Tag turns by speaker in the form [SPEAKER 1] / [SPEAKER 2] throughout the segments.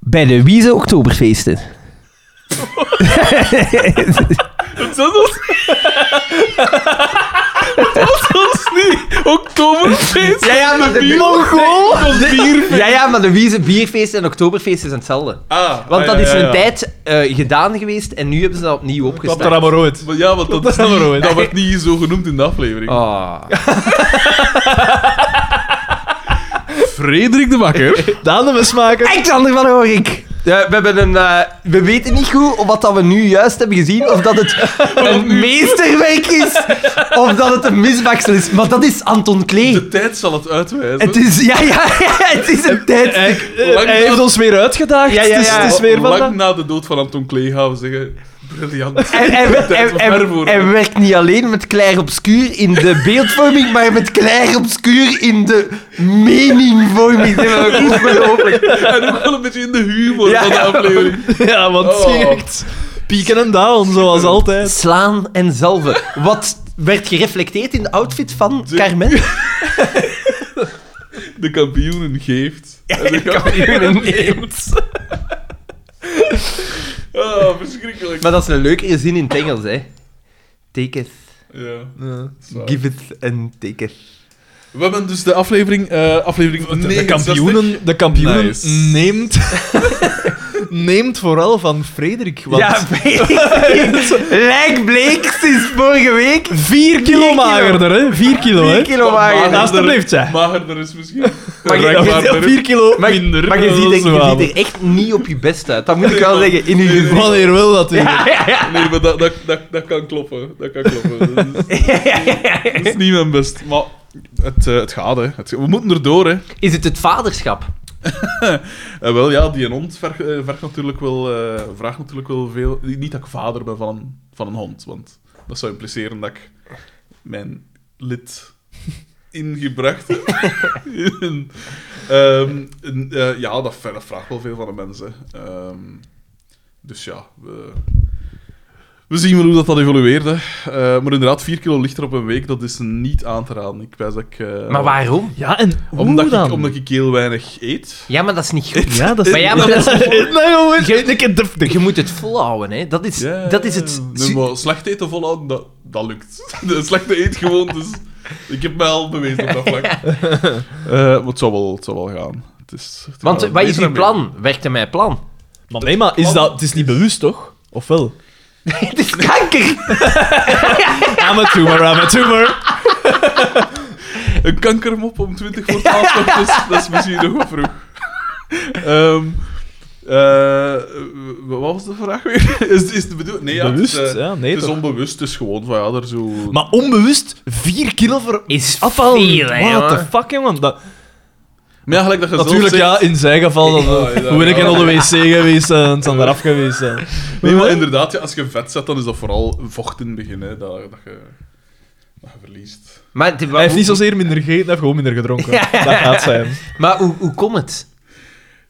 [SPEAKER 1] Bij de Wiese Oktoberfeesten.
[SPEAKER 2] Dat was ons niet. Oktoberfeest.
[SPEAKER 1] Ja, ja, maar de
[SPEAKER 2] Bier.
[SPEAKER 1] Mongool.
[SPEAKER 2] Nee, dat was bier.
[SPEAKER 1] Ja, ja, maar de Wiese Bierfeest en Oktoberfeest is hetzelfde.
[SPEAKER 2] Ah,
[SPEAKER 1] Want
[SPEAKER 2] ah,
[SPEAKER 1] dat
[SPEAKER 2] ja,
[SPEAKER 1] is
[SPEAKER 2] ja,
[SPEAKER 1] een
[SPEAKER 2] ja.
[SPEAKER 1] tijd eh, gedaan geweest en nu hebben ze dat opnieuw
[SPEAKER 3] Klap er
[SPEAKER 1] opgestart.
[SPEAKER 3] allemaal rood.
[SPEAKER 2] Maar Ja, want dat,
[SPEAKER 3] Dat
[SPEAKER 2] is
[SPEAKER 3] is allemaal
[SPEAKER 2] niet-
[SPEAKER 3] rood.
[SPEAKER 2] dat werd niet zo genoemd in de aflevering.
[SPEAKER 1] Ah.
[SPEAKER 2] Frederik de Bakker.
[SPEAKER 3] Daan de Mesmaker.
[SPEAKER 1] Alexander van Horik. Ja, we, hebben een, eh, we weten niet goed of wat dat we nu juist hebben gezien, of dat het een meesterwerk is, of dat het een misbaksel is. Maar dat is Anton Klee.
[SPEAKER 2] De tijd zal het uitwijzen.
[SPEAKER 1] Het is, ja, ja, ja, het is een
[SPEAKER 3] Hij,
[SPEAKER 1] tijd.
[SPEAKER 3] Eh, hij
[SPEAKER 2] Lang
[SPEAKER 3] heeft
[SPEAKER 2] dat-
[SPEAKER 3] ons weer uitgedaagd.
[SPEAKER 1] Ja, ja,
[SPEAKER 3] Het, is,
[SPEAKER 1] ja.
[SPEAKER 3] het is weer
[SPEAKER 2] Ah, Lang
[SPEAKER 3] van...
[SPEAKER 2] na de dood van Anton Klee gaan we zeggen... Briljant.
[SPEAKER 1] En, en,
[SPEAKER 2] De tijd
[SPEAKER 1] en,
[SPEAKER 2] was
[SPEAKER 1] en-
[SPEAKER 2] ver voor
[SPEAKER 1] en
[SPEAKER 2] hem.
[SPEAKER 1] werkt niet alleen met Claire Obscuur in de beeldvorming, maar met Claire Obscuur in de meningvorming. Dat is wel ongelooflijk.
[SPEAKER 2] En ook wel een beetje in de humor
[SPEAKER 1] Ja,
[SPEAKER 2] van de
[SPEAKER 1] ja.
[SPEAKER 2] aflevering.
[SPEAKER 3] Ja, want het ging
[SPEAKER 2] Oh.
[SPEAKER 3] echt pieken en dalen, zoals altijd.
[SPEAKER 1] Slaan en zalven. Wat werd gereflecteerd in de outfit van
[SPEAKER 2] De-
[SPEAKER 1] Carmen?
[SPEAKER 2] De kampioenen geeft. En de Oh, verschrikkelijk.
[SPEAKER 1] Maar dat is een leukere zin in het Engels, hè. Taketh,
[SPEAKER 2] Ja, zwaar.
[SPEAKER 1] giveth en taketh.
[SPEAKER 2] We hebben dus de aflevering... eh, aflevering
[SPEAKER 3] De, de
[SPEAKER 2] 69.
[SPEAKER 3] kampioenen, de kampioenen
[SPEAKER 2] Nice.
[SPEAKER 3] neemt, neemt vooral van Frederik. Want
[SPEAKER 1] Ja, Lijk Bleek sinds vorige week.
[SPEAKER 3] 4 kilo
[SPEAKER 1] kilo.
[SPEAKER 3] magerder, hè? 4 kilo, hè?
[SPEAKER 1] 4 kilo
[SPEAKER 2] Wat
[SPEAKER 1] wagen.
[SPEAKER 2] mager.
[SPEAKER 3] Alsjeblieft, ja.
[SPEAKER 2] Magerder is misschien.
[SPEAKER 1] Maar je-
[SPEAKER 2] Rek
[SPEAKER 1] je-
[SPEAKER 2] magerder.
[SPEAKER 3] 4 kilo
[SPEAKER 1] Maar,
[SPEAKER 3] minder.
[SPEAKER 1] maar je,
[SPEAKER 3] dat
[SPEAKER 1] ziet,
[SPEAKER 3] is
[SPEAKER 1] er- je
[SPEAKER 3] wel.
[SPEAKER 1] ziet er echt niet op je best uit. Dat moet ik wel zeggen. In je
[SPEAKER 2] Nee,
[SPEAKER 1] gezicht.
[SPEAKER 3] Wanneer wil dat weer?
[SPEAKER 1] Ja, ja, ja.
[SPEAKER 2] Nee, maar dat, dat, dat, dat kan kloppen. Dat kan kloppen. Dat is, dat is niet mijn best. Maar het, eh, het gaat, hè. Het- we moeten erdoor, hè.
[SPEAKER 1] Is het het vaderschap?
[SPEAKER 2] Eh, wel, ja, die hond vergt, eh, vergt natuurlijk wel, eh, vraagt natuurlijk wel veel... Niet dat ik vader ben van een, van een hond, want dat zou impliceren dat ik mijn lid ingebracht heb. In- ehm, in- eh, ja, dat, ver- dat vraagt wel veel van de mensen. Ehm, dus ja, we, we zien wel hoe dat, dat evolueert. Hè. Eh, maar inderdaad, 4 kilo lichter op een week, dat is niet aan te raden. Ik wijs dat ik... eh,
[SPEAKER 1] Maar waarom?
[SPEAKER 3] Ja, en hoe
[SPEAKER 2] Omdat
[SPEAKER 3] dan?
[SPEAKER 2] ik, omdat ik heel weinig eet.
[SPEAKER 1] Ja, maar dat is niet goed.
[SPEAKER 3] Ja, dat is...
[SPEAKER 1] Maar ja, maar dat is-
[SPEAKER 3] Nee, jongen, een keer deftig.
[SPEAKER 1] Je moet het volhouden, hè. Dat is,
[SPEAKER 2] Ja,
[SPEAKER 1] dat is het...
[SPEAKER 2] Nee, maar slecht eten volhouden, dat, dat lukt. De slechte eetgewoontes. Ik heb mij al bewezen op dat vlak. Eh, maar het zal wel, het zal wel gaan. Het is, het
[SPEAKER 1] Want
[SPEAKER 2] gaat
[SPEAKER 1] wat is
[SPEAKER 2] beter
[SPEAKER 1] uw
[SPEAKER 2] en
[SPEAKER 1] plan? Werkte mijn plan?
[SPEAKER 3] Maar nee, maar is dat... Het is niet bewust, toch? Of wel?
[SPEAKER 1] Het is kanker!
[SPEAKER 3] I'm a tumor, I'm a tumor.
[SPEAKER 2] beter. Een kankermop om 20 voor 12 ochtends, dat is misschien nog wat vroeg. Ehm, eh, wat was de vraag weer? Is, is de bedoeling? Nee, ja,
[SPEAKER 3] Bewust,
[SPEAKER 2] het is, eh,
[SPEAKER 3] ja, nee
[SPEAKER 2] het is
[SPEAKER 3] toch?
[SPEAKER 2] onbewust, het is gewoon van ja, daar zo.
[SPEAKER 3] Maar onbewust 4 kilo voor
[SPEAKER 1] Is
[SPEAKER 3] afval.
[SPEAKER 1] veel, hè,
[SPEAKER 3] What the
[SPEAKER 1] jongen.
[SPEAKER 3] fuck, jongen? Dat...
[SPEAKER 2] maar ja, gelijk dat je zelf
[SPEAKER 3] Natuurlijk,
[SPEAKER 2] zegt-
[SPEAKER 3] ja, in zijn geval. Dat,
[SPEAKER 2] Ja, ja,
[SPEAKER 3] hoe ben ik
[SPEAKER 2] ja.
[SPEAKER 3] in de wc geweest eh, en het zijn eraf geweest. eh. En...
[SPEAKER 2] Nee, maar inderdaad, ja, als je vet zet, dan is dat vooral vocht in het begin, hè, dat, dat, je, dat je verliest.
[SPEAKER 1] Maar, het-
[SPEAKER 3] Hij heeft niet
[SPEAKER 1] hoe-
[SPEAKER 3] zozeer minder gegeten, hij heeft gewoon minder gedronken. Dat gaat zijn.
[SPEAKER 1] maar hoe, hoe komt het?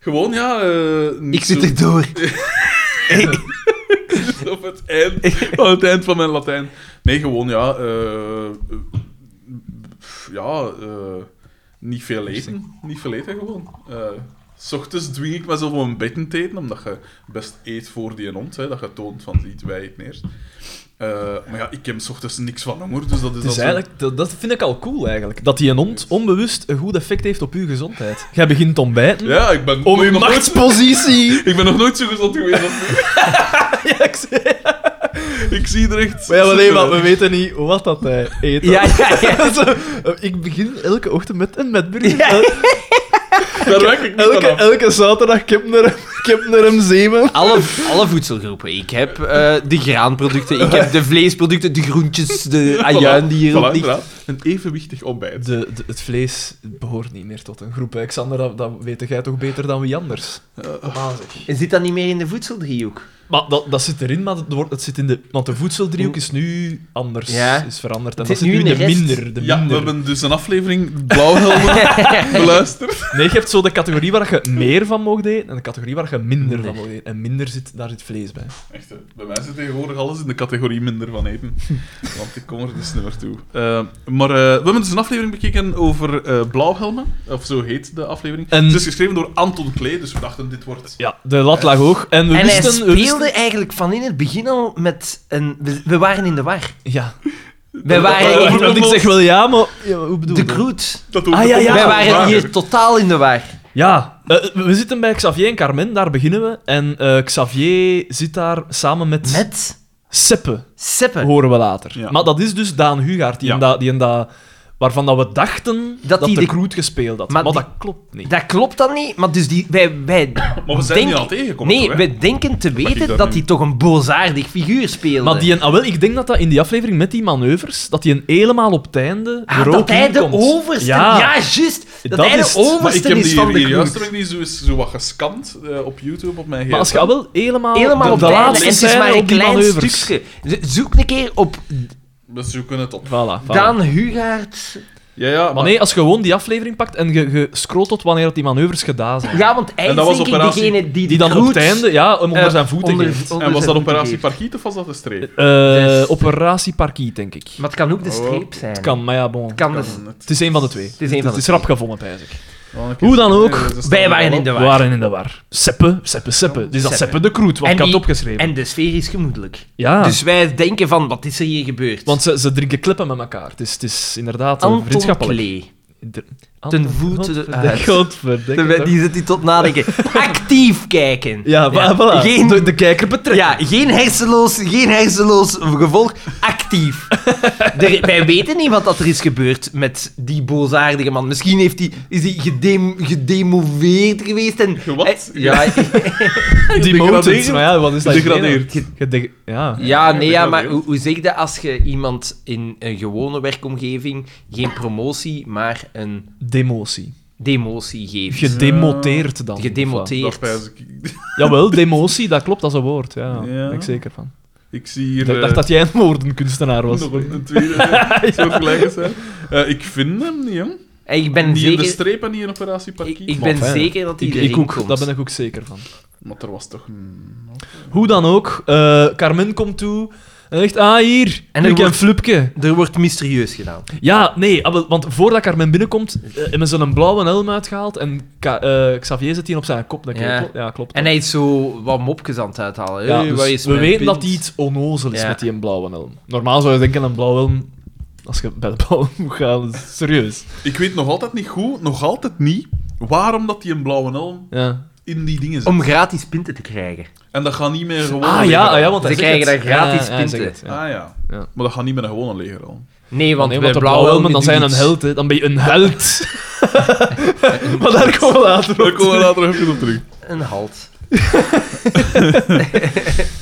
[SPEAKER 2] Gewoon, ja... eh, niet
[SPEAKER 1] Ik zit
[SPEAKER 2] zo-
[SPEAKER 1] erdoor.
[SPEAKER 2] Op het eind, van het eind van mijn Latijn. Nee, gewoon, ja... eh, eh, pff, ja, eh, niet veel eten. Niet veel eten, gewoon. Eh, S ochtends dwing ik mezelf om een beetje te eten, omdat je best eet voor die hond. Hè, dat je toont van, ziet, wij eten eerst. Eh, maar ja, ik heb s ochtends niks van honger, dus dat is,
[SPEAKER 3] Het is
[SPEAKER 2] al zo-
[SPEAKER 3] eigenlijk, dat, dat vind ik al cool eigenlijk. Dat die een hond onbewust een goed effect heeft op uw gezondheid. Jij begint te ontbijten.
[SPEAKER 2] Ja, ik ben...
[SPEAKER 3] Om uw
[SPEAKER 2] nog nooit-
[SPEAKER 3] machtspositie.
[SPEAKER 2] Ik ben nog nooit zo gezond geweest als nu.
[SPEAKER 3] ja, ik zei-
[SPEAKER 2] Ik zie er echt...
[SPEAKER 3] maar ja, maar nee, maar we
[SPEAKER 2] super-
[SPEAKER 3] weten niet wat dat eh, hij eet.
[SPEAKER 1] Ja, ja, ja.
[SPEAKER 3] Zo, eh, ik begin elke ochtend met een metburger.
[SPEAKER 1] Ja.
[SPEAKER 3] El-
[SPEAKER 2] Daar werk ik niet
[SPEAKER 3] Elke,
[SPEAKER 2] van af.
[SPEAKER 3] elke zaterdag kipnerem zeven.
[SPEAKER 1] Alle, alle voedselgroepen. Ik heb eh, de graanproducten, ik heb de vleesproducten, de groentjes, de
[SPEAKER 3] Ah,
[SPEAKER 1] ajuin die
[SPEAKER 2] Voilà,
[SPEAKER 1] hierop ligt.
[SPEAKER 2] inderdaad. Een evenwichtig ontbijt.
[SPEAKER 3] De, de- het vlees behoort niet meer tot een groep. hè. Xander, dat, dat weet jij toch beter dan wie anders?
[SPEAKER 2] Eh,
[SPEAKER 3] Wazig.
[SPEAKER 1] En zit dat niet meer in de voedseldriehoek?
[SPEAKER 3] Maar dat, dat zit erin, maar het, wordt, het zit in de... Want de voedseldriehoek is nu anders,
[SPEAKER 1] Ja.
[SPEAKER 3] is veranderd. En
[SPEAKER 1] Het
[SPEAKER 3] dat
[SPEAKER 1] zit
[SPEAKER 3] zit nu
[SPEAKER 1] nu
[SPEAKER 3] in de
[SPEAKER 1] in de rest.
[SPEAKER 3] minder. De
[SPEAKER 2] Ja, we
[SPEAKER 3] minder.
[SPEAKER 2] hebben dus een aflevering Blauwhelmen beluisterd.
[SPEAKER 3] Nee, je hebt zo de categorie waar je meer van mag eten en de categorie waar je minder van mag eten. En minder zit, daar zit vlees bij.
[SPEAKER 2] Echt, hè, bij mij zit tegenwoordig alles in de categorie minder van eten. Want ik kom er dus niet meer toe. Eh, maar eh, we hebben dus een aflevering bekeken over eh, blauwhelmen. Of zo heet de aflevering.
[SPEAKER 3] En-
[SPEAKER 2] Het is geschreven door Anton Klee, dus we dachten dit wordt...
[SPEAKER 3] Ja, de lat lag hoog. En we
[SPEAKER 1] en hij
[SPEAKER 3] wisten... we wisten-
[SPEAKER 1] speelde eigenlijk van in het begin al met een... We, we waren in de war.
[SPEAKER 3] Ja.
[SPEAKER 1] Wij waren
[SPEAKER 2] over-
[SPEAKER 1] in
[SPEAKER 3] Want ik zeg wel ja, maar... ja, maar hoe bedoel
[SPEAKER 1] de
[SPEAKER 3] je?
[SPEAKER 1] Groot.
[SPEAKER 2] Dat
[SPEAKER 3] Ah, ja, ja.
[SPEAKER 1] Wij
[SPEAKER 2] waar.
[SPEAKER 1] waren hier totaal in de war.
[SPEAKER 3] Ja, eh, we zitten bij Xavier en Carmen, daar beginnen we. En eh, Xavier zit daar samen met,
[SPEAKER 1] Met
[SPEAKER 3] Seppe,
[SPEAKER 1] Seppe.
[SPEAKER 3] horen we later.
[SPEAKER 2] Ja.
[SPEAKER 3] Maar dat is dus Daan Hugaard, die
[SPEAKER 2] Ja.
[SPEAKER 3] en dat- die en dat- waarvan dat we dachten dat,
[SPEAKER 1] Dat
[SPEAKER 3] de,
[SPEAKER 1] die de-
[SPEAKER 3] Kroet gespeeld had. Maar,
[SPEAKER 1] Maar
[SPEAKER 3] dat
[SPEAKER 1] die-
[SPEAKER 3] klopt niet.
[SPEAKER 1] Dat klopt dan niet, maar dus die, wij, wij
[SPEAKER 2] Maar we zijn
[SPEAKER 1] denken-
[SPEAKER 2] die al tegengekomen,
[SPEAKER 1] Nee,
[SPEAKER 2] toch, hè?
[SPEAKER 1] we denken te
[SPEAKER 2] ik daar
[SPEAKER 1] weten dat
[SPEAKER 2] nu-
[SPEAKER 1] hij toch een boosaardig figuur speelde.
[SPEAKER 3] Maar die en, ah, wel, ik denk dat dat in die aflevering met die manoeuvres, dat die een helemaal op het einde
[SPEAKER 1] Ah,
[SPEAKER 3] er ook
[SPEAKER 1] dat hij
[SPEAKER 3] in
[SPEAKER 1] de
[SPEAKER 3] komt.
[SPEAKER 1] overste... Ja, juist. Dat,
[SPEAKER 3] Dat
[SPEAKER 1] hij
[SPEAKER 3] is
[SPEAKER 1] de
[SPEAKER 2] Maar
[SPEAKER 3] het. Maar
[SPEAKER 2] ik
[SPEAKER 1] overste
[SPEAKER 2] heb
[SPEAKER 1] is
[SPEAKER 2] die
[SPEAKER 1] van
[SPEAKER 2] hier,
[SPEAKER 1] de
[SPEAKER 2] hier juist
[SPEAKER 1] Groot.
[SPEAKER 2] heb ik die zo, eens- zo wat gescand eh, op YouTube op mijn gsm.
[SPEAKER 3] Maar als je al wel helemaal,
[SPEAKER 1] Helemaal
[SPEAKER 3] de,
[SPEAKER 1] op
[SPEAKER 3] de
[SPEAKER 1] het einde.
[SPEAKER 3] laatste
[SPEAKER 1] En het is
[SPEAKER 3] scène
[SPEAKER 1] maar een
[SPEAKER 3] op die
[SPEAKER 1] klein
[SPEAKER 3] manoeuvres.
[SPEAKER 1] stukje. Zo- Zoek een keer op
[SPEAKER 2] We zoeken het op.
[SPEAKER 3] Voilà, voilà.
[SPEAKER 1] Daan Hugaert.
[SPEAKER 2] Ja, ja,
[SPEAKER 3] Maar nee, als je gewoon die aflevering pakt en je, je scrolt tot wanneer dat die manoeuvres gedaan zijn.
[SPEAKER 1] Ja, want hij
[SPEAKER 2] En
[SPEAKER 1] is
[SPEAKER 2] dat was
[SPEAKER 1] denk ik
[SPEAKER 2] operatie-
[SPEAKER 1] degene die, de
[SPEAKER 3] Die dan op
[SPEAKER 1] Groot,
[SPEAKER 3] het einde, ja, om onder
[SPEAKER 1] eh,
[SPEAKER 3] zijn voeten
[SPEAKER 1] onder-
[SPEAKER 3] geeft.
[SPEAKER 1] onder
[SPEAKER 2] En was
[SPEAKER 1] zijn
[SPEAKER 2] dat
[SPEAKER 1] voeten
[SPEAKER 2] operatie
[SPEAKER 1] geeft.
[SPEAKER 2] Parkiet of was dat de streep?
[SPEAKER 3] Eh,
[SPEAKER 1] Dus-
[SPEAKER 3] operatie Parkiet, denk ik.
[SPEAKER 1] Maar het kan ook de
[SPEAKER 2] Oh.
[SPEAKER 1] streep zijn.
[SPEAKER 3] Het kan, maar ja, bon.
[SPEAKER 1] Het kan dus-
[SPEAKER 2] Kan het.
[SPEAKER 3] Het is een van de twee. Het
[SPEAKER 1] is één van de
[SPEAKER 3] Het is rap gevonden, pijs ik.
[SPEAKER 2] Oh, ik
[SPEAKER 3] Hoe dan
[SPEAKER 2] heb-
[SPEAKER 3] ook,
[SPEAKER 2] nee, dat is
[SPEAKER 1] wij
[SPEAKER 2] dan
[SPEAKER 1] waren
[SPEAKER 2] wel.
[SPEAKER 1] in de
[SPEAKER 3] We
[SPEAKER 1] war.
[SPEAKER 3] waren in de war. Seppe, Seppe, Seppe. Dus dat
[SPEAKER 1] Seppe.
[SPEAKER 3] Seppe de Kroet,
[SPEAKER 1] En
[SPEAKER 3] want ik had het
[SPEAKER 1] die-
[SPEAKER 3] opgeschreven.
[SPEAKER 1] En de sfeer is gemoedelijk.
[SPEAKER 3] ja,
[SPEAKER 1] Dus wij denken van, wat is er hier gebeurd?
[SPEAKER 3] want ze, ze drinken kleppen met elkaar. Het is, het is inderdaad een
[SPEAKER 1] Anton
[SPEAKER 3] vriendschappelijk.
[SPEAKER 1] Klee.
[SPEAKER 3] Inter-
[SPEAKER 1] Ten voeten uit.
[SPEAKER 3] Godverdikke.
[SPEAKER 1] De- Die zit hier tot nadenken. Actief kijken.
[SPEAKER 3] Ja, wa- voilà.
[SPEAKER 1] Geen-
[SPEAKER 3] de, de kijker betrekken.
[SPEAKER 1] Ja, geen hersenloos, geen hersenloos gevolg. Actief. Er- wij weten niet wat dat er is gebeurd met die boosaardige man. Misschien heeft die, is hij gedem, gedemoveerd geweest en...
[SPEAKER 2] Ge- Wat?
[SPEAKER 1] eh, Ja,
[SPEAKER 3] die motives.
[SPEAKER 2] Gedegradeerd.
[SPEAKER 3] Maar ja, wat is dat?
[SPEAKER 2] Gedegradeerd.
[SPEAKER 3] Ge- gede- ja.
[SPEAKER 1] ja, nee, ja,
[SPEAKER 2] dat
[SPEAKER 1] maar
[SPEAKER 2] weet.
[SPEAKER 1] hoe, hoe zeg je dat als je iemand in een gewone werkomgeving geen promotie, maar een
[SPEAKER 3] Demotie.
[SPEAKER 1] demotie geeft?
[SPEAKER 3] Gedemoteerd dan.
[SPEAKER 2] Dat
[SPEAKER 1] Gedemoteerd.
[SPEAKER 2] pijs ik.
[SPEAKER 3] of wat? Jawel, demotie, dat klopt, dat is een woord. Ja, daar
[SPEAKER 2] Ja.
[SPEAKER 3] ben ik zeker van.
[SPEAKER 2] Ik zie hier...
[SPEAKER 3] Ik dacht
[SPEAKER 2] eh,
[SPEAKER 3] dat jij een woordenkunstenaar was.
[SPEAKER 2] Nog een, een tweede eh, soort gelijkenis, hè. Eh, ik vind hem niet, jong.
[SPEAKER 1] En Eh, ik ben
[SPEAKER 2] Niet in de
[SPEAKER 1] zeker...
[SPEAKER 2] streep en niet in operatie
[SPEAKER 1] Ik,
[SPEAKER 2] Parkiet.
[SPEAKER 1] ik
[SPEAKER 3] Maar
[SPEAKER 1] ben
[SPEAKER 3] fijn, hè.
[SPEAKER 1] zeker dat hij
[SPEAKER 3] Ik,
[SPEAKER 1] erin
[SPEAKER 3] ik ook,
[SPEAKER 1] komt.
[SPEAKER 3] daar ben ik ook zeker van.
[SPEAKER 2] Maar er was toch... een-
[SPEAKER 3] Hoe dan ook, eh, Carmen komt toe en zegt, ah hier,
[SPEAKER 1] En er
[SPEAKER 3] ik en
[SPEAKER 1] wordt-
[SPEAKER 3] Flupke.
[SPEAKER 1] Er wordt mysterieus gedaan.
[SPEAKER 3] Ja, nee, ah, wel, want voordat Carmen binnenkomt, eh, hebben ze een blauwe helm uitgehaald en Ka- eh, Xavier zit die op zijn kop. denk ik.
[SPEAKER 1] Ja.
[SPEAKER 3] Klopt- ja, klopt.
[SPEAKER 1] En hij is zo wat mopjes aan het uithalen.
[SPEAKER 3] Ja,
[SPEAKER 1] Hey,
[SPEAKER 3] dus
[SPEAKER 1] waar is
[SPEAKER 3] we
[SPEAKER 1] mijn
[SPEAKER 3] weten
[SPEAKER 1] pint?
[SPEAKER 3] dat hij iets onnozel is
[SPEAKER 1] Ja.
[SPEAKER 3] met die een blauwe helm. Normaal zou je denken, een blauwe helm... Als je bij de blauwe helm moet gaan, is serieus.
[SPEAKER 2] Ik weet nog altijd niet goed, nog altijd niet, waarom dat die een blauwe helm
[SPEAKER 3] Ja.
[SPEAKER 2] in die dingen zit.
[SPEAKER 1] Om gratis pinten te krijgen.
[SPEAKER 2] En dat gaat niet meer gewoon...
[SPEAKER 3] Ah ja, ah, ja, want
[SPEAKER 1] Oh, Ze
[SPEAKER 3] hij zegt
[SPEAKER 1] krijgen
[SPEAKER 3] het.
[SPEAKER 1] daar gratis
[SPEAKER 3] Ja, ja, hij
[SPEAKER 1] punten.
[SPEAKER 3] zegt het, ja.
[SPEAKER 2] Ah ja.
[SPEAKER 3] Ja.
[SPEAKER 2] Maar dat gaat niet met een gewone leger al.
[SPEAKER 1] Nee, want
[SPEAKER 3] Ah, nee,
[SPEAKER 1] bij
[SPEAKER 3] want de blauwe helmen, dan zijn een held, hè. Dan ben je een held. maar daar komen we later op
[SPEAKER 2] Daar komen we
[SPEAKER 3] terug.
[SPEAKER 2] later even op terug.
[SPEAKER 1] Een halt.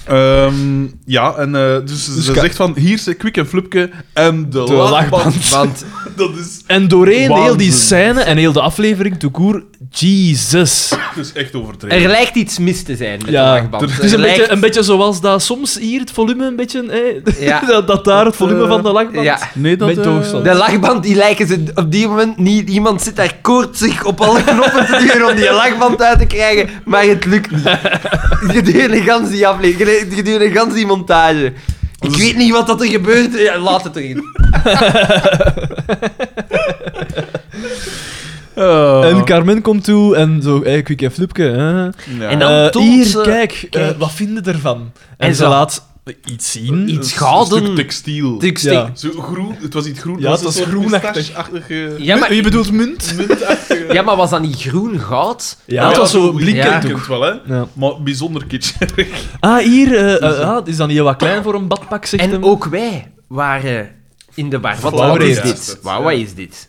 [SPEAKER 2] Ehm, ja, en eh, dus, ze
[SPEAKER 3] ka-
[SPEAKER 2] zegt van, hier is Kwik en Flupke en de,
[SPEAKER 3] De
[SPEAKER 2] lachband.
[SPEAKER 1] Want
[SPEAKER 2] Dat is,
[SPEAKER 3] En doorheen heel die
[SPEAKER 2] Waanzin.
[SPEAKER 3] scène en heel de aflevering, tout court, Jesus.
[SPEAKER 2] dat is dus echt overdreven.
[SPEAKER 1] er lijkt iets mis te zijn met
[SPEAKER 3] Ja,
[SPEAKER 1] de lachband.
[SPEAKER 3] Het is
[SPEAKER 1] Er
[SPEAKER 3] een beetje,
[SPEAKER 1] lijkt-
[SPEAKER 3] een beetje zoals dat soms hier het volume een beetje... hè,
[SPEAKER 1] Ja.
[SPEAKER 3] dat, dat daar het volume
[SPEAKER 2] eh,
[SPEAKER 3] van de lachband...
[SPEAKER 1] Ja.
[SPEAKER 2] Nee,
[SPEAKER 3] Met
[SPEAKER 2] eh,
[SPEAKER 3] doogstand.
[SPEAKER 1] De lachband, die lijken ze op die moment niet... Iemand zit daar koortsig op alle knoppen te duwen om die lachband uit te krijgen, maar het lukt niet. Gedurende gans die aflevering, gedurende gans die montage. Ik
[SPEAKER 2] Dus-
[SPEAKER 1] weet niet wat dat er gebeurt. Ja, laat het erin.
[SPEAKER 2] Ah.
[SPEAKER 3] En Carmen komt toe en zo, hey, Kwik en Flupke. hè.
[SPEAKER 2] Ja.
[SPEAKER 1] En dan-
[SPEAKER 3] Eh,
[SPEAKER 1] toont
[SPEAKER 3] hier,
[SPEAKER 1] ze-
[SPEAKER 3] kijk,
[SPEAKER 1] kijk.
[SPEAKER 3] eh, wat vinden ervan? En,
[SPEAKER 1] En
[SPEAKER 3] ze
[SPEAKER 1] zo-
[SPEAKER 3] laat iets zien.
[SPEAKER 1] Iets
[SPEAKER 2] Een
[SPEAKER 1] gouden.
[SPEAKER 2] stuk textiel.
[SPEAKER 1] Dus ik steek-
[SPEAKER 3] Ja.
[SPEAKER 2] Zo groen, het was iets groen.
[SPEAKER 3] Ja, het was
[SPEAKER 2] een soort
[SPEAKER 3] groenachtig.
[SPEAKER 2] pistache-achtige-
[SPEAKER 1] Ja, maar,
[SPEAKER 3] Je bedoelt munt?
[SPEAKER 2] muntachtige-
[SPEAKER 1] ja, maar was dat niet groen goud?
[SPEAKER 3] Ja, het was zo blinkend
[SPEAKER 2] Ja. wel, hè.
[SPEAKER 3] Ja.
[SPEAKER 2] Maar bijzonder kitscherig.
[SPEAKER 3] Ah, hier, eh, eh, ah, is dat niet wat klein voor een badpak, zegt hem.
[SPEAKER 1] En ook wij waren in de war. Wat,
[SPEAKER 2] Flauw
[SPEAKER 1] wat is
[SPEAKER 3] reden.
[SPEAKER 1] dit? Wauw, wat is dit?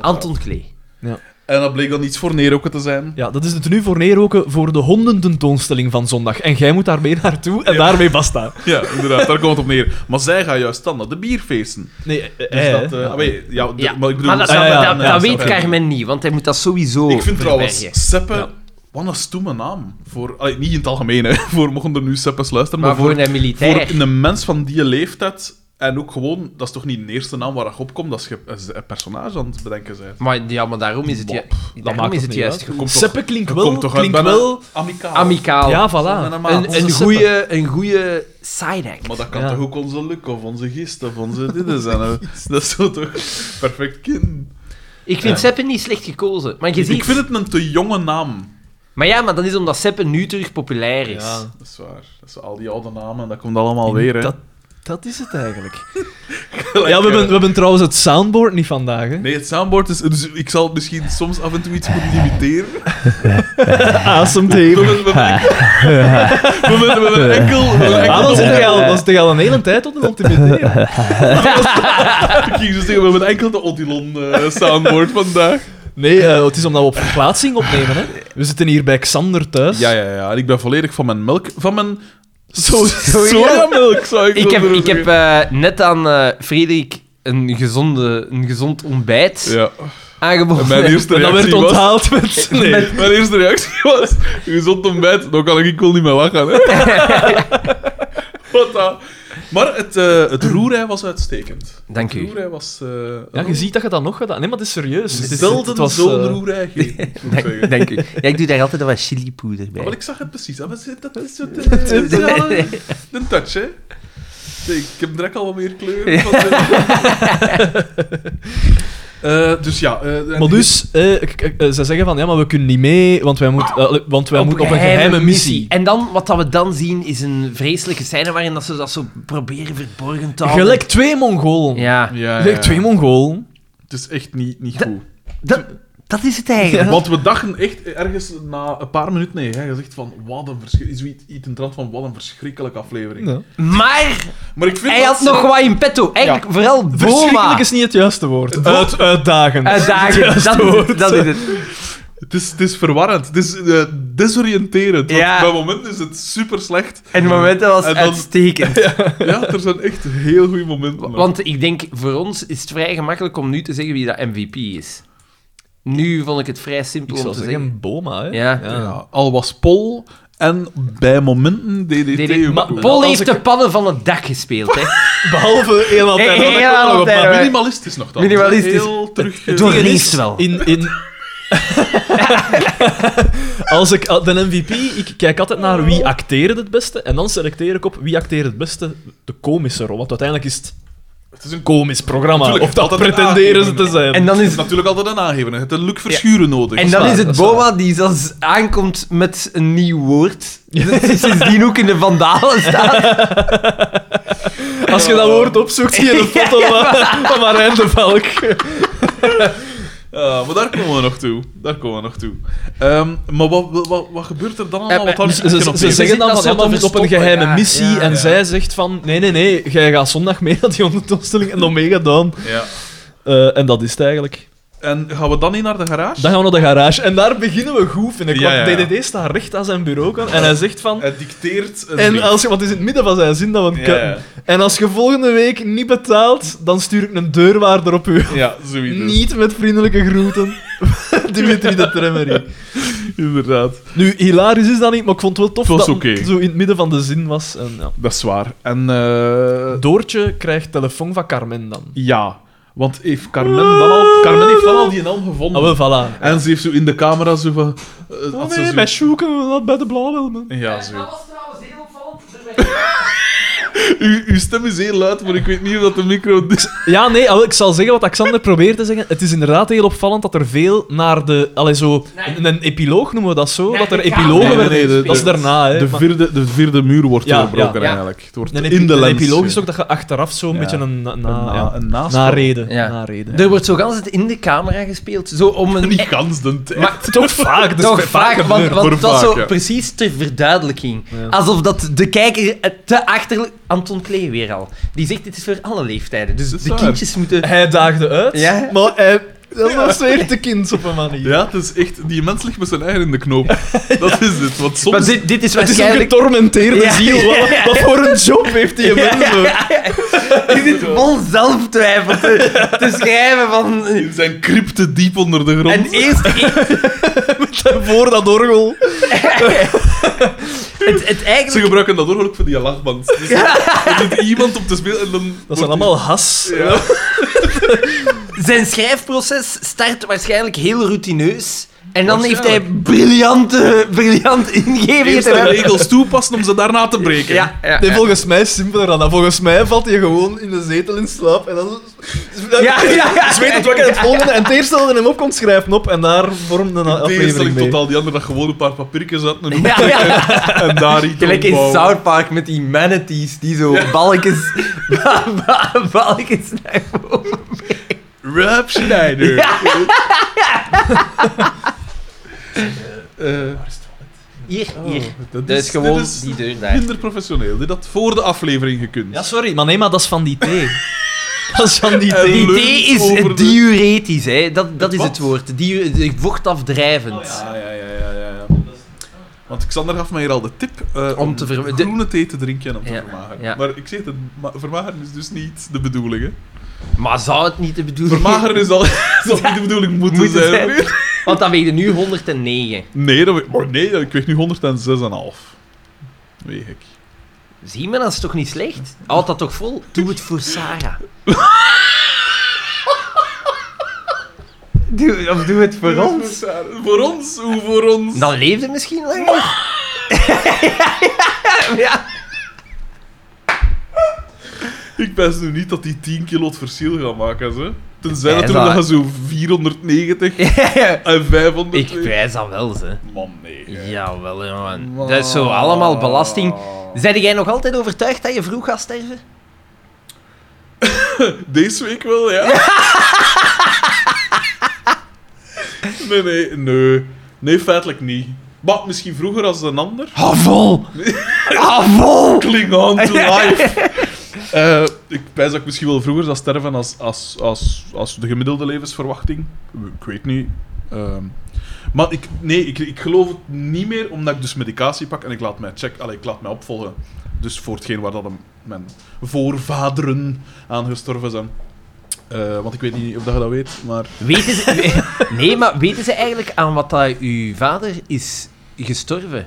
[SPEAKER 1] Anton Klee.
[SPEAKER 2] En dat bleek dan iets voor neerrokken te zijn.
[SPEAKER 3] Ja, dat is het nu voor neerroken voor de hondententoonstelling van zondag. En jij moet daarmee naartoe en daarmee basta.
[SPEAKER 2] Ja, inderdaad, daar komt het op neer. Maar zij gaan juist dan naar de bierfeesten.
[SPEAKER 3] Nee, eh,
[SPEAKER 2] Dus
[SPEAKER 3] eh,
[SPEAKER 2] dat, eh,
[SPEAKER 3] ja.
[SPEAKER 2] ah, wee, ja, de-
[SPEAKER 1] Ja.
[SPEAKER 2] maar ik bedoel...
[SPEAKER 1] Maar dat,
[SPEAKER 3] ja,
[SPEAKER 1] dat-
[SPEAKER 3] ja,
[SPEAKER 1] dat-
[SPEAKER 3] ja,
[SPEAKER 1] dat
[SPEAKER 3] ja,
[SPEAKER 1] weet
[SPEAKER 2] Seppe.
[SPEAKER 1] Carmen niet, want hij moet dat sowieso
[SPEAKER 2] Ik vind trouwens,
[SPEAKER 1] verbergen.
[SPEAKER 2] Seppe
[SPEAKER 3] Ja.
[SPEAKER 2] Wat een stoeme naam. Voor, allee, niet in het algemeen, hè. Voor mochten er nu seppes luisteren, maar,
[SPEAKER 1] Maar voor een militair.
[SPEAKER 2] voor een mens van die leeftijd... En ook gewoon, dat is toch niet de eerste naam waar je op komt als je een personage aan het bedenken bent.
[SPEAKER 1] Maar, ja, maar daarom is het, ju-
[SPEAKER 2] Bop,
[SPEAKER 1] daarom
[SPEAKER 3] maakt
[SPEAKER 1] is
[SPEAKER 3] het
[SPEAKER 1] het
[SPEAKER 3] niet
[SPEAKER 1] juist
[SPEAKER 3] uit.
[SPEAKER 1] goed.
[SPEAKER 2] Komt toch-
[SPEAKER 3] Seppen klinkt
[SPEAKER 2] dat
[SPEAKER 3] wel...
[SPEAKER 2] komt toch uit
[SPEAKER 3] Klinkt
[SPEAKER 2] bijna
[SPEAKER 3] wel...
[SPEAKER 2] Amicaal.
[SPEAKER 1] Amicaal.
[SPEAKER 3] Ja,
[SPEAKER 2] Zo met
[SPEAKER 3] voilà.
[SPEAKER 2] een maat.
[SPEAKER 1] Een, een,
[SPEAKER 3] Onze
[SPEAKER 1] goede, een goede side-act.
[SPEAKER 2] Maar dat kan
[SPEAKER 3] Ja.
[SPEAKER 2] toch ook onze Luc of onze Gist of onze dit zijn. hè? dat is zo toch perfect kind.
[SPEAKER 1] Ik vind Seppen niet slecht gekozen. Maar je
[SPEAKER 2] Ik,
[SPEAKER 1] ziet...
[SPEAKER 2] vind het een te jonge naam.
[SPEAKER 1] Maar ja, maar dat is omdat Seppen nu terug populair is.
[SPEAKER 3] Ja.
[SPEAKER 2] Dat is waar. Dat is al die oude namen, dat komt allemaal weer. Hè.
[SPEAKER 3] Dat, dat is het eigenlijk. ja, we hebben, we hebben trouwens het soundboard niet vandaag. Hè?
[SPEAKER 2] Nee, het soundboard is... Dus ik zal misschien soms af en toe iets moeten imiteren.
[SPEAKER 3] Awesome
[SPEAKER 2] We
[SPEAKER 3] table.
[SPEAKER 2] hebben, we hebben, we hebben, we hebben enkel... We hebben enkel
[SPEAKER 3] Ah, dat zit
[SPEAKER 2] de,
[SPEAKER 3] je al, dat zit je al een hele tijd op de hand te mediteren.
[SPEAKER 2] ik ging zo zeggen, dus we hebben enkel de Odilon eh, soundboard vandaag.
[SPEAKER 3] Nee, eh, het is omdat we op verplaatsing opnemen. Hè. We zitten hier bij Xander thuis.
[SPEAKER 2] Ja, ja, ja. En ik ben volledig van mijn melk... Van mijn... So
[SPEAKER 1] Soja.
[SPEAKER 2] sojamelk, zou ik
[SPEAKER 1] Ik
[SPEAKER 2] zo
[SPEAKER 1] heb,
[SPEAKER 2] durven
[SPEAKER 1] ik heb
[SPEAKER 2] zeggen.
[SPEAKER 1] eh, net aan eh Frederik een, gezonde, een gezond ontbijt
[SPEAKER 3] eh,
[SPEAKER 2] Ja.
[SPEAKER 1] aangeboden.
[SPEAKER 2] En mijn eerste
[SPEAKER 3] En dat
[SPEAKER 2] reactie
[SPEAKER 3] werd
[SPEAKER 2] was...
[SPEAKER 3] onthaald met...
[SPEAKER 2] Nee, mijn eerste reactie was... Gezond ontbijt, dan kan ik wel niet meer lachen. Hè. Wat dan? Maar het, eh, het roerij was uitstekend.
[SPEAKER 1] Dank
[SPEAKER 2] Het
[SPEAKER 1] u.
[SPEAKER 2] roerij was... eh,
[SPEAKER 3] Ja, je
[SPEAKER 2] een-
[SPEAKER 3] ziet dat je dat nog gedaan... Nee, maar het is serieus. Het is-
[SPEAKER 2] Zelden
[SPEAKER 3] het was,
[SPEAKER 2] zo'n
[SPEAKER 3] eh,
[SPEAKER 2] roerij gegeven, moet ik zeggen.
[SPEAKER 1] Dank, dank u. Ja, ik doe daar altijd wat chilipoeder bij.
[SPEAKER 2] Maar ik zag het precies. hè. Maar ze- Dat is zo... te- dat is wel Een een touch, hè. Nee, ik heb direct al wat meer kleur. van de- Eh, dus ja... eh, en-
[SPEAKER 3] Maar dus, eh, ik- ik- eh, ze zeggen van, ja, maar we kunnen niet mee, want wij moeten eh, want wij moeten op een geheime missie.
[SPEAKER 1] En dan, wat dat we dan zien, is een vreselijke scène waarin dat ze dat zo proberen verborgen te houden.
[SPEAKER 3] Gelijk twee Mongolen.
[SPEAKER 1] Ja.
[SPEAKER 2] Ja, ja,
[SPEAKER 3] Gelijk
[SPEAKER 2] ja.
[SPEAKER 3] twee Mongolen.
[SPEAKER 2] Het is echt niet, niet
[SPEAKER 1] Dat-
[SPEAKER 2] goed.
[SPEAKER 1] Dat, dat is het eigenlijk.
[SPEAKER 2] Want we dachten echt ergens na een paar minuten, nee, hè, je zegt van, wat een verschrikkelijk... Iets in de trant van, wat een verschrikkelijke aflevering.
[SPEAKER 3] Ja.
[SPEAKER 1] Maar
[SPEAKER 2] Maar ik vind
[SPEAKER 1] hij
[SPEAKER 2] dat
[SPEAKER 1] had nog wat in petto. Eigenlijk vooral Boma.
[SPEAKER 3] Verschrikkelijk is niet het juiste woord.
[SPEAKER 2] Bo-
[SPEAKER 3] Uit, uitdagend.
[SPEAKER 1] Uitdagend. Dat is het.
[SPEAKER 3] woord.
[SPEAKER 1] Dat is het.
[SPEAKER 2] Het is, het is verwarrend, het is eh, desoriënterend. want
[SPEAKER 1] Ja.
[SPEAKER 2] Bij momenten is het super slecht.
[SPEAKER 1] En het moment dat was
[SPEAKER 2] En dan-
[SPEAKER 1] uitstekend.
[SPEAKER 2] Ja, er zijn echt heel goede momenten.
[SPEAKER 1] Want ik denk, voor ons is het vrij gemakkelijk om nu te zeggen wie dat MVP is. Nu vond ik het vrij simpel
[SPEAKER 3] Ik
[SPEAKER 1] om
[SPEAKER 3] zou
[SPEAKER 1] te zeggen.
[SPEAKER 3] zeggen Boma, hè.
[SPEAKER 1] Ja.
[SPEAKER 2] ja, al was Pol en bij momenten DDT.
[SPEAKER 1] DDT.
[SPEAKER 2] ook
[SPEAKER 3] Maar
[SPEAKER 2] goed.
[SPEAKER 1] Paul
[SPEAKER 3] Als
[SPEAKER 1] heeft
[SPEAKER 3] ik-
[SPEAKER 1] de pannen van het dak gespeeld, hè.
[SPEAKER 3] Behalve heel
[SPEAKER 1] Hey,
[SPEAKER 3] altijd.
[SPEAKER 1] hey,
[SPEAKER 3] Hey,
[SPEAKER 1] hey. Ja,
[SPEAKER 2] Nog wat,
[SPEAKER 1] altijd,
[SPEAKER 2] maar
[SPEAKER 1] hè.
[SPEAKER 2] minimalistisch nog dan.
[SPEAKER 1] Minimalistisch.
[SPEAKER 2] Heel terug... eh,
[SPEAKER 1] Door- Links wel.
[SPEAKER 3] In, in... Als ik ah, de MVP, ik kijk altijd naar wie acteert het beste en dan selecteer ik op wie acteert het beste de komische rol. Want uiteindelijk is het
[SPEAKER 2] Het is een
[SPEAKER 3] komisch programma.
[SPEAKER 2] Tuurlijk,
[SPEAKER 3] Of dat
[SPEAKER 2] altijd een
[SPEAKER 3] pretenderen ze
[SPEAKER 2] aangeven.
[SPEAKER 3] te zijn.
[SPEAKER 1] En dan
[SPEAKER 2] Het
[SPEAKER 1] is
[SPEAKER 2] is natuurlijk altijd een aangeven. Je hebt een Luc Verschuren nodig.
[SPEAKER 1] En dan
[SPEAKER 3] waar,
[SPEAKER 1] is
[SPEAKER 3] dat
[SPEAKER 1] het
[SPEAKER 3] is waar.
[SPEAKER 1] Boma die zelfs aankomt met een nieuw woord. Dat is sindsdien ook in de vandalen staat.
[SPEAKER 3] Als je dat woord opzoekt, zie je een foto van, van Marijn de Valk.
[SPEAKER 2] Ja, maar daar komen we nog toe. Daar komen we nog toe. Ehm, maar wat, wat, wat, wat gebeurt er dan allemaal?
[SPEAKER 1] Eh,
[SPEAKER 2] Wat
[SPEAKER 1] eh,
[SPEAKER 2] houdt
[SPEAKER 3] Ze, ze-
[SPEAKER 2] zich
[SPEAKER 3] ze
[SPEAKER 2] op
[SPEAKER 3] zeggen dan
[SPEAKER 1] Dat
[SPEAKER 3] van,
[SPEAKER 1] soort
[SPEAKER 3] ja, maar we moeten op een
[SPEAKER 1] verstoppen,
[SPEAKER 3] geheime
[SPEAKER 1] ja,
[SPEAKER 3] missie.
[SPEAKER 1] ja,
[SPEAKER 3] en
[SPEAKER 2] ja.
[SPEAKER 3] zij zegt van, nee, nee, nee, jij gaat zondag mee naar die ondertoonstelling en dan mee gaan doen.
[SPEAKER 2] Ja.
[SPEAKER 3] Eh, en dat is het eigenlijk.
[SPEAKER 2] En gaan we dan niet naar de garage?
[SPEAKER 3] Dan gaan we naar de garage. En daar beginnen we goed, vind ik.
[SPEAKER 2] Ja,
[SPEAKER 3] want
[SPEAKER 2] ja, Eh, ja.
[SPEAKER 3] DDD staat recht aan zijn bureau kan, en hij zegt van...
[SPEAKER 2] Het dicteert een
[SPEAKER 3] En
[SPEAKER 2] brief.
[SPEAKER 3] als je, want het is in het midden van zijn zin dat we
[SPEAKER 2] Ja,
[SPEAKER 3] hem cutten.
[SPEAKER 2] ja.
[SPEAKER 3] En als je volgende week niet betaalt, dan stuur ik een deurwaarder op u.
[SPEAKER 2] Ja, zoiets.
[SPEAKER 3] Niet met vriendelijke groeten. Dimitri de Tremmery.
[SPEAKER 2] Inderdaad.
[SPEAKER 3] Nu, hilarisch is dat niet, maar ik vond het wel tof
[SPEAKER 2] Het was
[SPEAKER 3] dat
[SPEAKER 2] oké.
[SPEAKER 3] het zo in het midden van de zin was. En, ja.
[SPEAKER 2] Dat is waar. En eh,
[SPEAKER 3] Doortje krijgt telefoon van Carmen dan.
[SPEAKER 2] ja, want heeft Carmen dan al... Carmen heeft dan al die helm gevonden.
[SPEAKER 3] Ah, wel, Oh, voilà.
[SPEAKER 2] En ze heeft zo in de camera zo van... eh, had ze zo-
[SPEAKER 3] zoeken we dat bij de blauwhelmen.
[SPEAKER 2] Ja, zo.
[SPEAKER 1] was trouwens heel opvallend. dus
[SPEAKER 2] U, uw stem is heel luid, maar ik weet niet of dat de micro...
[SPEAKER 3] Ja, nee, ah, wel, ik zal zeggen wat Alexander probeert te zeggen. Het is inderdaad heel opvallend dat er veel naar de... Allee, zo...
[SPEAKER 1] Nee.
[SPEAKER 3] Een, een epiloog noemen we dat zo?
[SPEAKER 1] Nee,
[SPEAKER 3] dat er
[SPEAKER 1] ik ga-
[SPEAKER 3] epilogen
[SPEAKER 2] Nee, nee,
[SPEAKER 3] werden...
[SPEAKER 2] nee, de-
[SPEAKER 3] dat is daarna, hè.
[SPEAKER 2] De
[SPEAKER 3] maar-
[SPEAKER 2] vierde, de vierde muur wordt
[SPEAKER 3] Ja,
[SPEAKER 2] doorbroken
[SPEAKER 1] ja, ja.
[SPEAKER 2] eigenlijk. Het wordt
[SPEAKER 3] een epi-
[SPEAKER 2] in de
[SPEAKER 3] een
[SPEAKER 2] lens.
[SPEAKER 3] epiloog is ook dat je achteraf zo'n beetje een, na,
[SPEAKER 2] Een na-
[SPEAKER 3] ja,
[SPEAKER 2] een naspel.
[SPEAKER 3] narede.
[SPEAKER 1] Ja.
[SPEAKER 3] narede.
[SPEAKER 1] Er wordt zo gans het in de camera gespeeld. Zo om een...
[SPEAKER 2] Niet gans de tijd.
[SPEAKER 1] Maar
[SPEAKER 3] Toch vaak. Dus
[SPEAKER 1] toch vaak, want,
[SPEAKER 2] gebeurt.
[SPEAKER 1] want
[SPEAKER 2] Voor
[SPEAKER 1] dat is
[SPEAKER 2] vaak,
[SPEAKER 1] zo
[SPEAKER 2] ja.
[SPEAKER 1] precies ter verduidelijking.
[SPEAKER 3] Ja.
[SPEAKER 1] Alsof dat de kijker eh, te achterlijk... Anton Klee weer al. Die zegt, dit is voor alle leeftijden. Dus
[SPEAKER 2] Dat is
[SPEAKER 1] de
[SPEAKER 2] waar.
[SPEAKER 1] kindjes moeten...
[SPEAKER 3] Hij daagde uit,
[SPEAKER 1] Ja.
[SPEAKER 3] maar hij... Dat was weer te kind op een manier.
[SPEAKER 2] Ja, het is echt... Die mens ligt met zijn eigen in de knoop. Dat is het. Want soms...
[SPEAKER 1] Maar dit, dit is
[SPEAKER 3] Het is een
[SPEAKER 1] waarschijnlijk...
[SPEAKER 3] getormenteerde
[SPEAKER 1] Ja.
[SPEAKER 3] ziel. Wat, wat voor een job heeft die
[SPEAKER 1] Ja.
[SPEAKER 3] mens? ook?
[SPEAKER 1] Dit is vol zelftwijfel te, te schrijven van...
[SPEAKER 2] In zijn crypte diep onder de grond.
[SPEAKER 1] En eerst, e-
[SPEAKER 3] voor dat orgel.
[SPEAKER 1] Het, het eigenlijk...
[SPEAKER 2] Ze gebruiken dat ook voor die lachband. Dus er zit iemand op te spelen en dan...
[SPEAKER 3] Dat
[SPEAKER 2] wordt
[SPEAKER 3] zijn
[SPEAKER 2] die-
[SPEAKER 3] allemaal has.
[SPEAKER 2] Ja.
[SPEAKER 1] Zijn schrijfproces start waarschijnlijk heel routineus. En dan heeft hij
[SPEAKER 2] Waarschijnlijk.
[SPEAKER 1] briljante, briljante ingevingen
[SPEAKER 2] Eerst
[SPEAKER 1] te
[SPEAKER 2] de
[SPEAKER 1] hebben.
[SPEAKER 2] regels toepassen om ze daarna te breken.
[SPEAKER 1] Ja, ja,
[SPEAKER 3] Nee, volgens mij is simpeler dan dat. Volgens mij valt hij gewoon in de zetel in slaap en dan...
[SPEAKER 1] Ja, ja, ja.
[SPEAKER 3] Zweet het wakker en het volgende. En het eerste dat in hem opkomt, schrijft hem op. En daar vormt een
[SPEAKER 2] In tegenstelling
[SPEAKER 3] aflevering mee.
[SPEAKER 2] tot al die anderen dat gewoon een paar papiertjes hadden en,
[SPEAKER 1] ja, ja.
[SPEAKER 2] en daar iets
[SPEAKER 1] Gelijk in
[SPEAKER 2] opbouwen.
[SPEAKER 1] South Park met die manatees die zo balkjes, ba- ba- balkjes naar boven.
[SPEAKER 2] Rob Schneider.
[SPEAKER 1] Ja.
[SPEAKER 2] Eh, Oh,
[SPEAKER 1] Hier, hier.
[SPEAKER 2] dat
[SPEAKER 1] Dat is gewoon
[SPEAKER 2] dit is
[SPEAKER 1] die deur daar.
[SPEAKER 2] minder professioneel. Dit had voor de aflevering gekund.
[SPEAKER 3] Ja, sorry, maar nee, maar dat is van die thee. dat is van die
[SPEAKER 2] Eh,
[SPEAKER 3] thee.
[SPEAKER 1] Die
[SPEAKER 2] leunt
[SPEAKER 1] thee is
[SPEAKER 2] over de-
[SPEAKER 1] diuretisch, hè. dat, dat is
[SPEAKER 2] Wat? Ah,
[SPEAKER 1] het woord. Diu de- vochtafdrijvend.
[SPEAKER 2] ja, ja, ja, ja, ja, ja. Want Xander gaf mij hier al de tip eh,
[SPEAKER 1] Om
[SPEAKER 2] om,
[SPEAKER 1] te
[SPEAKER 2] te
[SPEAKER 1] ver- de-
[SPEAKER 2] groene thee te drinken en om te
[SPEAKER 1] Ja,
[SPEAKER 2] vermageren.
[SPEAKER 1] ja.
[SPEAKER 2] Maar ik zeg het, ma- vermageren is dus niet de bedoeling. Hè.
[SPEAKER 1] Maar zou het niet de bedoeling
[SPEAKER 2] Vermageren is al, zal niet de bedoeling moeten,
[SPEAKER 1] Moet het
[SPEAKER 2] zijn.
[SPEAKER 1] zijn. Want dan weeg je nu 109.
[SPEAKER 2] Nee, dat, we- maar nee, dat- ik weeg nu 106,5. Weeg ik.
[SPEAKER 1] Zie maar, dat is toch niet slecht? Houd dat toch vol? Doe het voor Sarah. doe, of doe het voor ons.
[SPEAKER 2] Voor ons? Hoe voor ons?
[SPEAKER 1] Dan leeft het misschien langer. ja, ja,
[SPEAKER 2] Ik pens nu niet dat die 10 kilo het verschil gaan maken, hè. Tenzij
[SPEAKER 1] Ja,
[SPEAKER 2] natuurlijk
[SPEAKER 1] dat-
[SPEAKER 2] dat je zo 490
[SPEAKER 1] ja.
[SPEAKER 2] en 500...
[SPEAKER 1] Ik wijs dat wel, ze.
[SPEAKER 2] Man, nee. hè.
[SPEAKER 1] Jawel, jongen. Dat is zo allemaal belasting. Zijn jij nog altijd overtuigd dat je vroeg gaat sterven?
[SPEAKER 2] Deze week wel, ja. nee, nee, nee. Nee, feitelijk niet. Maar misschien vroeger als een ander.
[SPEAKER 1] Havol! Havol!
[SPEAKER 2] Kling on to life. Eh, ik pijs dat ik misschien wel vroeger zou sterven als, als, als, als de gemiddelde levensverwachting. Ik weet niet. Ehm, maar ik, nee, ik, ik geloof het niet meer, omdat ik dus medicatie pak en ik laat mij check, allee, ik laat mij opvolgen. Dus voor hetgeen waar dat hem- mijn voorvaderen aan gestorven zijn. Eh, want ik weet niet of dat je dat weet, maar...
[SPEAKER 1] Weten ze... Nee, maar weten ze eigenlijk aan wat dat uw vader is gestorven?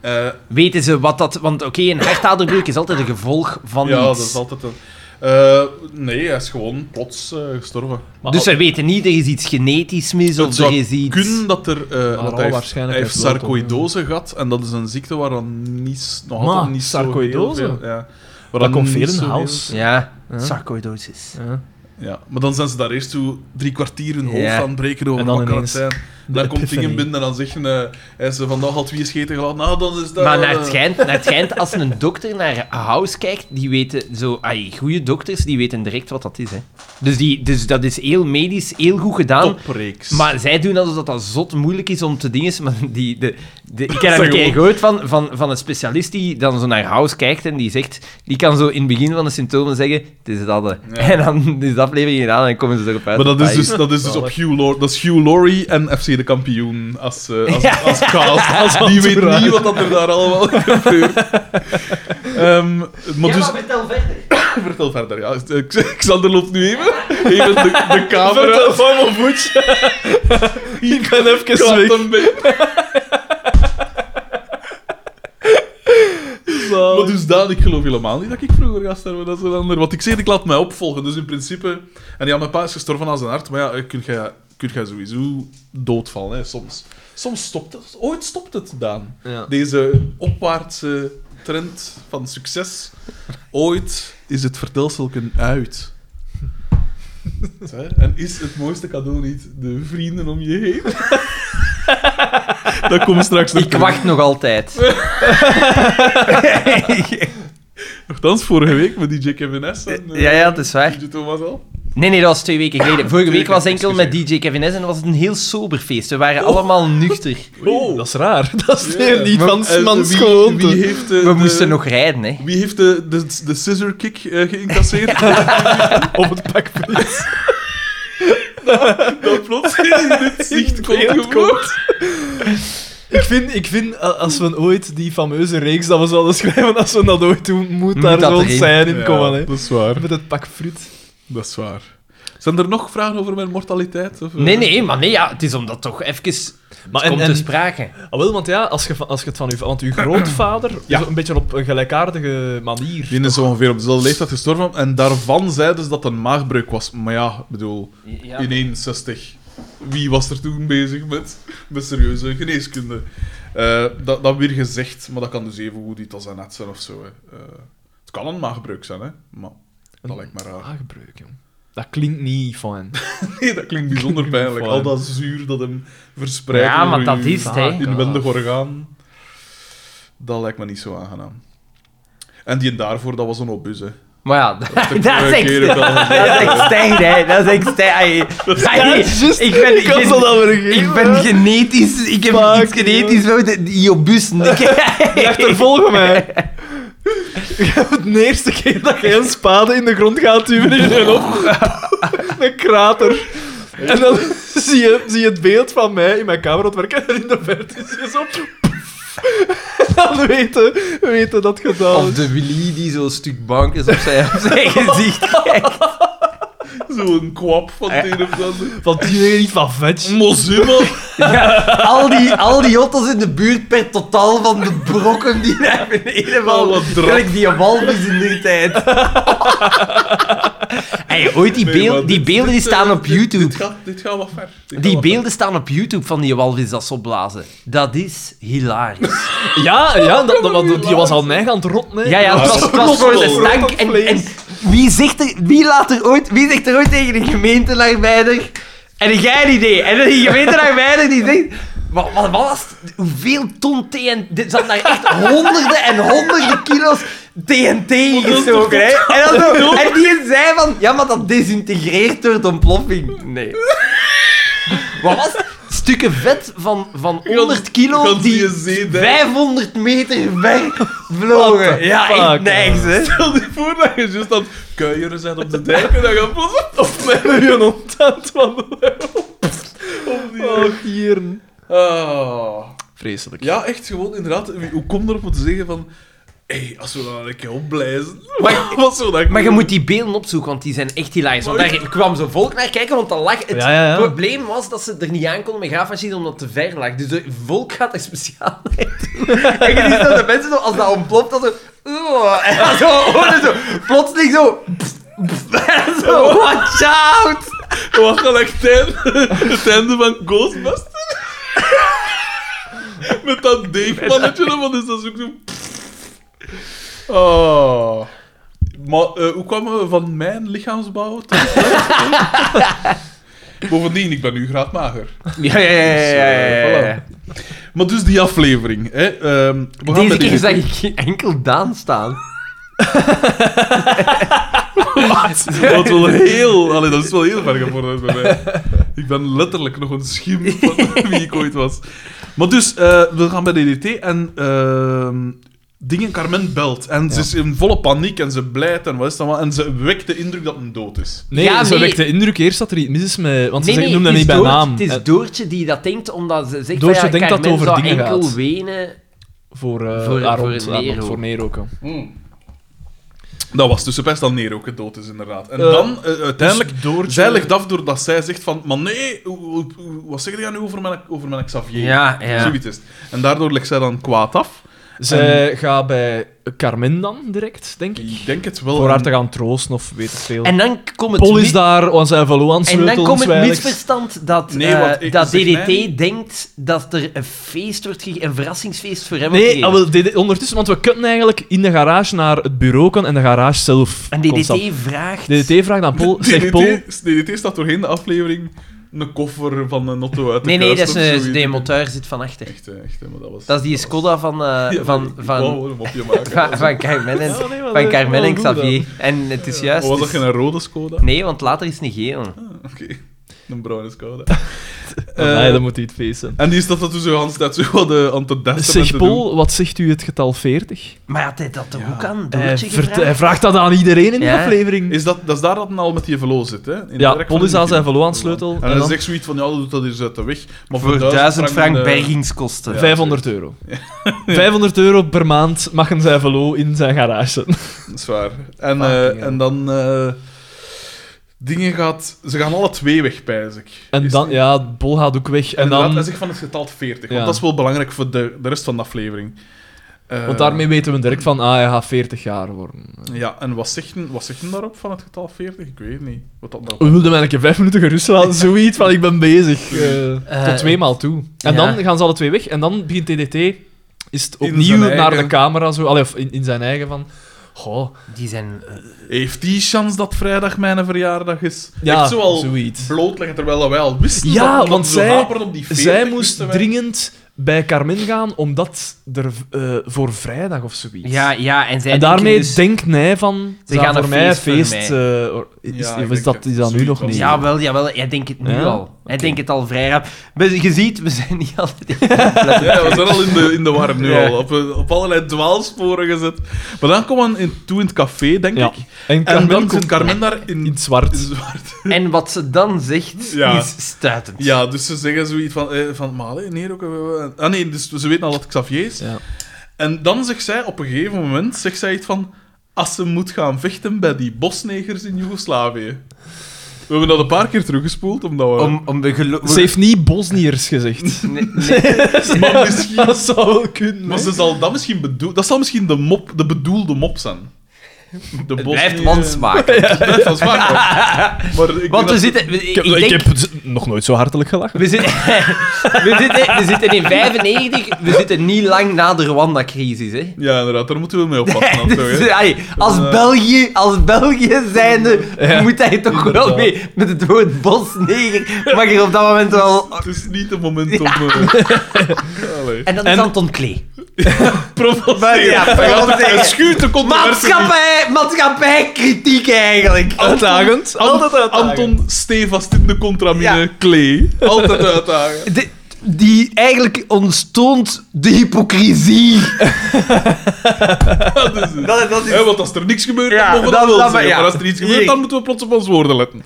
[SPEAKER 2] eh,
[SPEAKER 1] Weten ze wat dat... Want oké, een hartaderbreuk is altijd een gevolg van
[SPEAKER 2] ja,
[SPEAKER 1] iets.
[SPEAKER 2] dat is altijd een... Eh, nee, hij is gewoon plots eh, gestorven.
[SPEAKER 3] Maar
[SPEAKER 1] Dus
[SPEAKER 3] al-
[SPEAKER 1] ze weten niet, er is iets genetisch mis
[SPEAKER 2] Het
[SPEAKER 1] of er
[SPEAKER 2] zou
[SPEAKER 1] is iets...
[SPEAKER 2] kunnen dat er... eh want
[SPEAKER 3] al
[SPEAKER 2] hij heeft, hij
[SPEAKER 3] waarschijnlijk
[SPEAKER 2] heeft
[SPEAKER 3] is wel toch,
[SPEAKER 2] sarcoïdose gehad. En dat is een ziekte waar dan niet, nog
[SPEAKER 3] Maar,
[SPEAKER 2] altijd niet zo heel
[SPEAKER 3] sarcoïdose?
[SPEAKER 2] veel- Ja, waar
[SPEAKER 3] dat komt
[SPEAKER 2] niet
[SPEAKER 3] veel in
[SPEAKER 2] zo
[SPEAKER 3] huis.
[SPEAKER 1] Ja,
[SPEAKER 3] Ja.
[SPEAKER 1] sarcoidosis.
[SPEAKER 3] Ja.
[SPEAKER 2] heel- Ja, maar dan zijn ze daar eerst toe drie kwartier hun hoofd
[SPEAKER 1] Ja.
[SPEAKER 2] aan het breken over
[SPEAKER 3] En dan
[SPEAKER 2] wat kan het
[SPEAKER 3] ineens
[SPEAKER 2] zijn. Dan komt
[SPEAKER 3] epiphany.
[SPEAKER 2] dingen binnen en dan zeggen eh, hij ze vandaag al twee scheten gelaten. Nou, dan is dat...
[SPEAKER 1] Maar naar het,
[SPEAKER 2] eh,
[SPEAKER 1] schijnt, naar het schijnt, als een dokter naar House kijkt, die weten zo... Ai, goede dokters, die weten direct wat dat is, hè. Dus, die, dus dat is heel medisch, heel goed gedaan.
[SPEAKER 2] Topreeks.
[SPEAKER 1] Maar zij doen alsof dat, dat zot moeilijk is om te dingen. Maar die, de, de, ik heb daar een
[SPEAKER 2] Zeg
[SPEAKER 1] keer
[SPEAKER 2] gewoon.
[SPEAKER 1] gehoord van, van, van een specialist die dan zo naar House kijkt en die zegt... Die kan zo in het begin van de symptomen zeggen, het is dat. hè."
[SPEAKER 2] Ja.
[SPEAKER 1] En dan is de aflevering gedaan en dan komen ze erop uit.
[SPEAKER 2] Maar dat is
[SPEAKER 1] Ai.
[SPEAKER 2] dus, dat is dus op Hugh Laurie, dat is Hugh Laurie en FC de kampioen als, eh, als, als cast. Die weet
[SPEAKER 3] entourage.
[SPEAKER 2] niet wat dat er daar allemaal gebeurt. Ehm, maar dus,
[SPEAKER 1] vertel verder.
[SPEAKER 2] vertel verder. Ja. Ik- Xander loopt nu even, even de, de camera.
[SPEAKER 3] van mijn voetje. ik ben even
[SPEAKER 2] Gaat
[SPEAKER 3] weg.
[SPEAKER 2] een beetje- Maar dus Daan, ik geloof helemaal niet dat ik vroeger ga sterven als een ander. Want ik zeg, ik laat mij opvolgen. Dus in principe... En ja, mijn pa is gestorven aan zijn hart. Maar ja, eh, kun jij, kun jij sowieso doodvallen, hè, soms. Soms stopt het. Ooit stopt het, Daan.
[SPEAKER 3] Ja.
[SPEAKER 2] Deze opwaartse trend van succes. Ooit is het vertelselken uit. Hè? En is het mooiste cadeau niet de vrienden om je heen? Dat komt straks nog
[SPEAKER 1] Ik wacht nog altijd.
[SPEAKER 2] Nogthans, vorige week met DJ Kevin S. En, eh,
[SPEAKER 1] Ja, ja, het is waar.
[SPEAKER 2] DJ Thomas al.
[SPEAKER 1] Nee, nee, dat was twee weken geleden. Vorige
[SPEAKER 2] Twee
[SPEAKER 1] week was
[SPEAKER 2] weken,
[SPEAKER 1] enkel met DJ Kevin S en dat was een heel sober feest. We waren allemaal nuchter.
[SPEAKER 3] Oh, dat is raar. Dat is
[SPEAKER 2] Ja.
[SPEAKER 3] niet van
[SPEAKER 2] En
[SPEAKER 3] mans
[SPEAKER 2] Eh, wie-
[SPEAKER 3] gewoonte.
[SPEAKER 2] Wie heeft, eh,
[SPEAKER 1] We
[SPEAKER 2] de-
[SPEAKER 1] moesten nog rijden, hè.
[SPEAKER 2] Wie heeft de, de, de scissor kick eh, geïncasseerd?
[SPEAKER 3] Op het pakpunt.
[SPEAKER 2] Dat plots in dit zicht komt
[SPEAKER 3] beeld
[SPEAKER 2] gewoon.
[SPEAKER 3] Ik vind, ik vind, a- als we ooit die fameuze reeks dat we zouden schrijven, als we dat ooit doen, moet,
[SPEAKER 1] Moet
[SPEAKER 3] daar
[SPEAKER 1] dat
[SPEAKER 3] zo'n
[SPEAKER 1] erin.
[SPEAKER 3] scène in komen.
[SPEAKER 2] Ja,
[SPEAKER 3] Hè.
[SPEAKER 2] dat is waar.
[SPEAKER 3] Met het pak fruit.
[SPEAKER 2] Dat is waar. Zijn er nog vragen over mijn mortaliteit? Of, eh?
[SPEAKER 1] Nee, nee, maar nee, ja, het is omdat toch even... het
[SPEAKER 3] Maar en-
[SPEAKER 1] komt
[SPEAKER 3] en-
[SPEAKER 1] te sprake.
[SPEAKER 3] Ah, wel, want ja, als je, van- als je het van je... Want uw grootvader
[SPEAKER 2] Ja.
[SPEAKER 3] is een beetje op een gelijkaardige manier.
[SPEAKER 2] Die is zo ongeveer op dezelfde leeftijd gestorven. En daarvan zeiden ze dat het een maagbreuk was. Maar ja, ik bedoel,
[SPEAKER 1] Ja.
[SPEAKER 2] in 61. Wie was er toen bezig met, met serieuze geneeskunde? Eh, dat, dat weer gezegd, maar dat kan dus even goed iets als een net zijn of zo. Hè. Eh, het kan een maagbreuk zijn, hè? maar dat lijkt me raar.
[SPEAKER 3] Aangebreuk, Ah, jong. Dat klinkt niet fijn.
[SPEAKER 2] Nee, dat klinkt bijzonder pijnlijk.
[SPEAKER 3] Fijn.
[SPEAKER 2] Al dat zuur dat hem verspreidt.
[SPEAKER 1] Ja, maar
[SPEAKER 2] over
[SPEAKER 1] dat
[SPEAKER 2] uw
[SPEAKER 1] is het, hè.
[SPEAKER 2] Inwendig orgaan. Dat lijkt me niet zo aangenaam. En die daarvoor, dat was een obus, hè.
[SPEAKER 1] Maar ja,
[SPEAKER 2] heb ik
[SPEAKER 1] dat is
[SPEAKER 2] vorige
[SPEAKER 1] echt...
[SPEAKER 2] keer ook al
[SPEAKER 1] Dat is echt stijl, hè. Dat is echt stijl. Ik ben...
[SPEAKER 3] Ik had
[SPEAKER 1] gen-
[SPEAKER 3] dat wel weer
[SPEAKER 1] Ik
[SPEAKER 3] gegeven.
[SPEAKER 1] ben genetisch... Ik heb
[SPEAKER 3] Fuck,
[SPEAKER 1] iets genetisch voor de Iobus.
[SPEAKER 3] Die achtervolgen mij. De eerste keer dat je een spade in de grond gaat duwen, is er op. Een krater. En dan zie je, zie je het beeld van mij in mijn kamer aan het werken en in de verte is je zo... En dan weten, weten dat gedaan
[SPEAKER 1] Of
[SPEAKER 3] is.
[SPEAKER 1] de Willy die zo'n stuk bank is op zijn, op zijn gezicht.
[SPEAKER 2] Zo'n kwap van het een of het ander.
[SPEAKER 3] Want die weet niet van vet.
[SPEAKER 2] Mozilla.
[SPEAKER 1] Ja, al, die, al die auto's in de buurt per totaal van de brokken die naar beneden
[SPEAKER 2] Oh,
[SPEAKER 1] vallen.
[SPEAKER 2] wat drap.
[SPEAKER 1] Gelijk die walvis in de tijd. Hey, ooit die,
[SPEAKER 2] Nee,
[SPEAKER 1] beeld-
[SPEAKER 2] maar
[SPEAKER 1] die
[SPEAKER 2] dit-
[SPEAKER 1] beelden die
[SPEAKER 2] dit,
[SPEAKER 1] staan
[SPEAKER 2] eh,
[SPEAKER 1] op
[SPEAKER 2] dit-
[SPEAKER 1] YouTube.
[SPEAKER 2] Dit, gaat, dit gaat wat ver. Dit gaat
[SPEAKER 1] Die
[SPEAKER 2] wat ver.
[SPEAKER 1] beelden staan op YouTube van die walvis dat ze opblazen. Dat is hilarisch.
[SPEAKER 3] Ja, ja dat, dat- dat- die was al mij aan het rotten. hè.
[SPEAKER 1] Ja, ja, het was, het was voor de
[SPEAKER 3] Rotten,
[SPEAKER 1] stank.
[SPEAKER 3] rotten
[SPEAKER 1] En, en
[SPEAKER 3] vlees.
[SPEAKER 1] wie, zegt er, wie, laat er ooit, wie zegt er ooit tegen een gemeentelagwijder... En jij een idee. En die gemeentelagwijder die zegt... Wat, wat, wat was het? Hoeveel ton TNT... Dit zat daar echt honderden en honderden kilo's TNT in gestoken, hè? En, dan zo, en die zei van... Ja, maar dat desintegreert door de ontploffing. Nee. Wat was het? Stukken vet van, van 100 kilo
[SPEAKER 2] gans die
[SPEAKER 1] die
[SPEAKER 2] zeedijk.
[SPEAKER 1] 500 meter ver
[SPEAKER 3] What
[SPEAKER 1] vlogen.
[SPEAKER 3] the
[SPEAKER 1] Ja, echt
[SPEAKER 3] fuck,
[SPEAKER 1] niks, hè.
[SPEAKER 2] Stel je voor dat je juist aan het kuieren bent op de dijk en dan gaat plots op
[SPEAKER 3] Of mij er een ontdekt van.
[SPEAKER 2] die...
[SPEAKER 3] Oh, dieren.
[SPEAKER 2] Ah.
[SPEAKER 3] Vreselijk.
[SPEAKER 2] Ja, echt gewoon inderdaad. Wie- Hoe kom erop om te zeggen van... Hé, hey, als we dan een keer opblijzen...
[SPEAKER 1] Maar-
[SPEAKER 2] wat zou dat
[SPEAKER 1] Maar je moet die beelden opzoeken, want die zijn echt hilarisch. Want daar kwam zo volk naar kijken, want dat lag... Het
[SPEAKER 3] Ja, ja, ja.
[SPEAKER 1] probleem was dat ze er niet aan konden met graafmachines, omdat het te ver lag. Dus de volk gaat er speciaal naartoe. En je ziet dat de mensen, zo, als dat ontploft, dat zo... "Oeh," En dan zo, horen zo plotseling zo... pst, pst, en zo, watch out!
[SPEAKER 2] Wat kan ik zijn? Het einde van Ghostbusters? Met dat Dave-mannetje, want is dat ook zo... Oh. Maar eh, hoe kwamen we van mijn lichaamsbouw tot... Bovendien, ik ben nu graadmager.
[SPEAKER 1] Ja, ja, ja,
[SPEAKER 2] Dus,
[SPEAKER 1] ja, ja,
[SPEAKER 2] eh,
[SPEAKER 1] ja, ja.
[SPEAKER 2] voilà. Maar dus die aflevering. Hè. ehm, we gaan
[SPEAKER 1] Deze
[SPEAKER 2] met die-
[SPEAKER 1] keer zag ik geen enkel Daan staan.
[SPEAKER 2] Dat is wel heel... Allee, dat is wel heel ver gevorderd bij mij. Ik ben letterlijk nog een schim van wie ik ooit was. Maar dus, eh, we gaan bij DDT en... ehm, Dingen, Carmen belt en ze is in volle paniek en ze blijft en wat is dat allemaal. En ze wekt de indruk dat een dood is.
[SPEAKER 3] Nee,
[SPEAKER 1] Ja,
[SPEAKER 3] ze
[SPEAKER 1] nee.
[SPEAKER 3] wekt de indruk eerst dat er iets mis is met... Want ze
[SPEAKER 1] Nee,
[SPEAKER 3] zegt,
[SPEAKER 1] nee,
[SPEAKER 3] noem dat
[SPEAKER 1] het
[SPEAKER 3] niet
[SPEAKER 1] is
[SPEAKER 3] bij
[SPEAKER 1] Doort-
[SPEAKER 3] naam.
[SPEAKER 1] Het is Doortje die dat denkt, omdat ze zegt
[SPEAKER 3] Doortje
[SPEAKER 1] van, ja,
[SPEAKER 3] denkt dat het
[SPEAKER 1] Carmen
[SPEAKER 3] over
[SPEAKER 1] zou
[SPEAKER 3] dingen
[SPEAKER 1] enkel
[SPEAKER 3] gaat.
[SPEAKER 1] wenen.
[SPEAKER 3] Voor, eh
[SPEAKER 1] Voor-
[SPEAKER 3] haar
[SPEAKER 1] voor
[SPEAKER 3] hond,
[SPEAKER 1] Nero.
[SPEAKER 3] haar hond, voor Nero ook. hè.
[SPEAKER 2] Dat was tussen pest en neer ook het dood is, inderdaad. En
[SPEAKER 3] Eh,
[SPEAKER 2] dan, eh, uiteindelijk,
[SPEAKER 3] dus Doortje-
[SPEAKER 2] zij legt af doordat zij zegt van... Maar nee, hoe- hoe- hoe- wat zeg jij nu over mijn, over mijn Xavier?
[SPEAKER 1] Ja, ja.
[SPEAKER 2] Zoiets is het. En daardoor legt zij dan kwaad af.
[SPEAKER 3] Zij gaat bij Carmen dan direct, denk ik.
[SPEAKER 2] Ik denk het wel.
[SPEAKER 3] Voor haar te gaan troosten of weet het veel.
[SPEAKER 1] En dan komt het,
[SPEAKER 3] Paul
[SPEAKER 1] mi-
[SPEAKER 3] is daar, want zij verloor aan
[SPEAKER 1] en dan
[SPEAKER 3] sleutels,
[SPEAKER 1] komt het
[SPEAKER 3] weiligs.
[SPEAKER 1] misverstand dat,
[SPEAKER 2] Nee,
[SPEAKER 1] eh,
[SPEAKER 2] want ik-
[SPEAKER 1] dat
[SPEAKER 2] zeg
[SPEAKER 1] DDT
[SPEAKER 2] mij-
[SPEAKER 1] denkt dat er een feest wordt gegeven, een verrassingsfeest voor hem wordt
[SPEAKER 3] Nee,
[SPEAKER 1] gegeven.
[SPEAKER 3] ah, wel, DD ondertussen, want we kunnen eigenlijk in de garage naar het bureau gaan en de garage zelf.
[SPEAKER 1] En
[SPEAKER 3] constant.
[SPEAKER 1] DDT vraagt...
[SPEAKER 3] DDT vraagt aan Paul, zegt Paul...
[SPEAKER 2] DDT, DDT staat doorheen de aflevering een koffer van een auto uit de
[SPEAKER 1] nee, nee, dat
[SPEAKER 2] kast
[SPEAKER 1] is
[SPEAKER 2] of
[SPEAKER 1] een,
[SPEAKER 2] zoiets.
[SPEAKER 1] de motor zit van achter.
[SPEAKER 2] Echt, eh, echt, eh, maar dat was...
[SPEAKER 1] Dat is die
[SPEAKER 2] dat was-
[SPEAKER 1] Skoda van, eh,
[SPEAKER 2] Ja,
[SPEAKER 1] van,
[SPEAKER 2] ik
[SPEAKER 1] van,
[SPEAKER 2] wou gewoon een mopje maken.
[SPEAKER 1] van, van Carmen en,
[SPEAKER 3] Ja, nee, maar
[SPEAKER 1] van
[SPEAKER 3] dat-
[SPEAKER 1] Carmen
[SPEAKER 3] dat
[SPEAKER 1] en
[SPEAKER 3] is goed
[SPEAKER 1] Xavier. En het is
[SPEAKER 2] Of
[SPEAKER 1] juist...
[SPEAKER 2] was dat
[SPEAKER 1] dus-
[SPEAKER 2] geen rode Skoda?
[SPEAKER 1] Nee, want later is het een geel.
[SPEAKER 2] Ah, Oké, een bruine Skoda.
[SPEAKER 3] Oh,
[SPEAKER 2] Eh,
[SPEAKER 3] nee, dat moet hij het feesten.
[SPEAKER 2] En die staat dat toen zo de hele tijd zo wat eh, aan te duisteren en
[SPEAKER 3] Zeg
[SPEAKER 2] te
[SPEAKER 3] Paul, wat zegt u het getal 40?
[SPEAKER 1] Maar had hij dat toch ook aan
[SPEAKER 2] Eh,
[SPEAKER 3] Hij,
[SPEAKER 1] Doortje
[SPEAKER 3] vert- hij
[SPEAKER 1] gevraagd?
[SPEAKER 3] vraagt dat aan iedereen in de
[SPEAKER 1] Ja.
[SPEAKER 3] aflevering.
[SPEAKER 2] doen. Is dat, dat is daar dat men al met die velo zit, hè? In
[SPEAKER 3] Ja,
[SPEAKER 2] de rek van
[SPEAKER 3] Paul is
[SPEAKER 2] de
[SPEAKER 3] aan zijn
[SPEAKER 2] begin.
[SPEAKER 3] verloansleutel en
[SPEAKER 2] En dan
[SPEAKER 3] dan-
[SPEAKER 2] zegt zoiets van, ja, dat doet dat eens uit de weg. Maar
[SPEAKER 1] Voor 1000 frank
[SPEAKER 2] eh,
[SPEAKER 1] bergingskosten.
[SPEAKER 2] Ja.
[SPEAKER 3] 500 euro. 500 euro per maand mag een
[SPEAKER 2] eh,
[SPEAKER 3] zijn velo in zijn garage zetten.
[SPEAKER 2] Dat is waar. En,
[SPEAKER 1] Fucking
[SPEAKER 2] eh,
[SPEAKER 1] hell.
[SPEAKER 2] en dan... eh, dingen gaat... Ze gaan alle twee weg, pijs ik.
[SPEAKER 3] En
[SPEAKER 2] Is-
[SPEAKER 3] dan, ja, het bol gaat ook weg.
[SPEAKER 2] En
[SPEAKER 3] En
[SPEAKER 2] inderdaad,
[SPEAKER 3] dan,
[SPEAKER 2] hij zegt van het getal 40.
[SPEAKER 3] Ja.
[SPEAKER 2] Want dat is wel belangrijk voor de, de rest van de aflevering. Eh,
[SPEAKER 3] want daarmee weten we direct van, ah, hij gaat 40 jaar worden.
[SPEAKER 2] Ja, en wat zegt, men- wat zegt men daarop van het getal 40? Ik weet het niet. Wat dat nou...
[SPEAKER 3] We wilden mij een keer vijf minuten gerust laten, zoiets van ik ben bezig. Eh,
[SPEAKER 4] Eh,
[SPEAKER 3] tot twee maal toe. En
[SPEAKER 4] ja.
[SPEAKER 3] dan gaan ze alle twee weg en dan begint TDT, is het
[SPEAKER 2] In
[SPEAKER 3] opnieuw
[SPEAKER 2] zijn
[SPEAKER 3] naar de
[SPEAKER 2] eigen.
[SPEAKER 3] camera zo, allee, of in, in zijn eigen van, goh,
[SPEAKER 4] Die zijn... eh,
[SPEAKER 2] Heeft die kans dat vrijdag mijn verjaardag is?
[SPEAKER 3] ja,
[SPEAKER 2] Echt zo al
[SPEAKER 3] zoiets.
[SPEAKER 2] blootleggen, terwijl dat wij al wisten
[SPEAKER 3] Ja,
[SPEAKER 2] dat, dat
[SPEAKER 3] want
[SPEAKER 2] ze
[SPEAKER 3] zij-
[SPEAKER 2] haperen op die 40.
[SPEAKER 3] Zij moest
[SPEAKER 2] wisten wij.
[SPEAKER 3] dringend bij Carmen gaan, omdat er eh, voor vrijdag of zoiets.
[SPEAKER 4] ja, ja, en zij
[SPEAKER 3] en
[SPEAKER 4] denken
[SPEAKER 3] daarmee
[SPEAKER 4] dus-
[SPEAKER 3] denkt hij van,
[SPEAKER 4] Ze gaan
[SPEAKER 3] voor
[SPEAKER 4] een
[SPEAKER 3] mij
[SPEAKER 4] feest voor
[SPEAKER 3] feest...
[SPEAKER 4] mij.
[SPEAKER 3] eh, or- is,
[SPEAKER 2] Ja,
[SPEAKER 3] of
[SPEAKER 2] ik
[SPEAKER 3] is
[SPEAKER 2] denk
[SPEAKER 3] dat,
[SPEAKER 2] het.
[SPEAKER 3] is dat nu
[SPEAKER 2] Zoiets
[SPEAKER 3] nog
[SPEAKER 2] was
[SPEAKER 3] niet?
[SPEAKER 2] het.
[SPEAKER 3] Ja,
[SPEAKER 4] Jawel, jawel, jij denkt het nu
[SPEAKER 3] Ja?
[SPEAKER 4] al. Hij
[SPEAKER 3] Oké.
[SPEAKER 4] denkt het al vrij rap. Maar je ziet, we zijn niet altijd...
[SPEAKER 2] Ja, we zijn al in de, in de war nu
[SPEAKER 4] Ja.
[SPEAKER 2] al. Op, op allerlei dwaalsporen gezet. Maar dan komen we in, toe in het café, denk ik.
[SPEAKER 3] En
[SPEAKER 2] En
[SPEAKER 3] Carmen Dus
[SPEAKER 2] dan komt
[SPEAKER 3] komt
[SPEAKER 2] Carmen daar in,
[SPEAKER 3] in het zwart.
[SPEAKER 2] in zwart.
[SPEAKER 4] En wat ze dan zegt,
[SPEAKER 2] Ja.
[SPEAKER 4] is stuitend.
[SPEAKER 2] Ja, dus ze zeggen zoiets van... Eh, van maar allee, nee, ook, eh, eh, ah nee, dus ze weten al dat het Xavier is.
[SPEAKER 3] Ja.
[SPEAKER 2] En dan zegt zij op een gegeven moment zegt zij iets van... Als ze moet gaan vechten bij die bosnegers in Joegoslavië. We hebben dat een paar keer teruggespoeld, omdat we...
[SPEAKER 4] Om, om de gelo-
[SPEAKER 3] Ze heeft niet Bosniërs gezegd.
[SPEAKER 4] Nee, nee.
[SPEAKER 2] Maar misschien-
[SPEAKER 3] Dat zou wel kunnen.
[SPEAKER 2] Maar
[SPEAKER 3] hè?
[SPEAKER 2] ze zal dat misschien bedoel... Dat zal misschien de, mop, de bedoelde mop zijn. De
[SPEAKER 4] Het
[SPEAKER 2] Bosnië-
[SPEAKER 4] blijft wansmaak.
[SPEAKER 2] Het blijft wansmaak. Maar ik denk
[SPEAKER 4] Want we
[SPEAKER 2] dat-
[SPEAKER 4] zitten... Ik,
[SPEAKER 3] Ik heb,
[SPEAKER 4] denk-
[SPEAKER 3] ik heb z- nog nooit zo hartelijk gelachen.
[SPEAKER 4] We zitten, we, zitten, we zitten in 95, we zitten niet lang na de Rwanda-crisis. Hè?
[SPEAKER 2] Ja, inderdaad, daar moeten we mee oppassen. dan toch, hè.
[SPEAKER 4] Dus, allee, als,
[SPEAKER 2] Eh.
[SPEAKER 4] België, als België zijnde
[SPEAKER 3] Ja,
[SPEAKER 4] moet hij toch wel
[SPEAKER 3] inderdaad.
[SPEAKER 4] mee met het woord bosneger. Mag je op dat moment wel...
[SPEAKER 2] Het is niet het moment om... eh, Allee.
[SPEAKER 4] En dat is
[SPEAKER 3] En-
[SPEAKER 4] Anton Klee.
[SPEAKER 2] Provoceren.
[SPEAKER 4] Ja, provoceren.
[SPEAKER 2] Het schuurt de controversie.
[SPEAKER 4] Maatschappij, maatschappijkritiek eigenlijk.
[SPEAKER 3] Uitdagend. Altijd uitdagend.
[SPEAKER 2] Anton stevast in de contramine
[SPEAKER 4] Ja.
[SPEAKER 2] klee. Altijd uitdagen.
[SPEAKER 4] De- die eigenlijk ontstoont de hypocrisie.
[SPEAKER 2] Dat is het.
[SPEAKER 4] Dat, dat is...
[SPEAKER 2] Hè, want als er niks gebeurt,
[SPEAKER 4] Ja,
[SPEAKER 2] dan mogen we
[SPEAKER 4] dat-
[SPEAKER 2] dat wel
[SPEAKER 4] dat-
[SPEAKER 2] zeggen.
[SPEAKER 4] ja.
[SPEAKER 2] Maar als er iets gebeurt,
[SPEAKER 4] Hier.
[SPEAKER 2] dan moeten we plots op ons woorden letten.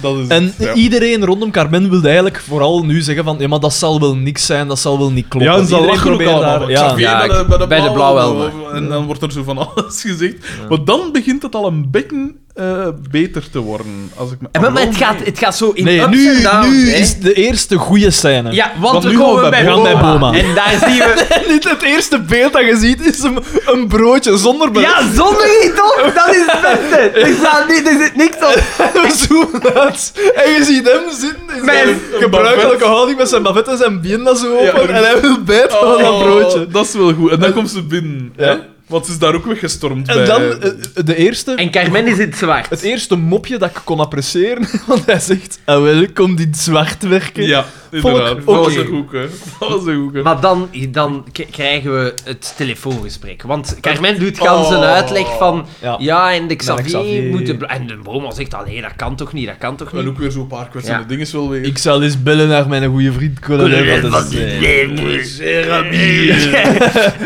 [SPEAKER 2] Dat is
[SPEAKER 3] En
[SPEAKER 2] het, ja.
[SPEAKER 3] iedereen rondom Carmen wilde eigenlijk vooral nu zeggen van ja, maar dat zal wel niks zijn, dat zal wel niet kloppen.
[SPEAKER 2] Ja, en ze
[SPEAKER 3] Iedereen
[SPEAKER 2] lachen ook
[SPEAKER 3] probeert
[SPEAKER 2] allemaal.
[SPEAKER 3] daar-
[SPEAKER 2] Ik
[SPEAKER 3] ja.
[SPEAKER 2] zag hier
[SPEAKER 4] Ja,
[SPEAKER 2] bij de, bij de,
[SPEAKER 4] bij de
[SPEAKER 2] blauwe-
[SPEAKER 4] blauwe
[SPEAKER 2] En dan wordt er zo van alles gezegd. Maar dan begint het al een beetje eh, beter te worden. Als ik me
[SPEAKER 4] En maar, maar
[SPEAKER 2] Alom-
[SPEAKER 4] het, gaat, het gaat zo in
[SPEAKER 3] Nee,
[SPEAKER 4] ups
[SPEAKER 3] nu,
[SPEAKER 4] en downs.
[SPEAKER 3] nu
[SPEAKER 4] hè.
[SPEAKER 3] is de eerste goede scène.
[SPEAKER 4] Ja, want,
[SPEAKER 3] Want
[SPEAKER 4] we
[SPEAKER 3] nu gaan
[SPEAKER 4] komen
[SPEAKER 3] we bij-
[SPEAKER 4] bij,
[SPEAKER 3] we gaan bij Boma.
[SPEAKER 4] En daar zien we...
[SPEAKER 3] En niet het eerste beeld dat je ziet is een, een broodje zonder beleg.
[SPEAKER 4] Ja, zonder niet op! Dat is het beste! Er, staat niet, er zit niks op.
[SPEAKER 3] We zoomen uit. En je ziet hem zitten in
[SPEAKER 4] Mijn
[SPEAKER 3] zijn gebruikelijke houding met zijn bavet en zijn bien dat zo open.
[SPEAKER 2] Ja, er-
[SPEAKER 3] en hij wil bijten van
[SPEAKER 2] Oh,
[SPEAKER 3] dat broodje.
[SPEAKER 2] Dat is wel goed. En dan komt ze binnen.
[SPEAKER 3] Ja.
[SPEAKER 2] hè? Want ze is daar ook weggestormd bij.
[SPEAKER 3] En dan eh, de eerste,
[SPEAKER 4] En Carmen is in het zwart.
[SPEAKER 3] het eerste mopje dat ik kon appreciëren. Want hij zegt, ah, welkom dit zwart werken.
[SPEAKER 2] Ja, inderdaad.
[SPEAKER 3] Volk,
[SPEAKER 2] Dat was
[SPEAKER 4] oké.
[SPEAKER 2] een goek, hè. Dat was een goek, hè.
[SPEAKER 4] Maar dan, dan k- krijgen we het telefoongesprek. Want Carmen doet gans een
[SPEAKER 2] Oh.
[SPEAKER 4] uitleg van...
[SPEAKER 3] Ja.
[SPEAKER 4] Ja, en de Xavier,
[SPEAKER 3] Xavier.
[SPEAKER 4] moeten... bl- En de Boma zegt al, nee, dat kan toch niet, dat kan toch
[SPEAKER 2] En
[SPEAKER 4] niet.
[SPEAKER 2] ook weer zo'n paar kwetsende
[SPEAKER 4] Ja.
[SPEAKER 2] dingen is wel weer.
[SPEAKER 3] Ik zal eens bellen naar mijn goede vriend Colonel van de Zee.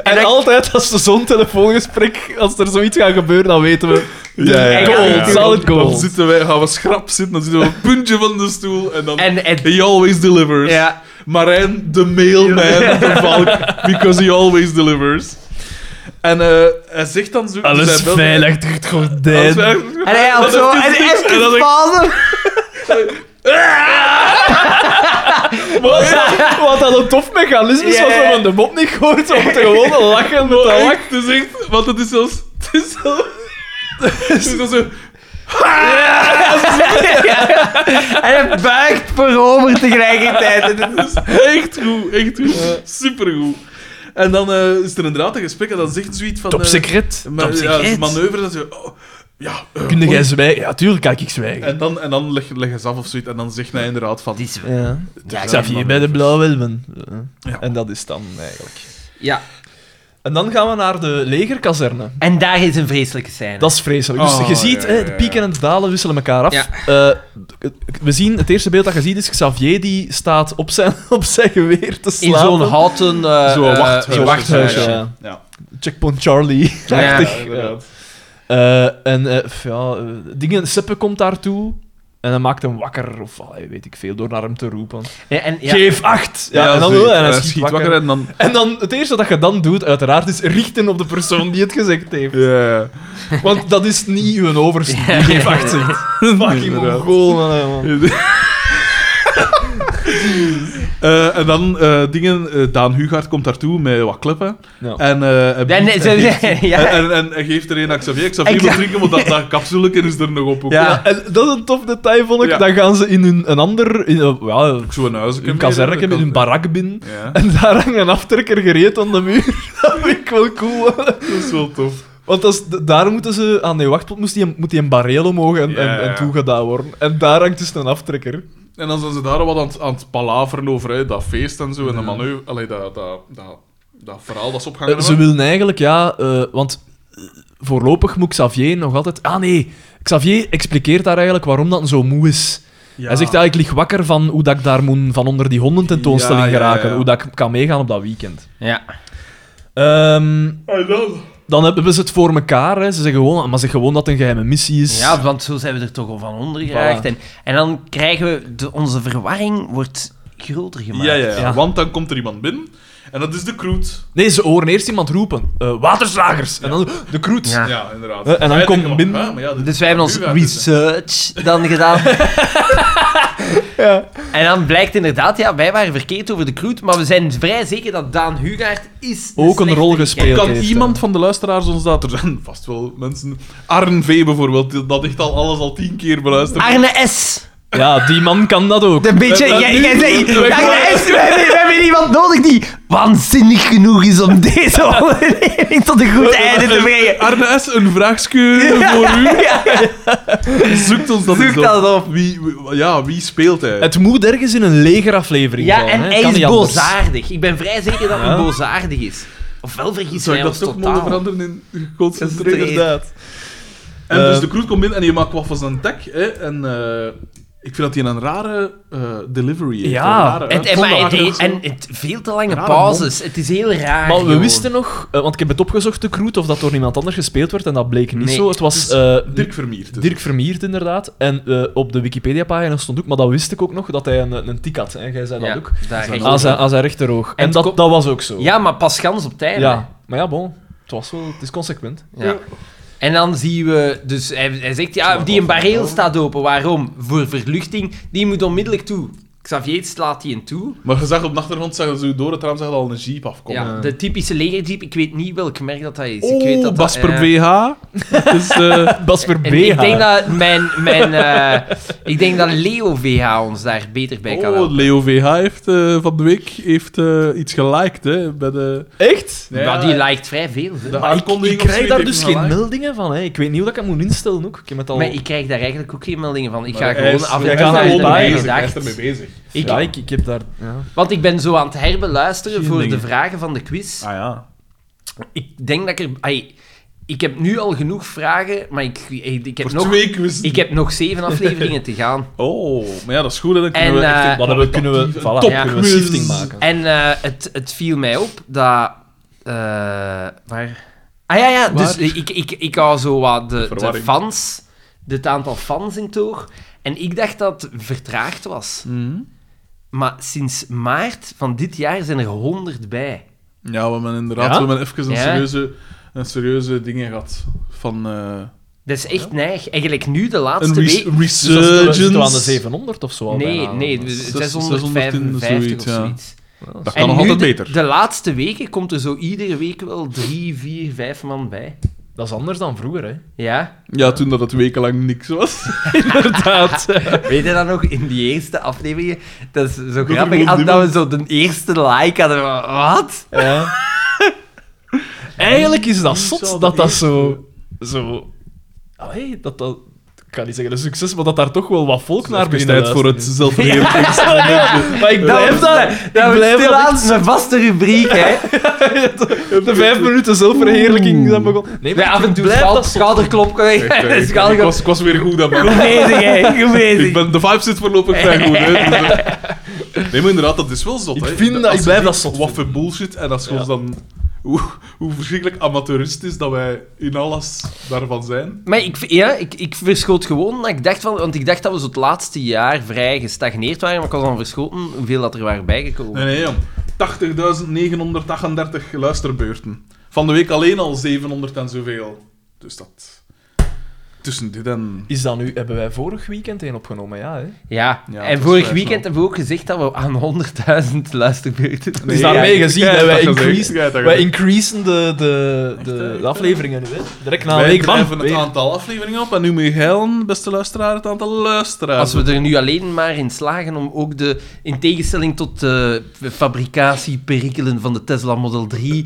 [SPEAKER 3] En
[SPEAKER 4] dan-
[SPEAKER 3] altijd als de zo'n telefoongesprek, als er zoiets gaat gebeuren, dan weten we...
[SPEAKER 2] ja,
[SPEAKER 4] ja.
[SPEAKER 3] Gold,
[SPEAKER 4] Ja.
[SPEAKER 3] solid
[SPEAKER 2] Dan
[SPEAKER 3] gold.
[SPEAKER 2] zitten wij, gaan we schrap zitten, dan zitten we op het puntje van de stoel en dan...
[SPEAKER 4] En, en,
[SPEAKER 2] He always delivers.
[SPEAKER 4] ja,
[SPEAKER 2] Marijn, de mailman, de valk, because he always delivers. En eh, hij zegt dan zo... dus
[SPEAKER 3] Alles
[SPEAKER 2] hij belt-
[SPEAKER 3] veilig door het
[SPEAKER 2] Alles
[SPEAKER 3] gordijn.
[SPEAKER 2] veilig.
[SPEAKER 4] en hij had
[SPEAKER 2] Dat
[SPEAKER 4] zo
[SPEAKER 2] is
[SPEAKER 4] een
[SPEAKER 2] dus niks. En dan
[SPEAKER 4] echte
[SPEAKER 2] zeg ik,
[SPEAKER 4] fase.
[SPEAKER 3] Wat, wat dat een tof mechanisme is,
[SPEAKER 4] Ja,
[SPEAKER 3] wat
[SPEAKER 4] ja.
[SPEAKER 3] we van de mop niet gehoord, om te gewoon lachen met dat lachen.
[SPEAKER 2] Echt, het is echt... Want het is zelfs... Het is zelfs... Het is dan zo...
[SPEAKER 4] En hij buigt voorover tegelijkertijd. En het is-
[SPEAKER 2] Dus Echt goed, echt goed. Supergoed. En dan eh, is er inderdaad een gesprek en dan zegt zoiets van... eh,
[SPEAKER 3] secret.
[SPEAKER 2] ma-
[SPEAKER 4] top
[SPEAKER 2] ja,
[SPEAKER 4] secret.
[SPEAKER 2] manoeuvre, dat ze... oh, ja, eh,
[SPEAKER 3] Kun jij zwijgen? Ja, tuurlijk kan ik zwijgen.
[SPEAKER 2] En dan, en dan leg- leggen ze af of zoiets en dan zegt hij inderdaad van...
[SPEAKER 4] Die is-
[SPEAKER 3] Ja.
[SPEAKER 4] Ja,
[SPEAKER 3] Ik zag hier bij de blauwe elven.
[SPEAKER 2] Ja.
[SPEAKER 3] En dat is dan eigenlijk.
[SPEAKER 4] Ja,
[SPEAKER 3] En dan gaan we naar de legerkazerne.
[SPEAKER 4] en daar is een vreselijke scène.
[SPEAKER 3] Dat is vreselijk. Dus
[SPEAKER 2] Oh,
[SPEAKER 3] je ziet,
[SPEAKER 2] ja,
[SPEAKER 3] hè,
[SPEAKER 2] ja, ja.
[SPEAKER 3] de pieken en de dalen wisselen elkaar af.
[SPEAKER 4] Ja.
[SPEAKER 3] Eh, we zien, het eerste beeld dat je ziet is Xavier die staat op zijn, op zijn geweer te
[SPEAKER 4] in
[SPEAKER 3] slapen.
[SPEAKER 4] zo'n houten... eh,
[SPEAKER 2] Zo'n
[SPEAKER 4] eh,
[SPEAKER 2] wachthuis.
[SPEAKER 4] zo'n wachthuis,
[SPEAKER 3] Ja, ja.
[SPEAKER 4] ja.
[SPEAKER 2] Ja,
[SPEAKER 3] Checkpoint Charlie.
[SPEAKER 4] Ja,
[SPEAKER 2] ja,
[SPEAKER 3] Achtig.
[SPEAKER 2] inderdaad.
[SPEAKER 3] Eh, en eh, f- ja, eh, dingen, Seppe komt daartoe. En dat maakt hem wakker, of allee, weet ik veel, door naar hem te roepen.
[SPEAKER 4] Ja, en, ja.
[SPEAKER 3] Geef acht! Ja, en dan,
[SPEAKER 2] zoiets.
[SPEAKER 3] en
[SPEAKER 2] hij
[SPEAKER 3] hij schiet, wakker.
[SPEAKER 2] en dan...
[SPEAKER 3] En dan, het eerste dat je dan doet, uiteraard, is richten op de persoon die het gezegd heeft.
[SPEAKER 2] Ja,
[SPEAKER 3] Want dat is niet uw overste die geeft acht zegt. Fucking
[SPEAKER 2] Inderdaad.
[SPEAKER 3] mongool, man. hè, man.
[SPEAKER 2] Eh, en dan eh, dingen... eh, Daan Hugaard komt daartoe met wat kleppen.
[SPEAKER 3] Ja.
[SPEAKER 2] En, eh, hij
[SPEAKER 4] Ja, nee,
[SPEAKER 2] biedt-
[SPEAKER 4] ze-
[SPEAKER 2] hij geeft-
[SPEAKER 4] ja.
[SPEAKER 2] en, en, en hij geeft er een aan Xavier.
[SPEAKER 4] Ik-
[SPEAKER 2] Xavier moet drinken, want dat, dat kapsuleke is er nog op. ook.
[SPEAKER 4] Ja.
[SPEAKER 3] Ja, en dat is een tof detail, vond ik.
[SPEAKER 2] Ja.
[SPEAKER 3] Dan gaan ze in hun, een ander... In, eh, ja,
[SPEAKER 2] Ook zo'n huisje.
[SPEAKER 3] een kazerken, in een barak binnen.
[SPEAKER 2] Ja,
[SPEAKER 3] En daar hangt een aftrekker gereed aan de muur. dat vind ik wel cool.
[SPEAKER 2] dat is wel tof.
[SPEAKER 3] Want dat is- d- daar moeten ze... Ah nee, wacht, moest die, moet die een bareel omhoog en,
[SPEAKER 2] Ja,
[SPEAKER 3] en, en
[SPEAKER 2] ja.
[SPEAKER 3] toegedaan worden. En daar hangt dus een aftrekker.
[SPEAKER 2] En dan zijn ze daar wat aan het, aan het palaveren over, hè, dat feest en zo, en de manu... Allee, dat, dat, dat, dat verhaal dat ze opgehangen
[SPEAKER 3] Eh, ze
[SPEAKER 2] hebben.
[SPEAKER 3] willen eigenlijk, ja, eh, want eh, voorlopig moet Xavier nog altijd. Ah nee, Xavier expliqueert daar eigenlijk waarom dat zo moe is.
[SPEAKER 2] Ja.
[SPEAKER 3] Hij zegt ja, ik lig wakker van hoe dat ik daar moet van onder die hondententoonstelling
[SPEAKER 2] Ja, ja, ja,
[SPEAKER 3] geraken,
[SPEAKER 2] ja.
[SPEAKER 3] hoe dat ik kan meegaan op dat weekend.
[SPEAKER 4] Ja.
[SPEAKER 3] Ehm,
[SPEAKER 2] En dan...
[SPEAKER 3] dan hebben ze het voor elkaar. Hè. Ze zeggen gewoon, maar zeg gewoon dat het een geheime missie is.
[SPEAKER 4] Ja, want zo zijn we er toch al van onder geraakt.
[SPEAKER 3] Voilà.
[SPEAKER 4] En, en dan krijgen we... De, onze verwarring wordt groter gemaakt.
[SPEAKER 2] Ja, ja, ja,
[SPEAKER 3] Ja.
[SPEAKER 2] Want dan komt er iemand binnen, en dat is de Kroet.
[SPEAKER 3] Nee, ze horen eerst iemand roepen: eh, waterslagers! En dan de kroet.
[SPEAKER 4] Ja.
[SPEAKER 2] Ja, inderdaad.
[SPEAKER 3] Eh, en dan
[SPEAKER 2] Hij
[SPEAKER 3] komt
[SPEAKER 2] denkt,
[SPEAKER 3] binnen-
[SPEAKER 2] "Ah, maar ja, dit-
[SPEAKER 4] Dus wij hebben ons
[SPEAKER 2] Hugaard is-
[SPEAKER 4] research dan gedaan. En dan blijkt inderdaad, ja, wij waren verkeerd over de Kroet, maar we zijn vrij zeker dat Daan Hugaert is... de
[SPEAKER 3] Ook een
[SPEAKER 4] slechte
[SPEAKER 3] rol
[SPEAKER 4] guy.
[SPEAKER 3] gespeeld.
[SPEAKER 2] Kan
[SPEAKER 3] heeft,
[SPEAKER 2] iemand
[SPEAKER 3] hè.
[SPEAKER 2] van de luisteraars ons dat... Er zijn vast wel mensen... Arn V bijvoorbeeld, dat echt al alles al tien keer beluisterd.
[SPEAKER 4] Arne S.
[SPEAKER 3] Ja, die man kan dat ook.
[SPEAKER 4] Een beetje...
[SPEAKER 2] Eh,
[SPEAKER 4] jij-
[SPEAKER 2] nu-
[SPEAKER 4] jij zei-
[SPEAKER 2] nu-
[SPEAKER 4] Arne S, we hebben, we hebben iemand nodig die waanzinnig genoeg is om deze aflevering tot een goed einde te brengen.
[SPEAKER 2] Arne S, een vraagje voor u. Zoekt ons dat
[SPEAKER 4] Zoek
[SPEAKER 2] eens op.
[SPEAKER 4] dat op.
[SPEAKER 2] Wie, wie- ja, wie speelt hij?
[SPEAKER 3] Het moet ergens in een legeraflevering
[SPEAKER 4] Ja,
[SPEAKER 3] vallen,
[SPEAKER 4] en
[SPEAKER 3] hè.
[SPEAKER 4] hij
[SPEAKER 3] Kan
[SPEAKER 4] is
[SPEAKER 3] niet anders.
[SPEAKER 4] boosaardig. Ik ben vrij zeker dat hij boosaardig is. Ofwel vergissen
[SPEAKER 2] Zou
[SPEAKER 4] wij
[SPEAKER 2] ik
[SPEAKER 4] ons
[SPEAKER 2] dat toch
[SPEAKER 4] totaal.
[SPEAKER 2] moeten veranderen in geconcentreerd?
[SPEAKER 4] Geconcentreerd.
[SPEAKER 3] Inderdaad.
[SPEAKER 2] En
[SPEAKER 3] Eh,
[SPEAKER 2] dus de Kroet komt binnen en je maakt wat van zijn tech. Hè, en eh, ik vind dat hij een rare eh, delivery heeft.
[SPEAKER 3] Ja,
[SPEAKER 2] een rare
[SPEAKER 4] En, en, maar
[SPEAKER 2] uitvonderachter
[SPEAKER 4] het-
[SPEAKER 2] of zo.
[SPEAKER 4] en het, veel te lange
[SPEAKER 2] Rare
[SPEAKER 4] pauzes. Het is heel raar.
[SPEAKER 3] Maar we
[SPEAKER 4] gewoon.
[SPEAKER 3] wisten nog, eh, want ik heb het opgezocht, de Kroet, of dat door iemand anders gespeeld werd, en dat bleek niet
[SPEAKER 4] Nee,
[SPEAKER 3] zo. Het was
[SPEAKER 2] dus
[SPEAKER 3] eh,
[SPEAKER 2] Dirk Vermeer. dus.
[SPEAKER 3] Dirk Vermiert, inderdaad. En eh, op de Wikipedia-pagina stond ook, maar dat wist ik ook nog, dat hij een, een tik had. En jij zei
[SPEAKER 4] Ja,
[SPEAKER 3] dat ook.
[SPEAKER 4] daar
[SPEAKER 2] Aan
[SPEAKER 4] echt
[SPEAKER 3] Aan zijn,
[SPEAKER 4] over.
[SPEAKER 3] aan zijn rechteroog. En,
[SPEAKER 4] het ko-
[SPEAKER 3] dat, dat was ook zo.
[SPEAKER 4] ja, maar pas gans op tijd.
[SPEAKER 3] Ja. Maar ja, bon. Het, was wel, het is consequent.
[SPEAKER 4] hè. Ja. En dan zien we, dus hij, hij zegt, ja, die een
[SPEAKER 3] nou?
[SPEAKER 4] bareel staat open. Waarom? Voor verluchting. Die moet onmiddellijk toe. Xavier slaat die een toe.
[SPEAKER 2] Maar je zag op de achtergrond, zag je zo door het raam, zag je al een jeep afkomen.
[SPEAKER 4] Ja, de typische legerjeep. Ik weet niet welk merk dat dat is.
[SPEAKER 2] Oh,
[SPEAKER 4] ik weet dat dat,
[SPEAKER 2] Basper
[SPEAKER 4] eh,
[SPEAKER 2] BH. Dus, eh,
[SPEAKER 3] Basper
[SPEAKER 4] En
[SPEAKER 3] BH.
[SPEAKER 4] ik denk dat mijn, mijn eh, ik denk dat Leo VH ons daar beter bij kan
[SPEAKER 2] oh,
[SPEAKER 4] helpen.
[SPEAKER 2] Leo VH heeft eh, van de week heeft, eh, iets geliked hè, bij de...
[SPEAKER 3] Echt?
[SPEAKER 2] Ja,
[SPEAKER 4] maar die
[SPEAKER 2] ja.
[SPEAKER 4] lijkt vrij veel. hè.
[SPEAKER 2] De
[SPEAKER 3] Maar ik,
[SPEAKER 2] aankondiging
[SPEAKER 3] ik
[SPEAKER 2] of zoiets
[SPEAKER 3] krijg daar
[SPEAKER 2] heeft
[SPEAKER 3] dus
[SPEAKER 2] hem
[SPEAKER 3] geen
[SPEAKER 2] geliked.
[SPEAKER 3] meldingen van. Hè. Ik weet niet hoe dat ik dat moet instellen ook. Ik heb het al...
[SPEAKER 4] Maar ik krijg daar eigenlijk ook geen meldingen van. Ik ga
[SPEAKER 2] Maar hij
[SPEAKER 4] gewoon
[SPEAKER 2] is-
[SPEAKER 4] af
[SPEAKER 3] jij
[SPEAKER 4] en
[SPEAKER 3] gaat
[SPEAKER 4] toe
[SPEAKER 3] daar
[SPEAKER 4] erbij
[SPEAKER 2] ermee
[SPEAKER 3] gewoon bij
[SPEAKER 2] bezig, hij is
[SPEAKER 4] gedacht.
[SPEAKER 2] ermee bezig.
[SPEAKER 4] Ik,
[SPEAKER 3] ja, ik, ik heb daar... Ja.
[SPEAKER 4] Want ik ben zo aan het herbeluisteren
[SPEAKER 3] Geen
[SPEAKER 4] voor
[SPEAKER 3] dingen.
[SPEAKER 4] de vragen van de quiz.
[SPEAKER 2] Ah ja.
[SPEAKER 4] Ik denk dat ik er... ai, ik heb nu al genoeg vragen, maar ik, ik, ik heb,
[SPEAKER 2] Voor
[SPEAKER 4] nog,
[SPEAKER 2] twee quizzen.
[SPEAKER 4] ik heb nog zeven afleveringen te gaan.
[SPEAKER 2] Oh, maar ja, dat is goed. hè, Dan kunnen
[SPEAKER 4] En,
[SPEAKER 2] we echt
[SPEAKER 4] eh,
[SPEAKER 2] een
[SPEAKER 3] Maar dan kunnen
[SPEAKER 2] kwalitatieve
[SPEAKER 3] we, voilà,
[SPEAKER 2] topquiz.
[SPEAKER 3] kunnen we shifting maken.
[SPEAKER 4] En eh, het, het viel mij op dat... eh, waar? Ah ja, ja. Dus
[SPEAKER 2] Waar?
[SPEAKER 4] ik, ik, ik hou zo wat de, de
[SPEAKER 2] Verwarring.
[SPEAKER 4] fans, het aantal fans in toog. En ik dacht dat het vertraagd was.
[SPEAKER 2] Mhm.
[SPEAKER 4] Maar sinds maart van dit jaar zijn er honderd bij.
[SPEAKER 2] Ja, we hebben inderdaad
[SPEAKER 3] Ja?
[SPEAKER 2] we hebben even een,
[SPEAKER 4] Ja.
[SPEAKER 2] serieuze, een serieuze dingen gehad. Van eh,
[SPEAKER 4] Dat is echt neig. Eigenlijk nu de laatste
[SPEAKER 2] een Oh, res-
[SPEAKER 4] week...
[SPEAKER 3] Dus dat is- we zitten aan de
[SPEAKER 2] resurgence.
[SPEAKER 3] 700 of zo al
[SPEAKER 4] Nee,
[SPEAKER 3] bijna.
[SPEAKER 4] nee,
[SPEAKER 3] Dat is-
[SPEAKER 4] dus
[SPEAKER 2] zes-
[SPEAKER 4] 655
[SPEAKER 2] zoiets,
[SPEAKER 4] of
[SPEAKER 2] ja.
[SPEAKER 4] zoiets.
[SPEAKER 2] Dat kan nog
[SPEAKER 4] nu
[SPEAKER 2] altijd
[SPEAKER 4] de-
[SPEAKER 2] beter.
[SPEAKER 4] De laatste weken komt er zo iedere week wel drie, vier, vijf man bij.
[SPEAKER 3] Dat is anders dan vroeger, hè.
[SPEAKER 4] Ja?
[SPEAKER 2] Ja, toen dat het wekenlang niks was.
[SPEAKER 3] Inderdaad.
[SPEAKER 4] Weet je dat nog? In die eerste aflevering, dat is zo
[SPEAKER 2] er gewoon
[SPEAKER 4] grappig, als dat we
[SPEAKER 2] niemand-
[SPEAKER 4] zo de eerste like hadden. we- Wat?
[SPEAKER 3] Eigenlijk is dat zot
[SPEAKER 2] zou
[SPEAKER 3] dat
[SPEAKER 2] dat
[SPEAKER 3] dat
[SPEAKER 2] eerst
[SPEAKER 3] zo... zo... Allee, dat dat... Ik kan niet zeggen een succes, maar dat daar toch wel wat volk naar
[SPEAKER 2] Even
[SPEAKER 3] begint
[SPEAKER 2] tijd voor het zelfverheerlijking.
[SPEAKER 3] Maar ik blijf dat... Ik
[SPEAKER 4] Dat
[SPEAKER 3] blijf
[SPEAKER 4] is
[SPEAKER 3] dat
[SPEAKER 4] stilaan een vaste rubriek, hè?
[SPEAKER 3] echt- De vijf minuten zelfverheerlijking zijn begonnen. Nee,
[SPEAKER 4] Wij
[SPEAKER 3] ik
[SPEAKER 4] af en toe
[SPEAKER 3] blijf
[SPEAKER 4] schou-
[SPEAKER 3] dat zot.
[SPEAKER 4] schouderklop.
[SPEAKER 2] Echt,
[SPEAKER 4] Schouderklop.
[SPEAKER 2] ik, ik was, ik was weer goed aan
[SPEAKER 4] Goed
[SPEAKER 2] mijn
[SPEAKER 4] bezig, hè? Goed bezig.
[SPEAKER 2] ik ben, De vibe zit voorlopig vrij goed. Hè. Dus, eh, nee, maar inderdaad, dat is wel zot.
[SPEAKER 3] Ik
[SPEAKER 2] hè.
[SPEAKER 3] vind dat-
[SPEAKER 2] Als
[SPEAKER 3] ik blijf
[SPEAKER 2] je
[SPEAKER 3] dat
[SPEAKER 2] ziet
[SPEAKER 3] zot
[SPEAKER 2] Wat voor bullshit. En als je
[SPEAKER 3] Ja.
[SPEAKER 2] ons dan hoe, hoe verschrikkelijk amateuristisch dat wij in alles daarvan zijn.
[SPEAKER 4] Maar ik, v- ja, ik, ik verschoot gewoon dat ik dacht van... Want ik dacht dat we zo het laatste jaar vrij gestagneerd waren, maar ik was dan verschoten hoeveel dat er waren bijgekomen.
[SPEAKER 2] Nee, nee, jong. 80.938 luisterbeurten. Van de week alleen al 700 en zoveel. Dus dat... Tussen dit en...
[SPEAKER 3] Is dat nu... Hebben wij vorig weekend een opgenomen? Ja, hè?
[SPEAKER 4] Ja,
[SPEAKER 2] Ja, het
[SPEAKER 4] en
[SPEAKER 2] was
[SPEAKER 4] vorig
[SPEAKER 2] vrij
[SPEAKER 4] weekend
[SPEAKER 2] snel.
[SPEAKER 4] hebben we ook gezegd dat we aan 100.000 luisterbeurten...
[SPEAKER 3] Dus
[SPEAKER 2] Nee,
[SPEAKER 3] daarmee
[SPEAKER 2] ja,
[SPEAKER 3] gezien,
[SPEAKER 2] jij
[SPEAKER 3] hè,
[SPEAKER 2] hebt
[SPEAKER 3] wij,
[SPEAKER 2] dat gezegd,
[SPEAKER 3] increasen,
[SPEAKER 2] jij hebt dat
[SPEAKER 3] wij
[SPEAKER 2] gezegd.
[SPEAKER 3] increasen de, de,
[SPEAKER 2] Echt,
[SPEAKER 3] de,
[SPEAKER 2] hè?
[SPEAKER 3] de afleveringen nu. Hè. Direct na een
[SPEAKER 2] Wij
[SPEAKER 3] week, bam,
[SPEAKER 2] drijven het
[SPEAKER 3] weer.
[SPEAKER 2] aantal afleveringen op en nu mee geilen, beste luisteraar, het aantal luisteraars.
[SPEAKER 4] Als we er nu alleen maar in slagen om ook de, in tegenstelling tot de fabricatieperikelen van de Tesla Model 3,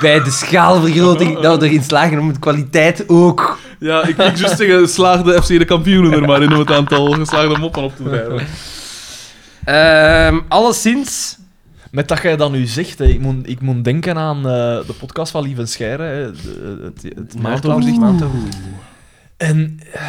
[SPEAKER 4] bij de schaalvergroting, dat we erin slagen om de kwaliteit ook.
[SPEAKER 2] Ja, ik, ik just zeggen, slaag de FC de kampioenen er maar in om het aantal geslaagde moppen op te drijven.
[SPEAKER 4] Ehm alleszins.
[SPEAKER 3] Met dat jij dat nu zegt, hè, ik, moet, ik moet denken aan eh, de podcast van Lieve Scheire, hè, de- het, het maandoverzicht. En eh,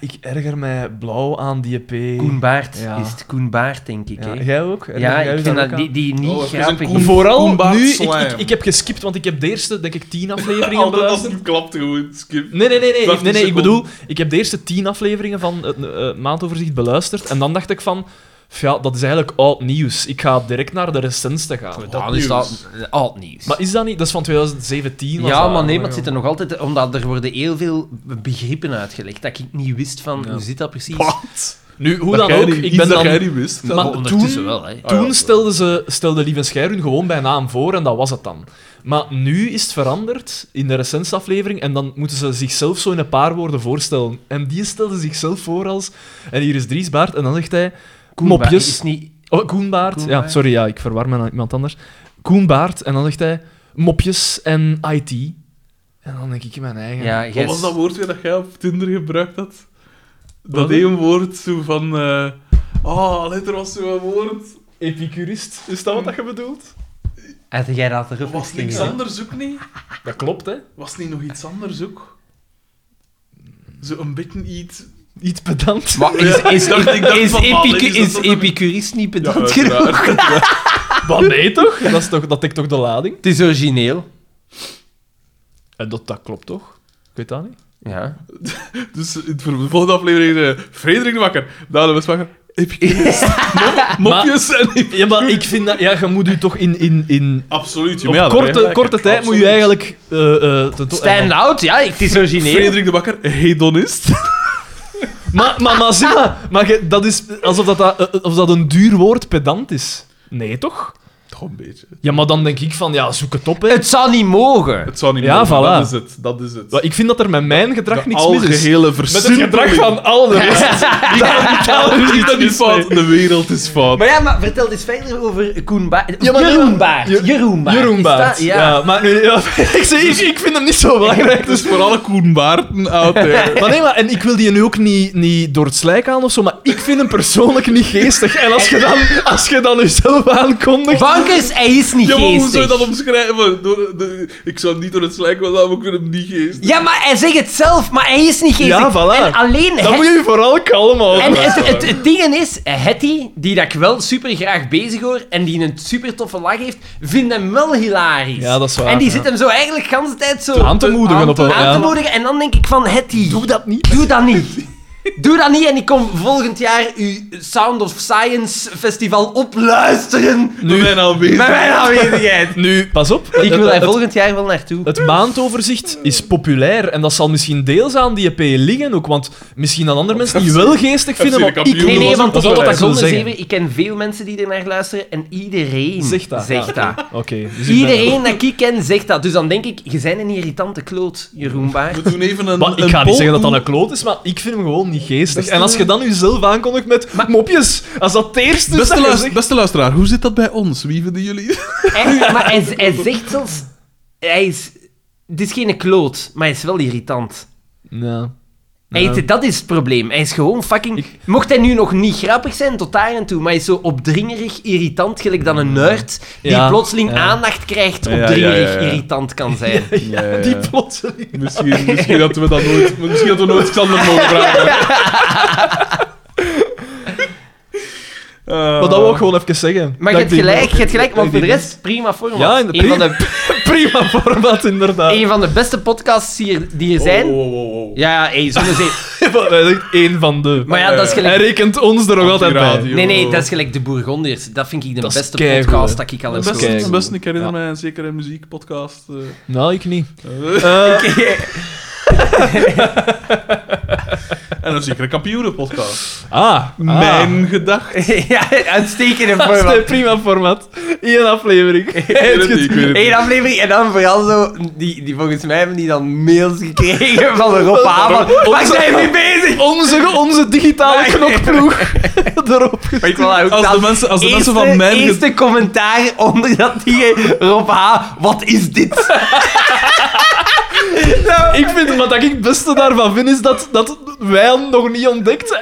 [SPEAKER 3] ik erger mij blauw aan die EP.
[SPEAKER 4] Koen Baert
[SPEAKER 3] Ja.
[SPEAKER 4] is het. Koen Baart, denk ik. hè?
[SPEAKER 3] ja,
[SPEAKER 4] Ja,
[SPEAKER 3] jij ook? Erger jij je
[SPEAKER 4] ik vind
[SPEAKER 3] daar
[SPEAKER 4] dat
[SPEAKER 3] ook
[SPEAKER 4] die,
[SPEAKER 3] aan?
[SPEAKER 4] die niet
[SPEAKER 2] Oh, het is een
[SPEAKER 4] grappig.
[SPEAKER 2] Koen-
[SPEAKER 3] Vooral
[SPEAKER 2] Koen Baert
[SPEAKER 3] nu, ik,
[SPEAKER 2] Slijm.
[SPEAKER 3] ik, ik heb geskipt, want ik heb de eerste, denk ik, tien afleveringen
[SPEAKER 2] Altijd als
[SPEAKER 3] beluisterd.
[SPEAKER 2] het klapt, gewoon skip.
[SPEAKER 3] Nee, nee, nee, nee, nee,
[SPEAKER 2] 15
[SPEAKER 3] nee, ik
[SPEAKER 2] seconden.
[SPEAKER 3] bedoel, ik heb de eerste tien afleveringen van het eh, maandoverzicht beluisterd en dan dacht ik van, "F ja, dat is eigenlijk oud nieuws. Ik ga direct naar de recentste gaan.
[SPEAKER 2] dat
[SPEAKER 4] Dan is dat eh, oud
[SPEAKER 3] Maar is dat niet? Dat is van 2017. was
[SPEAKER 4] Ja,
[SPEAKER 3] dat,
[SPEAKER 4] maar nee,
[SPEAKER 3] hè,
[SPEAKER 4] maar het zit er nog altijd... Omdat er worden heel veel begrippen uitgelegd, dat ik niet wist van,
[SPEAKER 3] Ja.
[SPEAKER 4] hoe zit dat precies?
[SPEAKER 2] Wat?
[SPEAKER 3] Nu, hoe
[SPEAKER 2] Dat
[SPEAKER 3] dan
[SPEAKER 2] jij
[SPEAKER 3] ook,
[SPEAKER 2] niet-
[SPEAKER 3] ik
[SPEAKER 2] iets
[SPEAKER 3] ben
[SPEAKER 2] dat jij
[SPEAKER 3] dan...
[SPEAKER 2] niet wist.
[SPEAKER 3] Maar
[SPEAKER 4] Maar ondertussen
[SPEAKER 3] toen-
[SPEAKER 4] wel, hè.
[SPEAKER 2] Ah, ja,
[SPEAKER 3] Toen
[SPEAKER 2] dat-
[SPEAKER 3] stelden ze, stelde Lieve Schijr hun gewoon bij naam voor en dat was het dan. Maar nu is het veranderd in de recentste aflevering en dan moeten ze zichzelf zo in een paar woorden voorstellen. En die stelde zichzelf voor als... En hier is Dries Baart en dan zegt hij...
[SPEAKER 4] Koen Baert
[SPEAKER 3] mopjes.
[SPEAKER 4] is niet...
[SPEAKER 3] Oh, Koen Baert.
[SPEAKER 4] Koen
[SPEAKER 3] ja,
[SPEAKER 4] Baert.
[SPEAKER 3] sorry, ja, ik verwar me aan iemand anders. Koen Baert, en dan zegt hij mopjes en IT. En dan denk ik in mijn eigen.
[SPEAKER 4] Ja,
[SPEAKER 2] Wat
[SPEAKER 4] jij
[SPEAKER 2] was dat woord weer dat jij op Tinder gebruikt had?
[SPEAKER 3] Wat?
[SPEAKER 2] Dat één woord zo van... eh, oh, let, er was zo'n woord.
[SPEAKER 3] Epicurist, is dat wat dat je bedoelt?
[SPEAKER 4] Had jij dat erop
[SPEAKER 2] Was het niks anders ook niet?
[SPEAKER 3] Dat klopt, hè?
[SPEAKER 2] Was het niet nog iets anders ook? Zo een beetje iets...
[SPEAKER 3] Iets pedant.
[SPEAKER 4] Maar is, is,
[SPEAKER 2] dacht- ik dacht
[SPEAKER 4] is,
[SPEAKER 2] van, man,
[SPEAKER 4] epicu-
[SPEAKER 2] is dat
[SPEAKER 4] is
[SPEAKER 2] dan-
[SPEAKER 4] epicurist niet pedant
[SPEAKER 2] uiteraard.
[SPEAKER 4] genoeg?
[SPEAKER 3] Maar nee, toch? Dat, is toch? dat tikt toch de lading?
[SPEAKER 4] Het is origineel.
[SPEAKER 3] En Eh, dat, dat klopt toch? Ik weet dat niet.
[SPEAKER 4] Ja.
[SPEAKER 2] Dus in het ver- de volgende aflevering eh, Frederik de Wakker, Daan de Westwakker, Epicurus, mop, mopjes en Epicurus.
[SPEAKER 3] Ja, maar ik vind dat... Ja, je moet u toch in... in, in
[SPEAKER 2] Absoluut,
[SPEAKER 3] op
[SPEAKER 2] maar ja, daar heb je
[SPEAKER 3] korte,
[SPEAKER 2] gelijk.
[SPEAKER 3] korte tijd moet
[SPEAKER 2] Absoluut.
[SPEAKER 3] je eigenlijk... eh, eh, ten to-
[SPEAKER 4] Stand out, ja, het is origineel.
[SPEAKER 2] Frederik de Bakker, hedonist.
[SPEAKER 3] Maar, maar, maar, zie maar, maar ge- dat is alsof dat, dat, eh, of dat een duur woord pedant is. Nee, toch?
[SPEAKER 2] Toch een beetje.
[SPEAKER 3] Ja, maar dan denk ik van, ja, zoek het op, hè.
[SPEAKER 4] Het zou niet mogen.
[SPEAKER 2] Het zou niet
[SPEAKER 3] Ja,
[SPEAKER 2] mogen,
[SPEAKER 3] voilà.
[SPEAKER 2] dat is het. Dat is het.
[SPEAKER 3] Wel, Ik vind dat er met mijn gedrag
[SPEAKER 2] de
[SPEAKER 3] niks mis is.
[SPEAKER 2] algehele
[SPEAKER 3] Met het gedrag van al de rest.
[SPEAKER 2] Daar is dat niet fout, de wereld is fout.
[SPEAKER 4] Maar ja, maar vertel eens verder over Koen Baert.
[SPEAKER 3] Ja, maar-
[SPEAKER 4] Jeroen Baert.
[SPEAKER 3] Je-
[SPEAKER 4] Jeroen Baert.
[SPEAKER 3] Jeroen
[SPEAKER 4] Is
[SPEAKER 3] Baart.
[SPEAKER 4] dat- ja.
[SPEAKER 3] Ja, maar nu, ja, ik, zeg, ik, ik vind hem niet zo belangrijk.
[SPEAKER 2] Dus voor alle Koen Baarten out there.
[SPEAKER 3] Maar nee, maar, en ik wil die nu ook niet, niet door het slijk aan of zo, maar ik vind hem persoonlijk niet geestig. En als je dan, als je dan jezelf aankondigt...
[SPEAKER 4] Bankers, hij is niet
[SPEAKER 2] Ja, maar hoe zou
[SPEAKER 4] geestig.
[SPEAKER 2] je dat omschrijven? Door, de, ik zou niet door het slijk willen, maar ik vind hem niet geest.
[SPEAKER 4] Ja, maar hij zegt het zelf, maar hij is niet geestig.
[SPEAKER 3] Ja, voilà.
[SPEAKER 4] En alleen
[SPEAKER 3] Dan
[SPEAKER 4] het-
[SPEAKER 3] moet je je vooral kalm
[SPEAKER 4] En
[SPEAKER 3] houden.
[SPEAKER 2] dat is
[SPEAKER 4] het,
[SPEAKER 2] waar.
[SPEAKER 4] het, het ding is, Hetty, die dat ik wel super graag bezig hoor en die een super toffe lach heeft, vindt hem wel hilarisch.
[SPEAKER 3] Ja, dat is waar,
[SPEAKER 4] En die
[SPEAKER 3] ja.
[SPEAKER 4] zit hem zo eigenlijk de hele tijd zo
[SPEAKER 3] Aan te moedigen
[SPEAKER 4] aan
[SPEAKER 3] op een-
[SPEAKER 4] aan
[SPEAKER 3] ja.
[SPEAKER 4] te moedigen. En dan denk ik van Hetty, doe dat niet. Doe dat niet. Doe dat niet en ik kom volgend jaar uw Sound of Science festival opluisteren
[SPEAKER 2] Nu ben aanwezig.
[SPEAKER 4] met mijn aanwezigheid.
[SPEAKER 3] Nu, pas op.
[SPEAKER 4] Ik wil
[SPEAKER 3] Het-
[SPEAKER 4] daar
[SPEAKER 3] het-
[SPEAKER 4] volgend jaar wel naartoe.
[SPEAKER 3] Het maandoverzicht is populair en dat zal misschien deels aan die EP liggen ook, want misschien dat andere mensen die wel geestig vinden,
[SPEAKER 2] FC de
[SPEAKER 3] maar ik
[SPEAKER 2] kampioen
[SPEAKER 4] Nee, nee,
[SPEAKER 2] was
[SPEAKER 4] want
[SPEAKER 2] ook
[SPEAKER 4] tot op
[SPEAKER 2] populair.
[SPEAKER 4] dat
[SPEAKER 3] ik wil
[SPEAKER 4] zonder
[SPEAKER 3] zeggen.
[SPEAKER 4] zeven, ik ken veel mensen die er naar luisteren en iedereen
[SPEAKER 3] Zegt dat,
[SPEAKER 4] Zegt
[SPEAKER 3] ja.
[SPEAKER 4] dat.
[SPEAKER 3] Oké, dus ik ben-
[SPEAKER 4] Iedereen dat ik ken zegt dat. Dus dan denk ik, je bent een irritante kloot, Jeroen Baart.
[SPEAKER 2] We doen even een.
[SPEAKER 3] Maar ik
[SPEAKER 2] een
[SPEAKER 3] ga niet
[SPEAKER 2] poll
[SPEAKER 3] zeggen dat dat
[SPEAKER 2] doen.
[SPEAKER 3] een kloot is, maar ik vind hem gewoon niet geestig.
[SPEAKER 2] Beste-
[SPEAKER 3] En als je dan jezelf aankondigt met mopjes, als dat het eerste is dat
[SPEAKER 2] Beste,
[SPEAKER 3] je
[SPEAKER 2] luis-
[SPEAKER 3] zegt-
[SPEAKER 2] beste luisteraar, hoe zit dat bij ons? Wie vinden jullie?
[SPEAKER 4] Hij- maar hij, hij zegt zelfs... Hij is... Het is geen kloot, maar hij is wel irritant.
[SPEAKER 3] Ja.
[SPEAKER 4] Hij
[SPEAKER 3] Ja.
[SPEAKER 4] heet- dat is het probleem. Hij is gewoon fucking...
[SPEAKER 3] Ik-
[SPEAKER 4] Mocht hij nu nog niet grappig zijn, tot daar en toe, maar hij is zo opdringerig irritant, gelijk dan een nerd die
[SPEAKER 3] Mm. Ja,
[SPEAKER 4] plotseling
[SPEAKER 3] ja.
[SPEAKER 4] aandacht krijgt,
[SPEAKER 2] Ja, ja,
[SPEAKER 4] opdringerig
[SPEAKER 2] ja, ja.
[SPEAKER 4] irritant kan zijn.
[SPEAKER 3] Ja,
[SPEAKER 2] Ja, ja,
[SPEAKER 3] die
[SPEAKER 2] ja.
[SPEAKER 3] plotseling.
[SPEAKER 2] Misschien, misschien dat we dat nooit. Misschien dat we nooit Xander mogen vragen.
[SPEAKER 3] Maar dat wil
[SPEAKER 2] oh,
[SPEAKER 3] ik gewoon even zeggen.
[SPEAKER 4] Maar je
[SPEAKER 3] Dat
[SPEAKER 4] hebt
[SPEAKER 3] ik die-
[SPEAKER 4] gelijk, je hebt gelijk, want voor de
[SPEAKER 3] die-
[SPEAKER 4] rest, prima format.
[SPEAKER 3] Ja, in de
[SPEAKER 4] een, van de,
[SPEAKER 3] Prima format, inderdaad.
[SPEAKER 4] een van de beste podcasts hier, die er zijn.
[SPEAKER 2] Oh, oh, oh, oh.
[SPEAKER 4] Ja, ja, hey, zonder zeep.
[SPEAKER 3] Van- Hij zegt één van de.
[SPEAKER 4] Maar ja, dat is
[SPEAKER 3] Hij
[SPEAKER 4] gelijk...
[SPEAKER 3] rekent ons er nog altijd bij.
[SPEAKER 2] Antiradio.
[SPEAKER 4] Nee, nee, dat is gelijk de Bourgondiërs. Dat vind ik de
[SPEAKER 3] Dat is
[SPEAKER 4] beste
[SPEAKER 3] keigoed,
[SPEAKER 4] podcast
[SPEAKER 3] hè.
[SPEAKER 4] dat ik al heb
[SPEAKER 3] Dat is
[SPEAKER 4] gehoord.
[SPEAKER 2] Best,
[SPEAKER 3] keigoed.
[SPEAKER 2] best, ik herinner
[SPEAKER 3] Ja.
[SPEAKER 2] mij een zekere muziekpodcast. eh.
[SPEAKER 3] Nou, ik niet.
[SPEAKER 2] Eh,
[SPEAKER 3] Eh,
[SPEAKER 2] en een zekere kampioenenpodcast.
[SPEAKER 3] ah, ah.
[SPEAKER 2] Mijn gedacht.
[SPEAKER 4] ja, uitstekende
[SPEAKER 3] Dat is een
[SPEAKER 4] format.
[SPEAKER 3] prima format. Eén aflevering.
[SPEAKER 2] weet het niet, ik weet het
[SPEAKER 4] Eén aflevering en dan vooral zo... Die, die, volgens mij hebben die dan mails gekregen van Rob Haver. Waar zijn we mee bezig?
[SPEAKER 3] Onze, onze digitale
[SPEAKER 4] Nee.
[SPEAKER 3] knokploeg erop gezet.
[SPEAKER 2] Ik-
[SPEAKER 4] Voilà, ook
[SPEAKER 2] als de
[SPEAKER 4] dat.
[SPEAKER 2] mensen, als de
[SPEAKER 4] eerste,
[SPEAKER 2] mensen van mijn
[SPEAKER 4] eerste
[SPEAKER 2] gedacht...
[SPEAKER 4] commentaar onder dat die eh, Rob H. Wat is dit?
[SPEAKER 3] Ik vind, wat ik het beste daarvan vind, is dat, dat wij hem nog niet ontdekt.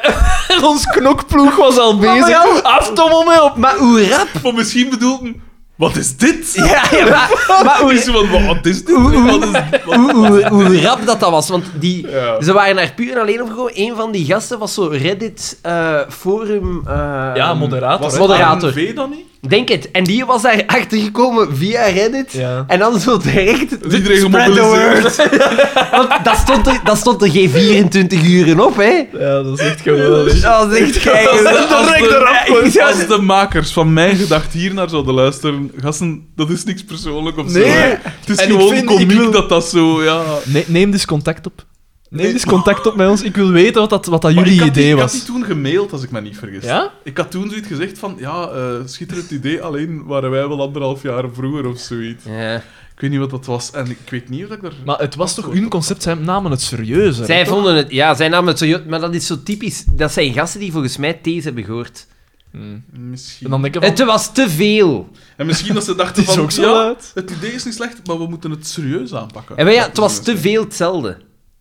[SPEAKER 3] En ons knokploeg was al
[SPEAKER 4] Maar
[SPEAKER 3] bezig.
[SPEAKER 4] wel-
[SPEAKER 3] Aftommel mee op.
[SPEAKER 4] Maar hoe rap?
[SPEAKER 2] Maar misschien bedoelden... Wat is dit?
[SPEAKER 4] Ja, ja, maar, maar hoe,
[SPEAKER 2] Is van, wat is dit?
[SPEAKER 4] Oeh, oeh.
[SPEAKER 2] Wat is, wat-
[SPEAKER 4] hoe, hoe, hoe rap dat dat was. Want die,
[SPEAKER 2] Ja.
[SPEAKER 4] ze waren daar puur en alleen over gewoon. Een van die gasten was zo Reddit eh, forum... eh,
[SPEAKER 3] moderator.
[SPEAKER 2] was
[SPEAKER 4] hè? moderator.
[SPEAKER 2] ANV dan niet?
[SPEAKER 4] Denk het. En die was daar achtergekomen via Reddit.
[SPEAKER 3] Ja.
[SPEAKER 4] En dan zo direct...
[SPEAKER 2] Dus iedereen
[SPEAKER 4] spread the
[SPEAKER 2] gemobiliseerd.
[SPEAKER 4] Want dat stond er, dat stond er geen 24 uren op, hè.
[SPEAKER 3] Ja, dat is echt geweldig.
[SPEAKER 4] Dat was echt
[SPEAKER 2] Als
[SPEAKER 4] geil.
[SPEAKER 2] de- als
[SPEAKER 3] direct
[SPEAKER 2] de-
[SPEAKER 3] eraf gewoon.
[SPEAKER 2] ik zou- Als de makers van mijn gedacht hier naar zouden luisteren, gasten, dat is niks persoonlijk of
[SPEAKER 3] Nee.
[SPEAKER 2] zo. hè. Het is
[SPEAKER 3] En ik
[SPEAKER 2] gewoon
[SPEAKER 3] vind-
[SPEAKER 2] komiek
[SPEAKER 3] ik wil-
[SPEAKER 2] dat dat zo, ja.
[SPEAKER 3] Nee, neem dus contact op. Neem
[SPEAKER 2] Nee.
[SPEAKER 3] dus contact op met ons. Ik wil weten wat dat, wat dat
[SPEAKER 2] Maar
[SPEAKER 3] jullie
[SPEAKER 2] ik had die-
[SPEAKER 3] idee
[SPEAKER 2] Ik
[SPEAKER 3] was.
[SPEAKER 2] had die toen gemaild, als ik me niet vergis.
[SPEAKER 3] Ja?
[SPEAKER 2] Ik had toen zoiets gezegd van, ja, eh, schitterend idee, alleen waren wij wel anderhalf jaar vroeger of zoiets.
[SPEAKER 4] Ja.
[SPEAKER 2] Ik weet niet wat dat was en ik weet niet of ik daar...
[SPEAKER 3] Maar het was toch hun concept, zij namen het serieus. hè?
[SPEAKER 4] Zij vonden het... Ja, zij namen het zo... Maar dat is zo typisch. Dat zijn gasten die volgens mij thees hebben gehoord.
[SPEAKER 3] Hmm.
[SPEAKER 2] Misschien.
[SPEAKER 3] En dan denk ik van,
[SPEAKER 4] Het was te veel.
[SPEAKER 2] En misschien dat ze dachten
[SPEAKER 3] het is
[SPEAKER 2] van,
[SPEAKER 3] ook zo
[SPEAKER 2] ja,
[SPEAKER 3] luid.
[SPEAKER 2] het idee is niet slecht, maar we moeten het serieus aanpakken.
[SPEAKER 4] En maar ja, het was te veel hetzelfde.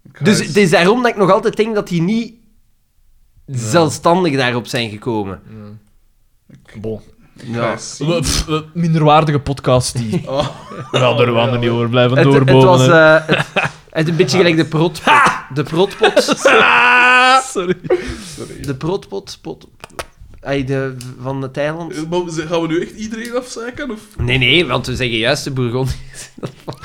[SPEAKER 2] Ik
[SPEAKER 4] Dus
[SPEAKER 2] ga eens-
[SPEAKER 4] het is daarom dat ik nog altijd denk dat die niet zelfstandig daarop zijn gekomen.
[SPEAKER 3] Bon.
[SPEAKER 2] ik ga eens zien.
[SPEAKER 3] We- pff, we- Minderwaardige podcast die.
[SPEAKER 2] Oh.
[SPEAKER 3] Ja, daar gaan we niet over blijven
[SPEAKER 4] Het, het
[SPEAKER 3] doorbomen.
[SPEAKER 4] was
[SPEAKER 3] hè.
[SPEAKER 4] eh, het, het een beetje gelijk de protpot. De protpot. eh,
[SPEAKER 3] Ah, sorry.
[SPEAKER 4] De protpot. Pot, ai, de, van het eiland.
[SPEAKER 2] Eh, Maar ze- gaan we nu echt iedereen afzeiken? Of...
[SPEAKER 4] Nee, nee, want we zeggen juist de Bourgondiërs. Dat valt-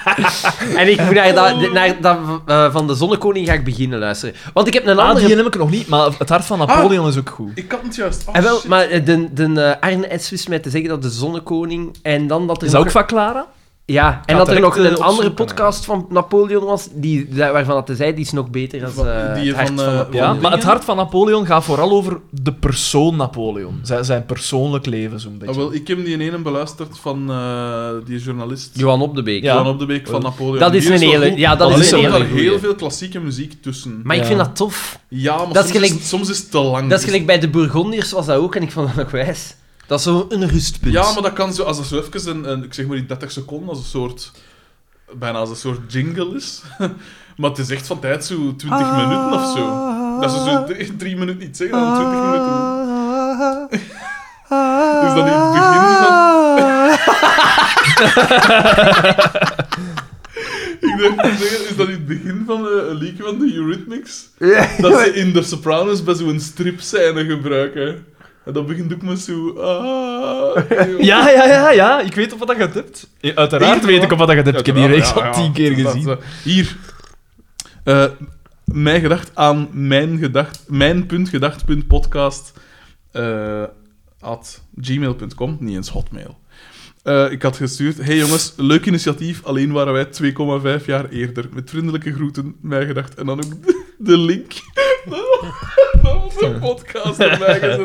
[SPEAKER 4] en ik moet naar, dat, naar dat, eh, Van de Zonnekoning ga ik beginnen luisteren. Want ik heb een
[SPEAKER 3] Ah,
[SPEAKER 4] andere...
[SPEAKER 3] die heb ik nog niet, maar het hart van
[SPEAKER 4] Ah.
[SPEAKER 3] Napoleon is ook goed.
[SPEAKER 2] Ik had het juist. Ah,
[SPEAKER 4] En wel,
[SPEAKER 2] shit.
[SPEAKER 4] maar eh, de, de eh, Arne S. wist mij te zeggen dat de Zonnekoning en dan dat er
[SPEAKER 3] Is
[SPEAKER 4] nog-
[SPEAKER 3] dat ook van Clara?
[SPEAKER 4] Ja, en
[SPEAKER 3] ga
[SPEAKER 4] dat er
[SPEAKER 3] direct,
[SPEAKER 4] nog
[SPEAKER 3] eh,
[SPEAKER 4] een andere
[SPEAKER 3] opzoeken,
[SPEAKER 4] podcast van Napoleon was, die, daar- waarvan dat hij zei, die is nog beter dan
[SPEAKER 2] Van-
[SPEAKER 4] eh
[SPEAKER 2] die
[SPEAKER 4] het hart
[SPEAKER 2] van,
[SPEAKER 4] van
[SPEAKER 2] eh,
[SPEAKER 4] Napoleon.
[SPEAKER 3] Ja,
[SPEAKER 2] Dingen?
[SPEAKER 3] maar het hart van Napoleon gaat vooral over de persoon Napoleon. Zijn, zijn persoonlijk leven, zo'n
[SPEAKER 2] Ah,
[SPEAKER 3] beetje.
[SPEAKER 2] wel, ik heb die ene beluisterd van eh, die journalist.
[SPEAKER 4] Johan op de Beek.
[SPEAKER 3] Ja.
[SPEAKER 2] Johan op de Beek van Napoleon.
[SPEAKER 4] Dat is
[SPEAKER 2] Die
[SPEAKER 4] een
[SPEAKER 2] wel
[SPEAKER 4] hele-
[SPEAKER 2] goed,
[SPEAKER 4] ja, dat
[SPEAKER 2] maar
[SPEAKER 3] is
[SPEAKER 2] er
[SPEAKER 3] een
[SPEAKER 2] zit
[SPEAKER 4] hele
[SPEAKER 2] daar
[SPEAKER 4] goeie.
[SPEAKER 2] heel veel klassieke muziek tussen.
[SPEAKER 4] Maar ik
[SPEAKER 3] Ja.
[SPEAKER 4] vind dat tof.
[SPEAKER 2] Ja, maar
[SPEAKER 4] Dat is
[SPEAKER 2] soms,
[SPEAKER 4] gelijk-
[SPEAKER 2] is, soms is het te lang.
[SPEAKER 4] Dat is gelijk bij de Bourgondiërs was dat ook, en ik vond dat nog wijs. Dat is zo een rustpunt.
[SPEAKER 2] Ja, maar dat kan zo, als dat zo even een, een- ik zeg maar die 30 seconden, als een soort, bijna als een soort jingle is. maar het is echt van tijd zo 20
[SPEAKER 4] Ah.
[SPEAKER 2] minuten of zo. Dat ze zo drie, drie minuten niet zeggen, dan 20 minuten. Dus dan in het begin van... Ik dacht te zeggen, is dat in het begin van eh, een liedje van de Eurythmics? Dat ze in The Sopranos best zo'n stripscène gebruiken. En dat begint ook met zo... Ah,
[SPEAKER 3] Ja, ja, ja, ja. Ik weet op wat dat je het hebt. Ja, Uiteraard
[SPEAKER 2] Hier,
[SPEAKER 3] weet ik op wat dat je het hebt. Ik heb die reeks
[SPEAKER 2] Uiteraard,
[SPEAKER 3] al
[SPEAKER 2] ja, ja,
[SPEAKER 3] tien keer
[SPEAKER 2] dat-
[SPEAKER 3] gezien.
[SPEAKER 2] dat- Hier. Eh, mijn gedacht aan mijn gedacht... Mijn punt gedacht punt podcast... eh, at gmail.com. Niet eens hotmail. Eh, ik had gestuurd... Hey jongens, leuk initiatief. Alleen waren wij 2,5 jaar eerder. Met vriendelijke groeten, mijn gedacht. En dan ook de, de link. dat was een podcast erbij gezet.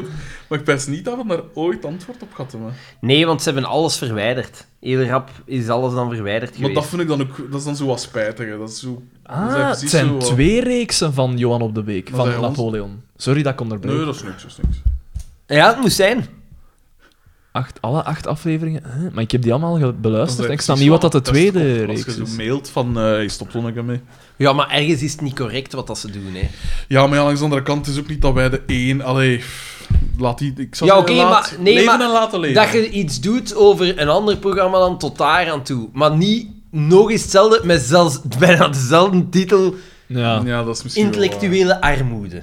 [SPEAKER 2] Maar ik pijs niet dat we daar ooit antwoord op gehad hebben.
[SPEAKER 4] Nee, want ze hebben alles verwijderd. Heel rap is alles dan verwijderd
[SPEAKER 2] Maar
[SPEAKER 4] geweest.
[SPEAKER 2] dat vind ik dan ook... Dat is dan zo wat spijtig. hè. Dat is zo... eh, dat is
[SPEAKER 3] Ah, het
[SPEAKER 2] precies zo
[SPEAKER 3] zijn
[SPEAKER 2] wat-
[SPEAKER 3] twee reeksen van Johan op de Beek,
[SPEAKER 2] Wat
[SPEAKER 3] van
[SPEAKER 2] zei ons?
[SPEAKER 3] Napoleon. Sorry dat ik onderbreek.
[SPEAKER 2] Nee, dat is niks, dat is niks.
[SPEAKER 4] Ja, het moest zijn.
[SPEAKER 3] Acht, alle acht afleveringen, hè? maar ik heb die allemaal ge- beluisterd. en Ik snap
[SPEAKER 2] is
[SPEAKER 3] niet wat
[SPEAKER 2] wel-
[SPEAKER 3] dat de
[SPEAKER 2] is
[SPEAKER 3] tweede
[SPEAKER 2] top.
[SPEAKER 3] reeks
[SPEAKER 2] Als je zo
[SPEAKER 3] is.
[SPEAKER 2] mailt van, eh hey, stop zonneke mee.
[SPEAKER 4] Ja, maar ergens is het niet correct wat dat ze doen, hè.
[SPEAKER 2] Ja, maar ja, langs de andere kant is ook niet dat wij de één... Allee, pff, laat die... Ik zou
[SPEAKER 4] Ja,
[SPEAKER 2] zeggen,
[SPEAKER 4] oké,
[SPEAKER 2] laat
[SPEAKER 4] maar- nee,
[SPEAKER 2] leven
[SPEAKER 4] maar
[SPEAKER 2] en laten leven.
[SPEAKER 4] Dat je iets doet over een ander programma dan tot daar aan toe. Maar niet nog eens hetzelfde met zelfs bijna dezelfde titel
[SPEAKER 3] Ja.
[SPEAKER 2] Ja, dat is misschien wel waar.
[SPEAKER 4] Intellectuele armoede.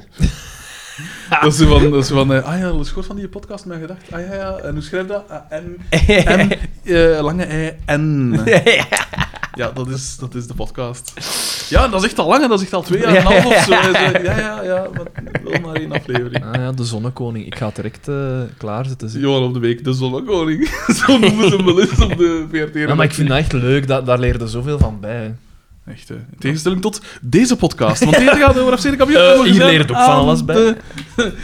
[SPEAKER 2] Dat is zo van, dat is zo van eh, ah ja, dat is goed van die podcast, mijn gedacht. Ah ja, ja, en hoe schrijf je dat? Ah, M, M, eh, lange I, N. Ja, dat is, dat is de podcast. Ja, en dat is echt al lang, en dat is echt al twee jaar en een half of zo. Ja, ja, ja, maar wel maar één aflevering.
[SPEAKER 3] Ah ja, de zonnekoning. Ik ga het direct eh, klaarzetten. zie.
[SPEAKER 2] Johan op de Week, de Zonnekoning. zo noemen ze hem wel eens op de VRT.
[SPEAKER 3] Ja, maar ik vind dat echt leuk. Dat, daar leerde zoveel van bij. hè.
[SPEAKER 2] Echt, hè. in tegenstelling tot deze podcast. Want deze gaat over FC de kampioen.
[SPEAKER 3] Eh, hier leert ook van alles bij.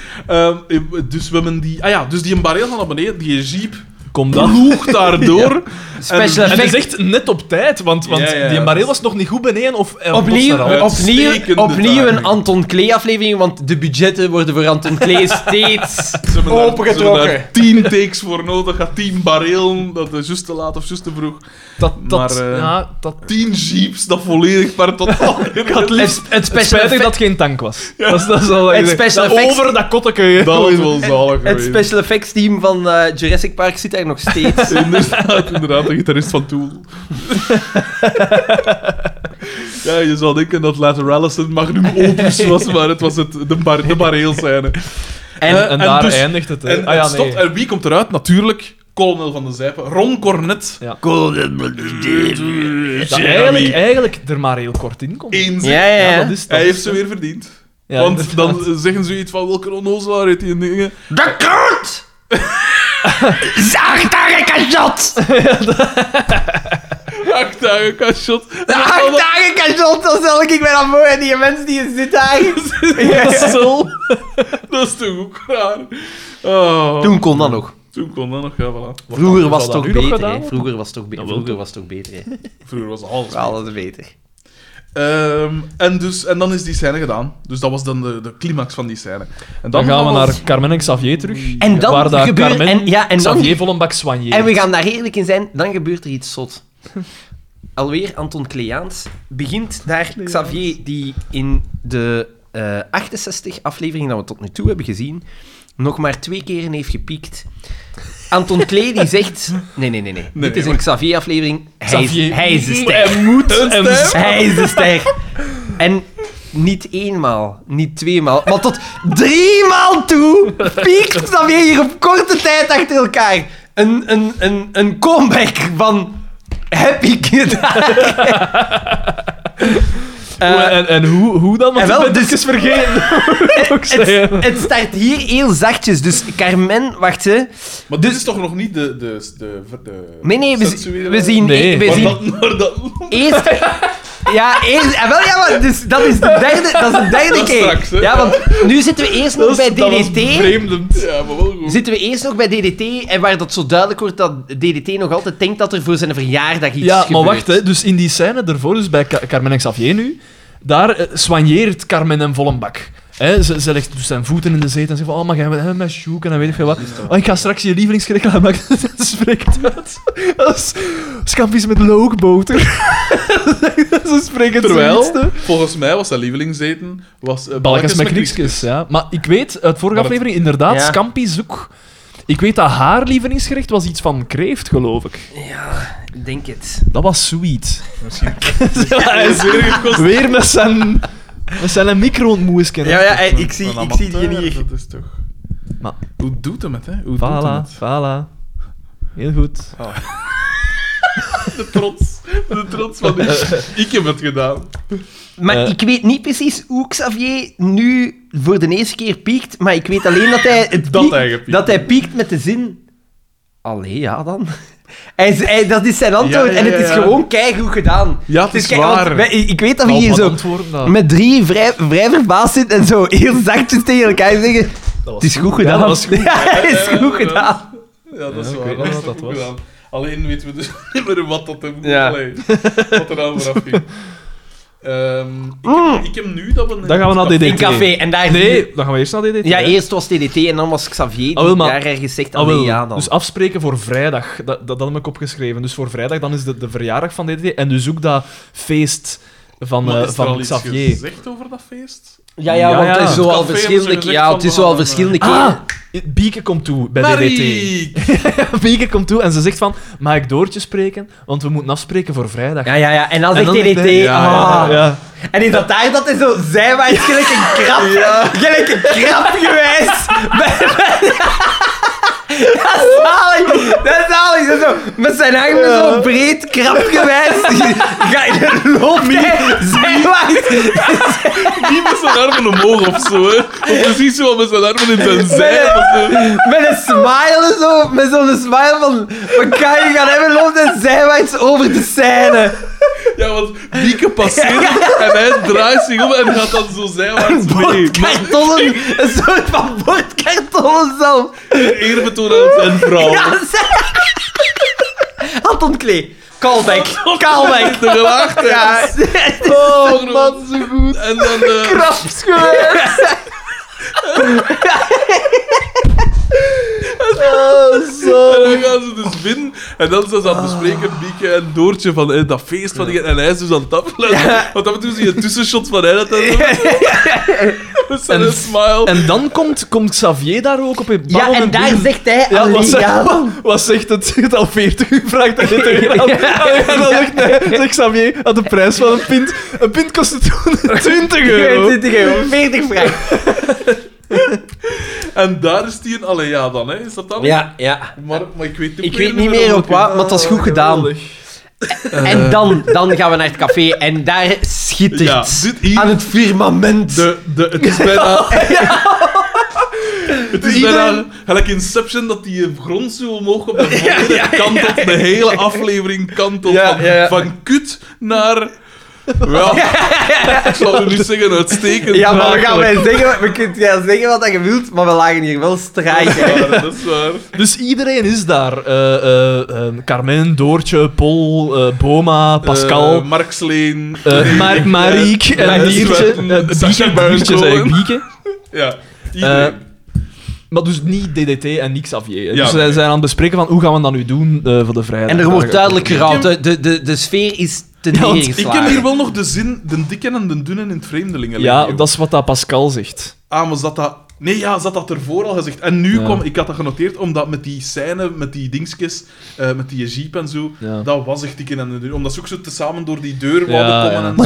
[SPEAKER 2] dus we hebben die... Ah ja, dus die een barrel van naar beneden, die jeep
[SPEAKER 3] Kom dan.
[SPEAKER 2] ploegt daardoor.
[SPEAKER 4] Special
[SPEAKER 2] En-
[SPEAKER 3] En dat is
[SPEAKER 4] effect.
[SPEAKER 3] echt net op tijd, want, want
[SPEAKER 2] Ja, ja,
[SPEAKER 3] die
[SPEAKER 2] ja.
[SPEAKER 3] barrel was nog niet goed beneden. Of, eh, was er al.
[SPEAKER 2] Uitstekende
[SPEAKER 4] Opnieuw, opnieuw, opnieuw een
[SPEAKER 2] timing.
[SPEAKER 4] Anton Klee aflevering, want de budgetten worden voor Anton Klee
[SPEAKER 2] Ze
[SPEAKER 4] steeds
[SPEAKER 2] hebben daar- Ze hebben
[SPEAKER 4] opengetrokken.
[SPEAKER 2] daar tien takes voor nodig, gaat tien barrelen, dat is juist te laat of juist te vroeg.
[SPEAKER 3] Dat, dat,
[SPEAKER 2] Maar, eh,
[SPEAKER 3] ja, dat,
[SPEAKER 2] Tien jeeps, dat volledig per totaal.
[SPEAKER 4] Het, het
[SPEAKER 3] het
[SPEAKER 4] special
[SPEAKER 3] spijtig
[SPEAKER 4] effect-
[SPEAKER 3] dat het geen tank was. Dat, is- dat is al
[SPEAKER 4] Het
[SPEAKER 3] dat
[SPEAKER 4] special effects-
[SPEAKER 3] Over dat kotteke.
[SPEAKER 2] Dat was wel zalig
[SPEAKER 4] Het
[SPEAKER 2] geweest.
[SPEAKER 4] special effects team van eh, Jurassic Park zit daar nog steeds.
[SPEAKER 2] Inderdaad, inderdaad, de gitarist van Tool. ja, je zou denken dat Later Allison Magnum Opus was, maar het was het, de, bar, de barreelscène.
[SPEAKER 4] En-
[SPEAKER 2] Eh,
[SPEAKER 3] En daar
[SPEAKER 2] dus-
[SPEAKER 3] eindigt het. hè.
[SPEAKER 2] En,
[SPEAKER 3] ah, ja,
[SPEAKER 2] het stopt,
[SPEAKER 3] nee.
[SPEAKER 2] en wie komt eruit? Natuurlijk, Colonel van de Zijpen, Ron Cornet.
[SPEAKER 3] Ja. Dat eigenlijk,
[SPEAKER 2] Jeremy.
[SPEAKER 3] eigenlijk er maar heel kort in komt.
[SPEAKER 2] Eens.
[SPEAKER 4] Ja, dus- ja, ja.
[SPEAKER 3] dat is het.
[SPEAKER 2] Hij heeft ze weer verdiend.
[SPEAKER 3] Ja,
[SPEAKER 2] Want
[SPEAKER 3] inderdaad.
[SPEAKER 2] dan zeggen ze iets van welke onnozelaar heeft die dingen.
[SPEAKER 4] De kut! Zaag daar een kajot!
[SPEAKER 2] Acht dagen kastshot.
[SPEAKER 4] Acht dagen kajot, dan zal ik mij dan voor en die mensen die hier zitten eigenlijk.
[SPEAKER 3] Zo.
[SPEAKER 2] Dat is toch ook raar. Oh,
[SPEAKER 4] Toen kon dat nog.
[SPEAKER 2] toen kon dat nog, ja, voilà.
[SPEAKER 4] Vroeger was het
[SPEAKER 3] dat
[SPEAKER 4] toch
[SPEAKER 3] nu nog
[SPEAKER 4] beter,
[SPEAKER 3] gedaan
[SPEAKER 4] hè?
[SPEAKER 3] worden?
[SPEAKER 4] Vroeger was het toch, be-
[SPEAKER 2] Dat wil
[SPEAKER 4] Vroeger was het toch beter, hè?
[SPEAKER 2] Vroeger was alles
[SPEAKER 4] Wel, dat is beter.
[SPEAKER 2] Ehm, en, dus, en dan is die scène gedaan. Dus dat was dan de, de climax van die scène. En
[SPEAKER 3] Dan gaan we
[SPEAKER 2] was-
[SPEAKER 3] naar Carmen en Xavier terug.
[SPEAKER 4] En dan
[SPEAKER 3] waar daar
[SPEAKER 4] gebeurt-
[SPEAKER 3] Carmen
[SPEAKER 4] en- ja, en dan-
[SPEAKER 3] Xavier vol een bak soigneert.
[SPEAKER 4] En we gaan daar eerlijk in zijn, dan gebeurt er iets zot. Alweer Anton Kleaans begint daar Xavier, die in de eh, 68 afleveringen dat we tot nu toe hebben gezien, nog maar twee keren heeft gepiekt. Anton Klee die zegt... Nee, nee, nee, nee.
[SPEAKER 2] nee,
[SPEAKER 4] Dit is een
[SPEAKER 2] wacht.
[SPEAKER 4] Xavier-aflevering. Hij, is-
[SPEAKER 3] Xavier-
[SPEAKER 4] hij is de ster.
[SPEAKER 3] Hij moet en
[SPEAKER 2] ster.
[SPEAKER 4] Hij is de ster. En niet eenmaal, niet tweemaal, maar tot driemaal toe piekt dan weer hier op korte tijd achter elkaar een, een, een, een comeback van Happy Kid.
[SPEAKER 3] Hoe-
[SPEAKER 4] Eh,
[SPEAKER 3] en, en hoe, hoe dan? Want
[SPEAKER 4] en wel,
[SPEAKER 3] ik ben het
[SPEAKER 4] dus-
[SPEAKER 3] eens vergeten. Ook
[SPEAKER 4] het,
[SPEAKER 3] zeggen.
[SPEAKER 4] het start hier heel zachtjes, dus Carmen, wacht hè.
[SPEAKER 2] Maar dit is toch nog niet de... de, de, de
[SPEAKER 4] Dus- Nee, nee, we, zi-
[SPEAKER 2] sensuele-
[SPEAKER 4] we zien...
[SPEAKER 3] Nee,
[SPEAKER 4] we
[SPEAKER 2] Maar
[SPEAKER 4] zien E
[SPEAKER 2] dat, maar dat,
[SPEAKER 4] Eerst. Ja, eerst. En wel, ja, maar dus, dat is de derde, dat is de derde
[SPEAKER 2] Dat is
[SPEAKER 4] keer.
[SPEAKER 2] straks, hè?
[SPEAKER 4] ja, want nu zitten we eerst nog
[SPEAKER 2] dat
[SPEAKER 4] bij
[SPEAKER 2] is- dat was
[SPEAKER 4] DDT.
[SPEAKER 2] bevreemdend. Ja, maar wel goed.
[SPEAKER 4] Zitten we eerst nog bij DDT en waar dat zo duidelijk wordt dat DDT nog altijd denkt dat er voor zijn verjaardag iets
[SPEAKER 3] Ja,
[SPEAKER 4] gebeurt.
[SPEAKER 3] maar wacht, hè. dus in die scène daarvoor, dus bij Ca- Carmen en Xavier nu, daar eh, soigneert Carmen hem vol een bak. Hè, ze, ze legt dus zijn voeten in de zetel en zegt van, oh, mag jij met hem met Sjoek en dan weet ik veel wat. Oh, ik ga straks je lievelingsgerecht maken. dat spreekt uit. Dat is scampi's met loogboter. ze spreken
[SPEAKER 2] Terwijl,
[SPEAKER 3] zoiets, hè.
[SPEAKER 2] volgens mij was zijn lievelingseten... Was, eh,
[SPEAKER 3] Balkens met knikjes, ja. Maar ik weet, uit vorige
[SPEAKER 2] Maar het-
[SPEAKER 3] aflevering, inderdaad,
[SPEAKER 4] Ja.
[SPEAKER 3] scampi's ook. Ik weet dat haar lievelingsgerecht was iets van kreeft, geloof ik.
[SPEAKER 4] Ja, ik denk het.
[SPEAKER 3] Dat was sweet.
[SPEAKER 2] Misschien.
[SPEAKER 3] Ja,
[SPEAKER 2] Hij is weer gekost.
[SPEAKER 3] Weer met zijn, met zijn micro-ontmoesken.
[SPEAKER 4] Ja, ja, ik zie,
[SPEAKER 2] Van
[SPEAKER 4] ik zie die
[SPEAKER 2] amateur,
[SPEAKER 4] hier.
[SPEAKER 2] Dat is toch...
[SPEAKER 3] Maar-
[SPEAKER 2] Hoe doet hem het, hè? Hoe doet hem
[SPEAKER 3] Voilà,
[SPEAKER 2] het?
[SPEAKER 3] voilà. Heel goed.
[SPEAKER 2] De trots. De trots van... Ik, ik heb het gedaan.
[SPEAKER 4] Maar
[SPEAKER 3] Eh.
[SPEAKER 4] ik weet niet precies hoe Xavier nu voor de eerste keer piekt, maar ik weet alleen dat hij, het
[SPEAKER 2] Dat
[SPEAKER 4] piekt-
[SPEAKER 2] hij gepiekt
[SPEAKER 4] dat hij piekt met de zin... Allee, ja dan. Hij, z- hij- dat is zijn antwoord
[SPEAKER 2] Ja, ja,
[SPEAKER 4] en het
[SPEAKER 2] ja,
[SPEAKER 4] is
[SPEAKER 2] ja.
[SPEAKER 4] gewoon keigoed gedaan.
[SPEAKER 2] Ja, het is
[SPEAKER 4] kei- want
[SPEAKER 2] waar.
[SPEAKER 4] wij- ik ik weet dat we hier zo
[SPEAKER 3] antwoorden
[SPEAKER 1] Oh.
[SPEAKER 3] dat.
[SPEAKER 4] met drie vrij, vrij verbaasd zitten en zo heel zachtjes tegen elkaar zeggen... Het is goed gedaan.
[SPEAKER 3] Ja, dat was goed.
[SPEAKER 4] Ja, het is
[SPEAKER 2] Ja,
[SPEAKER 4] goed
[SPEAKER 2] ja,
[SPEAKER 4] gedaan.
[SPEAKER 2] Ja, dat is
[SPEAKER 3] Ja,
[SPEAKER 2] waar.
[SPEAKER 3] ik weet
[SPEAKER 2] Dat
[SPEAKER 3] niet
[SPEAKER 2] is
[SPEAKER 3] wat
[SPEAKER 2] toch
[SPEAKER 3] dat
[SPEAKER 2] goed
[SPEAKER 3] was.
[SPEAKER 2] gedaan. Alleen weten we dus niet meer wat dat hem
[SPEAKER 4] Ja.
[SPEAKER 2] Allee, wat er aan vooraf ging. Ehm, ik, heb, ik heb nu dat we...
[SPEAKER 3] Mm. Dan gaan we naar DDT.
[SPEAKER 4] In café en daar...
[SPEAKER 3] Nee, dan gaan we eerst naar DDT.
[SPEAKER 4] Ja,
[SPEAKER 3] hè.
[SPEAKER 4] eerst was DDT en dan was Xavier die
[SPEAKER 3] Ah, wel, maar-
[SPEAKER 4] daar ergens zegt...
[SPEAKER 3] Ah, wel.
[SPEAKER 4] Allee, ja dan.
[SPEAKER 3] Dus afspreken voor vrijdag. Dat, dat, dat heb ik opgeschreven. Dus voor vrijdag dan is de, de verjaardag van DDT. En dus ook dat feest van,
[SPEAKER 2] Maar
[SPEAKER 3] eh,
[SPEAKER 2] is er al
[SPEAKER 3] van
[SPEAKER 2] iets
[SPEAKER 3] Xavier.
[SPEAKER 2] gezegd over dat feest?
[SPEAKER 1] Ja, ja,
[SPEAKER 3] Ja,
[SPEAKER 1] want
[SPEAKER 3] ja.
[SPEAKER 1] het is zo al
[SPEAKER 2] Het café hebben
[SPEAKER 1] verschillende
[SPEAKER 2] ze
[SPEAKER 1] keer.
[SPEAKER 2] gezegd
[SPEAKER 1] Ja, het is
[SPEAKER 2] van,
[SPEAKER 1] zo al
[SPEAKER 2] eh,
[SPEAKER 1] verschillende keer.
[SPEAKER 3] Ah! Bieke komt toe bij DDT.
[SPEAKER 2] Mariek!
[SPEAKER 3] Bieke komt toe en ze zegt van, mag ik Doortje spreken? Want we moeten afspreken voor vrijdag.
[SPEAKER 1] Ja, ja, ja. En dan zegt
[SPEAKER 3] dan zegt
[SPEAKER 1] DDT.
[SPEAKER 3] hij-
[SPEAKER 2] Ja, ja,
[SPEAKER 1] ah.
[SPEAKER 3] Ja.
[SPEAKER 1] En in dat daar dat is zo zij maar het is gelijk een krap. Gelijk een krap geweest. Bij- bij- Dat is zalig. Dat is zalig. Dat is zo, met zijn armen zo breed krap geweest. Ga je lopen? Zij waait.
[SPEAKER 2] Die met zijn armen omhoog of zo, hè? Of precies zo met zijn armen in zijn zij. of zo.
[SPEAKER 1] Met een smile zo, met zo'n smile van, wat kan je gaan hebben, loopt en zijwaarts over de scène.
[SPEAKER 2] Ja, want Bieke passeert en hij draait zich om en gaat dan zo zijwaarts mee. Maar
[SPEAKER 1] Bordkartonnen, een soort van bordkartonnen zelf.
[SPEAKER 2] eerbetoon aan zijn vrouw.
[SPEAKER 1] Ja, zij... Anton Klee, callback, callback.
[SPEAKER 2] De gelaagdheid.
[SPEAKER 1] Ja,
[SPEAKER 2] Oh, man, zo goed. En dan... eh,
[SPEAKER 1] krapsgeweest. Oh,
[SPEAKER 2] En dan gaan ze dus winnen. En dan zijn ze aan het bespreken, Bieke en Doortje, van eh, dat feest van die... En hij is dus aan het afleiden. Want af en toe zie je tussenshot van hij dat dan... Met zijn
[SPEAKER 3] En-
[SPEAKER 2] smile.
[SPEAKER 3] En dan komt, komt Xavier daar ook op. een
[SPEAKER 1] Ja, en daar zegt hij
[SPEAKER 3] Ja, wat,
[SPEAKER 1] alleen,
[SPEAKER 3] zegt,
[SPEAKER 1] ja.
[SPEAKER 3] wat zegt het? Het al 40 uur vraagt dat je terug aan. En dan zegt, nee, zegt Xavier aan de prijs van een pint. Een pint kostte toen 20 euro.
[SPEAKER 1] 20 euro, 40 vragen.
[SPEAKER 2] En daar is die een... Allee, ja dan, hè. Is dat dan?
[SPEAKER 1] Ja, ja.
[SPEAKER 2] Maar, maar ik weet niet
[SPEAKER 1] Ik
[SPEAKER 2] meer
[SPEAKER 1] weet niet
[SPEAKER 2] hoe dat
[SPEAKER 1] meer op
[SPEAKER 2] ook is.
[SPEAKER 1] wat, maar het was goed gedaan.
[SPEAKER 3] Geweldig.
[SPEAKER 1] En dan, dan gaan we naar het café en daar schittert
[SPEAKER 2] Ja, dit hier-
[SPEAKER 1] aan het firmament.
[SPEAKER 2] De, de, het is bijna... Het is bijna gelijk Inception dat die grond zo omhoog op de volgende kantelt, de hele aflevering kantelt
[SPEAKER 3] Ja,
[SPEAKER 2] van,
[SPEAKER 3] ja, ja.
[SPEAKER 2] van kut naar... Ja, ik zal nu niet zeggen uitstekend.
[SPEAKER 1] Ja, maar we gaan wij zeggen, we kunnen gaan zeggen wat je wilt, maar we lagen hier wel
[SPEAKER 2] Dat is
[SPEAKER 1] strijken.
[SPEAKER 2] waar, dat is waar.
[SPEAKER 3] Dus iedereen is daar. Eh, eh, eh, Carmen, Doortje, Pol, eh, Boma, Pascal,
[SPEAKER 2] Eh, Mark Sleen.
[SPEAKER 3] eh Mark, Mariek en
[SPEAKER 2] Mark
[SPEAKER 3] Biertje.
[SPEAKER 2] Swetten,
[SPEAKER 3] Eh,
[SPEAKER 2] Sacha
[SPEAKER 3] Bieke,
[SPEAKER 2] Baron
[SPEAKER 3] Biertje zei ik,
[SPEAKER 2] Cohen.
[SPEAKER 3] Bieke.
[SPEAKER 2] Ja, iedereen.
[SPEAKER 3] Maar dus niet DDT en niet Xavier. hè.
[SPEAKER 2] Ja,
[SPEAKER 3] dus zij
[SPEAKER 2] nee.
[SPEAKER 3] zijn aan het bespreken van hoe gaan we dat nu doen eh, voor de vrijdag.
[SPEAKER 1] En er wordt duidelijk gerouwd.
[SPEAKER 2] Ik heb-
[SPEAKER 1] De, de, de, de sfeer is te
[SPEAKER 3] Ja, want
[SPEAKER 2] ik heb hier
[SPEAKER 1] neergeslagen.
[SPEAKER 2] wel nog de zin, de dikke en de dunne in het vreemdelingen.
[SPEAKER 3] Ja, dat is wat dat Pascal zegt.
[SPEAKER 2] Ah, maar zat dat... Nee, ja, zat dat ervoor al gezegd. En nu
[SPEAKER 3] Ja.
[SPEAKER 2] kwam... Ik had dat genoteerd, omdat met die scène, met die dingetjes, eh, met die jeep en zo,
[SPEAKER 3] Ja.
[SPEAKER 2] dat was echt dikke en de deur. Omdat ze ook zo tezamen door die deur
[SPEAKER 3] Ja,
[SPEAKER 2] wouden
[SPEAKER 3] ja.
[SPEAKER 2] komen.
[SPEAKER 1] Ik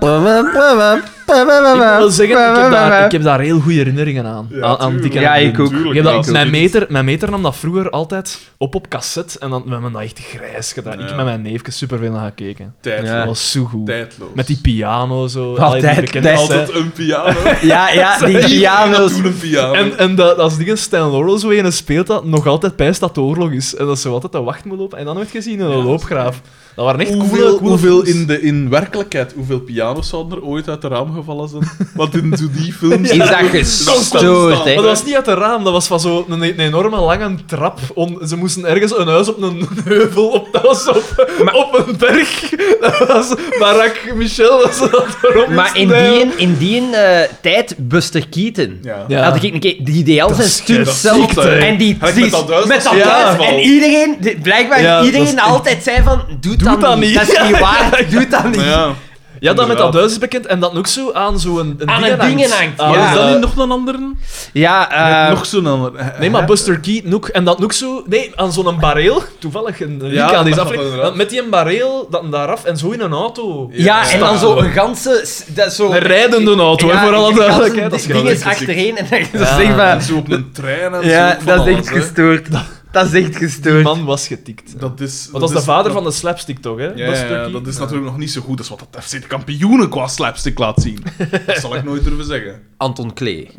[SPEAKER 2] En
[SPEAKER 3] Ik wil zeggen, ik heb daar, ik heb daar heel goede herinneringen aan.
[SPEAKER 2] Ja,
[SPEAKER 3] aan, aan Dick
[SPEAKER 1] tuurlijk.
[SPEAKER 3] en Dun.
[SPEAKER 1] Ja, ik ook.
[SPEAKER 2] tuurlijk,
[SPEAKER 3] Ik heb
[SPEAKER 2] ja,
[SPEAKER 3] dat,
[SPEAKER 2] zo
[SPEAKER 3] mijn,
[SPEAKER 2] is het.
[SPEAKER 3] meter, mijn meter nam dat vroeger altijd op op cassette. En dan we hebben dat echt grijs gedaan. Ik
[SPEAKER 2] Ja.
[SPEAKER 3] met mijn neefjes superveel naar gekeken.
[SPEAKER 2] Tijdloos.
[SPEAKER 3] Dat was zo goed.
[SPEAKER 2] Tijdloos.
[SPEAKER 3] Met die piano zo.
[SPEAKER 1] Wat,
[SPEAKER 3] Allee, die
[SPEAKER 1] tijd-
[SPEAKER 3] bekende
[SPEAKER 1] tijd-
[SPEAKER 2] Altijd
[SPEAKER 3] altijd.
[SPEAKER 2] een piano.
[SPEAKER 1] Ja, ja, die piano's.
[SPEAKER 2] Toen een piano.
[SPEAKER 3] En, en dat, als dingen Stan Laurel zo in speelt, dat nog altijd pijst dat de oorlog is. En dat ze altijd te wacht moet lopen. En dan werd gezien in een
[SPEAKER 2] Ja, dat is
[SPEAKER 3] loopgraaf. Dat waren echt coole,
[SPEAKER 2] Hoeveel,
[SPEAKER 3] coole
[SPEAKER 2] hoeveel
[SPEAKER 3] films.
[SPEAKER 2] in, de, in werkelijkheid, hoeveel piano's zouden er ooit uit de raam gevallen zijn? Want in zo die films...
[SPEAKER 1] Is dat
[SPEAKER 2] constant
[SPEAKER 1] gestoord,
[SPEAKER 2] staan.
[SPEAKER 1] hè?
[SPEAKER 3] Maar dat was niet uit het raam, dat was van zo'n een, een enorme lange trap. Om, ze moesten ergens een huis op een heuvel, op, dat was op, op een berg. Dat was Barack Michel, dat ze dat erop
[SPEAKER 1] Maar in
[SPEAKER 3] moesten
[SPEAKER 1] die, in die eh, tijd, Buster Keaton.
[SPEAKER 2] Ja.
[SPEAKER 3] Ja.
[SPEAKER 1] Had ik een keer, die deed al zijn stunt
[SPEAKER 2] dat
[SPEAKER 1] zelf.
[SPEAKER 2] is ziekte, hè.
[SPEAKER 1] En die,
[SPEAKER 2] Gelijk
[SPEAKER 1] die
[SPEAKER 2] met dat duizend-
[SPEAKER 1] met dat
[SPEAKER 2] Ja.
[SPEAKER 1] duizend. En iedereen, die- blijkbaar
[SPEAKER 3] Ja, dat
[SPEAKER 1] iedereen
[SPEAKER 3] is-
[SPEAKER 1] altijd zei van, doe, dat,
[SPEAKER 3] dat
[SPEAKER 1] niet.
[SPEAKER 3] niet.
[SPEAKER 1] Dat is niet
[SPEAKER 3] Ja,
[SPEAKER 1] waar, doe dat niet.
[SPEAKER 2] Maar ja.
[SPEAKER 3] Ja, dat met dat
[SPEAKER 2] Inderdaad.
[SPEAKER 3] huis is bekend en dat ook zo aan zo'n een Ah,
[SPEAKER 1] Aan een dingen hangt,
[SPEAKER 3] Aan
[SPEAKER 2] Maar
[SPEAKER 1] ja.
[SPEAKER 2] is
[SPEAKER 3] een-
[SPEAKER 2] dat niet nog een andere?
[SPEAKER 1] Ja, eh,
[SPEAKER 2] nog zo'n ander.
[SPEAKER 3] Nee, maar Buster Keaton ook. En dat ook zo... Nee, aan zo'n bareel. Toevallig een link
[SPEAKER 2] Ja,
[SPEAKER 3] aan deze
[SPEAKER 2] dat
[SPEAKER 3] aflevering.
[SPEAKER 2] inderdaad.
[SPEAKER 3] Met die een bareel, dat daar af en zo in een auto.
[SPEAKER 1] ja, en dan
[SPEAKER 2] Ja.
[SPEAKER 1] zo een ganse... s- Dat zo,
[SPEAKER 3] Een rijdende auto, hè, voor alle
[SPEAKER 1] een ganse
[SPEAKER 3] duidelijkheid. Dat is
[SPEAKER 1] ding is
[SPEAKER 2] geweldig.
[SPEAKER 1] achtereen en dan
[SPEAKER 3] Ja.
[SPEAKER 1] zeg
[SPEAKER 2] En
[SPEAKER 1] maar...
[SPEAKER 2] zo op een trein en
[SPEAKER 1] Ja,
[SPEAKER 2] zo. van
[SPEAKER 1] dat is echt
[SPEAKER 2] alles, hè.
[SPEAKER 1] gestoord. Dat is echt
[SPEAKER 3] Die
[SPEAKER 1] gestoord.
[SPEAKER 3] man was getikt.
[SPEAKER 2] Dat is,
[SPEAKER 3] Want dat is de vader van de slapstick, toch? Hè?
[SPEAKER 2] Ja,
[SPEAKER 3] Buster
[SPEAKER 2] ja,
[SPEAKER 3] Keaton.
[SPEAKER 2] dat is natuurlijk nog niet zo goed als wat dat FC de kampioenen qua slapstick laat zien. Dat zal ik nooit durven zeggen.
[SPEAKER 1] Anton Klee.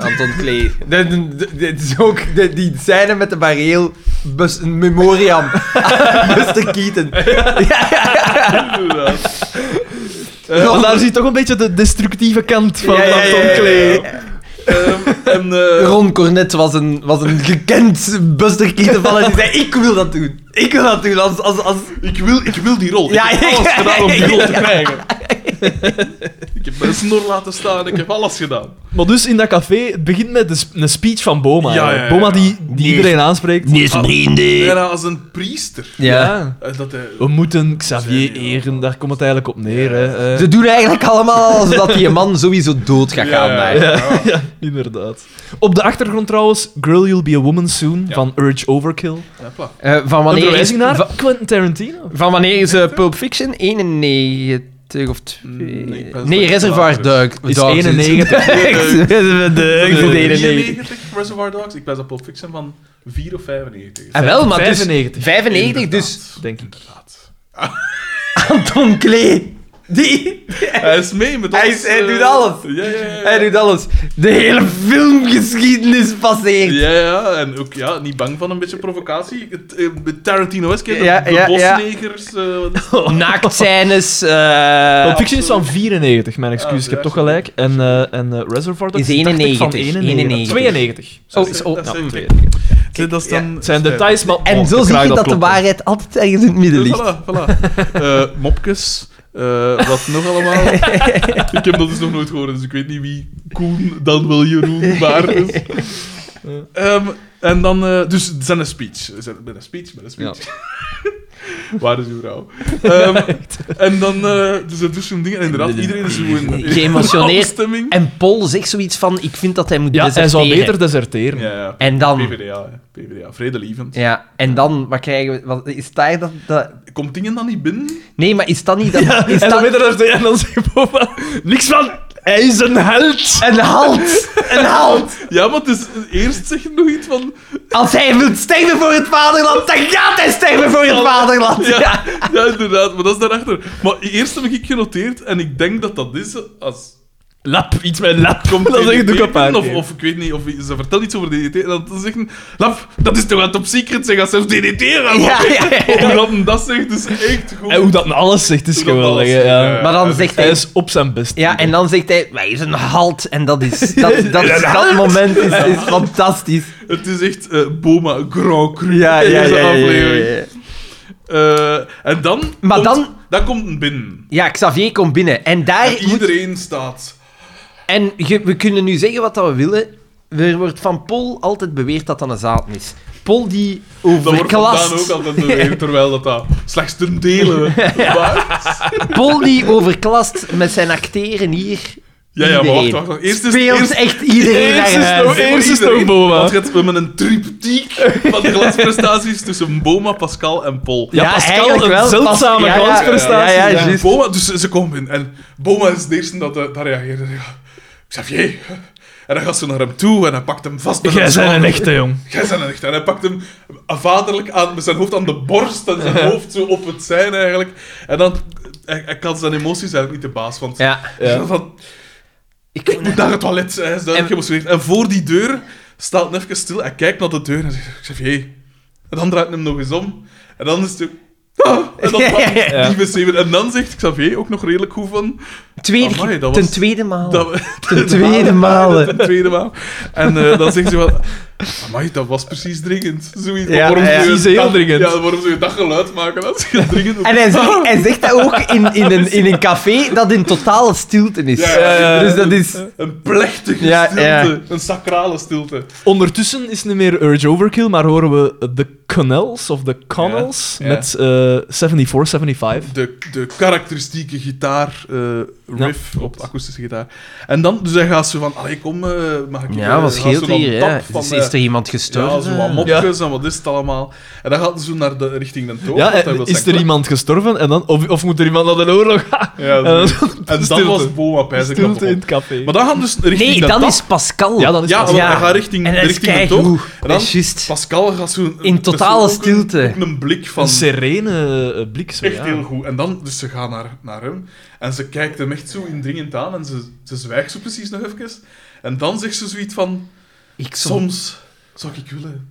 [SPEAKER 1] Anton Klee. De- de- de- Dit is ook de- die scène met de bareel. Bus, een memoriam. Buster Keaton. Ja, ja,
[SPEAKER 2] Inderdaad.
[SPEAKER 3] Eh, Want daar zie je toch een beetje de destructieve kant van
[SPEAKER 1] Ja, ja,
[SPEAKER 3] Anton
[SPEAKER 1] ja, ja,
[SPEAKER 3] Klee.
[SPEAKER 2] Ehm, en eh,
[SPEAKER 1] Ron Cornet was een, was een gekend Buster Keaton van en die zei, ik wil dat doen. Ik wil dat doen als... als, als...
[SPEAKER 2] ik, wil, ik wil die rol.
[SPEAKER 1] Ja,
[SPEAKER 2] ik heb alles gedaan om die rol te krijgen. Ik heb mijn snor laten staan, ik heb alles gedaan.
[SPEAKER 3] Maar dus in dat café, het begint met de sp- een speech van Boma.
[SPEAKER 2] Ja,
[SPEAKER 3] hè.
[SPEAKER 2] ja, ja.
[SPEAKER 3] Boma die, die
[SPEAKER 4] Nee.
[SPEAKER 3] iedereen aanspreekt. Ah,
[SPEAKER 4] Nee,
[SPEAKER 2] Ah,
[SPEAKER 4] vrienden.
[SPEAKER 2] Bijna als een priester.
[SPEAKER 4] Ja.
[SPEAKER 2] Eh, Dat hij...
[SPEAKER 3] We moeten Xavier eren, daar komt het eigenlijk op neer. Hè. Eh,
[SPEAKER 4] Ze doen eigenlijk allemaal alsof dat die man sowieso dood gaat gaan. daar.
[SPEAKER 2] ja.
[SPEAKER 3] ja, inderdaad. Op de achtergrond trouwens, Girl You'll Be a Woman Soon
[SPEAKER 2] Ja.
[SPEAKER 3] van Urge Overkill.
[SPEAKER 2] Hopla.
[SPEAKER 4] Eh, van
[SPEAKER 3] Een
[SPEAKER 4] wanneer is,
[SPEAKER 3] verwijzing naar
[SPEAKER 4] van,
[SPEAKER 3] Quentin Tarantino.
[SPEAKER 4] van wanneer is eh, Pulp Fiction? 91
[SPEAKER 2] Nee,
[SPEAKER 4] of 2?
[SPEAKER 2] ik
[SPEAKER 4] Mm, Nee,
[SPEAKER 2] ben zo
[SPEAKER 4] Reservoir
[SPEAKER 2] later.
[SPEAKER 4] Duck.
[SPEAKER 3] Is
[SPEAKER 4] Dogs
[SPEAKER 3] 91.
[SPEAKER 4] Ik ben de- ik ben de 91.
[SPEAKER 2] 93 Eh, Reservoir Dogs. Ik ben dat Pulp Fiction van 4 of 95. is.
[SPEAKER 3] Eh,
[SPEAKER 4] Ah, wel, maar dus-
[SPEAKER 3] 95.
[SPEAKER 4] 95, dus
[SPEAKER 2] Inderdaad.
[SPEAKER 3] Denk ik.
[SPEAKER 2] Inderdaad.
[SPEAKER 4] Anton Klee. Die,
[SPEAKER 2] Hij is mee met ons.
[SPEAKER 4] Hij is- hij
[SPEAKER 2] eh,
[SPEAKER 4] doet alles.
[SPEAKER 2] Ja, ja, ja.
[SPEAKER 4] hij doet alles. De hele filmgeschiedenis passeert.
[SPEAKER 2] Ja, ja, en ook ja, niet bang van een beetje provocatie. Het, eh, met Tarantino is
[SPEAKER 4] Ja,
[SPEAKER 2] de, de
[SPEAKER 4] ja, ja.
[SPEAKER 2] bosnegers. eh, wat is het?
[SPEAKER 4] Naaktscènes. eh,
[SPEAKER 3] Pulp Fiction is van 94, mijn excuus,
[SPEAKER 2] Ah,
[SPEAKER 3] ik heb toch
[SPEAKER 2] juist.
[SPEAKER 3] gelijk. En, eh, en eh, Reservoir Dogs
[SPEAKER 4] Is
[SPEAKER 3] dacht ik, van
[SPEAKER 4] 91.
[SPEAKER 3] 91. 92.
[SPEAKER 4] Oh,
[SPEAKER 2] Dat
[SPEAKER 4] is
[SPEAKER 2] is-
[SPEAKER 4] ook
[SPEAKER 2] dat
[SPEAKER 4] nog
[SPEAKER 2] is een-
[SPEAKER 4] twee.
[SPEAKER 2] Zit, dat is dan, eh,
[SPEAKER 3] Het zijn details, maar...
[SPEAKER 4] En
[SPEAKER 3] oh,
[SPEAKER 4] zo
[SPEAKER 3] ik
[SPEAKER 4] zie
[SPEAKER 3] raak
[SPEAKER 4] je dat, de
[SPEAKER 3] klopt.
[SPEAKER 4] waarheid altijd ergens in het midden ligt.
[SPEAKER 2] Voilà, voilà. Eh, mopjes. eh, wat nog allemaal? ik heb dat dus nog nooit gehoord, dus ik weet niet wie Koen dan wel Jeroen waar is. Ehm, en dan, eh, dus zijn een speech. Zijn, met een speech, met een speech. waar is uw vrouw? Ehm, en dan, eh, dus dat is zo'n ding. En inderdaad, iedereen is zo in, in
[SPEAKER 4] Geëmotioneerd.
[SPEAKER 2] afstemming.
[SPEAKER 4] En Paul zegt zoiets van: Ik vind dat hij moet
[SPEAKER 3] Ja, hij zal
[SPEAKER 4] deserteren.
[SPEAKER 3] beter deserteren.
[SPEAKER 2] Ja, ja.
[SPEAKER 4] En dan.
[SPEAKER 2] PvdA, hè. PvdA, vredelievend.
[SPEAKER 4] Ja, en dan, wat krijgen we? Wat, is daar dat, dat.
[SPEAKER 2] Komt dingen dan niet binnen?
[SPEAKER 4] Nee, maar is dat niet. Dat, is
[SPEAKER 3] en dan
[SPEAKER 4] dat,
[SPEAKER 3] weet er dat- en dan zegt Boba... Niks van... Hij is een held!
[SPEAKER 4] Een halt! Een halt!
[SPEAKER 2] Ja, want dus, eerst zeg je nog iets van...
[SPEAKER 4] Als hij wil sterven voor het vaderland, dan gaat hij sterven voor het vaderland! Ja.
[SPEAKER 2] Ja, ja, inderdaad, maar dat is daarachter. Maar eerst heb ik genoteerd en ik denk dat dat is eh, als. E
[SPEAKER 3] Lap, iets met lap.
[SPEAKER 2] Komt
[SPEAKER 3] dat zeg ik
[SPEAKER 2] DDT
[SPEAKER 3] ook een paar
[SPEAKER 2] binnen,
[SPEAKER 3] keer.
[SPEAKER 2] of, of ik weet niet, of ze vertelt iets over DDT. En dan ze zeggen: Lap, dat is toch aan top secret? Ze gaat zelfs DDT gaan.
[SPEAKER 4] Ja, ja, ja.
[SPEAKER 2] Hoe dat hem dat zegt, is echt goed.
[SPEAKER 3] En hoe dat nou alles zegt, is
[SPEAKER 2] Hoe dat
[SPEAKER 3] geweldig.
[SPEAKER 2] alles-
[SPEAKER 3] hè, Ja.
[SPEAKER 2] ja.
[SPEAKER 4] Maar dan zegt
[SPEAKER 3] Hij
[SPEAKER 4] hij.
[SPEAKER 3] is op zijn best.
[SPEAKER 4] Ja, en dan zegt hij: Wij is een halt! En dat is. Dat, dat, dat, moment is, is fantastisch.
[SPEAKER 2] Het is echt eh, Boma Grand Cru.
[SPEAKER 4] Ja, ja,
[SPEAKER 2] deze
[SPEAKER 4] ja. ja, ja,
[SPEAKER 2] aflevering.
[SPEAKER 4] ja.
[SPEAKER 2] Eh, en dan.
[SPEAKER 4] Maar
[SPEAKER 2] komt,
[SPEAKER 4] dan-
[SPEAKER 2] Dan komt een binnen.
[SPEAKER 4] Ja, Xavier komt binnen. En daar.
[SPEAKER 2] En
[SPEAKER 4] moet-
[SPEAKER 2] iedereen staat.
[SPEAKER 4] En ge- we kunnen nu zeggen wat dat we willen. Er wordt van Pol altijd beweerd dat dat een zaad is. Pol die
[SPEAKER 2] Dat wordt vandaan ook
[SPEAKER 4] overklast.
[SPEAKER 2] altijd beweerd, terwijl dat, dat slechts ten dele waar is.
[SPEAKER 4] Pol die overklast met zijn acteren hier.
[SPEAKER 2] Ja, ja, maar wacht,
[SPEAKER 4] iedereen.
[SPEAKER 2] wacht, wacht. Eerst is,
[SPEAKER 4] Speelt
[SPEAKER 2] eerst,
[SPEAKER 4] echt iedereen
[SPEAKER 3] Eerst
[SPEAKER 4] naar
[SPEAKER 3] is
[SPEAKER 4] huis.
[SPEAKER 3] nog- eerst is nog Boma.
[SPEAKER 2] Want het we met een triptiek van glansprestaties tussen Boma, Pascal en Pol.
[SPEAKER 3] Ja,
[SPEAKER 4] Ja,
[SPEAKER 3] Pascal,
[SPEAKER 4] eigenlijk
[SPEAKER 3] een
[SPEAKER 4] wel.
[SPEAKER 3] zeldzame
[SPEAKER 4] Pas- ja, ja,
[SPEAKER 3] glansprestatie.
[SPEAKER 4] ja, ja, ja. juist.
[SPEAKER 2] Boma, dus ze komen in. En Boma is de eerste dat, eh, dat reageert. En zegt, Xavier. En dan gaat ze naar hem toe en hij pakt hem vast. met
[SPEAKER 3] Jij
[SPEAKER 2] zijn
[SPEAKER 3] bent een
[SPEAKER 2] schouder.
[SPEAKER 3] echte, jong.
[SPEAKER 2] Jij bent een echte. En hij pakt hem vaderlijk aan, met zijn hoofd aan de borst en zijn hoofd zo op het zijn eigenlijk. En dan hij, hij kan zijn emoties eigenlijk niet de baas. Want
[SPEAKER 4] Ja.
[SPEAKER 3] Ja.
[SPEAKER 2] Van,
[SPEAKER 4] Ik,
[SPEAKER 2] Ik moet naar het toilet, hij is duidelijk geëmotioneerd. En voor die deur staat hij even stil en kijkt naar de deur en zegt, Xavier. En dan draait hij hem nog eens om. En dan is het... ook, Ah, en dan pakt hij
[SPEAKER 4] Ja.
[SPEAKER 2] die beseven. En dan zegt Xavier ook nog redelijk goed van...
[SPEAKER 4] tweede,
[SPEAKER 2] Amai, dat
[SPEAKER 4] ten
[SPEAKER 2] was-
[SPEAKER 4] tweede maal.
[SPEAKER 2] Dat,
[SPEAKER 4] Ten tweede malen.
[SPEAKER 2] Ten tweede maal. En eh, dan zegt ze van... Amai, dat was precies dringend. Zoiets.
[SPEAKER 4] Ja,
[SPEAKER 2] waarom
[SPEAKER 4] ja,
[SPEAKER 2] zou je
[SPEAKER 3] precies heel
[SPEAKER 2] dat-
[SPEAKER 3] dringend.
[SPEAKER 2] Ja, waarom zou je dat geluid maken als je dringend...
[SPEAKER 4] En hij zegt, hij zegt dat ook in, in, een, in een café dat in totale stilte is.
[SPEAKER 2] Ja, ja,
[SPEAKER 3] ja.
[SPEAKER 4] Dus dat is...
[SPEAKER 2] Een plechtige
[SPEAKER 4] Ja,
[SPEAKER 2] stilte.
[SPEAKER 4] ja.
[SPEAKER 2] Een sacrale stilte.
[SPEAKER 3] Ondertussen is het niet meer Urge Overkill, maar horen we de Connells of de Connells
[SPEAKER 2] Ja, Oh, ja.
[SPEAKER 3] met eh 74, 75.
[SPEAKER 2] de, de karakteristieke gitaar, eh, riff op de akoestische gitaar. En dan, dus hij gaat zo van, allee, kom, eh mag ik...
[SPEAKER 4] Ja,
[SPEAKER 2] eh,
[SPEAKER 4] wat
[SPEAKER 2] gaat
[SPEAKER 4] scheelt
[SPEAKER 2] zo dan
[SPEAKER 4] hier?
[SPEAKER 2] tap
[SPEAKER 4] hè? Dus
[SPEAKER 2] Van,
[SPEAKER 4] Is eh.
[SPEAKER 2] eh,
[SPEAKER 4] is er iemand
[SPEAKER 2] ja,
[SPEAKER 4] gestorven?
[SPEAKER 2] zo wat mopjes en wat is het allemaal. En dan gaat hij zo naar de, richting de toren.
[SPEAKER 3] Ja,
[SPEAKER 2] want hij
[SPEAKER 4] eh,
[SPEAKER 3] en
[SPEAKER 2] wil
[SPEAKER 3] is
[SPEAKER 2] zijn
[SPEAKER 3] er
[SPEAKER 2] club.
[SPEAKER 3] iemand gestorven? En dan, of, of moet er iemand naar de oorlog gaan?
[SPEAKER 2] Ja,
[SPEAKER 3] En
[SPEAKER 2] zo.
[SPEAKER 3] dan-
[SPEAKER 2] en dan
[SPEAKER 3] stilte.
[SPEAKER 2] was Boma bij zijn knop
[SPEAKER 3] Stilte in
[SPEAKER 2] op.
[SPEAKER 3] het café.
[SPEAKER 2] Maar dan gaan dus richting
[SPEAKER 4] Nee,
[SPEAKER 2] de
[SPEAKER 4] dan
[SPEAKER 2] tap.
[SPEAKER 4] is Pascal.
[SPEAKER 3] Ja, dan is
[SPEAKER 2] Ja,
[SPEAKER 3] Pascal.
[SPEAKER 2] want hij gaat richting,
[SPEAKER 4] En hij is
[SPEAKER 2] richting de
[SPEAKER 4] keigoed.
[SPEAKER 2] toren. En dan
[SPEAKER 4] Dat is juist.
[SPEAKER 2] Pascal gaat zo...
[SPEAKER 4] In
[SPEAKER 2] dat is
[SPEAKER 4] totale
[SPEAKER 2] ook een-
[SPEAKER 4] stilte.
[SPEAKER 2] Ook een blik van...
[SPEAKER 3] Een serene eh, blik. Zo,
[SPEAKER 2] Echt
[SPEAKER 3] ja.
[SPEAKER 2] heel goed. En dan, dus ze gaan naar, naar hem en ze kijkt hem echt zo indringend aan en ze, ze zwijgt zo precies nog even. En dan zegt ze zoiets van:
[SPEAKER 4] Ik som-
[SPEAKER 2] Soms zou ik willen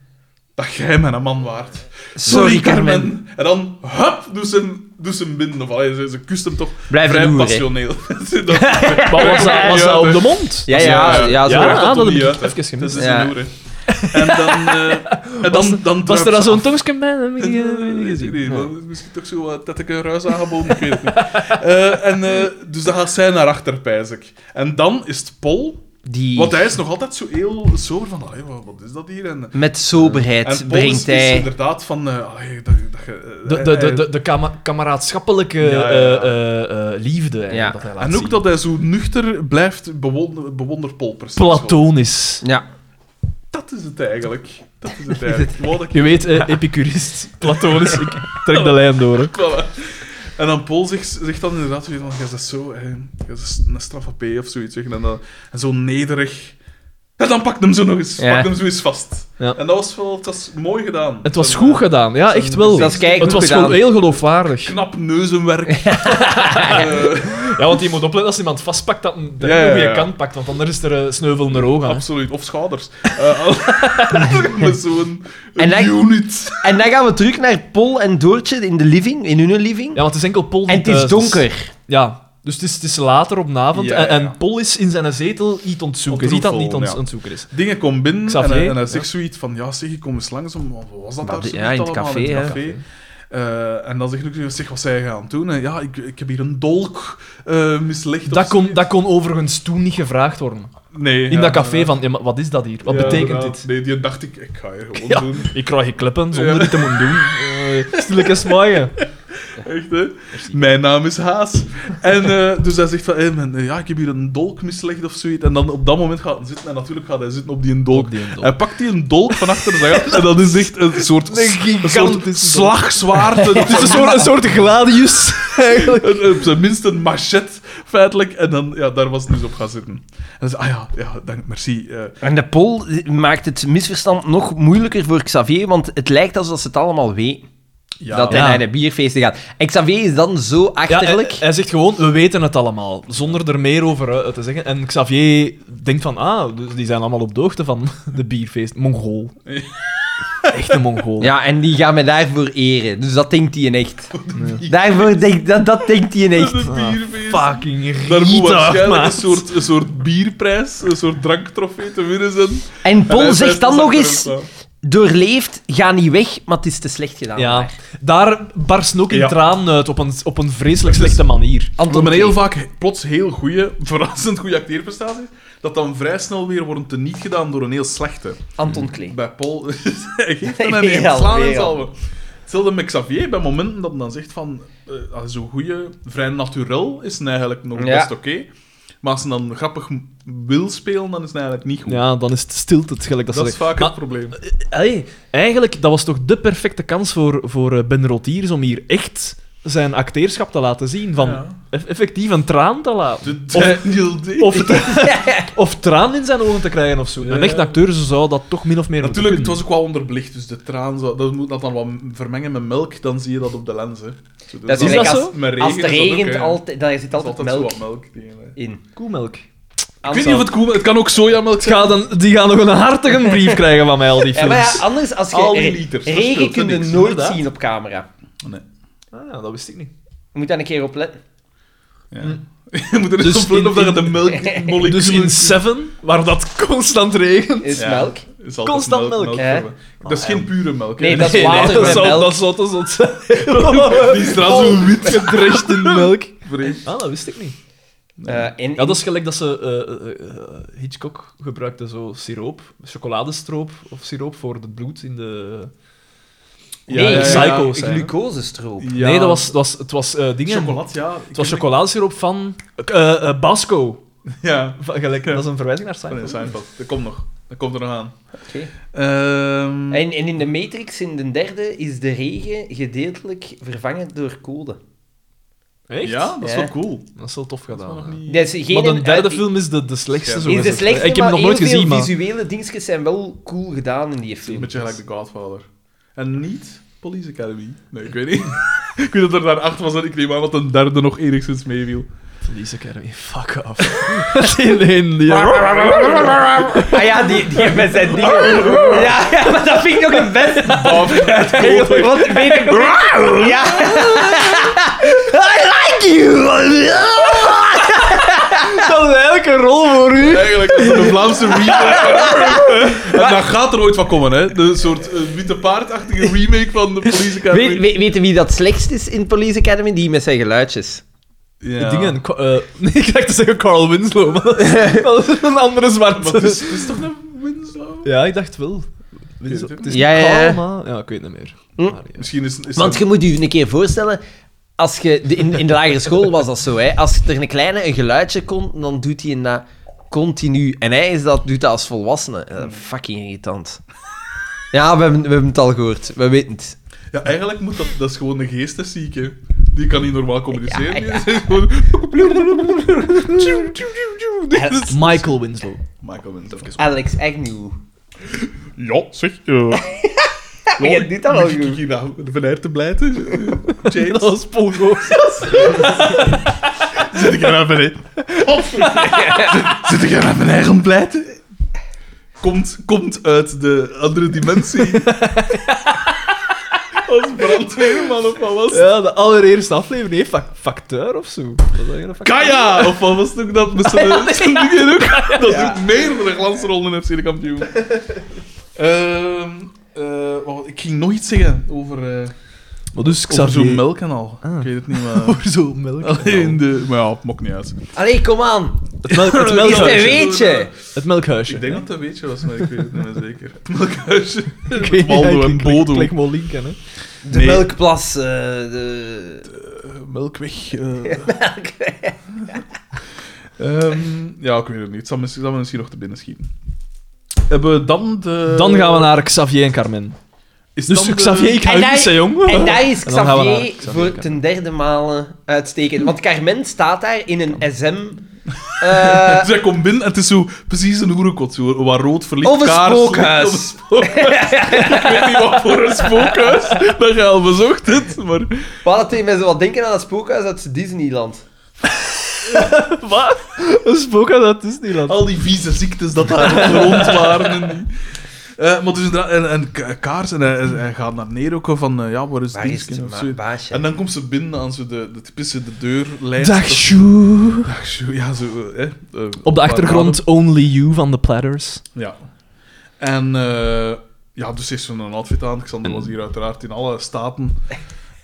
[SPEAKER 2] dat jij mijn man waart.
[SPEAKER 4] Sorry, Carmen.
[SPEAKER 2] En dan, hup, doe ze hem, doe ze hem binden. Of, allee, ze, ze kust hem toch
[SPEAKER 4] Blijf
[SPEAKER 2] vrij
[SPEAKER 4] een hoer, hè.
[SPEAKER 2] passioneel. dat, ja,
[SPEAKER 3] Maar was dat, was dat op de mond?
[SPEAKER 4] Ja, ja, ja.
[SPEAKER 3] Ja,
[SPEAKER 4] zo.
[SPEAKER 3] ah,
[SPEAKER 2] dat heb
[SPEAKER 3] dat heb ik
[SPEAKER 2] uit, hè.
[SPEAKER 3] even gemist.
[SPEAKER 2] Dat is
[SPEAKER 4] Ja.
[SPEAKER 2] een hoer, hè. En dan... eh, en dan, dan
[SPEAKER 3] Was er
[SPEAKER 2] druipt ze
[SPEAKER 3] al zo'n
[SPEAKER 2] af.
[SPEAKER 3] tongske bij? Dat heb ik niet- dat heb ik
[SPEAKER 2] Weet
[SPEAKER 3] niet
[SPEAKER 2] ik
[SPEAKER 3] gezien.
[SPEAKER 2] niet, Eh, dat is misschien toch zo wat dat ik een ruis aangeboden, ik weet het niet. Eh, en, eh, dus dan gaat zij naar achter, pijs ik. En dan is het Pol,
[SPEAKER 4] Die...
[SPEAKER 2] want hij is nog altijd zo heel sober van, allee, wat, wat is dat hier? En,
[SPEAKER 4] Met soberheid
[SPEAKER 2] en Pol is,
[SPEAKER 4] brengt
[SPEAKER 2] is
[SPEAKER 4] hij...
[SPEAKER 2] inderdaad van, eh, allee, dat, dat, je-
[SPEAKER 3] De, de,
[SPEAKER 2] hij-
[SPEAKER 3] de, de, de kama- kameraadschappelijke
[SPEAKER 2] Ja, ja, ja.
[SPEAKER 3] eh, eh, eh, liefde. eh,
[SPEAKER 4] Ja.
[SPEAKER 3] Dat hij laat
[SPEAKER 2] En ook
[SPEAKER 3] zien.
[SPEAKER 2] dat hij zo nuchter blijft, bewonder, bewonder Pol precies.
[SPEAKER 3] Platonisch.
[SPEAKER 4] Ja.
[SPEAKER 2] Dat is het eigenlijk. Dat is het eigenlijk. Ik wou dat ik-
[SPEAKER 3] Je weet, eh, epicurist, platonisch. Ik trek de lijn door. hè.
[SPEAKER 2] Voilà. En dan Paul zegt, zegt dan inderdaad zoiets van, jij bent zo, eh, jij bent een straffe P of zoiets. zeg. En, dan, en zo nederig. En dan pakt hem zo nog eens,
[SPEAKER 4] Ja.
[SPEAKER 2] pakt hem zo eens vast.
[SPEAKER 3] Ja.
[SPEAKER 2] En dat was wel, het was mooi gedaan. eh,
[SPEAKER 3] Het was goed gedaan. Ja, echt wel.
[SPEAKER 4] Dat is keigoed
[SPEAKER 3] het was
[SPEAKER 4] gedaan.
[SPEAKER 3] gewoon heel geloofwaardig.
[SPEAKER 2] Knap neuzenwerk. Eh,
[SPEAKER 3] Ja, want je moet opletten als iemand vastpakt dat een de
[SPEAKER 2] Ja, ja, ja.
[SPEAKER 3] goede kant pakt, want anders is er eh, sneuvel in de ogen. hè.
[SPEAKER 2] absoluut. Of schouders. Eh, al- met zo'n
[SPEAKER 4] En dan-
[SPEAKER 2] unit.
[SPEAKER 4] En dan gaan we terug naar Pol en Doortje in de living, in hun living.
[SPEAKER 3] Ja, want het is enkel Pol die
[SPEAKER 4] en het is
[SPEAKER 3] thuis
[SPEAKER 4] donker.
[SPEAKER 3] Ja, dus het is, het is later op avond
[SPEAKER 2] Ja,
[SPEAKER 3] en,
[SPEAKER 2] ja, ja.
[SPEAKER 3] en Pol is in zijn zetel iets ontzoeken.
[SPEAKER 2] Op
[SPEAKER 3] Ziet dat
[SPEAKER 2] troefel,
[SPEAKER 3] niet ont
[SPEAKER 2] ja.
[SPEAKER 3] ontzoeken is.
[SPEAKER 2] Dingen komen binnen
[SPEAKER 3] Xavier,
[SPEAKER 2] en, hij- en hij
[SPEAKER 3] ja.
[SPEAKER 2] zegt zoiets van, ja zeg, ik kom eens langzaam. Wat was dat
[SPEAKER 4] Maar
[SPEAKER 2] daar
[SPEAKER 4] de-
[SPEAKER 2] zo
[SPEAKER 4] ja, in het
[SPEAKER 2] allemaal
[SPEAKER 4] café, hè.
[SPEAKER 2] Eh, en dan zeg ik ook zoiets, zeg, wat zij gaan doen. En ja, ik, ik heb hier een dolk eh mislegd. of
[SPEAKER 3] Dat kon,
[SPEAKER 2] zoiets.
[SPEAKER 3] dat kon overigens toen niet gevraagd worden.
[SPEAKER 2] Nee,
[SPEAKER 3] In
[SPEAKER 2] ja,
[SPEAKER 3] dat café
[SPEAKER 2] ja.
[SPEAKER 3] van, ja, maar wat is dat hier? Wat
[SPEAKER 2] Ja,
[SPEAKER 3] betekent
[SPEAKER 2] inderdaad.
[SPEAKER 3] dit?
[SPEAKER 2] Nee, die dacht ik, ik ga je gewoon
[SPEAKER 3] Ja.
[SPEAKER 2] doen.
[SPEAKER 3] Ik krijg je kleppen zonder
[SPEAKER 2] Ja.
[SPEAKER 3] dit te moeten doen. Uh, Stilke smaaien.
[SPEAKER 2] Echt, hè? Mijn naam is Haas. En eh, dus hij zegt van, eh, men, eh, ja, ik heb hier een dolk mislegd of zoiets. En dan op dat moment gaat hij zitten. En natuurlijk gaat hij zitten op die dolk.
[SPEAKER 3] Op die dolk.
[SPEAKER 2] Hij pakt die dolk van achter zijn hand. En dat is echt een soort,
[SPEAKER 3] Een
[SPEAKER 2] een
[SPEAKER 3] gigantische dolk.
[SPEAKER 2] soort slagzwaard.
[SPEAKER 3] Het is een soort, een soort gladius, eigenlijk.
[SPEAKER 2] Een- een- op zijn minst een machet, feitelijk. En dan, ja, daar was het dus op gaan zitten. En dan zei, ah ja, ja dank, merci. eh.
[SPEAKER 4] En de Pol maakt het misverstand nog moeilijker voor Xavier, want het lijkt alsof ze het allemaal weten.
[SPEAKER 2] ja,
[SPEAKER 4] dat hij
[SPEAKER 3] Ja.
[SPEAKER 4] naar de bierfeesten gaat. En Xavier is dan zo
[SPEAKER 3] Ja, hij,
[SPEAKER 2] eh,
[SPEAKER 4] achterlijk.
[SPEAKER 3] hij zegt gewoon, we weten het allemaal. Zonder er meer over eh, te zeggen. En Xavier denkt van, ah, dus die zijn allemaal op de hoogte van de bierfeest. Mongool. Echt een
[SPEAKER 2] eh,
[SPEAKER 3] Mongool.
[SPEAKER 4] ja, en die gaan me daarvoor eren. Dus dat denkt hij in echt. Daarvoor denk, dat, dat denkt hij in echt.
[SPEAKER 2] De bierfeest.
[SPEAKER 3] Fucking
[SPEAKER 2] Daar moet
[SPEAKER 3] Rita,
[SPEAKER 2] waarschijnlijk een
[SPEAKER 3] maat.
[SPEAKER 2] soort, een soort bierprijs, een soort dranktrofee te winnen zijn.
[SPEAKER 4] En
[SPEAKER 2] En
[SPEAKER 4] Pol
[SPEAKER 2] hij
[SPEAKER 4] zegt
[SPEAKER 2] blijft
[SPEAKER 4] dan
[SPEAKER 2] dus
[SPEAKER 4] nog
[SPEAKER 2] achter
[SPEAKER 4] eens:
[SPEAKER 2] hem staan.
[SPEAKER 4] doorleefd, ga niet weg, maar het is te slecht gedaan.
[SPEAKER 3] Ja,
[SPEAKER 4] daar.
[SPEAKER 3] daar barst ook in
[SPEAKER 2] Ja.
[SPEAKER 3] tranen uit op een, op een vreselijk
[SPEAKER 2] Het is-
[SPEAKER 3] slechte manier.
[SPEAKER 2] Omdat
[SPEAKER 4] Anton
[SPEAKER 2] men heel
[SPEAKER 4] K.
[SPEAKER 2] vaak plots heel goede, verrassend goede acteerprestaties, dat dan vrij snel weer worden teniet gedaan door een heel slechte.
[SPEAKER 4] Anton Klee.
[SPEAKER 2] Bij Paul hij geeft hem en
[SPEAKER 4] Weer
[SPEAKER 2] neemt
[SPEAKER 4] al,
[SPEAKER 2] slaan en
[SPEAKER 4] weer al.
[SPEAKER 2] zalven. Hetzelfde met Xavier, bij momenten dat men dan zegt van, eh, als zo'n goede, vrij naturel is hij eigenlijk nog
[SPEAKER 4] Ja.
[SPEAKER 2] best oké. Maar als ze dan grappig wil spelen, dan is hij eigenlijk niet goed.
[SPEAKER 3] Ja, dan is het stilte, het gelijk dat,
[SPEAKER 2] dat,
[SPEAKER 3] ze
[SPEAKER 2] is vaak
[SPEAKER 3] Maar- Eh,
[SPEAKER 2] het probleem.
[SPEAKER 3] Allee, eigenlijk, dat was toch de perfecte kans voor, voor eh, Ben Rotiers om hier echt zijn acteerschap te laten zien. Van
[SPEAKER 2] Ja.
[SPEAKER 3] eff- effectief een traan te laten.
[SPEAKER 2] De Daniel D.
[SPEAKER 3] Of, of traan in zijn ogen te krijgen of zo.
[SPEAKER 2] Ja.
[SPEAKER 3] Een echt acteur zou dat toch min of meer moeten
[SPEAKER 2] Natuurlijk, het was
[SPEAKER 3] kunnen.
[SPEAKER 2] ook wel onderbelicht, dus de traan, zou- dat moet dat dan wat vermengen met melk, dan zie je dat op de lens. Hè. Zo, dus
[SPEAKER 4] Dat
[SPEAKER 3] is
[SPEAKER 4] is
[SPEAKER 3] dat
[SPEAKER 4] als,
[SPEAKER 3] zo?
[SPEAKER 2] Met regen
[SPEAKER 4] als het
[SPEAKER 2] is dat ook,
[SPEAKER 4] regent,
[SPEAKER 2] hè.
[SPEAKER 4] altijd, daar zit
[SPEAKER 2] Er is
[SPEAKER 4] altijd melk
[SPEAKER 2] zo wat melk tegen, hè.
[SPEAKER 4] in.
[SPEAKER 3] Koemelk.
[SPEAKER 2] Ik weet niet of het koe... Het kan ook sojamelk
[SPEAKER 3] Het
[SPEAKER 2] zijn.
[SPEAKER 3] gaat een, die gaan nog een hartige brief krijgen van mij, al die
[SPEAKER 4] Ja,
[SPEAKER 3] films.
[SPEAKER 4] maar ja, anders, als je
[SPEAKER 2] Al die
[SPEAKER 4] re-
[SPEAKER 2] liters, dat
[SPEAKER 4] regen
[SPEAKER 2] scheelt
[SPEAKER 4] kun je
[SPEAKER 2] niks,
[SPEAKER 4] nooit
[SPEAKER 3] inderdaad.
[SPEAKER 4] zien op camera.
[SPEAKER 2] Nee.
[SPEAKER 3] Ah, ja, dat wist ik niet.
[SPEAKER 4] Je moet daar een keer op letten.
[SPEAKER 2] Ja.
[SPEAKER 3] Mm.
[SPEAKER 2] Je moet er eens
[SPEAKER 3] Dus
[SPEAKER 2] op letten of
[SPEAKER 3] in-
[SPEAKER 2] dat je de melkmoleculen...
[SPEAKER 3] Dus in Seven, waar dat constant regent...
[SPEAKER 4] Is
[SPEAKER 2] Ja.
[SPEAKER 4] melk.
[SPEAKER 2] Is altijd
[SPEAKER 3] Constant melk,
[SPEAKER 4] hè.
[SPEAKER 2] hebben. Dat is geen pure melk. hè.
[SPEAKER 4] Nee, dat is water
[SPEAKER 3] dat
[SPEAKER 4] met
[SPEAKER 3] zou-
[SPEAKER 4] melk.
[SPEAKER 3] Dat zou toch zot zijn.
[SPEAKER 2] Die is trouwens zo wit gedrecht in
[SPEAKER 3] melk.
[SPEAKER 2] vreemd.
[SPEAKER 3] Ah, dat wist ik niet.
[SPEAKER 4] Eh, en,
[SPEAKER 3] Ja, dat is gelijk dat ze... eh, eh, eh, eh, Hitchcock gebruikte zo siroop, chocoladestroop of siroop voor het bloed in de... ja,
[SPEAKER 4] nee,
[SPEAKER 3] ja,
[SPEAKER 4] glu-
[SPEAKER 3] psycho's zijn, hè.
[SPEAKER 4] glucosestroop.
[SPEAKER 2] Ja.
[SPEAKER 3] Nee, dat was, dat was, het was eh dingen...
[SPEAKER 2] Chocolat, ja.
[SPEAKER 3] Het was chocoladesiroop van... eh, eh, Basco.
[SPEAKER 2] Ja.
[SPEAKER 3] Van- gelijk,
[SPEAKER 2] Ja.
[SPEAKER 3] Dat is een verwijzing naar
[SPEAKER 2] Nee,
[SPEAKER 3] Seinfeld.
[SPEAKER 2] Seinfeld. Dat komt nog. Dat komt er nog aan.
[SPEAKER 4] Oké.
[SPEAKER 2] Ehm,
[SPEAKER 4] En, en in de Matrix, in de derde, is de regen gedeeltelijk vervangen door code.
[SPEAKER 3] Echt?
[SPEAKER 2] Ja, dat is
[SPEAKER 4] Ja.
[SPEAKER 2] wel cool.
[SPEAKER 3] Dat is wel tof
[SPEAKER 2] Dat is wel
[SPEAKER 3] gedaan.
[SPEAKER 2] nog
[SPEAKER 3] hè.
[SPEAKER 2] niet...
[SPEAKER 4] Dat is geen,
[SPEAKER 3] Maar de derde
[SPEAKER 4] eh,
[SPEAKER 3] film is de, de slechtste.
[SPEAKER 2] Ja.
[SPEAKER 3] zo
[SPEAKER 4] is de
[SPEAKER 3] gezegd.
[SPEAKER 4] slechtste,
[SPEAKER 3] Ik heb hem nog
[SPEAKER 4] maar
[SPEAKER 3] nooit
[SPEAKER 4] heel
[SPEAKER 3] gezien,
[SPEAKER 4] veel
[SPEAKER 3] maar...
[SPEAKER 4] visuele dingetjes zijn wel cool gedaan in die
[SPEAKER 2] Een
[SPEAKER 4] film.
[SPEAKER 2] beetje gelijk The Godfather. En niet Police Academy. Nee, ik weet niet. ik weet dat er daar acht was en ik neem aan dat een derde nog enigszins meeviel.
[SPEAKER 3] Police Academy, fuck off. Alleen die...
[SPEAKER 4] Ah ja, die, die met zijn dingen. Ja, ja, maar dat vind ik nog het beste.
[SPEAKER 2] Oh, Godfather.
[SPEAKER 4] Want ik weet het Ja. I like you!
[SPEAKER 3] Dat hadden eigenlijk een rol voor u.
[SPEAKER 2] Eigenlijk is het een Vlaamse remake. en daar gaat er ooit van komen, hè? Een soort eh, witte paardachtige remake van de Police Academy.
[SPEAKER 4] Weet, weet, weten wie dat slechtst is in Police Academy? Die met zijn geluidjes.
[SPEAKER 2] Ja.
[SPEAKER 3] Dingen, Ka- eh, nee, ik dacht te zeggen Carl Winslow, maar dat is, dat is een andere
[SPEAKER 2] Maar het
[SPEAKER 3] zwarte.
[SPEAKER 2] is, het is toch een Winslow?
[SPEAKER 3] Ja, ik dacht wel.
[SPEAKER 2] Ik
[SPEAKER 3] Winslow.
[SPEAKER 2] weet het ook
[SPEAKER 3] Het is
[SPEAKER 4] niet. Ja, ja,
[SPEAKER 3] Carl,
[SPEAKER 4] ja.
[SPEAKER 3] maar- Ja, ik weet het niet meer.
[SPEAKER 4] Hm?
[SPEAKER 3] Maar, ja.
[SPEAKER 2] Misschien is, is
[SPEAKER 4] Want
[SPEAKER 2] dat-
[SPEAKER 4] je moet je een keer voorstellen, als je de- in, in de lagere school was dat zo, hè. Als er een kleine een geluidje komt, dan doet hij dat continu. En hij is dat, doet dat als volwassene. Eh, fucking irritant. Ja, we hebben, we hebben het al gehoord. We weten het.
[SPEAKER 2] ja, eigenlijk moet dat... Dat is gewoon een geesteszieke. Die kan niet normaal communiceren.
[SPEAKER 4] Ja,
[SPEAKER 2] Die
[SPEAKER 4] ja.
[SPEAKER 2] is gewoon...
[SPEAKER 3] Dus- Michael Winslow.
[SPEAKER 2] Michael Winslow. even-
[SPEAKER 4] Alex Agnew.
[SPEAKER 2] Ja, zeg. eh. Ja,
[SPEAKER 4] Jij doet dat wel
[SPEAKER 2] ik- ik-
[SPEAKER 4] goed.
[SPEAKER 2] ik- ik- nou, Van Aert te blijten. Eh,
[SPEAKER 3] Dat
[SPEAKER 2] James.
[SPEAKER 3] was Paul Goos.
[SPEAKER 2] Zit ik er nou aan mijn... Zit ik er nou aan mijn eigen pleiten? Komt, komt uit de andere dimensie. Als brandweerman of wat was het?
[SPEAKER 3] Ja, de allereerste aflevering. Nee, fac- facteur of zo. Was dat geen nou facteur?
[SPEAKER 2] Kaya! Of wat was het ook dat? Met zijn zijn dingen ook. Dat is ook meerdere glansrollen in FC de kampioen. Ehm, eh, wat- ik ging nog iets zeggen over, eh
[SPEAKER 3] Maar dus
[SPEAKER 2] over
[SPEAKER 3] Xavier... Ah.
[SPEAKER 2] zo'n melkkanaal. Ik weet het niet, maar...
[SPEAKER 3] Over zo'n melk.
[SPEAKER 2] Alleen de... Maar ja, het maakt niet uit.
[SPEAKER 4] Allee, kom aan.
[SPEAKER 3] Oh, Het, melk, het
[SPEAKER 4] Is het een
[SPEAKER 3] melkhuisje.
[SPEAKER 4] weetje?
[SPEAKER 3] Het melkhuisje.
[SPEAKER 2] Ik denk dat dat een beetje was, maar ik weet het niet meer zeker. Het melkhuisje.
[SPEAKER 3] Ik
[SPEAKER 2] Met
[SPEAKER 3] weet niet,
[SPEAKER 2] Waldo
[SPEAKER 3] ik-
[SPEAKER 2] en
[SPEAKER 3] ik- ik-
[SPEAKER 2] Bodo.
[SPEAKER 3] Klik maar linken, hè.
[SPEAKER 4] De
[SPEAKER 2] Nee.
[SPEAKER 4] melkplas. eh, de...
[SPEAKER 2] Eh, Melkweg. eh. Ehm, ja, ik weet het niet. Het zal me zal me misschien nog te binnen schieten. Hebben we dan de...
[SPEAKER 3] Dan gaan we naar Xavier en Carmen.
[SPEAKER 2] Is
[SPEAKER 3] Dus
[SPEAKER 2] dan eh, de-
[SPEAKER 3] Xavier, ik hou
[SPEAKER 4] En
[SPEAKER 3] niet,
[SPEAKER 4] daar-
[SPEAKER 3] jong.
[SPEAKER 4] En daar is
[SPEAKER 3] En dan gaan we naar
[SPEAKER 4] Xavier
[SPEAKER 3] Xavier
[SPEAKER 4] voor
[SPEAKER 3] kijken.
[SPEAKER 4] ten derde maal uitstekend. Want Carmen staat daar in een SM... eh
[SPEAKER 2] Zij komt binnen en het is zo precies een hoerenkot. Zo, waar rood verlicht
[SPEAKER 4] Of een
[SPEAKER 2] kaars ligt.
[SPEAKER 4] spookhuis.
[SPEAKER 2] Of een spookhuis. ik weet niet wat voor een spookhuis dat je al bezocht hebt, maar...
[SPEAKER 4] Wat dat deed mij zo wat denken aan het spookhuis uit Disneyland.
[SPEAKER 3] Wat? Een spookhuis uit Disneyland.
[SPEAKER 2] Al die vieze ziektes dat daar rond waren. En die. Eh, maar dus inderdaad, en, en ka- kaars, en hij, hij- hij gaat naar neer ook van, eh, ja, waar is
[SPEAKER 4] Waar
[SPEAKER 2] die
[SPEAKER 4] is
[SPEAKER 2] skin
[SPEAKER 4] de
[SPEAKER 2] of
[SPEAKER 4] ma-
[SPEAKER 2] zoiets.
[SPEAKER 4] baasje?
[SPEAKER 2] En dan komt ze binnen aan zo de, de typische de deurlijst.
[SPEAKER 3] Dag, Sjoe.
[SPEAKER 2] Dag, Sjoe. Ja, zo, eh, eh,
[SPEAKER 3] Op de achtergrond Only You van The Platters.
[SPEAKER 2] Ja. En eh, ja, dus is zo'n outfit aan. Xander was hier uiteraard in alle staten.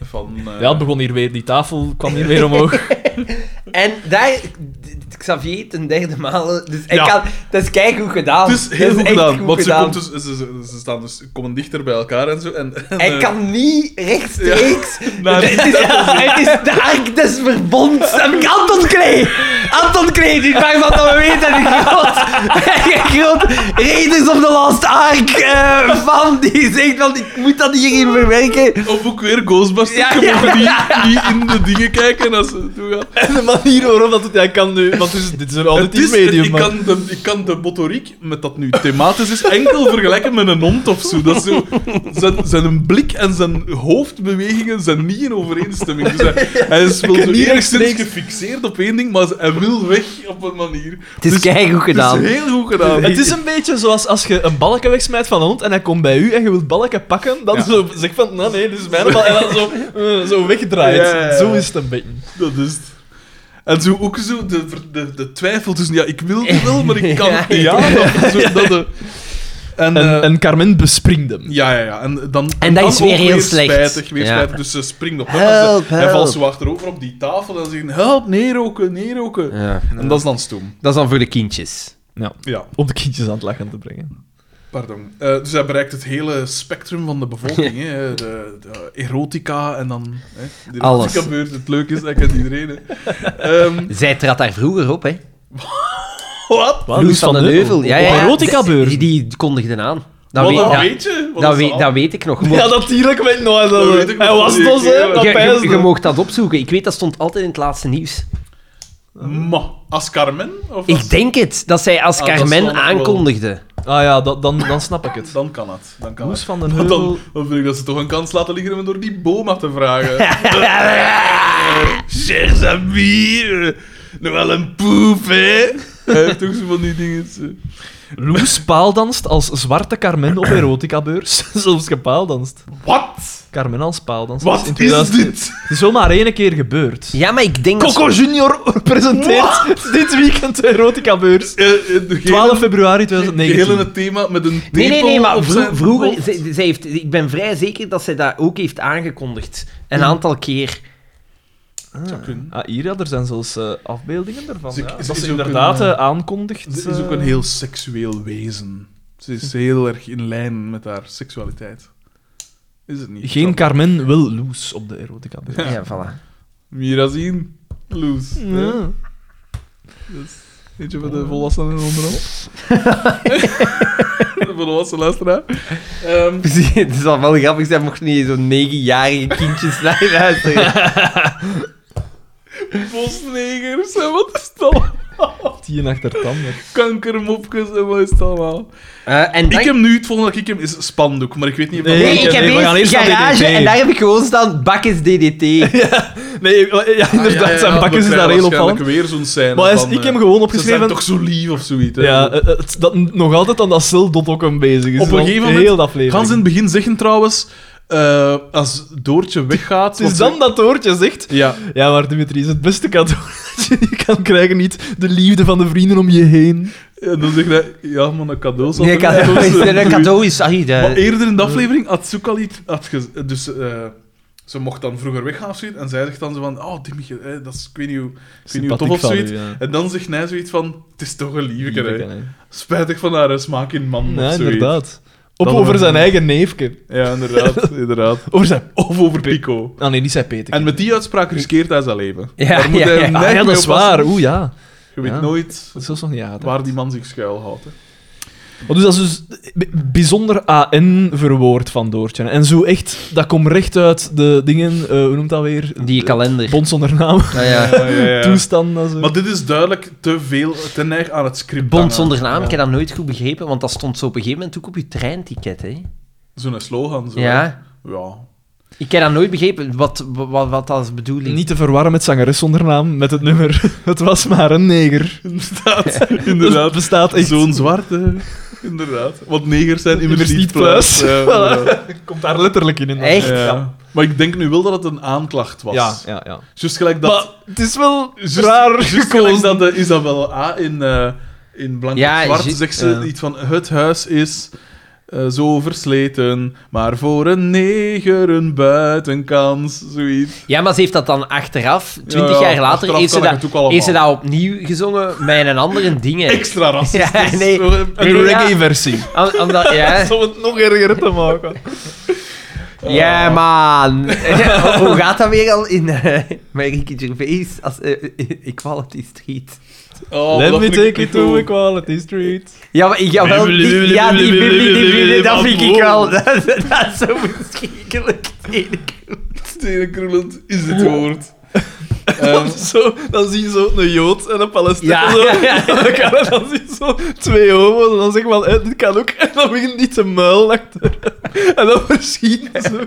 [SPEAKER 2] Van, eh,
[SPEAKER 3] Ja, het begon hier weer. Die tafel kwam hier weer omhoog.
[SPEAKER 4] En daar... d- Xavier ten derde maal... Dus hij
[SPEAKER 2] Ja.
[SPEAKER 4] kan, dat is kijk goed gedaan.
[SPEAKER 2] het is heel
[SPEAKER 4] dat
[SPEAKER 2] goed
[SPEAKER 4] echt
[SPEAKER 2] gedaan. want
[SPEAKER 4] gedaan.
[SPEAKER 2] Ze, komt dus, ze, ze, ze staan dus, komen dichter bij elkaar en zo. En, en,
[SPEAKER 4] Hij
[SPEAKER 2] eh,
[SPEAKER 4] kan niet rechtstreeks...
[SPEAKER 2] naar-
[SPEAKER 4] het, is, het is de ark des verbonds. Heb ik Anton Klee. Anton Klee, die maakt wat dat we weten. Een groot, een groot Raiders of the Last Ark eh, fan. Die zegt, want ik moet dat hierin verwerken.
[SPEAKER 2] Of ook weer Ghostbusters.
[SPEAKER 4] Ja,
[SPEAKER 2] je
[SPEAKER 4] ja,
[SPEAKER 2] mogen niet, niet in de dingen kijken als ze toegaan.
[SPEAKER 3] En de manier waarop dat het... Hij kan nu... Want dus, dit is een
[SPEAKER 2] Het
[SPEAKER 3] auditief
[SPEAKER 2] is,
[SPEAKER 3] medium,
[SPEAKER 2] ik,
[SPEAKER 3] maar...
[SPEAKER 2] kan de, ik kan de motoriek, met dat nu thematisch is, enkel vergelijken met een hond of zo. Dat is zo zijn, zijn blik en zijn hoofdbewegingen zijn niet in overeenstemming. Dus hij, hij is wel
[SPEAKER 3] kan
[SPEAKER 2] zo
[SPEAKER 3] niet
[SPEAKER 2] enigszins
[SPEAKER 3] rechtstreeks-
[SPEAKER 2] gefixeerd op één ding, maar hij wil weg op een manier.
[SPEAKER 4] Het is kijk goed gedaan.
[SPEAKER 2] Het is Dus- heel goed gedaan.
[SPEAKER 3] Het is een beetje zoals als je een balken wegsmijt van een hond en hij komt bij u en je wilt balken pakken, dan
[SPEAKER 2] Ja.
[SPEAKER 3] zo zeg van, nou nee, dit is mijn bal, en dan zo, eh, zo wegdraait.
[SPEAKER 2] Ja, ja, ja.
[SPEAKER 3] Zo is het een beetje.
[SPEAKER 2] Dat is het. En zo ook zo de, ver- de, de twijfel tussen, ja, ik wil het wel, maar ik kan het niet aan. Of zo, dat, eh. en,
[SPEAKER 3] En,
[SPEAKER 2] eh,
[SPEAKER 3] en Carmen bespringt hem.
[SPEAKER 2] Ja, ja, ja. En, dan,
[SPEAKER 4] En dat
[SPEAKER 2] dan
[SPEAKER 4] is weer
[SPEAKER 2] ook
[SPEAKER 4] heel slecht.
[SPEAKER 2] Spijtig, weer
[SPEAKER 4] Ja.
[SPEAKER 2] spijtig. Dus ze springt op hem.
[SPEAKER 4] Help,
[SPEAKER 2] en ze, Hij
[SPEAKER 4] help.
[SPEAKER 2] valt zo achterover op die tafel en ze zeggen: Help, neerroken, neerroken. En dat is dan stoem.
[SPEAKER 4] Dat is dan voor de kindjes.
[SPEAKER 2] Ja,
[SPEAKER 3] Om de kindjes aan het lachen te brengen.
[SPEAKER 2] pardon. Eh, dus hij bereikt het hele spectrum van de bevolking. hè. De, de erotica en dan. Hè, de
[SPEAKER 4] Alles.
[SPEAKER 2] erotica beurt. Het leuke is, dat kent iedereen. Hè. Ehm,
[SPEAKER 4] Zij trad daar vroeger op, hè?
[SPEAKER 2] wat?
[SPEAKER 3] Wat?
[SPEAKER 4] Loes van, den Heuvel. Ja, ja,
[SPEAKER 3] Op
[SPEAKER 4] ja.
[SPEAKER 3] erotica-beurs.
[SPEAKER 4] Die, die kondigden aan. Dat,
[SPEAKER 2] Wat
[SPEAKER 4] weet,
[SPEAKER 2] een
[SPEAKER 4] dat,
[SPEAKER 2] beetje. Wat
[SPEAKER 4] dat,
[SPEAKER 2] een
[SPEAKER 4] weet,
[SPEAKER 2] zaal.
[SPEAKER 4] dat weet ik nog.
[SPEAKER 3] Ja, natuurlijk weet nooit
[SPEAKER 2] Dat
[SPEAKER 3] dat
[SPEAKER 2] weet ik
[SPEAKER 3] Hij
[SPEAKER 2] nog
[SPEAKER 3] was
[SPEAKER 2] niet.
[SPEAKER 3] dat, hè? Dat
[SPEAKER 4] Je,
[SPEAKER 3] pijs
[SPEAKER 4] je, je moogt dat opzoeken. Ik weet, dat stond altijd in het laatste nieuws.
[SPEAKER 2] Ma, Ehm, als Carmen? Of als-
[SPEAKER 4] Ik denk het, dat zij als
[SPEAKER 2] Ah, dat zal nog
[SPEAKER 4] Carmen
[SPEAKER 2] wel.
[SPEAKER 4] aankondigde.
[SPEAKER 3] Ah ja, dat- dan, dan snap ik het.
[SPEAKER 2] Dan kan het. Dan kan
[SPEAKER 3] Loes
[SPEAKER 2] het.
[SPEAKER 3] van den
[SPEAKER 2] Maar
[SPEAKER 3] Heuvel.
[SPEAKER 2] dan, dan vind ik dat ze toch een kans laten liggen om door die boma te vragen. Chers amis, nog wel een poep, hè? Hij heeft toch zo van die dingen. eh.
[SPEAKER 3] Loes paaldanst als zwarte Carmen op erotica-beurs. Zelfs gepaaldanst.
[SPEAKER 2] Wat?
[SPEAKER 3] Carmen als paaldans.
[SPEAKER 2] Wat
[SPEAKER 3] In
[SPEAKER 2] is
[SPEAKER 3] 2000
[SPEAKER 2] dit?
[SPEAKER 3] Het is wel maar één keer gebeurd.
[SPEAKER 4] Ja, maar ik denk...
[SPEAKER 3] Coco Junior presenteert dit weekend de erotica-beurs.
[SPEAKER 2] Eh, eh, de gele-
[SPEAKER 3] 12 februari
[SPEAKER 2] Geheel
[SPEAKER 3] 2019.
[SPEAKER 2] het thema met een
[SPEAKER 4] Nee, nee, nee,
[SPEAKER 2] tepel
[SPEAKER 4] maar
[SPEAKER 2] op
[SPEAKER 4] vro-
[SPEAKER 2] zijn
[SPEAKER 4] vroeger...
[SPEAKER 2] kont.
[SPEAKER 4] Zij, zij heeft, ik ben vrij zeker dat zij dat ook heeft aangekondigd. Een aantal keer.
[SPEAKER 2] Zou kunnen.
[SPEAKER 3] Ah, hier, ja, er zijn zelfs eh, afbeeldingen ervan.
[SPEAKER 2] Ze-
[SPEAKER 3] ja.
[SPEAKER 2] ze-
[SPEAKER 3] dat
[SPEAKER 2] is
[SPEAKER 3] ze
[SPEAKER 2] ook
[SPEAKER 3] inderdaad
[SPEAKER 2] een,
[SPEAKER 3] eh, aankondigt.
[SPEAKER 2] Ze is ook een
[SPEAKER 3] eh,
[SPEAKER 2] heel seksueel wezen. Ze is heel erg in lijn met haar seksualiteit. Is het niet?
[SPEAKER 3] Geen Carmen, wel Loes op de erotica-beurs.
[SPEAKER 4] Ja, voilà.
[SPEAKER 2] Mirazin, Loes. hè?
[SPEAKER 3] Ja.
[SPEAKER 2] Weet je, voor de volwassenen onder ons. de volwassen luisteraar. Ehm,
[SPEAKER 4] Het zal wel grappig zijn mocht niet zo'n negenjarige kindjes naar je luisteren.
[SPEAKER 2] bosnegers, en wat is het allemaal?
[SPEAKER 3] Tien achter tanden.
[SPEAKER 2] Kankermopjes, en wat is het allemaal?
[SPEAKER 4] Eh, en dan-
[SPEAKER 2] Ik heb nu, het volgende dat ik heb, is spandoek, maar ik weet niet of dat...
[SPEAKER 3] Nee,
[SPEAKER 4] Nee, ik heb
[SPEAKER 3] nee, we gaan
[SPEAKER 4] eerst
[SPEAKER 3] eerst naar
[SPEAKER 4] garage
[SPEAKER 3] DDT.
[SPEAKER 4] en daar heb ik gewoon staan bakjes DDT.
[SPEAKER 3] Nee, ja,
[SPEAKER 2] Ah, ja,
[SPEAKER 3] inderdaad,
[SPEAKER 2] ja,
[SPEAKER 3] zijn
[SPEAKER 2] ja, we
[SPEAKER 3] bakjes is daar
[SPEAKER 2] krijgen
[SPEAKER 3] heel opvallend.
[SPEAKER 2] waarschijnlijk weer zo'n scène
[SPEAKER 3] Maar hij is-
[SPEAKER 2] van,
[SPEAKER 3] ik heb
[SPEAKER 2] eh,
[SPEAKER 3] gewoon
[SPEAKER 2] Ze zijn
[SPEAKER 3] opgeschreven...
[SPEAKER 2] toch zo lief of zoiets. hè?
[SPEAKER 3] Ja, eh, eh, het- dat nog altijd aan dat Celdot ook een bezig is.
[SPEAKER 2] Op een
[SPEAKER 3] Al
[SPEAKER 2] gegeven moment
[SPEAKER 3] Heel de aflevering.
[SPEAKER 2] Gaan ze in het begin zeggen trouwens, eh, als Doortje weggaat...
[SPEAKER 3] Het is
[SPEAKER 2] want
[SPEAKER 3] dan dat Hoortje zegt...
[SPEAKER 2] ze- Ja,
[SPEAKER 3] Ja, maar Dimitri is het beste cadeau dat je je kan krijgen. Niet de liefde van de vrienden om je heen.
[SPEAKER 2] en dan zegt hij, ja man, een cadeau zal
[SPEAKER 4] Nee,
[SPEAKER 2] er niet
[SPEAKER 4] cadeau is,
[SPEAKER 2] tussen
[SPEAKER 4] nee,
[SPEAKER 2] groeien.
[SPEAKER 4] cadeau is... ah, Ai, de-
[SPEAKER 2] Maar
[SPEAKER 3] eh,
[SPEAKER 2] eerder in de aflevering had Soek al iets... Had ge- dus eh, ze mocht dan vroeger weggaan of zoiets. En zij zegt dan zo van... Oh, Timmy, eh, dat is... Ik weet niet hoe, ik weet niet hoe tof of zoiets. En dan zegt hij zoiets van... Het is toch een liefje, hè. Spijtig van haar eh, smaak in man of
[SPEAKER 3] Ja,
[SPEAKER 2] zoiets.
[SPEAKER 3] inderdaad. Op
[SPEAKER 2] Dan
[SPEAKER 3] over
[SPEAKER 2] een-
[SPEAKER 3] zijn eigen neefje.
[SPEAKER 2] Ja, inderdaad. inderdaad.
[SPEAKER 3] Over zijn...
[SPEAKER 2] Of over Pico.
[SPEAKER 3] Ah nee, die zei Peter.
[SPEAKER 2] En met die uitspraak riskeert hij zijn leven.
[SPEAKER 4] Ja,
[SPEAKER 2] Daar moet
[SPEAKER 4] ja,
[SPEAKER 2] hij
[SPEAKER 4] ja.
[SPEAKER 2] net
[SPEAKER 3] Ah, ja,
[SPEAKER 2] mee
[SPEAKER 3] dat is
[SPEAKER 2] oppassen.
[SPEAKER 3] waar. Oeh, ja.
[SPEAKER 2] Je weet
[SPEAKER 3] Ja.
[SPEAKER 2] nooit
[SPEAKER 3] Dat is zelfs nog niet uit.
[SPEAKER 2] waar die man zich schuilhoudt. hè.
[SPEAKER 3] Maar dus dat is dus b- bijzonder AN verwoord van Doortje. En zo echt, dat komt recht uit de dingen, eh, hoe noemt dat weer?
[SPEAKER 4] Die kalender.
[SPEAKER 3] Bond zonder naam,
[SPEAKER 4] Ah, ja.
[SPEAKER 2] Ja, ja, ja.
[SPEAKER 3] toestanden. Zo.
[SPEAKER 2] Maar dit is duidelijk te veel ten neig aan het script.
[SPEAKER 4] Bond
[SPEAKER 2] hangen.
[SPEAKER 4] zonder naam, ik
[SPEAKER 2] Ja.
[SPEAKER 4] heb dat nooit goed begrepen, want dat stond zo op een gegeven moment ook op je treinticket, hè.
[SPEAKER 2] Zo'n slogan. Zo. hè.
[SPEAKER 4] Ja.
[SPEAKER 2] Ja,
[SPEAKER 4] Ik heb dat nooit begrepen, wat, wat, wat als bedoeling.
[SPEAKER 3] Niet te verwarren met zangeres zonder naam, met het nummer. Het was maar een neger.
[SPEAKER 2] Inderdaad,
[SPEAKER 3] Het
[SPEAKER 2] inderdaad.
[SPEAKER 3] bestaat echt.
[SPEAKER 2] Zo'n zwarte. Inderdaad. Want negers zijn immers
[SPEAKER 3] Immers
[SPEAKER 2] niet
[SPEAKER 3] niet
[SPEAKER 2] pluis.
[SPEAKER 3] pluis.
[SPEAKER 2] Ja, inderdaad.
[SPEAKER 3] Komt daar letterlijk in. in dat-
[SPEAKER 4] Echt?
[SPEAKER 2] Ja. Maar ik denk nu wel dat het een aanklacht was.
[SPEAKER 3] Ja, ja, ja.
[SPEAKER 2] Just gelijk dat...
[SPEAKER 3] Maar het is wel
[SPEAKER 2] just-
[SPEAKER 3] raar
[SPEAKER 2] just gelijk
[SPEAKER 3] gekozen.
[SPEAKER 2] dat de Isabel A. in, eh in Blank
[SPEAKER 4] Ja,
[SPEAKER 2] op Zwart
[SPEAKER 4] ju-
[SPEAKER 2] zegt ze
[SPEAKER 4] ja.
[SPEAKER 2] iets van... Het huis is... eh, zo versleten, maar voor een neger een buitenkans, zoiets.
[SPEAKER 4] Ja, maar ze heeft dat dan achteraf, twintig
[SPEAKER 2] Ja, ja,
[SPEAKER 4] jaar later,
[SPEAKER 2] achteraf
[SPEAKER 4] heeft ze,
[SPEAKER 2] kan ik het ook
[SPEAKER 4] dat,
[SPEAKER 2] allemaal.
[SPEAKER 4] heeft ze dat opnieuw gezongen met een andere dingen.
[SPEAKER 2] Extra racistisch.
[SPEAKER 4] Ja, nee.
[SPEAKER 2] Een
[SPEAKER 4] Nee, ja.
[SPEAKER 2] reggae-versie.
[SPEAKER 4] Om- Omdat, ja,
[SPEAKER 3] Om het nog erger te maken.
[SPEAKER 4] ja man. Hoe gaat dat weer al in eh met Ricky Gervais als eh, Equality Street?
[SPEAKER 2] Oh,
[SPEAKER 3] Let
[SPEAKER 2] dat
[SPEAKER 3] me
[SPEAKER 2] vind ik
[SPEAKER 3] take
[SPEAKER 2] niet
[SPEAKER 3] it to
[SPEAKER 2] goed.
[SPEAKER 3] equality street.
[SPEAKER 4] Ja, maar ik, jawel, die, ja, die Billy, die Billy, dat vind ik wel. Dat, dat is zo verschrikkelijk.
[SPEAKER 2] Tenenkrullend is het woord. Ehm,
[SPEAKER 3] Zo, dan zie je zo een Jood en een Palestijn.
[SPEAKER 4] Ja.
[SPEAKER 3] Zo. Dan, kan er- dan zie je zo twee homo's en dan zeg je van, eh, dit kan ook. En dan begint die te muil achter hem. En dan verschiet zo.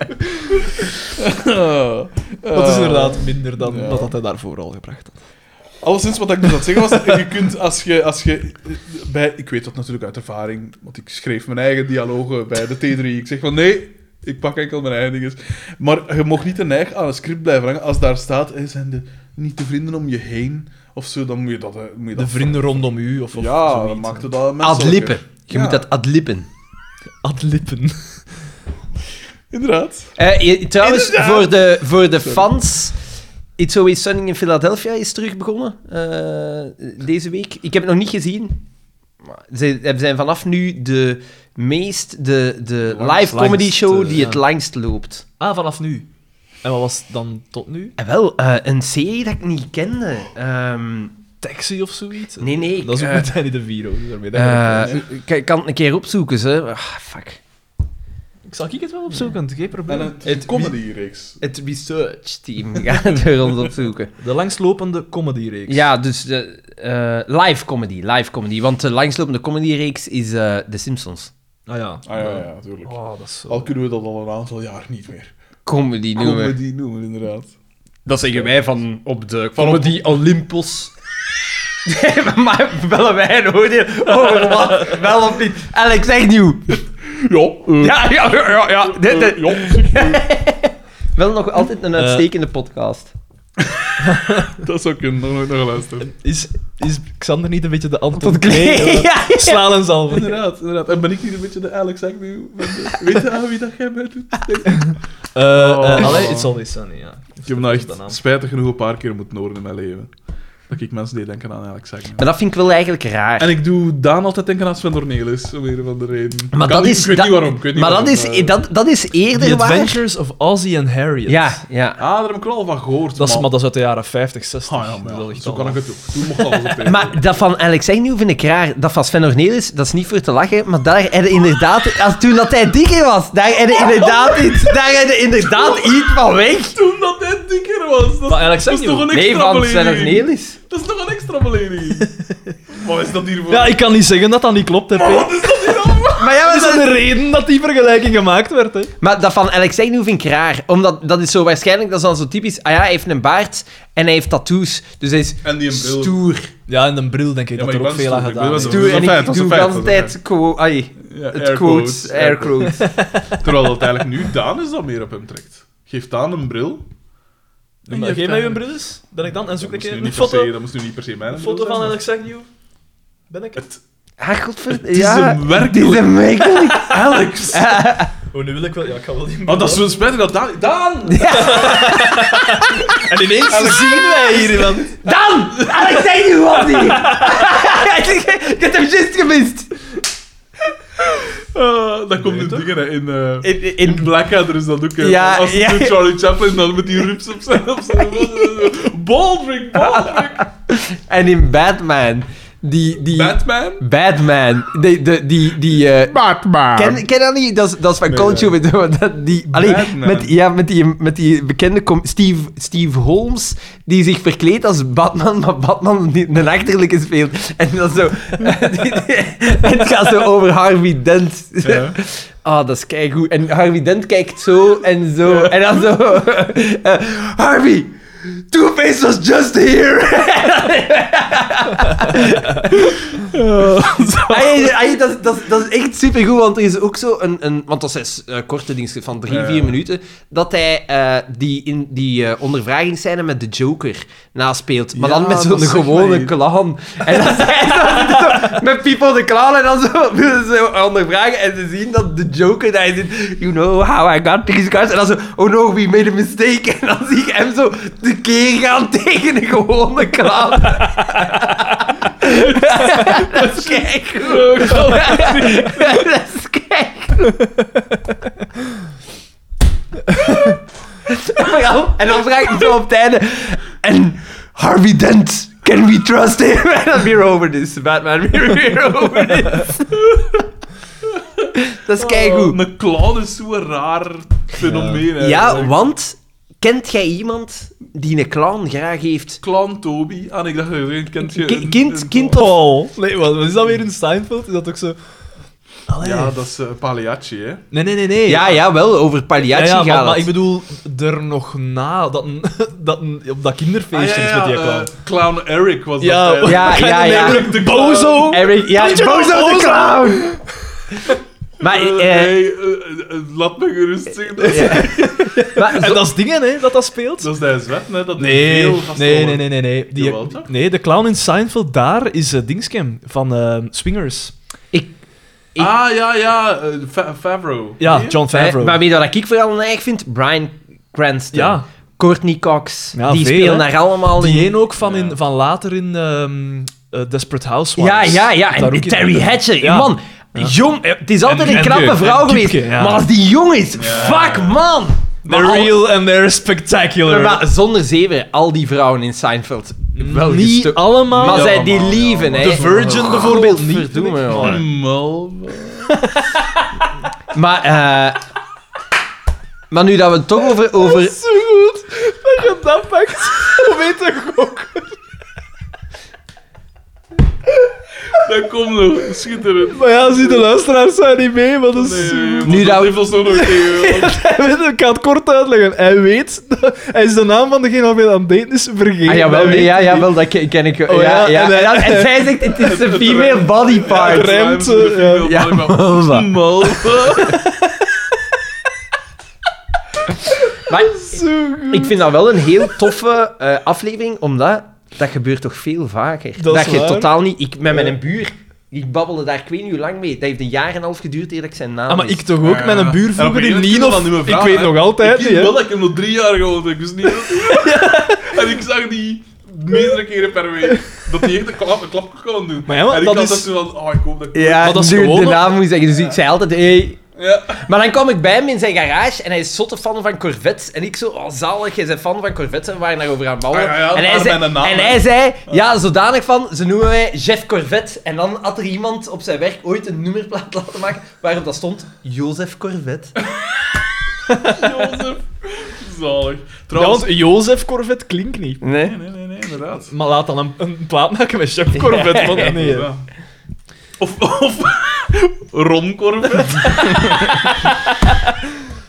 [SPEAKER 2] eh,
[SPEAKER 3] Dat is
[SPEAKER 2] eh,
[SPEAKER 3] inderdaad minder dan
[SPEAKER 2] Ja.
[SPEAKER 3] wat dat hij daarvoor al gebracht had.
[SPEAKER 2] Alleszins wat ik dus aan het zeggen was, je kunt als je, als je eh, bij, ik weet dat natuurlijk uit ervaring, want ik schreef mijn eigen dialogen bij de T3. Ik zeg van nee, ik pak enkel mijn eigen dinges. Maar je mag niet te neig aan een script blijven hangen. Als daar staat, eh, zijn de niet de vrienden om je heen of zo, dan moet je dat. eh, Moet je dat
[SPEAKER 3] De vrienden rondom u of, of
[SPEAKER 2] Ja,
[SPEAKER 3] zoiets.
[SPEAKER 2] dan maakt het al
[SPEAKER 4] Ad
[SPEAKER 2] menselijker.
[SPEAKER 4] lippen. Je
[SPEAKER 2] eh, Ja,
[SPEAKER 4] moet dat ad lippen.
[SPEAKER 3] Ad lippen.
[SPEAKER 2] Inderdaad.
[SPEAKER 4] Eh, je- trouwens,
[SPEAKER 2] Inderdaad.
[SPEAKER 4] voor de, voor de fans... It's Always Sunny in Philadelphia is terug begonnen eh, deze week. Ik heb het nog niet gezien. Maar ze zijn vanaf nu de meest... De, de
[SPEAKER 3] Langst-
[SPEAKER 4] live comedy
[SPEAKER 3] langst,
[SPEAKER 4] show
[SPEAKER 3] eh,
[SPEAKER 4] die
[SPEAKER 3] ja.
[SPEAKER 4] het langst loopt.
[SPEAKER 3] Ah, vanaf nu. En wat was het dan tot nu?
[SPEAKER 4] Eh, wel, eh, een serie dat ik niet kende. Ehm,
[SPEAKER 3] Taxi of zoiets?
[SPEAKER 4] Nee, nee,
[SPEAKER 3] Dat is ook
[SPEAKER 4] ik,
[SPEAKER 3] met Danny DeVito. Dus daarmee dat
[SPEAKER 4] eh,
[SPEAKER 3] werkt wel.
[SPEAKER 4] ik ik kan het een keer opzoeken, ze. Ah, fuck.
[SPEAKER 3] ik zal ik het wel opzoeken, geen probleem.
[SPEAKER 2] En een
[SPEAKER 4] Het-
[SPEAKER 2] comedy-reeks.
[SPEAKER 4] Het research team gaat het weer ons opzoeken.
[SPEAKER 3] De langstlopende comedy-reeks.
[SPEAKER 4] Ja, dus de, eh, live comedy, live comedy. Want de langslopende comedy-reeks is eh The Simpsons.
[SPEAKER 3] Ah ja.
[SPEAKER 2] Ah ja, ja, natuurlijk.
[SPEAKER 3] Oh, dat is zo...
[SPEAKER 2] Al kunnen we dat al een aantal jaar niet meer.
[SPEAKER 4] Comedy noemen.
[SPEAKER 2] Comedy noemen, inderdaad.
[SPEAKER 4] Dat zeggen wij van op de
[SPEAKER 2] Comedy
[SPEAKER 4] Olympus.
[SPEAKER 1] maar bellen wij een oordeel over wat, wel of niet. Alex, zeg nieuw.
[SPEAKER 2] Ja, eh,
[SPEAKER 1] Ja, ja, ja, ja. ja. Dit- dit-
[SPEAKER 2] eh, ja, zeg, eh,
[SPEAKER 1] Wel nog altijd
[SPEAKER 4] Eh.
[SPEAKER 1] een uitstekende podcast.
[SPEAKER 2] dat zou kunnen. Daar heb ik naar geluisterd.
[SPEAKER 3] Is, is Xander niet een beetje de Anton
[SPEAKER 1] Tot
[SPEAKER 3] Klee?
[SPEAKER 1] ja,
[SPEAKER 3] Slaan en zalven.
[SPEAKER 2] Inderdaad, inderdaad. En ben ik hier een beetje de Alex Agnew? van de- Weet je aan wie dat jij bent?
[SPEAKER 3] Eh eh
[SPEAKER 2] Oh.
[SPEAKER 3] allee, it's always sunny, ja.
[SPEAKER 2] Ik heb nou echt
[SPEAKER 3] De naam.
[SPEAKER 2] spijtig genoeg een paar keer moeten horen in mijn leven. Dat ik mensen die denken aan Alex Agnew.
[SPEAKER 1] Maar dat vind ik wel eigenlijk raar.
[SPEAKER 2] En ik doe Daan altijd denken aan Sven Dornelis, om een of andere reden.
[SPEAKER 1] Maar
[SPEAKER 2] Kan
[SPEAKER 1] dat
[SPEAKER 2] niet-
[SPEAKER 1] is,
[SPEAKER 2] Ik weet
[SPEAKER 1] dat-
[SPEAKER 2] niet waarom. ik weet niet
[SPEAKER 1] maar dat
[SPEAKER 2] waarom,
[SPEAKER 1] is,
[SPEAKER 2] eh.
[SPEAKER 1] dat, dat is
[SPEAKER 3] The
[SPEAKER 1] eerder waar.
[SPEAKER 3] Adventures of Ozzy and Harriet.
[SPEAKER 1] Ja, ja.
[SPEAKER 2] Ah, daar heb ik wel al van gehoord.
[SPEAKER 3] Dat is,
[SPEAKER 2] man.
[SPEAKER 3] maar dat is uit de jaren 50, 60.
[SPEAKER 2] Ah, ja, maar ja,
[SPEAKER 3] Dat ligt
[SPEAKER 2] zo
[SPEAKER 3] al
[SPEAKER 2] kan ik
[SPEAKER 3] af.
[SPEAKER 2] het ook. Toen mocht alles op tv.
[SPEAKER 1] Maar dat van Alex Agnew vind ik raar. Dat van Sven Ornelis, dat is niet voor te lachen, maar daar hadden inderdaad... Als toen dat hij dikker was, daar hadden inderdaad iets, daar hadden inderdaad iets van weg.
[SPEAKER 2] Toen dat hij dikker was. Dat,
[SPEAKER 3] Maar Alex
[SPEAKER 2] dat is
[SPEAKER 3] Agnew?
[SPEAKER 2] toch een
[SPEAKER 1] Nee,
[SPEAKER 2] extra
[SPEAKER 1] van Sven
[SPEAKER 2] belediging?
[SPEAKER 1] Ornelis.
[SPEAKER 2] Dat is toch een extra belediging? wat is dat hier voor?
[SPEAKER 3] Ja, ik kan niet zeggen dat dat niet klopt, hè, P.
[SPEAKER 2] Wat is dat hier allemaal?
[SPEAKER 1] Maar ja, maar
[SPEAKER 3] Dat is
[SPEAKER 1] dat,
[SPEAKER 3] de reden dat die vergelijking gemaakt werd, hè.
[SPEAKER 1] maar dat van Alex Agnew vind ik raar. Omdat dat is zo waarschijnlijk, dat is dan zo typisch... Ah ja, hij heeft een baard en hij heeft tattoos. Dus hij is
[SPEAKER 2] En die een bril.
[SPEAKER 1] stoer.
[SPEAKER 3] Ja, en een bril, denk ik,
[SPEAKER 2] Ja,
[SPEAKER 3] dat
[SPEAKER 2] maar
[SPEAKER 3] er
[SPEAKER 2] ik
[SPEAKER 3] ook
[SPEAKER 2] ben
[SPEAKER 3] veel aan
[SPEAKER 2] stoer, ik
[SPEAKER 3] gedaan
[SPEAKER 2] ben
[SPEAKER 3] is.
[SPEAKER 2] wel
[SPEAKER 1] Doe,
[SPEAKER 2] is een
[SPEAKER 1] en
[SPEAKER 2] feit,
[SPEAKER 1] ik
[SPEAKER 2] dat is
[SPEAKER 1] doe
[SPEAKER 2] een feit,
[SPEAKER 1] de hele
[SPEAKER 2] dat is
[SPEAKER 1] tijd...
[SPEAKER 2] een
[SPEAKER 1] quo- ai,
[SPEAKER 2] Ja,
[SPEAKER 1] het
[SPEAKER 2] air
[SPEAKER 1] quotes, air
[SPEAKER 2] air
[SPEAKER 1] quotes.
[SPEAKER 2] Terwijl dat eigenlijk nu Daan is dat meer op hem trekt. Geef Daan een bril.
[SPEAKER 3] Ja, maar Geef mij uw bril eens, ben ik dan. En zoek
[SPEAKER 2] Dat moest,
[SPEAKER 3] een keer
[SPEAKER 2] nu
[SPEAKER 3] een
[SPEAKER 2] niet per se,
[SPEAKER 3] foto,
[SPEAKER 2] dat moest nu niet per se mijn
[SPEAKER 3] een foto
[SPEAKER 2] bril
[SPEAKER 3] van
[SPEAKER 2] zijn,
[SPEAKER 3] Alex Agnew. Ben ik
[SPEAKER 2] maar-
[SPEAKER 3] het?
[SPEAKER 2] Het
[SPEAKER 1] Ah, godverd...
[SPEAKER 2] is
[SPEAKER 1] ja,
[SPEAKER 2] hem werkelijk.
[SPEAKER 1] Het is hem werkelijk.
[SPEAKER 2] Alex!
[SPEAKER 3] Oh, nu wil ik wel... Ja, ik ga wel die
[SPEAKER 2] Oh, dat is wel spijtig dat Daan... Daan!
[SPEAKER 3] En ineens zien wij hier iemand.
[SPEAKER 1] Dan! Alex Agnew was die! Ik heb hem juist gemist.
[SPEAKER 2] Eh, dat komt in dingen, hè. In, eh,
[SPEAKER 1] In, in,
[SPEAKER 2] in Blackadder is dat ook, hè.
[SPEAKER 1] Ja,
[SPEAKER 2] Als
[SPEAKER 1] ja.
[SPEAKER 2] doet Charlie Chaplin dan met die rups op zijn... Op zijn Baldrick, Baldrick!
[SPEAKER 1] en in Batman. Die, die,
[SPEAKER 2] Batman?
[SPEAKER 1] Batman. Die, de, die, die, eh,
[SPEAKER 2] Batman!
[SPEAKER 1] ken, ken je dat niet? Dat is, dat is van
[SPEAKER 2] Nee,
[SPEAKER 1] Colin Joe, weet je wel, dat- die, allee,
[SPEAKER 2] Batman.
[SPEAKER 1] met, ja, met, die, met die bekende com- Steve, Steve Holmes, die zich verkleedt als Batman, maar Batman niet een achterlijke speelt. En dat is zo... het gaat zo over Harvey Dent.
[SPEAKER 2] Ja.
[SPEAKER 1] Ah, dat is keigoed. En Harvey Dent kijkt zo en zo. En dan zo... eh, Harvey, Two-Face was just here. Ai, ai, ai, dat, is- dat, is- dat is echt supergoed, want er is ook zo een... een want dat is eh, korte dienst van drie,
[SPEAKER 2] Ja, ja.
[SPEAKER 1] vier minuten. Dat hij eh, die, in, die eh, ondervragingsscène met de Joker naspeelt. Maar
[SPEAKER 2] Ja,
[SPEAKER 1] dan met
[SPEAKER 2] dat
[SPEAKER 1] zo'n
[SPEAKER 2] zegt mij
[SPEAKER 1] gewone
[SPEAKER 2] iets.
[SPEAKER 1] clown. En dan zijn ze zo met People de Clown en dan zo willen ze zo ondervragen. En ze zien dat de Joker daar zit. You know how I got these cards. En dan zo, oh no, we made a mistake. En dan zie ik hem zo de keer gaan tegen een gewone clown. dat is keigoed. dat is keigoed. Vooral- en dan vraag ik zo op het einde. En Harvey Dent, can we trust him? En dan weer over this, Batman. Weer, weer over this. dat is keigoed.
[SPEAKER 2] Eh, Een clown is zo'n raar fenomeen, hè.
[SPEAKER 1] Oh, Ja, want kent jij iemand die een clown graag heeft?
[SPEAKER 2] Clown Toby. Ah, nee, ik dacht, je kent je...
[SPEAKER 1] Ki-
[SPEAKER 2] een-
[SPEAKER 1] kind-
[SPEAKER 2] een-
[SPEAKER 1] kind-
[SPEAKER 3] Paul. Nee, wat, wat is dat weer in Seinfeld? Is dat ook zo... Allee.
[SPEAKER 2] Ja, dat is eh, Pagliacci, hè.
[SPEAKER 3] Nee, nee, nee, nee.
[SPEAKER 1] Ja, ja, wel, over
[SPEAKER 3] Ja,
[SPEAKER 1] Pagliacci
[SPEAKER 3] ja, maar,
[SPEAKER 1] gaat
[SPEAKER 3] maar
[SPEAKER 1] het.
[SPEAKER 3] ik bedoel, er nog na, dat, een- dat, een- op dat kinderfeestje is met die
[SPEAKER 2] eh,
[SPEAKER 3] clown.
[SPEAKER 2] clown Eric was
[SPEAKER 3] Ja,
[SPEAKER 2] dat. hè.
[SPEAKER 1] ja,
[SPEAKER 3] En
[SPEAKER 1] ja,
[SPEAKER 3] dan
[SPEAKER 1] ja.
[SPEAKER 3] heb ik De bozo.
[SPEAKER 2] Eh,
[SPEAKER 1] Eric, ja,
[SPEAKER 3] Richard
[SPEAKER 1] Bozo de
[SPEAKER 3] Bozo.
[SPEAKER 1] Clown!
[SPEAKER 4] Ah,
[SPEAKER 1] maar,
[SPEAKER 2] Eh,
[SPEAKER 1] eh,
[SPEAKER 2] nee, eh, eh, laat me gerust zien. Dat,
[SPEAKER 1] ja. maar
[SPEAKER 3] En
[SPEAKER 1] zo-
[SPEAKER 3] dat is dingen, hè, dat dat speelt.
[SPEAKER 2] dat is de zwet, hè? Dat
[SPEAKER 3] Nee,
[SPEAKER 2] heel vast
[SPEAKER 3] nee, nee,
[SPEAKER 2] over-
[SPEAKER 3] nee, nee, nee. Die,
[SPEAKER 2] Jawel, toch?
[SPEAKER 3] nee, de clown in Seinfeld daar is eh, Dingskem van eh, Swingers.
[SPEAKER 1] Ik-
[SPEAKER 2] Ah, ja, ja. eh, Fa- Favreau.
[SPEAKER 3] Ja,
[SPEAKER 2] Nee?
[SPEAKER 3] John Favreau.
[SPEAKER 1] Eh, maar wie dat ik vooral erg vind, Brian Cranston.
[SPEAKER 3] Ja.
[SPEAKER 1] Courtney Cox.
[SPEAKER 3] Ja,
[SPEAKER 1] die
[SPEAKER 3] veel,
[SPEAKER 1] spelen
[SPEAKER 3] hè.
[SPEAKER 1] daar allemaal
[SPEAKER 3] Die
[SPEAKER 1] in.
[SPEAKER 3] een ook van,
[SPEAKER 2] Ja.
[SPEAKER 3] in, van later in ehm, eh, Desperate
[SPEAKER 1] Ja,
[SPEAKER 3] Housewives.
[SPEAKER 1] ja, ja.
[SPEAKER 3] Daar ook
[SPEAKER 1] En
[SPEAKER 3] in-
[SPEAKER 1] Terry Hatcher,
[SPEAKER 3] Ja.
[SPEAKER 1] man. Jong, eh, het is altijd
[SPEAKER 3] En-
[SPEAKER 1] een
[SPEAKER 3] en
[SPEAKER 1] knappe
[SPEAKER 3] Diepke,
[SPEAKER 1] vrouw
[SPEAKER 3] en
[SPEAKER 1] geweest.
[SPEAKER 3] Diepke, ja.
[SPEAKER 1] Maar als die jong is, fuck man. Maar
[SPEAKER 3] They're
[SPEAKER 1] al-
[SPEAKER 3] real and they're spectacular.
[SPEAKER 1] maar zonder zeven, al die vrouwen in Seinfeld. Wel
[SPEAKER 3] Niet
[SPEAKER 1] gesto-
[SPEAKER 3] allemaal.
[SPEAKER 1] Maar
[SPEAKER 2] Ja,
[SPEAKER 1] zij die
[SPEAKER 2] allemaal, ja,
[SPEAKER 1] lieven,
[SPEAKER 2] maar-
[SPEAKER 1] hè.
[SPEAKER 3] The Virgin bijvoorbeeld niet. vind
[SPEAKER 1] Godverdomme,
[SPEAKER 3] ik.
[SPEAKER 1] joh.
[SPEAKER 3] Maar-
[SPEAKER 2] Mal-
[SPEAKER 1] Maar, eh, maar nu dat we het toch over... over
[SPEAKER 3] Zo goed dat je dat pakt. Hoe weet ik ook?
[SPEAKER 2] Dat komt nog. Schitterend.
[SPEAKER 3] Maar ja, zie de luisteraars zijn niet mee, maar dat is...
[SPEAKER 2] Nee,
[SPEAKER 4] Nu
[SPEAKER 2] nu dat
[SPEAKER 4] dat-
[SPEAKER 2] heeft ons nog nooit tegengehouden.
[SPEAKER 3] Hij weet- ik ga het kort uitleggen. Hij weet... dat- hij is de naam van degene waarmee hij aan het daten is vergeten.
[SPEAKER 4] Ah,
[SPEAKER 3] Hij
[SPEAKER 4] jawel, nee,
[SPEAKER 3] weet
[SPEAKER 4] ja,
[SPEAKER 3] het niet.
[SPEAKER 4] jawel, dat ken, ken ik. wel.
[SPEAKER 3] Oh,
[SPEAKER 4] ja,
[SPEAKER 3] ja,
[SPEAKER 4] ja.
[SPEAKER 3] en
[SPEAKER 4] En,
[SPEAKER 3] hij-
[SPEAKER 4] dat- en zij zegt, het is een female body
[SPEAKER 2] Het
[SPEAKER 4] part.
[SPEAKER 3] Ja,
[SPEAKER 2] ruimt,
[SPEAKER 3] remt,
[SPEAKER 2] eh,
[SPEAKER 3] ja.
[SPEAKER 2] veel
[SPEAKER 4] Ja,
[SPEAKER 2] volleybal.
[SPEAKER 4] wat?
[SPEAKER 2] Mal.
[SPEAKER 4] Maar
[SPEAKER 3] Zo goed.
[SPEAKER 4] ik vind dat wel een heel toffe eh, aflevering, omdat dat gebeurt toch veel vaker.
[SPEAKER 3] Dat is
[SPEAKER 4] je
[SPEAKER 3] waar.
[SPEAKER 4] totaal niet... Ik, met
[SPEAKER 3] Ja.
[SPEAKER 4] mijn buur, ik babbelde daar ik weet niet hoe lang mee. Dat heeft een jaar en een half geduurd eer dat ik zijn naam
[SPEAKER 3] Ah, maar
[SPEAKER 4] wist.
[SPEAKER 3] ik toch ook,
[SPEAKER 2] Ja.
[SPEAKER 3] met een
[SPEAKER 2] En
[SPEAKER 3] buur
[SPEAKER 2] op een
[SPEAKER 3] vroeger in
[SPEAKER 2] gegeven moment
[SPEAKER 3] Ninof.
[SPEAKER 2] kon dat niet meer
[SPEAKER 3] Ik
[SPEAKER 2] vragen,
[SPEAKER 3] weet nog altijd
[SPEAKER 2] Ik
[SPEAKER 3] niet,
[SPEAKER 2] weet
[SPEAKER 3] hè.
[SPEAKER 4] Ah,
[SPEAKER 2] wel dat ik hem nog drie jaar gewoond heb. Ik wist niet wat- En ik zag die meerdere keren per week. Dat hij echt een klap, een klap kon doen.
[SPEAKER 3] Maar ja, maar
[SPEAKER 2] en ik
[SPEAKER 3] dat
[SPEAKER 2] had
[SPEAKER 3] is-
[SPEAKER 2] dat zo van, oh, ik hoop dat ik...
[SPEAKER 4] Ja,
[SPEAKER 3] Maar dat is
[SPEAKER 4] nu
[SPEAKER 3] gewoon-
[SPEAKER 4] de naam moet zeggen. Dus ik zei altijd, hey.
[SPEAKER 2] Ja.
[SPEAKER 4] Maar dan kwam ik bij hem in zijn garage en hij is zotte fan van Corvettes. En ik zo, oh zalig, jij bent fan van Corvettes en we waren daarover aan het babbelen.
[SPEAKER 2] Ah, ja, ja,
[SPEAKER 4] en, hij
[SPEAKER 2] daar
[SPEAKER 4] zei,
[SPEAKER 2] mijn naam,
[SPEAKER 4] en
[SPEAKER 2] hè. Ah.
[SPEAKER 4] hij zei, ja, zodanig van, ze noemen mij Jeff Corvette. En dan had er iemand op zijn werk ooit een nummerplaat laten maken waarop dat stond, Jozef Corvette.
[SPEAKER 2] Jozef. Zalig.
[SPEAKER 3] Ja, want
[SPEAKER 2] Trouwens...
[SPEAKER 3] Jozef Corvette klinkt niet.
[SPEAKER 4] Nee?
[SPEAKER 2] Nee, nee, nee, inderdaad.
[SPEAKER 3] Maar laat dan een, een plaat maken met Chef Corvette. Want, nee, hè.
[SPEAKER 2] Ja. Of... of Ron Corvette.
[SPEAKER 3] Voilà,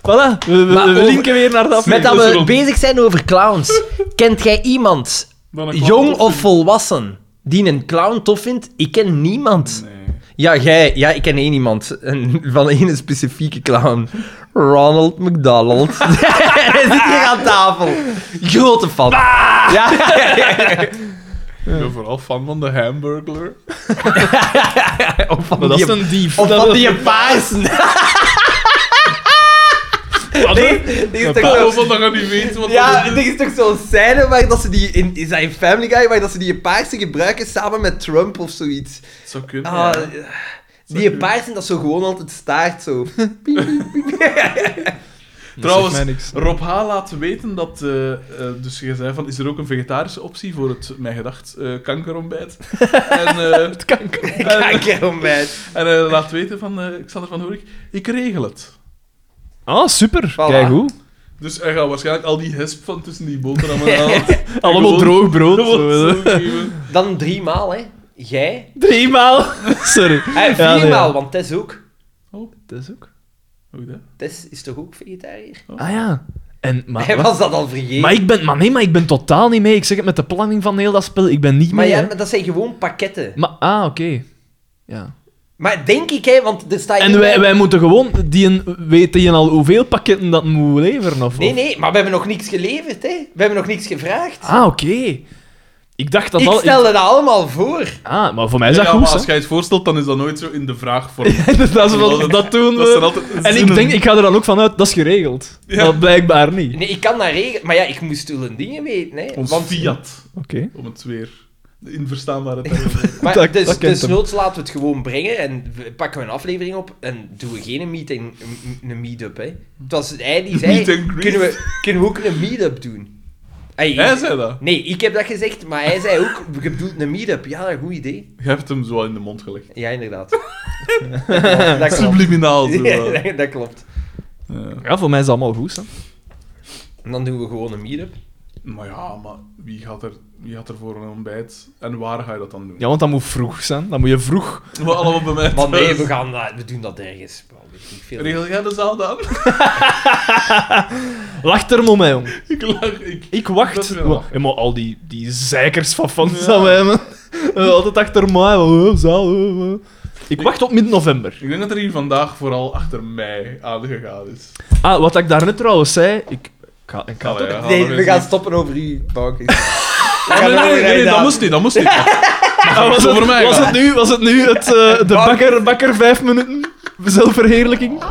[SPEAKER 3] we, we-
[SPEAKER 4] Maar
[SPEAKER 3] we
[SPEAKER 4] over-
[SPEAKER 3] linken weer naar de
[SPEAKER 4] Met
[SPEAKER 3] aflevering.
[SPEAKER 4] dat
[SPEAKER 2] dat is
[SPEAKER 4] we
[SPEAKER 2] rond.
[SPEAKER 4] bezig zijn over clowns. Kent jij iemand,
[SPEAKER 2] Dan een klap
[SPEAKER 4] jong
[SPEAKER 2] op
[SPEAKER 4] of volwassen, die een clown tof vindt? Ik ken niemand.
[SPEAKER 2] Nee.
[SPEAKER 4] Ja, jij. Ja, ik ken één iemand. Een, van één specifieke clown. Ronald McDonald. Hij zit hier aan tafel. Grote fan. Ja.
[SPEAKER 2] Ik ben vooral fan van de Hamburglar.
[SPEAKER 4] Of van
[SPEAKER 3] Maar dat
[SPEAKER 4] die,
[SPEAKER 3] is een dief.
[SPEAKER 4] of
[SPEAKER 3] Dat-
[SPEAKER 4] van die paars.
[SPEAKER 3] Wat?
[SPEAKER 4] Die, die is
[SPEAKER 2] Ik
[SPEAKER 4] toch zo-
[SPEAKER 2] hoop dat je niet weet wat
[SPEAKER 4] ja,
[SPEAKER 2] dat
[SPEAKER 4] er is toch zo'n scène waar dat ze die in, is dat in Family Guy, waar dat ze die paarse gebruiken samen met Trump of zoiets.
[SPEAKER 2] Het zou kunnen,
[SPEAKER 4] Ah,
[SPEAKER 2] ja.
[SPEAKER 4] die paarsen, dat zo gewoon altijd staart zo.
[SPEAKER 2] Trouwens,
[SPEAKER 3] zegt mij niks.
[SPEAKER 2] Rob H. laat weten dat... eh, eh, dus je zei van, is er ook een vegetarische optie voor het, mijn gedacht, eh, kankerontbijt? en, eh,
[SPEAKER 3] Het kan k-
[SPEAKER 2] en,
[SPEAKER 4] Kijk oh, erom, man.
[SPEAKER 2] en hij laat weten van, eh Xander van Horik, ik regel het.
[SPEAKER 3] Ah, super.
[SPEAKER 4] Voilà.
[SPEAKER 3] Kijk hoe.
[SPEAKER 2] Dus hij gaat waarschijnlijk al die hesp van tussen die boterhammen halen.
[SPEAKER 3] Allemaal
[SPEAKER 2] Gewoon-
[SPEAKER 3] droog brood.
[SPEAKER 2] Dat wordt
[SPEAKER 3] zo,
[SPEAKER 2] zo
[SPEAKER 3] hè.
[SPEAKER 2] geven.
[SPEAKER 4] Dan driemaal, hè. Jij.
[SPEAKER 3] Driemaal. Sorry.
[SPEAKER 4] En
[SPEAKER 3] Ja, nee.
[SPEAKER 4] viermaal, want Tess ook.
[SPEAKER 2] Oh.
[SPEAKER 3] Dat is ook.
[SPEAKER 2] Hoe dat?
[SPEAKER 4] Tess is toch ook vegetariër?
[SPEAKER 3] Ah ja. En, maar,
[SPEAKER 4] Hij was dat al vergeten.
[SPEAKER 3] Ah, maar, ik ben, maar nee, maar ik ben totaal niet mee. Ik zeg het met de planning van heel dat spel. Ik ben niet
[SPEAKER 4] Maar
[SPEAKER 3] mee.
[SPEAKER 4] ja,
[SPEAKER 3] hè.
[SPEAKER 4] maar dat zijn gewoon pakketten.
[SPEAKER 3] Maar, ah, oké. Ja.
[SPEAKER 4] Maar denk ik, hè, want er staat...
[SPEAKER 3] En
[SPEAKER 4] hier
[SPEAKER 3] wij,
[SPEAKER 4] bij-
[SPEAKER 3] wij moeten gewoon... Die een, weten je al hoeveel pakketten dat moet leveren? Of,
[SPEAKER 4] Nee,
[SPEAKER 3] of-
[SPEAKER 4] nee, maar we hebben nog niks geleverd, hè. We hebben nog niks gevraagd.
[SPEAKER 3] Ah, oké. Ik dacht dat
[SPEAKER 4] ik
[SPEAKER 3] al...
[SPEAKER 4] stelde dat allemaal voor.
[SPEAKER 3] Ah, maar voor mij is dat
[SPEAKER 2] Ja, maar
[SPEAKER 3] goed,
[SPEAKER 2] als
[SPEAKER 3] hè.
[SPEAKER 2] jij het voorstelt, dan is dat nooit zo in de vraagvorm.
[SPEAKER 3] Dus dat, is wat, dat doen
[SPEAKER 2] Dat zijn
[SPEAKER 3] we.
[SPEAKER 2] altijd
[SPEAKER 3] eh, En ik
[SPEAKER 2] zinnen.
[SPEAKER 3] denk, ik ga er dan ook vanuit, dat is geregeld.
[SPEAKER 2] Ja.
[SPEAKER 3] Dat blijkbaar niet.
[SPEAKER 4] Nee, ik kan dat regelen. Maar ja, ik moest toen dingen weten, hè.
[SPEAKER 2] Ons
[SPEAKER 4] want,
[SPEAKER 2] fiat,
[SPEAKER 3] Oké.
[SPEAKER 2] om het weer in verstaanbare termen.
[SPEAKER 4] Maar
[SPEAKER 3] Dat-
[SPEAKER 4] dus,
[SPEAKER 3] dat kent
[SPEAKER 4] dus
[SPEAKER 3] hem.
[SPEAKER 4] noods laten we het gewoon brengen en we pakken we een aflevering op en doen we geen meeting, een- een meet-up, hè. Het was hij die zei,
[SPEAKER 2] Meet and greet.
[SPEAKER 4] kunnen we, kunnen we ook een meet-up doen? Hij,
[SPEAKER 2] Hij zei dat.
[SPEAKER 4] Nee, ik heb dat gezegd, maar hij zei ook, je bedoelt een meet-up. Ja, dat is een goed idee.
[SPEAKER 2] Jij hebt hem zo al in de mond gelegd.
[SPEAKER 4] Ja, inderdaad. dat klopt.
[SPEAKER 2] Subliminaal. Zo. eh.
[SPEAKER 4] Ja, dat klopt.
[SPEAKER 2] Ja.
[SPEAKER 3] Ja, voor mij is het allemaal goed, hè.
[SPEAKER 4] En dan doen we gewoon een meet-up.
[SPEAKER 2] Maar ja, maar wie gaat, er, wie gaat er voor een ontbijt? En waar ga je dat dan doen?
[SPEAKER 3] Ja, want dat moet vroeg zijn. Dan moet je vroeg...
[SPEAKER 2] We allemaal bij mij
[SPEAKER 4] Maar nee,
[SPEAKER 1] Dus-
[SPEAKER 2] thuis.
[SPEAKER 4] we, gaan, dat- we doen dat ergens. Wel, weet ik veel.
[SPEAKER 2] Regel jij de zaal dan?
[SPEAKER 3] Lach er maar mee, jong.
[SPEAKER 2] ik lach. Ik...
[SPEAKER 3] Ik
[SPEAKER 2] Dat
[SPEAKER 3] wacht.
[SPEAKER 2] is wel-
[SPEAKER 3] Ja, maar al die, die zeikers van fans
[SPEAKER 2] Ja.
[SPEAKER 3] aan mij, man. Eh, Altijd achter mij. Oh, zaal, oh, oh. Ik wacht op midden-november.
[SPEAKER 2] ik denk dat er hier vandaag vooral achter mij aangegaan is.
[SPEAKER 3] Ah, wat ik daarnet trouwens zei... Ik, ik ga, ik ga
[SPEAKER 2] Allee,
[SPEAKER 3] toch-
[SPEAKER 2] ja,
[SPEAKER 4] Nee,
[SPEAKER 2] dat
[SPEAKER 4] we
[SPEAKER 2] is
[SPEAKER 4] gaan
[SPEAKER 2] niet-
[SPEAKER 4] stoppen over u, Bouke.
[SPEAKER 2] Ah, nee, nee, nee, nee, dat moest niet, dat moest niet.
[SPEAKER 3] Ah, was,
[SPEAKER 2] Zo
[SPEAKER 3] het,
[SPEAKER 2] voor mij
[SPEAKER 3] was,
[SPEAKER 2] gaan.
[SPEAKER 3] het nu, was het nu het, eh, de bakker, bakker vijf minuten? Zelfverheerlijking?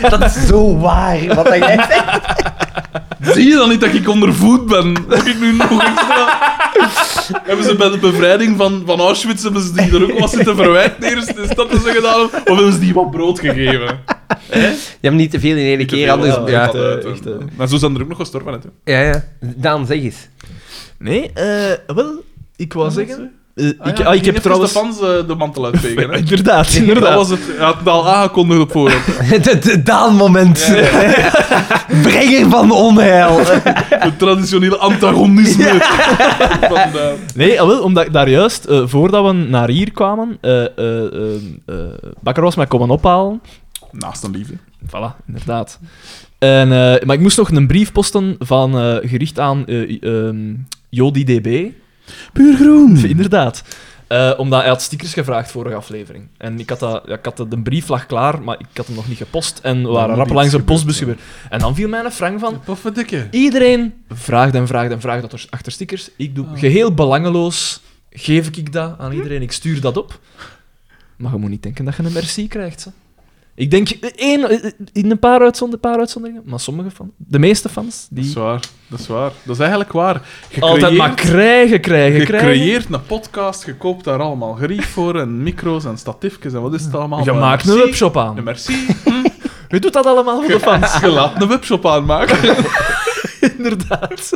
[SPEAKER 4] Dat is zo waar, wat dat jij zegt.
[SPEAKER 2] Zie je dan niet dat ik onder voet ben? Moet ik nu nog extra... hebben ze bij de bevrijding van, van Auschwitz hebben ze die er ook wat zitten verwijten eerst in de stad dat ze gedaan hebben? Of hebben ze die wat brood gegeven?
[SPEAKER 4] Je hebt niet te veel in één keer, anders...
[SPEAKER 2] Ja,
[SPEAKER 4] Ja,
[SPEAKER 3] eh,
[SPEAKER 2] uit,
[SPEAKER 3] echt,
[SPEAKER 2] hoor.
[SPEAKER 3] eh.
[SPEAKER 2] Maar zo zijn er ook nog gestorven, hè.
[SPEAKER 4] ja, ja. Daan, zeg eens.
[SPEAKER 3] Nee, eh, wel, ik wou zeggen... Eh, ik,
[SPEAKER 2] Ah, ja,
[SPEAKER 3] ah,
[SPEAKER 2] ging
[SPEAKER 3] ik heb
[SPEAKER 2] even
[SPEAKER 3] trouwens...
[SPEAKER 2] de fans eh, de mantel uitvegen. hè.
[SPEAKER 3] Inderdaad,
[SPEAKER 2] Dat
[SPEAKER 3] inderdaad.
[SPEAKER 2] was het. Hij had het al aangekondigd op voorhand.
[SPEAKER 1] Het Daan-moment. Brenger van onheil.
[SPEAKER 2] Het traditionele antagonisme. Van, eh,
[SPEAKER 3] Nee, ah, wel, omdat ik daar juist, eh, voordat we naar hier kwamen, eh eh, eh, eh, Bakker was mij komen ophalen.
[SPEAKER 2] naast een liefde.
[SPEAKER 3] Voilà, inderdaad. En, eh, maar ik moest nog een brief posten van eh, gericht aan eh ehm, Jody DB.
[SPEAKER 2] Puur groen.
[SPEAKER 3] Inderdaad. Eh, omdat hij had stickers gevraagd vorige aflevering. En ik had, dat, ja, ik had dat- de brief lag klaar, maar ik had hem nog niet gepost. En we waren
[SPEAKER 2] moet
[SPEAKER 3] rap
[SPEAKER 2] iets
[SPEAKER 3] langs een
[SPEAKER 2] gebeuren,
[SPEAKER 3] postbus
[SPEAKER 2] ja.
[SPEAKER 3] gebeurd. En dan viel mij een frank van...
[SPEAKER 2] Poffe dikke.
[SPEAKER 3] Iedereen vraagt en vraagt en vraagt dat er achter stickers. Ik doe
[SPEAKER 2] Ah.
[SPEAKER 3] geheel belangeloos, geef ik dat aan iedereen, ik stuur dat op. Maar je moet niet denken dat je een merci krijgt. Hè. Ik denk, eh, één, eh, eh, in een paar, uitzonder, paar uitzonderingen, maar sommige fans, de meeste fans,
[SPEAKER 2] Dat is
[SPEAKER 3] die
[SPEAKER 2] waar. Dat is waar. Dat is eigenlijk waar. Gecreëerd,
[SPEAKER 3] altijd maar krijgen, krijgen, krijgen.
[SPEAKER 2] gecreëerd een podcast, je koopt daar allemaal gerief voor en micro's en statiefjes en wat is het allemaal.
[SPEAKER 3] Je
[SPEAKER 2] Maar
[SPEAKER 3] maakt een
[SPEAKER 2] Ah, merci,
[SPEAKER 3] webshop
[SPEAKER 2] Een
[SPEAKER 3] aan.
[SPEAKER 2] merci.
[SPEAKER 3] Je doet dat allemaal voor de fans,
[SPEAKER 2] Je laat een webshop aanmaken.
[SPEAKER 3] inderdaad.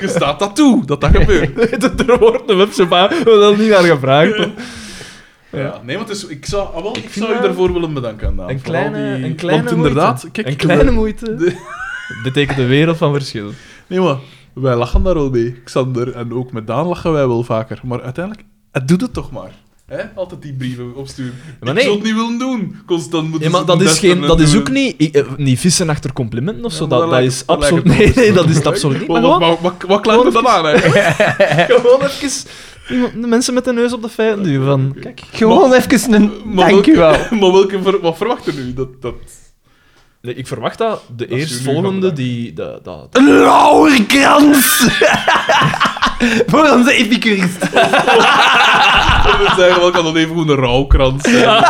[SPEAKER 2] Je staat dat toe, dat dat gebeurt.
[SPEAKER 3] er wordt een webshop aan, we hebben er niet naar gevraagd. hoor.
[SPEAKER 2] Ja, nee, want het is, ik zou, ah, wel, ik
[SPEAKER 3] vind
[SPEAKER 2] zou je
[SPEAKER 3] dat-
[SPEAKER 2] daarvoor willen bedanken. Daan.
[SPEAKER 3] Een
[SPEAKER 2] Vooral
[SPEAKER 3] kleine,
[SPEAKER 2] die-
[SPEAKER 3] een kleine
[SPEAKER 2] Want inderdaad,
[SPEAKER 3] moeite.
[SPEAKER 2] kijk,
[SPEAKER 3] een kleine
[SPEAKER 2] we-
[SPEAKER 3] moeite
[SPEAKER 2] de-
[SPEAKER 3] betekent een wereld van verschil.
[SPEAKER 2] Nee, maar wij lachen daar wel mee, Xander. En ook met Daan lachen wij wel vaker. Maar uiteindelijk, het doet het toch maar. Hè? Altijd die brieven opsturen.
[SPEAKER 3] maar
[SPEAKER 2] Ik
[SPEAKER 3] nee.
[SPEAKER 2] zou het niet willen doen. Constant moeten
[SPEAKER 3] Ja, maar
[SPEAKER 2] ze
[SPEAKER 3] dat
[SPEAKER 2] het
[SPEAKER 3] is, geen,
[SPEAKER 2] testen
[SPEAKER 3] dat
[SPEAKER 2] en
[SPEAKER 3] is
[SPEAKER 2] doen.
[SPEAKER 3] ook niet, i- eh, niet vissen achter complimenten of
[SPEAKER 2] Ja,
[SPEAKER 3] zo.
[SPEAKER 2] maar
[SPEAKER 3] Dat,
[SPEAKER 2] dat
[SPEAKER 3] dat
[SPEAKER 2] lijkt-
[SPEAKER 3] is
[SPEAKER 2] dat
[SPEAKER 3] absoluut.
[SPEAKER 2] lijkt
[SPEAKER 3] Nee,
[SPEAKER 2] het
[SPEAKER 3] nee, dat is het absoluut niet.
[SPEAKER 2] Maar
[SPEAKER 3] Maar
[SPEAKER 2] wat,
[SPEAKER 3] gewoon,
[SPEAKER 2] wat, wat, wat klaart er dan aan, hè?
[SPEAKER 3] gewoon even iemand- de mensen met de neus op de feiten duwen. Van, kijk,
[SPEAKER 1] Gewoon even een
[SPEAKER 2] Maar
[SPEAKER 1] dank u wel.
[SPEAKER 2] welke- Maar welke, ver- wat verwacht je nu? Dat, dat...
[SPEAKER 3] nee, ik verwacht dat de
[SPEAKER 2] jullie van
[SPEAKER 3] eerstvolgende
[SPEAKER 2] bedankt.
[SPEAKER 3] die. Dat, dat,
[SPEAKER 1] Een lauwerkrans. Voor onze epicurist.
[SPEAKER 2] We zeggen, wel kan dat even gewoon een rouwkrans zijn.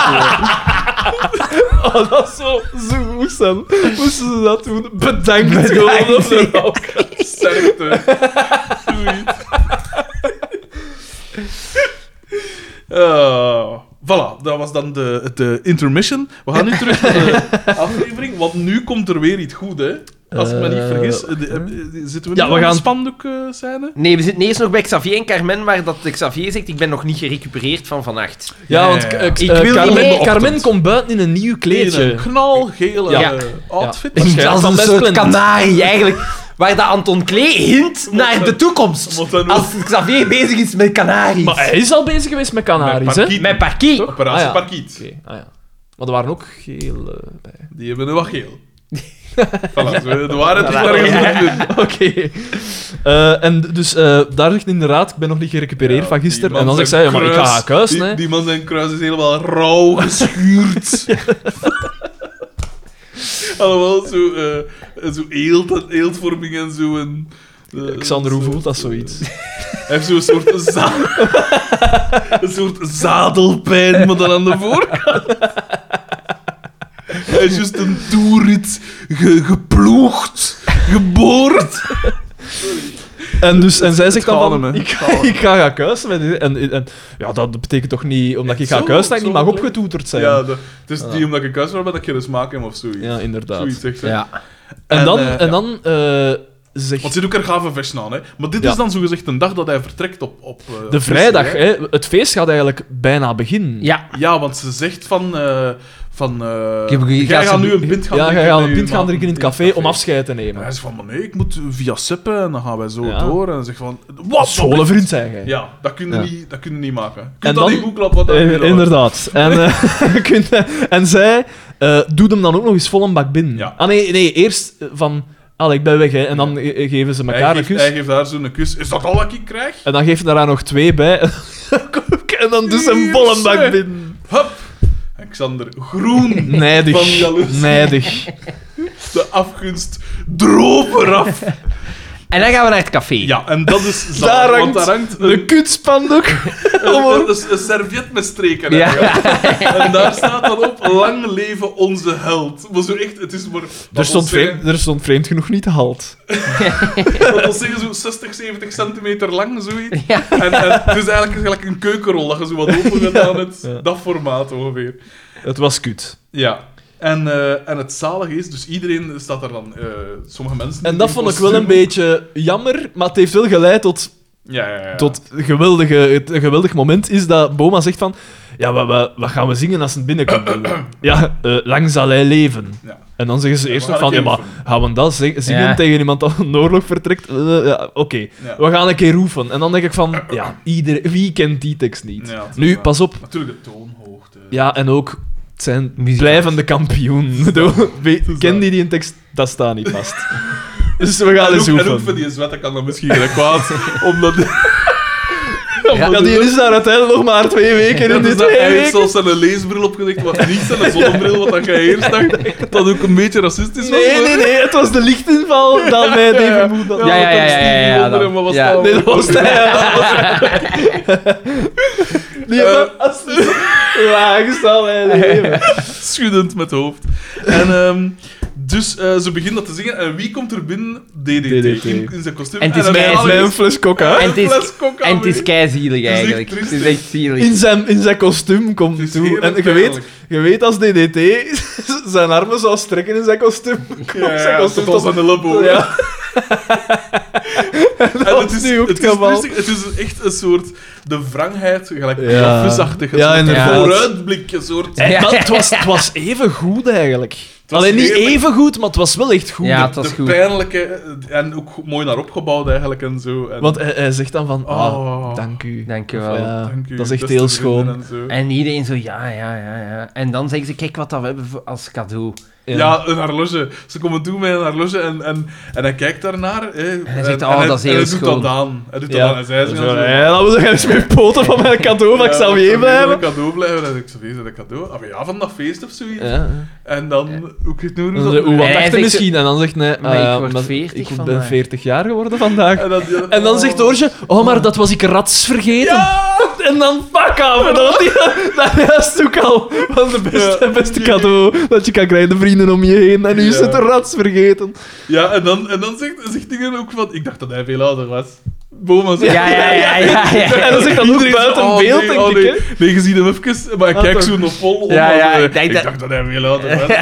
[SPEAKER 3] oh, dat zou zo goed zijn. Moesten ze dat doen? Bedankt, gewoon op de rook.
[SPEAKER 2] Sterkte. Zoiets. Eh, voilà, dat was dan de, de intermission. We gaan nu terug naar de aflevering, want nu komt er weer iets goed, hè? Als ik me niet
[SPEAKER 3] Eh,
[SPEAKER 2] vergis, eh, de- eh, eh, zitten we nu
[SPEAKER 3] Ja, we
[SPEAKER 2] aan
[SPEAKER 3] gaan-
[SPEAKER 2] de spandoek eh, scène?
[SPEAKER 1] Nee, we zitten eerst nog bij Xavier en Carmen, waar dat Xavier zegt, ik ben nog niet gerecupereerd van vannacht.
[SPEAKER 3] Ja, want eh,
[SPEAKER 2] Ik
[SPEAKER 3] eh,
[SPEAKER 1] wil niet
[SPEAKER 3] Carmen,
[SPEAKER 1] mee.
[SPEAKER 3] Carmen Carmen komt buiten in een nieuw
[SPEAKER 2] Een
[SPEAKER 3] kleedje.
[SPEAKER 2] knalgele
[SPEAKER 3] Ja.
[SPEAKER 2] eh, outfit.
[SPEAKER 3] Ja.
[SPEAKER 2] Ja.
[SPEAKER 1] Dus
[SPEAKER 3] Waarschijnlijk
[SPEAKER 1] Dat is
[SPEAKER 3] van
[SPEAKER 1] een
[SPEAKER 3] Best
[SPEAKER 1] soort
[SPEAKER 3] Clint.
[SPEAKER 1] kanarie, eigenlijk. Waar dat Anton Klee hint naar de toekomst.
[SPEAKER 2] Wat
[SPEAKER 3] Ah,
[SPEAKER 2] dan ook.
[SPEAKER 1] Als Xavier bezig is met kanaries.
[SPEAKER 3] Maar hij is al bezig geweest met Canaries, hè?
[SPEAKER 2] Parkiet.
[SPEAKER 1] Met parquet.
[SPEAKER 2] Operatie
[SPEAKER 3] Ah, ja.
[SPEAKER 2] Parkiet.
[SPEAKER 3] Oké, ah ja. Maar er waren ook gele bij.
[SPEAKER 2] Die hebben een wat geel. voilà, zo, de waarheid is ergens in.
[SPEAKER 3] Oké. Eh, en dus eh, daar zegt inderdaad, ik ben nog niet gerecupereerd van gisteren. En dan zeg
[SPEAKER 2] ik
[SPEAKER 3] ik, ja, maar ik ga haar kuis,
[SPEAKER 2] die,
[SPEAKER 3] hè.
[SPEAKER 2] die man zijn kruis is helemaal rauw geschuurd. Allemaal zo, eh, zo eelt en eeltvorming en zo. En, eh,
[SPEAKER 3] Xander, hoe
[SPEAKER 2] zo-
[SPEAKER 3] voelt dat zoiets?
[SPEAKER 2] Hij heeft zo'n soort, za een soort zadelpijn, maar dan aan de voorkant. Hij is juist een toerit ge- geploegd, geboord.
[SPEAKER 3] En, dus, en zij zegt
[SPEAKER 2] het
[SPEAKER 3] dan
[SPEAKER 2] gaat
[SPEAKER 3] van,
[SPEAKER 2] hem, hè.
[SPEAKER 3] ik, ik ga gaan kuisen. met die- En, en ja, dat betekent toch niet, omdat ik ga
[SPEAKER 2] Zo-
[SPEAKER 3] kuisen, dat ik
[SPEAKER 2] zo
[SPEAKER 3] niet mag
[SPEAKER 2] leuk.
[SPEAKER 3] opgetoeterd zijn.
[SPEAKER 2] Ja, dat- het is niet omdat ik kuis ben dat ik geen smaak heb of zoiets.
[SPEAKER 3] Ja, inderdaad.
[SPEAKER 2] Zoiets, echt. hè.
[SPEAKER 1] Ja.
[SPEAKER 3] En dan,
[SPEAKER 2] En, eh,
[SPEAKER 3] en dan eh, zegt...
[SPEAKER 2] Want ze doet ook er gave vesten aan, hè. Maar dit
[SPEAKER 3] Ja.
[SPEAKER 2] is dan zogezegd een dag dat hij vertrekt op... op eh, op
[SPEAKER 3] De vrijdag,
[SPEAKER 2] Disney,
[SPEAKER 3] hè. Het feest gaat eigenlijk bijna beginnen.
[SPEAKER 1] Ja.
[SPEAKER 2] Ja, want ze zegt van... eh van eh,
[SPEAKER 1] Ik heb- ik ga
[SPEAKER 2] jij gaat
[SPEAKER 1] ze-
[SPEAKER 2] nu een pint gaan
[SPEAKER 3] Ja,
[SPEAKER 2] drinken.
[SPEAKER 3] jij gaat
[SPEAKER 2] met
[SPEAKER 3] een
[SPEAKER 2] je
[SPEAKER 3] pint gaan
[SPEAKER 2] maten
[SPEAKER 3] drinken in het café om afscheid te
[SPEAKER 2] En
[SPEAKER 3] nemen.
[SPEAKER 2] hij zegt van, maar nee, ik moet via Seppen en dan gaan wij zo
[SPEAKER 3] Ja.
[SPEAKER 2] door. En dan zegt van, wat?
[SPEAKER 3] Scholenvriend zijn jij.
[SPEAKER 2] Ja, dat kun je,
[SPEAKER 3] Ja.
[SPEAKER 2] Niet, dat kun je niet maken. Je kunt
[SPEAKER 3] En
[SPEAKER 2] dat
[SPEAKER 3] dan-
[SPEAKER 2] niet boeklappen wat dat
[SPEAKER 3] Eh,
[SPEAKER 2] weer was.
[SPEAKER 3] inderdaad. En, eh, kun- en zij eh, doet hem dan ook nog eens vol een bak binnen.
[SPEAKER 2] Ja.
[SPEAKER 3] Ah nee, nee eerst eh, van... Allee, ik ben weg, hè. En dan ge- eh, geven ze
[SPEAKER 2] Hij
[SPEAKER 3] elkaar een
[SPEAKER 2] geeft,
[SPEAKER 3] kus.
[SPEAKER 2] hij geeft haar zo'n kus. Is dat al wat ik krijg?
[SPEAKER 3] En dan geeft hij daar nog twee bij. en dan doet ze een volle bak binnen.
[SPEAKER 2] Hup! En Xander, groen! Van
[SPEAKER 3] Nijdig.
[SPEAKER 2] jaloezie.
[SPEAKER 3] Nijdig.
[SPEAKER 2] De afgunst droop eraf.
[SPEAKER 1] En dan gaan we naar het café.
[SPEAKER 2] Ja, en dat is zalig,
[SPEAKER 3] Daar hangt
[SPEAKER 2] want daar hangt
[SPEAKER 3] De
[SPEAKER 2] een,
[SPEAKER 3] kutspandoek.
[SPEAKER 2] een, een, een serviet met streken. hè. En daar staat dan op, lang leven onze held. Maar zo echt, het is maar...
[SPEAKER 3] Er
[SPEAKER 2] dat
[SPEAKER 3] stond,
[SPEAKER 2] wil zeggen-
[SPEAKER 3] vreemd, er stond vreemd genoeg niet halt.
[SPEAKER 2] Dat wil zeggen, zo 60, 70 centimeter lang, zoiets. En, en het is eigenlijk gelijk een keukenrol dat je zo wat open gedaan hebt.
[SPEAKER 3] Ja.
[SPEAKER 2] Dat formaat ongeveer.
[SPEAKER 3] Het was kut.
[SPEAKER 2] Ja. En, eh, en het zalige is, dus iedereen staat er dan... eh, sommige mensen...
[SPEAKER 3] En dat
[SPEAKER 2] in
[SPEAKER 3] vond ik wel een
[SPEAKER 2] kostuum.
[SPEAKER 3] beetje jammer, maar het heeft wel geleid tot
[SPEAKER 2] Ja, ja, ja.
[SPEAKER 3] Tot geweldige, het een geweldig moment is dat Boma zegt van... Ja, wa- wa- wat, gaan we zingen als het binnenkomt? ja, eh, lang zal hij leven.
[SPEAKER 2] Ja.
[SPEAKER 3] En dan zeggen ze
[SPEAKER 2] Ja,
[SPEAKER 3] eerst
[SPEAKER 2] we
[SPEAKER 3] nog
[SPEAKER 2] gaan
[SPEAKER 3] van... Ja,
[SPEAKER 2] een keer
[SPEAKER 3] maar gaan we dat zing- zingen
[SPEAKER 4] Ja.
[SPEAKER 3] tegen iemand dat een oorlog vertrekt? Eh, ja, Oké,
[SPEAKER 2] Ja.
[SPEAKER 3] we gaan een keer oefenen. En dan denk ik van... Ja, ieder, wie kent die tekst niet?
[SPEAKER 2] Ja, dat is
[SPEAKER 3] nu,
[SPEAKER 2] waar.
[SPEAKER 3] pas op.
[SPEAKER 2] Natuurlijk de toonhoogte.
[SPEAKER 3] Ja, en ook... Het zijn
[SPEAKER 1] Muzikant.
[SPEAKER 3] blijvende kampioenen. Wie-
[SPEAKER 2] dat.
[SPEAKER 3] Ken die die een tekst? Dat staat niet vast. dus we gaan
[SPEAKER 2] en ook,
[SPEAKER 3] eens
[SPEAKER 2] en ook voor
[SPEAKER 3] oefenen.
[SPEAKER 2] die zwette kan dat misschien gelijk kwaad, omdat...
[SPEAKER 3] Ja, die is daar uiteindelijk nog maar twee weken in.
[SPEAKER 2] dat
[SPEAKER 3] Die
[SPEAKER 2] is dat
[SPEAKER 3] twee
[SPEAKER 2] hij heeft
[SPEAKER 3] weken.
[SPEAKER 2] zelfs zijn leesbril opgelicht, wat niet zijn zonnebril, wat dat jij eerst dacht, dat ook een beetje racistisch was.
[SPEAKER 3] Nee, nee, nee, het was de lichtinval dat mij deed vermoeden.
[SPEAKER 4] Ja, ja, ja, ja, ja, ja,
[SPEAKER 2] dat
[SPEAKER 4] dan.
[SPEAKER 2] was
[SPEAKER 4] Ja.
[SPEAKER 3] Nee, dat was hij. ja, dat was hij. Die
[SPEAKER 2] Eh.
[SPEAKER 3] hebben als laag zal hij leven.
[SPEAKER 2] Schuddend met hoofd. En, ehm, dus eh, ze begint dat te zingen. En wie komt er binnen? DDT.
[SPEAKER 3] DDT.
[SPEAKER 2] In, in zijn kostuum.
[SPEAKER 4] En het is
[SPEAKER 2] dan
[SPEAKER 4] mij-
[SPEAKER 2] halen we-
[SPEAKER 3] Mijn fles coca.
[SPEAKER 4] En het
[SPEAKER 2] Een
[SPEAKER 4] is,
[SPEAKER 2] fles coca
[SPEAKER 4] en het is
[SPEAKER 2] mee.
[SPEAKER 4] keizielig
[SPEAKER 2] Het is echt
[SPEAKER 4] eigenlijk. Het is
[SPEAKER 2] triestig.
[SPEAKER 4] echt zielig.
[SPEAKER 3] In zijn, in zijn kostuum komt
[SPEAKER 2] Het
[SPEAKER 3] het
[SPEAKER 2] is
[SPEAKER 3] toe. En
[SPEAKER 2] heerlijk
[SPEAKER 3] je weet,
[SPEAKER 2] pijnlijk.
[SPEAKER 3] je weet als DDT zijn armen zou strekken in zijn kostuim. komt
[SPEAKER 2] Ja,
[SPEAKER 3] zijn
[SPEAKER 2] ja,
[SPEAKER 3] kostuum
[SPEAKER 2] tot als
[SPEAKER 3] tot...
[SPEAKER 2] aan de labo.
[SPEAKER 3] Ja.
[SPEAKER 2] En
[SPEAKER 3] dat is nu ook het
[SPEAKER 2] is
[SPEAKER 3] geval.
[SPEAKER 2] triestig. Het is echt een soort de wrangheid, gelijk
[SPEAKER 3] Ja.
[SPEAKER 2] ja. visachtig.
[SPEAKER 3] Ja,
[SPEAKER 2] Ja, een
[SPEAKER 4] inderdaad.
[SPEAKER 2] vooruitblik, een soort.
[SPEAKER 3] En dat, het, was, het was even goed eigenlijk.
[SPEAKER 2] was
[SPEAKER 3] Alleen niet
[SPEAKER 2] heerlijk.
[SPEAKER 3] even goed, maar het was wel echt goed.
[SPEAKER 4] Ja, het was
[SPEAKER 2] de
[SPEAKER 4] goed.
[SPEAKER 2] pijnlijke eh, en ook go- mooi naar opgebouwd eigenlijk en zo. En,
[SPEAKER 3] Want hij, hij zegt dan van, ah,
[SPEAKER 2] Oh.
[SPEAKER 3] dank u.
[SPEAKER 4] Dankjewel.
[SPEAKER 3] Ja.
[SPEAKER 2] Dank u,
[SPEAKER 3] dat is echt
[SPEAKER 2] beste
[SPEAKER 3] heel
[SPEAKER 2] vrienden
[SPEAKER 3] schoon.
[SPEAKER 2] en zo.
[SPEAKER 4] En iedereen zo, ja, ja, ja, ja. En dan zeggen ze, kijk wat dat we hebben voor- als cadeau.
[SPEAKER 2] Ja. een horloge. Ze komen toe met een horloge en, en, en hij kijkt daarnaar. Hè, en
[SPEAKER 4] hij zegt, oh, dat is
[SPEAKER 2] en
[SPEAKER 4] heel
[SPEAKER 2] hij doet dat
[SPEAKER 4] schoon.
[SPEAKER 2] aan. Hij doet
[SPEAKER 3] Ja.
[SPEAKER 2] dat aan. En zij
[SPEAKER 3] Zo,
[SPEAKER 2] zegt
[SPEAKER 3] ja, dan moet ik eens mijn poten van mijn cadeau van Xavier
[SPEAKER 2] Een
[SPEAKER 3] blijven.
[SPEAKER 2] cadeau blijven. En ik Xavier, is dat een cadeau? Ah, maar ja, van dat feest of zoiets.
[SPEAKER 3] Ja.
[SPEAKER 2] En dan, hoe ik het nu
[SPEAKER 3] Dan zegt, Oeh, wat
[SPEAKER 4] En hij
[SPEAKER 3] dacht je
[SPEAKER 4] zegt-
[SPEAKER 3] misschien? En dan zegt nee,
[SPEAKER 4] Maar
[SPEAKER 3] eh,
[SPEAKER 4] ik word
[SPEAKER 3] maar
[SPEAKER 4] 40
[SPEAKER 3] ik ben
[SPEAKER 4] vandaag.
[SPEAKER 3] 40 jaar geworden vandaag.
[SPEAKER 2] En dan,
[SPEAKER 3] En dan zegt Doortje, oh, maar dat was ik rats vergeten.
[SPEAKER 2] Ja!
[SPEAKER 3] En dan pak af. En dan had hij- dat is ook al van de beste,
[SPEAKER 2] Ja.
[SPEAKER 3] beste cadeau dat je kan krijgen, de vrienden om je heen. En nu is
[SPEAKER 2] Ja.
[SPEAKER 3] het rats vergeten.
[SPEAKER 2] Ja, en dan, en dan zegt, zegt dingen ook van... Ik dacht dat hij veel ouder was. Boma zegt...
[SPEAKER 4] Ja, ja, ja, ja, ja.
[SPEAKER 3] En dan zegt dat ook
[SPEAKER 2] Iedereen
[SPEAKER 3] buiten
[SPEAKER 2] zo, oh,
[SPEAKER 3] beeld,
[SPEAKER 2] nee,
[SPEAKER 3] denk
[SPEAKER 2] oh,
[SPEAKER 3] ik.
[SPEAKER 2] nee.
[SPEAKER 3] hè.
[SPEAKER 2] Nee, je ziet hem even, maar ik
[SPEAKER 3] Ah,
[SPEAKER 2] kijk
[SPEAKER 3] toch.
[SPEAKER 2] zo nog vol om.
[SPEAKER 4] Ja, ja,
[SPEAKER 2] maar, eh,
[SPEAKER 4] ik denk dat-
[SPEAKER 2] dacht dat hij veel ouder was.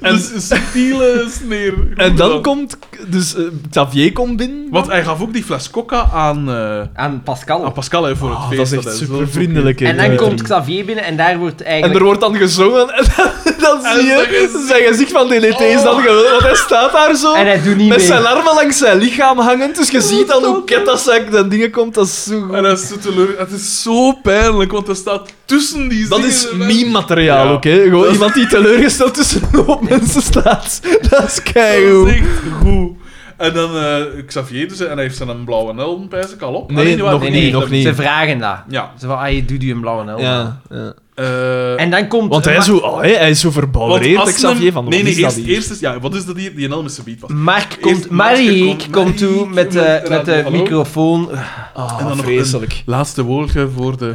[SPEAKER 2] En een subtiele sneer.
[SPEAKER 3] En dan komt, dus eh, Xavier komt binnen.
[SPEAKER 2] Want hij gaf ook die fles coca aan, eh,
[SPEAKER 4] Aan Pascal.
[SPEAKER 2] aan Pascal hè, voor het
[SPEAKER 3] Ah,
[SPEAKER 2] feest.
[SPEAKER 3] dat is
[SPEAKER 2] hij
[SPEAKER 3] echt
[SPEAKER 2] zo-
[SPEAKER 3] super vriendelijk.
[SPEAKER 4] en dan komt Xavier binnen en daar wordt
[SPEAKER 3] En
[SPEAKER 4] eigenlijk...
[SPEAKER 3] er wordt dan gezongen en dan, dan
[SPEAKER 2] En Oh.
[SPEAKER 3] zie
[SPEAKER 2] zijn
[SPEAKER 3] je
[SPEAKER 2] gezicht.
[SPEAKER 3] zijn gezicht van DDT is dan geweldig, want hij staat daar zo
[SPEAKER 4] En hij doet niet
[SPEAKER 3] met
[SPEAKER 4] mee.
[SPEAKER 3] zijn armen langs zijn lichaam hangend, dus je ziet dan hoe ket dat zijn dat dingen komt, dat is zo
[SPEAKER 2] En
[SPEAKER 3] goed.
[SPEAKER 2] hij is zo teleur. Het is zo pijnlijk, want hij staat tussen die
[SPEAKER 3] Dat is
[SPEAKER 2] zingende-
[SPEAKER 3] meme-materiaal
[SPEAKER 2] Ja.
[SPEAKER 3] ook, hè. Gewoon
[SPEAKER 2] Dat is-
[SPEAKER 3] iemand die teleurgesteld tussen een hoop mensen staat. Dat is
[SPEAKER 2] Dat is
[SPEAKER 3] keigoed.
[SPEAKER 2] echt goed. En dan eh Xavier dus, en hij heeft zijn blauwe helm, pijs ik, al op.
[SPEAKER 3] Nee,
[SPEAKER 2] Ah, waar-
[SPEAKER 3] nog
[SPEAKER 4] Nee,
[SPEAKER 3] niet,
[SPEAKER 4] nee,
[SPEAKER 3] nog niet.
[SPEAKER 4] ze vragen dat.
[SPEAKER 2] Ja.
[SPEAKER 4] Ze van, ah, je doet u een blauwe helm.
[SPEAKER 3] Ja, ja.
[SPEAKER 2] Eh,
[SPEAKER 4] En dan komt...
[SPEAKER 3] Want hij is zo, oh, hè, hij is zo
[SPEAKER 2] want
[SPEAKER 3] verbouwereerd,
[SPEAKER 2] als
[SPEAKER 3] ik Xavier
[SPEAKER 2] hem-
[SPEAKER 3] van,
[SPEAKER 2] Nee,
[SPEAKER 3] wat
[SPEAKER 2] nee,
[SPEAKER 3] is dat
[SPEAKER 2] eerst,
[SPEAKER 3] hier?
[SPEAKER 2] eerst is... Ja, wat is dat hier? Die helm is zo beat.
[SPEAKER 3] Ah,
[SPEAKER 4] Mark
[SPEAKER 2] Eerst
[SPEAKER 4] komt, Marieke
[SPEAKER 2] Marieke
[SPEAKER 4] komt,
[SPEAKER 2] komt
[SPEAKER 4] toe met de,
[SPEAKER 2] Marieke
[SPEAKER 4] met de
[SPEAKER 2] Hallo.
[SPEAKER 4] microfoon.
[SPEAKER 3] Ah,
[SPEAKER 2] en dan nog een-
[SPEAKER 3] vreselijk.
[SPEAKER 2] Laatste woordje voor de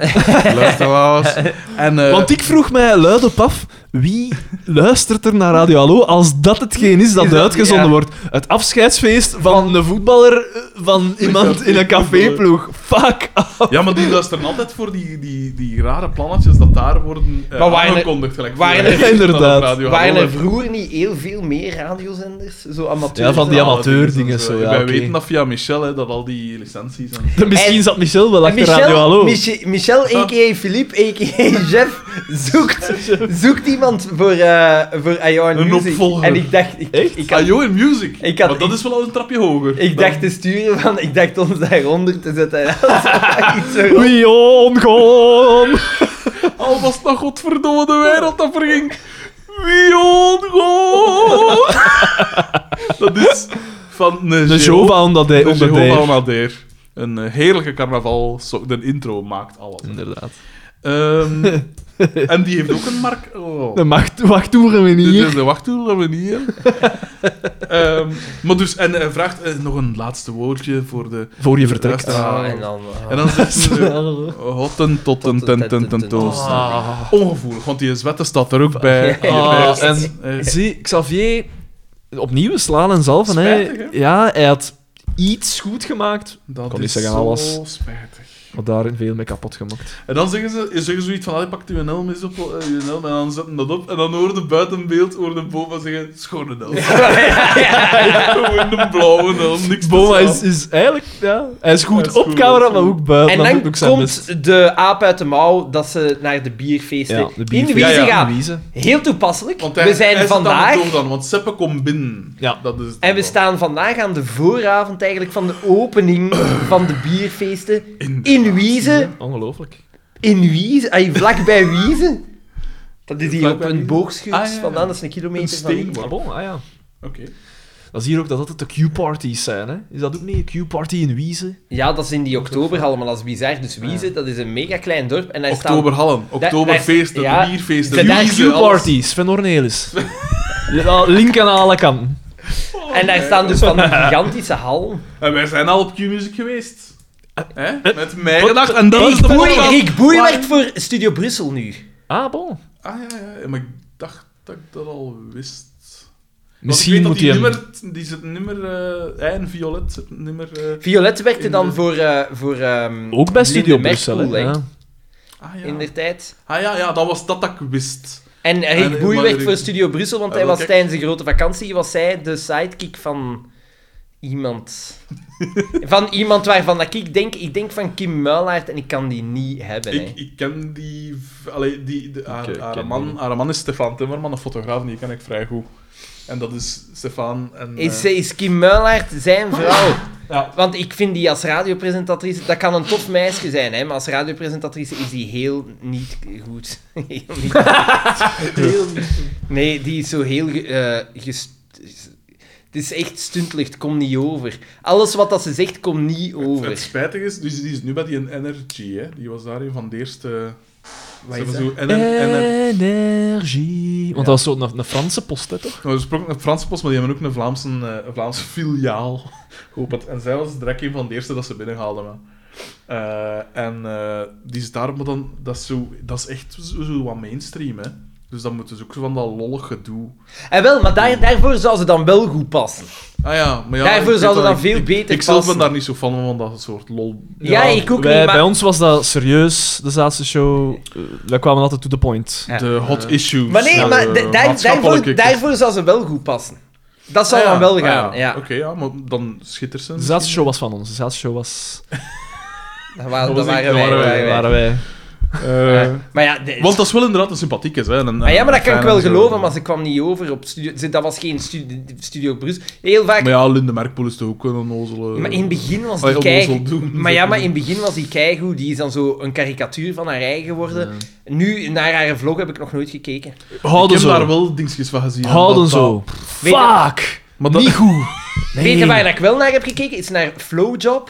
[SPEAKER 2] luisteraars. En, eh,
[SPEAKER 3] Want ik vroeg mij luid op af, wie luistert er naar Radio Hallo als dat hetgeen is dat,
[SPEAKER 4] Is dat-
[SPEAKER 3] uitgezonden
[SPEAKER 4] ja.
[SPEAKER 3] wordt? Het afscheidsfeest van een voetballer eh, van iemand in een caféploeg. Fuck Ah, af.
[SPEAKER 2] Ja, maar die luisteren altijd voor die, die, die rare plannetjes dat daar worden eh
[SPEAKER 4] Maar waar-
[SPEAKER 2] aangekondigd. gelijk
[SPEAKER 4] waar-
[SPEAKER 2] voor-
[SPEAKER 3] Ja, inderdaad.
[SPEAKER 2] op Radio
[SPEAKER 4] Waren
[SPEAKER 2] Hallo.
[SPEAKER 4] er vroeger niet heel veel meer radiozenders? Zo amateur.
[SPEAKER 3] Ja, van die
[SPEAKER 2] Ja,
[SPEAKER 3] amateurdingen zo, ja,
[SPEAKER 2] Wij
[SPEAKER 3] oké.
[SPEAKER 2] weten dat via Michel, hè, dat al die licenties... En...
[SPEAKER 3] Misschien
[SPEAKER 4] En-
[SPEAKER 3] zat Michel wel achter Radio Hallo.
[SPEAKER 4] Michel, Michel a.k.a. Philippe, a.k.a. Jeff, zoekt, zoekt iemand voor, eh voor Ion
[SPEAKER 2] Een
[SPEAKER 4] Music.
[SPEAKER 2] opvolger.
[SPEAKER 4] En ik dacht... Ik,
[SPEAKER 3] Echt?
[SPEAKER 4] ik had-
[SPEAKER 2] Ah, joh, in music.
[SPEAKER 4] Ik had-
[SPEAKER 2] maar dat
[SPEAKER 4] ik-
[SPEAKER 2] is wel al een trapje hoger.
[SPEAKER 4] ik
[SPEAKER 2] Dan-
[SPEAKER 4] dacht te sturen van, ik dacht ons daaronder te zetten. Iets zo rond.
[SPEAKER 3] We on gone.
[SPEAKER 2] Al was het nog godverdomme de wereld dat verging. Wion go! Dat is van de,
[SPEAKER 3] De Jova omdat hij
[SPEAKER 2] De
[SPEAKER 3] onder
[SPEAKER 2] Jehovah
[SPEAKER 3] de...
[SPEAKER 2] Onadeer. Een eh, heerlijke carnaval. so- De intro maakt alles.
[SPEAKER 3] Inderdaad.
[SPEAKER 2] Ehm, en die heeft ook een mark... Oh.
[SPEAKER 3] De macht, wachttoeren we
[SPEAKER 2] Dit
[SPEAKER 3] niet.
[SPEAKER 2] is de wachttoer dat we niet hebben. Ehm, maar dus, en hij vraagt eh, nog een laatste woordje voor de...
[SPEAKER 3] Voor je vertrekt.
[SPEAKER 2] Ja,
[SPEAKER 4] Ah, en dan... ah.
[SPEAKER 2] En dan zegt ze... Hotten tot een ten ten ten toast.
[SPEAKER 3] Ah.
[SPEAKER 2] Ongevoelig, want die zwette staat er ook bij.
[SPEAKER 3] Ah,
[SPEAKER 2] Hierbij.
[SPEAKER 3] en
[SPEAKER 2] Eh,
[SPEAKER 3] zie, Xavier, opnieuw slaan en zalven. Hè.
[SPEAKER 2] Spijtig, hè?
[SPEAKER 3] Ja, hij had iets goed gemaakt.
[SPEAKER 2] Dat
[SPEAKER 3] Kon
[SPEAKER 2] is
[SPEAKER 3] niet zeggen
[SPEAKER 2] zo
[SPEAKER 3] alles.
[SPEAKER 2] spijtig.
[SPEAKER 3] Maar daarin veel mee kapot gemaakt.
[SPEAKER 2] En dan zeggen ze, zeggen ze zoiets van, "Ah, "Allee, pak je helm eens op, eh, je helm, en dan zetten dat op. En dan hoor je buiten beeld, hoor de Boma zeggen, schone helm. Gewoon een blauwe helm, niks
[SPEAKER 3] Boma
[SPEAKER 2] speciaal.
[SPEAKER 3] is, is eigenlijk... Ja, hij is goed
[SPEAKER 2] Hij is
[SPEAKER 3] op
[SPEAKER 2] goed,
[SPEAKER 3] camera,
[SPEAKER 2] goed.
[SPEAKER 3] maar ook buiten.
[SPEAKER 4] En
[SPEAKER 3] Dat
[SPEAKER 4] dan
[SPEAKER 3] doet ook zijn best.
[SPEAKER 4] komt de aap uit de mouw dat ze naar de bierfeesten
[SPEAKER 3] Ja, de
[SPEAKER 4] in
[SPEAKER 3] bierfeest.
[SPEAKER 4] Wiese
[SPEAKER 2] Ja, ja.
[SPEAKER 4] gaan.
[SPEAKER 3] Louise.
[SPEAKER 4] Heel toepasselijk.
[SPEAKER 2] Want hij-
[SPEAKER 4] We
[SPEAKER 2] hij
[SPEAKER 4] zijn
[SPEAKER 2] zit aan de
[SPEAKER 4] vandaag...
[SPEAKER 2] toog dan, want Seppe komt binnen.
[SPEAKER 3] Ja.
[SPEAKER 2] Dat is het
[SPEAKER 4] En we
[SPEAKER 2] dan.
[SPEAKER 4] staan vandaag aan de vooravond eigenlijk van de opening van de bierfeesten in Wiese.
[SPEAKER 3] Ongelooflijk.
[SPEAKER 4] In Wiese? Ay, vlakbij Wiese? Dat is hier
[SPEAKER 2] Vlakbij
[SPEAKER 4] op
[SPEAKER 2] Wieze?
[SPEAKER 4] een boogschuur
[SPEAKER 2] Ah, ja, ja.
[SPEAKER 4] vandaan, dat is een
[SPEAKER 2] Een
[SPEAKER 4] kilometer van
[SPEAKER 2] steen.
[SPEAKER 4] hier.
[SPEAKER 3] Ah,
[SPEAKER 2] Oké.
[SPEAKER 3] bon, ah ja. Dat is hier ook dat altijd de Q-parties zijn, hè. Is dat ook niet een Q-party in Wiese?
[SPEAKER 4] Ja, dat is in die oktober allemaal, dat is bizar. Dus Wiese, dat is een mega klein dorp. En daar staan...
[SPEAKER 2] Oktoberhallen, oktoberfeesten,
[SPEAKER 4] daar- ja.
[SPEAKER 2] bierfeesten,
[SPEAKER 4] De daar-
[SPEAKER 2] Louise, alles.
[SPEAKER 3] Q-parties, Sven Ornelis. Ja, Link aan alle kanten.
[SPEAKER 4] En daar staan dus van die gigantische hal.
[SPEAKER 2] En wij zijn al op Q-Music geweest. Hè? Met mij gedacht, en dat
[SPEAKER 4] Eh, Rick
[SPEAKER 2] is de
[SPEAKER 4] Boei,
[SPEAKER 2] podcast.
[SPEAKER 4] Rick Boei
[SPEAKER 2] Waar-
[SPEAKER 4] werkt voor Studio Brussel nu.
[SPEAKER 3] Ah, bon.
[SPEAKER 2] Ah ja, ja, ja, maar ik dacht dat ik dat al wist. Want ik
[SPEAKER 3] Misschien
[SPEAKER 2] weet dat
[SPEAKER 3] moet hij...
[SPEAKER 2] die
[SPEAKER 3] hem-
[SPEAKER 2] nummer, die zit nummer, eh hij en Violet zit nummer. eh
[SPEAKER 4] Violet werkte
[SPEAKER 2] In
[SPEAKER 4] dan
[SPEAKER 2] de-
[SPEAKER 4] voor... eh, voor ehm,
[SPEAKER 3] Ook bij
[SPEAKER 4] Linde
[SPEAKER 3] Studio Brussel, hè.
[SPEAKER 4] Merkel, denk ik,
[SPEAKER 3] Ja.
[SPEAKER 2] ah, ja.
[SPEAKER 4] In de tijd.
[SPEAKER 2] ah ja, ja, dat was dat dat ik wist.
[SPEAKER 4] En Rick
[SPEAKER 2] En- eh,
[SPEAKER 4] Boei
[SPEAKER 2] maar
[SPEAKER 4] werkt
[SPEAKER 2] Rick-
[SPEAKER 4] voor Studio Brussel, want
[SPEAKER 2] Ah,
[SPEAKER 4] hij
[SPEAKER 2] wel,
[SPEAKER 4] was
[SPEAKER 2] kijk.
[SPEAKER 4] tijdens de grote vakantie was hij de sidekick van iemand. van iemand waarvan dat ik denk, ik denk van Kim Muilaert en ik kan die niet hebben. hè.
[SPEAKER 2] Ik, ik ken die. v- Allee, die de, haar,
[SPEAKER 3] Ik, eh,
[SPEAKER 2] haar
[SPEAKER 3] ken
[SPEAKER 2] man,
[SPEAKER 3] die.
[SPEAKER 2] haar man is Stefan Timmerman, een fotograaf, die ken ik vrij goed. En dat is Stefan. En, eh,
[SPEAKER 4] Is, is Kim Muilaert zijn vrouw?
[SPEAKER 2] ja,
[SPEAKER 4] Want ik vind die als radiopresentatrice, dat kan een tof meisje zijn, hè, maar als radiopresentatrice is die heel niet goed. heel niet goed. Heel niet goed. Nee, die is zo heel. ge- eh, gest- het is echt stuntelig, het komt niet over. Alles wat dat ze zegt, komt niet
[SPEAKER 2] het, het
[SPEAKER 4] over.
[SPEAKER 2] spijtige is, dus die is nu bij die Energy, hè? die was daar een van de eerste.
[SPEAKER 4] Wat
[SPEAKER 2] ze
[SPEAKER 4] is
[SPEAKER 2] hebben
[SPEAKER 4] dat?
[SPEAKER 2] zo NN
[SPEAKER 3] Energie. Want dat is zo een, een Franse post, hè, toch?
[SPEAKER 2] Nou, er is ook een Franse post, maar die hebben ook een Vlaamse, eh, een Vlaamse filiaal geopend. En zij was direct een van de eerste dat ze binnenhaalden. man. Eh, en eh, die is daar, maar dan, dat, is zo, dat is echt zo, zo wat mainstream, hè. Dus dan moeten ze ook zo van dat lollig gedoe.
[SPEAKER 4] En wel, maar daar, daarvoor zou ze dan wel goed passen.
[SPEAKER 2] Ah ja, maar ja...
[SPEAKER 4] Daarvoor
[SPEAKER 2] ik weet
[SPEAKER 4] zouden
[SPEAKER 2] dat
[SPEAKER 4] dat veel
[SPEAKER 2] ik,
[SPEAKER 4] beter
[SPEAKER 2] Ik zelf ben
[SPEAKER 4] passen.
[SPEAKER 2] daar niet zo van, van dat soort lol...
[SPEAKER 4] Ja, ik ook
[SPEAKER 3] wij-
[SPEAKER 4] niet, maar-
[SPEAKER 3] Bij ons was dat serieus, de laatste show. eh, wij kwamen altijd to the point.
[SPEAKER 4] Ja.
[SPEAKER 2] De hot issues. eh,
[SPEAKER 4] Maar nee,
[SPEAKER 2] ja, de
[SPEAKER 4] maar da- daar-
[SPEAKER 2] maatschappelijke
[SPEAKER 4] daarvoor,
[SPEAKER 2] kwesties.
[SPEAKER 4] daarvoor zou ze wel goed passen. Dat zou
[SPEAKER 2] Ah ja,
[SPEAKER 4] dan wel
[SPEAKER 2] ah
[SPEAKER 4] gaan, ja.
[SPEAKER 2] Oké, ja, maar dan schittert ze.
[SPEAKER 3] De laatste show was van ons. De laatste show was...
[SPEAKER 4] Dat, wa-
[SPEAKER 2] Dat
[SPEAKER 4] dat
[SPEAKER 2] was ik-
[SPEAKER 4] waren wij.
[SPEAKER 2] dat waren wij,
[SPEAKER 4] waren wij.
[SPEAKER 3] waren wij.
[SPEAKER 2] Eh,
[SPEAKER 4] Maar ja, de-
[SPEAKER 2] Want dat is wel inderdaad een sympathieke, hè. Een,
[SPEAKER 4] Maar Ah, ja, maar dat kan ik wel geloven,
[SPEAKER 2] maar
[SPEAKER 4] maar ze kwam niet over op studio... ze- Dat was geen studio, studio Brussel. Heel vaak...
[SPEAKER 2] Maar eh, ja, Linde Merkpoel is toch ook een onnozele...
[SPEAKER 4] Maar in het begin was
[SPEAKER 2] Allee,
[SPEAKER 4] die kei...
[SPEAKER 2] onnozel doen,
[SPEAKER 4] Maar ja,
[SPEAKER 2] zeg
[SPEAKER 4] maar in het begin was die keigoed. Die is dan zo een karikatuur van haar eigen geworden. Nu, naar haar vlog heb ik nog nooit gekeken.
[SPEAKER 2] Ik
[SPEAKER 3] eh, Houden
[SPEAKER 2] heb
[SPEAKER 3] zo.
[SPEAKER 2] daar wel dingetjes van gezien.
[SPEAKER 3] Houden
[SPEAKER 2] Dat-
[SPEAKER 3] zo.
[SPEAKER 4] Weet je-
[SPEAKER 3] Fuck!
[SPEAKER 2] Maar dat...
[SPEAKER 3] Niet goed.
[SPEAKER 4] Weet je waar ik wel naar heb gekeken? Is naar Flowjob.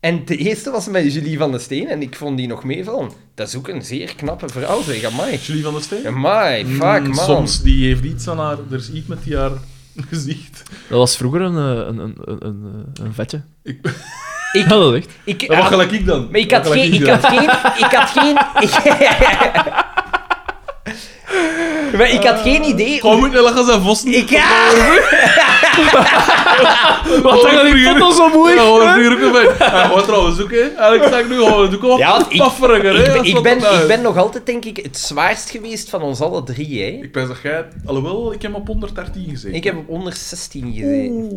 [SPEAKER 4] En de eerste was met Julie van der Steen. En ik vond die nog meevallen. Dat is ook een zeer knappe vrouw, zeg. Amai.
[SPEAKER 2] Julie van der Steen?
[SPEAKER 4] Amai, fuck,
[SPEAKER 2] Mm,
[SPEAKER 4] man.
[SPEAKER 2] Soms, die heeft iets aan haar... Er is iets met die haar gezicht.
[SPEAKER 3] Dat was vroeger een, eh, een, een, een, een, een vetje.
[SPEAKER 2] Ik...
[SPEAKER 3] Ja, dat echt.
[SPEAKER 4] Ik,
[SPEAKER 2] Ja, wat gelijk ik dan?
[SPEAKER 4] Maar ik
[SPEAKER 2] Wat
[SPEAKER 4] had,
[SPEAKER 2] gelijk
[SPEAKER 4] geen,
[SPEAKER 2] ik
[SPEAKER 4] ik
[SPEAKER 2] dan?
[SPEAKER 4] had geen... Ik had geen... maar ik had geen idee...
[SPEAKER 2] Oh, moet je lachen zijn vossen?
[SPEAKER 4] Ik, ja,
[SPEAKER 3] Wat dan die foto zo
[SPEAKER 2] Ja,
[SPEAKER 3] moeilijk?
[SPEAKER 2] hoor, vuur ook erbij. Ja, Wat trouwens ook, hè. Eigenlijk sta ik nu gewoon... Doe ik wel
[SPEAKER 4] Ja,
[SPEAKER 2] wat
[SPEAKER 4] want ik-
[SPEAKER 2] pafferiger, hè.
[SPEAKER 4] ik, ben,
[SPEAKER 2] als
[SPEAKER 4] ik,
[SPEAKER 2] wat
[SPEAKER 4] ben,
[SPEAKER 2] dat
[SPEAKER 4] ik
[SPEAKER 2] is.
[SPEAKER 4] ben nog altijd, denk ik, het zwaarst geweest van ons alle drie, hè.
[SPEAKER 2] Ik ben zeg jij... Alhoewel, ik heb op 113 gezeten.
[SPEAKER 4] Ik heb op onder 16 gezeten.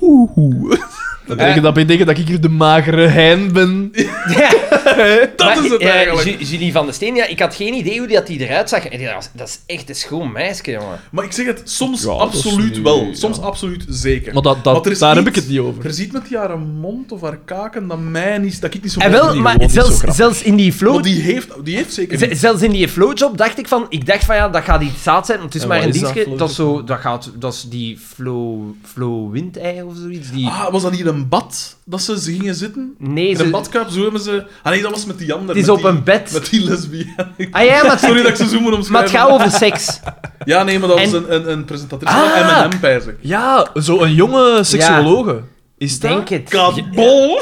[SPEAKER 2] Oeh. Oeh.
[SPEAKER 3] Dat betekent, dat betekent dat ik hier de magere hein ben.
[SPEAKER 4] Ja.
[SPEAKER 2] Dat
[SPEAKER 4] Maar,
[SPEAKER 2] is het
[SPEAKER 4] eh,
[SPEAKER 2] eigenlijk.
[SPEAKER 4] Ju- Julie van der Steen, ja, ik had geen idee hoe die, dat die eruit zag. En die- dat was- Dat is echt een schoon meisje, jongen.
[SPEAKER 2] Maar ik zeg het, soms
[SPEAKER 3] Ja, dat is
[SPEAKER 2] absoluut
[SPEAKER 3] nu-
[SPEAKER 2] wel.
[SPEAKER 3] ja.
[SPEAKER 2] Soms absoluut zeker.
[SPEAKER 3] Maar dat,
[SPEAKER 2] Want er
[SPEAKER 3] dat,
[SPEAKER 2] is
[SPEAKER 3] daar heb ik
[SPEAKER 2] iets-
[SPEAKER 3] het niet over.
[SPEAKER 2] Er ziet met die haar mond of haar kaken dat mij niet... Dat ik niet zo...
[SPEAKER 4] En wel,
[SPEAKER 2] die
[SPEAKER 4] maar
[SPEAKER 2] gewoon niet
[SPEAKER 4] zelfs,
[SPEAKER 2] zo grappig.
[SPEAKER 4] zelfs in die flow...
[SPEAKER 2] Maar die heeft, die heeft zeker...
[SPEAKER 4] Z- zelfs in die flowjob dacht ik van, ik dacht van ja, dat gaat iets zaad zijn, want het
[SPEAKER 3] En
[SPEAKER 4] is maar
[SPEAKER 3] wat
[SPEAKER 4] een
[SPEAKER 3] is dat,
[SPEAKER 4] dingetje. Dat, is
[SPEAKER 3] flowjob?
[SPEAKER 4] zo, dat, gaat, dat is die flow, flow windei of zoiets. Die...
[SPEAKER 2] Ah, was dat niet een bad dat ze, ze gingen zitten?
[SPEAKER 4] nee,
[SPEAKER 2] In
[SPEAKER 4] ze,
[SPEAKER 2] een badkuip, zo hebben ze... Ah nee, dat was met die andere.
[SPEAKER 4] het is
[SPEAKER 2] met
[SPEAKER 4] op
[SPEAKER 2] die-
[SPEAKER 4] een bed.
[SPEAKER 2] Met die lesbienne.
[SPEAKER 4] Ah ja, maar het,
[SPEAKER 2] Sorry dat ik ze zo moet
[SPEAKER 4] maar het
[SPEAKER 2] omschrijven.
[SPEAKER 4] gaat over seks.
[SPEAKER 2] Ja, nee, maar dat was een,
[SPEAKER 4] En-
[SPEAKER 2] een, een presentatrice
[SPEAKER 3] Ah!
[SPEAKER 2] van M&M, pijs ik.
[SPEAKER 3] Ja, zo'n jonge seksuologe. Is dat?
[SPEAKER 4] Denk het.
[SPEAKER 2] Kabol!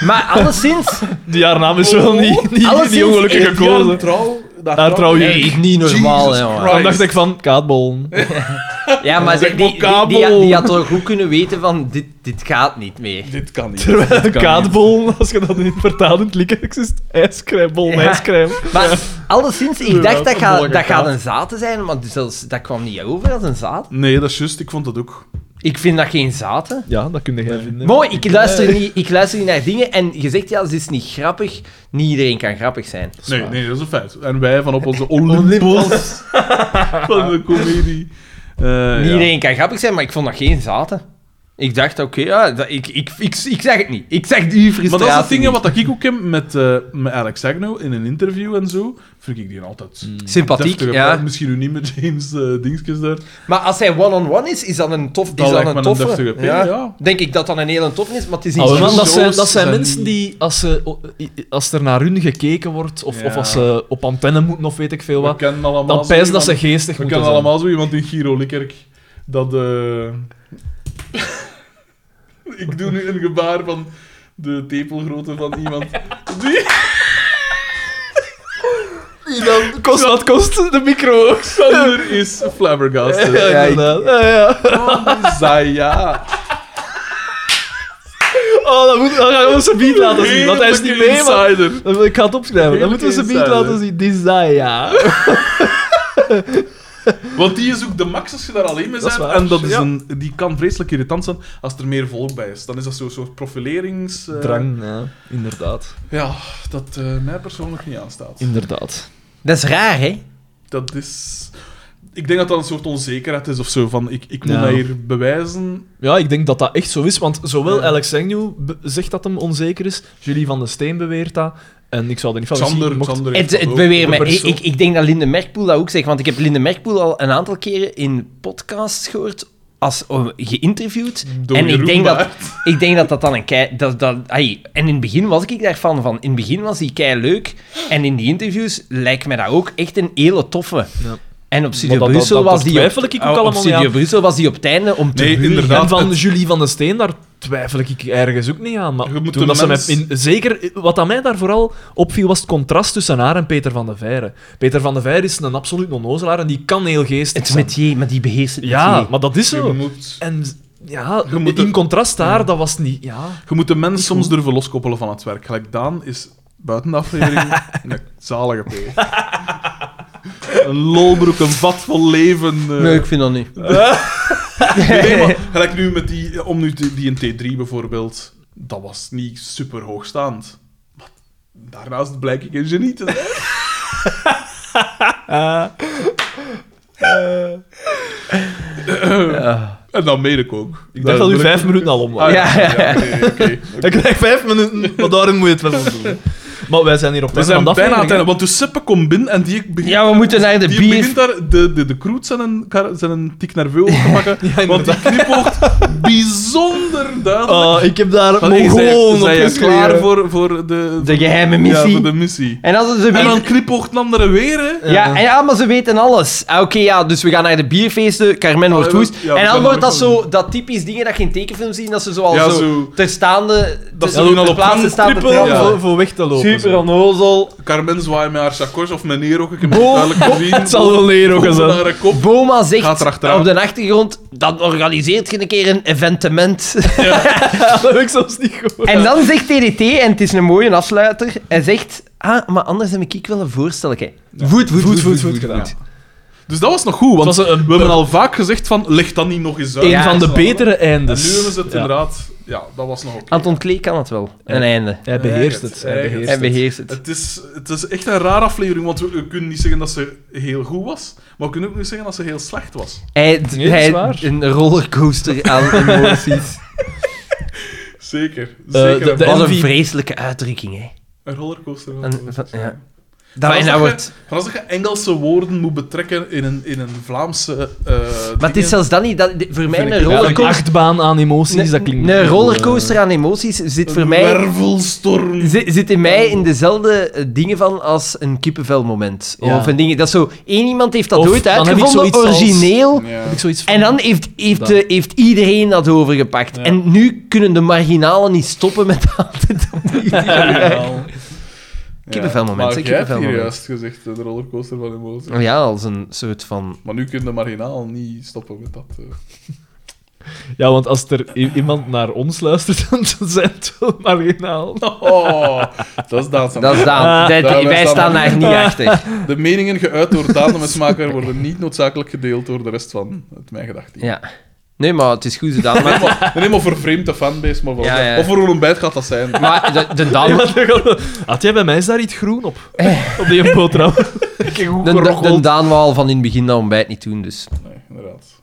[SPEAKER 4] Maar alleszins,
[SPEAKER 3] Die haar naam Oh. is wel niet, niet,
[SPEAKER 4] Alles
[SPEAKER 3] niet
[SPEAKER 4] is-
[SPEAKER 3] ongelukkig
[SPEAKER 4] heeft
[SPEAKER 2] Trouw,
[SPEAKER 3] gekozen.
[SPEAKER 2] trouw, daar
[SPEAKER 3] Daar trouw je.
[SPEAKER 4] nee, niet normaal,
[SPEAKER 2] Jesus
[SPEAKER 4] jongen.
[SPEAKER 2] Christ.
[SPEAKER 3] Dan dacht ik van, kaatbol.
[SPEAKER 4] Ja, maar
[SPEAKER 2] Zeg
[SPEAKER 4] die, die, die,
[SPEAKER 2] maar
[SPEAKER 4] die,
[SPEAKER 2] kabel.
[SPEAKER 4] had toch goed kunnen weten van, dit, dit gaat niet meer.
[SPEAKER 2] Dit kan niet.
[SPEAKER 3] Terwijl een
[SPEAKER 2] Dit kan niet.
[SPEAKER 3] kaatbol, als je dat in vertaalt in het Likkex, is het ijscrème, bol,
[SPEAKER 4] Ja.
[SPEAKER 3] ijscrème.
[SPEAKER 4] Maar alleszins, ik
[SPEAKER 2] Ja,
[SPEAKER 4] dacht dat, ga,
[SPEAKER 2] volgende
[SPEAKER 4] dat gaat
[SPEAKER 2] kaart.
[SPEAKER 4] een zaad zijn, maar zelfs, dat kwam niet over als een zaad.
[SPEAKER 2] Nee, dat is juist. Ik vond dat ook.
[SPEAKER 4] Ik vind dat geen zaad, hè.
[SPEAKER 3] Ja, dat kun je geen vinden.
[SPEAKER 4] Mooi,
[SPEAKER 2] Eh.
[SPEAKER 4] ik luister, niet, ik luister niet naar dingen en je zegt ja, ze is niet grappig. Niet iedereen kan grappig zijn.
[SPEAKER 2] Nee, nee, dat is een feit. En wij van op onze Olympos van de comedie. Eh,
[SPEAKER 4] niet
[SPEAKER 2] ja.
[SPEAKER 4] iedereen kan grappig zijn, maar ik vond dat geen zaten. Ik dacht, oké, ja, dat- ik, ik, ik, ik zeg het niet. Ik zeg die frustratie
[SPEAKER 2] Maar dat is het ding hè,
[SPEAKER 4] niet.
[SPEAKER 2] wat ik ook heb met, eh, met Alex Agnew in een interview en zo. Vind ik die altijd
[SPEAKER 3] Mm.
[SPEAKER 4] Sympathiek,
[SPEAKER 2] deftige
[SPEAKER 4] ja.
[SPEAKER 2] praat. Misschien nu niet met James eh dingetjes daar.
[SPEAKER 4] Maar als hij one-on-one is, is dat een tof...
[SPEAKER 2] Dat
[SPEAKER 4] is dat
[SPEAKER 2] lijkt me
[SPEAKER 4] een
[SPEAKER 2] een
[SPEAKER 4] toffe.
[SPEAKER 2] deftige P, ja.
[SPEAKER 4] Denk ik dat dat een hele tof is, maar het is niet
[SPEAKER 3] Oude
[SPEAKER 4] zo...
[SPEAKER 3] man, dat
[SPEAKER 2] shows
[SPEAKER 3] zijn, dat zijn
[SPEAKER 2] zijn
[SPEAKER 3] mensen die, als, ze, o- i- als er naar hun gekeken wordt, of, of
[SPEAKER 2] Ja.
[SPEAKER 3] als ze op antenne moeten, of weet ik veel
[SPEAKER 2] We
[SPEAKER 3] wat,
[SPEAKER 2] kennen allemaal
[SPEAKER 3] dan
[SPEAKER 2] zo
[SPEAKER 3] pijzen dat ze
[SPEAKER 2] iemand-
[SPEAKER 3] geestig
[SPEAKER 2] We
[SPEAKER 3] moeten
[SPEAKER 2] kennen
[SPEAKER 3] zijn.
[SPEAKER 2] allemaal zo iemand in Giro Likkerk dat... eh, ik doe nu een gebaar van de tepelgrootte van iemand. Die...
[SPEAKER 3] Dat kost, dat kost de micro.
[SPEAKER 2] Sander is flabbergasted.
[SPEAKER 3] Ja,
[SPEAKER 1] ik-
[SPEAKER 3] inderdaad. Ja, ja.
[SPEAKER 2] Zaya.
[SPEAKER 3] Oh, dat, moet, dat gaan we ze beat laten zien, want hij is niet mee, maar...
[SPEAKER 2] insider.
[SPEAKER 3] Dat wil- Ik ga het opschrijven. Dan
[SPEAKER 2] Heerlijke
[SPEAKER 3] moeten we ze beat
[SPEAKER 2] insider.
[SPEAKER 3] laten zien. Desire.
[SPEAKER 2] Want die is ook de max als je daar alleen mee
[SPEAKER 3] Dat
[SPEAKER 2] bent.
[SPEAKER 3] is waar.
[SPEAKER 2] en dat is
[SPEAKER 3] Ja.
[SPEAKER 2] een, die kan vreselijk irritant zijn als er meer volk bij is. Dan is dat zo'n soort profilerings... eh,
[SPEAKER 3] Drang, ja. Inderdaad.
[SPEAKER 2] Ja, dat eh, mij persoonlijk niet aanstaat.
[SPEAKER 3] Inderdaad.
[SPEAKER 4] Dat is raar, hè?
[SPEAKER 2] Dat is... Ik denk dat dat een soort onzekerheid is of zo. Van, ik, ik moet
[SPEAKER 3] Ja.
[SPEAKER 2] mij hier bewijzen.
[SPEAKER 3] Ja, ik denk dat dat echt zo is, want zowel
[SPEAKER 2] Ja.
[SPEAKER 3] Alex Agnew be- zegt dat hem onzeker is, Julie van den Steen beweert dat, en ik zou er niet van
[SPEAKER 2] Xander,
[SPEAKER 3] gezien, mocht-
[SPEAKER 2] Xander heeft
[SPEAKER 4] Het, het
[SPEAKER 2] dat ook.
[SPEAKER 4] beweer
[SPEAKER 3] de
[SPEAKER 4] mij. Ik,
[SPEAKER 3] persoon-
[SPEAKER 4] ik, ik denk dat Linde Merkpoel dat ook zegt, want ik heb Linde Merkpoel al een aantal keren in podcasts gehoord als oh, geïnterviewd.
[SPEAKER 2] Door
[SPEAKER 4] en ik
[SPEAKER 2] Jeroen
[SPEAKER 4] denk, dat,
[SPEAKER 2] Baert.
[SPEAKER 4] ik denk dat dat dan een kei... Dat, dat, ai, en in het begin was ik daarvan van. In het begin was die kei leuk. En in die interviews lijkt mij dat ook echt een hele toffe.
[SPEAKER 3] Ja.
[SPEAKER 4] En op
[SPEAKER 3] Maar
[SPEAKER 4] Studio
[SPEAKER 3] dat- dat-
[SPEAKER 4] Brussel
[SPEAKER 3] dat
[SPEAKER 4] was die... op- oh,
[SPEAKER 3] twijfel ik ook
[SPEAKER 4] op
[SPEAKER 3] allemaal niet
[SPEAKER 4] Studio
[SPEAKER 3] aan.
[SPEAKER 4] Brussel was die op het einde om te
[SPEAKER 2] Nee,
[SPEAKER 4] huren.
[SPEAKER 2] inderdaad.
[SPEAKER 3] En van
[SPEAKER 2] het-
[SPEAKER 3] Julie van den Steen, daar twijfel ik ergens ook niet aan. Maar
[SPEAKER 2] Je moet
[SPEAKER 3] toen
[SPEAKER 2] de
[SPEAKER 3] dat ze
[SPEAKER 2] mens-
[SPEAKER 3] mij in- zeker, wat aan mij daar vooral opviel, was het contrast tussen haar en Peter van der Veire. Peter van der Veire is een absoluut onnozelaar en die kan heel geestig
[SPEAKER 4] Het
[SPEAKER 3] zijn.
[SPEAKER 4] metier, maar die beheerst het
[SPEAKER 3] Ja,
[SPEAKER 4] metier.
[SPEAKER 3] maar dat is
[SPEAKER 2] Je
[SPEAKER 3] zo.
[SPEAKER 2] moet,
[SPEAKER 3] En ja,
[SPEAKER 2] Je moet
[SPEAKER 3] in
[SPEAKER 2] de-
[SPEAKER 3] contrast daar, dat was niet... Ja.
[SPEAKER 2] je moet de mens soms durven loskoppelen van het werk. Gelijk Daan is buiten de aflevering een zalige P. een lolbroek, een vat vol leven. eh.
[SPEAKER 4] Nee, ik vind dat niet.
[SPEAKER 2] Nee, maar gelijk nu met die, eh, om nu te- die in T3 bijvoorbeeld, dat was niet super hoogstaand. Maar daarnaast blijk ik een genie te zijn.
[SPEAKER 3] Ah.
[SPEAKER 2] Eh, En dat meen ik ook.
[SPEAKER 3] Ik dacht dat u
[SPEAKER 2] wil
[SPEAKER 3] vijf minuten al om was.
[SPEAKER 2] Ah,
[SPEAKER 4] Ja,
[SPEAKER 2] ja, ja, oké, oké.
[SPEAKER 3] Ik krijg vijf minuten, maar daarin moet je het wel van doen. Maar wij zijn hier op
[SPEAKER 2] We
[SPEAKER 3] tijd
[SPEAKER 2] zijn
[SPEAKER 3] van de
[SPEAKER 2] bijna aan het
[SPEAKER 3] aflevering,
[SPEAKER 2] einde, want de Seppe komt binnen en die begint...
[SPEAKER 4] Ja, we moeten naar de
[SPEAKER 2] die
[SPEAKER 4] bier...
[SPEAKER 2] begint daar de, de, de kroet zijn een, kar- zijn een tik nerveus te pakken,
[SPEAKER 3] Ja,
[SPEAKER 2] want die knipoogt bijzonder
[SPEAKER 3] hè.
[SPEAKER 2] duidelijk.
[SPEAKER 3] Oh, ik heb daar
[SPEAKER 2] Van, hey, zij-
[SPEAKER 3] gewoon op
[SPEAKER 2] zij je klaar
[SPEAKER 3] geschreven.
[SPEAKER 2] voor, voor de,
[SPEAKER 4] De geheime
[SPEAKER 2] Ja,
[SPEAKER 4] missie.
[SPEAKER 2] voor de missie.
[SPEAKER 4] En als ze
[SPEAKER 2] En
[SPEAKER 4] weten-
[SPEAKER 2] dan knipoogt een andere weer, hè.
[SPEAKER 4] Ja, en ja, maar ze weten alles. Ah, Oké, ja, dus we gaan naar de bierfeesten, Carmen wordt
[SPEAKER 2] Ah, ja,
[SPEAKER 4] woest.
[SPEAKER 2] ja, we
[SPEAKER 4] en dan
[SPEAKER 2] gaan
[SPEAKER 4] wordt dat
[SPEAKER 2] naar de-
[SPEAKER 4] zo, dat typisch dingen dat je in tekenfilms ziet, dat ze zo al
[SPEAKER 2] Ja,
[SPEAKER 4] zo,
[SPEAKER 2] zo-
[SPEAKER 4] ter staande,
[SPEAKER 2] Dat
[SPEAKER 4] te-
[SPEAKER 2] ze doen
[SPEAKER 4] ter
[SPEAKER 2] al op gang
[SPEAKER 4] staan te
[SPEAKER 2] trippelen.
[SPEAKER 4] trappen.
[SPEAKER 2] Ja.
[SPEAKER 3] Voor, voor weg te lopen.
[SPEAKER 4] Super
[SPEAKER 3] zo.
[SPEAKER 4] onnozel.
[SPEAKER 2] Carmen zwaait met haar sakos of mijn neer ook. Ik heb het
[SPEAKER 4] Bo-
[SPEAKER 2] duidelijk gezien.
[SPEAKER 3] Het zal wel leren ook
[SPEAKER 2] Boven
[SPEAKER 3] zijn.
[SPEAKER 2] haar kop.
[SPEAKER 4] Boma
[SPEAKER 2] Gaat
[SPEAKER 4] zegt
[SPEAKER 2] erachteraan.
[SPEAKER 4] op de achtergrond, dan organiseert je een keer een evenement.
[SPEAKER 3] Dat heb ik zelfs niet gehoord.
[SPEAKER 4] en dan zegt TDT, en het is een mooie afsluiter, hij zegt, ah, maar anders heb ik wel een voorstel.
[SPEAKER 3] Voet, voet, voet, voet,
[SPEAKER 2] voet,
[SPEAKER 3] gedaan.
[SPEAKER 2] ja. Dus dat was nog goed, want
[SPEAKER 3] Het was een-
[SPEAKER 2] we hebben al vaak gezegd van, leg dat niet nog eens uit.
[SPEAKER 3] Een
[SPEAKER 4] Ja,
[SPEAKER 3] van de
[SPEAKER 2] En
[SPEAKER 3] betere
[SPEAKER 2] nu
[SPEAKER 3] eindes.
[SPEAKER 2] hebben ze het
[SPEAKER 3] Ja.
[SPEAKER 2] inderdaad... Ja, dat was nog oké.
[SPEAKER 4] Anton Klee kan het wel, een einde.
[SPEAKER 3] Hij beheerst het. Hij
[SPEAKER 2] Eigen-
[SPEAKER 3] beheerst
[SPEAKER 4] Hij
[SPEAKER 3] het.
[SPEAKER 4] beheerst het.
[SPEAKER 2] Het is, het is echt een rare aflevering, want we, we kunnen niet zeggen dat ze heel goed was, maar we kunnen ook niet zeggen dat ze heel slecht was.
[SPEAKER 3] Eh,
[SPEAKER 4] Hij,
[SPEAKER 3] Nee, dat is
[SPEAKER 4] hij-
[SPEAKER 3] waar.
[SPEAKER 4] een rollercoaster aan emoties.
[SPEAKER 2] Zeker. Zeker.
[SPEAKER 3] de- de-
[SPEAKER 2] een,
[SPEAKER 4] Wat een
[SPEAKER 3] MVP.
[SPEAKER 4] vreselijke uitdrukking, hè.
[SPEAKER 2] een rollercoaster.
[SPEAKER 4] Een- van- ja.
[SPEAKER 2] Maar
[SPEAKER 4] Dat, en
[SPEAKER 2] als
[SPEAKER 4] dat
[SPEAKER 2] je-
[SPEAKER 4] wordt...
[SPEAKER 2] maar als je Engelse woorden moet betrekken in een, in een Vlaamse... eh,
[SPEAKER 4] Maar het is
[SPEAKER 2] dingen-
[SPEAKER 4] zelfs dan niet... Dat, dit- voor mij
[SPEAKER 2] Vind
[SPEAKER 4] een
[SPEAKER 2] ik
[SPEAKER 3] Ja, Een
[SPEAKER 4] rollercoaster...
[SPEAKER 3] achtbaan aan emoties, dat
[SPEAKER 4] Een,
[SPEAKER 3] klinkt...
[SPEAKER 4] een rollercoaster aan emoties zit voor
[SPEAKER 2] Een
[SPEAKER 4] mij...
[SPEAKER 2] wervelstorm.
[SPEAKER 4] zi- Zit in mij in dezelfde eh, dingen van als een kippenvelmoment.
[SPEAKER 3] eh, Ja.
[SPEAKER 4] Of een ding... Dat is zo... één iemand heeft dat
[SPEAKER 3] Of
[SPEAKER 4] ooit
[SPEAKER 3] dan heb ik
[SPEAKER 4] uitgevonden,
[SPEAKER 3] zoiets als-
[SPEAKER 4] origineel...
[SPEAKER 2] Ja.
[SPEAKER 3] Heb ik zoiets van-
[SPEAKER 4] En dan heeft, heeft,
[SPEAKER 3] Dan.
[SPEAKER 4] eh, heeft iedereen dat overgepakt.
[SPEAKER 3] Ja.
[SPEAKER 4] En nu kunnen de marginalen niet stoppen met dat.
[SPEAKER 2] Ja, wel.
[SPEAKER 1] Kippenvelmoment, hè,
[SPEAKER 2] Maar jij hebt hier
[SPEAKER 1] kippenvelmoment.
[SPEAKER 2] juist gezegd, eh, de rollercoaster van emoties.
[SPEAKER 1] Oh Ja, als een soort van...
[SPEAKER 2] Maar nu kun je marginaal niet stoppen met dat. eh.
[SPEAKER 3] Ja, want als er i- iemand naar ons luistert, dan zijn het wel marginaal.
[SPEAKER 4] Nou.
[SPEAKER 2] Oh, dat is Daan. Ah.
[SPEAKER 1] Dat is Daan. Dat-
[SPEAKER 2] Daar
[SPEAKER 1] Ah. wij
[SPEAKER 2] staan
[SPEAKER 1] staan
[SPEAKER 2] we. Ah.
[SPEAKER 1] daar niet achter.
[SPEAKER 2] De meningen geuit door Daan de Mesmaker worden niet noodzakelijk gedeeld door de rest van het Mijn Gedachten.
[SPEAKER 1] Ja. Nee, maar het is goed gedaan. Maar,
[SPEAKER 2] Helemaal, helemaal vervreemd de fanbase, maar wel.
[SPEAKER 1] Ja, ja.
[SPEAKER 2] Of voor een ontbijt gaat dat zijn.
[SPEAKER 1] maar de, de Daan...
[SPEAKER 3] Ja, Eh. dan gaan we- Ah, Had jij bij mij is daar iets groen op? Op die boterham. Kijk hoe
[SPEAKER 1] De, de, de
[SPEAKER 3] gerocheld.
[SPEAKER 1] Daan wou al van in het begin dat ontbijt niet doen, dus...
[SPEAKER 2] Nee, inderdaad.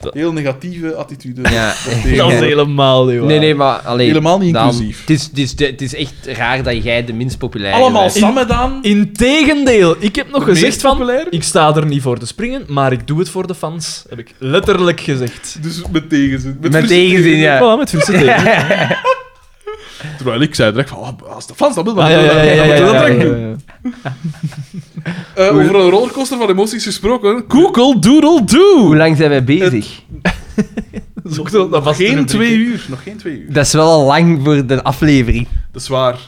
[SPEAKER 3] Dat-
[SPEAKER 2] Heel negatieve attitude.
[SPEAKER 1] Ja.
[SPEAKER 2] Dat
[SPEAKER 3] Dat is
[SPEAKER 2] tegen-
[SPEAKER 3] helemaal niet waar.
[SPEAKER 1] Nee, nee, maar... Allee,
[SPEAKER 2] Helemaal niet
[SPEAKER 1] Daan,
[SPEAKER 2] inclusief.
[SPEAKER 1] Het is, het, is, de- het is echt raar dat jij de minst populaire
[SPEAKER 2] Allemaal
[SPEAKER 1] bent.
[SPEAKER 2] samen Daan.
[SPEAKER 3] Integendeel, ik heb nog gezegd
[SPEAKER 2] meest
[SPEAKER 3] van...
[SPEAKER 2] populair?
[SPEAKER 3] Ik sta er niet voor te springen, maar ik doe het voor de fans. Heb ik letterlijk gezegd.
[SPEAKER 2] Dus met tegenzin.
[SPEAKER 1] Met
[SPEAKER 2] frisse
[SPEAKER 1] tegenzin, ja.
[SPEAKER 3] Voilà, met Vincent tegen.
[SPEAKER 2] Terwijl ik zei direct van, ah, als de fans dat willen,
[SPEAKER 3] Ah,
[SPEAKER 2] dan
[SPEAKER 3] ja, ja, ja, ja,
[SPEAKER 2] moeten we
[SPEAKER 3] ja,
[SPEAKER 2] dat
[SPEAKER 3] ja,
[SPEAKER 2] direct
[SPEAKER 3] ja,
[SPEAKER 2] doen.
[SPEAKER 3] ja.
[SPEAKER 2] Eh, Over een rollercoaster van emoties gesproken. Google Doodle Doo.
[SPEAKER 1] Hoe lang zijn wij bezig?
[SPEAKER 3] Zoek dat- dat
[SPEAKER 2] Nog
[SPEAKER 3] vast in
[SPEAKER 2] geen
[SPEAKER 3] een
[SPEAKER 2] twee
[SPEAKER 3] rubriek.
[SPEAKER 2] uur. Nog geen twee uur.
[SPEAKER 1] Dat is wel al lang voor de aflevering.
[SPEAKER 2] Dat is waar.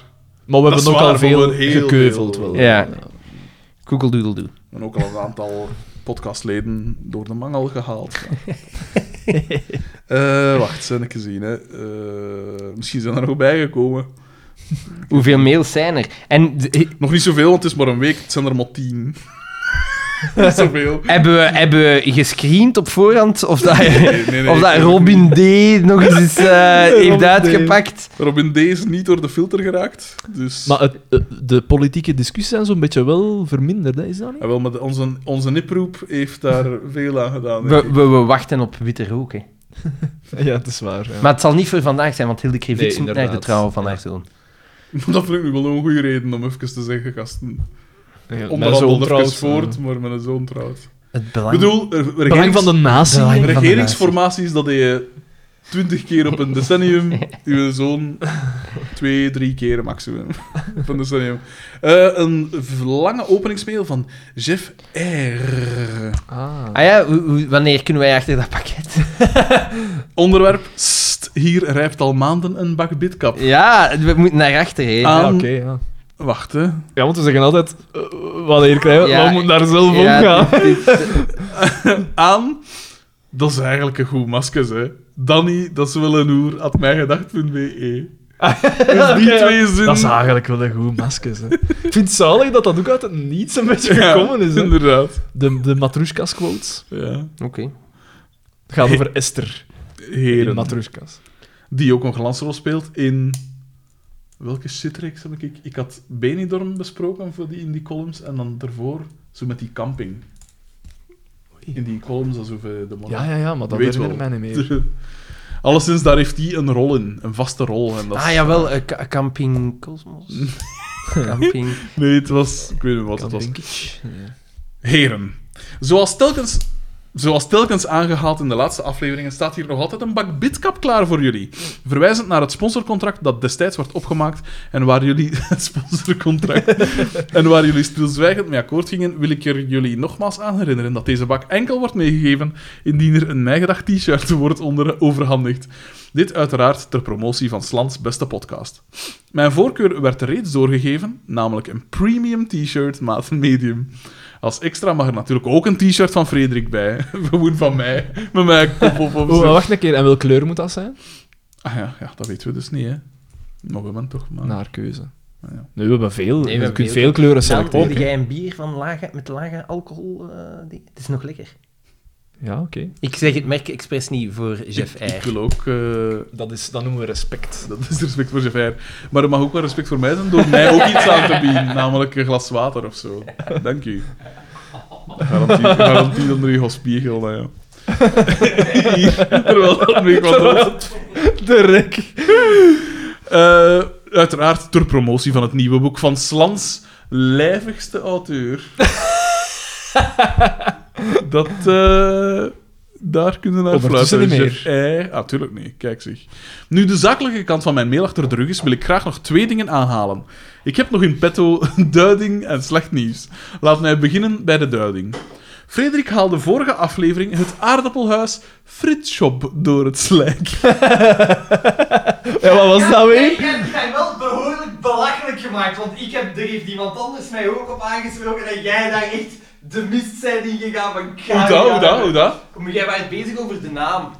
[SPEAKER 3] Maar we
[SPEAKER 2] Dat is
[SPEAKER 3] hebben ook
[SPEAKER 2] waar,
[SPEAKER 3] al
[SPEAKER 2] we
[SPEAKER 3] veel
[SPEAKER 2] hebben heel
[SPEAKER 3] gekeuveld.
[SPEAKER 2] veel-
[SPEAKER 3] Wel.
[SPEAKER 1] Ja. Google Doodle Doo.
[SPEAKER 2] En ook al een aantal podcastleden door de mangel gehaald. Eh, wacht, zijn ik gezien. Hè. Eh, misschien zijn er nog bijgekomen.
[SPEAKER 1] Hoeveel mails zijn er? En d-
[SPEAKER 2] Nog niet zoveel, want het is maar een week. Het zijn er maar tien. niet zoveel.
[SPEAKER 1] hebben we, hebben we gescreend op voorhand of dat,
[SPEAKER 2] Nee, nee, nee.
[SPEAKER 1] of dat Robin D. nog eens is, eh,
[SPEAKER 3] Robin
[SPEAKER 1] heeft
[SPEAKER 3] D.
[SPEAKER 1] uitgepakt?
[SPEAKER 2] Robin D. is niet door de filter geraakt. Dus...
[SPEAKER 3] Maar het, het- de politieke discussies zijn zo'n beetje wel verminderd, hè? is dat niet?
[SPEAKER 2] Ah, wel, maar de- onze, onze niproep heeft daar veel aan gedaan. denk
[SPEAKER 1] We,
[SPEAKER 2] ik.
[SPEAKER 1] we, we wachten op witte rook. Hè.
[SPEAKER 3] Ja, dat is waar. Ja.
[SPEAKER 1] Maar het zal niet voor vandaag zijn, want Hilde Krivits moet
[SPEAKER 3] Nee,
[SPEAKER 1] naar de
[SPEAKER 3] inderdaad.
[SPEAKER 1] trouw vandaag doen.
[SPEAKER 2] Dat vind ik nu wel een goede reden om even te zeggen, gasten.
[SPEAKER 3] Ja, mijn zoon
[SPEAKER 2] Onderhandel even
[SPEAKER 3] trouwens,
[SPEAKER 2] voort,
[SPEAKER 3] eh,
[SPEAKER 2] maar met een zoon trouwt.
[SPEAKER 1] Het
[SPEAKER 2] Ik
[SPEAKER 1] belang...
[SPEAKER 2] bedoel, er- er-
[SPEAKER 3] Belang van
[SPEAKER 2] regerings-
[SPEAKER 3] de natie.
[SPEAKER 1] Belang- van de
[SPEAKER 2] regeringsformaties, dat je twintig keer op een decennium, uw zoon twee, drie keer maximum op een decennium. Eh, een v- lange openingsmail van Jeff R.
[SPEAKER 3] Ah.
[SPEAKER 1] Ah ja, hoe- hoe- wanneer kunnen wij achter dat pakket?
[SPEAKER 2] Onderwerp, "Sst, hier rijpt al maanden een bak bitkap.
[SPEAKER 1] Ja, we moeten naar achter. Hè.
[SPEAKER 2] Ah.
[SPEAKER 3] Ja,
[SPEAKER 2] aan-
[SPEAKER 3] oké, ja.
[SPEAKER 2] Wacht, hè.
[SPEAKER 3] Ja, want we zeggen altijd, eh, wanneer krijgen we
[SPEAKER 1] Ja,
[SPEAKER 3] maar we moeten daar zelf
[SPEAKER 1] ja,
[SPEAKER 3] omgaan.
[SPEAKER 1] dit- dit-
[SPEAKER 2] aan. Dat is eigenlijk een goed masker, hè. Danny, dat is wel een hoer, at mijgedacht.be. E. Dus die
[SPEAKER 3] Oké, ja.
[SPEAKER 2] twee zinnen...
[SPEAKER 3] Dat is eigenlijk wel een goed masker. Hè. Ik vind het zalig dat dat ook uit het niets een beetje
[SPEAKER 2] Ja,
[SPEAKER 3] gekomen is. Hè.
[SPEAKER 2] Inderdaad.
[SPEAKER 3] De, de Matrushkas quotes.
[SPEAKER 2] Ja.
[SPEAKER 1] Oké.
[SPEAKER 3] Het gaat over Esther in
[SPEAKER 2] Heren.
[SPEAKER 3] Matrushkas.
[SPEAKER 2] Die ook een glansrol speelt in... Welke shitreeks heb ik? Ik had Benidorm besproken voor die, in die columns, en dan daarvoor zo met die camping. In die columns, alsof eh, de man...
[SPEAKER 3] Ja, ja, ja, maar dat
[SPEAKER 2] Weet
[SPEAKER 3] herinner ik mij
[SPEAKER 2] wel.
[SPEAKER 3] niet meer.
[SPEAKER 2] Alleszins, daar heeft hij een rol in. Een vaste rol. En dat is-
[SPEAKER 1] Ah jawel, eh, ka- Camping Cosmos. camping...
[SPEAKER 2] Nee, het was... Ik weet niet wat het was.
[SPEAKER 3] Kandinkitsch. Ja.
[SPEAKER 2] Heren, zoals telkens, zoals telkens aangehaald in de laatste afleveringen, staat hier nog altijd een bak bitkap klaar voor jullie. Verwijzend naar het sponsorcontract dat destijds werd opgemaakt en waar jullie het sponsorcontract en waar jullie stilzwijgend mee akkoord gingen, wil ik er jullie nogmaals aan herinneren dat deze bak enkel wordt meegegeven indien er een mijgedacht t-shirt wordt onder overhandigd. Dit uiteraard ter promotie van Slans beste podcast. Mijn voorkeur werd reeds doorgegeven, namelijk een premium t-shirt maat medium. Als extra mag er natuurlijk ook een t-shirt van Frederik bij. Gewoon van mij. Met mijn kop op of
[SPEAKER 3] Oh, maar
[SPEAKER 2] zo.
[SPEAKER 3] wacht een keer. En welke kleur moet dat zijn?
[SPEAKER 2] Ah ja, ja, dat weten we dus niet, hè. Nog een moment toch, maar...
[SPEAKER 3] Naar keuze.
[SPEAKER 2] Ah, ja.
[SPEAKER 3] Nee, we hebben veel.
[SPEAKER 1] we hebben
[SPEAKER 3] je kunt
[SPEAKER 1] veel.
[SPEAKER 3] veel kleuren
[SPEAKER 1] Dan
[SPEAKER 3] selecteren.
[SPEAKER 1] hoorde jij een bier van lage, met lage alcohol. eh, ding. Het is nog lekker.
[SPEAKER 3] Ja, oké.
[SPEAKER 1] Ik zeg het merk expres niet voor Jeff
[SPEAKER 2] ik, ik
[SPEAKER 1] R.
[SPEAKER 2] wil ook... eh,
[SPEAKER 3] Dat, is, dat noemen we respect.
[SPEAKER 2] dat is respect voor Javert. Maar er mag ook wel respect voor mij zijn door mij ook iets aan te bieden. Namelijk een glas water of zo. Dank u. Garantie, garantie onder je hospiegel, nou ja. Terwijl dat mee kwam.
[SPEAKER 3] De rek.
[SPEAKER 2] Eh, uiteraard ter promotie van het nieuwe boek van Slans lijvigste auteur. dat, eh, daar kunnen we naar
[SPEAKER 3] Ondertussen
[SPEAKER 2] fluiten.
[SPEAKER 3] niet
[SPEAKER 2] Jeff Ey. Ah, tuurlijk niet. Kijk zeg. Nu de zakelijke kant van mijn mail achter de rug is, wil ik graag nog twee dingen aanhalen. Ik heb nog in petto duiding en slecht nieuws. Laat mij beginnen bij de duiding. Frederik haalde vorige aflevering het aardappelhuis Fritshop door het slijk.
[SPEAKER 3] Ja, wat was dat weer?
[SPEAKER 1] jij wel behoorlijk bal belachelijk gemaakt, want ik heb, er heeft iemand anders mij ook op aangesproken dat jij daar echt de mist zijn ingegaan van
[SPEAKER 2] Hoe dat, hoe dat, hoe dat?
[SPEAKER 1] Maar jij was bezig over de naam.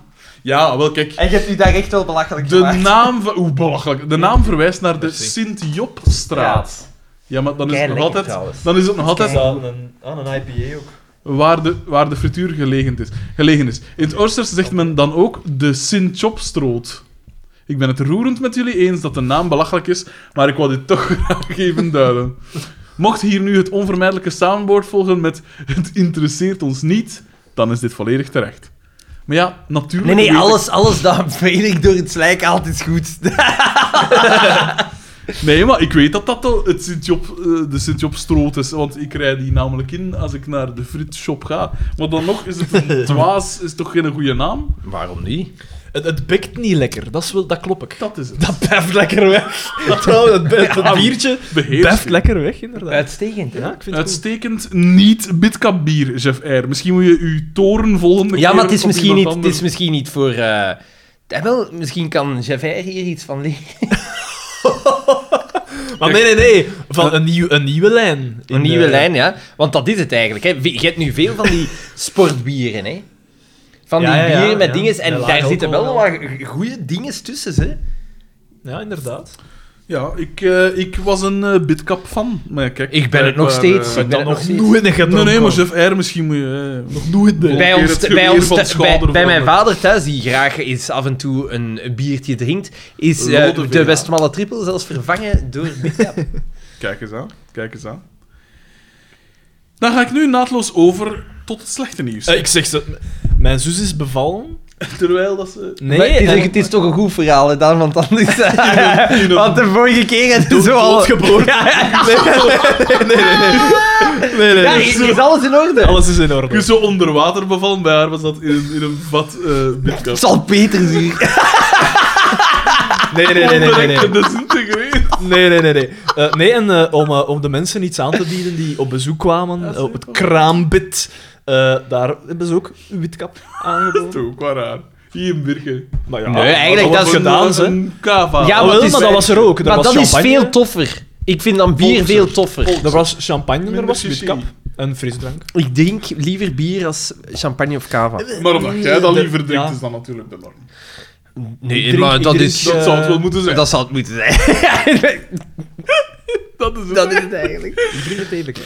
[SPEAKER 2] Ja, wel kijk.
[SPEAKER 1] En je hebt u daar echt wel belachelijk
[SPEAKER 2] De
[SPEAKER 1] gemaakt.
[SPEAKER 2] naam van... Oeh, belachelijk. De naam verwijst naar de
[SPEAKER 3] Merci.
[SPEAKER 2] Sint-Jobstraat. Ja, maar dan is het nog
[SPEAKER 4] Keilekker
[SPEAKER 2] altijd...
[SPEAKER 4] trouwens.
[SPEAKER 2] Dan is het nog altijd...
[SPEAKER 3] aan een, aan een IPA ook.
[SPEAKER 2] waar de, waar de frituur gelegen is, gelegen is. In het Oosters zegt men dan ook de Sint-Chopstroot. Ik ben het roerend met jullie eens dat de naam belachelijk is, maar ik wou dit toch graag even duiden. Mocht hier nu het onvermijdelijke samenwoord volgen met het interesseert ons niet, dan is dit volledig terecht. Maar ja,
[SPEAKER 1] Nee,
[SPEAKER 2] natuurlijk...
[SPEAKER 1] nee,
[SPEAKER 2] weet ik-
[SPEAKER 1] alles, alles dat vredig door het slijk haalt is goed.
[SPEAKER 2] Nee, maar ik weet dat dat al het Sint-Job, eh, de Sint-Jobstroot is, want ik rij die namelijk in als ik naar de fritshop ga. Maar dan nog is het een dwaas, is toch geen goede naam?
[SPEAKER 3] Waarom niet? Het, het bekt niet lekker, dat, is wel, dat klop ik.
[SPEAKER 2] Dat is het.
[SPEAKER 3] Dat beft lekker weg. Trouwens, het, be- het biertje
[SPEAKER 2] Beheerst
[SPEAKER 3] beft
[SPEAKER 2] u.
[SPEAKER 3] lekker weg, inderdaad.
[SPEAKER 4] Uitstekend, hè?
[SPEAKER 3] ja, ik vind het goed.
[SPEAKER 2] Uitstekend niet Bitcap bier, Jeff R. Misschien moet je uw toren volgende keer
[SPEAKER 4] Ja, maar het is,
[SPEAKER 2] op
[SPEAKER 4] misschien
[SPEAKER 2] iemand
[SPEAKER 4] niet, het
[SPEAKER 2] anders-
[SPEAKER 4] is misschien niet voor... eh, eh, wel, misschien kan Javert hier iets van leren.
[SPEAKER 3] Maar nee, nee, nee. Van een, nieuw, een nieuwe lijn. In,
[SPEAKER 4] Een nieuwe
[SPEAKER 3] eh,
[SPEAKER 4] lijn, ja. Want dat is het eigenlijk. Hè. Je hebt nu veel van die sportbieren, hè. Van
[SPEAKER 3] Ja,
[SPEAKER 4] die
[SPEAKER 3] ja, ja,
[SPEAKER 4] bieren met
[SPEAKER 3] ja.
[SPEAKER 4] dinges. En
[SPEAKER 3] Met laag
[SPEAKER 4] daar zitten wel
[SPEAKER 3] alcohol,
[SPEAKER 4] wat goede dinges tussen, hè.
[SPEAKER 3] Ja, inderdaad.
[SPEAKER 2] Ja, ik, eh, ik was een eh, Bitcap fan. Maar ja, kijk,
[SPEAKER 4] Ik ben het nog
[SPEAKER 2] blijkbaar,
[SPEAKER 4] steeds.
[SPEAKER 2] eh,
[SPEAKER 4] Ik ben het nog steeds.
[SPEAKER 3] in de
[SPEAKER 2] nee, nee, maar Jeff R. Misschien moet je... eh, nog nooit
[SPEAKER 4] Bij, ons, bij, ons th- bij, bij mijn vader thuis, die graag eens af en toe een biertje drinkt, is eh,
[SPEAKER 2] Rode
[SPEAKER 4] de
[SPEAKER 2] Vera.
[SPEAKER 4] Westmalle Triple zelfs vervangen door Bitcap.
[SPEAKER 2] Kijk eens aan, kijk eens aan. Dan ga ik nu naadloos over tot het slechte nieuws.
[SPEAKER 3] ik zeg ze... Mijn zus is bevallen.
[SPEAKER 2] Terwijl dat ze...
[SPEAKER 3] Nee,
[SPEAKER 4] Maar het, is,
[SPEAKER 3] en-
[SPEAKER 4] het is toch een goed verhaal, hè, dan, want anders...
[SPEAKER 2] in een-
[SPEAKER 4] want de vorige keer had je
[SPEAKER 3] Dood-
[SPEAKER 4] zo al...
[SPEAKER 3] doodgeboren. Nee, nee, nee. Nee, nee,
[SPEAKER 4] Ja,
[SPEAKER 3] nee.
[SPEAKER 4] is, is alles in orde?
[SPEAKER 3] Alles is in orde.
[SPEAKER 2] Je zo onder water bevallen, bij haar was dat in een, in een vat eh Bitcap.
[SPEAKER 4] Zal Peter hier.
[SPEAKER 3] Nee, nee, nee, nee, nee. nee.
[SPEAKER 2] Onbereikte desintegreer.
[SPEAKER 3] Nee, nee, nee. Nee, Eh, nee en eh, om, eh, om de mensen iets aan te bieden die op bezoek kwamen, eh, op het kraambit, eh, daar hebben ze ook witkap
[SPEAKER 2] Dat
[SPEAKER 3] aangeboden.
[SPEAKER 2] is ook wel raar. Hier in Birken.
[SPEAKER 3] Maar ja,
[SPEAKER 4] Nee, eigenlijk
[SPEAKER 3] wat
[SPEAKER 4] dat is
[SPEAKER 3] wordt gedaan, ze.
[SPEAKER 2] Een kava.
[SPEAKER 4] Ja,
[SPEAKER 3] Ah,
[SPEAKER 4] maar
[SPEAKER 3] wel,
[SPEAKER 4] het
[SPEAKER 3] maar,
[SPEAKER 4] is- eh,
[SPEAKER 3] dat was er ook. Er
[SPEAKER 4] Maar
[SPEAKER 3] was
[SPEAKER 4] dat is
[SPEAKER 3] champagne, Oh,
[SPEAKER 4] veel toffer. Ik vind dan bier
[SPEAKER 2] Volkser.
[SPEAKER 4] veel toffer.
[SPEAKER 3] Er was champagne, er
[SPEAKER 2] Minder
[SPEAKER 3] was
[SPEAKER 2] chichi.
[SPEAKER 3] witkap en frisdrank.
[SPEAKER 4] Ik drink liever bier als champagne of cava.
[SPEAKER 2] Maar omdat jij dat liever drinkt,
[SPEAKER 3] Ja.
[SPEAKER 2] is dat natuurlijk de norm.
[SPEAKER 4] Nee,
[SPEAKER 3] drink-
[SPEAKER 4] maar
[SPEAKER 3] ik
[SPEAKER 4] dat
[SPEAKER 3] drink-
[SPEAKER 4] is...
[SPEAKER 2] Dat
[SPEAKER 3] Eh,
[SPEAKER 2] zou het wel moeten zijn.
[SPEAKER 4] Dat zou het moeten zijn.
[SPEAKER 2] dat is het.
[SPEAKER 4] dat is het eigenlijk.
[SPEAKER 3] Ik drink het eigenlijk.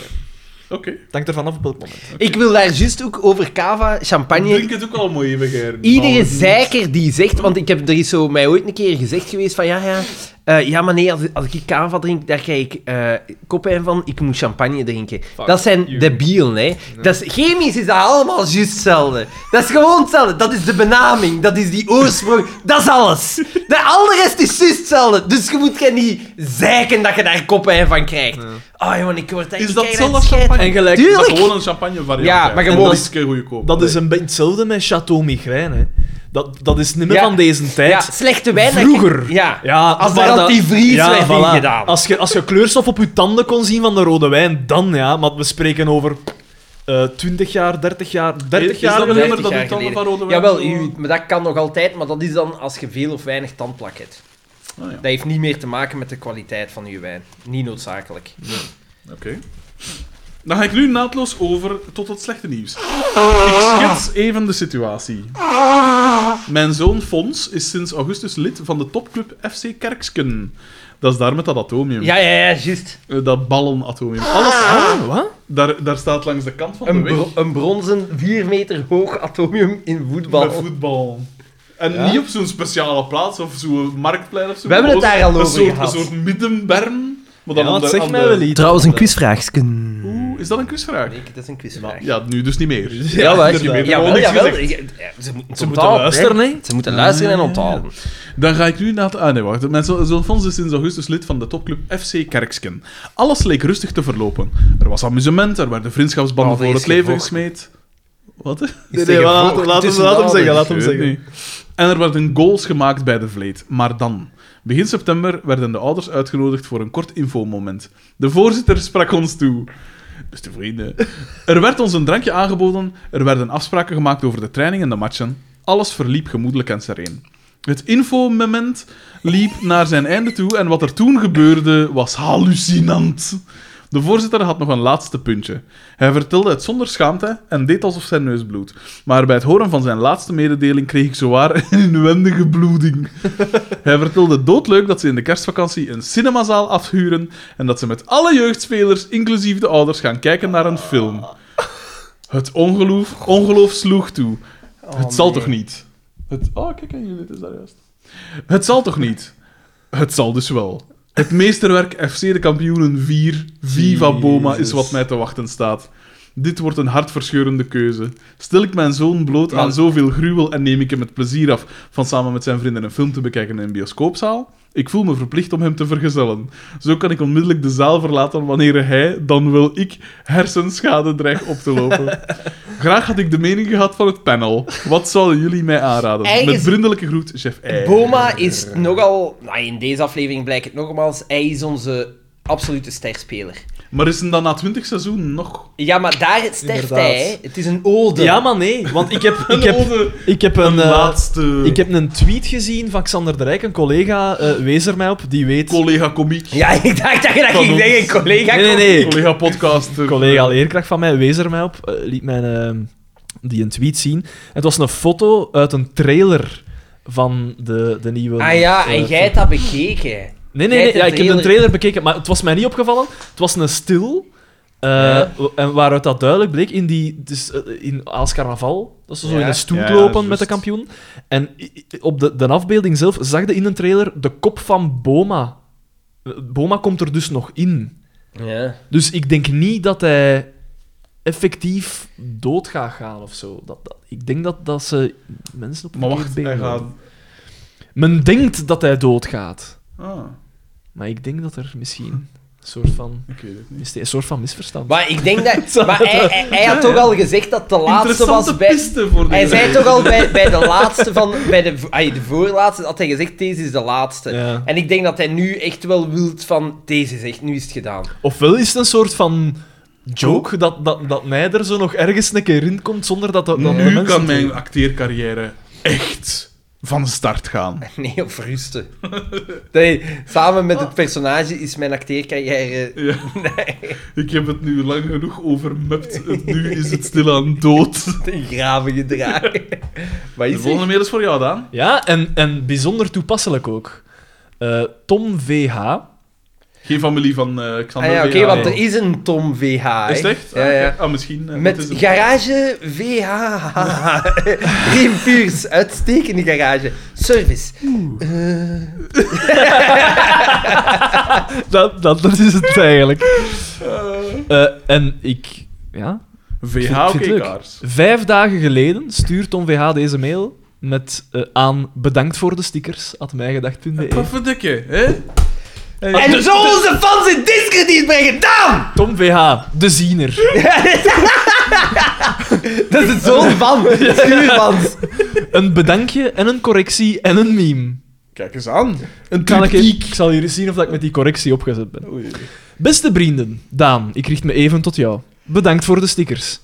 [SPEAKER 2] Oké.
[SPEAKER 3] Dank ervan af op welk moment.
[SPEAKER 4] Ik wil daar juist ook over cava, champagne,
[SPEAKER 2] Drink het ook al mooi even, Geiren.
[SPEAKER 4] Iedere
[SPEAKER 2] Maar-
[SPEAKER 4] zeiker die zegt, want ik heb, er is zo mij ooit een keer gezegd geweest van ja, ja, eh, ja maar nee, als, als ik cava drink, daar krijg ik eh koppijn van, ik moet champagne drinken. dat zijn
[SPEAKER 2] you.
[SPEAKER 4] debielen, hè. Dat is, chemisch is dat allemaal juist hetzelfde. Dat is gewoon hetzelfde. Dat is de benaming, dat is die oorsprong, dat is alles. De, al de rest is juist hetzelfde. Dus je moet geen niet zeiken dat je daar koppijn van krijgt. Oh jongen, ik word echt...
[SPEAKER 2] Is
[SPEAKER 4] ik
[SPEAKER 2] dat
[SPEAKER 4] krijg
[SPEAKER 2] zo
[SPEAKER 4] daar
[SPEAKER 2] dat
[SPEAKER 4] scheid
[SPEAKER 2] champagne?
[SPEAKER 4] van.
[SPEAKER 3] En gelijk-
[SPEAKER 2] Dat is
[SPEAKER 4] Tuurlijk!
[SPEAKER 2] gewoon een champagne variant.
[SPEAKER 4] Ja,
[SPEAKER 2] eigenlijk.
[SPEAKER 4] maar je
[SPEAKER 2] En
[SPEAKER 4] mag-
[SPEAKER 2] dat is keer goedkoop.
[SPEAKER 3] Dat is een beetje hetzelfde met Chateau Migraine. Hè. Dat, dat is niet meer
[SPEAKER 4] Ja.
[SPEAKER 3] van deze tijd.
[SPEAKER 4] Ja, slechte wijn... dat je-
[SPEAKER 3] Vroeger.
[SPEAKER 4] Ja.
[SPEAKER 3] Ja,
[SPEAKER 4] Als
[SPEAKER 3] maar
[SPEAKER 4] daar
[SPEAKER 3] dat-
[SPEAKER 4] antivries werd
[SPEAKER 3] ja, voilà.
[SPEAKER 4] ingedaan.
[SPEAKER 3] Als je, als je kleurstof op je tanden kon zien van de rode wijn, dan ja. Maar we spreken over eh 20 jaar, 30 jaar, 30
[SPEAKER 2] Is
[SPEAKER 3] jaar
[SPEAKER 2] dat
[SPEAKER 3] geleden.
[SPEAKER 2] alleen maar dat die tanden
[SPEAKER 4] geleden.
[SPEAKER 2] van rode wijn
[SPEAKER 4] Jawel,
[SPEAKER 2] zo-
[SPEAKER 4] u- maar dat kan nog altijd, maar dat is dan als je veel of weinig tandplak hebt.
[SPEAKER 2] Ah, ja.
[SPEAKER 4] Dat heeft niet meer te maken met de kwaliteit van uw wijn. Niet noodzakelijk.
[SPEAKER 2] Oké. Dan ga ik nu naadloos over tot het slechte nieuws. Ik schets even de situatie. Mijn zoon Fons is sinds augustus lid van de topclub FC Kerksken. Dat is daar met dat atomium.
[SPEAKER 4] Ja, ja, ja, juist.
[SPEAKER 2] Eh, dat ballonatomium. Alles,
[SPEAKER 3] Ah, wat?
[SPEAKER 2] daar, daar staat langs de kant van de
[SPEAKER 4] Een,
[SPEAKER 2] weg.
[SPEAKER 4] bro- een bronzen 4 meter hoog atomium in voetbal.
[SPEAKER 2] Met voetbal. En
[SPEAKER 4] Ja?
[SPEAKER 2] niet op zo'n speciale plaats of zo'n marktplein of zo.
[SPEAKER 4] We hebben het
[SPEAKER 2] maar
[SPEAKER 4] daar al
[SPEAKER 2] een
[SPEAKER 4] over
[SPEAKER 2] soort,
[SPEAKER 4] gehad.
[SPEAKER 2] Een soort middenberm. Maar dan
[SPEAKER 3] Ja,
[SPEAKER 2] aan de-
[SPEAKER 3] dat zegt
[SPEAKER 2] aan
[SPEAKER 3] mij
[SPEAKER 2] de-
[SPEAKER 3] wel iets.
[SPEAKER 4] quizvraag.
[SPEAKER 2] Oeh, is dat een quizvraag?
[SPEAKER 4] Nee, dat is een quizvraag.
[SPEAKER 2] Ja, nu dus niet meer.
[SPEAKER 4] Ja, wel,
[SPEAKER 2] Dus je weet er
[SPEAKER 4] jawel,
[SPEAKER 2] al niks
[SPEAKER 4] jawel.
[SPEAKER 2] gezegd.
[SPEAKER 4] Ja, Ze moeten, het
[SPEAKER 3] Ze moeten
[SPEAKER 4] onthouden,
[SPEAKER 3] luisteren,
[SPEAKER 4] hè.
[SPEAKER 3] hè?
[SPEAKER 4] Ze moeten luisteren en
[SPEAKER 2] Ah, ja.
[SPEAKER 4] onthouden.
[SPEAKER 2] Dan ga ik nu naar... het- Ah, nee, wacht. Mijn zo- zoon Fons is sinds augustus lid van de topclub FC Kerksken. Alles leek rustig te verlopen. Er was amusement, er werden vriendschapsbanden
[SPEAKER 4] Oh, er
[SPEAKER 2] voor
[SPEAKER 4] is
[SPEAKER 2] het leven
[SPEAKER 4] gevochten.
[SPEAKER 2] gesmeed. Wat?
[SPEAKER 3] Nee,
[SPEAKER 4] Is
[SPEAKER 3] nee,
[SPEAKER 4] er
[SPEAKER 3] laat-
[SPEAKER 4] gevolgd
[SPEAKER 3] laat hem-
[SPEAKER 4] tussen
[SPEAKER 3] laat hem
[SPEAKER 4] de
[SPEAKER 3] zeggen,
[SPEAKER 4] ouders?
[SPEAKER 3] laat hem
[SPEAKER 2] Ik weet
[SPEAKER 3] zeggen.
[SPEAKER 2] niet. En er werden goals gemaakt bij de vleet. Maar dan... Begin september werden de ouders uitgenodigd voor een kort infomoment. De voorzitter sprak ons toe. Beste vrienden. Er werd ons een drankje aangeboden, er werden afspraken gemaakt over de training en de matchen. Alles verliep gemoedelijk en sereen. Het infomoment liep naar zijn einde toe en wat er toen gebeurde was hallucinant. De voorzitter had nog een laatste puntje. Hij vertelde het zonder schaamte en deed alsof zijn neus bloedt. Maar bij het horen van zijn laatste mededeling kreeg ik zowaar een inwendige bloeding. Hij vertelde doodleuk dat ze in de kerstvakantie een cinemazaal afhuren en dat ze met alle jeugdspelers, inclusief de ouders, gaan kijken naar een film. Het ongeloof, ongeloof sloeg toe. het zal
[SPEAKER 4] nee.
[SPEAKER 2] toch niet? Oh, Het, oh, kijk, en jullie, het is daar juist. Het zal toch niet? Het zal dus wel. Het meesterwerk FC de kampioenen 4, Viva Boma, is
[SPEAKER 3] Jezus.
[SPEAKER 2] wat mij te wachten staat. Dit wordt een hartverscheurende keuze. Stel ik mijn zoon bloot aan zoveel gruwel en neem ik hem het plezier af van samen met zijn vrienden een film te bekijken in een bioscoopzaal? Ik voel me verplicht om hem te vergezellen. Zo kan ik onmiddellijk de zaal verlaten wanneer hij, dan wel ik, hersenschade dreig op te lopen. Graag had ik de mening gehad van het panel. Wat zouden jullie mij aanraden?
[SPEAKER 4] Hij
[SPEAKER 2] Met
[SPEAKER 4] is-
[SPEAKER 2] vriendelijke groet, chef Eier.
[SPEAKER 4] Boma is nogal... Nou, in deze aflevering blijkt het nogmaals. Hij is onze absolute sterspeler.
[SPEAKER 2] Maar is hem dan na 20 seizoenen nog?
[SPEAKER 4] Ja, maar daar sterft
[SPEAKER 3] Inderdaad.
[SPEAKER 4] hij. hè. Het is een ode.
[SPEAKER 3] Ja, maar nee. Want ik heb, ik
[SPEAKER 2] Een
[SPEAKER 3] heb,
[SPEAKER 2] ode-
[SPEAKER 3] ik heb een,
[SPEAKER 2] een
[SPEAKER 3] eh,
[SPEAKER 2] laatste
[SPEAKER 3] ik heb een tweet gezien van Xander de Rijk, een collega, eh, wees er mij op, die weet...
[SPEAKER 2] collega komiek,
[SPEAKER 4] Ja, ik dacht dat je dat
[SPEAKER 2] Van
[SPEAKER 4] ging
[SPEAKER 2] ons.
[SPEAKER 4] zeggen, collega.
[SPEAKER 3] nee, nee, nee.
[SPEAKER 2] collega podcaster.
[SPEAKER 3] collega leerkracht van mij wees er mij op, eh, liet mij eh, die een tweet zien. Het was een foto uit een trailer van de, de nieuwe...
[SPEAKER 4] Ah ja,
[SPEAKER 3] eh,
[SPEAKER 4] en jij hebt dat bekeken.
[SPEAKER 3] Nee, nee,
[SPEAKER 4] Jij
[SPEAKER 3] nee.
[SPEAKER 4] hebt
[SPEAKER 3] Ja,
[SPEAKER 4] de
[SPEAKER 3] ik heb een
[SPEAKER 4] trailer-
[SPEAKER 3] trailer bekeken, maar het was mij niet opgevallen. Het was een stil. eh,
[SPEAKER 4] Ja.
[SPEAKER 3] wa- En waaruit dat duidelijk bleek, in, die, dus, eh, in Aals Carnaval, dat ze zo
[SPEAKER 4] Ja.
[SPEAKER 3] in een stoel
[SPEAKER 2] Ja,
[SPEAKER 3] lopen
[SPEAKER 2] juist.
[SPEAKER 3] met de kampioen. En i- i- op de, de afbeelding zelf zag je in een trailer de kop van Boma. Eh, Boma komt er dus nog in.
[SPEAKER 4] Ja.
[SPEAKER 3] Dus ik denk niet dat hij effectief dood gaat gaan of zo. Dat, dat- ik denk dat, dat ze mensen op een
[SPEAKER 2] Maar wacht,
[SPEAKER 3] verkeerd
[SPEAKER 2] hij
[SPEAKER 3] been
[SPEAKER 2] gaat...
[SPEAKER 3] houden. Men denkt dat hij doodgaat.
[SPEAKER 2] Ah,
[SPEAKER 3] Maar ik denk dat er misschien een soort van,
[SPEAKER 2] ik weet het niet.
[SPEAKER 3] mis- een soort van misverstand
[SPEAKER 4] Maar ik denk dat... Maar hij, hij, hij had toch al gezegd dat de laatste was
[SPEAKER 2] Interessante
[SPEAKER 4] bij...
[SPEAKER 2] piste voor de
[SPEAKER 4] Hij zei toch al bij, bij de laatste van... Bij de, ay, de voorlaatste had hij gezegd, deze is de laatste.
[SPEAKER 3] Ja.
[SPEAKER 4] En ik denk dat hij nu echt wel wilt van... Deze is echt, nu is het gedaan.
[SPEAKER 3] Ofwel is het een soort van joke dat, dat, dat mij er zo nog ergens een keer in komt zonder dat, dat, dat de
[SPEAKER 2] Nu
[SPEAKER 3] mensen...
[SPEAKER 2] kan mijn acteercarrière echt van start gaan.
[SPEAKER 4] Nee, of rusten. Nee, samen met het personage is mijn acteercarrière...
[SPEAKER 2] Ja. Ik heb het nu lang genoeg overmept. Het- Nu is het stilaan dood.
[SPEAKER 4] te graven gedragen. Maar
[SPEAKER 2] De
[SPEAKER 4] is
[SPEAKER 2] volgende mail is voor jou, Daan.
[SPEAKER 3] Ja, en, en bijzonder toepasselijk ook. Eh, Tom VH.
[SPEAKER 2] Geen familie van eh Xander
[SPEAKER 4] Ah ja, oké,
[SPEAKER 2] VH.
[SPEAKER 4] want er is een Tom VH. hè.
[SPEAKER 2] Is het echt?
[SPEAKER 4] Ja,
[SPEAKER 2] Ah,
[SPEAKER 4] ja.
[SPEAKER 2] oké. Ah, misschien. eh, dat
[SPEAKER 4] Met
[SPEAKER 2] is hem.
[SPEAKER 4] garage VH. Riem Puurs, uitstekende garage. Service.
[SPEAKER 3] Dat, dat, dat is het eigenlijk. Eh, en ik... Ja,
[SPEAKER 2] VH
[SPEAKER 3] Ik vind het
[SPEAKER 2] kaars.
[SPEAKER 3] Vijf dagen geleden stuurt Tom VH deze mail met eh, aan bedankt voor de stickers, at mijgedacht.be.
[SPEAKER 2] Pafferdikke, hè?
[SPEAKER 4] En zo onze fans in discrediet brengen, dan!
[SPEAKER 3] Tom VH, de ziener.
[SPEAKER 4] Dat is het zo'n van. Stuurfans.
[SPEAKER 3] Een bedankje en een correctie en een meme.
[SPEAKER 2] Kijk eens aan.
[SPEAKER 3] Een kan ik, ik zal hier eens zien of dat ik met die correctie opgezet ben.
[SPEAKER 2] Oei.
[SPEAKER 3] Beste vrienden, Daan, ik richt me even tot jou. Bedankt voor de stickers.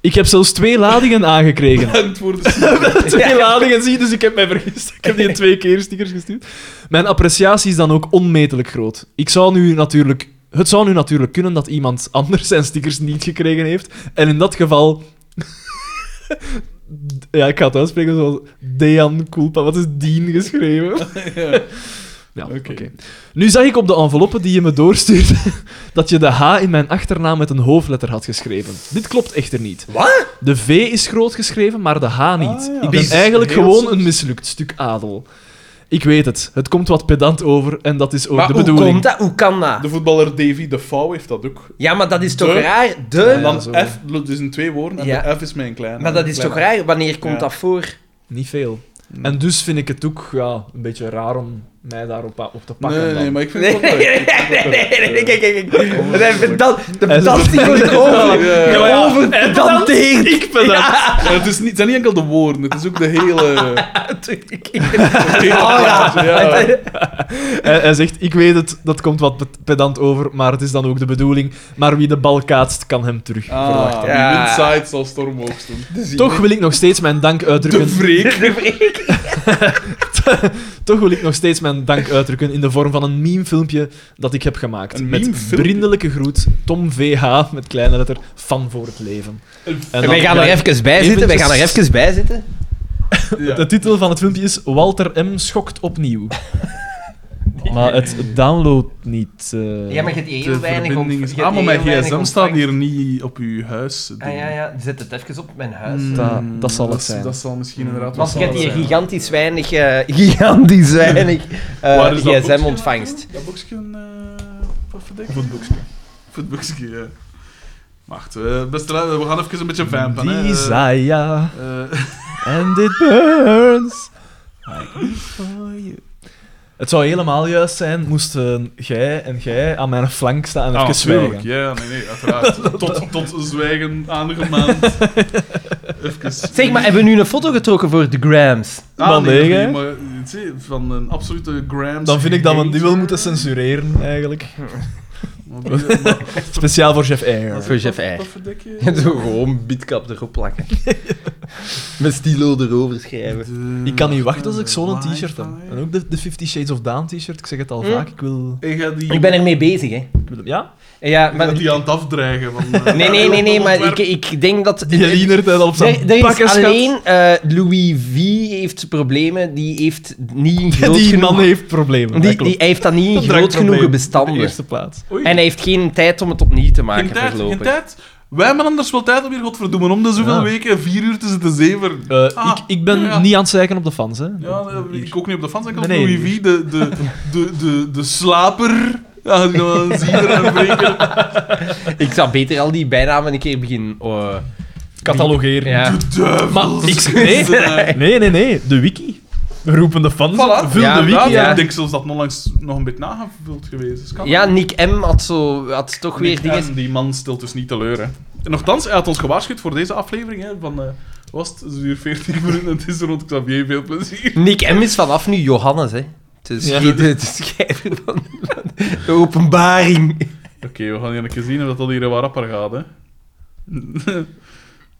[SPEAKER 3] Ik heb zelfs twee ladingen aangekregen.
[SPEAKER 2] Bedankt voor de
[SPEAKER 3] twee ladingen zie, dus ik heb mij vergist. Ik heb die twee keer stickers gestuurd. Mijn appreciatie is dan ook onmetelijk groot. Ik zou nu natuurlijk, het zou nu natuurlijk kunnen dat iemand anders zijn stickers niet gekregen heeft. En in dat geval... ja, ik ga het uitspreken zoals Dean Kulpa. Wat is Dien geschreven?
[SPEAKER 2] Ja.
[SPEAKER 3] Ja, oké.
[SPEAKER 2] Oké.
[SPEAKER 3] Nu zag ik op de enveloppe die je me doorstuurde dat je de H in mijn achternaam met een hoofdletter had geschreven. Dit klopt echter niet.
[SPEAKER 4] Wat?
[SPEAKER 3] De V is groot geschreven, maar de H niet.
[SPEAKER 2] Ah, ja.
[SPEAKER 3] Ik
[SPEAKER 2] Dat
[SPEAKER 3] ben
[SPEAKER 2] is
[SPEAKER 3] eigenlijk
[SPEAKER 2] heel
[SPEAKER 3] gewoon
[SPEAKER 2] soms.
[SPEAKER 3] een mislukt stuk adel. Ik weet het, het komt wat pedant over en dat is ook
[SPEAKER 4] Maar
[SPEAKER 3] de
[SPEAKER 4] hoe
[SPEAKER 3] bedoeling.
[SPEAKER 4] komt dat? Hoe kan dat?
[SPEAKER 2] De voetballer Davy de Fouw heeft dat ook.
[SPEAKER 4] Ja, maar dat is toch
[SPEAKER 2] De-
[SPEAKER 4] raar?
[SPEAKER 2] En
[SPEAKER 4] De...
[SPEAKER 2] dan
[SPEAKER 3] Ja, zo.
[SPEAKER 2] F, dat is in twee woorden, en
[SPEAKER 4] Ja.
[SPEAKER 2] de F is mijn kleine.
[SPEAKER 4] Maar dat is toch
[SPEAKER 2] Kleine.
[SPEAKER 4] raar? Wanneer komt
[SPEAKER 2] Ja.
[SPEAKER 4] dat voor?
[SPEAKER 3] Niet veel. En dus vind ik het ook ja, een beetje raar om mij daarop a- op te pakken.
[SPEAKER 2] Nee,
[SPEAKER 3] dan.
[SPEAKER 2] nee, maar ik Oh, vind
[SPEAKER 4] Nee,
[SPEAKER 2] het wel
[SPEAKER 4] nee,
[SPEAKER 2] leuk.
[SPEAKER 4] nee, nee, nee, nee, kijk, kijk, kijk. Dat is pedant- De
[SPEAKER 3] Hij is
[SPEAKER 4] pedantie wordt over.
[SPEAKER 2] Oh, Ja, ja, ja.
[SPEAKER 4] Geoverpedanteerd.
[SPEAKER 3] Ik ben dat.
[SPEAKER 2] Ja, het, is niet, het zijn niet enkel de woorden, het is ook de hele... Het hele
[SPEAKER 4] Oh, ja.
[SPEAKER 2] plaatje, ja.
[SPEAKER 3] Hij, hij zegt, ik weet het, dat komt wat pe- pedant over, maar het is dan ook de bedoeling. Maar wie de bal kaatst, kan hem terug verwachten.
[SPEAKER 2] Ah,
[SPEAKER 4] Ja.
[SPEAKER 2] ja. Inside zal storm hoogsten.
[SPEAKER 3] Toch wil ik nog steeds mijn dank
[SPEAKER 2] De
[SPEAKER 3] uitdrukken.
[SPEAKER 2] vreek.
[SPEAKER 4] De vreek.
[SPEAKER 3] Toch wil ik nog steeds mijn dank uitdrukken in de vorm van een memefilmpje dat ik heb gemaakt.
[SPEAKER 2] Een
[SPEAKER 3] met
[SPEAKER 2] memefilmpje?
[SPEAKER 3] vriendelijke groet, Tom VH, met kleine letter, van voor het leven. En
[SPEAKER 4] wij gaan er even bij zitten. Wij gaan er even bij zitten.
[SPEAKER 2] Ja.
[SPEAKER 3] De titel van het filmpje is Walter M. schokt opnieuw. maar het download niet. eh.
[SPEAKER 4] Ja, maar je hebt hier heel
[SPEAKER 2] de
[SPEAKER 4] weinig
[SPEAKER 2] verbinding
[SPEAKER 4] op.
[SPEAKER 2] is... Ah, maar mijn gsm staat hier niet op uw huis.
[SPEAKER 4] Ah ja, ja. Zet het even op mijn huis.
[SPEAKER 2] Hmm,
[SPEAKER 3] Dat- dat zal het
[SPEAKER 2] is-
[SPEAKER 3] zijn.
[SPEAKER 2] Dat zal misschien inderdaad
[SPEAKER 4] Want
[SPEAKER 2] wel
[SPEAKER 4] je hebt
[SPEAKER 2] zal
[SPEAKER 4] hier
[SPEAKER 2] het zijn.
[SPEAKER 4] gigantisch weinig, eh, gigantisch weinig eh,
[SPEAKER 2] Waar is dat boekje
[SPEAKER 4] gsm-ontvangst.
[SPEAKER 2] naartoe? Dat boekje... eh, Wat verdikt? Voetboekje. Voetboekje, ja. Wacht, eh, beste lui, we gaan even een beetje vampen. hè.
[SPEAKER 3] Desire,
[SPEAKER 2] Eh,
[SPEAKER 3] and it burns. I live for you. Het zou helemaal juist zijn, moesten jij en jij aan mijn flank staan en
[SPEAKER 2] Ah,
[SPEAKER 3] even
[SPEAKER 2] tuurlijk,
[SPEAKER 3] zwijgen.
[SPEAKER 2] Ja, nee, nee, uiteraard. tot, tot zwijgen aangemaand. Even.
[SPEAKER 4] Zeg maar, hebben we nu een foto getrokken voor de Grams?
[SPEAKER 2] Ah, nee,
[SPEAKER 3] Bandegen,
[SPEAKER 2] nee,
[SPEAKER 3] hè?
[SPEAKER 2] maar eh, zie je, van een absolute Grams.
[SPEAKER 3] Dan vind ik dat we die wel
[SPEAKER 2] hater.
[SPEAKER 3] moeten censureren, eigenlijk.
[SPEAKER 2] Maar die- maar-
[SPEAKER 3] Speciaal voor Chef Air.
[SPEAKER 4] Voor Jeff
[SPEAKER 2] Wat
[SPEAKER 4] Eyre.
[SPEAKER 2] verdik je?
[SPEAKER 1] Zo gewoon bidkap erop plakken. Met stilo erover schrijven.
[SPEAKER 2] De-
[SPEAKER 3] Ik kan niet wachten als ik zo'n
[SPEAKER 2] Wi-Fi.
[SPEAKER 3] t-shirt heb. En ook de, de Fifty Shades of Down t-shirt, ik zeg het al
[SPEAKER 4] Hm?
[SPEAKER 3] vaak, ik wil,
[SPEAKER 2] Ik ga die,
[SPEAKER 4] Ik ben ermee bezig, hè.
[SPEAKER 3] ik wil hem- Ja?
[SPEAKER 4] Ja,
[SPEAKER 2] ik ga
[SPEAKER 4] maar...
[SPEAKER 2] die aan het afdreigen. Van, eh,
[SPEAKER 4] Nee, nee, nee, nee, maar ik,
[SPEAKER 2] ontwerp.
[SPEAKER 4] ik denk dat...
[SPEAKER 3] Die Jeliener tijd al op
[SPEAKER 4] Er,
[SPEAKER 3] zijn
[SPEAKER 4] er
[SPEAKER 3] pakken
[SPEAKER 4] is
[SPEAKER 3] schat.
[SPEAKER 4] alleen eh, Louis V heeft problemen, die heeft niet een groot
[SPEAKER 3] Die
[SPEAKER 4] genoeg...
[SPEAKER 3] man heeft problemen.
[SPEAKER 4] die,
[SPEAKER 3] dat klopt.
[SPEAKER 4] die hij heeft dat niet in
[SPEAKER 3] Een
[SPEAKER 4] groot
[SPEAKER 3] drankprobleem.
[SPEAKER 4] genoeg
[SPEAKER 3] In de
[SPEAKER 4] bestanden.
[SPEAKER 3] eerste plaats.
[SPEAKER 2] Oei,
[SPEAKER 4] En hij heeft geen tijd om Ah, het opnieuw te maken
[SPEAKER 2] geen tijd,
[SPEAKER 4] voorlopig.
[SPEAKER 2] geen tijd. Wij hebben anders wel tijd om hier, godverdomme, om de zoveel
[SPEAKER 3] Ja.
[SPEAKER 2] weken, vier uur te zitten zeven.
[SPEAKER 3] Eh,
[SPEAKER 2] Ah,
[SPEAKER 3] ik, ik ben
[SPEAKER 2] ja.
[SPEAKER 3] niet aan het zeiken op de fans, hè.
[SPEAKER 2] Ja, eh, ik ook niet op de fans, ik als
[SPEAKER 3] Nee, nee,
[SPEAKER 2] Louis V, de, de, de, de, de slaper. Ja, die dan een ziener en een breker.
[SPEAKER 4] Ik zou beter al die bijnamen een keer beginnen... eh,
[SPEAKER 3] Catalogeren.
[SPEAKER 4] ja.
[SPEAKER 2] De duivel.
[SPEAKER 3] Maar ik... Nee. nee, nee, nee. De wiki. We roepen de fans
[SPEAKER 4] Voilà.
[SPEAKER 3] op. Vul
[SPEAKER 4] Ja,
[SPEAKER 3] de wiki.
[SPEAKER 2] Ja,
[SPEAKER 4] ja.
[SPEAKER 2] Ik denk zelfs dat onlangs nog een beetje nagevuld geweest is. Kan
[SPEAKER 4] ja,
[SPEAKER 2] dat?
[SPEAKER 4] Nick M had, zo, had toch weer
[SPEAKER 2] Nick
[SPEAKER 4] dingen...
[SPEAKER 2] M, die man stelt dus niet teleur. Hè. En nogthans, hij had ons gewaarschuwd voor deze aflevering. Hè, van, eh, was het Ze duurt 40 minuten en het is rond Xavier. Veel plezier.
[SPEAKER 4] Nick M is vanaf nu Johannes, hè. Dus
[SPEAKER 3] Ja.
[SPEAKER 4] de schrijver van, van de openbaring.
[SPEAKER 2] Oké, we gaan hier een keer zien of dat hier wat rapper gaat. Hè.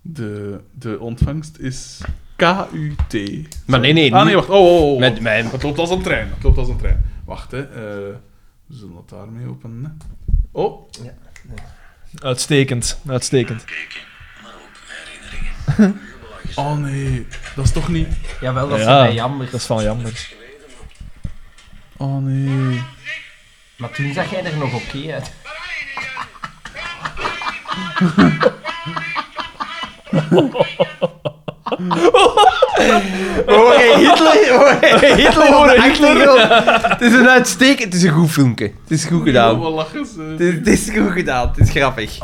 [SPEAKER 2] De, de ontvangst is KUT.
[SPEAKER 4] Maar nee, nee.
[SPEAKER 2] Ah
[SPEAKER 4] nu-
[SPEAKER 2] nee, wacht. Oh, oh, oh.
[SPEAKER 4] Met mijn...
[SPEAKER 2] Het loopt als een trein. Het loopt als een trein. Wacht, hè. eh, we zullen dat daarmee openen. hè. Oh,
[SPEAKER 3] Uitstekend. Uitstekend.
[SPEAKER 2] oh nee. Dat is toch niet...
[SPEAKER 4] Jawel, dat
[SPEAKER 3] Ja.
[SPEAKER 4] is mij jammer.
[SPEAKER 3] Dat is van jammer.
[SPEAKER 2] Oh nee.
[SPEAKER 4] Maar toen zag jij er nog oké uit. Hoor je Hitler? Hoor je Hitler? op de achtergrond? Het is een uitstekend... Het is een goed filmpje. Het is goed
[SPEAKER 2] Ja,
[SPEAKER 4] gedaan.
[SPEAKER 2] wat lachen ze.
[SPEAKER 4] Het is, het is goed gedaan. Het is grappig.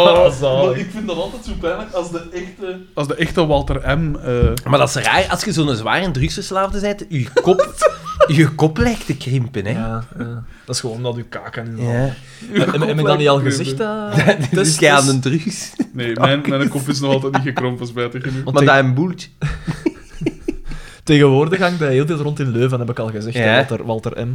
[SPEAKER 2] Oh,
[SPEAKER 3] Zalig.
[SPEAKER 2] maar ik vind dat altijd zo pijnlijk als de echte... Als de echte Walter M... eh,
[SPEAKER 4] Maar dat is raar. Als je zo'n zware drugsverslaafde bent, je kop, je kop lijkt te krimpen, hè.
[SPEAKER 3] Ja, ja. Dat is gewoon dat uw kaak aan je
[SPEAKER 4] Ja.
[SPEAKER 3] Heb heb ik dat niet al gezegd? eh? Dat
[SPEAKER 4] Dus jij aan de drugs.
[SPEAKER 2] Nee, mijn, mijn kop is nog altijd niet gekrompen, spijtig genoeg.
[SPEAKER 3] Want
[SPEAKER 4] Maar
[SPEAKER 3] ik-
[SPEAKER 4] dat een boeltje.
[SPEAKER 3] Tegenwoordig hangt hij heel de tijd rond in Leuven, heb ik al gezegd,
[SPEAKER 4] Ja.
[SPEAKER 3] hè, Walter, Walter M.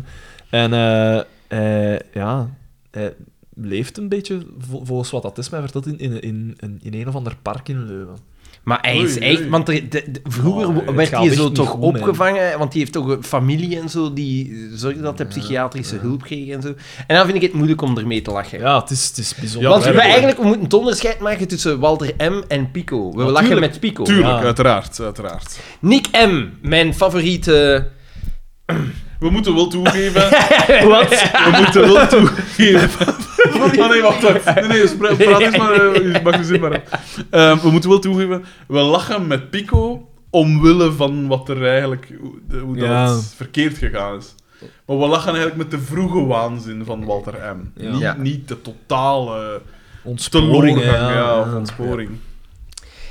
[SPEAKER 3] En eh, eh, ja, hij leeft een beetje, vol- volgens wat dat is mij verteld, in, in, in, in, in een of ander park in Leuven.
[SPEAKER 4] Maar hij is
[SPEAKER 2] Oei,
[SPEAKER 4] echt...
[SPEAKER 2] oei.
[SPEAKER 4] Want er- de- de-
[SPEAKER 3] Oh,
[SPEAKER 4] vroeger
[SPEAKER 3] nee,
[SPEAKER 4] wo-
[SPEAKER 3] het
[SPEAKER 4] werd
[SPEAKER 3] gaat
[SPEAKER 4] hij
[SPEAKER 3] echt
[SPEAKER 4] zo
[SPEAKER 3] niet
[SPEAKER 4] toch
[SPEAKER 3] goed, man.
[SPEAKER 4] opgevangen, want die heeft toch een familie en zo, die zorgde dat hij psychiatrische hulp kreeg en zo. En dan vind ik het moeilijk om ermee te lachen.
[SPEAKER 3] Ja, het is, het is bijzonder.
[SPEAKER 4] want we,
[SPEAKER 2] werkelijk.
[SPEAKER 4] eigenlijk, we moeten het onderscheid maken tussen Walter M. en Pico. We lachen met Pico.
[SPEAKER 2] Tuurlijk,
[SPEAKER 3] Ja.
[SPEAKER 2] uiteraard, uiteraard.
[SPEAKER 4] Nick M. Mijn favoriete...
[SPEAKER 2] We moeten wel toegeven...
[SPEAKER 3] Wat?
[SPEAKER 2] We moeten wel toegeven. Oh nee, wacht wacht. Nee, nee, spra- praat eens maar. eh, je Mag je zin maar. hebben. Ehm, we moeten wel toegeven. We lachen met Pico omwille van wat er eigenlijk. hoe- de- hoe dat
[SPEAKER 3] Ja.
[SPEAKER 2] verkeerd gegaan is. Maar we lachen eigenlijk met de vroege waanzin van Walter M.
[SPEAKER 3] Ja.
[SPEAKER 2] Niet,
[SPEAKER 4] Ja.
[SPEAKER 2] niet de totale
[SPEAKER 3] Ontsporing,
[SPEAKER 2] teleurgang
[SPEAKER 3] hè,
[SPEAKER 2] ja,
[SPEAKER 3] ja.
[SPEAKER 2] of ontsporing.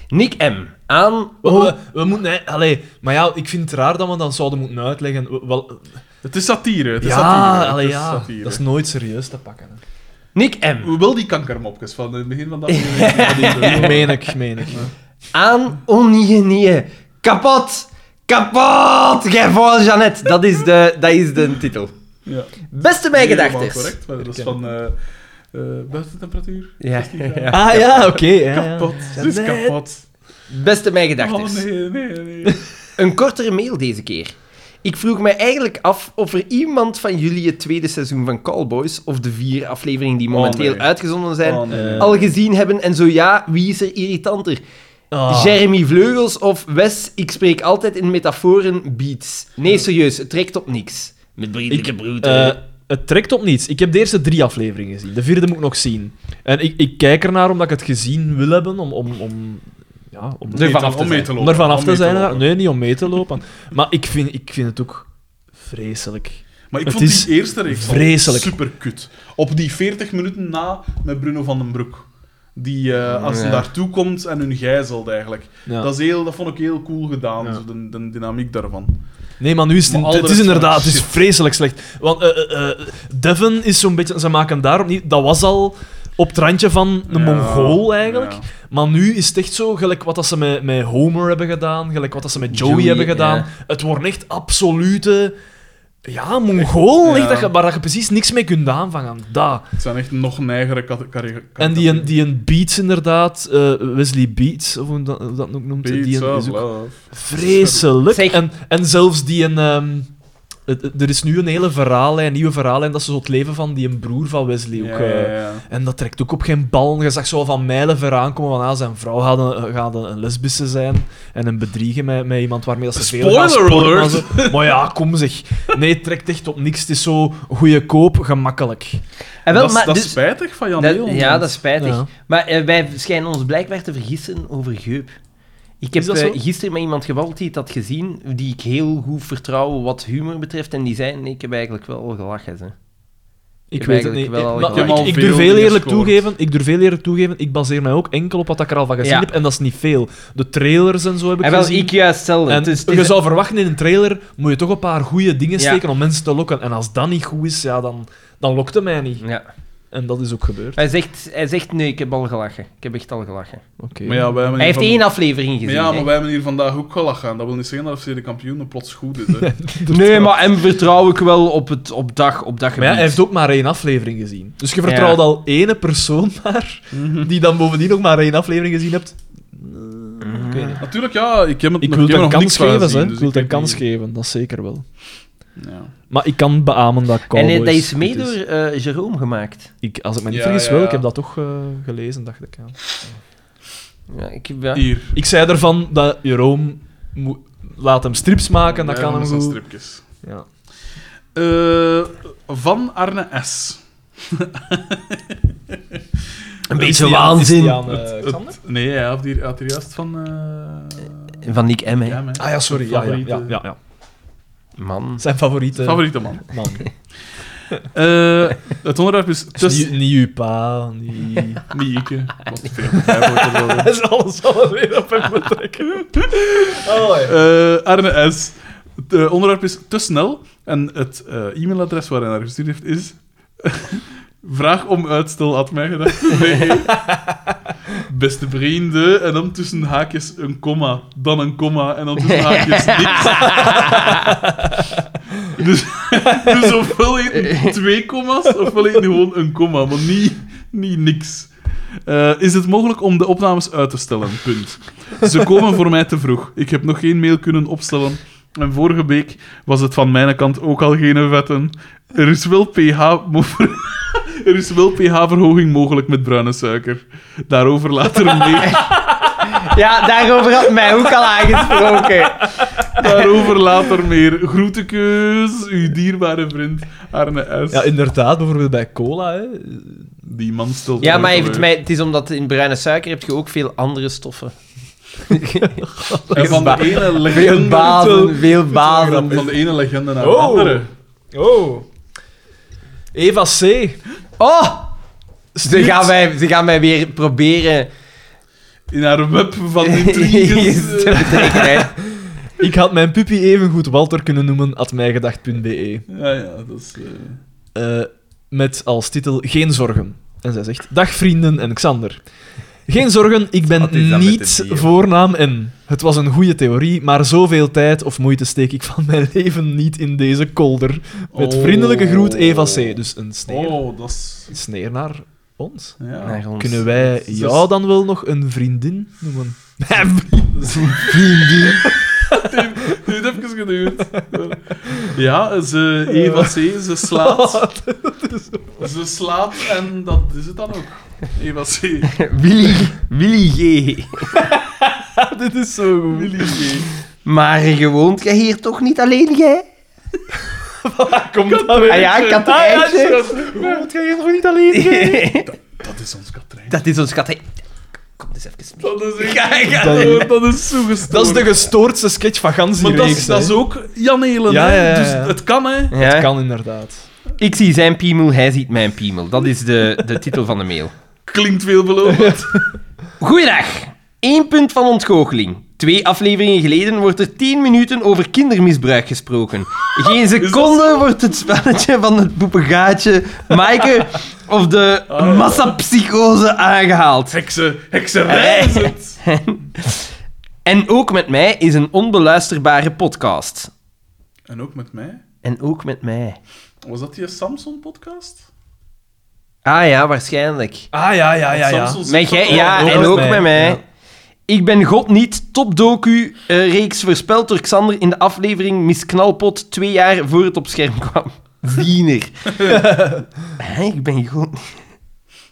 [SPEAKER 4] Nick M. Aan...
[SPEAKER 3] We, we, we moeten... hè, allee, maar ja, ik vind het raar dat we dat zouden moeten uitleggen. We- wel-
[SPEAKER 2] Het is satire. Het is satire.
[SPEAKER 3] ja,
[SPEAKER 2] het
[SPEAKER 3] allee,
[SPEAKER 2] is
[SPEAKER 3] ja.
[SPEAKER 2] satire.
[SPEAKER 3] Dat is nooit serieus te pakken. Hè.
[SPEAKER 4] Nick M.
[SPEAKER 2] Wel die kankermopjes van in het begin van dat aflevering.
[SPEAKER 3] Meen ik, meen ik.
[SPEAKER 4] Aan ongenie. Kapot. Kapot. Gij voor Jeannette. Dat is de, dat is de titel.
[SPEAKER 2] Ja.
[SPEAKER 4] Beste bijgedachten.
[SPEAKER 2] Helemaal correct, maar dat is van eh eh buitentemperatuur.
[SPEAKER 4] Ja, ja.
[SPEAKER 3] Ah ja, oké. ja, ja.
[SPEAKER 2] Kapot. Het is kapot.
[SPEAKER 4] Beste mijn gedachten.
[SPEAKER 2] Oh nee, nee, nee.
[SPEAKER 4] Een kortere mail deze keer.
[SPEAKER 1] Ik vroeg me eigenlijk af of er iemand van jullie het tweede seizoen van Callboys, of de vier afleveringen die
[SPEAKER 2] Oh,
[SPEAKER 1] momenteel
[SPEAKER 2] nee.
[SPEAKER 1] uitgezonden zijn,
[SPEAKER 2] Oh, nee.
[SPEAKER 3] Eh.
[SPEAKER 1] al gezien hebben. En zo ja, wie is er irritanter?
[SPEAKER 3] Ah.
[SPEAKER 2] Ah.
[SPEAKER 1] Jeremy Vleugels of Wes, ik spreek altijd in metaforen, beats. Nee, serieus, het trekt op niks. Met
[SPEAKER 3] vriendelijke
[SPEAKER 1] broeder.
[SPEAKER 3] Eh, het trekt op niets. Ik heb de eerste drie afleveringen gezien. De vierde moet ik nog zien. En ik, ik kijk ernaar omdat ik het gezien wil hebben. Om, om, om, ja, om,
[SPEAKER 2] Mee
[SPEAKER 3] ervan
[SPEAKER 2] te-
[SPEAKER 3] af te
[SPEAKER 2] om mee
[SPEAKER 3] zijn.
[SPEAKER 2] te
[SPEAKER 3] Om
[SPEAKER 2] lopen.
[SPEAKER 3] ervan
[SPEAKER 2] Om
[SPEAKER 3] af te
[SPEAKER 2] mee te
[SPEAKER 3] zijn.
[SPEAKER 2] lopen.
[SPEAKER 3] Nee, niet om mee te lopen. Maar ik vind, ik vind het ook vreselijk.
[SPEAKER 2] Maar ik
[SPEAKER 3] Het
[SPEAKER 2] vond
[SPEAKER 3] is
[SPEAKER 2] die eerste reeks
[SPEAKER 3] vreselijk.
[SPEAKER 2] super kut. Op die 40 minuten na met Bruno van den Broek. Die, eh, als hij
[SPEAKER 4] Ja.
[SPEAKER 2] daartoe komt en hun gijzelt eigenlijk.
[SPEAKER 3] Ja.
[SPEAKER 2] Dat, is heel, dat vond ik heel cool gedaan,
[SPEAKER 3] Ja.
[SPEAKER 2] zo de, de dynamiek daarvan.
[SPEAKER 3] Nee, maar nu is
[SPEAKER 2] Maar
[SPEAKER 3] het,
[SPEAKER 2] al de
[SPEAKER 3] het is
[SPEAKER 2] rest van
[SPEAKER 3] inderdaad
[SPEAKER 2] de
[SPEAKER 3] het is
[SPEAKER 2] shit.
[SPEAKER 3] vreselijk slecht. Want eh, eh, eh, Devon is zo'n beetje... Ze maken daar opnieuw... Dat was al op het randje van een
[SPEAKER 2] Ja,
[SPEAKER 3] Mongool, eigenlijk.
[SPEAKER 2] ja.
[SPEAKER 3] Maar nu is het echt zo, gelijk wat dat ze met, met Homer hebben gedaan, gelijk wat dat ze met Joey,
[SPEAKER 4] Joey,
[SPEAKER 3] hebben gedaan.
[SPEAKER 4] ja.
[SPEAKER 3] Het wordt echt absolute... Ja, Mongool,
[SPEAKER 2] Ja.
[SPEAKER 3] echt, dat je, waar dat je precies niks mee kunt aanvangen. Dat.
[SPEAKER 2] Het zijn echt nog neigere kate- kare-
[SPEAKER 3] En die, een-
[SPEAKER 2] categorieën.
[SPEAKER 3] die een Beats inderdaad, eh, Wesley Beats, of hoe dat, hoe dat ook noemt, die
[SPEAKER 2] Pizza,
[SPEAKER 3] een, is ook
[SPEAKER 2] love.
[SPEAKER 3] Vreselijk.
[SPEAKER 4] Zeg-
[SPEAKER 3] En, en zelfs die een. ehm, het- het- er is nu een hele verhaallijn, nieuwe verhaallijn, dat ze zo het leven van die een broer van Wesley ook.
[SPEAKER 2] Ja,
[SPEAKER 3] eh,
[SPEAKER 2] ja, ja.
[SPEAKER 3] En dat trekt ook op geen bal. Je zag zo van mijlen ver aankomen van ah, zijn vrouw gaat een, gaat een- een lesbische zijn en een bedriegen met, met iemand waarmee dat ze veel gaan
[SPEAKER 2] Spoiler
[SPEAKER 3] sporten en
[SPEAKER 2] alert!
[SPEAKER 3] zo. Maar ja, kom zeg. Nee, het trekt echt op niks. Het is zo goede koop, gemakkelijk.
[SPEAKER 2] Dat,
[SPEAKER 4] wel,
[SPEAKER 2] is-
[SPEAKER 4] maar
[SPEAKER 2] dat is
[SPEAKER 4] dus,
[SPEAKER 2] spijtig van Jan
[SPEAKER 4] dat-
[SPEAKER 2] Leeuwen,
[SPEAKER 4] ja,
[SPEAKER 2] want-
[SPEAKER 4] dat is spijtig.
[SPEAKER 3] Ja.
[SPEAKER 4] Maar eh, wij schijnen ons blijkbaar te vergissen over geup. Ik heb
[SPEAKER 3] Is dat
[SPEAKER 4] eh,
[SPEAKER 3] zo?
[SPEAKER 4] gisteren met iemand gebabbeld die het had gezien, die ik heel goed vertrouw wat humor betreft. En die zei, nee, ik heb eigenlijk wel al gelachen. Hè.
[SPEAKER 3] Ik,
[SPEAKER 4] heb
[SPEAKER 3] weet het niet.
[SPEAKER 4] eigenlijk wel al
[SPEAKER 3] Maar
[SPEAKER 4] gelijk.
[SPEAKER 2] Je hebt al
[SPEAKER 3] ik, ik
[SPEAKER 2] veel
[SPEAKER 3] durf heel
[SPEAKER 2] dingen
[SPEAKER 3] eerlijk
[SPEAKER 2] gescoord.
[SPEAKER 3] toegeven, ik durf heel eerlijk toegeven, ik baseer mij ook enkel op wat ik er al van gezien
[SPEAKER 4] Ja.
[SPEAKER 3] heb. En dat is niet veel. De trailers en zo heb ik
[SPEAKER 4] En wel,
[SPEAKER 3] gezien.
[SPEAKER 4] ik juist hetzelfde.
[SPEAKER 3] en
[SPEAKER 4] Dus het
[SPEAKER 3] je
[SPEAKER 4] is-
[SPEAKER 3] zou verwachten in een trailer, moet je toch een paar goede dingen
[SPEAKER 4] Ja.
[SPEAKER 3] steken om mensen te lokken. En als dat niet goed is, ja, dan, dan lokte mij niet.
[SPEAKER 4] ja.
[SPEAKER 3] En dat is ook gebeurd.
[SPEAKER 4] hij, zegt, hij zegt, nee, ik heb al gelachen. Ik heb echt al gelachen.
[SPEAKER 3] Oké.
[SPEAKER 2] Maar ja, wij hebben
[SPEAKER 4] Hij
[SPEAKER 2] hier
[SPEAKER 4] heeft
[SPEAKER 2] van-
[SPEAKER 4] één aflevering gezien.
[SPEAKER 2] Maar ja,
[SPEAKER 4] hè.
[SPEAKER 2] maar wij hebben hier vandaag ook gelachen. Dat wil niet zeggen dat FC de kampioenen plots goed is. Hè.
[SPEAKER 4] Nee, maar hem vertrouw ik wel op, het, op, dag, op dat
[SPEAKER 3] Maar
[SPEAKER 4] gebied.
[SPEAKER 3] ja, hij heeft ook maar één aflevering gezien. Dus je vertrouwt
[SPEAKER 4] Ja. Mhm.
[SPEAKER 3] al ene persoon maar, die dan bovendien nog maar één aflevering gezien hebt.
[SPEAKER 4] Mhm.
[SPEAKER 3] Ik weet niet.
[SPEAKER 2] Natuurlijk, ja, ik heb het
[SPEAKER 3] Ik
[SPEAKER 2] nog- ik
[SPEAKER 3] wil
[SPEAKER 2] heb
[SPEAKER 3] het
[SPEAKER 2] er
[SPEAKER 3] een
[SPEAKER 2] nog
[SPEAKER 3] kans
[SPEAKER 2] niks van
[SPEAKER 3] geven,
[SPEAKER 2] gezien,
[SPEAKER 3] hè.
[SPEAKER 2] dus
[SPEAKER 3] Ik wil het
[SPEAKER 2] weet
[SPEAKER 3] een kans
[SPEAKER 2] niet.
[SPEAKER 3] geven, dat zeker wel.
[SPEAKER 2] Ja.
[SPEAKER 3] Maar ik kan beamen dat
[SPEAKER 4] En
[SPEAKER 3] Cowboys...
[SPEAKER 4] eh, dat is
[SPEAKER 3] goed
[SPEAKER 4] mee door eh Jerome gemaakt.
[SPEAKER 3] Ik, als ik me niet
[SPEAKER 2] Ja,
[SPEAKER 3] vergis,
[SPEAKER 2] ja,
[SPEAKER 3] wel.
[SPEAKER 2] ja.
[SPEAKER 3] Ik heb dat toch eh, gelezen, dacht ik. Ja.
[SPEAKER 4] Ja, ik, ja.
[SPEAKER 2] Hier.
[SPEAKER 3] Ik zei ervan dat Jeroen moet- laat hem strips maken, dat
[SPEAKER 2] Ja,
[SPEAKER 3] kan hem
[SPEAKER 2] zijn
[SPEAKER 3] goed.
[SPEAKER 2] stripjes.
[SPEAKER 3] Ja.
[SPEAKER 2] Eh, van Arne S.
[SPEAKER 4] Een
[SPEAKER 3] Is
[SPEAKER 4] beetje
[SPEAKER 3] die aan- is die
[SPEAKER 4] waanzin.
[SPEAKER 3] aan, eh, Xander?
[SPEAKER 2] Het- nee, hij had hier, had hier juist van... eh
[SPEAKER 4] Van Nick M, hè.
[SPEAKER 2] ja, mijn
[SPEAKER 3] Ah ja, sorry. Ja, ja,
[SPEAKER 2] favoriete-
[SPEAKER 3] ja, ja, ja.
[SPEAKER 4] Man.
[SPEAKER 3] Zijn favoriete
[SPEAKER 2] Favoriete man.
[SPEAKER 3] man.
[SPEAKER 2] Eh, het onderwerp is...
[SPEAKER 3] Dus
[SPEAKER 2] Tussen...
[SPEAKER 3] niet, niet uw pa, niet...
[SPEAKER 2] Niet ik, hè. Wat veel begrijpelijker worden.
[SPEAKER 3] Hij is alles alweer op hem betrekken. Oh, ja.
[SPEAKER 2] Eh, Arne S. Het eh, onderwerp is te snel. En het eh, e-mailadres waar hij naar gestuurd heeft is... Vraag om uitstel, had mij gedacht. Nee. Beste vrienden, en dan tussen haakjes een komma, dan een komma, en dan tussen haakjes niks. dus, dus ofwel heet het twee komma's, ofwel heet het gewoon een komma, maar niet, niet niks. Eh, is het mogelijk om de opnames uit te stellen? Punt. Ze komen voor mij te vroeg. Ik heb nog geen mail kunnen opstellen. En vorige week was het van mijn kant ook al geen vetten. Er is wel pH... mo- Er is wel pH-verhoging mogelijk met bruine suiker. Daarover later meer.
[SPEAKER 4] Ja, daarover had mij ook al aangesproken.
[SPEAKER 2] Daarover later meer. Groetekeus, uw dierbare vriend Arne S.
[SPEAKER 3] ja, inderdaad. Bijvoorbeeld bij cola, hè.
[SPEAKER 2] Die man stelt
[SPEAKER 4] Ja,
[SPEAKER 2] mij
[SPEAKER 4] maar heeft
[SPEAKER 2] teleur.
[SPEAKER 4] mij, het is omdat in bruine suiker heb je ook veel andere stoffen.
[SPEAKER 2] En van de ene
[SPEAKER 4] Veel
[SPEAKER 2] legende...
[SPEAKER 4] bazen, veel
[SPEAKER 2] Van
[SPEAKER 4] bazen.
[SPEAKER 2] de ene legende naar de
[SPEAKER 3] Oh.
[SPEAKER 2] andere.
[SPEAKER 3] Oh. Eva C.
[SPEAKER 4] Oh! Ze gaan, mij, ze gaan mij weer proberen
[SPEAKER 2] In haar web van intriges.
[SPEAKER 4] te betrekken. hè.
[SPEAKER 3] Ik had mijn puppy even goed Walter kunnen noemen, at mijgedacht.be.
[SPEAKER 2] Ja, ja, dat is... eh,
[SPEAKER 3] E. Eh, met als titel Geen Zorgen. En zij zegt, dag vrienden en Xander. Geen zorgen, ik
[SPEAKER 1] Wat is
[SPEAKER 3] ben
[SPEAKER 1] dat met
[SPEAKER 3] niet
[SPEAKER 1] de bier?
[SPEAKER 3] voornaam en het was een goede theorie, maar zoveel tijd of moeite steek ik van mijn leven niet in deze kolder. Met
[SPEAKER 2] Oh.
[SPEAKER 3] vriendelijke groet Eva C. Dus een sneer,
[SPEAKER 2] Oh, dat is...
[SPEAKER 3] een sneer naar ons.
[SPEAKER 2] Ja.
[SPEAKER 4] Naar ons.
[SPEAKER 3] Kunnen wij
[SPEAKER 2] Dus-
[SPEAKER 3] jou dan wel nog een vriendin noemen?
[SPEAKER 2] Dit heeft even geduwd. Ja, ze, Eva C, ze slaat. Ze slaat en dat is het dan ook. Eva C.
[SPEAKER 4] Willy, Willy G.
[SPEAKER 3] Dit is zo goed.
[SPEAKER 2] Willy G.
[SPEAKER 4] Maar gewoont jij hier toch niet alleen, jij?
[SPEAKER 3] Komt dat weer?
[SPEAKER 4] Ah ja, ik had het eitje.
[SPEAKER 3] Wat ga je nog niet alleen?
[SPEAKER 2] Dat is ons Katrijn.
[SPEAKER 4] Dat is ons kat. hè. Kom eens even mee.
[SPEAKER 2] Dat is echt... dat, dat is zo gestoord.
[SPEAKER 3] Dat is de gestoordste sketch van gans die
[SPEAKER 2] Maar dat,
[SPEAKER 3] reeks,
[SPEAKER 2] is- dat
[SPEAKER 3] hè.
[SPEAKER 2] is ook Jan Helen,
[SPEAKER 3] Ja,
[SPEAKER 2] hè.
[SPEAKER 3] ja, ja, ja.
[SPEAKER 2] Dus het kan, hè.
[SPEAKER 4] Ja.
[SPEAKER 3] Kan inderdaad.
[SPEAKER 4] Ik zie zijn piemel, hij ziet mijn piemel. Dat is de, de titel van de mail.
[SPEAKER 2] Klinkt veelbelovend.
[SPEAKER 4] Goeiedag. Eén punt van ontgoocheling. Twee afleveringen geleden wordt er 10 minuten over kindermisbruik gesproken. Geen seconde wordt het spelletje van het boepengaatje, Maaike of de massapsychose aangehaald.
[SPEAKER 2] Heksen, hekserij is het.
[SPEAKER 4] En ook met mij is een onbeluisterbare podcast.
[SPEAKER 2] En ook met mij.
[SPEAKER 4] En ook met mij.
[SPEAKER 2] Was dat die Samson-podcast?
[SPEAKER 4] Ah ja, waarschijnlijk.
[SPEAKER 3] Ah, ja, ja, ja, ja.
[SPEAKER 2] Samson's-
[SPEAKER 4] Met jij, ja,
[SPEAKER 3] ook
[SPEAKER 4] en
[SPEAKER 3] met
[SPEAKER 4] ook
[SPEAKER 3] mij,
[SPEAKER 4] met mij.
[SPEAKER 3] ja.
[SPEAKER 4] Ik ben God niet, topdocu-reeks voorspeld door Xander in de aflevering Miss Knalpot twee jaar voor het op scherm kwam. Diener. Hè, ik ben God niet.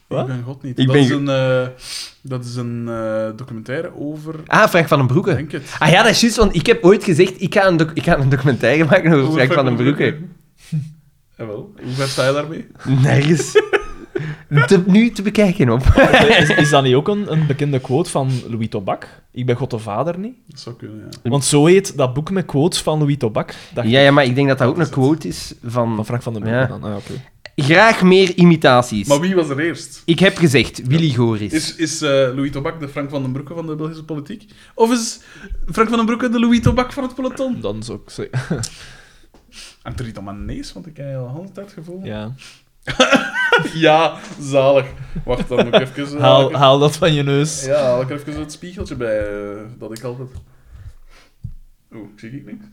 [SPEAKER 2] Ik ben God niet.
[SPEAKER 4] Ik
[SPEAKER 2] dat,
[SPEAKER 4] ben
[SPEAKER 2] is
[SPEAKER 4] ge-
[SPEAKER 2] een, eh, dat is een eh, documentaire over...
[SPEAKER 4] Ah, Frank van den
[SPEAKER 2] Ik
[SPEAKER 4] Broeke.
[SPEAKER 2] denk het.
[SPEAKER 4] Ah ja, dat is juist, want ik heb ooit gezegd, ik ga een, doc- ik ga een documentaire maken over Frank van den Broeke.
[SPEAKER 2] Jawel. Hoe ver sta je daarmee?
[SPEAKER 4] Nergens. Te- nu te bekijken op.
[SPEAKER 3] Is, is dat niet ook een, een bekende quote van Louis Tobak? Ik ben God de Vader niet.
[SPEAKER 2] Dat zou kunnen, ja.
[SPEAKER 3] Want zo heet dat boek met quotes van Louis Tobak. dacht
[SPEAKER 4] Ja,
[SPEAKER 3] ik.
[SPEAKER 4] ja, maar ik denk dat dat ook
[SPEAKER 2] Dat
[SPEAKER 4] een
[SPEAKER 2] is
[SPEAKER 4] quote is
[SPEAKER 3] Van
[SPEAKER 4] van...
[SPEAKER 3] Frank van den
[SPEAKER 4] Ja.
[SPEAKER 3] Broek. dan. Ah, oké.
[SPEAKER 4] Graag meer imitaties.
[SPEAKER 2] Maar wie was er eerst?
[SPEAKER 4] Ik heb gezegd, Willy Goris.
[SPEAKER 2] Is, is eh, Louis Tobak de Frank van den Broeke van de Belgische politiek? Of is Frank van den Broeke de Louis Tobak van het peloton?
[SPEAKER 3] Dan zou ik zeggen.
[SPEAKER 2] En er iets aan mijn neus, want ik heb je al een tijd gevoel. Ja.
[SPEAKER 3] Ja.
[SPEAKER 2] zalig. Wacht, dan moet ik even... haal
[SPEAKER 3] Haal,
[SPEAKER 2] ik
[SPEAKER 3] haal dat van je neus.
[SPEAKER 2] even- ja, haal ik er even het spiegeltje bij, eh, dat ik altijd... Oeh, zie ik niks?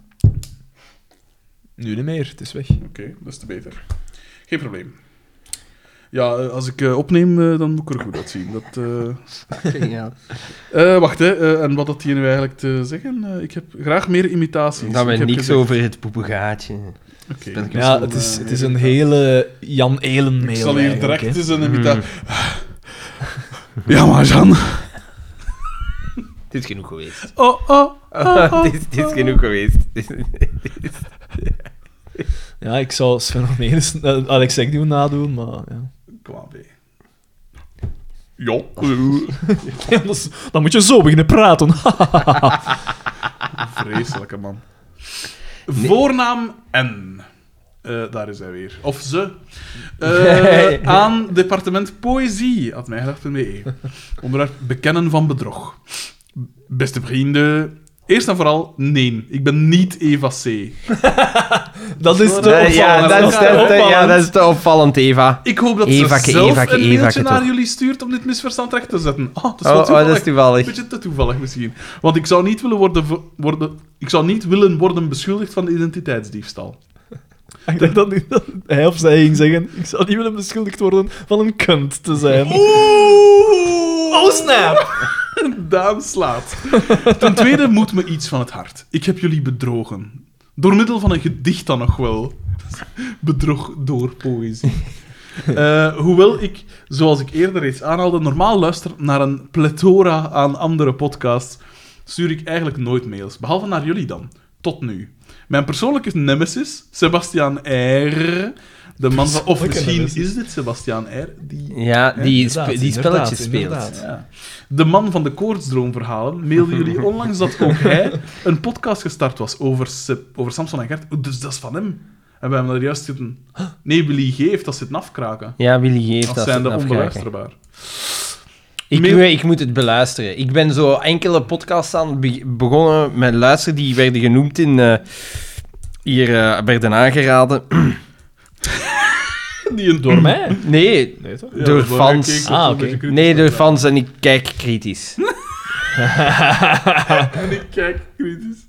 [SPEAKER 3] Nu niet meer, het is weg.
[SPEAKER 2] Oké, dat is te beter. Geen probleem. Ja, eh, als ik eh, opneem, eh, dan moet ik er goed uitzien. Dat, eh,
[SPEAKER 4] Ja.
[SPEAKER 2] Eh, wacht, hè. Eh, en wat had hij nu eigenlijk te zeggen? Eh, ik heb graag meer imitaties.
[SPEAKER 4] Dat we
[SPEAKER 2] Ik heb
[SPEAKER 4] niks
[SPEAKER 2] gezegd-
[SPEAKER 4] over het poepengaatje.
[SPEAKER 2] Oké.
[SPEAKER 4] ben ik
[SPEAKER 2] Dus
[SPEAKER 3] Ja,
[SPEAKER 2] dan,
[SPEAKER 3] het is,
[SPEAKER 2] eh,
[SPEAKER 3] het is een hele Jan Elen mail.
[SPEAKER 2] Ik zal hier direct eens een
[SPEAKER 4] Mm.
[SPEAKER 2] imitatie...
[SPEAKER 4] Hmm.
[SPEAKER 2] Ja, maar Jan...
[SPEAKER 4] Dit is genoeg geweest.
[SPEAKER 2] Oh, oh, oh, oh.
[SPEAKER 4] dit, is- dit is genoeg geweest. Dit is-
[SPEAKER 3] Ja, ik zou Sven nog meer eens eh, Alex Ekdoen nadoen, maar ja.
[SPEAKER 2] Kom aan, B. Ja.
[SPEAKER 3] Ja, dat is- dan moet je zo beginnen praten.
[SPEAKER 2] Vreselijke man. Voornaam N. Eh, daar is hij weer. Of ze. Eh, aan departement poëzie, had mij E. Onderwerp bekennen van bedrog. Beste vrienden, eerst en vooral, nee, ik ben niet Eva C.
[SPEAKER 3] dat is te
[SPEAKER 4] Eh,
[SPEAKER 3] opvallend.
[SPEAKER 4] ja, dat is
[SPEAKER 3] te
[SPEAKER 4] te- te- ja,
[SPEAKER 3] opvallend.
[SPEAKER 4] dat is te opvallend, Eva.
[SPEAKER 2] Ik hoop dat
[SPEAKER 4] Evake,
[SPEAKER 2] ze zelf
[SPEAKER 4] Evake,
[SPEAKER 2] een mailtje
[SPEAKER 4] Evake,
[SPEAKER 2] naar
[SPEAKER 4] toch?
[SPEAKER 2] jullie stuurt om dit misverstand recht te zetten. Ah, dat is
[SPEAKER 4] Oh,
[SPEAKER 2] wel
[SPEAKER 4] oh, dat
[SPEAKER 2] toevallig.
[SPEAKER 4] is toevallig.
[SPEAKER 2] Een beetje te toevallig misschien. Want ik zou niet willen worden, vo- worden, ik zou niet willen worden beschuldigd van identiteitsdiefstal.
[SPEAKER 3] Ik dacht dat, niet, dat hij of zij ging zeggen: Ik zou niet willen beschuldigd worden van een kunt te zijn.
[SPEAKER 2] Oeh!
[SPEAKER 3] Oh, snap!
[SPEAKER 2] Daan slaat. Ten tweede moet me iets van het hart. Ik heb jullie bedrogen. Door middel van een gedicht dan nog wel. Bedrog door poëzie. Eh, hoewel ik, zoals ik eerder reeds aanhaalde, normaal luister naar een plethora aan andere podcasts, stuur ik eigenlijk nooit mails. Behalve naar jullie dan. Tot nu. Mijn persoonlijke nemesis, Sebastian R. De man van... Of
[SPEAKER 3] Persoonlijke
[SPEAKER 2] misschien
[SPEAKER 3] nemesis.
[SPEAKER 2] is dit Sebastian R. Die
[SPEAKER 4] Ja, die,
[SPEAKER 3] inderdaad,
[SPEAKER 4] spe- die
[SPEAKER 3] inderdaad,
[SPEAKER 4] spelletjes
[SPEAKER 3] inderdaad.
[SPEAKER 4] speelt.
[SPEAKER 2] ja. De man van de koortsdroomverhalen mailde jullie onlangs dat ook hij een podcast gestart was over, Se- over Samson en Gert. Oeh, Dus dat is van hem. En we hebben daar juist zitten... Nee, Willy G heeft dat zitten afkraken.
[SPEAKER 4] Ja, Willy geeft
[SPEAKER 2] Dat
[SPEAKER 4] dat.
[SPEAKER 2] zijn de
[SPEAKER 4] afkraken.
[SPEAKER 2] onbeluisterbaar.
[SPEAKER 4] Ik,
[SPEAKER 2] Mail-
[SPEAKER 4] moet- ik moet het beluisteren. Ik ben zo enkele podcasts aan be- begonnen met luisteren. Die werden genoemd in... eh, hier eh, werden aangeraden.
[SPEAKER 2] Die een
[SPEAKER 3] Door mij?
[SPEAKER 4] Nee,
[SPEAKER 3] Nee, toch?
[SPEAKER 2] Ja,
[SPEAKER 4] door
[SPEAKER 2] maar
[SPEAKER 4] fans.
[SPEAKER 2] ik keek
[SPEAKER 3] Ah,
[SPEAKER 2] ook een
[SPEAKER 3] oké.
[SPEAKER 2] beetje kritisch
[SPEAKER 4] Nee, door
[SPEAKER 2] naar.
[SPEAKER 4] fans en ik kijk kritisch.
[SPEAKER 2] En ik kijk kritisch.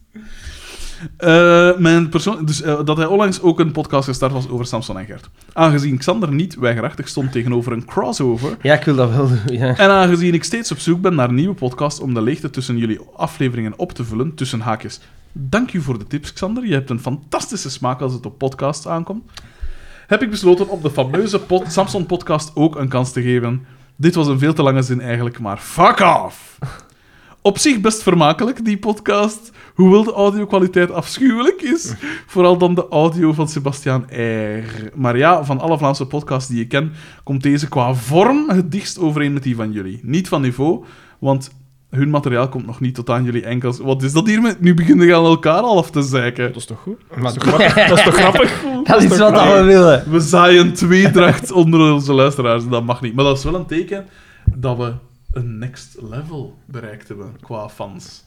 [SPEAKER 2] Eh, mijn persoon, dus, eh, dat hij onlangs ook een podcast gestart was over Samson en Gert. Aangezien Xander niet weigerachtig stond tegenover een crossover,
[SPEAKER 4] Ja, ik wil dat wel doen. Ja.
[SPEAKER 2] En aangezien ik steeds op zoek ben naar nieuwe podcasts om de leegte tussen jullie afleveringen op te vullen, tussen haakjes, Dank u voor de tips, Xander. Je hebt een fantastische smaak als het op podcasts aankomt. Heb ik besloten om de fameuze pod- Samson-podcast ook een kans te geven. Dit was een veel te lange zin eigenlijk, maar fuck off! Op zich best vermakelijk, die podcast. Hoewel de audio-kwaliteit afschuwelijk is. Vooral dan de audio van Sebastiaan R. Maar ja, van alle Vlaamse podcasts die ik ken, komt deze qua vorm het dichtst overeen met die van jullie. Niet van niveau, want hun materiaal komt nog niet tot aan jullie enkels. Wat is dat hier met? Nu beginnen we aan elkaar al af te zeiken.
[SPEAKER 3] Dat is toch goed? Dat is toch grappig? Dat is toch grappig?
[SPEAKER 1] Dat is wat we willen.
[SPEAKER 2] We zaaien tweedracht onder onze luisteraars. Dat mag niet. Maar dat is wel een teken dat we een next level bereikt hebben qua fans.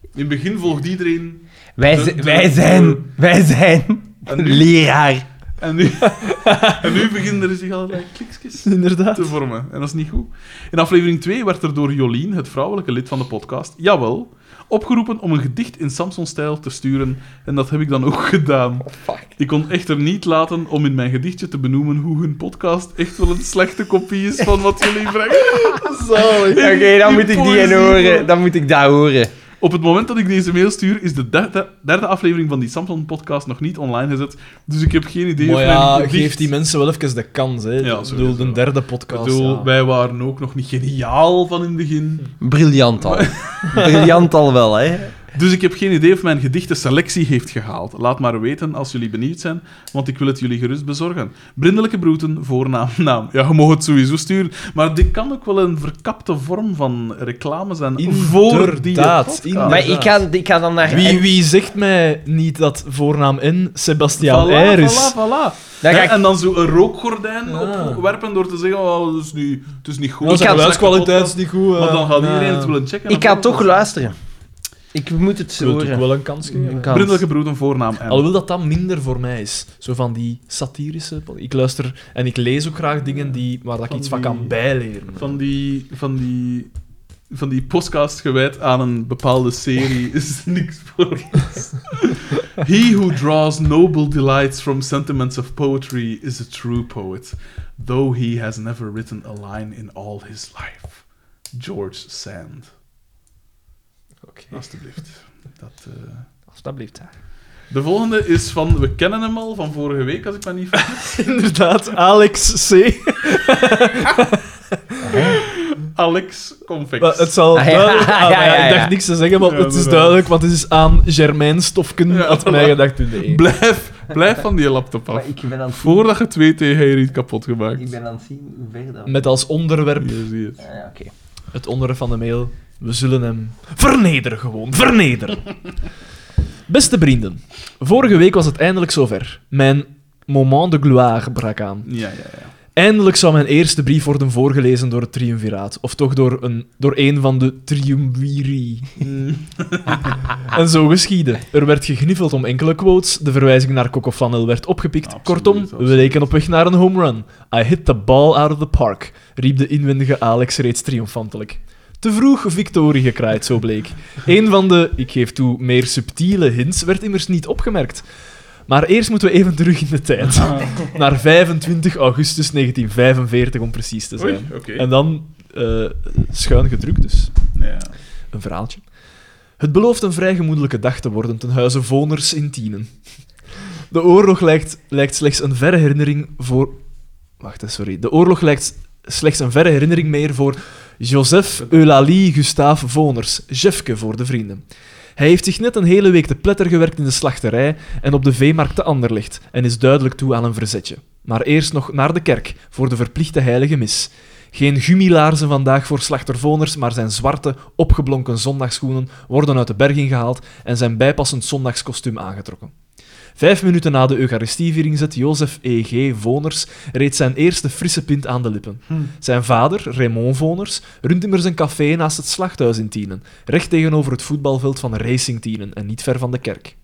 [SPEAKER 2] In het begin volgt iedereen.
[SPEAKER 1] Wij,
[SPEAKER 2] De-
[SPEAKER 1] zi-
[SPEAKER 2] de-
[SPEAKER 1] wij zijn, wij zijn
[SPEAKER 2] En nu-
[SPEAKER 1] leraar.
[SPEAKER 2] En nu, en nu beginnen er zich allerlei klikjes
[SPEAKER 3] Inderdaad.
[SPEAKER 2] te vormen. En dat is niet goed. In aflevering 2 werd er door Jolien, het vrouwelijke lid van de podcast, jawel, opgeroepen om een gedicht in Samson-stijl te sturen. En dat heb ik dan ook gedaan.
[SPEAKER 4] Fuck.
[SPEAKER 2] Ik kon echter niet laten om in mijn gedichtje te benoemen hoe hun podcast echt wel een slechte kopie is van wat jullie brengen.
[SPEAKER 1] Oké, dan moet ik die in horen. Dan moet ik dat horen.
[SPEAKER 2] Op het moment dat ik deze mail stuur, is de derde, derde aflevering van die Samson-podcast nog niet online gezet. Dus ik heb geen idee
[SPEAKER 3] Maar
[SPEAKER 2] of mijn
[SPEAKER 3] ja,
[SPEAKER 2] gedicht-
[SPEAKER 3] geef die mensen wel even de kans, hè.
[SPEAKER 2] Ja,
[SPEAKER 3] ik bedoel,
[SPEAKER 2] sowieso.
[SPEAKER 3] de derde
[SPEAKER 2] Ik
[SPEAKER 3] podcast.
[SPEAKER 2] bedoel,
[SPEAKER 3] ja.
[SPEAKER 2] wij waren ook nog niet geniaal van in het begin.
[SPEAKER 1] Briljant al. Briljant al wel, hè?
[SPEAKER 2] Dus ik heb geen idee of mijn gedichten selectie heeft gehaald. Laat maar weten als jullie benieuwd zijn, want ik wil het jullie gerust bezorgen. Brindelijke broeten, voornaam, naam. Ja, je mag het sowieso sturen, maar dit kan ook wel een verkapte vorm van reclame zijn voor die
[SPEAKER 3] Inderdaad,
[SPEAKER 2] podcast.
[SPEAKER 3] inderdaad.
[SPEAKER 4] Maar ik ga, ik ga dan naar...
[SPEAKER 3] Wie, wie zegt mij niet dat voornaam in Sebastiaan
[SPEAKER 2] Voilà,
[SPEAKER 3] R
[SPEAKER 2] voilà,
[SPEAKER 3] is?
[SPEAKER 2] voilà.
[SPEAKER 4] Dan ga
[SPEAKER 2] Hè,
[SPEAKER 4] ik-
[SPEAKER 2] En dan zo een rookgordijn
[SPEAKER 3] Ah.
[SPEAKER 2] opwerpen door te zeggen, oh, het, is nu, het is niet goed.
[SPEAKER 3] Nou,
[SPEAKER 2] het is
[SPEAKER 3] zijn
[SPEAKER 2] een
[SPEAKER 3] geluidskwaliteit is
[SPEAKER 2] slechte
[SPEAKER 3] niet goed.
[SPEAKER 2] podcast.
[SPEAKER 3] eh.
[SPEAKER 2] Maar dan gaat iedereen
[SPEAKER 3] Ja.
[SPEAKER 2] het willen checken.
[SPEAKER 4] Ik ga toch luisteren. Ik moet het
[SPEAKER 3] Ik wil het ook
[SPEAKER 4] horen.
[SPEAKER 3] wel een kans geven.
[SPEAKER 4] Een kans.
[SPEAKER 2] Brindelijke broeten, voornaam en...
[SPEAKER 3] Alhoewel dat dat minder voor mij is. Zo van die satirische... Ik luister en ik lees ook graag dingen die, waar dat ik
[SPEAKER 2] Van
[SPEAKER 3] iets van
[SPEAKER 2] die-
[SPEAKER 3] kan bijleren.
[SPEAKER 2] van die, van die, van die podcast gewijd aan een bepaalde serie is niks voor ons. He who draws noble delights from sentiments of poetry is a true poet, though he has never written a line in all his life. George Sand.
[SPEAKER 3] Oké,
[SPEAKER 2] Alsjeblieft. Dat, eh.
[SPEAKER 3] alsjeblieft. hè.
[SPEAKER 2] De volgende is van, we kennen hem al, van vorige week, als ik me niet vergis.
[SPEAKER 3] Inderdaad, Alex C.
[SPEAKER 2] Alex Confex.
[SPEAKER 3] Maar het zal
[SPEAKER 4] Ah, ja,
[SPEAKER 3] duidelijk...
[SPEAKER 4] ja,
[SPEAKER 3] ah, maar
[SPEAKER 4] ja, ja.
[SPEAKER 3] Ik dacht niks te zeggen, maar
[SPEAKER 2] Ja,
[SPEAKER 3] het is
[SPEAKER 2] inderdaad.
[SPEAKER 3] duidelijk, want het is aan Germain Stofken,
[SPEAKER 2] Ja,
[SPEAKER 3] had
[SPEAKER 2] voilà.
[SPEAKER 3] mij gedacht.
[SPEAKER 4] E.
[SPEAKER 3] Nee.
[SPEAKER 2] Blijf, blijf van die laptop af.
[SPEAKER 1] Maar ik ben aan het zien,
[SPEAKER 2] Voordat je het weet, heb je hier iets kapot gemaakt.
[SPEAKER 1] ik ben aan het zien hoe ver dat...
[SPEAKER 3] Met als onderwerp
[SPEAKER 2] Hier zie je het.
[SPEAKER 1] Ah, ja, oké.
[SPEAKER 3] het onderwerp van de mail. We zullen hem vernederen gewoon, vernederen. Beste vrienden, vorige week was het eindelijk zover. Mijn moment de gloire brak aan.
[SPEAKER 2] Ja, ja, ja.
[SPEAKER 3] Eindelijk zou mijn eerste brief worden voorgelezen door het triumviraat. Of toch door een, door een van de triumviri.
[SPEAKER 2] Hmm.
[SPEAKER 3] en zo geschiedde. Er werd gegniffeld om enkele quotes, de verwijzing naar Coco Flanel werd opgepikt.
[SPEAKER 2] Absoluut,
[SPEAKER 3] Kortom, we
[SPEAKER 2] absoluut.
[SPEAKER 3] leken op weg naar een home run. I hit the ball out of the park, riep de inwendige Alex reeds triomfantelijk. Te vroeg victorie gekraaid, zo bleek. Een van de, ik geef toe, meer subtiele hints werd immers niet opgemerkt. Maar eerst moeten we even terug in de tijd. Naar 25 augustus 1945, om precies te zijn.
[SPEAKER 2] Oei, oké.
[SPEAKER 3] En dan eh, schuin gedrukt, dus
[SPEAKER 2] Ja.
[SPEAKER 3] een verhaaltje. Het belooft een vrij gemoedelijke dag te worden ten huize Voners in Tienen. De oorlog lijkt, lijkt slechts een verre herinnering voor... Wacht, hè, sorry. De oorlog lijkt slechts een verre herinnering meer voor Joseph Eulalie Gustave Voners, Jefke voor de vrienden. Hij heeft zich net een hele week te pletter gewerkt in de slachterij en op de veemarkt te Anderlecht en is duidelijk toe aan een verzetje. Maar eerst nog naar de kerk voor de verplichte heilige mis. Geen gummilaarzen vandaag voor slachtervoners, maar zijn zwarte, opgeblonken zondagschoenen worden uit de berging gehaald en zijn bijpassend zondagskostuum aangetrokken. Vijf minuten na de Eucharistieviering zet Jozef E.G. Voners reeds zijn eerste frisse pint aan de lippen. Zijn vader, Raymond Voners, runt immers een café naast het slachthuis in Tienen, recht tegenover het voetbalveld van Racing Tienen en niet ver van de kerk.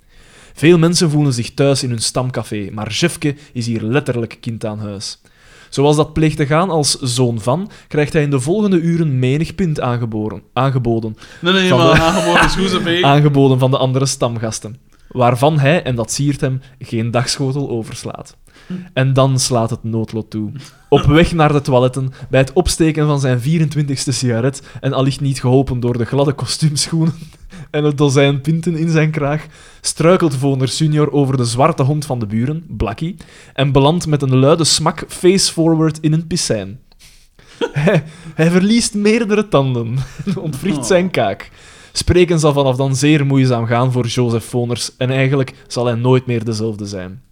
[SPEAKER 3] Veel mensen voelen zich thuis in hun stamcafé, maar Jefke is hier letterlijk kind aan huis. Zoals dat pleegt te gaan als zoon van, krijgt hij in de volgende uren menig pint aangeboren, aangeboden,
[SPEAKER 2] Nee, nee,
[SPEAKER 3] Van de-
[SPEAKER 2] maar aangeboden is goed, ze mee.
[SPEAKER 3] aangeboden van de andere stamgasten. Waarvan hij, en dat siert hem, geen dagschotel overslaat. En dan slaat het noodlot toe. Op weg naar de toiletten, bij het opsteken van zijn 24e sigaret en allicht niet geholpen door de gladde kostuumschoenen, en een dozijn pinten in zijn kraag, struikelt Voner senior over de zwarte hond van de buren, Blackie, en belandt met een luide smak face forward in een piscijn. Hij, hij verliest meerdere tanden en ontwricht zijn kaak. Spreken zal vanaf dan zeer moeizaam gaan voor Joseph Voners en eigenlijk zal hij nooit meer dezelfde zijn.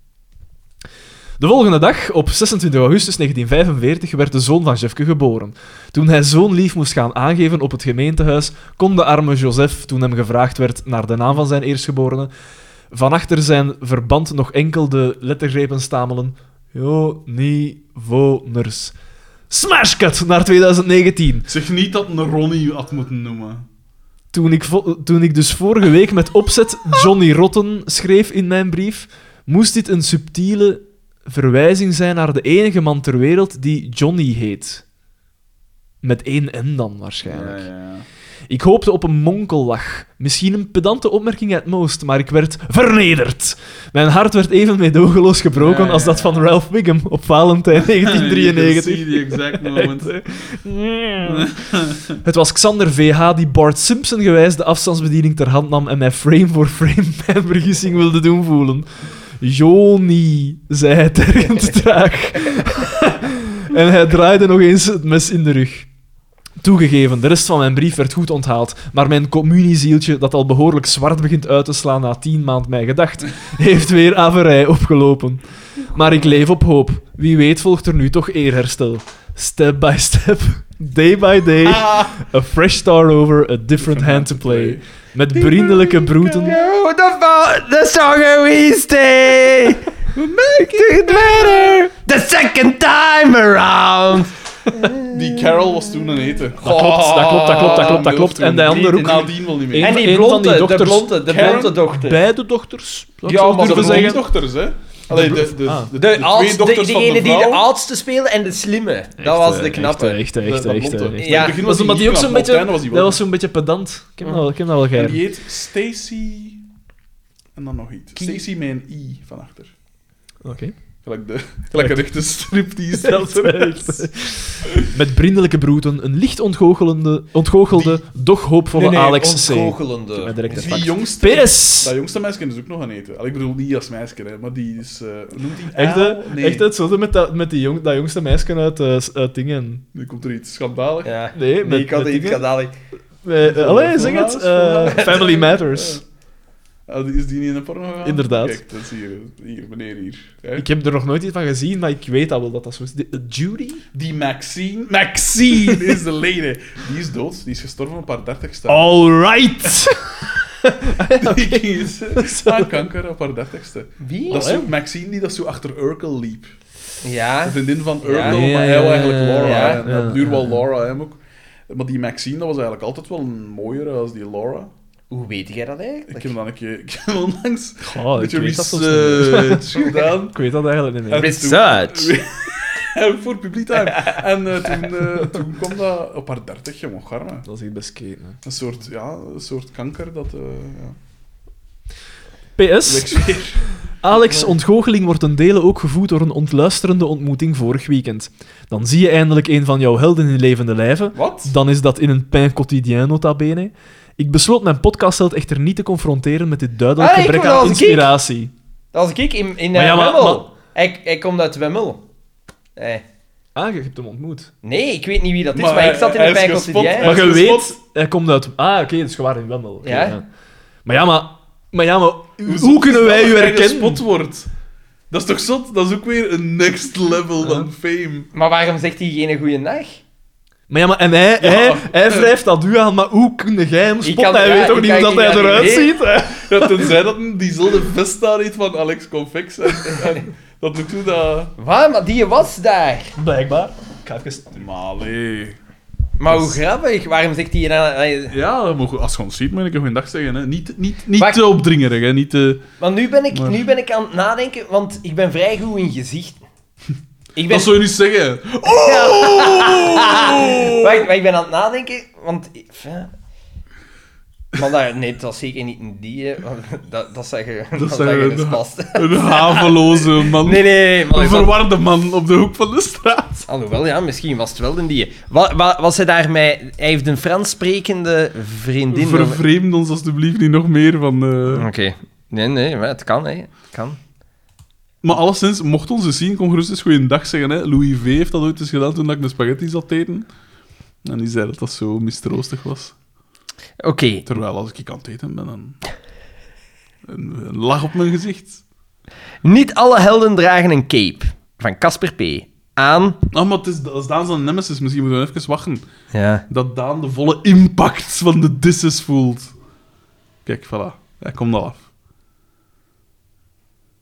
[SPEAKER 3] De volgende dag, op 26 augustus 1945, werd de zoon van Jefke geboren. Toen hij zo'n lief moest gaan aangeven op het gemeentehuis, kon de arme Joseph, toen hem gevraagd werd naar de naam van zijn eerstgeborene, van achter zijn verband nog enkel de lettergrepen stamelen. Jo, ni, voners. Smash cut naar 2019.
[SPEAKER 2] Zeg niet dat een Ronnie u had moeten noemen.
[SPEAKER 3] Toen ik, vo- toen ik dus vorige week met opzet Johnny Rotten schreef in mijn brief, moest dit een subtiele verwijzing zijn naar de enige man ter wereld die Johnny heet. Met één N dan waarschijnlijk.
[SPEAKER 2] ja.
[SPEAKER 3] Ik hoopte op een monkellach. Misschien een pedante opmerking at most, maar ik werd vernederd. Mijn hart werd even meedogenloos gebroken
[SPEAKER 2] Ja, ja,
[SPEAKER 3] als dat van
[SPEAKER 2] ja.
[SPEAKER 3] Ralph Wiggum op Valentijn
[SPEAKER 2] You can
[SPEAKER 3] 1993.
[SPEAKER 2] see the exact moment.
[SPEAKER 3] Het was Xander VH die Bart Simpson gewijs de afstandsbediening ter hand nam en mij frame voor frame mijn vergissing wilde doen voelen. Joni, zei hij tergend traag. en hij draaide nog eens het mes in de rug. Toegegeven, de rest van mijn brief werd goed onthaald, maar mijn communiezieltje, dat al behoorlijk zwart begint uit te slaan na tien maand mijn gedacht, heeft weer averij opgelopen. Maar ik leef op hoop. Wie weet volgt er nu toch eerherstel. Step by step, day by day, a fresh start over, a different hand to play. Met vriendelijke broeten...
[SPEAKER 4] Oh,
[SPEAKER 1] Yo, the, fo- the stronger we stay, we make it better the second time around.
[SPEAKER 2] Die Carol was toen een eten.
[SPEAKER 3] Dat klopt, dat klopt, dat klopt, dat klopt, dat klopt. En de andere ook.
[SPEAKER 2] Nadien wel niet meer.
[SPEAKER 3] Eén-
[SPEAKER 4] En die
[SPEAKER 3] van
[SPEAKER 4] blonde,
[SPEAKER 3] die
[SPEAKER 4] de
[SPEAKER 3] dokters-
[SPEAKER 4] blonde, de
[SPEAKER 2] Karen?
[SPEAKER 4] blonde dochter.
[SPEAKER 3] Beide dochters? zou ik
[SPEAKER 4] Ja,
[SPEAKER 3] zo
[SPEAKER 4] maar
[SPEAKER 3] durven
[SPEAKER 2] de
[SPEAKER 4] zeggen-
[SPEAKER 2] dochters, hè? Allee, de, de, de,
[SPEAKER 3] Ah.
[SPEAKER 2] de
[SPEAKER 4] De,
[SPEAKER 2] twee
[SPEAKER 4] oudste- de-
[SPEAKER 2] dochters van
[SPEAKER 4] degene die de
[SPEAKER 2] vrouw.
[SPEAKER 4] oudste speelde en de slimme. dat was de knappe.
[SPEAKER 3] eh, Echt, echt, echt.
[SPEAKER 2] Dat
[SPEAKER 3] echt,
[SPEAKER 2] blond, hè.
[SPEAKER 3] echt, echt.
[SPEAKER 4] Ja,
[SPEAKER 2] In het begin
[SPEAKER 3] Dat was omdat
[SPEAKER 2] die
[SPEAKER 3] die ook zo'n beetje...
[SPEAKER 2] Martijn was die
[SPEAKER 3] Dat was zo'n beetje pedant. Ik heb dat wel- ik heb dat wel
[SPEAKER 2] En
[SPEAKER 3] geir.
[SPEAKER 2] die heet Stacy... En dan nog iets. Stacy met een I van achter.
[SPEAKER 3] Oké.
[SPEAKER 2] Gelijk de, gelijk een echte strip die stelt.
[SPEAKER 3] Met vriendelijke broeten, een licht ontgoochelende, ontgoochelde, doch hoopvolle Alex C.
[SPEAKER 4] ontgoochelende.
[SPEAKER 3] Met direct een
[SPEAKER 2] Die
[SPEAKER 3] pak.
[SPEAKER 2] jongste...
[SPEAKER 3] PS!
[SPEAKER 2] Dat jongste meisje is ook nog aan eten. Allee, ik bedoel, niet als meisje, hè, maar die is... eh, hoe noemt die? Ah,
[SPEAKER 3] Echt, hè?
[SPEAKER 2] Al?
[SPEAKER 3] Echt hetzelfde met, dat, met die jong, dat jongste meisje uit, eh, s- uit dingen.
[SPEAKER 2] Nu komt er iets schandalig.
[SPEAKER 4] Ja.
[SPEAKER 3] Nee, met,
[SPEAKER 4] Nee, ik had
[SPEAKER 3] met
[SPEAKER 4] iets
[SPEAKER 3] dingen.
[SPEAKER 4] gedaan.
[SPEAKER 3] Eh, eh, allee, zeg het. eh, family Matters.
[SPEAKER 2] Eh, ah, die- is die niet in de porno gegaan?
[SPEAKER 3] Inderdaad.
[SPEAKER 2] Kijk, dat zie je. Hier, meneer hier. hè.
[SPEAKER 3] Ik heb er nog nooit iets van gezien, maar ik weet dat wel dat dat zo is. De- eh, Judy?
[SPEAKER 2] Die Maxine... Maxine is de lady. Die is dood. Die is gestorven op haar dertigste.
[SPEAKER 3] Oh, Alright!
[SPEAKER 2] Die is aan kanker op haar dertigste.
[SPEAKER 4] Wie?
[SPEAKER 2] Dat is zo Maxine die dat zo achter Urkel liep.
[SPEAKER 4] Ja.
[SPEAKER 2] De vriendin van Urkel,
[SPEAKER 4] Ja.
[SPEAKER 3] Ja,
[SPEAKER 2] maar
[SPEAKER 3] ja,
[SPEAKER 2] hij was eigenlijk
[SPEAKER 3] ja,
[SPEAKER 2] Laura.
[SPEAKER 4] ja,
[SPEAKER 2] En
[SPEAKER 3] ja.
[SPEAKER 2] op duur wel Laura hem ook. Maar die Maxine, dat was eigenlijk altijd wel een mooiere als die Laura.
[SPEAKER 4] Hoe weet jij dat eigenlijk?
[SPEAKER 2] Ik heb dan een keer ik heb onlangs
[SPEAKER 3] Goh,
[SPEAKER 2] een beetje
[SPEAKER 3] ik weet dat soms niet meer.
[SPEAKER 2] research gedaan.
[SPEAKER 3] Ik weet dat eigenlijk niet meer.
[SPEAKER 2] En toen-
[SPEAKER 1] Research.
[SPEAKER 2] En voor publiek time. En eh, toen, eh, toen kwam dat op haar dertig, jongen, garme.
[SPEAKER 3] Dat is echt best keten.
[SPEAKER 2] Een soort, ja, een soort kanker dat... eh ja.
[SPEAKER 3] PS.
[SPEAKER 2] Wegs weer.
[SPEAKER 3] Alex' ontgoocheling wordt ten dele ook gevoed door een ontluisterende ontmoeting vorig weekend. Dan zie je eindelijk een van jouw helden in levende lijven.
[SPEAKER 2] Wat?
[SPEAKER 3] Dan is dat in een pijn quotidien nota bene. Ik besloot mijn podcastheld echter niet te confronteren met dit duidelijk
[SPEAKER 4] Ah, ik
[SPEAKER 3] gebrek
[SPEAKER 4] wil wel
[SPEAKER 3] aan
[SPEAKER 4] eens een kiek.
[SPEAKER 3] inspiratie.
[SPEAKER 4] Dat was ik in, in
[SPEAKER 3] Maar
[SPEAKER 4] eh,
[SPEAKER 3] ja, maar-
[SPEAKER 4] Wemmel. Hij, hij komt uit Wemmel. Eh.
[SPEAKER 3] Ah, je hebt hem ontmoet.
[SPEAKER 4] Nee, ik weet niet wie dat is, maar,
[SPEAKER 2] Maar
[SPEAKER 4] ik zat in
[SPEAKER 2] hij
[SPEAKER 4] de
[SPEAKER 2] is
[SPEAKER 4] pijnkost
[SPEAKER 2] gespot,
[SPEAKER 4] die jij...
[SPEAKER 2] hè?
[SPEAKER 3] Maar
[SPEAKER 2] Hij
[SPEAKER 3] je
[SPEAKER 2] is
[SPEAKER 3] weet,
[SPEAKER 2] gespot.
[SPEAKER 3] hij komt uit... Ah, oké, dus je waren in Wendel. Oké,
[SPEAKER 4] Ja.
[SPEAKER 3] Maar ja, maar... Maar ja, maar... Hoe,
[SPEAKER 2] zot
[SPEAKER 3] kunnen
[SPEAKER 2] is dat
[SPEAKER 3] wij u
[SPEAKER 2] dat jij
[SPEAKER 3] herkennen?
[SPEAKER 2] gespot wordt? Dat is toch zot? Dat is ook weer een next level dan fame.
[SPEAKER 4] Maar waarom zegt hij geen goede dag?
[SPEAKER 3] Maar ja, maar... En hij,
[SPEAKER 2] Ja.
[SPEAKER 3] hij, hij wrijft dat u aan, maar hoe kun jij hem
[SPEAKER 4] Ik
[SPEAKER 3] spotten?
[SPEAKER 4] kan-
[SPEAKER 3] hij
[SPEAKER 4] ja,
[SPEAKER 3] weet ook
[SPEAKER 4] ik
[SPEAKER 3] niet hoe
[SPEAKER 4] kan-
[SPEAKER 3] dat
[SPEAKER 4] ik
[SPEAKER 3] hij
[SPEAKER 4] kan-
[SPEAKER 3] eruit
[SPEAKER 4] nee.
[SPEAKER 3] ziet. hè.
[SPEAKER 2] Ja, tenzij dat een diezelfde vest daar heeft van Alex Convex. En, en dat doet toe dat...
[SPEAKER 4] Waar? Maar die was daar.
[SPEAKER 3] Blijkbaar. Ik ga even...
[SPEAKER 2] Malee.
[SPEAKER 4] Maar hoe grappig. Waarom zegt hij dan... eh,
[SPEAKER 2] Ja, dat mogen- als je ons ziet, moet ik een goeie dag zeggen. Hè. Niet, niet, niet
[SPEAKER 4] Maar-
[SPEAKER 2] te opdringerig, hè. Niet eh, te...
[SPEAKER 4] Want nu ben, ik,
[SPEAKER 2] Maar-
[SPEAKER 4] nu ben ik aan het nadenken, want ik ben vrij goed in gezichten. Ik ben,
[SPEAKER 2] Dat zou je niet zeggen.
[SPEAKER 4] wacht, maar ik ben aan het nadenken, want... ik- ja. Maar daar, nee, dat was zeker niet een die, hè, want dat, dat zeg je... Dat,
[SPEAKER 2] zeg
[SPEAKER 4] zeg
[SPEAKER 2] je
[SPEAKER 4] je dus
[SPEAKER 2] inderdaad.
[SPEAKER 4] vast.
[SPEAKER 2] Een haveloze man.
[SPEAKER 4] Nee, nee, nee. maar
[SPEAKER 2] Een
[SPEAKER 4] ik was-
[SPEAKER 2] verwarde man op de hoek van de straat.
[SPEAKER 4] Alhoewel, ja, misschien was het wel een die. Wat, was hij daarmee... Hij heeft een Frans sprekende vriendin. of-
[SPEAKER 2] Vervreemd ons alstublieft niet nog meer van... eh,
[SPEAKER 4] Oké. Nee, nee, maar het kan, hè. Het kan.
[SPEAKER 2] Maar alleszins, mocht ons eens zien, kon gerust eens goeiedag zeggen. Hè. Louis V. heeft dat ooit eens gedaan toen ik de spaghetti zat te eten. En die zei dat dat zo mistroostig was.
[SPEAKER 4] Oké.
[SPEAKER 2] Terwijl als ik aan het eten ben, dan... Een, een lach op mijn gezicht.
[SPEAKER 4] Niet alle helden dragen een cape. Van Casper P. Aan...
[SPEAKER 2] Ah, maar het is, als Daan zijn nemesis, misschien moeten we even wachten.
[SPEAKER 4] Ja.
[SPEAKER 2] Dat Daan de volle impact van de disses voelt. Kijk, voilà. Hij komt al af.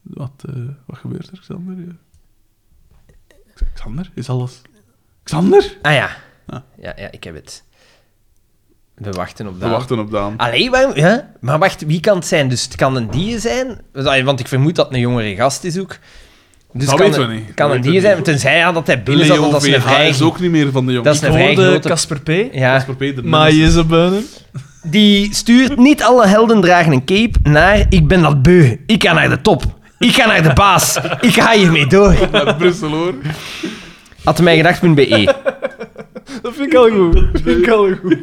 [SPEAKER 2] Wat, eh, wat gebeurt er, Xander? Ja. Xander, is alles... Xander?
[SPEAKER 4] Ah ja.
[SPEAKER 2] Ah.
[SPEAKER 4] Ja, ja, ik heb het. We wachten op
[SPEAKER 2] We
[SPEAKER 4] dat.
[SPEAKER 2] wachten op Daan.
[SPEAKER 4] Allee, waarom, ja? maar wacht, wie kan het zijn? Dus het kan een die zijn, want ik vermoed dat het een jongere gast is ook. Dus
[SPEAKER 2] Dat
[SPEAKER 4] kan
[SPEAKER 2] weten
[SPEAKER 4] een-
[SPEAKER 2] we niet.
[SPEAKER 4] Kan
[SPEAKER 2] Dat weten
[SPEAKER 4] een die
[SPEAKER 2] we
[SPEAKER 4] zijn,
[SPEAKER 2] niet.
[SPEAKER 4] tenzij ja, dat hij binnen zat, want dat is een
[SPEAKER 2] VH
[SPEAKER 4] vrij...
[SPEAKER 2] is ook niet meer van de jongen.
[SPEAKER 4] Dat is
[SPEAKER 3] Ik
[SPEAKER 4] een vrij
[SPEAKER 3] hoorde
[SPEAKER 4] grote-
[SPEAKER 3] Casper P.
[SPEAKER 4] Ja,
[SPEAKER 3] Maar je is een buinen.
[SPEAKER 4] die stuurt niet alle helden dragen een cape naar ik ben dat beu, ik ga naar de top, ik ga naar de baas, ik ga hiermee door.
[SPEAKER 2] Naar Brussel, hoor.
[SPEAKER 4] Had mij gedacht.be.
[SPEAKER 3] Dat vind ik al goed. Dat vind ik al goed.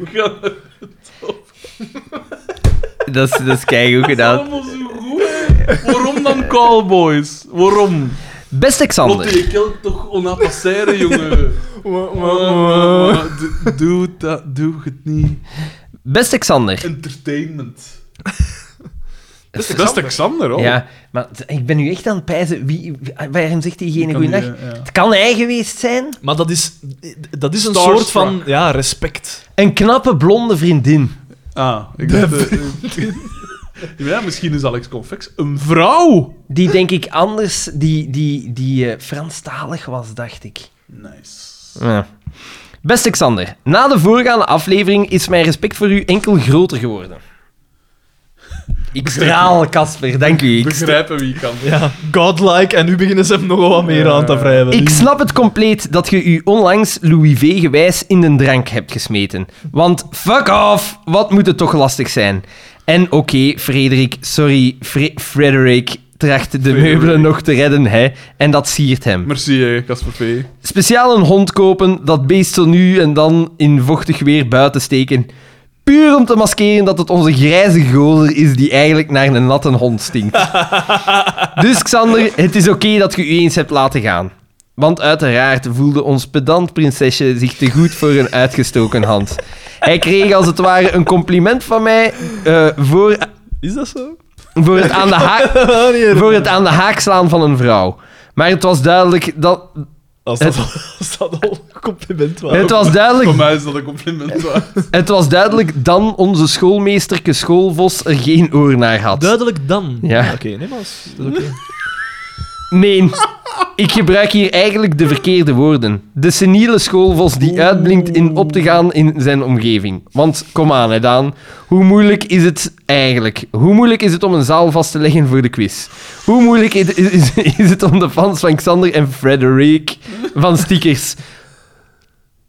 [SPEAKER 4] Dat is, dat is keigoed gedaan.
[SPEAKER 2] Allemaal zo goed. hè. Waarom dan Cowboys? Waarom?
[SPEAKER 4] Beste
[SPEAKER 2] Lotte,
[SPEAKER 4] Xander,
[SPEAKER 2] je kelt toch onappasseren, jongen. Doe- Doe dat, doe het niet.
[SPEAKER 4] beste Xander.
[SPEAKER 2] Entertainment. Dat is Xander, hoor.
[SPEAKER 4] Ja, maar t- ik ben nu echt aan het pijzen. Wie, wie- waarom zegt diegene
[SPEAKER 2] Kan die,
[SPEAKER 4] goeiedag?
[SPEAKER 2] eh, ja.
[SPEAKER 4] Het kan hij geweest zijn.
[SPEAKER 3] Maar dat is, dat is een
[SPEAKER 2] Starstruck.
[SPEAKER 3] soort van ja, respect.
[SPEAKER 4] Een knappe blonde vriendin.
[SPEAKER 2] Ah, ik dacht... eh, ja, misschien is Alex Convex een vrouw.
[SPEAKER 4] Die denk ik anders, die, die, die eh, Franstalig was, dacht ik.
[SPEAKER 2] Nice.
[SPEAKER 4] Ja. Beste Xander, na de voorgaande aflevering is mijn respect voor u enkel groter geworden. Ik straal, Casper, dank u. Ik,
[SPEAKER 2] Begrijpen wie kan.
[SPEAKER 3] Ja, godlike. En nu beginnen ze hem nogal wat meer aan te wrijven.
[SPEAKER 4] ik snap het compleet dat je u onlangs Louis V. gewijs in de drank hebt gesmeten. Want fuck off, wat moet het toch lastig zijn. En oké, Frederik, sorry, Fre- Frederik tracht de meubelen nog te redden, hè. En dat siert hem.
[SPEAKER 2] Merci, eh, Casper P.
[SPEAKER 4] Speciaal een hond kopen, dat beest zo nu en dan in vochtig weer buiten steken. Puur om te maskeren dat het onze grijze gozer is die eigenlijk naar een natte hond stinkt. dus Xander, het is oké dat je u eens hebt laten gaan. Want uiteraard voelde ons pedant prinsesje zich te goed voor een uitgestoken hand. Hij kreeg als het ware een compliment van mij eh, voor,
[SPEAKER 3] Is dat zo? Ah,
[SPEAKER 4] voor het aan de haak... Voor het aan de haak slaan van een vrouw. Maar het was duidelijk dat,
[SPEAKER 3] Als dat, als dat al een compliment was.
[SPEAKER 4] het was duidelijk
[SPEAKER 2] Voor mij is dat een compliment waard.
[SPEAKER 4] Het was duidelijk dan onze schoolmeesterke schoolvos er geen oor naar had.
[SPEAKER 3] Duidelijk dan.
[SPEAKER 4] Ja.
[SPEAKER 3] Oké, nee, maar als- dat is oké.
[SPEAKER 4] Nee, ik gebruik hier eigenlijk de verkeerde woorden. De seniele schoolvos die uitblinkt in op te gaan in zijn omgeving. Want, kom aan, hè Daan. Hoe moeilijk is het eigenlijk? Hoe moeilijk is het om een zaal vast te leggen voor de quiz? Hoe moeilijk is, is, is het om de fans van Xander en Frederick van stickers...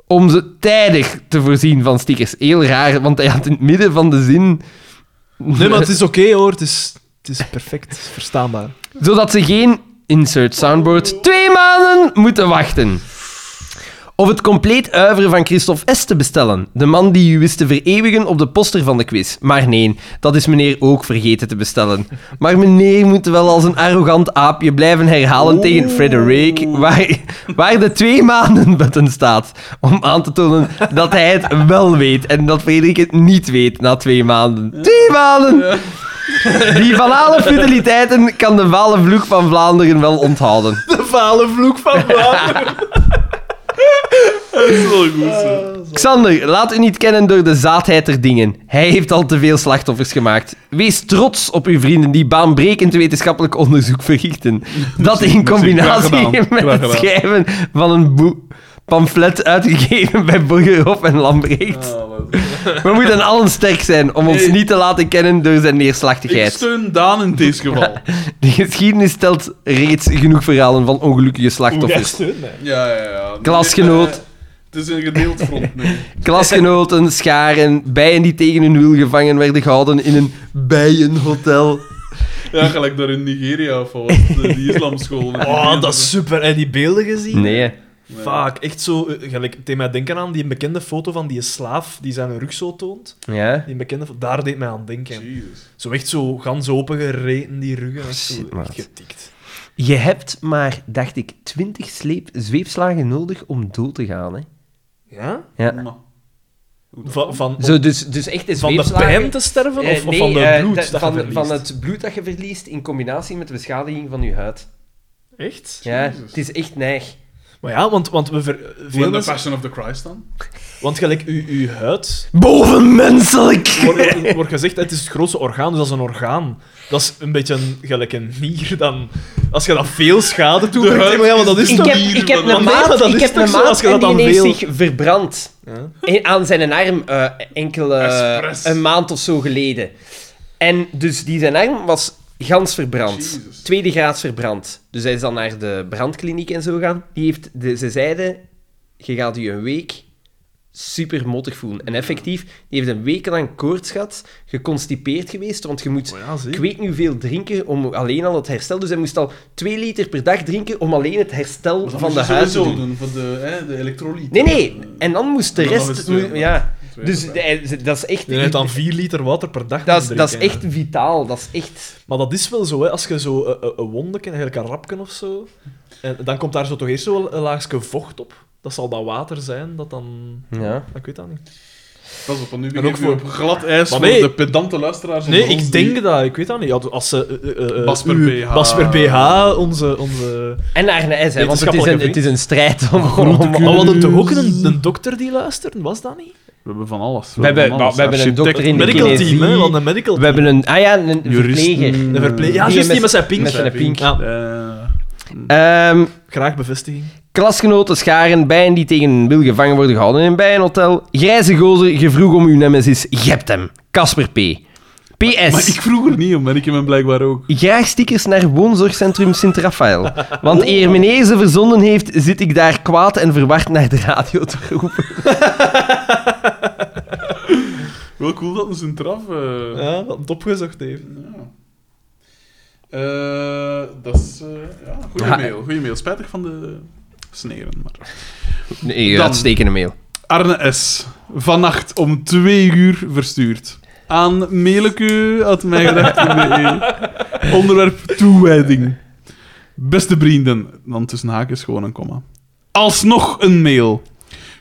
[SPEAKER 4] Om ze tijdig te voorzien van stickers. Heel raar, want hij had in het midden van de zin...
[SPEAKER 3] Nee, maar het is oké hoor. Het is, het is perfect. Het is verstaanbaar.
[SPEAKER 4] zodat ze geen insert soundboard twee maanden moeten wachten. Of het compleet uiveren van Christophe S. te bestellen. De man die u wist te vereeuwigen op de poster van de quiz. Maar nee, dat is meneer ook vergeten te bestellen. Maar meneer moet wel als een arrogant aapje blijven herhalen tegen Frederick... Waar, waar de twee maanden button staat. Om aan te tonen dat hij het wel weet. En dat Frederik het niet weet na twee maanden. Twee maanden! Die banale fideliteiten kan de vale vloek van Vlaanderen wel onthouden.
[SPEAKER 3] De vale vloek van Vlaanderen.
[SPEAKER 2] Dat is wel goed, zo.
[SPEAKER 4] Xander, laat u niet kennen door de zaadheid der dingen. Hij heeft al te veel slachtoffers gemaakt. Wees trots op uw vrienden die baanbrekend wetenschappelijk onderzoek verrichten. Dat in combinatie
[SPEAKER 2] Graag gedaan.
[SPEAKER 4] met
[SPEAKER 2] Graag
[SPEAKER 4] het
[SPEAKER 2] gedaan.
[SPEAKER 4] schrijven van een boe- pamflet uitgegeven bij Burgerhof en Lambrecht.
[SPEAKER 2] Ah, dat is-
[SPEAKER 4] We moeten allen sterk zijn om ons
[SPEAKER 2] Hey.
[SPEAKER 4] niet te laten kennen door zijn
[SPEAKER 2] Ik
[SPEAKER 4] neerslachtigheid.
[SPEAKER 2] steun Daan in dit geval.
[SPEAKER 4] De geschiedenis telt reeds genoeg verhalen van ongelukkige
[SPEAKER 3] Jij
[SPEAKER 4] slachtoffers.
[SPEAKER 3] steunt mij.
[SPEAKER 2] Ja, ja, ja. Nee,
[SPEAKER 4] Klasgenoot.
[SPEAKER 2] eh, Het is een gedeeld front nu.
[SPEAKER 4] Klasgenoten, scharen, bijen die tegen hun wil gevangen werden gehouden in een bijenhotel.
[SPEAKER 2] Ja, gelijk daar in Nigeria of wat. De, die islamschool.
[SPEAKER 3] Oh, dat is super. En die beelden gezien?
[SPEAKER 4] Nee,
[SPEAKER 3] Vaak, echt zo. eh, Gelijk, het deed mij denken aan die bekende foto van die slaaf die zijn rug zo toont.
[SPEAKER 1] Ja?
[SPEAKER 3] Die bekende fo- daar deed mij aan denken.
[SPEAKER 2] Jezus.
[SPEAKER 3] Zo echt zo gans open gereten, die ruggen. echt zo,
[SPEAKER 1] shit,
[SPEAKER 3] echt
[SPEAKER 1] maat.
[SPEAKER 3] getikt.
[SPEAKER 1] Je hebt maar, dacht ik, 20 sleep, zweepslagen nodig om dood te gaan. Hè?
[SPEAKER 3] Ja?
[SPEAKER 1] Ja.
[SPEAKER 2] Maar. Hoe dat-
[SPEAKER 3] Van, van,
[SPEAKER 4] Zo, dus, dus echt de
[SPEAKER 3] van de
[SPEAKER 4] zweepslagen-
[SPEAKER 3] pijn te sterven of,
[SPEAKER 4] Eh,
[SPEAKER 3] of
[SPEAKER 4] nee,
[SPEAKER 3] van de
[SPEAKER 4] eh,
[SPEAKER 3] bloed
[SPEAKER 4] da-
[SPEAKER 3] dat je
[SPEAKER 4] van,
[SPEAKER 3] verliest?
[SPEAKER 4] van het bloed dat je verliest in combinatie met de beschadiging van je huid.
[SPEAKER 3] Echt?
[SPEAKER 4] Ja,
[SPEAKER 2] Jezus.
[SPEAKER 4] het is echt neig.
[SPEAKER 3] Maar ja, want, want we ver,
[SPEAKER 2] Hoe
[SPEAKER 3] veel
[SPEAKER 2] in de
[SPEAKER 3] mensen-
[SPEAKER 2] Passion of the Christ dan?
[SPEAKER 3] Want gelijk, uw, uw huid
[SPEAKER 1] Bovenmenselijk!
[SPEAKER 3] wordt, wordt gezegd, het is het grootste orgaan, dus dat is een orgaan. Dat is een beetje een, gelijk een nier dan... Als je dat veel schade doet, dan
[SPEAKER 2] huid
[SPEAKER 3] denk je, maar ja, maar dat is
[SPEAKER 4] Ik
[SPEAKER 3] toch...
[SPEAKER 4] heb,
[SPEAKER 2] hier
[SPEAKER 4] ik heb
[SPEAKER 2] van-
[SPEAKER 4] een
[SPEAKER 3] Maar nee, maar
[SPEAKER 4] maat,
[SPEAKER 3] dat
[SPEAKER 4] ik
[SPEAKER 3] is
[SPEAKER 4] heb
[SPEAKER 3] toch
[SPEAKER 4] een
[SPEAKER 3] zo, als
[SPEAKER 4] maat
[SPEAKER 3] je dat
[SPEAKER 4] en die
[SPEAKER 3] dan
[SPEAKER 4] ineens
[SPEAKER 3] veel-
[SPEAKER 4] zich verbrand.
[SPEAKER 3] Ja.
[SPEAKER 4] En aan zijn arm eh, enkele
[SPEAKER 2] Expres.
[SPEAKER 4] een maand of zo geleden. En dus die zijn arm was gans verbrand.
[SPEAKER 2] Jezus.
[SPEAKER 4] Tweede graads verbrand. Dus hij is dan naar de brandkliniek en zo gaan. Die heeft de, ze zeiden, je gaat je een week super mottig voelen. En effectief, die heeft een week lang koorts gehad, geconstipeerd geweest, want je moet
[SPEAKER 3] Oh ja, zie.
[SPEAKER 4] ik weet niet hoeveel drinken om alleen al het herstel. Dus hij moest al 2 liter per dag drinken om alleen het herstel
[SPEAKER 2] Maar dat
[SPEAKER 4] van de
[SPEAKER 2] moet je
[SPEAKER 4] huid te
[SPEAKER 2] sowieso
[SPEAKER 4] doen.
[SPEAKER 2] Voor de, hè, de elektrolyten.
[SPEAKER 4] Nee, nee. En dan moest de
[SPEAKER 2] Dan eh,
[SPEAKER 4] rest...
[SPEAKER 2] is het
[SPEAKER 4] moe-
[SPEAKER 2] weer-
[SPEAKER 4] ja.
[SPEAKER 2] Twee
[SPEAKER 4] Dus
[SPEAKER 2] erbij.
[SPEAKER 4] hij- dat is echt...
[SPEAKER 3] Je hebt dan 4 liter water per dag
[SPEAKER 4] dat, is,
[SPEAKER 3] moeten
[SPEAKER 4] dat is
[SPEAKER 3] drinken,
[SPEAKER 4] echt vitaal. Dat is echt...
[SPEAKER 3] hè. Maar dat is wel zo, hè. Als je zo eh, eh, een wondeken, eigenlijk een rapken of zo... En dan komt daar zo toch eerst zo een laagje vocht op. Dat zal dat water zijn, dat dan...
[SPEAKER 4] Ja.
[SPEAKER 3] Ik weet dat niet.
[SPEAKER 2] Pas op, want nu
[SPEAKER 3] ook
[SPEAKER 2] begin je
[SPEAKER 3] voor-
[SPEAKER 2] op glad ijs
[SPEAKER 3] Maar
[SPEAKER 2] voor
[SPEAKER 3] nee.
[SPEAKER 2] de pedante luisteraars.
[SPEAKER 3] Nee,
[SPEAKER 2] onder ons
[SPEAKER 3] ik
[SPEAKER 2] die-
[SPEAKER 3] denk dat. Ik weet dat niet. Als ze... eh, eh, eh,
[SPEAKER 2] Basper
[SPEAKER 3] uw-
[SPEAKER 2] BH.
[SPEAKER 3] Basper BH, onze... onze...
[SPEAKER 4] En naar een S, hè, want het is
[SPEAKER 3] Wetenschappelijke
[SPEAKER 4] een,
[SPEAKER 3] vriend.
[SPEAKER 4] het is een strijd om... om, om-
[SPEAKER 3] Maar Oh, we hadden toch ook een, een dokter die luisterde? Was dat niet?
[SPEAKER 2] We hebben van alles.
[SPEAKER 4] We hebben- we hebben een
[SPEAKER 2] architect,
[SPEAKER 4] dokter in de
[SPEAKER 3] medical
[SPEAKER 4] kinesie.
[SPEAKER 3] team, hè? Want een medical
[SPEAKER 4] we hebben een... Ah ja, een
[SPEAKER 2] juristen,
[SPEAKER 4] verpleger.
[SPEAKER 3] De verpleeg- Ja,
[SPEAKER 4] Die
[SPEAKER 3] juist die
[SPEAKER 4] met-
[SPEAKER 3] met zijn pink.
[SPEAKER 4] met zijn pink.
[SPEAKER 3] Ja,
[SPEAKER 2] eh,
[SPEAKER 4] Ehm,
[SPEAKER 3] graag bevestiging.
[SPEAKER 4] klasgenoten scharen bijen die tegen een wil gevangen worden gehouden in een bijenhotel. Grijze gozer, je vroeg om uw nemesis. Je hebt hem. Casper P. PS.
[SPEAKER 2] Maar ik vroeg er niet om, en ik heb hem blijkbaar ook.
[SPEAKER 4] Graag stickers naar woonzorgcentrum Sint-Rafael. Want eer meneer ze verzonden heeft, zit ik daar kwaad en verward naar de radio te roepen.
[SPEAKER 2] Wel cool dat een traf. eh,
[SPEAKER 3] Ja, dat het opgezocht heeft.
[SPEAKER 2] Ja. Eh, dat is... eh, ja, goeie
[SPEAKER 4] Ja.
[SPEAKER 2] mail. Goeie mail. Spijtig van de sneren, maar...
[SPEAKER 4] Nee,
[SPEAKER 2] Dan.
[SPEAKER 4] uitstekende mail.
[SPEAKER 2] Arne S. Vannacht om twee uur verstuurd. Aan Meleke had mij E. Onderwerp toewijding. Beste vrienden, dan tussen haakjes gewoon een komma. Alsnog een mail.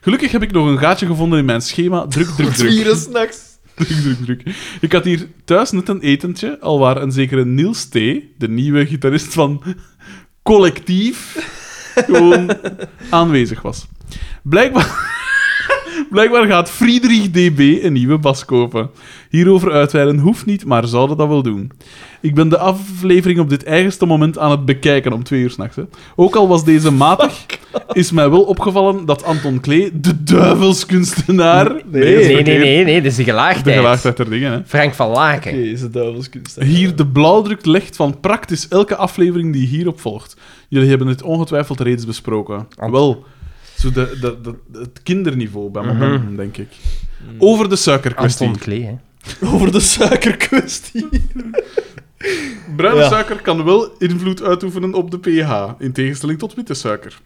[SPEAKER 2] Gelukkig heb ik nog een gaatje gevonden in mijn schema. Druk, druk, druk.
[SPEAKER 3] s'nachts.
[SPEAKER 2] Druk, druk, druk. Ik had hier thuis net een etentje, alwaar een zekere Niels T., de nieuwe gitarist van Collectief, gewoon aanwezig was. Blijkbaar, blijkbaar gaat Friedrich DB een nieuwe bas kopen. Hierover uitweiden hoeft niet, maar zouden dat wel doen. Ik ben de aflevering op dit eigenste moment aan het bekijken om twee uur s'nachts. Ook al was deze matig, is mij wel opgevallen dat Anton Klee, de duivelskunstenaar...
[SPEAKER 3] Nee,
[SPEAKER 2] dat is
[SPEAKER 4] Nee, nee,
[SPEAKER 2] verkeerd.
[SPEAKER 4] nee, nee, dat is de
[SPEAKER 2] De
[SPEAKER 4] gelaagdheid.
[SPEAKER 2] gelaagdheid der dingen, hè.
[SPEAKER 4] Frank van Laken.
[SPEAKER 3] Jezus, duivelskunst. hè.
[SPEAKER 2] Hier de blauwdruk legt van praktisch elke aflevering die hierop volgt. Jullie hebben het ongetwijfeld reeds besproken. Wel, zo de, de, de, het kinderniveau bij momenten, denk ik. Over de suikerkwestie.
[SPEAKER 4] Mhm. Anton Klee, hè.
[SPEAKER 3] Over de suikerkwestie.
[SPEAKER 2] Bruine
[SPEAKER 3] Ja.
[SPEAKER 2] suiker kan wel invloed uitoefenen op de pH, in tegenstelling tot witte suiker.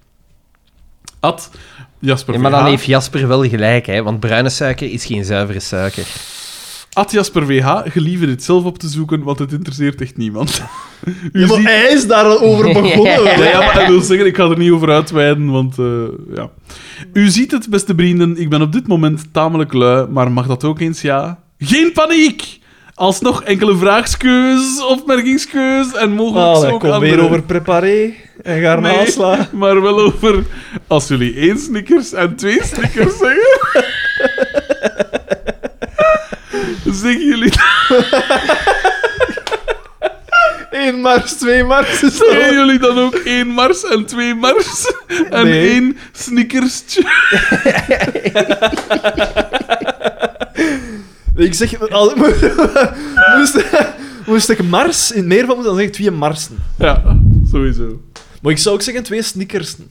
[SPEAKER 2] Ad Jasper
[SPEAKER 4] Ja, maar dan
[SPEAKER 2] VH.
[SPEAKER 4] heeft Jasper wel gelijk, hè. Want bruine suiker is geen zuivere suiker.
[SPEAKER 2] Ad Jasper VH, gelieve dit zelf op te zoeken, want het interesseert echt niemand. U
[SPEAKER 3] Ja, maar
[SPEAKER 2] ziet-
[SPEAKER 3] hij is daar al over begonnen.
[SPEAKER 2] Ja,
[SPEAKER 3] hè.
[SPEAKER 2] ja, maar hij wil zeggen, ik ga er niet over uitweiden, want eh, ja. U ziet het, beste vrienden, ik ben op dit moment tamelijk lui, maar mag dat ook eens, ja? Geen paniek! Alsnog enkele vraagskeus, opmerkingskeus en mogelijk
[SPEAKER 3] Ah,
[SPEAKER 2] ook
[SPEAKER 3] dat komt weer
[SPEAKER 2] andere-
[SPEAKER 3] over preparé en
[SPEAKER 2] Nee,
[SPEAKER 3] garnaalsla.
[SPEAKER 2] maar wel over als jullie één snickers en twee snickers zeggen. zeggen jullie
[SPEAKER 3] Eén mars, twee mars. is dat
[SPEAKER 2] Zeggen jullie dan ook één Mars en twee Mars en
[SPEAKER 3] Nee.
[SPEAKER 2] één snickerstje?
[SPEAKER 3] Ik zeg, als, moest, moest ik Mars in het meer van moeten, dan zeg ik twee Marsen.
[SPEAKER 2] Ja, sowieso.
[SPEAKER 3] Maar ik zou ook zeggen twee Snickersen.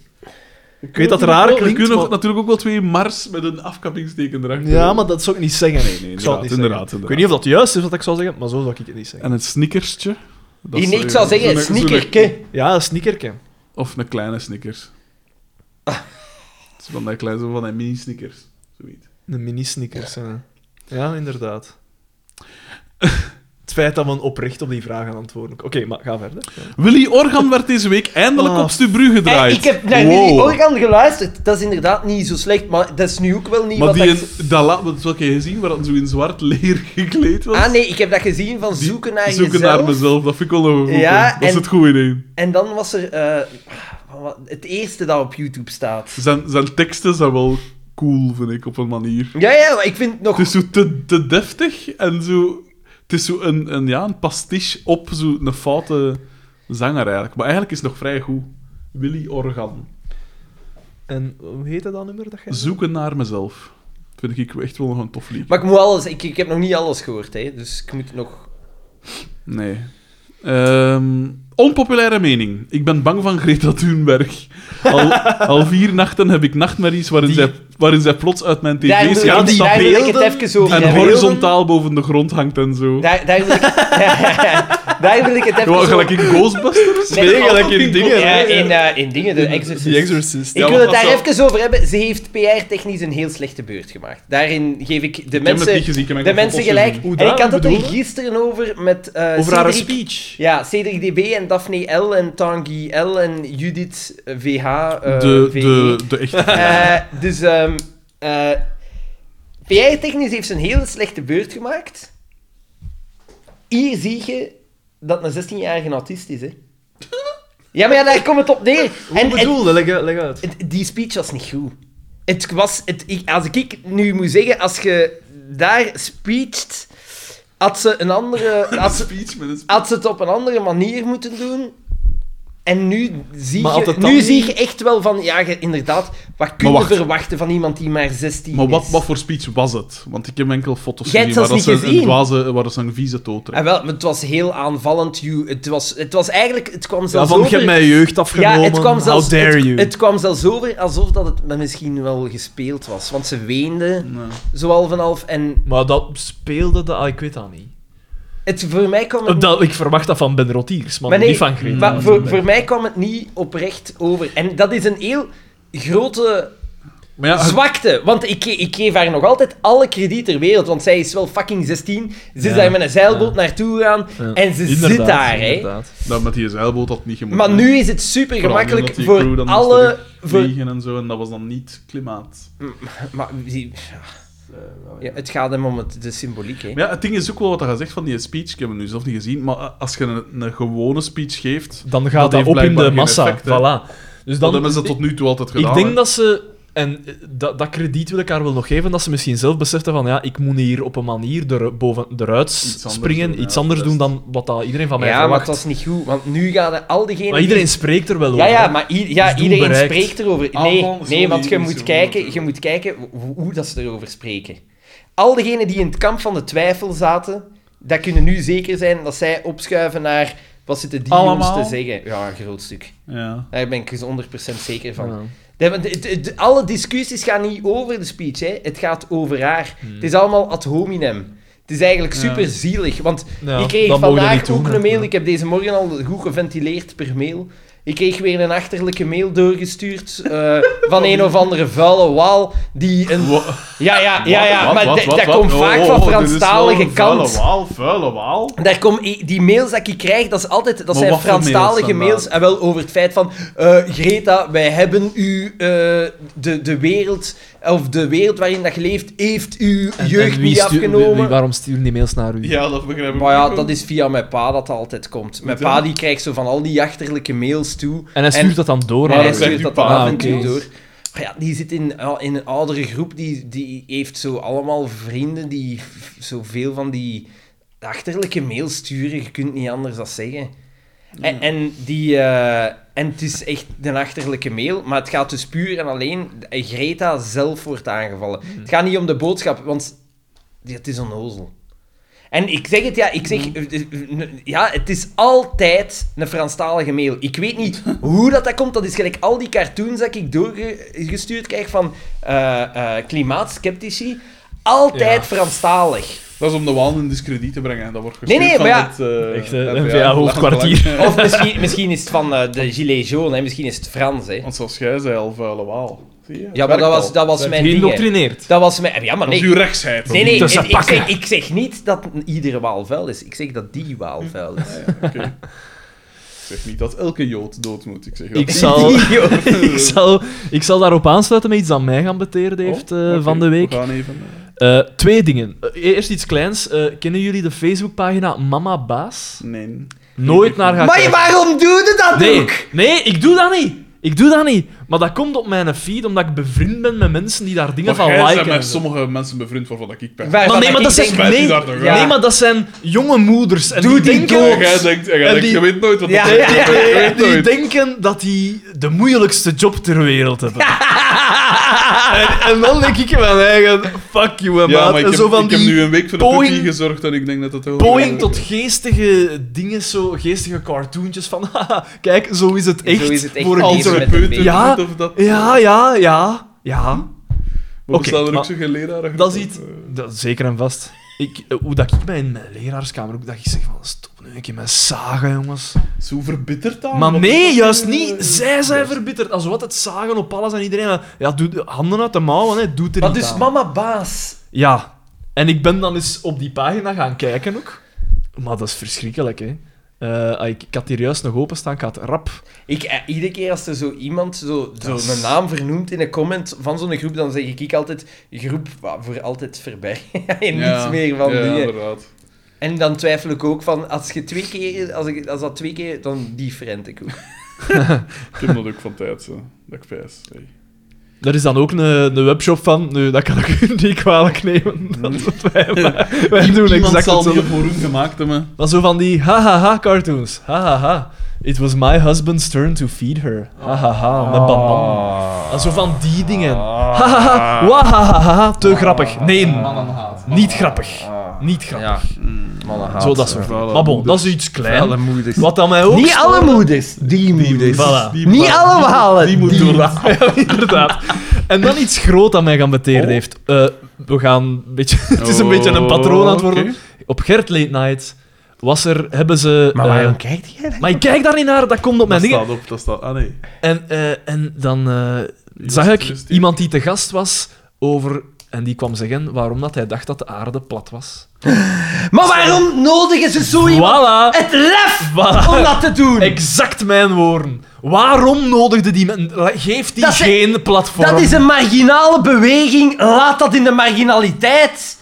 [SPEAKER 3] Ik weet dat het raar
[SPEAKER 2] We
[SPEAKER 3] klinkt,
[SPEAKER 2] kunnen
[SPEAKER 3] maar-
[SPEAKER 2] natuurlijk ook wel twee Mars met een afkappingsteken erachter.
[SPEAKER 3] Ja, maar dat zou ik niet zeggen. Nee, nee, ik zou
[SPEAKER 2] inderdaad,
[SPEAKER 3] het niet
[SPEAKER 2] inderdaad, inderdaad.
[SPEAKER 3] zeggen. Ik weet niet of dat juist is wat ik zou zeggen, maar zo zou ik het niet zeggen.
[SPEAKER 2] En het snickerstje? Dat
[SPEAKER 4] Die
[SPEAKER 2] is,
[SPEAKER 4] ik
[SPEAKER 2] eh,
[SPEAKER 4] zou zeggen,
[SPEAKER 2] zo'n- zo'n-
[SPEAKER 4] sneakerke.
[SPEAKER 3] Ja, een snickerke.
[SPEAKER 2] Of een kleine snickers. is van dat klein zo van die mini-snickers. Zoiets.
[SPEAKER 3] Een mini-snickers, ja. Ja, inderdaad. Het feit dat we oprecht op die vraag gaan antwoorden. Oké, maar ga verder.
[SPEAKER 2] Willy Organ werd deze week eindelijk
[SPEAKER 3] Ah.
[SPEAKER 2] op Stubru
[SPEAKER 4] Eh,
[SPEAKER 2] gedraaid.
[SPEAKER 4] ik heb naar
[SPEAKER 2] Wow.
[SPEAKER 4] Willy Organ geluisterd. Dat is inderdaad niet zo slecht, maar dat is nu ook wel niet
[SPEAKER 2] Maar
[SPEAKER 4] wat
[SPEAKER 2] die,
[SPEAKER 4] ik...
[SPEAKER 2] in- dat laat, dat heb je gezien, waar dat zo in zwart leer gekleed was.
[SPEAKER 4] Ah nee, ik heb dat gezien van
[SPEAKER 2] Die-
[SPEAKER 4] zoeken naar
[SPEAKER 2] Zoeken
[SPEAKER 4] jezelf.
[SPEAKER 2] naar mezelf, dat vind ik wel nog goed.
[SPEAKER 4] Ja,
[SPEAKER 2] Ja, dat is
[SPEAKER 4] en-
[SPEAKER 2] het goede idee.
[SPEAKER 4] En dan was er eh, wat- het eerste dat op YouTube staat.
[SPEAKER 2] Zijn, zijn teksten zijn wel cool, vind ik, op een manier.
[SPEAKER 4] Ja, ja, maar ik vind het nog...
[SPEAKER 2] Het is zo te, te deftig en zo... Het is zo een, een, ja, een pastiche op zo'n foute zanger, eigenlijk. Maar eigenlijk is het nog vrij goed. Willy Organ.
[SPEAKER 3] En hoe heet dat nummer dat jij...
[SPEAKER 2] Zoeken naar mezelf. Vind ik echt wel nog een tof lied.
[SPEAKER 4] Maar ik moet alles... Ik, ik heb nog niet alles gehoord, hè. Dus ik moet nog...
[SPEAKER 2] Nee. Ehm, onpopulaire mening. Ik ben bang van Greta Thunberg. Al, al vier nachten heb ik nachtmerries waarin,
[SPEAKER 3] Die-
[SPEAKER 2] zij, waarin zij plots uit mijn
[SPEAKER 4] Daar
[SPEAKER 2] tv
[SPEAKER 4] wil-
[SPEAKER 2] schaamt
[SPEAKER 4] die- daar wil ik het even over
[SPEAKER 2] en
[SPEAKER 4] hebben.
[SPEAKER 2] horizontaal boven de grond hangt en zo.
[SPEAKER 4] Daar, daar, wil ik, daar wil ik het even
[SPEAKER 2] Gewoon
[SPEAKER 4] over-
[SPEAKER 2] gelijk in Ghostbusters?
[SPEAKER 4] Nee,
[SPEAKER 3] Nee, gelijk
[SPEAKER 2] altijd
[SPEAKER 3] in dingen.
[SPEAKER 4] Ja,
[SPEAKER 3] hè.
[SPEAKER 4] in, eh, in dingen, de Exorcist.
[SPEAKER 3] The Exorcist.
[SPEAKER 4] Ik
[SPEAKER 2] Ja,
[SPEAKER 4] wil
[SPEAKER 2] maar
[SPEAKER 4] het daar
[SPEAKER 2] dat zou-
[SPEAKER 4] even over hebben. Ze heeft PR-technisch een heel slechte beurt gemaakt. Daarin geef ik de
[SPEAKER 2] Ik heb het
[SPEAKER 4] mensen,
[SPEAKER 2] niet gezien, ik heb
[SPEAKER 4] de
[SPEAKER 2] enkel
[SPEAKER 4] mensen
[SPEAKER 2] foto's
[SPEAKER 4] gelijk.
[SPEAKER 2] gezien.
[SPEAKER 3] Hoe
[SPEAKER 4] en ik
[SPEAKER 3] dat?
[SPEAKER 4] had het er
[SPEAKER 3] Bedoel je?
[SPEAKER 4] gisteren over met eh
[SPEAKER 3] Over haar
[SPEAKER 4] Cedric-
[SPEAKER 3] speech.
[SPEAKER 4] Ja, Cedric DB en Daphne L en Tanguy L en Judith eh, VH. eh,
[SPEAKER 2] De,
[SPEAKER 4] VE.
[SPEAKER 2] de, de echte...
[SPEAKER 4] Eh, dus ehm eh, PR-technisch heeft ze een hele slechte beurt gemaakt. Hier zie je dat een 16-jarige autist is, hè. Ja, maar ja, daar komt het op neer. En-
[SPEAKER 3] Hoe
[SPEAKER 4] en
[SPEAKER 3] bedoel je? Leg, leg uit.
[SPEAKER 4] het- die speech was niet goed. Het was, het, ik, als ik nu moet zeggen, als je daar speecht, had ze, een andere, had, ze,
[SPEAKER 2] speech met een speech.
[SPEAKER 4] had ze het op een andere manier moeten doen. En nu zie,
[SPEAKER 3] Maar had
[SPEAKER 4] je,
[SPEAKER 3] het dan
[SPEAKER 4] nu
[SPEAKER 3] niet-
[SPEAKER 4] zie je echt wel van, ja, je- inderdaad, wat kun je
[SPEAKER 2] wacht.
[SPEAKER 4] verwachten van iemand die maar 16
[SPEAKER 2] Ah, Maar wat,
[SPEAKER 4] is?
[SPEAKER 2] wat voor speech was het? Want ik heb enkel foto's
[SPEAKER 4] Jij hebt
[SPEAKER 2] gezien waar dat
[SPEAKER 4] zelfs
[SPEAKER 2] ze
[SPEAKER 4] niet
[SPEAKER 2] een,
[SPEAKER 4] gezien.
[SPEAKER 2] dwaze, waar dat ze een vieze toot
[SPEAKER 4] Ah,
[SPEAKER 2] trekken.
[SPEAKER 4] wel, maar het was heel aanvallend. You, het, was, het was eigenlijk, het kwam
[SPEAKER 3] Ja,
[SPEAKER 4] zelfs
[SPEAKER 3] van, je
[SPEAKER 4] over...
[SPEAKER 3] hebt mijn jeugd afgenomen.
[SPEAKER 4] Ja, het kwam, zelfs,
[SPEAKER 3] How dare
[SPEAKER 4] het,
[SPEAKER 3] you.
[SPEAKER 4] het kwam zelfs over alsof dat het misschien wel gespeeld was. Want ze weende,
[SPEAKER 2] Nee.
[SPEAKER 4] zo half en half. En
[SPEAKER 3] Maar dat speelde... De... ah, ik weet dat niet.
[SPEAKER 4] Het, voor mij kwam het...
[SPEAKER 3] Dat, ik verwacht dat van Ben Rotiers, maar,
[SPEAKER 4] Maar nee,
[SPEAKER 3] niet van Greta.
[SPEAKER 4] maar voor, voor mij kwam het niet oprecht over. En dat is een heel grote
[SPEAKER 2] Maar ja,
[SPEAKER 4] zwakte. Want ik, ge- ik geef haar nog altijd alle krediet ter wereld. Want zij is wel fucking 16. Ze is
[SPEAKER 3] Ja,
[SPEAKER 4] daar met een zeilboot naartoe gegaan.
[SPEAKER 3] Ja,
[SPEAKER 4] En ze zit
[SPEAKER 3] Inderdaad,
[SPEAKER 4] daar, hè.
[SPEAKER 3] inderdaad.
[SPEAKER 2] dat met die zeilboot had niet gemoeten.
[SPEAKER 4] Maar nu is het super gemakkelijk
[SPEAKER 2] Vooral omdat die
[SPEAKER 4] voor
[SPEAKER 2] crew dan moest
[SPEAKER 4] alle... Voor,
[SPEAKER 2] terugvliegen en zo, en dat was dan niet klimaat.
[SPEAKER 4] maar, die- ja, het gaat hem om het, de symboliek, hè.
[SPEAKER 2] Maar ja, het ding is ook wel wat je zegt van die speech. Ik heb hem nu zelf niet gezien. Maar eh, als je een, een gewone speech geeft.
[SPEAKER 3] Dan gaat
[SPEAKER 2] heeft
[SPEAKER 3] dat, op in
[SPEAKER 2] blijkbaar
[SPEAKER 3] de
[SPEAKER 2] geen
[SPEAKER 3] massa.
[SPEAKER 2] effect, hè.
[SPEAKER 3] voilà.
[SPEAKER 2] Dan
[SPEAKER 3] Dus dan,
[SPEAKER 2] hebben ze dat tot nu toe altijd gedaan.
[SPEAKER 3] ik denk
[SPEAKER 2] hè.
[SPEAKER 3] dat ze, en eh, dat, dat krediet wil ik haar wel nog geven, dat ze misschien zelf beseften van ja, ik moet hier op een manier er, boven, eruit
[SPEAKER 2] Iets anders
[SPEAKER 3] springen,
[SPEAKER 2] doen,
[SPEAKER 3] iets
[SPEAKER 2] ja,
[SPEAKER 3] anders
[SPEAKER 2] best.
[SPEAKER 3] doen dan wat dat iedereen van mij
[SPEAKER 4] Ja, maar
[SPEAKER 3] verwacht.
[SPEAKER 4] het was niet goed. Want nu gaan er al diegenen...
[SPEAKER 3] Maar
[SPEAKER 4] die-
[SPEAKER 3] iedereen spreekt er wel over.
[SPEAKER 4] Ja, ja,
[SPEAKER 3] hè.
[SPEAKER 4] maar i- ja,
[SPEAKER 3] Dus doel
[SPEAKER 4] iedereen
[SPEAKER 3] bereikt.
[SPEAKER 4] spreekt erover.
[SPEAKER 2] Ah,
[SPEAKER 4] Nee,
[SPEAKER 2] Aanval
[SPEAKER 4] nee
[SPEAKER 2] zo
[SPEAKER 4] want
[SPEAKER 2] niet,
[SPEAKER 4] je
[SPEAKER 2] niet
[SPEAKER 4] moet,
[SPEAKER 2] zo
[SPEAKER 4] kijken,
[SPEAKER 2] goed.
[SPEAKER 4] je moet kijken ho- ho- hoe dat ze erover spreken. Al diegenen die in het kamp van de twijfel zaten, dat kunnen nu zeker zijn dat zij opschuiven naar wat zitten die
[SPEAKER 2] Allemaal?
[SPEAKER 4] jongens te zeggen. Ja, een groot stuk.
[SPEAKER 2] Ja.
[SPEAKER 4] Daar ben ik eens 100% zeker van.
[SPEAKER 3] Ja.
[SPEAKER 4] Nee, want het- het- alle discussies gaan niet over de speech, hè. het gaat over haar. Het is allemaal ad hominem. Het is eigenlijk
[SPEAKER 2] Hmm. Ja.
[SPEAKER 4] super zielig, want
[SPEAKER 3] Ja,
[SPEAKER 4] ik
[SPEAKER 3] dat
[SPEAKER 4] kreeg
[SPEAKER 3] mogen we
[SPEAKER 4] vandaag
[SPEAKER 3] niet doen,
[SPEAKER 4] ook
[SPEAKER 3] hè.
[SPEAKER 4] een mail.
[SPEAKER 3] Ja.
[SPEAKER 4] Ik heb deze morgen al goed geventileerd per mail. Ik kreeg weer een achterlijke mail doorgestuurd eh, van een of andere vuile waal die een...
[SPEAKER 2] Wa-
[SPEAKER 4] Ja, ja, ja, ja,
[SPEAKER 2] wat,
[SPEAKER 4] maar
[SPEAKER 2] wat,
[SPEAKER 4] dat-
[SPEAKER 2] wat,
[SPEAKER 4] dat
[SPEAKER 2] wat?
[SPEAKER 4] komt
[SPEAKER 2] Oh,
[SPEAKER 4] vaak
[SPEAKER 2] oh,
[SPEAKER 4] van
[SPEAKER 2] dit is wel
[SPEAKER 4] Franstalige
[SPEAKER 2] een
[SPEAKER 4] kant.
[SPEAKER 2] Vuile waal, vuile waal.
[SPEAKER 4] Daar kom, i- die mails dat ik krijg, dat, is altijd, dat
[SPEAKER 2] Maar
[SPEAKER 4] zijn
[SPEAKER 2] wat voor mails
[SPEAKER 4] Franstalige
[SPEAKER 2] dan
[SPEAKER 4] mails.
[SPEAKER 2] dan?
[SPEAKER 4] En wel over het feit van... eh, Greta, wij hebben u... eh, de, de wereld... Of de wereld waarin dat je leeft, heeft u
[SPEAKER 3] En- en
[SPEAKER 4] jeugd
[SPEAKER 3] wie
[SPEAKER 4] niet
[SPEAKER 3] stuurt- wie-
[SPEAKER 4] afgenomen.
[SPEAKER 3] wie- waarom sturen die mails naar u?
[SPEAKER 2] Ja, dat begrijp ik
[SPEAKER 4] Maar ja,
[SPEAKER 2] ook.
[SPEAKER 4] dat is via mijn pa dat dat altijd komt. Mijn
[SPEAKER 2] Moet dat?
[SPEAKER 4] pa die krijgt zo van al die achterlijke mails toe.
[SPEAKER 3] En hij stuurt dat dan door.
[SPEAKER 4] En
[SPEAKER 3] aan
[SPEAKER 4] hij
[SPEAKER 3] u.
[SPEAKER 2] zegt
[SPEAKER 4] stuurt
[SPEAKER 2] uw
[SPEAKER 4] dat
[SPEAKER 2] pa.
[SPEAKER 4] dan af en
[SPEAKER 3] Ah,
[SPEAKER 4] toe
[SPEAKER 3] oké.
[SPEAKER 4] door. Maar ja, die zit in, ja, in een oudere groep, die, die heeft zo allemaal vrienden die f- zoveel van die achterlijke mails sturen. Je kunt niet anders dan zeggen. En, en, die, eh, en het is echt een achterlijke mail, maar het gaat dus puur en alleen... Greta zelf wordt aangevallen. Het gaat niet om de boodschap, want ja, het is onnozel. En ik zeg het, ja, ik zeg... eh, Ja, het is altijd een Franstalige mail. Ik weet niet hoe dat, dat komt. Dat is gelijk al die cartoons dat ik doorgestuurd krijg van eh, eh, klimaatskeptici. Altijd
[SPEAKER 3] Ja.
[SPEAKER 4] Franstalig.
[SPEAKER 2] Dat is om de waal in discrediet te brengen. Dat wordt
[SPEAKER 4] Nee,
[SPEAKER 2] gestuurd
[SPEAKER 4] nee, maar
[SPEAKER 2] van het... eh,
[SPEAKER 3] Echt, eh,
[SPEAKER 2] NVA
[SPEAKER 3] NVA hoofdkwartier.
[SPEAKER 2] belang- belang-
[SPEAKER 4] Of misschien, misschien is het van eh, de Gilets jaunes, hè. misschien is het Frans. Hè.
[SPEAKER 2] Want zoals jij zei, al vuile waal. Zie je? Het
[SPEAKER 4] Ja, maar dat
[SPEAKER 2] werkt
[SPEAKER 4] was,
[SPEAKER 2] al.
[SPEAKER 4] dat was
[SPEAKER 3] Zijn
[SPEAKER 4] mijn ding. hè.
[SPEAKER 3] geïndoctrineerd.
[SPEAKER 4] Dat was mijn... Ja, maar
[SPEAKER 2] Dat is
[SPEAKER 4] nee.
[SPEAKER 2] uw rechtsheid.
[SPEAKER 4] Nee, nee,
[SPEAKER 3] Dat is
[SPEAKER 4] het-
[SPEAKER 3] een
[SPEAKER 4] ik,
[SPEAKER 3] pakken.
[SPEAKER 4] zeg, ik zeg niet dat iedere waal vuil is. Ik zeg dat die waal vuil is.
[SPEAKER 2] Oké. Ik zeg niet dat elke jood dood moet. Ik zeg dat
[SPEAKER 3] Ik
[SPEAKER 2] die-
[SPEAKER 3] zal,
[SPEAKER 4] Idioot.
[SPEAKER 3] ik, zal, ik zal daarop aansluiten met iets dat mij geambeteerd heeft
[SPEAKER 2] Oh,
[SPEAKER 3] eh,
[SPEAKER 2] oké,
[SPEAKER 3] van de week.
[SPEAKER 2] We gaan even... eh,
[SPEAKER 3] Eh, twee dingen. Eh, Eerst iets kleins. Eh, kennen jullie de Facebookpagina Mama Baas?
[SPEAKER 2] nee.
[SPEAKER 3] Nooit naar gaan
[SPEAKER 4] Maar
[SPEAKER 3] kijken.
[SPEAKER 4] waarom doe je dat
[SPEAKER 3] Nee,
[SPEAKER 4] ook?
[SPEAKER 3] nee, ik doe dat niet. Ik doe dat niet. Maar dat komt op mijn feed omdat ik bevriend ben met mensen die daar dingen
[SPEAKER 2] Maar jij
[SPEAKER 3] van
[SPEAKER 2] bent
[SPEAKER 3] liken. en
[SPEAKER 2] met
[SPEAKER 3] zo.
[SPEAKER 2] sommige mensen bevriend waarvan dat ik ben.
[SPEAKER 4] Waar-
[SPEAKER 3] Maar nee,
[SPEAKER 4] Ik
[SPEAKER 3] maar dat
[SPEAKER 4] denk-
[SPEAKER 3] zijn,
[SPEAKER 2] Wij
[SPEAKER 3] nee,
[SPEAKER 2] zien daar toch
[SPEAKER 4] uit.
[SPEAKER 3] nee, maar dat zijn jonge moeders. En die
[SPEAKER 4] Doe die
[SPEAKER 3] denken,
[SPEAKER 2] En jij denkt, en jij denkt
[SPEAKER 3] die-
[SPEAKER 2] je weet nooit wat
[SPEAKER 4] Ja.
[SPEAKER 2] dat is.
[SPEAKER 3] Die-
[SPEAKER 2] Je
[SPEAKER 3] die-
[SPEAKER 2] weet nooit.
[SPEAKER 3] die denken dat die de moeilijkste job ter wereld hebben. en, en dan denk ik in mijn eigen, fuck you, hè,
[SPEAKER 2] Ja,
[SPEAKER 3] maat.
[SPEAKER 2] maar ik
[SPEAKER 3] en
[SPEAKER 2] heb,
[SPEAKER 3] zo van
[SPEAKER 2] ik heb
[SPEAKER 3] die
[SPEAKER 2] nu een week voor de
[SPEAKER 3] poing-
[SPEAKER 2] poekie gezorgd en ik denk dat dat heel...
[SPEAKER 3] poing tot geestige dingen, zo geestige cartoontjes van, haha, kijk, zo is het echt.
[SPEAKER 4] Zo is het echt
[SPEAKER 3] voor een
[SPEAKER 4] leven
[SPEAKER 3] ander.
[SPEAKER 4] met een
[SPEAKER 2] Therapeuten
[SPEAKER 4] baby.
[SPEAKER 3] Ja.
[SPEAKER 2] of dat...
[SPEAKER 3] Ja, ja, ja, ja.
[SPEAKER 2] Maar
[SPEAKER 3] Oké,
[SPEAKER 2] bestaan er ook
[SPEAKER 3] maar-
[SPEAKER 2] zo geen leraren?
[SPEAKER 3] Dat is iets... Dat, zeker en vast. Ik, eh, hoe dat ik mij in mijn leraarskamer ook dat ik zeg van stop nu een keer met zagen jongens.
[SPEAKER 2] Zo verbitterd dan?
[SPEAKER 3] Maar
[SPEAKER 2] Wat
[SPEAKER 3] nee,
[SPEAKER 2] is dat?
[SPEAKER 3] juist
[SPEAKER 2] Eh,
[SPEAKER 3] niet. Zij zijn verbitterd. Als wat het zagen op alles en iedereen. maar Ja, doe de handen uit de mouwen, hè. doet er
[SPEAKER 4] Maar
[SPEAKER 3] niet
[SPEAKER 4] dus
[SPEAKER 3] aan.
[SPEAKER 4] mama baas.
[SPEAKER 3] Ja. En ik ben dan eens op die pagina gaan kijken ook. Maar dat is verschrikkelijk, hè. Eh, ik, ik had hier juist nog openstaan, ik had rap.
[SPEAKER 4] Ik, eh, iedere keer als er zo iemand zo, zo
[SPEAKER 3] is-
[SPEAKER 4] een naam vernoemt in een comment van zo'n groep, dan zeg ik, ik altijd, groep wa- voor altijd verbergen. en niets
[SPEAKER 2] ja.
[SPEAKER 4] meer van
[SPEAKER 2] ja,
[SPEAKER 4] dingen.
[SPEAKER 2] inderdaad.
[SPEAKER 4] En dan twijfel ik ook van, als je twee keer, als, ik, als dat twee keer, dan die frent ik ook.
[SPEAKER 2] Ik heb dat ook van tijd, hè. dat ik pijs. Hey.
[SPEAKER 3] Daar is dan ook een, een webshop van. Nu, dat kan ik hun niet kwalijk nemen. Dat is wat wij, wij doen
[SPEAKER 2] Iemand
[SPEAKER 3] exact
[SPEAKER 2] zal
[SPEAKER 3] hetzelfde.
[SPEAKER 2] die voor hun gemaakt hebben.
[SPEAKER 3] Maar zo van die hahaha cartoons. Hahaha. It was my husband's turn to feed her. Hahaha.
[SPEAKER 2] Ah.
[SPEAKER 3] Met banan. En zo van die dingen.
[SPEAKER 2] Ah.
[SPEAKER 3] Hahaha. Wahahaha. Te grappig. Nee. Niet grappig.
[SPEAKER 2] Ah.
[SPEAKER 3] Niet grappig.
[SPEAKER 2] Mm,
[SPEAKER 3] Zo dat soort
[SPEAKER 2] Vuile
[SPEAKER 3] dingen. Maar bon, dat is iets klein.
[SPEAKER 1] moeders.
[SPEAKER 3] Wat dan mij ook...
[SPEAKER 1] Niet
[SPEAKER 3] stoort-
[SPEAKER 1] alle moeders, die moeders.
[SPEAKER 3] Voilà.
[SPEAKER 2] Die
[SPEAKER 1] Niet
[SPEAKER 2] pa-
[SPEAKER 1] alle walen.
[SPEAKER 2] die moet doen.
[SPEAKER 3] Ja, inderdaad. En dan iets groot dat mij
[SPEAKER 2] Oh.
[SPEAKER 3] geambeteerd heeft. Eh, we gaan een beetje... Het is een beetje een patroon aan het worden.
[SPEAKER 2] Oh, Oké.
[SPEAKER 3] Op Gert Late Night was er... Hebben ze...
[SPEAKER 1] Maar
[SPEAKER 3] eh,
[SPEAKER 1] waarom kijkt jij dan?
[SPEAKER 3] maar ik kijk daar niet naar, dat komt op mijn
[SPEAKER 2] Dat
[SPEAKER 3] dingen.
[SPEAKER 2] staat op, dat staat... Ah, nee.
[SPEAKER 3] En, eh, en dan eh,
[SPEAKER 2] Wie was
[SPEAKER 3] zag
[SPEAKER 2] het
[SPEAKER 3] ik
[SPEAKER 2] eerst die?
[SPEAKER 3] iemand die te gast was over... En die kwam zeggen waarom dat hij dacht dat de aarde plat was.
[SPEAKER 4] Maar waarom nodigen ze zo iemand
[SPEAKER 3] Voilà!
[SPEAKER 4] het lef
[SPEAKER 3] Voilà.
[SPEAKER 4] om dat te doen?
[SPEAKER 3] Exact mijn woorden. Waarom nodigde die men... Geeft die
[SPEAKER 4] Dat ze-
[SPEAKER 3] geen platform.
[SPEAKER 4] Dat is een marginale beweging, laat dat in de marginaliteit.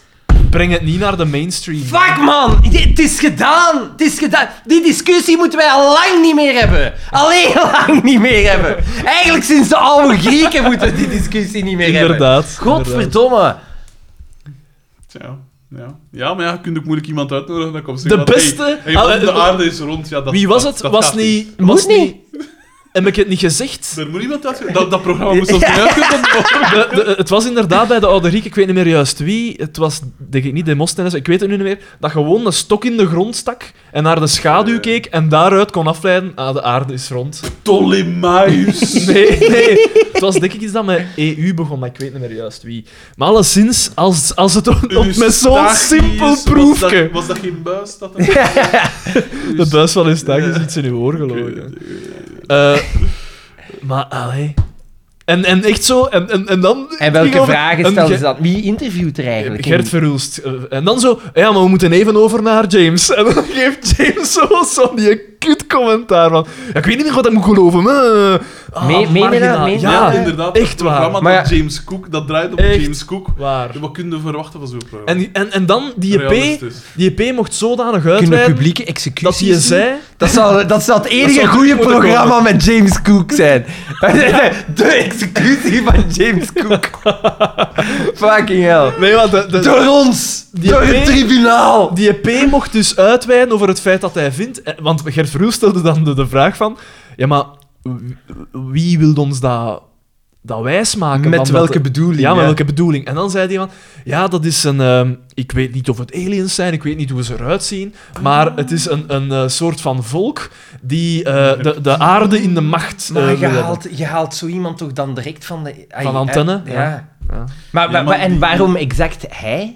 [SPEAKER 3] Breng het niet naar de mainstream.
[SPEAKER 4] Fuck man, Dit- het is gedaan. Het is gedaan. Die discussie moeten wij al lang niet meer hebben. Alleen lang niet meer hebben. Eigenlijk sinds de oude Grieken moeten we die discussie niet meer hebben.
[SPEAKER 3] Inderdaad. inderdaad.
[SPEAKER 4] Godverdomme.
[SPEAKER 2] Ja, ja. ja, maar ja, je kunt ook moeilijk iemand uitnodigen. Dan komt ze
[SPEAKER 3] De
[SPEAKER 2] zeggen van,
[SPEAKER 3] beste-
[SPEAKER 2] hey, hey, man,
[SPEAKER 3] Ah, eh,
[SPEAKER 2] de aarde is rond. Ja, dat,
[SPEAKER 3] Wie was
[SPEAKER 2] dat-
[SPEAKER 3] het?
[SPEAKER 2] dat
[SPEAKER 3] was
[SPEAKER 2] gaat
[SPEAKER 3] niet...
[SPEAKER 4] Moet
[SPEAKER 3] Was
[SPEAKER 4] niet.
[SPEAKER 3] Heb ik het niet gezegd?
[SPEAKER 2] Er moet iemand uit. Dat, dat programma moest ons niet uitgezonden worden.
[SPEAKER 3] De- de- het was inderdaad bij de oude Grieken, ik weet niet meer juist wie. Het was, denk ik, niet Demosthenes, ik weet het nu niet meer. Dat gewoon een stok in de grond stak en naar de schaduw
[SPEAKER 2] Eh.
[SPEAKER 3] keek en daaruit kon afleiden, ah, de aarde is rond.
[SPEAKER 2] Ptolemaius.
[SPEAKER 3] Nee, nee. Het was denk ik iets dat met EU begon, maar ik weet niet meer juist wie. Maar alleszins, als, als het op, op- met zo'n
[SPEAKER 2] Eustachius,
[SPEAKER 3] simpel
[SPEAKER 2] was dat-
[SPEAKER 3] proefje...
[SPEAKER 2] Was dat geen buis? Dat er-
[SPEAKER 3] De buis van Eustachius is iets in uw oor
[SPEAKER 2] Oké,
[SPEAKER 3] gelogen. Eh, maar, allee... En, en echt zo, en, en, en dan...
[SPEAKER 4] En welke
[SPEAKER 3] ging over-
[SPEAKER 4] vragen
[SPEAKER 3] een
[SPEAKER 4] stellen
[SPEAKER 3] ge-
[SPEAKER 4] ze dan? Wie interviewt er eigenlijk?
[SPEAKER 3] Gert Verhulst. Eh, En dan zo, ja, maar we moeten even over naar James. En dan geeft James zo zo'n die kut commentaar van, ja, ik weet niet meer wat ik moet geloven. maar, eh, ah,
[SPEAKER 4] Mee- mee met dat-
[SPEAKER 3] marginaal."
[SPEAKER 4] mee met
[SPEAKER 3] Ja,
[SPEAKER 2] Ja,
[SPEAKER 4] dat-
[SPEAKER 2] inderdaad.
[SPEAKER 3] echt
[SPEAKER 2] dat programma
[SPEAKER 3] waar.
[SPEAKER 2] van
[SPEAKER 4] Maar ja-
[SPEAKER 2] James Cook, dat draait op
[SPEAKER 3] Echt
[SPEAKER 2] James Cook.
[SPEAKER 3] eh, waar.
[SPEAKER 2] Wat kunnen we verwachten van zo'n programma?
[SPEAKER 3] En, en, en dan, die EP,
[SPEAKER 2] Realistisch.
[SPEAKER 3] die EP mocht zodanig
[SPEAKER 1] Kunnen
[SPEAKER 3] uitweiden
[SPEAKER 1] publieke executies
[SPEAKER 3] dat je zei...
[SPEAKER 1] Dat zou, dat zou het enige
[SPEAKER 3] zou goed
[SPEAKER 1] goede
[SPEAKER 3] moeten
[SPEAKER 1] programma met James Cook zijn. De executie van James Cook. Fucking hell.
[SPEAKER 3] Nee, want de, de, E
[SPEAKER 1] Door ons.
[SPEAKER 3] Die
[SPEAKER 1] Door
[SPEAKER 3] EP.
[SPEAKER 1] het tribunaal.
[SPEAKER 3] Die EP mocht dus uitweiden over het feit dat hij vindt... eh, Want Gert Verhoef stelde dan de, de vraag van... Ja, maar wie- wie wil ons dat, dat wijsmaken?
[SPEAKER 1] Met
[SPEAKER 3] dan
[SPEAKER 1] welke
[SPEAKER 3] dat-
[SPEAKER 1] bedoeling?
[SPEAKER 3] Ja, maar welke bedoeling? En dan zei hij van... Ja, dat is een... ehm, ik weet niet of het aliens zijn, ik weet niet hoe ze eruit zien. Maar het is een, een eh, soort van volk die eh, de, de aarde in de macht eh,
[SPEAKER 4] Maar je
[SPEAKER 3] wil hebben.
[SPEAKER 4] haalt, je haalt zo iemand toch dan direct van de... ai-
[SPEAKER 3] Van antenne?
[SPEAKER 4] ai- Ja.
[SPEAKER 3] Ja. Ja.
[SPEAKER 4] Maar,
[SPEAKER 2] Ja, maar
[SPEAKER 4] en
[SPEAKER 2] die-
[SPEAKER 4] waarom exact hij?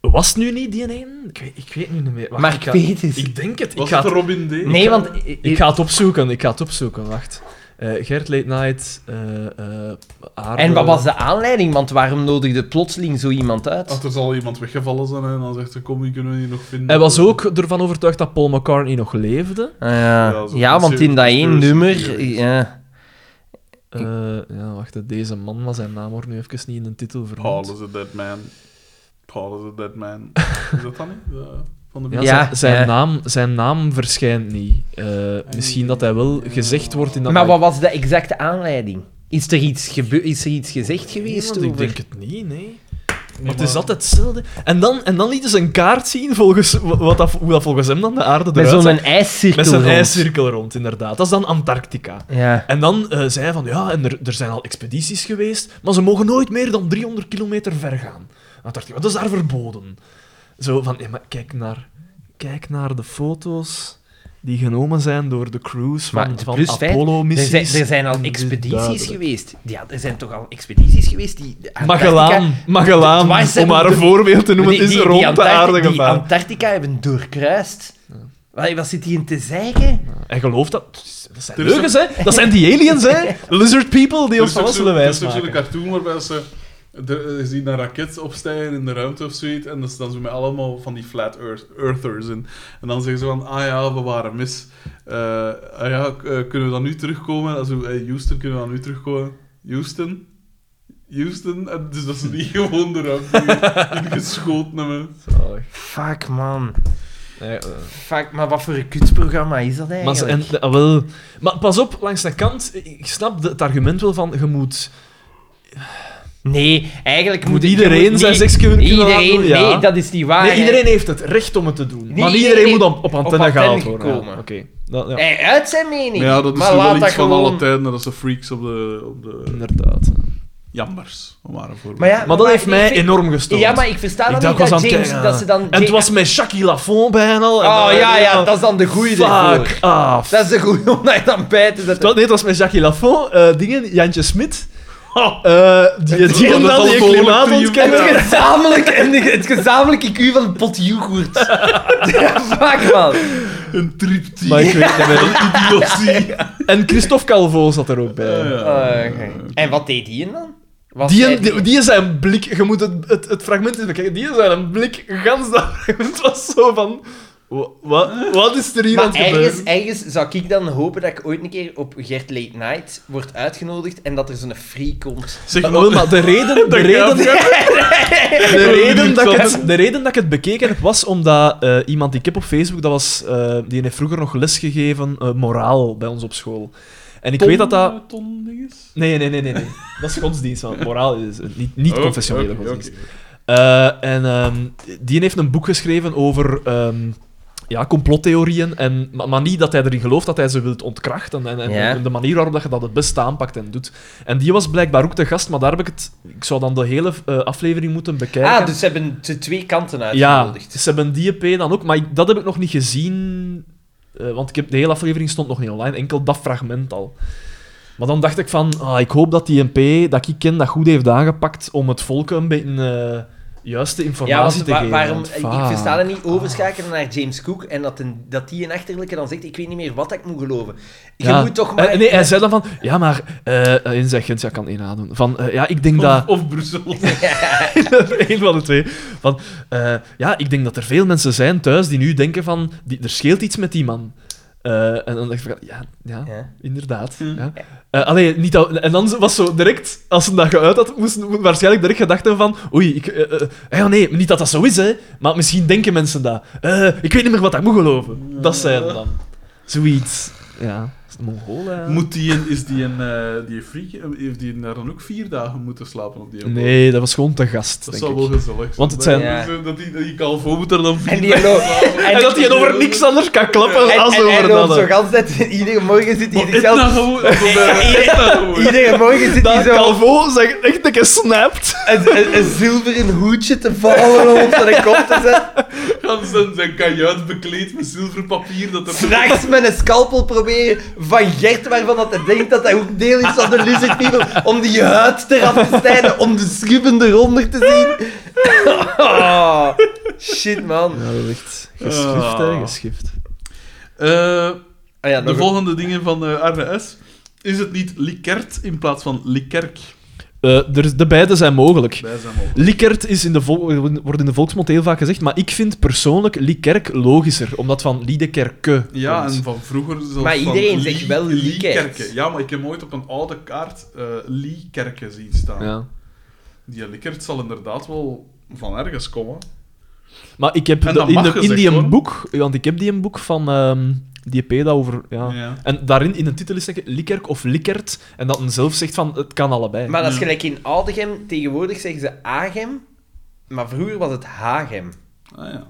[SPEAKER 3] Was het nu niet die een? Ik weet, ik weet nu niet meer. Wacht,
[SPEAKER 4] Mark
[SPEAKER 3] ik ga-
[SPEAKER 4] Peters.
[SPEAKER 3] Ik denk het. Ik
[SPEAKER 2] Was
[SPEAKER 3] ga
[SPEAKER 2] het
[SPEAKER 3] het,
[SPEAKER 2] Robin D?
[SPEAKER 4] Nee, want...
[SPEAKER 3] ik ga het opzoeken. Ik ga het opzoeken, wacht. eh, Gert Late Night, eh, eh, Aarde.
[SPEAKER 4] En wat was de aanleiding? Want waarom nodigde plotseling zo iemand
[SPEAKER 3] Oh.
[SPEAKER 4] uit?
[SPEAKER 2] Als er zal iemand weggevallen zijn en dan zegt ze, kom, wie kunnen we hier nog vinden? Eh,
[SPEAKER 3] Hij was ook ervan overtuigd dat Paul McCartney nog leefde.
[SPEAKER 4] Ah, ja.
[SPEAKER 2] Ja, zo
[SPEAKER 4] ja, want in dat één
[SPEAKER 2] conspiracy
[SPEAKER 4] nummer...
[SPEAKER 2] theories.
[SPEAKER 4] Ja.
[SPEAKER 3] Eh,
[SPEAKER 4] Hm.
[SPEAKER 3] ja, wacht, hè, deze man, maar zijn naam wordt nu even niet in de titel
[SPEAKER 2] Paul
[SPEAKER 3] vernoemd.
[SPEAKER 2] is a dead man. Paul is a dead man. Is dat dan niet? De- van de
[SPEAKER 3] Ja,
[SPEAKER 2] muziek?
[SPEAKER 4] Ja,
[SPEAKER 3] zijn, zijn
[SPEAKER 4] ja.
[SPEAKER 3] Naam, zijn naam verschijnt niet. Eh, misschien dat hij wel gezegd wordt in dat...
[SPEAKER 4] Maar wat was de exacte aanleiding? Is er iets, gebe- is er iets gezegd geweest
[SPEAKER 3] Nee, want
[SPEAKER 4] over?
[SPEAKER 3] Ik denk het niet, nee. Maar het is altijd hetzelfde. En dan, en dan lieten ze een kaart zien volgens, wa- wat dat, hoe dat volgens hem dan de aarde
[SPEAKER 4] Met
[SPEAKER 3] eruit zag.
[SPEAKER 4] zo'n ijscirkel
[SPEAKER 3] Met zo'n
[SPEAKER 4] rond.
[SPEAKER 3] ijscirkel rond, inderdaad. Dat is dan Antarctica.
[SPEAKER 4] Ja.
[SPEAKER 3] En dan eh, zei hij van, ja, en er, er zijn al expedities geweest, maar ze mogen nooit meer dan 300 kilometer ver gaan. Antarctica, dat is daar verboden. Zo van, ja, maar kijk naar, kijk naar de foto's die genomen zijn door de crews
[SPEAKER 4] Maar
[SPEAKER 3] van,
[SPEAKER 4] de
[SPEAKER 3] van
[SPEAKER 4] plus feit, Er
[SPEAKER 3] Apollo-missies.
[SPEAKER 4] zijn, er zijn al
[SPEAKER 3] En dit is
[SPEAKER 4] expedities
[SPEAKER 3] duidelijk.
[SPEAKER 4] geweest. Ja, er zijn toch al expedities geweest die... de Antarctica-
[SPEAKER 3] Magellaan, Magellaan,
[SPEAKER 4] Dwars
[SPEAKER 3] om
[SPEAKER 4] hebben
[SPEAKER 3] maar een
[SPEAKER 4] de-
[SPEAKER 3] voorbeeld te noemen,
[SPEAKER 4] Die-
[SPEAKER 3] is
[SPEAKER 4] die- die
[SPEAKER 3] rond de
[SPEAKER 4] Antarcti-
[SPEAKER 3] aarde
[SPEAKER 4] Die
[SPEAKER 3] gevaren.
[SPEAKER 4] Antarctica hebben doorkruist. Wat, wat zit hij in te zeggen?
[SPEAKER 3] En geloof dat... Dat zijn
[SPEAKER 2] Er is
[SPEAKER 3] leugens, hè? Dat zijn die aliens, hè? De lizard people die
[SPEAKER 2] Dus
[SPEAKER 3] ons van alles willen
[SPEAKER 2] Er is ook zo'n
[SPEAKER 3] wijsmaken.
[SPEAKER 2] cartoon waarbij ze... Er is die eh, een raket opstijgen in de ruimte of zoiets. En dat is dan zo met allemaal van die flat earth, earthers. En, en dan zeggen ze van, ah ja, we waren mis. Eh, ah ja, k- eh, kunnen we dan nu terugkomen? Also, eh, Houston, kunnen we dan nu terugkomen? Houston? Houston? En dus dat ze die gewoon de ruimte ingeschoten hebben.
[SPEAKER 3] Zalig.
[SPEAKER 4] Fuck, man.
[SPEAKER 3] Nee, eh.
[SPEAKER 4] Fuck, maar wat voor een kutsprogramma is dat
[SPEAKER 3] Maar,
[SPEAKER 4] eigenlijk?
[SPEAKER 3] ze- en, eh, wel, maar pas op, langs de kant, ik snap de- het argument wel van, je moet,
[SPEAKER 4] Nee, eigenlijk moet,
[SPEAKER 3] moet
[SPEAKER 4] ik-
[SPEAKER 3] iedereen
[SPEAKER 4] je moet-
[SPEAKER 3] zijn
[SPEAKER 4] nee,
[SPEAKER 3] sekscurk
[SPEAKER 4] Iedereen, nee, dat is niet waar.
[SPEAKER 3] nee,
[SPEAKER 4] hè.
[SPEAKER 3] iedereen heeft het recht om het te doen.
[SPEAKER 4] Nee,
[SPEAKER 3] maar niet iedereen
[SPEAKER 4] iedereen
[SPEAKER 3] moet op, op antenne
[SPEAKER 4] op
[SPEAKER 3] gehaald
[SPEAKER 4] antenne Eh,
[SPEAKER 3] worden.
[SPEAKER 4] komen.
[SPEAKER 3] Ja, Oké. Dat- ja,
[SPEAKER 4] Hij uit zijn mening.
[SPEAKER 2] Maar ja, dat is
[SPEAKER 4] maar
[SPEAKER 2] nu wel
[SPEAKER 4] laat
[SPEAKER 2] iets
[SPEAKER 4] dat
[SPEAKER 2] van
[SPEAKER 4] gewoon...
[SPEAKER 2] alle tijden. Dat ze freaks op de... Op de
[SPEAKER 3] Inderdaad.
[SPEAKER 2] jammers, om maar een voorbeeld
[SPEAKER 4] Maar ja,
[SPEAKER 3] Maar dat heeft
[SPEAKER 4] ik
[SPEAKER 3] mij
[SPEAKER 4] vind-
[SPEAKER 3] enorm gestoord.
[SPEAKER 4] Ja, maar ik versta
[SPEAKER 3] Ik
[SPEAKER 4] dat
[SPEAKER 3] dacht,
[SPEAKER 4] niet,
[SPEAKER 3] ik was
[SPEAKER 4] dat,
[SPEAKER 3] aan het
[SPEAKER 4] James,
[SPEAKER 3] kijken.
[SPEAKER 4] dat ze dan...
[SPEAKER 3] En het was met Jackie Lafont bijna al. en
[SPEAKER 4] Oh
[SPEAKER 3] dan-
[SPEAKER 4] ja, ja, dat is dan de goeie ervoor.
[SPEAKER 3] Fuck af.
[SPEAKER 4] Dat is de goeie om daar dan bij
[SPEAKER 3] Het
[SPEAKER 4] te
[SPEAKER 3] was-
[SPEAKER 4] zetten.
[SPEAKER 3] nee, het was met Jackie Lafont, eh, dingen, Jantje Smit.
[SPEAKER 4] Oh.
[SPEAKER 3] Eh, die
[SPEAKER 2] Dat
[SPEAKER 3] die en
[SPEAKER 2] was
[SPEAKER 3] dan
[SPEAKER 2] al
[SPEAKER 3] die
[SPEAKER 2] een behoorlijk
[SPEAKER 3] klimaatontkenner.
[SPEAKER 4] Het gezamenlijk, en de- het gezamenlijk IQ van een pot yoghurt. Ja, fuck, man.
[SPEAKER 3] Eh,
[SPEAKER 2] Een triptiek.
[SPEAKER 3] Maar ik weet het niet meer.
[SPEAKER 2] Idiotie.
[SPEAKER 3] En Christophe Calvo zat er ook bij.
[SPEAKER 4] Oh, oké. En wat deed die dan? Was hij-
[SPEAKER 3] Die, die, die zijn blik, je moet het, het, het fragment eens bekijken, die zijn blik, gans dat fragment was zo van... wa- wa- wat is er hier aan
[SPEAKER 4] Maar
[SPEAKER 3] het gebeuren?
[SPEAKER 4] ergens, ergens zou ik dan hopen dat ik ooit een keer op Gert Late Night word uitgenodigd en dat er zo'n free komt.
[SPEAKER 2] Zeg,
[SPEAKER 3] Maar, Eh, wel, maar de reden, de reden, de reden, dat ik het, de reden dat ik het bekeken heb, was omdat eh, iemand die ik heb op Facebook, dat was, eh, die heeft vroeger nog lesgegeven, eh moraal, bij ons op school. En ik weet dat dat... Nee, nee, nee, nee. nee. Dat is godsdienst, want moraal is eh, niet, niet
[SPEAKER 2] Oh,
[SPEAKER 3] confessionele godsdienst. Eh, en ehm, die heeft een boek geschreven over ehm, ja, complottheorieën. En, maar, maar niet dat hij erin gelooft dat hij ze wilt ontkrachten. En, en,
[SPEAKER 4] Ja.
[SPEAKER 3] en de manier waarop dat je dat het beste aanpakt en doet. En die was blijkbaar ook de gast, maar daar heb ik het. Ik zou dan de hele eh, aflevering moeten bekijken.
[SPEAKER 4] Ah, dus ze hebben de twee kanten
[SPEAKER 3] ja,
[SPEAKER 4] uitgenodigd.
[SPEAKER 3] ze hebben die EP dan ook, maar ik- dat heb ik nog niet gezien. eh, want ik heb, de hele aflevering stond nog niet online, enkel dat fragment al. Maar dan dacht ik van, ah, ik hoop dat die MP, dat ik ken, dat goed heeft aangepakt om het volk een beetje eh, juiste
[SPEAKER 4] Ja,
[SPEAKER 3] informatie
[SPEAKER 4] want
[SPEAKER 3] te
[SPEAKER 4] wa-
[SPEAKER 3] geven.
[SPEAKER 4] waarom,
[SPEAKER 3] want
[SPEAKER 4] ik
[SPEAKER 3] fuck.
[SPEAKER 4] versta dat niet, overschakelen naar James Cook en dat, een, dat die een achterlijke dan zegt, ik weet niet meer wat ik moet geloven. Je
[SPEAKER 3] Ja.
[SPEAKER 4] moet toch maar...
[SPEAKER 3] Eh, nee, hij zei dan van, ja, maar... eh, eh, in zijn Gent, ja, ik kan inademen. Van, eh, ja, ik denk
[SPEAKER 2] Of,
[SPEAKER 3] dat...
[SPEAKER 2] of Brussel.
[SPEAKER 3] een van de twee. Van, eh, ja, ik denk dat er veel mensen zijn thuis die nu denken van... Die, er scheelt iets met die man. Eh, en dan dacht ik van, ja, ja,
[SPEAKER 4] Ja. Hmm.
[SPEAKER 3] inderdaad.
[SPEAKER 2] Hm.
[SPEAKER 3] Ja. Eh, allee, niet dat, en dan was zo direct, als ze dat geuit had, moesten moesten waarschijnlijk direct gedacht hebben van oei, ik, eh, eh, eh, ja, nee, niet dat dat zo is, hè, maar misschien denken mensen dat. Eh, ik weet niet meer wat ik moet geloven. Dat zijn dan. Zoiets. Ja, is het Mongool, hè?
[SPEAKER 2] Moet die een, is die een, eh, die freak, eh, heeft die daar dan ook vier dagen moeten slapen op die boot?
[SPEAKER 3] Nee, dat was gewoon te gast,
[SPEAKER 2] Dat
[SPEAKER 3] denk
[SPEAKER 2] zou
[SPEAKER 3] ik.
[SPEAKER 2] wel gezellig zijn.
[SPEAKER 3] Want het
[SPEAKER 2] Dat
[SPEAKER 4] zijn-
[SPEAKER 2] is, eh, Dat die, dat die Calvo moet er dan vier
[SPEAKER 4] En die gelooft...
[SPEAKER 3] En, dat hij over niks anders kan klappen
[SPEAKER 4] en,
[SPEAKER 3] als
[SPEAKER 4] en, en,
[SPEAKER 3] over
[SPEAKER 4] hij loopt
[SPEAKER 3] dat.
[SPEAKER 4] zo
[SPEAKER 3] hè.
[SPEAKER 4] gans net- iedere morgen zit hij
[SPEAKER 2] Maar Etna
[SPEAKER 4] zichzelf...
[SPEAKER 2] gewoon. dat is, eh, Etna gewoon.
[SPEAKER 4] Iedere morgen zit hij
[SPEAKER 3] Dat
[SPEAKER 4] zo
[SPEAKER 3] Calvo zegt echt een keer snapt.
[SPEAKER 4] een, een, een zilveren hoedje te vallen op zijn kop te zetten.
[SPEAKER 2] Gans zijn- zijn kajuit bekleed met zilverpapier. Dat er
[SPEAKER 4] S'nachts met een scalpel proberen van Gert, waarvan dat hij denkt dat hij ook deel is van de Lizard People, om die huid eraf te snijden, om de schubben eronder te zien. Oh, shit, man.
[SPEAKER 3] Ja, dat echt Ah.
[SPEAKER 2] geschift, hè,
[SPEAKER 3] geschift.
[SPEAKER 2] Eh,
[SPEAKER 4] Ah ja, nog
[SPEAKER 2] de
[SPEAKER 4] een-
[SPEAKER 2] volgende dingen van eh RS. Is het niet Likert in plaats van Likerk?
[SPEAKER 3] Eh, er, de beide zijn mogelijk.
[SPEAKER 2] Wij zijn al.
[SPEAKER 3] Likert is in de vol- wordt in de volksmond heel vaak gezegd, maar ik vind persoonlijk Liekerk logischer, omdat van Liedekerke.
[SPEAKER 2] Ja,
[SPEAKER 3] komt.
[SPEAKER 2] en van vroeger zelfs
[SPEAKER 4] Maar
[SPEAKER 2] van
[SPEAKER 4] iedereen zegt
[SPEAKER 2] Lie-
[SPEAKER 4] wel Liekert.
[SPEAKER 2] Liekerke. Ja, maar ik heb ooit op een oude kaart eh Liekerke zien staan.
[SPEAKER 3] Ja.
[SPEAKER 2] Die Likert zal inderdaad wel van ergens komen.
[SPEAKER 3] Maar ik heb
[SPEAKER 2] En
[SPEAKER 3] de-
[SPEAKER 2] dat
[SPEAKER 3] in,
[SPEAKER 2] mag
[SPEAKER 3] de, in
[SPEAKER 2] gezegd
[SPEAKER 3] die
[SPEAKER 2] worden.
[SPEAKER 3] boek, want ik heb die een boek van ehm, die peda over. Ja.
[SPEAKER 2] Ja.
[SPEAKER 3] En daarin in de titel is zeggen Likkerk of Likert, en dat men zelf zegt van het kan allebei.
[SPEAKER 4] Maar dat is
[SPEAKER 2] Ja.
[SPEAKER 4] gelijk in Oudegem. Tegenwoordig zeggen ze Agem, maar vroeger was het Hagem.
[SPEAKER 2] Ah ja.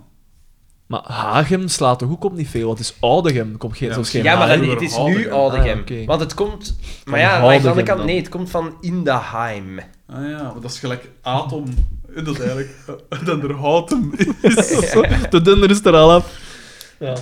[SPEAKER 3] Maar Hagem slaat toch ook op niet veel, want het is Oudegem, komt geen,
[SPEAKER 2] Ja,
[SPEAKER 3] zelfs geen
[SPEAKER 2] misschien.
[SPEAKER 4] Ja, maar
[SPEAKER 3] Hagem.
[SPEAKER 4] dat, het is nu Oudegem.
[SPEAKER 3] Ah, oké.
[SPEAKER 4] Want het komt...
[SPEAKER 3] Van
[SPEAKER 4] Maar ja, aan de andere
[SPEAKER 3] Oudegem
[SPEAKER 4] kant...
[SPEAKER 3] dan.
[SPEAKER 4] Nee, het komt van Indaheim.
[SPEAKER 2] Ah ja, maar dat is gelijk Atom. Dat is eigenlijk eh, dat er Houtem is.
[SPEAKER 3] De dunder is er al af.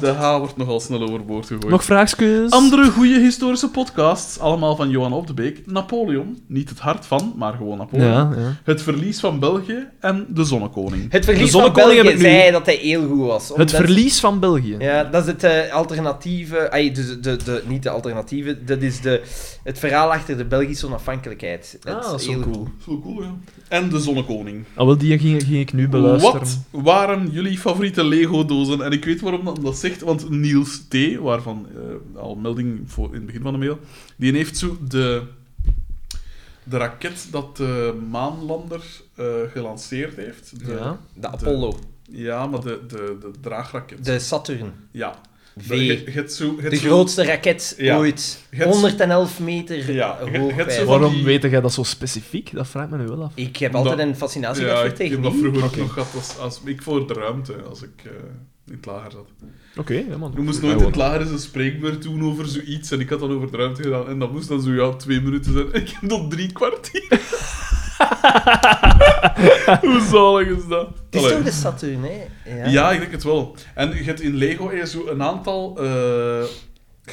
[SPEAKER 2] De H wordt nogal snel overboord gegooid.
[SPEAKER 3] Nog vraagjes?
[SPEAKER 2] Andere goede historische podcasts, allemaal van Johan Op de Beek. Napoleon, niet het hart van, maar gewoon Napoleon.
[SPEAKER 3] Ja, ja.
[SPEAKER 2] Het verlies van België en de Zonnekoning.
[SPEAKER 4] Het verlies
[SPEAKER 3] De
[SPEAKER 4] van
[SPEAKER 3] zonnekoning heb
[SPEAKER 4] België
[SPEAKER 3] ik nu.
[SPEAKER 4] zei dat hij heel goed was.
[SPEAKER 3] Het
[SPEAKER 4] omdat-
[SPEAKER 3] verlies van België.
[SPEAKER 4] Ja, dat is het eh, alternatieve... Ay, dus de, de, de, niet de alternatieve. Dat is de, het verhaal achter de Belgische onafhankelijkheid.
[SPEAKER 3] Ah, dat is wel
[SPEAKER 4] heel
[SPEAKER 3] cool.
[SPEAKER 4] goed.
[SPEAKER 2] Dat is wel cool, ja. En de Zonnekoning.
[SPEAKER 3] Ah, wel, die ging, ging ik nu beluisteren.
[SPEAKER 2] Wat waren jullie favoriete Lego-dozen? En ik weet waarom dat, dat zegt, want Niels T., waarvan eh, al melding voor in het begin van de mail, die heeft zo de, de raket dat de maanlander eh, gelanceerd heeft. De,
[SPEAKER 3] Ja.
[SPEAKER 4] De
[SPEAKER 2] De-
[SPEAKER 4] Apollo.
[SPEAKER 2] ja, maar de, de, de draagraket.
[SPEAKER 4] De Saturn.
[SPEAKER 2] ja.
[SPEAKER 4] V.
[SPEAKER 2] Je- je hebt zo- je hebt
[SPEAKER 4] De
[SPEAKER 2] zo-
[SPEAKER 4] grootste raket
[SPEAKER 2] Ja.
[SPEAKER 4] ooit.
[SPEAKER 2] Je hebt-
[SPEAKER 4] 111 meter
[SPEAKER 2] Ja,
[SPEAKER 4] hoog.
[SPEAKER 2] je- je hebt
[SPEAKER 4] bij-
[SPEAKER 2] zo-
[SPEAKER 3] Waarom
[SPEAKER 2] Van die-
[SPEAKER 3] weet jij dat zo specifiek? Dat vraagt me nu wel af.
[SPEAKER 4] Ik heb
[SPEAKER 2] Omdat-
[SPEAKER 4] altijd een fascinatie
[SPEAKER 2] Ja,
[SPEAKER 4] gehad voor
[SPEAKER 2] ik heb dat
[SPEAKER 4] techniek.
[SPEAKER 2] vroeger ook nog gehad. Als, als, ik voor de ruimte, als ik eh, in het lager zat.
[SPEAKER 3] Oké, ja, man.
[SPEAKER 2] We moesten
[SPEAKER 3] Ja,
[SPEAKER 2] nooit in
[SPEAKER 3] gewoon.
[SPEAKER 2] het lager eens een spreekbeurt doen over zoiets. En ik had dan over de ruimte gedaan. En dat moest dan zo ja, twee minuten zijn. En ik heb dat drie kwartier. Hoe zalig is dat?
[SPEAKER 4] Het is
[SPEAKER 2] Allee.
[SPEAKER 4] toch de Saturn, hè?
[SPEAKER 2] ja. ik denk het wel. En je hebt in Lego heb je zo een aantal... eh,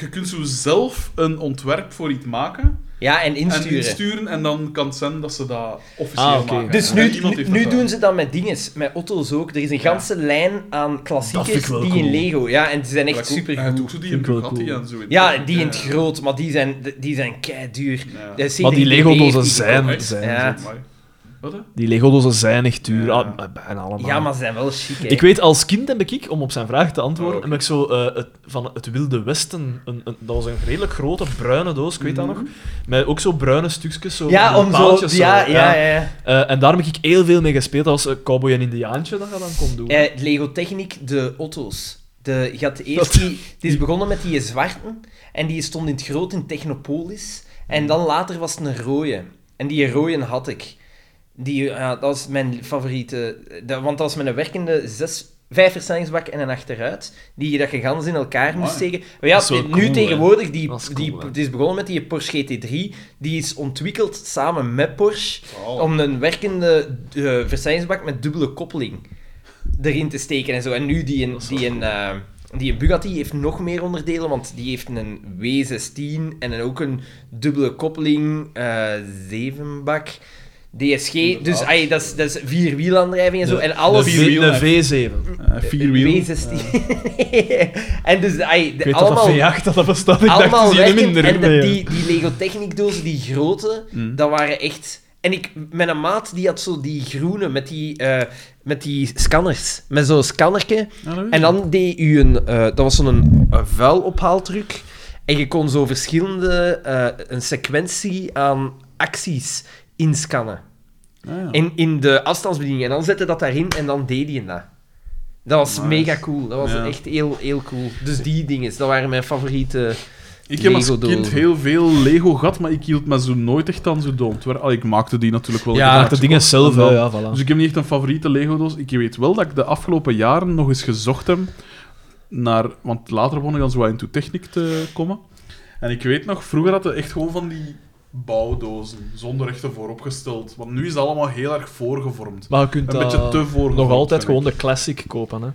[SPEAKER 2] je kunt zo zelf een ontwerp voor iets maken.
[SPEAKER 4] Ja, en insturen.
[SPEAKER 2] En insturen. En dan kan het zijn dat ze dat officieel
[SPEAKER 3] Ah, oké.
[SPEAKER 2] maken.
[SPEAKER 4] Dus
[SPEAKER 2] En
[SPEAKER 4] nu,
[SPEAKER 2] iemand
[SPEAKER 4] nu,
[SPEAKER 2] heeft dat
[SPEAKER 4] doen ze dat met dinges, met Otto's ook. Er is een ganse lijn aan
[SPEAKER 3] Dat vind
[SPEAKER 4] klassiekers
[SPEAKER 3] ik wel
[SPEAKER 4] die in
[SPEAKER 3] cool.
[SPEAKER 4] Lego... Ja, en die zijn
[SPEAKER 2] Maar
[SPEAKER 4] echt
[SPEAKER 2] ik ook-
[SPEAKER 4] super
[SPEAKER 2] Hij doet ook zo die in
[SPEAKER 3] Vind ik wel
[SPEAKER 2] Bugatti
[SPEAKER 3] cool.
[SPEAKER 2] en zo. in-
[SPEAKER 4] Ja, die in het groot, maar die zijn, die zijn keiduur.
[SPEAKER 2] Ja.
[SPEAKER 4] Dat is
[SPEAKER 3] Maar die
[SPEAKER 4] 70
[SPEAKER 3] Lego-dozen
[SPEAKER 4] heeft die
[SPEAKER 3] zijn,
[SPEAKER 2] echt?
[SPEAKER 3] zijn
[SPEAKER 4] Ja.
[SPEAKER 3] zo.
[SPEAKER 2] Amai. Wat hè?
[SPEAKER 3] Die Lego-dozen zijn echt duur.
[SPEAKER 2] Ja.
[SPEAKER 3] Ah, maar bijna allemaal.
[SPEAKER 4] gekocht. Ja, maar ze zijn wel chic, hè.
[SPEAKER 3] Ik weet, als kind heb ik, om op zijn vraag te antwoorden,
[SPEAKER 2] Oh, oké.
[SPEAKER 3] heb ik zo eh, het, van het Wilde Westen, een, een- dat was een redelijk grote bruine doos, ik weet dat nog, met ook zo bruine stukjes, zo
[SPEAKER 4] Mhm. ja,
[SPEAKER 3] van
[SPEAKER 4] om zo...
[SPEAKER 3] paaltjes
[SPEAKER 4] Ja, ja, ja. ja.
[SPEAKER 3] Eh, en daar heb ik heel veel mee gespeeld, dat was eh, Cowboy en Indiaantje dat je dan kon doen.
[SPEAKER 4] Eh, Lego Technic, de Otto's. De, je had eerst
[SPEAKER 3] Dat-
[SPEAKER 4] die, die is begonnen met die zwarten en die stond in het groot in Technopolis. En dan later was het een rode. En die rode had ik. Die, ja, dat was mijn favoriete. Dat, want dat was met een werkende zes, vijf versnellingsbak en een achteruit. Die je dat je gans in elkaar moest
[SPEAKER 2] Amai.
[SPEAKER 4] steken. Maar ja,
[SPEAKER 3] Dat is wel
[SPEAKER 4] nu
[SPEAKER 3] cool, hè.
[SPEAKER 4] tegenwoordig, die,
[SPEAKER 3] Dat is cool,
[SPEAKER 4] die,
[SPEAKER 3] hè.
[SPEAKER 4] het is begonnen met die Porsche GT3. Die is ontwikkeld samen met Porsche
[SPEAKER 2] Oh.
[SPEAKER 4] om een werkende eh versnellingsbak met dubbele koppeling erin te steken en zo. En nu die een, die een, eh, die een Bugatti heeft nog meer onderdelen, want die heeft een W16 en een- ook een dubbele koppeling eh 7-bak. DSG, dus
[SPEAKER 2] Inderdaad.
[SPEAKER 4] ai, dat, is, dat is vierwielaandrijving en zo. en alles
[SPEAKER 3] De,
[SPEAKER 2] vier-
[SPEAKER 3] V-
[SPEAKER 2] wielen.
[SPEAKER 3] de V7.
[SPEAKER 2] Eh, vier wielen.
[SPEAKER 4] W16. en dus ai, de-
[SPEAKER 3] Ik weet dat
[SPEAKER 4] allemaal
[SPEAKER 3] dat V8 dat dat bestaat, ik dacht,
[SPEAKER 4] allemaal
[SPEAKER 3] dat is hier
[SPEAKER 4] werken.
[SPEAKER 3] minder.
[SPEAKER 4] en de-
[SPEAKER 3] Nee, ja. Mm.
[SPEAKER 4] die, die Lego Technic dozen, die grote, dat waren echt... En ik, met een maat, die had zo die groene met die, eh, met die scanners. Met zo'n scannerke. En dan deed u een... eh, dat was zo'n eh, vuilophaaltruc. En je kon zo verschillende... eh, een sequentie aan acties inscannen. In, in de afstandsbediening. En dan zette dat daarin en dan deed hij dat. Dat was
[SPEAKER 2] Nice.
[SPEAKER 4] mega cool. Dat was
[SPEAKER 2] Ja.
[SPEAKER 4] echt heel, heel cool. Dus die dingen, dat waren mijn favoriete...
[SPEAKER 2] Ik heb als
[SPEAKER 4] Lego-dozen.
[SPEAKER 2] kind heel veel Lego gehad, maar ik hield me zo nooit echt aan zo'n ontwerp. Allee, ik maakte die natuurlijk wel.
[SPEAKER 3] Ja,
[SPEAKER 2] Ik
[SPEAKER 3] maakt de
[SPEAKER 2] maakte
[SPEAKER 3] dingen
[SPEAKER 2] ook
[SPEAKER 3] zelf,
[SPEAKER 2] wel.
[SPEAKER 3] hè, ja, voilà.
[SPEAKER 2] Dus ik heb niet echt een favoriete Lego-doos. Ik weet wel dat ik de afgelopen jaren nog eens gezocht heb naar... Want later begon ik dan zo wat into techniek te komen. En ik weet nog, vroeger hadden we echt gewoon van die bouwdozen, zonder echte vooropgesteld. Want nu is dat allemaal heel erg voorgevormd.
[SPEAKER 3] Maar je kunt
[SPEAKER 2] Een
[SPEAKER 3] dat
[SPEAKER 2] beetje te voorgevormd.
[SPEAKER 3] nog altijd
[SPEAKER 2] vind ik.
[SPEAKER 3] gewoon de classic kopen. Hè.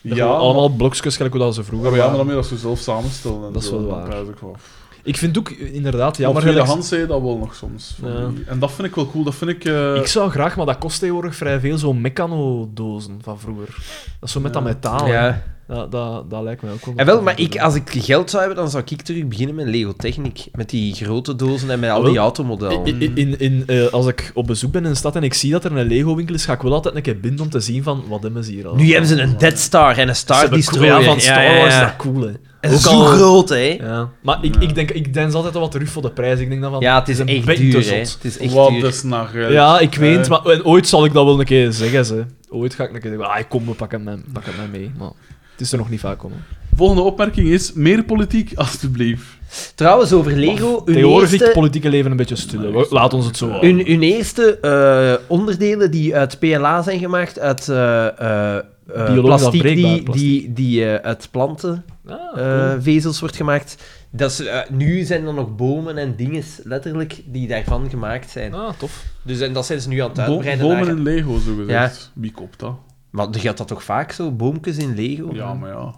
[SPEAKER 2] Ja,
[SPEAKER 3] Ja, allemaal blokjes, gelijk hoe dat ze vroeger
[SPEAKER 2] Maar, ja, maar
[SPEAKER 3] waren.
[SPEAKER 2] dan moet je dat zo zelf samenstellen. En
[SPEAKER 3] Dat is
[SPEAKER 2] zo,
[SPEAKER 3] wel
[SPEAKER 2] dan
[SPEAKER 3] waar.
[SPEAKER 2] prijs ik wel.
[SPEAKER 3] Ik vind ook eh, inderdaad
[SPEAKER 2] Ja, maar
[SPEAKER 3] jammer...
[SPEAKER 2] tweede
[SPEAKER 3] gelijk-
[SPEAKER 2] hand zei je dat wel nog soms. van
[SPEAKER 3] Ja.
[SPEAKER 2] die- En dat vind ik wel cool. Dat vind ik... eh,
[SPEAKER 3] Ik zou graag, maar dat kost tegenwoordig vrij veel, zo'n mecano-dozen van vroeger. Dat is zo met dat metaal. hè.
[SPEAKER 4] Ja.
[SPEAKER 3] Dat, dat, dat lijkt mij ook wel.
[SPEAKER 4] En wel, maar ik, als ik geld zou hebben, dan zou ik terug beginnen met Lego Technic. Met die grote dozen en met al die
[SPEAKER 3] Wel,
[SPEAKER 4] automodellen.
[SPEAKER 3] In, in, in, in, eh, als ik op bezoek ben in een stad en ik zie dat er een Lego-winkel is, ga ik wel altijd een keer binnen om te zien van wat hebben ze hier al.
[SPEAKER 4] Nu hebben ze een Dead Star en een
[SPEAKER 3] Ze
[SPEAKER 4] Star
[SPEAKER 3] hebben cool-
[SPEAKER 4] Destroyer.
[SPEAKER 3] ja, van Star Wars,
[SPEAKER 4] Ja, ja, ja.
[SPEAKER 3] dat cool, hè.
[SPEAKER 4] En
[SPEAKER 3] Ook
[SPEAKER 4] zo
[SPEAKER 3] al-
[SPEAKER 4] groot, hè.
[SPEAKER 3] Ja. Maar ik,
[SPEAKER 2] Ja.
[SPEAKER 3] ik denk, ik dens altijd wel wat terug voor de prijs. Ik denk dan van,
[SPEAKER 4] Ja, het is
[SPEAKER 3] een
[SPEAKER 4] echt
[SPEAKER 3] beetje
[SPEAKER 4] duur,
[SPEAKER 3] te
[SPEAKER 4] hè.
[SPEAKER 3] zot.
[SPEAKER 4] Het is echt
[SPEAKER 2] Wat
[SPEAKER 4] duur.
[SPEAKER 2] is nou geld?
[SPEAKER 3] Ja, ik weet,
[SPEAKER 2] Eh,
[SPEAKER 3] maar en ooit zal ik dat wel een keer zeggen, ze. Ooit ga ik een keer zeggen, ah, kom, we pakken hem, pakken hem mee. Maar het is er nog niet vaak komen.
[SPEAKER 2] Volgende opmerking is: meer politiek, alstublieft.
[SPEAKER 4] Trouwens, over Lego, hun
[SPEAKER 3] Tegenwoordig vind ik het
[SPEAKER 4] eerste,
[SPEAKER 3] politieke leven een beetje stil. hè. Laat ons het zo houden.
[SPEAKER 4] hun, hun eerste eh, onderdelen die uit PLA zijn gemaakt, uit eh, eh, eh,
[SPEAKER 3] Biologisch
[SPEAKER 4] plastic die,
[SPEAKER 3] afbreekbaar
[SPEAKER 4] die, die eh, uit plantenvezels
[SPEAKER 3] Ah, cool.
[SPEAKER 4] Eh, wordt gemaakt. Dat is, eh, nu zijn er nog bomen en dingen, letterlijk, die daarvan gemaakt zijn.
[SPEAKER 3] Ah, tof.
[SPEAKER 4] Dus, en dat zijn ze nu aan het
[SPEAKER 2] Bo-
[SPEAKER 4] uitbreiden.
[SPEAKER 2] bomen
[SPEAKER 4] naar-
[SPEAKER 2] in Lego, zo gezegd. Wie koopt dat?
[SPEAKER 4] Maar je gaat dat toch vaak zo? Boomkes in
[SPEAKER 3] Oh.
[SPEAKER 4] Lego?
[SPEAKER 2] Ja, maar ja.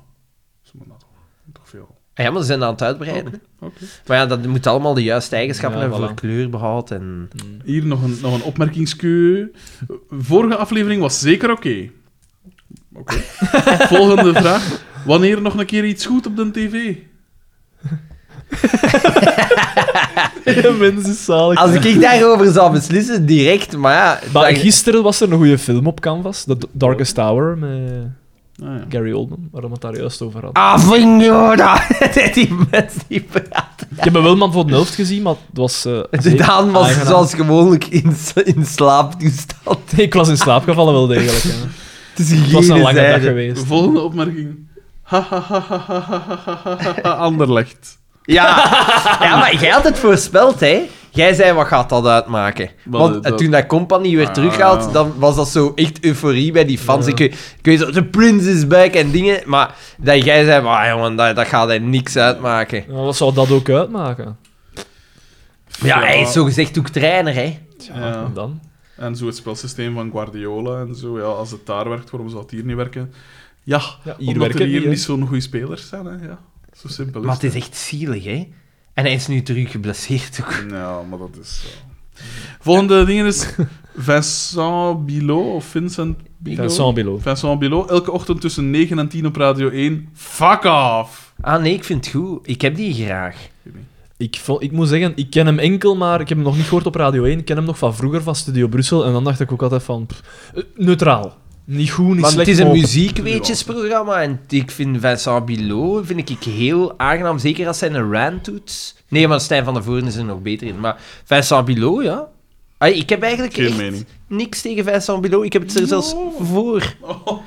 [SPEAKER 2] Ze moeten dat toch, toch veel.
[SPEAKER 4] Ah ja, maar ze zijn aan het uitbreiden.
[SPEAKER 2] Oké.
[SPEAKER 4] Maar ja, dat moet allemaal de juiste eigenschappen
[SPEAKER 3] Ja,
[SPEAKER 4] hebben
[SPEAKER 3] voilà.
[SPEAKER 4] voor kleurbehoud en...
[SPEAKER 2] Hier nog een, nog een opmerkingskeu. Vorige aflevering was zeker oké. Oké. Volgende vraag. Wanneer nog een keer iets goed op de tv?
[SPEAKER 3] Ja, mensen is zalig.
[SPEAKER 4] Als ik daarover zou beslissen, direct, maar ja...
[SPEAKER 3] Maar
[SPEAKER 4] dan-
[SPEAKER 3] gisteren was er een goede film op canvas, The Darkest
[SPEAKER 4] Oh.
[SPEAKER 3] Tower, met
[SPEAKER 2] Ah, ja.
[SPEAKER 3] Gary Oldman, waar we het daar juist over hadden.
[SPEAKER 4] Ah, Vignola! die mensen die praten.
[SPEAKER 3] Ik heb wel man voor de helft gezien, maar het was... eh,
[SPEAKER 4] De
[SPEAKER 3] zeker
[SPEAKER 4] Daan was
[SPEAKER 3] aangenaam.
[SPEAKER 4] zoals gewoonlijk in, s- in slaaptoestand.
[SPEAKER 3] Ik was in slaap gevallen wel degelijk. ja.
[SPEAKER 4] Het is
[SPEAKER 3] Het was een
[SPEAKER 4] hygiëne
[SPEAKER 3] lange dag
[SPEAKER 4] zijde.
[SPEAKER 3] geweest.
[SPEAKER 2] Volgende opmerking. Ha, ha, ha, ha, ha, ha, ha, ha, ha, Anderlecht.
[SPEAKER 4] Ja. ja, maar jij had het voorspeld, hè? Jij zei, wat gaat dat uitmaken?
[SPEAKER 2] Wat,
[SPEAKER 4] Want
[SPEAKER 2] dat-
[SPEAKER 4] toen dat Company weer
[SPEAKER 2] Ah.
[SPEAKER 4] terughaalt, dan was dat zo echt euforie bij die fans. Ik, weet- ik weet zo, de Prince is back en dingen. Maar dat jij zei, maar jongen, dat, dat gaat hij niks uitmaken.
[SPEAKER 3] Ja, Nou, wat zou dat ook uitmaken?
[SPEAKER 4] Ja, hij is zogezegd ook trainer, hè?
[SPEAKER 3] Tja,
[SPEAKER 2] Ja.
[SPEAKER 3] Ah, en dan?
[SPEAKER 2] En zo het spelsysteem van Guardiola en zo. Ja, als het daar werkt, waarom zou het hier niet werken? Ja,
[SPEAKER 3] Ja, hier
[SPEAKER 2] hier omdat er
[SPEAKER 3] werken het
[SPEAKER 2] hier
[SPEAKER 3] niet, hè.
[SPEAKER 2] niet zo'n goede spelers zijn. Hè? Ja, zo simpel is
[SPEAKER 4] Maar het is echt zielig, hè? En hij is nu terug geblesseerd ook.
[SPEAKER 2] Ja, maar dat is zo. Volgende ding is Vincent Bilot of Vincent Bilot.
[SPEAKER 3] Vincent Bilo.
[SPEAKER 2] Vincent Bilot, elke ochtend tussen 9 en 10 op Radio 1. Fuck off!
[SPEAKER 4] Ah nee, ik vind het goed. Ik heb die graag.
[SPEAKER 3] Ik, vond, ik moet zeggen, ik ken hem enkel, maar ik heb hem nog niet gehoord op Radio 1. Ik ken hem nog van vroeger, van Studio Brussel. En dan dacht ik ook altijd van... pff, eh, neutraal. Niet goed, niet
[SPEAKER 4] Want het
[SPEAKER 3] slecht.
[SPEAKER 4] is een
[SPEAKER 3] maar-
[SPEAKER 4] muziekweetjesprogramma en ik vind Vincent Bilot vind ik heel aangenaam, zeker als hij een rant doet. Nee, maar Stijn van der Voren is er nog beter in. Maar Vincent Bilot, ja. Ah, ik heb eigenlijk
[SPEAKER 2] Geen
[SPEAKER 4] echt
[SPEAKER 2] mening.
[SPEAKER 4] niks tegen Vincent Bilot. Ik heb het er zelfs voor.
[SPEAKER 2] Oh,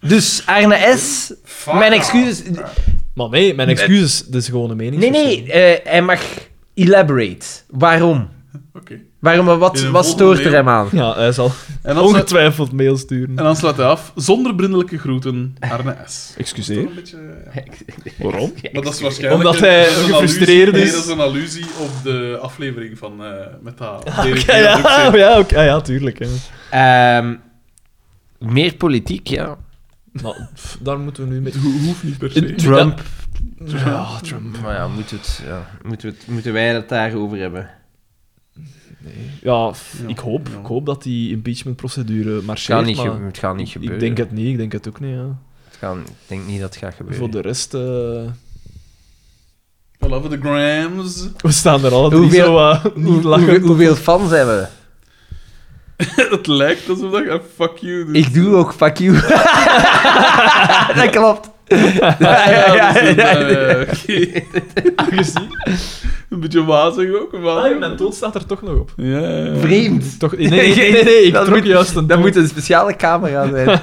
[SPEAKER 4] Dus Arne S,
[SPEAKER 2] fuck
[SPEAKER 4] mijn
[SPEAKER 2] off.
[SPEAKER 4] excuses.
[SPEAKER 3] Maar nee, mijn excuses. Dit is gewoon een mening.
[SPEAKER 4] Nee, nee, eh, hij mag elaborate. Waarom?
[SPEAKER 2] Oké.
[SPEAKER 4] Waarom,
[SPEAKER 2] In
[SPEAKER 4] wat,
[SPEAKER 2] een
[SPEAKER 4] wat
[SPEAKER 2] volgende
[SPEAKER 4] stoort
[SPEAKER 2] mail.
[SPEAKER 4] er hem aan?
[SPEAKER 3] Ja, hij zal
[SPEAKER 2] En, dan sluit-
[SPEAKER 3] ongetwijfeld mail sturen.
[SPEAKER 2] en dan slaat hij af. Zonder vriendelijke groeten, Arne S.
[SPEAKER 3] Excuseer.
[SPEAKER 2] Toch een beetje, ja.
[SPEAKER 3] Waarom?
[SPEAKER 2] Maar dat is waarschijnlijk...
[SPEAKER 3] Omdat hij
[SPEAKER 2] dat een
[SPEAKER 3] gefrustreerd
[SPEAKER 2] allusie-
[SPEAKER 3] is.
[SPEAKER 2] Nee, dat is een allusie op de aflevering van... eh met dat...
[SPEAKER 3] Ja, ja, ja, oké, ja, tuurlijk. Hè.
[SPEAKER 4] Ehm, meer politiek, ja.
[SPEAKER 3] Maar pff, daar moeten we nu mee...
[SPEAKER 2] Het ho- hoeft niet per se.
[SPEAKER 4] Trump.
[SPEAKER 3] Ja, ja, Trump.
[SPEAKER 4] Maar ja, moet het, ja. Moeten, we het- moeten wij het daarover hebben?
[SPEAKER 3] Ja, pff,
[SPEAKER 2] Ja,
[SPEAKER 3] ik, hoop,
[SPEAKER 2] ja.
[SPEAKER 3] ik hoop dat die impeachmentprocedure
[SPEAKER 4] Het
[SPEAKER 3] marcheert.
[SPEAKER 4] gaat niet,
[SPEAKER 3] maar
[SPEAKER 4] gebe- het gaat niet gebeuren.
[SPEAKER 3] Ik denk het niet, ik denk het ook niet. Ja.
[SPEAKER 4] Het gaat- ik denk niet dat het gaat gebeuren.
[SPEAKER 3] Voor de rest... eh,
[SPEAKER 2] All over the grams.
[SPEAKER 3] We staan er alle drie
[SPEAKER 4] Hoeveel-
[SPEAKER 3] zo eh, niet
[SPEAKER 4] Hoe-
[SPEAKER 3] lachen.
[SPEAKER 4] hoe- hoeveel fans hebben we?
[SPEAKER 2] het lijkt alsof dat je fuck you doet.
[SPEAKER 4] Ik doe ook fuck you. dat klopt. Ja, ja, ja,
[SPEAKER 2] dat is een,
[SPEAKER 4] ja.
[SPEAKER 2] eh, oké.
[SPEAKER 3] gezien.
[SPEAKER 2] Een beetje wazig ook, maar...
[SPEAKER 3] mijn dood staat er Ah, toch nog op.
[SPEAKER 2] Ja, ja, ja.
[SPEAKER 4] Vreemd.
[SPEAKER 3] Toch, nee, nee, nee, nee, nee, ik
[SPEAKER 4] Dat
[SPEAKER 3] trok
[SPEAKER 4] moet-
[SPEAKER 3] juist een
[SPEAKER 4] Dat
[SPEAKER 3] dood.
[SPEAKER 4] moet een speciale camera zijn.
[SPEAKER 2] Ik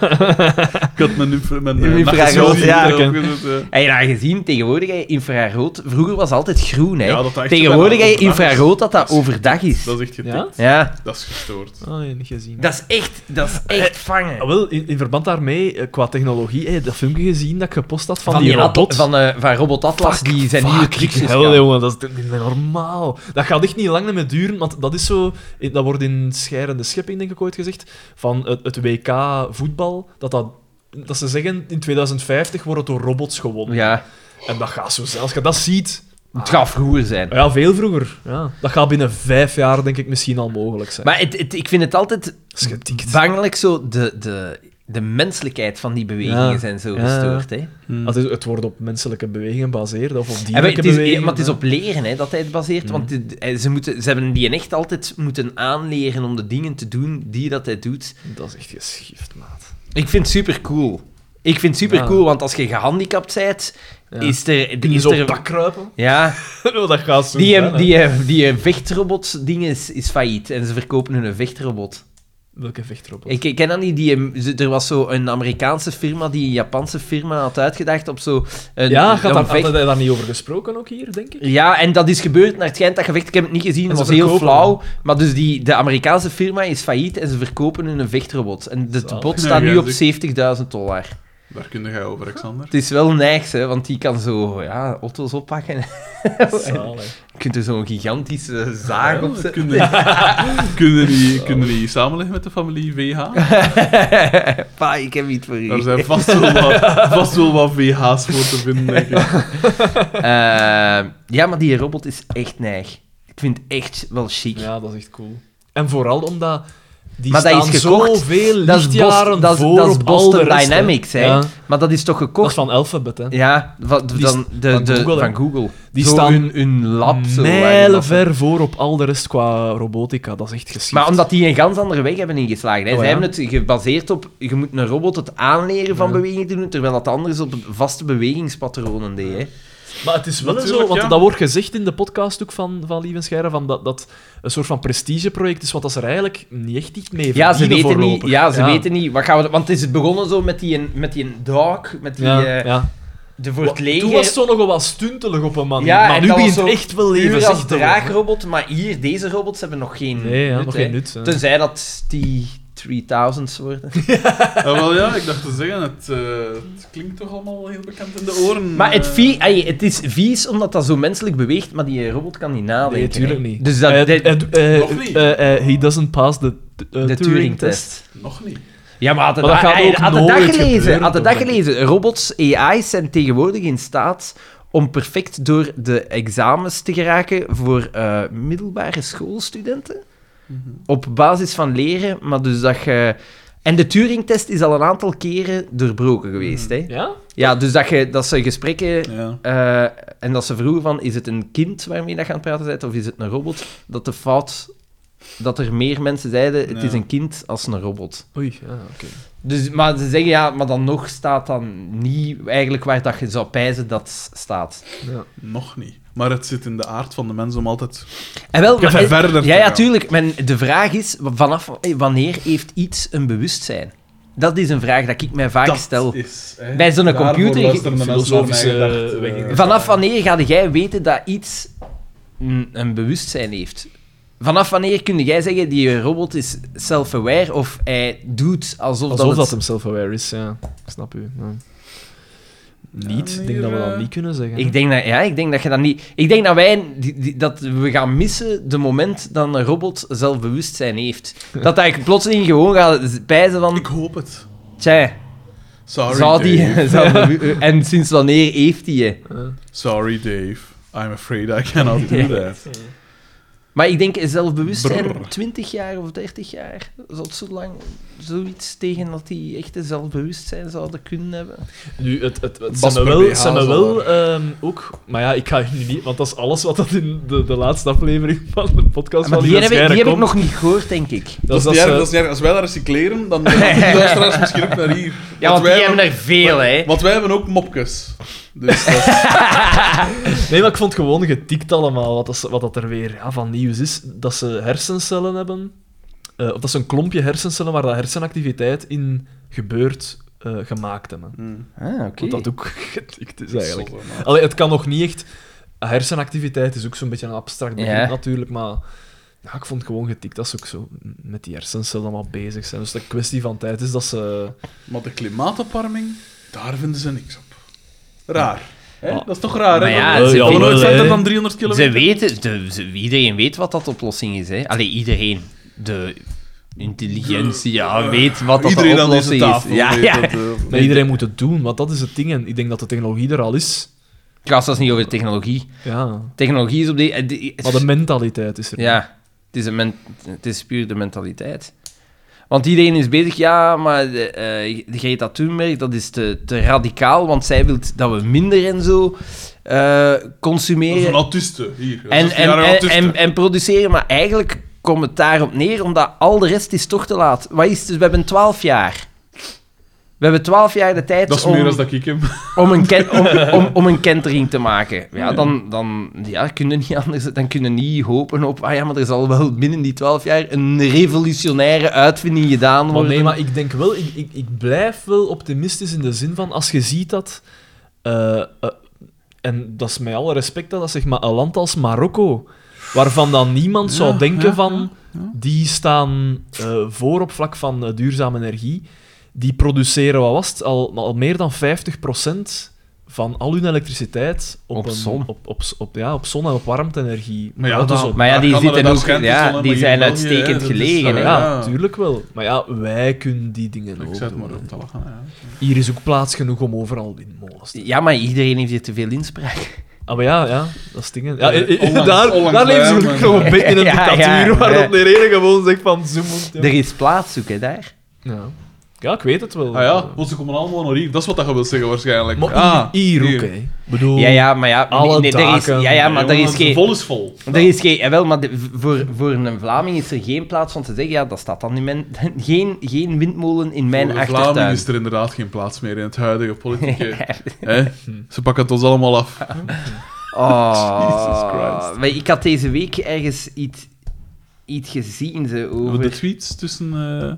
[SPEAKER 2] had mijn... infra- Mijn,
[SPEAKER 4] Uw
[SPEAKER 2] eh,
[SPEAKER 4] infrarood,
[SPEAKER 2] nachtvisie
[SPEAKER 4] ja.
[SPEAKER 2] erop gezet, eh.
[SPEAKER 4] Heb je dat gezien? Tegenwoordig, hè, infrarood. Vroeger was altijd groen, hè.
[SPEAKER 2] Ja, dat dat echt
[SPEAKER 4] Tegenwoordig,
[SPEAKER 2] wel
[SPEAKER 4] hè,
[SPEAKER 2] overdag is.
[SPEAKER 4] infrarood, dat dat
[SPEAKER 2] Dat is-
[SPEAKER 4] overdag is.
[SPEAKER 2] Dat is echt getikt.
[SPEAKER 3] Ja?
[SPEAKER 4] Ja. Eh,
[SPEAKER 2] Dat is gestoord.
[SPEAKER 3] Ah, nee, niet gezien.
[SPEAKER 4] Dat is echt, dat is echt vangen.
[SPEAKER 3] Ah, wel, in, in verband daarmee, eh, qua technologie, hey, dat filmpje gezien dat ik gepost had van, die
[SPEAKER 4] ato-
[SPEAKER 3] robot.
[SPEAKER 4] Van, eh, van Robot Atlas,
[SPEAKER 3] Fuck,
[SPEAKER 4] die zijn
[SPEAKER 3] fuck,
[SPEAKER 4] nieuwe trucs
[SPEAKER 3] hell,
[SPEAKER 4] is gaan.
[SPEAKER 3] jongen, dat is toch niet normaal. Dat gaat echt niet lang meer duren, want dat is zo... Dat wordt in Scheirende Schepping, denk ik, ooit gezegd, van het, het WK voetbal, dat dat... Dat ze zeggen, in 2050 wordt het door robots gewonnen.
[SPEAKER 4] Ja,
[SPEAKER 3] En dat gaat zo zelfs... Als je dat ziet...
[SPEAKER 4] het gaat vroeger zijn.
[SPEAKER 3] Ja, veel vroeger. Ja. Dat gaat binnen vijf jaar, denk ik, misschien al mogelijk zijn.
[SPEAKER 4] Maar het, het- ik vind het altijd
[SPEAKER 3] Dat is getikt.
[SPEAKER 4] bangelijk zo, de, de, de menselijkheid van die bewegingen
[SPEAKER 3] Ja.
[SPEAKER 4] zijn zo
[SPEAKER 3] Ja.
[SPEAKER 4] gestoord. Hè.
[SPEAKER 3] Want het, het wordt op menselijke bewegingen gebaseerd, of op dierlijke
[SPEAKER 4] En maar, het is,
[SPEAKER 3] bewegingen.
[SPEAKER 4] maar het is op leren hè, dat hij het baseert. Want het- eh, ze, moeten, ze hebben die echt altijd moeten aanleren om de dingen te doen die dat hij doet.
[SPEAKER 3] Dat is echt geschift, maat.
[SPEAKER 4] Ik vind het super cool. Ik vind het super cool, want als je gehandicapt bent,
[SPEAKER 3] Ja.
[SPEAKER 4] is er.
[SPEAKER 3] Die
[SPEAKER 4] Is
[SPEAKER 3] zo op
[SPEAKER 4] er-
[SPEAKER 3] dak kruipen.
[SPEAKER 4] ja,
[SPEAKER 3] oh, dat gaat zo
[SPEAKER 4] die,
[SPEAKER 3] zijn,
[SPEAKER 4] hem-
[SPEAKER 3] hè.
[SPEAKER 4] die, eh, die eh, vechtrobot-ding is, is failliet en ze verkopen hun vechtrobot.
[SPEAKER 3] Welke vechtrobot?
[SPEAKER 4] Ik ik ken dat niet. Die, eh, ze- er was zo een Amerikaanse firma die een Japanse firma had uitgedacht op zo. Een,
[SPEAKER 3] ja,
[SPEAKER 4] een
[SPEAKER 3] gaat daar,
[SPEAKER 4] vecht-
[SPEAKER 3] had hij daar niet over gesproken ook hier, denk ik?
[SPEAKER 4] Ja, en dat is gebeurd naar het schijnt dat gevecht. Ik heb het niet gezien,
[SPEAKER 3] En
[SPEAKER 4] het
[SPEAKER 3] ze
[SPEAKER 4] was heel
[SPEAKER 3] verkopen
[SPEAKER 4] flauw. Maar dus die, de Amerikaanse firma is failliet en ze verkopen hun vechtrobot. En het
[SPEAKER 3] Zalig.
[SPEAKER 4] bot staat
[SPEAKER 2] Ja,
[SPEAKER 4] nu
[SPEAKER 2] ja,
[SPEAKER 4] op
[SPEAKER 2] dus-
[SPEAKER 4] 70.000 dollar.
[SPEAKER 2] Daar kun jij over, Alexander.
[SPEAKER 4] Het is wel niks, hè, want die kan zo ja, auto's oppakken.
[SPEAKER 3] Zalig.
[SPEAKER 4] Je kunt er zo'n gigantische zaag op zetten.
[SPEAKER 2] Kunnen, kunnen, die, kunnen die samenleggen met de familie VH?
[SPEAKER 4] Pa, ik heb iets voor
[SPEAKER 2] Daar
[SPEAKER 4] u.
[SPEAKER 2] zijn vast wel wat, vast wel wat VH's voor te vinden, denk ik.
[SPEAKER 4] Eh, ja, maar die robot is echt neig. Ik vind het echt wel chic.
[SPEAKER 3] Ja, dat is echt cool. En vooral omdat die
[SPEAKER 4] Maar dat
[SPEAKER 3] staan
[SPEAKER 4] is gekocht.
[SPEAKER 3] zoveel
[SPEAKER 4] Dat is,
[SPEAKER 3] lichtjaren
[SPEAKER 4] Boston, dat, is,
[SPEAKER 3] voor
[SPEAKER 4] dat is
[SPEAKER 3] op al de
[SPEAKER 4] Boston
[SPEAKER 3] rest, hè.
[SPEAKER 4] Dynamics, hè.
[SPEAKER 3] Ja.
[SPEAKER 4] Maar dat is toch
[SPEAKER 3] Dat is
[SPEAKER 4] gekocht?
[SPEAKER 3] van Alphabet, hè.
[SPEAKER 4] Ja, van,
[SPEAKER 3] Die
[SPEAKER 4] dan, de,
[SPEAKER 3] van
[SPEAKER 4] de,
[SPEAKER 3] Google, hè.
[SPEAKER 4] van Google.
[SPEAKER 3] Die
[SPEAKER 4] Zo
[SPEAKER 3] staan
[SPEAKER 4] hun, hun lab. Zo, eigenlijk.
[SPEAKER 3] Mijlenver voor op al de rest qua robotica. Dat is echt geschikt.
[SPEAKER 4] Maar omdat die een ganz andere weg hebben ingeslagen. Hè.
[SPEAKER 3] Oh,
[SPEAKER 4] Zij
[SPEAKER 3] ja.
[SPEAKER 4] hebben het gebaseerd op... Je moet een robot het aanleren van
[SPEAKER 3] Ja.
[SPEAKER 4] bewegingen te doen, terwijl dat anders op vaste bewegingspatronen deed. Hè.
[SPEAKER 3] Maar het is wel
[SPEAKER 2] Natuurlijk,
[SPEAKER 3] zo, want
[SPEAKER 2] ja.
[SPEAKER 3] dat wordt gezegd in de podcast ook van, van Lieve Scheire, van dat, dat een soort van prestigeproject is, wat dat ze er eigenlijk niet echt iets mee
[SPEAKER 4] Ja, ze
[SPEAKER 3] verdienen
[SPEAKER 4] weten niet...
[SPEAKER 3] voorlopig.
[SPEAKER 4] Ja, ze weten niet... Wat gaan we, want het is begonnen zo met die, met die dog, met die...
[SPEAKER 3] Ja,
[SPEAKER 4] eh,
[SPEAKER 3] ja.
[SPEAKER 4] De voor het
[SPEAKER 3] Wa- Toen
[SPEAKER 4] leger...
[SPEAKER 3] was het zo nog wel wat stuntelig op een manier,
[SPEAKER 4] Ja,
[SPEAKER 3] maar
[SPEAKER 4] en
[SPEAKER 3] nu
[SPEAKER 4] dat was
[SPEAKER 3] begint
[SPEAKER 4] zo
[SPEAKER 3] echt wel
[SPEAKER 4] puur
[SPEAKER 3] leven
[SPEAKER 4] als
[SPEAKER 3] zicht te worden.
[SPEAKER 4] draagrobots, maar hier, deze robots hebben nog geen
[SPEAKER 3] Nee, ja,
[SPEAKER 4] nut,
[SPEAKER 3] nog
[SPEAKER 4] hè.
[SPEAKER 3] geen nut. hè.
[SPEAKER 4] Tenzij dat die 3000's worden.
[SPEAKER 2] Ah, wel ja, ik dacht te zeggen, het, eh, het klinkt toch allemaal heel bekend in de oren.
[SPEAKER 4] Maar het,
[SPEAKER 2] eh.
[SPEAKER 4] vie- ai, het is vies omdat dat zo menselijk beweegt, maar die robot kan niet nadenken.
[SPEAKER 3] Nee, tuurlijk
[SPEAKER 4] hè.
[SPEAKER 3] niet.
[SPEAKER 4] Dus dat...
[SPEAKER 3] Eh,
[SPEAKER 4] dat-
[SPEAKER 3] eh, eh,
[SPEAKER 2] Nog niet.
[SPEAKER 3] eh, eh, he doesn't pass the, eh,
[SPEAKER 4] de
[SPEAKER 3] Turing-test.
[SPEAKER 4] Turing-test.
[SPEAKER 2] Nog niet.
[SPEAKER 4] Ja, maar had het
[SPEAKER 3] Maar dat
[SPEAKER 4] dat,
[SPEAKER 3] gaat ook
[SPEAKER 4] had het dat
[SPEAKER 3] nooit
[SPEAKER 4] gelezen,
[SPEAKER 3] gebeuren,
[SPEAKER 4] had het dat
[SPEAKER 3] toch?
[SPEAKER 4] gelezen, robots, AI's zijn tegenwoordig in staat om perfect door de examens te geraken voor eh, middelbare schoolstudenten.
[SPEAKER 3] Mhm.
[SPEAKER 4] Op basis van leren, maar dus dat je... En de Turing-test is al een aantal keren doorbroken geweest. Hè?
[SPEAKER 3] Ja?
[SPEAKER 4] Ja, dus dat, je, dat ze gesprekken
[SPEAKER 2] Ja.
[SPEAKER 4] eh, en dat ze vroegen van, is het een kind waarmee dat je aan het praten bent, of is het een robot? Dat de fout... Dat er meer mensen zeiden, het
[SPEAKER 2] Ja.
[SPEAKER 4] is een kind als een robot.
[SPEAKER 3] Oei, ja, oké.
[SPEAKER 4] Dus, maar ze zeggen, ja, maar dan nog staat dan niet eigenlijk waar dat je zou pijzen dat s- staat.
[SPEAKER 3] Ja.
[SPEAKER 2] Nog niet. Maar het zit in de aard van de mens om altijd
[SPEAKER 4] En wel,
[SPEAKER 2] Even
[SPEAKER 4] maar-
[SPEAKER 2] verder te
[SPEAKER 4] Ja, ja,
[SPEAKER 2] gaan.
[SPEAKER 4] tuurlijk. Men, de vraag is, w- vanaf eh, wanneer heeft iets een bewustzijn? Dat is een vraag dat ik mij vaak stel.
[SPEAKER 2] is. hè.
[SPEAKER 4] Bij zo'n
[SPEAKER 2] Daarvoor
[SPEAKER 4] computer-
[SPEAKER 2] luisteren de mensen naar mijn
[SPEAKER 3] Filosofische,
[SPEAKER 2] gedachten.
[SPEAKER 3] eh,
[SPEAKER 2] Eh,
[SPEAKER 4] Vanaf wanneer ga jij weten dat iets een, een bewustzijn heeft? Vanaf wanneer kun jij zeggen, die robot is self-aware, of hij doet alsof,
[SPEAKER 3] Alsof dat,
[SPEAKER 4] dat... het-
[SPEAKER 3] hem self-aware is, ja. Ik snap u. ja. Niet, ik
[SPEAKER 2] hier,
[SPEAKER 3] denk dat we dat
[SPEAKER 2] eh,
[SPEAKER 3] niet kunnen zeggen. hè.
[SPEAKER 4] Ik denk dat, ja, ik denk dat je dat niet... Ik denk dat wij... die- die- dat we gaan missen de moment dat een robot zelfbewustzijn heeft. Dat hij plotseling gewoon gaat bijzen
[SPEAKER 2] Ik
[SPEAKER 4] van...
[SPEAKER 2] hoop het.
[SPEAKER 4] Tja,
[SPEAKER 2] Sorry,
[SPEAKER 4] zou
[SPEAKER 2] Dave.
[SPEAKER 4] die... zou- en sinds wanneer heeft hij je?
[SPEAKER 3] Ja.
[SPEAKER 2] Sorry, Dave. I'm afraid I cannot do that.
[SPEAKER 4] Maar ik denk zelfbewustzijn,
[SPEAKER 2] Brrr.
[SPEAKER 4] 20 jaar of 30 jaar, zat zo lang zoiets tegen dat die echte zelfbewustzijn zouden kunnen hebben.
[SPEAKER 3] Nu, het, het, het
[SPEAKER 2] Bas
[SPEAKER 3] zijn me
[SPEAKER 2] per
[SPEAKER 3] wel,
[SPEAKER 2] BH
[SPEAKER 3] zijn me
[SPEAKER 2] zal
[SPEAKER 3] wel ehm, ook... Maar ja, ik ga nu niet... Want dat is alles wat dat in de, de laatste aflevering van de podcast
[SPEAKER 4] maar
[SPEAKER 3] van
[SPEAKER 4] die, heb, ik- die heb ik
[SPEAKER 3] komt.
[SPEAKER 4] nog Dus niet gehoord, denk ik.
[SPEAKER 2] Dat is,
[SPEAKER 3] dat
[SPEAKER 2] niet erg,
[SPEAKER 3] ze-
[SPEAKER 2] dat is niet erg. Als wij dat recycleren, dan dan gaan die luisteraars misschien ook naar hier.
[SPEAKER 4] Ja, want
[SPEAKER 2] wij
[SPEAKER 4] die hebben er veel, hè.
[SPEAKER 2] Want wij hebben ook mopjes. Dus dat is-
[SPEAKER 3] Nee, maar ik vond gewoon getikt allemaal wat dat, ze- wat dat er weer ja, van nieuws is. Dat ze hersencellen hebben. eh, of dat ze een klompje hersencellen waar dat hersenactiviteit in gebeurt, eh, gemaakt hebben.
[SPEAKER 2] Hmm.
[SPEAKER 4] Ah, oké.
[SPEAKER 3] Want dat ook getikt is eigenlijk.
[SPEAKER 2] Zot, hè, man.
[SPEAKER 3] Allee, het kan nog niet echt... Hersenactiviteit is ook zo'n beetje een abstract begrip
[SPEAKER 4] Ja.
[SPEAKER 3] natuurlijk, maar... Ja, ik vond het gewoon getikt dat ze ook zo met die hersencellen allemaal bezig zijn. Dus de kwestie van tijd is dat ze...
[SPEAKER 2] Maar de klimaatopwarming, daar vinden ze niks op. Raar. Hè?
[SPEAKER 3] Ah.
[SPEAKER 2] Dat is toch raar,
[SPEAKER 4] Maar
[SPEAKER 2] hè?
[SPEAKER 4] ja,
[SPEAKER 2] dat
[SPEAKER 4] ze
[SPEAKER 2] nooit
[SPEAKER 4] vinden-
[SPEAKER 2] verder dan 300 kilometer.
[SPEAKER 4] Ze weten, de, ze- iedereen weet wat dat oplossing is, hè. Allee, iedereen. De intelligentie, ja,
[SPEAKER 2] Eh,
[SPEAKER 4] weet wat dat
[SPEAKER 2] Iedereen
[SPEAKER 4] de
[SPEAKER 2] aan deze
[SPEAKER 4] oplossing
[SPEAKER 2] tafel
[SPEAKER 4] is. Ja,
[SPEAKER 2] weet
[SPEAKER 4] ja.
[SPEAKER 2] dat, eh,
[SPEAKER 3] Maar iedereen moet het doen, want dat is het ding. En ik denk dat de technologie er al is.
[SPEAKER 4] Ik ga zelfs niet over de technologie.
[SPEAKER 3] Ja.
[SPEAKER 4] Technologie is op die... eh, die-
[SPEAKER 3] Maar de mentaliteit is er.
[SPEAKER 4] Ja, het is, een men- het is puur de mentaliteit. Want iedereen is bezig, ja, maar eh, eh, Greta Thunberg, dat is te, te radicaal, want zij wil dat we minder en zo eh,
[SPEAKER 2] Dat is een
[SPEAKER 4] consumeren
[SPEAKER 2] autiste, hier.
[SPEAKER 4] en, en, en,
[SPEAKER 2] autiste.
[SPEAKER 4] en, en produceren. Maar eigenlijk komt het daarop neer, omdat al de rest is toch te laat. Wat is het? Dus we hebben 12 jaar. We hebben 12 jaar de tijd
[SPEAKER 2] dat is
[SPEAKER 4] om,
[SPEAKER 2] meer dan dat ik hem.
[SPEAKER 4] om, een ken- om, om, om een kentering te maken. Ja, dan, dan ja, kun je niet anders. Dan kun je niet hopen op. Ah ja, maar er zal wel binnen die 12 jaar een revolutionaire uitvinding gedaan
[SPEAKER 3] Maar
[SPEAKER 4] worden.
[SPEAKER 3] nee, maar ik denk wel, ik, ik, ik blijf wel optimistisch in de zin van als je ziet dat. eh, eh, en dat is met alle respect dat, dat zeg maar een land als Marokko, waarvan dan niemand zou denken van. Die staan eh, voor op vlak van eh, duurzame energie. Die produceren, wat was het, al, al meer dan 50% van al hun elektriciteit op,
[SPEAKER 4] Op
[SPEAKER 3] een-
[SPEAKER 4] zon.
[SPEAKER 3] Op, op, op, ja, op zon en op warmte-energie.
[SPEAKER 2] Maar ja,
[SPEAKER 3] dat is
[SPEAKER 2] dan-
[SPEAKER 3] op-
[SPEAKER 4] Maar ja,
[SPEAKER 2] Daar
[SPEAKER 4] die
[SPEAKER 2] kan
[SPEAKER 4] zitten
[SPEAKER 2] er
[SPEAKER 4] ook-
[SPEAKER 2] schijnt
[SPEAKER 4] ja,
[SPEAKER 2] iets van, hè,
[SPEAKER 4] die
[SPEAKER 2] maar
[SPEAKER 4] zijn
[SPEAKER 2] in België,
[SPEAKER 4] uitstekend
[SPEAKER 2] hè, dat is,
[SPEAKER 4] gelegen,
[SPEAKER 2] eh,
[SPEAKER 4] hè.
[SPEAKER 3] Ja, natuurlijk wel. Maar ja, wij kunnen die dingen
[SPEAKER 2] Ik
[SPEAKER 3] ook
[SPEAKER 2] zet
[SPEAKER 3] doen.
[SPEAKER 2] maar op te lachen. Ja.
[SPEAKER 3] Hier is ook plaats genoeg om overal windmolens te
[SPEAKER 4] Ja, maar iedereen heeft hier te veel inspraak.
[SPEAKER 3] Ah, maar ja, ja, dat is dingen. Ja,
[SPEAKER 2] Eh,
[SPEAKER 3] eh, eh,
[SPEAKER 2] onlangs-
[SPEAKER 3] daar,
[SPEAKER 2] onlangs
[SPEAKER 3] daar leven ze
[SPEAKER 2] bij,
[SPEAKER 3] gelukkig
[SPEAKER 2] maar-
[SPEAKER 3] nog een beetje in een
[SPEAKER 4] Ja, ja,
[SPEAKER 3] dictatuur waar
[SPEAKER 4] eh.
[SPEAKER 3] dat de reden gewoon zegt van zo moet. Ja.
[SPEAKER 4] Er is plaats zoeken daar.
[SPEAKER 3] Ja. ja, ik weet het wel.
[SPEAKER 2] Ah ja, want ze komen allemaal naar hier. Dat is wat dat je wilt zeggen waarschijnlijk.
[SPEAKER 3] Maar
[SPEAKER 2] ah,
[SPEAKER 3] hier, hier ook,
[SPEAKER 2] hier.
[SPEAKER 3] hè. Ik bedoel,
[SPEAKER 4] Ja, ja, maar ja.
[SPEAKER 3] Alle
[SPEAKER 4] nee, er is,
[SPEAKER 3] daken.
[SPEAKER 4] ja, ja, maar er
[SPEAKER 2] Jongen,
[SPEAKER 4] is geen.
[SPEAKER 2] Vol is vol.
[SPEAKER 4] Er is geen, jawel, maar de- voor, voor een Vlaming is er geen plaats om te zeggen, ja, dat staat dan in mijn... Geen, geen windmolen in mijn
[SPEAKER 2] Voor de
[SPEAKER 4] achtertuin.
[SPEAKER 2] Vlaming is er inderdaad geen plaats meer in het huidige politieke... hè? Ze pakken het ons allemaal af.
[SPEAKER 4] Oh,
[SPEAKER 2] Jesus Christ.
[SPEAKER 4] maar ik had deze week ergens iets, iets gezien ze, over...
[SPEAKER 2] De tweets tussen eh,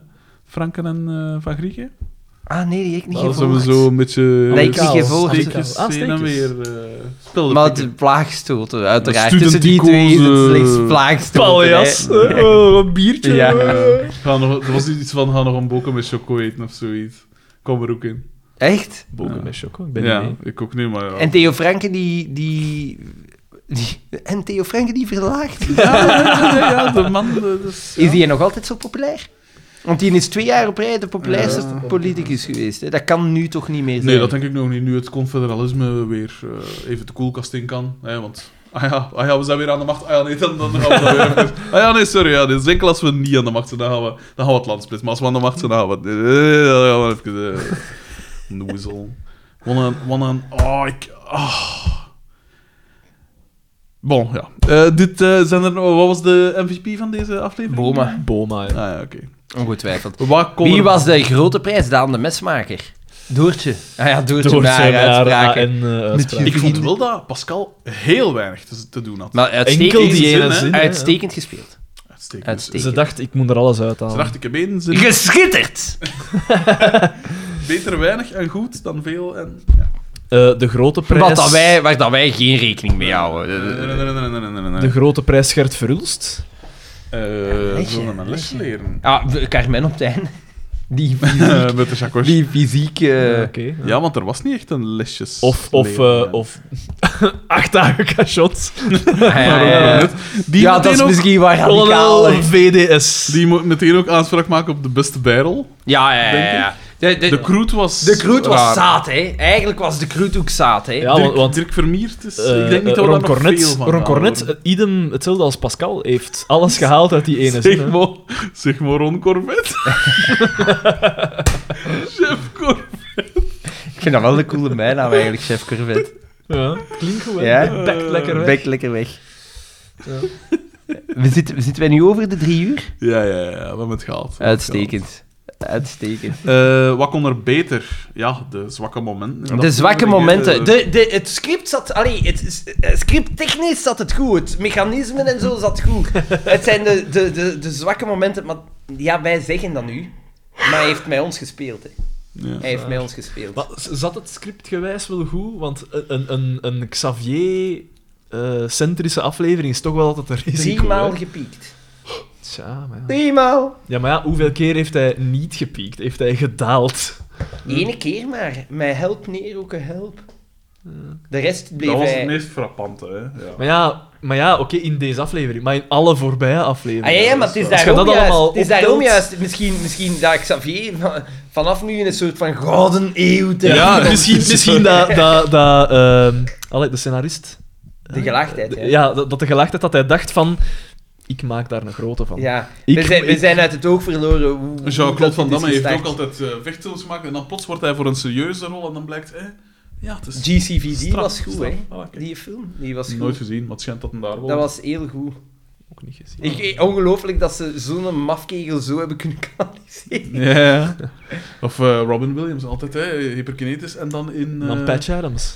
[SPEAKER 2] Franken en eh, Van Grieken. Nou,
[SPEAKER 4] Ah, nee, die heb ik niet
[SPEAKER 2] Dat zijn we
[SPEAKER 4] gevolgd.
[SPEAKER 2] zo een beetje...
[SPEAKER 4] Dat ik niet gevolgd heb.
[SPEAKER 2] Steekjes
[SPEAKER 3] Ah,
[SPEAKER 2] heen en
[SPEAKER 3] steekjes.
[SPEAKER 2] weer. eh, Spel
[SPEAKER 4] Maar het plaagstoten, uiteraard.
[SPEAKER 2] De
[SPEAKER 4] Tussen die twee is het
[SPEAKER 2] studentico's, eh,
[SPEAKER 4] slechts plaagstoten.
[SPEAKER 3] paljas,
[SPEAKER 4] hè.
[SPEAKER 3] eh, oh, een biertje.
[SPEAKER 4] Ja.
[SPEAKER 3] eh.
[SPEAKER 2] Ga nog, er was iets van, ga nog een boken met choco eten of zoiets. Kom er ook in.
[SPEAKER 4] Echt?
[SPEAKER 3] Boken met choco, ik ben
[SPEAKER 2] ja,
[SPEAKER 3] niet mee.
[SPEAKER 2] ik ook nu, maar ja.
[SPEAKER 4] En Theo Franken, die... die... die- en Theo Franken die verlaagt.
[SPEAKER 2] ja, ja, de man... de- dus, ja.
[SPEAKER 4] Is die nog altijd zo populair? Want die is twee jaar op rij de populairste politicus geweest. Hè. Dat kan nu toch niet meer zijn.
[SPEAKER 2] Nee, dat denk ik nog niet. Nu het confederalisme weer eh, even de koelkast in kan. Hè, want, ah ja, ah ja, we zijn weer aan de macht. Ah ja, nee, dan, dan gaan we dan weer... even- Ah ja, nee, sorry. Ja, nee, enkel als we niet aan de macht zijn, dan gaan we, dan gaan we het land splitsen. Maar als we aan de macht zijn, dan gaan we... eh, dan gaan we even... eh, noezel. Wat een... Wat een... Oh, ik... ah. Bon, ja. Eh, dit eh, zijn er... Wat was de MVP van deze aflevering?
[SPEAKER 4] Boma,
[SPEAKER 3] Boma, ja.
[SPEAKER 2] Ah ja, oké.
[SPEAKER 4] ongetwijfeld.
[SPEAKER 2] Wat kon
[SPEAKER 4] Wie
[SPEAKER 2] er-
[SPEAKER 4] was de grote prijs? Daan de mesmaker. Doortje. Ah ja, Doortje,
[SPEAKER 3] Door
[SPEAKER 4] naar
[SPEAKER 3] zijn haar
[SPEAKER 4] uitspraken.
[SPEAKER 3] en eh, uitspraken.
[SPEAKER 2] Ik vond wel dat Pascal heel weinig te, te doen had.
[SPEAKER 4] Maar uitstekend,
[SPEAKER 3] Enkel die
[SPEAKER 2] zin,
[SPEAKER 3] ene
[SPEAKER 2] hè.
[SPEAKER 3] zin. hè, ja.
[SPEAKER 4] uitstekend gespeeld.
[SPEAKER 2] Uitstekend.
[SPEAKER 4] Uitstekend.
[SPEAKER 3] Ze dacht, ik moet er alles
[SPEAKER 2] Ze
[SPEAKER 3] uithalen.
[SPEAKER 2] dacht, ik heb één zin.
[SPEAKER 4] Geschitterd!
[SPEAKER 2] Beter weinig en goed dan veel en...
[SPEAKER 3] Eh, de grote prijs...
[SPEAKER 4] Wat dat wij, waar dat wij geen rekening mee houden. Eh,
[SPEAKER 3] De grote prijs Gert Verhulst.
[SPEAKER 2] Eh, Zullen we mijn les leren?
[SPEAKER 4] Ah, we- Carmen op het einde. Die,
[SPEAKER 2] Eh, Met de chakosje.
[SPEAKER 4] die fysiek... eh,
[SPEAKER 3] Oké. ja.
[SPEAKER 2] Ja, want er was niet echt een lesjes.
[SPEAKER 3] Of, of,
[SPEAKER 2] leren,
[SPEAKER 3] eh,
[SPEAKER 2] ja.
[SPEAKER 3] of acht dagen cachot.
[SPEAKER 4] ah, ja, ja, ja.
[SPEAKER 2] Die
[SPEAKER 4] Ja,
[SPEAKER 2] moet
[SPEAKER 4] dat is
[SPEAKER 2] ook,
[SPEAKER 4] misschien wat
[SPEAKER 3] Kolonel
[SPEAKER 4] radicaler.
[SPEAKER 3] VDS.
[SPEAKER 2] Die moet meteen ook aanspraak maken op de beste barrel.
[SPEAKER 4] Ja, ja, ja. ja. De, de,
[SPEAKER 2] De Kroet was...
[SPEAKER 4] de Kroet was
[SPEAKER 2] raar.
[SPEAKER 4] zaad, hè. Eigenlijk was de Kroet ook zaad, hè.
[SPEAKER 3] Ja,
[SPEAKER 2] Dirk,
[SPEAKER 3] want- want-
[SPEAKER 2] Dirk Vermeert is...
[SPEAKER 3] Eh,
[SPEAKER 2] ik denk niet dat
[SPEAKER 3] eh,
[SPEAKER 2] we
[SPEAKER 3] Ron
[SPEAKER 2] daar nog
[SPEAKER 3] Cornet,
[SPEAKER 2] veel van
[SPEAKER 3] Ron
[SPEAKER 2] gaan
[SPEAKER 3] Cornet,
[SPEAKER 2] horen.
[SPEAKER 3] eh, idem hetzelfde als Pascal, heeft alles gehaald uit die ene zin.
[SPEAKER 2] Zeg
[SPEAKER 3] hè.
[SPEAKER 2] maar, zeg maar Ron Corvet. Chef Corvet.
[SPEAKER 4] Ik vind dat wel een coole bijnaam eigenlijk, chef Corvette.
[SPEAKER 3] Ja, klinkt goed, hè?
[SPEAKER 4] Ja.
[SPEAKER 3] Bek lekker weg.
[SPEAKER 4] Bek lekker weg. We zitten, zitten wij nu over de drie uur?
[SPEAKER 2] Ja, ja, ja, we hebben het gehaald.
[SPEAKER 4] Uitstekend. Uitstekend.
[SPEAKER 2] Eh, wat kon er beter? Ja, de zwakke momenten.
[SPEAKER 4] De zwakke momenten.
[SPEAKER 2] De...
[SPEAKER 4] De, de, het script zat... Allee, het is- eh, scripttechnisch zat het goed. Het mechanisme en zo zat goed. Het zijn de, de, de, de zwakke momenten. Maar ja, wij zeggen dat nu. Maar hij heeft met ons gespeeld. Hè.
[SPEAKER 2] Ja.
[SPEAKER 4] Hij heeft met ons gespeeld.
[SPEAKER 3] Maar z- zat het scriptgewijs wel goed? Want een, een, een Xavier-centrische aflevering is toch wel altijd een risico.
[SPEAKER 4] Driemaal
[SPEAKER 3] hè.
[SPEAKER 4] gepiekt.
[SPEAKER 3] Tja, maar ja.
[SPEAKER 4] Driemaal.
[SPEAKER 3] ja, maar ja, hoeveel keer heeft hij niet gepiekt? Heeft hij gedaald?
[SPEAKER 4] Ene keer maar. Mij help neer, ook een help. De rest bleef
[SPEAKER 2] Dat was
[SPEAKER 4] hij...
[SPEAKER 2] het meest frappante, hè. Ja.
[SPEAKER 3] Maar ja, maar ja oké, in deze aflevering, maar in alle voorbije
[SPEAKER 4] Ah,
[SPEAKER 3] afleveringen.
[SPEAKER 4] ja, ja, maar het is
[SPEAKER 3] Als je
[SPEAKER 4] daarom,
[SPEAKER 3] dat
[SPEAKER 4] juist,
[SPEAKER 3] allemaal
[SPEAKER 4] het is daarom
[SPEAKER 3] optelt-
[SPEAKER 4] juist. Misschien, misschien dat Xavier va- vanaf nu in een soort van gouden eeuw terecht
[SPEAKER 3] Ja, dus-
[SPEAKER 4] komt.
[SPEAKER 3] misschien, misschien dat, dat, dat ehm, allee, de scenarist.
[SPEAKER 4] De gelaagdheid,
[SPEAKER 3] de-
[SPEAKER 4] ja.
[SPEAKER 3] ja, dat, dat de gelaagdheid dat hij dacht van. ik maak daar een grote van.
[SPEAKER 4] Ja,
[SPEAKER 3] Ik-
[SPEAKER 4] we, zijn, we
[SPEAKER 3] ik-
[SPEAKER 4] zijn uit het oog verloren. hoe- hoe dat
[SPEAKER 2] Jean-Claude Dus Van
[SPEAKER 4] dit is
[SPEAKER 2] Damme heeft
[SPEAKER 4] gestart.
[SPEAKER 2] ook altijd eh, vechtfilms gemaakt en dan plots wordt hij voor een serieuze rol en dan blijkt... Eh, ja, het is...
[SPEAKER 4] GCVD
[SPEAKER 2] straf,
[SPEAKER 4] was goed,
[SPEAKER 2] straf.
[SPEAKER 4] hè?
[SPEAKER 2] Ah, kijk.
[SPEAKER 4] Die film, die was goed.
[SPEAKER 2] Nooit gezien, maar het schijnt dat hem daar wel...
[SPEAKER 4] Dat was heel goed.
[SPEAKER 3] Ook niet gezien.
[SPEAKER 4] Ik, eh, ongelooflijk dat ze zo'n mafkegel zo hebben kunnen kanaliseren.
[SPEAKER 2] Ja. Of eh, Robin Williams, altijd, hè? Hyperkinetisch en dan in... eh,
[SPEAKER 3] Dan Patch Adams.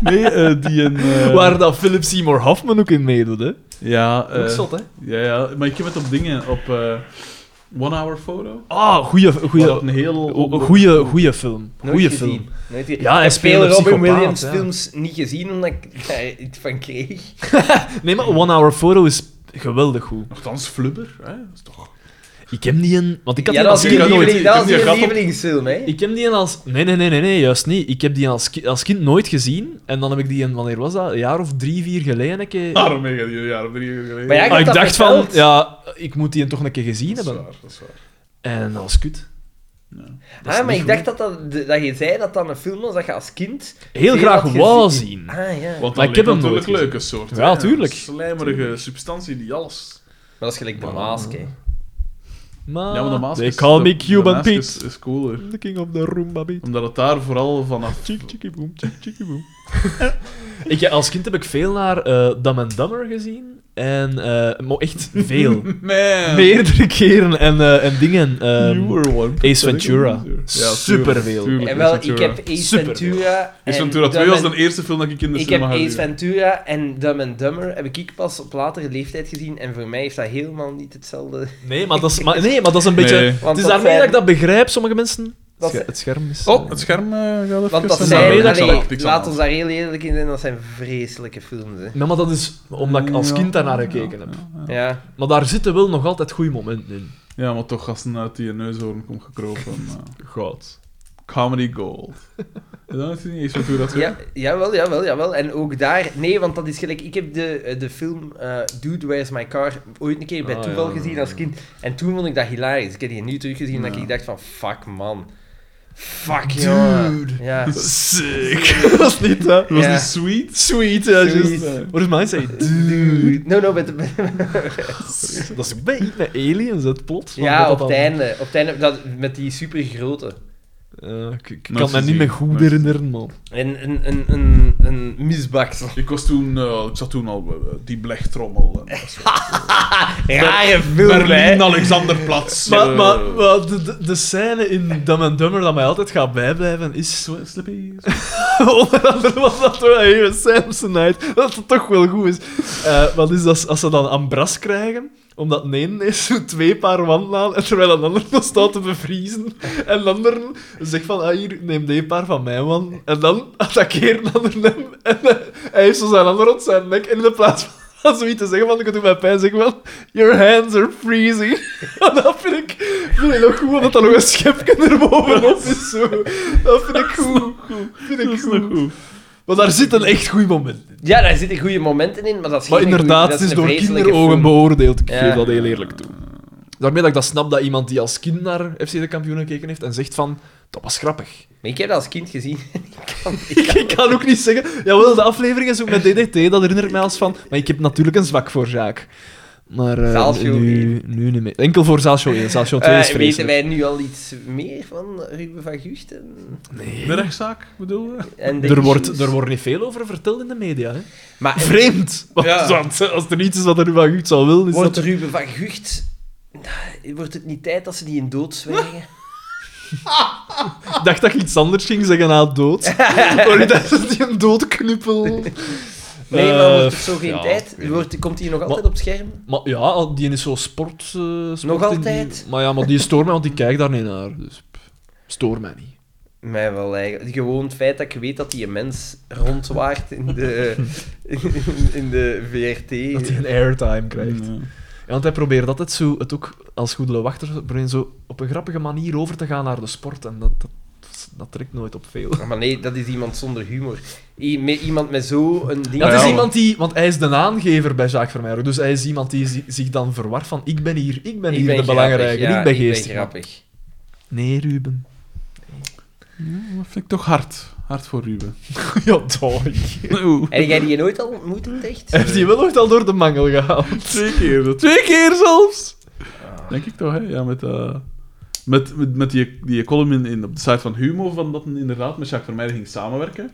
[SPEAKER 2] Nee, eh, die in... eh,
[SPEAKER 3] Waar dat Philip Seymour Hoffman ook in meedoet, hè.
[SPEAKER 2] Ja, eh,
[SPEAKER 3] ook zot, hè.
[SPEAKER 2] ja, ja, maar ik heb het op dingen, op eh, One Hour Photo.
[SPEAKER 3] Ah, goeie, goeie,
[SPEAKER 2] Waar dat een heel...
[SPEAKER 3] goeie, goeie, goeie film.
[SPEAKER 4] Nooit
[SPEAKER 3] Goeie
[SPEAKER 4] gezien.
[SPEAKER 3] film.
[SPEAKER 4] Nooit gezien.
[SPEAKER 3] Ja, hij
[SPEAKER 4] ik
[SPEAKER 3] speelt
[SPEAKER 4] speel
[SPEAKER 3] een
[SPEAKER 4] Robin
[SPEAKER 3] psychopaat,
[SPEAKER 4] Williams
[SPEAKER 3] ja.
[SPEAKER 4] films niet gezien, omdat ik daar iets van kreeg.
[SPEAKER 3] Nee, maar One Hour Photo is geweldig goed.
[SPEAKER 2] Nogthans Flubber, hè? Dat is toch...
[SPEAKER 3] Ik heb die een... Want ik had
[SPEAKER 4] ja,
[SPEAKER 3] die als
[SPEAKER 4] dat was
[SPEAKER 2] ik
[SPEAKER 4] je
[SPEAKER 3] kind
[SPEAKER 2] had nooit-
[SPEAKER 4] lieveling,
[SPEAKER 2] ik heb
[SPEAKER 4] dat
[SPEAKER 2] die
[SPEAKER 4] was je
[SPEAKER 2] gehad op-
[SPEAKER 4] lievelingsfilm, hè?
[SPEAKER 3] Ik heb die een als... Nee, nee, nee, nee, nee, juist niet. Ik heb die als, ki- als kind nooit gezien. En dan heb ik die een... Wanneer was dat? Een jaar of drie, vier geleden een keer...
[SPEAKER 2] Daarom ben je die een jaar of drie jaar geleden.
[SPEAKER 4] Maar ja, ik
[SPEAKER 3] Ah,
[SPEAKER 4] had dat
[SPEAKER 3] dacht van...
[SPEAKER 4] verteld.
[SPEAKER 3] Ja, ik moet die toch een keer gezien
[SPEAKER 2] dat is
[SPEAKER 3] hebben.
[SPEAKER 2] waar, dat is waar.
[SPEAKER 3] En dat was kut.
[SPEAKER 2] Ja.
[SPEAKER 3] Dat is
[SPEAKER 4] Ah, maar
[SPEAKER 3] niet
[SPEAKER 4] ik dacht dat, dat, dat je zei dat dat een film was dat je als kind...
[SPEAKER 3] goed. Heel
[SPEAKER 4] veel
[SPEAKER 3] graag
[SPEAKER 4] had
[SPEAKER 3] wou
[SPEAKER 4] gezien.
[SPEAKER 3] zien.
[SPEAKER 4] Ah, ja.
[SPEAKER 2] Want
[SPEAKER 3] Maar
[SPEAKER 2] dat
[SPEAKER 3] ik heb
[SPEAKER 2] leek
[SPEAKER 3] hem
[SPEAKER 2] natuurlijk
[SPEAKER 3] nooit
[SPEAKER 2] leuk, een soort.
[SPEAKER 3] Ja,
[SPEAKER 2] hè,
[SPEAKER 3] tuurlijk.
[SPEAKER 2] een Slijmerige substantie die alles.
[SPEAKER 4] Maar dat is gelijk de
[SPEAKER 3] Voilà.
[SPEAKER 4] Mask, hè.
[SPEAKER 3] Maar...
[SPEAKER 2] Ja, maar de mask
[SPEAKER 3] They
[SPEAKER 2] is-
[SPEAKER 3] call
[SPEAKER 2] de-
[SPEAKER 3] me
[SPEAKER 2] de
[SPEAKER 3] Cuban
[SPEAKER 2] mask
[SPEAKER 3] Pete.
[SPEAKER 2] Is, is cooler.
[SPEAKER 3] The king of the Roomba Beat.
[SPEAKER 2] Omdat het daar vooral vanaf.
[SPEAKER 3] Tjik, tjikkie, boem, tjik, tjikkie, boem. ik, ja, als kind heb ik veel naar eh Dumb and Dumber gezien. En... eh, maar echt veel.
[SPEAKER 2] Man!
[SPEAKER 3] Meerdere keren. En, eh, en dingen. ehm,
[SPEAKER 2] You were one.
[SPEAKER 3] Ace Ventura. Superveel.
[SPEAKER 4] En wel, ik heb Ace
[SPEAKER 3] Super.
[SPEAKER 4] Ventura... en
[SPEAKER 2] Ace Ventura 2
[SPEAKER 4] Dumb
[SPEAKER 2] was
[SPEAKER 4] and-
[SPEAKER 2] de eerste film dat ik in de
[SPEAKER 4] Ik heb
[SPEAKER 2] cinema had
[SPEAKER 4] Ace
[SPEAKER 2] gezien.
[SPEAKER 4] Ventura en Dumb and Dumber heb ik pas op latere leeftijd gezien. En voor mij heeft dat helemaal niet hetzelfde...
[SPEAKER 3] Nee, maar dat is, maar, nee, maar dat is een
[SPEAKER 2] Nee.
[SPEAKER 3] beetje... het
[SPEAKER 4] Want
[SPEAKER 3] is
[SPEAKER 4] dat
[SPEAKER 3] daarmee
[SPEAKER 4] zijn-
[SPEAKER 3] dat ik dat begrijp, sommige mensen.
[SPEAKER 4] Dat
[SPEAKER 3] Sche-
[SPEAKER 4] zijn-
[SPEAKER 3] het scherm is...
[SPEAKER 2] Oh,
[SPEAKER 3] eh,
[SPEAKER 2] het scherm eh, gaat even.
[SPEAKER 4] Want dat
[SPEAKER 3] dat
[SPEAKER 4] zijn...
[SPEAKER 3] zijn-
[SPEAKER 2] Niks aan de
[SPEAKER 4] allee,
[SPEAKER 2] hand, niks aan
[SPEAKER 4] laat
[SPEAKER 2] de
[SPEAKER 4] ons daar heel eerlijk in zijn, dat zijn vreselijke films, hè.
[SPEAKER 3] Nee, maar dat is omdat ik als
[SPEAKER 2] Ja,
[SPEAKER 3] kind daarnaar
[SPEAKER 2] ja,
[SPEAKER 3] gekeken heb.
[SPEAKER 4] Ja.
[SPEAKER 3] Maar daar zitten wel nog altijd goede momenten in.
[SPEAKER 2] hand. Ja, maar toch, gasten uit die neushoorn komt gekropen. eh,
[SPEAKER 3] Goud.
[SPEAKER 2] comedy Gold. En dan is het niet Ace Ventura 2.
[SPEAKER 4] Ja, jawel, jawel, jawel. En ook daar... Nee, want dat is gelijk... Ik heb de, de film eh, Dude, Where's My Car ooit een keer bij
[SPEAKER 3] Ah,
[SPEAKER 4] toeval
[SPEAKER 3] ja.
[SPEAKER 4] gezien als kind. En toen vond ik dat hilarisch. Ik heb die nu teruggezien en
[SPEAKER 2] Ja.
[SPEAKER 4] dat ik dacht van... Fuck, man. Fuck, jongen.
[SPEAKER 3] Dude.
[SPEAKER 4] Ja.
[SPEAKER 3] Sick. dat is niet, hè?
[SPEAKER 2] Was
[SPEAKER 4] Ja.
[SPEAKER 2] die sweet?
[SPEAKER 3] Sweet, ja,
[SPEAKER 4] Sweet.
[SPEAKER 3] juist. What does mine say? Dude.
[SPEAKER 4] Dude. No, no, met, met-
[SPEAKER 3] Dat is bij met aliens, het plot. van
[SPEAKER 4] ja,
[SPEAKER 3] dat
[SPEAKER 4] op
[SPEAKER 3] dat
[SPEAKER 4] het
[SPEAKER 3] dan-
[SPEAKER 4] einde. Op het einde dat, met die supergrote.
[SPEAKER 3] Eh, ik
[SPEAKER 2] Nooit
[SPEAKER 3] ik kan me niet
[SPEAKER 2] gezien.
[SPEAKER 3] meer goed
[SPEAKER 2] Nooit
[SPEAKER 3] herinneren, man.
[SPEAKER 4] En een, een, een, een misbaksel.
[SPEAKER 2] Ik, was toen, eh, ik zat toen al eh, die blechtrommel. En,
[SPEAKER 4] Rare film,
[SPEAKER 2] Berlin,
[SPEAKER 4] hè.
[SPEAKER 2] Alexanderplatz.
[SPEAKER 3] Maar,
[SPEAKER 2] eh,
[SPEAKER 3] maar, maar de, de, de scène in Dumb and Dumber dat mij altijd gaat bijblijven is...
[SPEAKER 2] Sw- Slippy.
[SPEAKER 3] Onder andere was dat door even Samsonite, dat het toch wel goed is. Eh, wat is dat als ze dan ambras krijgen? Omdat een ene heeft zo twee paar wanden aan, en terwijl een ander nog staat te bevriezen. En de ander zegt van, ah, hier, neem die paar van mijn wand. En dan attackeren de ander hem. En eh, hij heeft zo zijn hand rond zijn nek. En in de plaats van dat zoiets te zeggen, want ik doe mijn pijn, zeg wel, your hands are freezing. dat vind ik, vind ik nog goed, omdat dat nog een schepje erbovenop is. Zo. Dat vind ik goed. Vind ik
[SPEAKER 2] Dat is
[SPEAKER 3] goed.
[SPEAKER 2] nog goed.
[SPEAKER 3] Want daar zit een echt goed moment in.
[SPEAKER 4] Ja, daar zitten goede momenten in, maar dat is
[SPEAKER 3] Maar
[SPEAKER 4] geen
[SPEAKER 3] inderdaad,
[SPEAKER 4] goeie-
[SPEAKER 3] het
[SPEAKER 4] dat
[SPEAKER 3] is
[SPEAKER 4] een
[SPEAKER 3] door
[SPEAKER 4] vreselijke
[SPEAKER 3] kinderogen
[SPEAKER 4] film.
[SPEAKER 3] beoordeeld. Ik
[SPEAKER 4] Ja.
[SPEAKER 3] geef dat heel eerlijk toe. Daarmee dat ik dat snap dat iemand die als kind naar FC de kampioen gekeken heeft en zegt van, dat was grappig.
[SPEAKER 4] Maar ik heb dat als kind gezien. ik kan, ik kan-
[SPEAKER 3] Ik kan ook niet zeggen, jawel, de aflevering is ook met DDT, dat herinnert mij als van, maar ik heb natuurlijk een zwak voor Zaak. Maar eh,
[SPEAKER 4] Zaalshow
[SPEAKER 3] nu, nu niet meer. Enkel voor Zaalshow 1, Zaalshow 2 is
[SPEAKER 4] Eh, weten
[SPEAKER 3] vreselijk.
[SPEAKER 4] wij nu al iets meer van Ruben van Gucht? En,
[SPEAKER 3] Nee.
[SPEAKER 2] De rechtszaak, bedoel je?
[SPEAKER 4] en de
[SPEAKER 3] Er wordt,
[SPEAKER 4] issues?
[SPEAKER 3] er wordt niet veel over verteld in de media. Hè?
[SPEAKER 4] Maar eh,
[SPEAKER 3] Vreemd! Want,
[SPEAKER 2] Ja.
[SPEAKER 3] want, eh, als er iets is wat er nu van goed zou willen, is
[SPEAKER 4] wordt
[SPEAKER 3] dat...
[SPEAKER 4] Ruben van Gucht... Nou, Wordt het niet tijd dat ze die in dood zwijgen?
[SPEAKER 3] Ik dacht dat je iets anders ging zeggen na dood. maar ik dacht dat hij een doodknuppel...
[SPEAKER 4] Nee,
[SPEAKER 3] Eh,
[SPEAKER 4] maar wordt het zo geen
[SPEAKER 3] ja, ik
[SPEAKER 4] tijd?
[SPEAKER 3] weet
[SPEAKER 4] Wordt, komt die nog altijd op scherm?
[SPEAKER 3] Maar ja, die is zo sport... eh, sport in die-
[SPEAKER 4] altijd?
[SPEAKER 3] Maar ja, maar die stoort mij, want ik kijk daar niet naar. Dus pff, stoor mij niet.
[SPEAKER 4] Mij wel eigenlijk. Gewoon het feit dat ik weet dat die een mens rondwaart in de, in, in de VRT.
[SPEAKER 3] Dat hij een airtime krijgt.
[SPEAKER 2] Nee.
[SPEAKER 3] Mm. Ja, want hij probeert altijd zo, het ook als goede wachter, probeert zo op een grappige manier over te gaan naar de sport. En dat, dat, dat trekt nooit op veel.
[SPEAKER 4] Maar nee, dat is iemand zonder humor. I- met- Iemand met zo'n ding.
[SPEAKER 3] Ja, het is
[SPEAKER 2] ja,
[SPEAKER 3] iemand die... Want hij is de aangever bij Jacques Vermeijer. Dus hij is iemand die zi- zich dan verwart van... Ik ben hier, ik ben
[SPEAKER 4] Ik
[SPEAKER 3] hier
[SPEAKER 4] ben
[SPEAKER 3] de belangrijke,
[SPEAKER 4] grappig, ja,
[SPEAKER 3] ik ben geestig.
[SPEAKER 4] grappig.
[SPEAKER 3] nee, Ruben.
[SPEAKER 2] Ja, Dat vind ik toch hard. Hart voor Ruben.
[SPEAKER 3] Ja, doei.
[SPEAKER 2] Oeh.
[SPEAKER 4] Heb jij die nooit al ontmoet in het echt?
[SPEAKER 3] Heeft hij wel ooit al door de mangel gehaald?
[SPEAKER 2] Twee keer. Twee keer zelfs! Denk ik toch, hè? Ja, met... eh, Met, met, met die, die column in, in- op de site van Humo, van dat hij inderdaad met Jacques Vermeijden ging samenwerken.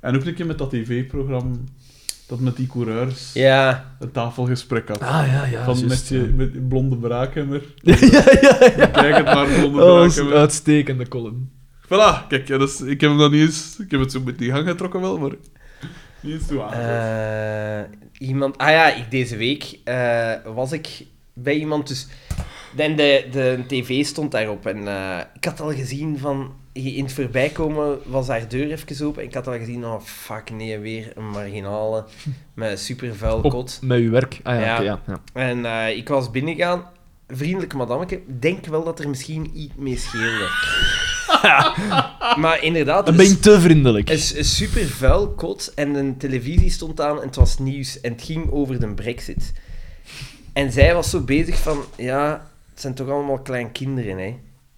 [SPEAKER 2] En ook een keer met dat tv-programma, dat met die coureurs
[SPEAKER 4] Ja.
[SPEAKER 2] een tafelgesprek had.
[SPEAKER 3] Ah, ja, ja.
[SPEAKER 2] van
[SPEAKER 3] juist,
[SPEAKER 2] met, je, met die blonde braakhammer.
[SPEAKER 3] ja. ja, ja, ja.
[SPEAKER 2] Kijk het maar, blonde
[SPEAKER 3] Oh, Dat was een
[SPEAKER 2] braakhammer.
[SPEAKER 3] uitstekende column.
[SPEAKER 2] Voilà, kijk, ja, dat is- ik heb hem dan niet eens... Ik heb het zo met die gang getrokken wel, maar... Niet eens toe aan.
[SPEAKER 4] Eh, iemand... Ah ja, ik, deze week eh, was ik bij iemand, dus... En de, de tv stond daarop en eh, ik had al gezien van... In het voorbijkomen was haar deur even open en ik had al gezien, oh fuck, nee, weer een marginale met een supervuil
[SPEAKER 3] Op-
[SPEAKER 4] kot.
[SPEAKER 3] Met uw werk. Ah ja,
[SPEAKER 4] Ja.
[SPEAKER 3] oké, ja. ja.
[SPEAKER 4] En eh, ik was binnengegaan. Vriendelijke madammeke, denk wel dat er misschien iets mee scheelde. maar inderdaad, dus-
[SPEAKER 3] Dan
[SPEAKER 4] een,
[SPEAKER 3] ben je te vriendelijk.
[SPEAKER 4] een, een super vuil kot en een televisie stond aan en het was nieuws en het ging over de brexit. En zij was zo bezig van, ja, het zijn toch allemaal kleinkinderen, hè.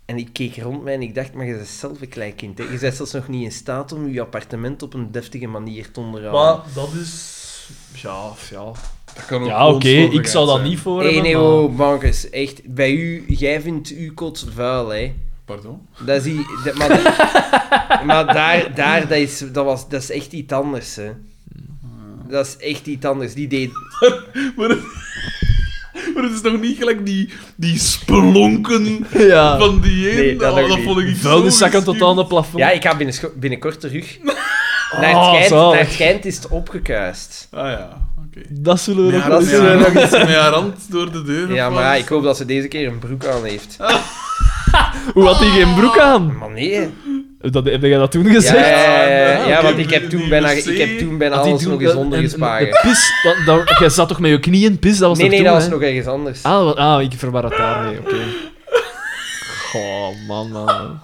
[SPEAKER 4] En ik keek rond mij en ik dacht, maar je bent zelf een klein kind, hè. Je bent zelfs nog niet in staat om je appartement op een deftige manier te onderhouden.
[SPEAKER 2] Maar dat is... Ja, ja. Dat kan ook
[SPEAKER 3] Ja,
[SPEAKER 2] gewoon
[SPEAKER 3] oké, ik
[SPEAKER 2] slordigheid
[SPEAKER 3] zou dat
[SPEAKER 2] zijn.
[SPEAKER 3] niet voor
[SPEAKER 4] Nee,
[SPEAKER 3] hebben.
[SPEAKER 4] nee,
[SPEAKER 3] maar-
[SPEAKER 4] oh, bankers, echt. Bij u, jij vindt uw kot vuil, hè.
[SPEAKER 2] Pardon?
[SPEAKER 4] Dat is i- dat- maar dat- maar daar, daar dat, is, dat, was, dat is echt iets anders, hè. Dat is echt iets anders. Die deed...
[SPEAKER 2] Maar het, maar het is toch niet gelijk die, die spelonken
[SPEAKER 3] Ja.
[SPEAKER 2] van die een?
[SPEAKER 4] Nee, dat
[SPEAKER 2] Oh,
[SPEAKER 4] ook niet.
[SPEAKER 2] vond ik zo
[SPEAKER 3] Vuilniszakken tot
[SPEAKER 2] geschikt.
[SPEAKER 3] aan het plafond.
[SPEAKER 4] Ja, ik ga binnenscho- binnenkort terug. Naar het
[SPEAKER 3] Oh,
[SPEAKER 4] Gent,
[SPEAKER 3] zalig.
[SPEAKER 4] naar het Gent is het opgekuist.
[SPEAKER 2] Ah ja, oké.
[SPEAKER 3] Dat zullen we
[SPEAKER 2] Met
[SPEAKER 3] nog
[SPEAKER 2] haar-
[SPEAKER 3] wel
[SPEAKER 4] dat
[SPEAKER 2] met
[SPEAKER 3] eens
[SPEAKER 4] is-
[SPEAKER 2] haar
[SPEAKER 3] doen.
[SPEAKER 2] hand- Met haar hand door de deur.
[SPEAKER 4] Ja,
[SPEAKER 2] of
[SPEAKER 4] maar ja,
[SPEAKER 2] wat?
[SPEAKER 4] ik hoop dat ze deze keer een broek aan heeft.
[SPEAKER 3] Hoe had hij geen broek aan?
[SPEAKER 4] Maar nee.
[SPEAKER 3] Dat, heb jij dat toen
[SPEAKER 4] Ja,
[SPEAKER 3] gezegd?
[SPEAKER 4] ja, ja, ja,
[SPEAKER 2] Ah,
[SPEAKER 4] ja,
[SPEAKER 2] oké,
[SPEAKER 4] want ik heb toen
[SPEAKER 2] die
[SPEAKER 4] bijna,
[SPEAKER 2] wc.
[SPEAKER 4] ik heb toen
[SPEAKER 3] Had
[SPEAKER 4] bijna
[SPEAKER 3] Ah, die
[SPEAKER 4] alles
[SPEAKER 3] toen
[SPEAKER 4] nog
[SPEAKER 3] dat-
[SPEAKER 4] eens onder
[SPEAKER 3] en- en-
[SPEAKER 4] gesparen.
[SPEAKER 3] en Pis, dat, dat- jij zat toch met je knieën pis? Dat was
[SPEAKER 4] Nee,
[SPEAKER 3] toch
[SPEAKER 4] nee,
[SPEAKER 3] toen,
[SPEAKER 4] dat was
[SPEAKER 3] hè?
[SPEAKER 4] nog ergens anders.
[SPEAKER 3] Ah, wat- ah, ik verwar het daarmee, oké. Goh, man, man, man.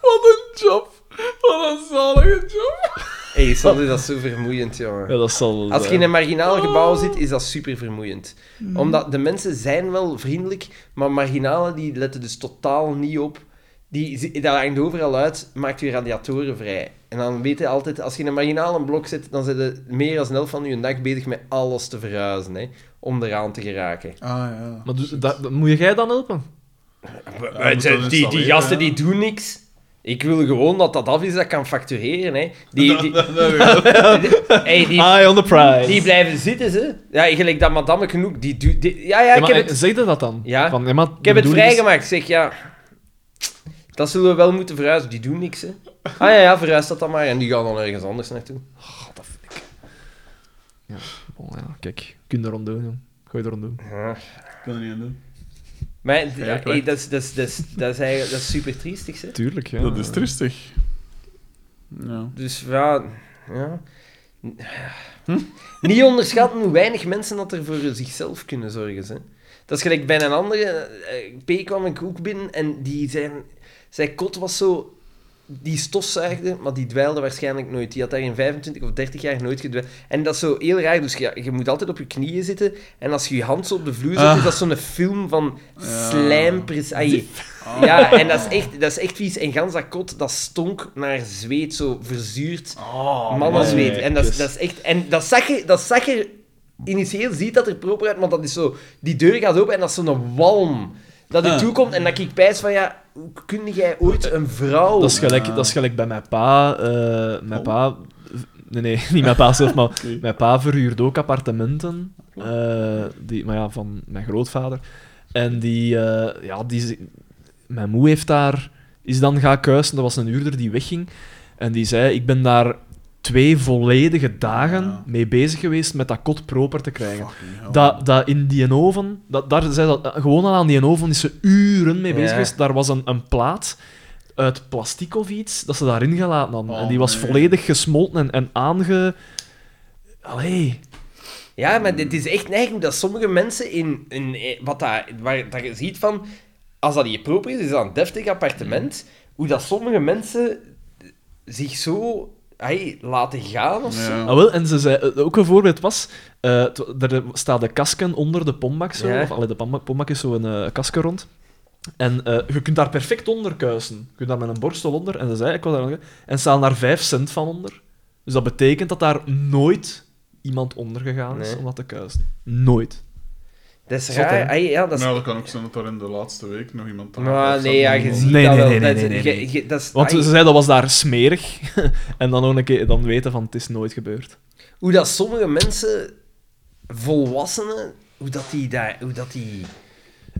[SPEAKER 2] Wat een job. Wat een zalige job.
[SPEAKER 4] Hé, Sander, dat is zo vermoeiend, jongen.
[SPEAKER 3] Ja, dat zal wel
[SPEAKER 4] Als je
[SPEAKER 3] zijn.
[SPEAKER 4] in een marginaal gebouw zit, is dat super vermoeiend. Omdat de mensen zijn wel vriendelijk, maar marginalen die letten dus totaal niet op. Die, zi- dat hangt overal uit, maakt je radiatoren vrij. En dan weet je altijd, als je in een marginaal een blok zit, dan zit je meer dan snel van je dag bezig met alles te verhuizen, hè, om eraan te geraken.
[SPEAKER 2] Ah ja.
[SPEAKER 3] Maar dus, dat, dat- moet jij dan helpen?
[SPEAKER 4] Ah,
[SPEAKER 2] je moet dat
[SPEAKER 4] die, die
[SPEAKER 2] installeren,
[SPEAKER 4] gasten
[SPEAKER 2] hè.
[SPEAKER 4] die doen niks. Ik wil gewoon dat dat af is, dat kan factureren. Hè. Die, die, hey, die,
[SPEAKER 3] Eye Ah, on the prize.
[SPEAKER 4] Die blijven zitten, ze. Ja, gelijk dat madame genoeg. Die doet... die- Ja, ja,
[SPEAKER 3] Ja,
[SPEAKER 4] ik
[SPEAKER 3] maar, eh,
[SPEAKER 4] heb het,
[SPEAKER 3] Zeg je dat dan?
[SPEAKER 4] Ja.
[SPEAKER 3] Van, ja, maar dus- de
[SPEAKER 4] ik heb het
[SPEAKER 3] bedoeling is-
[SPEAKER 4] vrijgemaakt. Ik Zeg, ja... Dat zullen we wel moeten verhuizen. Die doen niks, hè. Ah ja, ja, verhuis dat dan maar. En die gaan dan ergens anders naartoe.
[SPEAKER 3] God, dat vind ik... Ja, bon, Oh, ja, kijk. Kun je rond doen, jong. Ga je er rond doen.
[SPEAKER 4] Ja.
[SPEAKER 2] Ik kan er niet aan doen.
[SPEAKER 4] Maar ja,
[SPEAKER 2] Ja,
[SPEAKER 4] hey, dat is- dat is- dat is- dat is eigenlijk- dat is super triestig, hè.
[SPEAKER 3] Tuurlijk, ja.
[SPEAKER 2] Dat is tristig. Ja.
[SPEAKER 4] Dus ja... ja.
[SPEAKER 2] Hm?
[SPEAKER 4] Niet onderschatten hoe weinig mensen dat er voor zichzelf kunnen zorgen. Hè. Dat is gelijk bij een andere. eh, P kwam ik ook binnen en die zijn, zijn kot was zo... Die stofzuigde, maar die dweilde waarschijnlijk nooit. Die had daar in 25 of 30 jaar nooit gedweild. En dat is zo heel raar. Dus ja, je moet altijd op je knieën zitten. En als je je hand zo op de vloer zet,
[SPEAKER 2] Ah.
[SPEAKER 4] is dat zo'n film van
[SPEAKER 2] Ja.
[SPEAKER 4] slijmpres. Ah, je-
[SPEAKER 2] Ah.
[SPEAKER 4] ja, en dat is, echt, dat is echt vies. En gans dat kot, dat stonk naar zweet, zo verzuurd.
[SPEAKER 2] Ah,
[SPEAKER 4] Mannenzweet.
[SPEAKER 3] nee,
[SPEAKER 4] En dat, is-
[SPEAKER 3] kus.
[SPEAKER 4] dat is echt... En dat zag je... Dat zag je initieel ziet dat er proper uit, maar dat is zo... Die deur gaat open en dat is zo'n walm dat er
[SPEAKER 2] Ah.
[SPEAKER 4] toekomt. En dat ik pijs van, ja, hoe kun jij ooit een vrouw...
[SPEAKER 3] Dat is gelijk, dat is gelijk bij mijn pa. eh, mijn pa... Nee, nee, niet mijn pa zelf, maar
[SPEAKER 2] Oké.
[SPEAKER 3] mijn pa verhuurde ook appartementen. eh, die, maar ja, van mijn grootvader. En die... eh, ja, die... Mijn moe heeft daar... Is dan gaan kuisen. Dat was een huurder die wegging. En die zei, ik ben daar twee volledige dagen
[SPEAKER 2] Ja.
[SPEAKER 3] mee bezig geweest met dat kot proper te krijgen.
[SPEAKER 2] Fucking hell.
[SPEAKER 3] Dat, dat in die oven, dat, daar zei dat, gewoon al aan die oven is ze uren mee bezig
[SPEAKER 4] Ja.
[SPEAKER 3] geweest. Daar was een, een plaat uit plastic of iets dat ze daarin gelaten hadden.
[SPEAKER 2] Oh,
[SPEAKER 3] en die was
[SPEAKER 2] nee.
[SPEAKER 3] volledig gesmolten en, en aange. Allee.
[SPEAKER 4] Ja, maar het is echt neiging dat sommige mensen in... in eh, wat daar, waar, dat je ziet van... Als dat hier proper is, is dat een deftig appartement.
[SPEAKER 3] Mm.
[SPEAKER 4] Hoe dat sommige mensen zich zo... ai, laten gaan of zo.
[SPEAKER 2] Ja.
[SPEAKER 3] Ah, wel, en ze zei, eh, ook een voorbeeld was, eh, het- er staat de kasken onder de pombak zo,
[SPEAKER 4] Ja.
[SPEAKER 3] of allee, de pombak, pombak is zo'n een kasken eh, rond. En eh, je kunt daar perfect onder kuisen. Je kunt daar met een borstel onder, en dat zei ik wat daar En staan daar 5 cent van onder. Dus dat betekent dat daar nooit iemand onder gegaan is
[SPEAKER 4] Nee.
[SPEAKER 3] om dat te kuisen. Nooit.
[SPEAKER 4] Dat is
[SPEAKER 3] Zot,
[SPEAKER 4] raar.
[SPEAKER 3] hè? Nou,
[SPEAKER 4] Ah, ja, dat is...
[SPEAKER 2] Nou, dat kan ook zijn dat daar in de laatste week nog iemand aan
[SPEAKER 4] Maar nee, ja, je ziet
[SPEAKER 3] Nee,
[SPEAKER 4] dat
[SPEAKER 3] nee,
[SPEAKER 4] wel.
[SPEAKER 3] nee, nee,
[SPEAKER 4] dat,
[SPEAKER 3] nee, nee,
[SPEAKER 4] je-
[SPEAKER 3] nee.
[SPEAKER 4] je- dat is,
[SPEAKER 3] Want
[SPEAKER 4] ai,
[SPEAKER 3] ze zei dat was daar smerig. en dan, ook een keer, dan weten van het is nooit gebeurd.
[SPEAKER 4] Hoe dat sommige mensen, volwassenen, hoe dat die daar... Hoe dat die...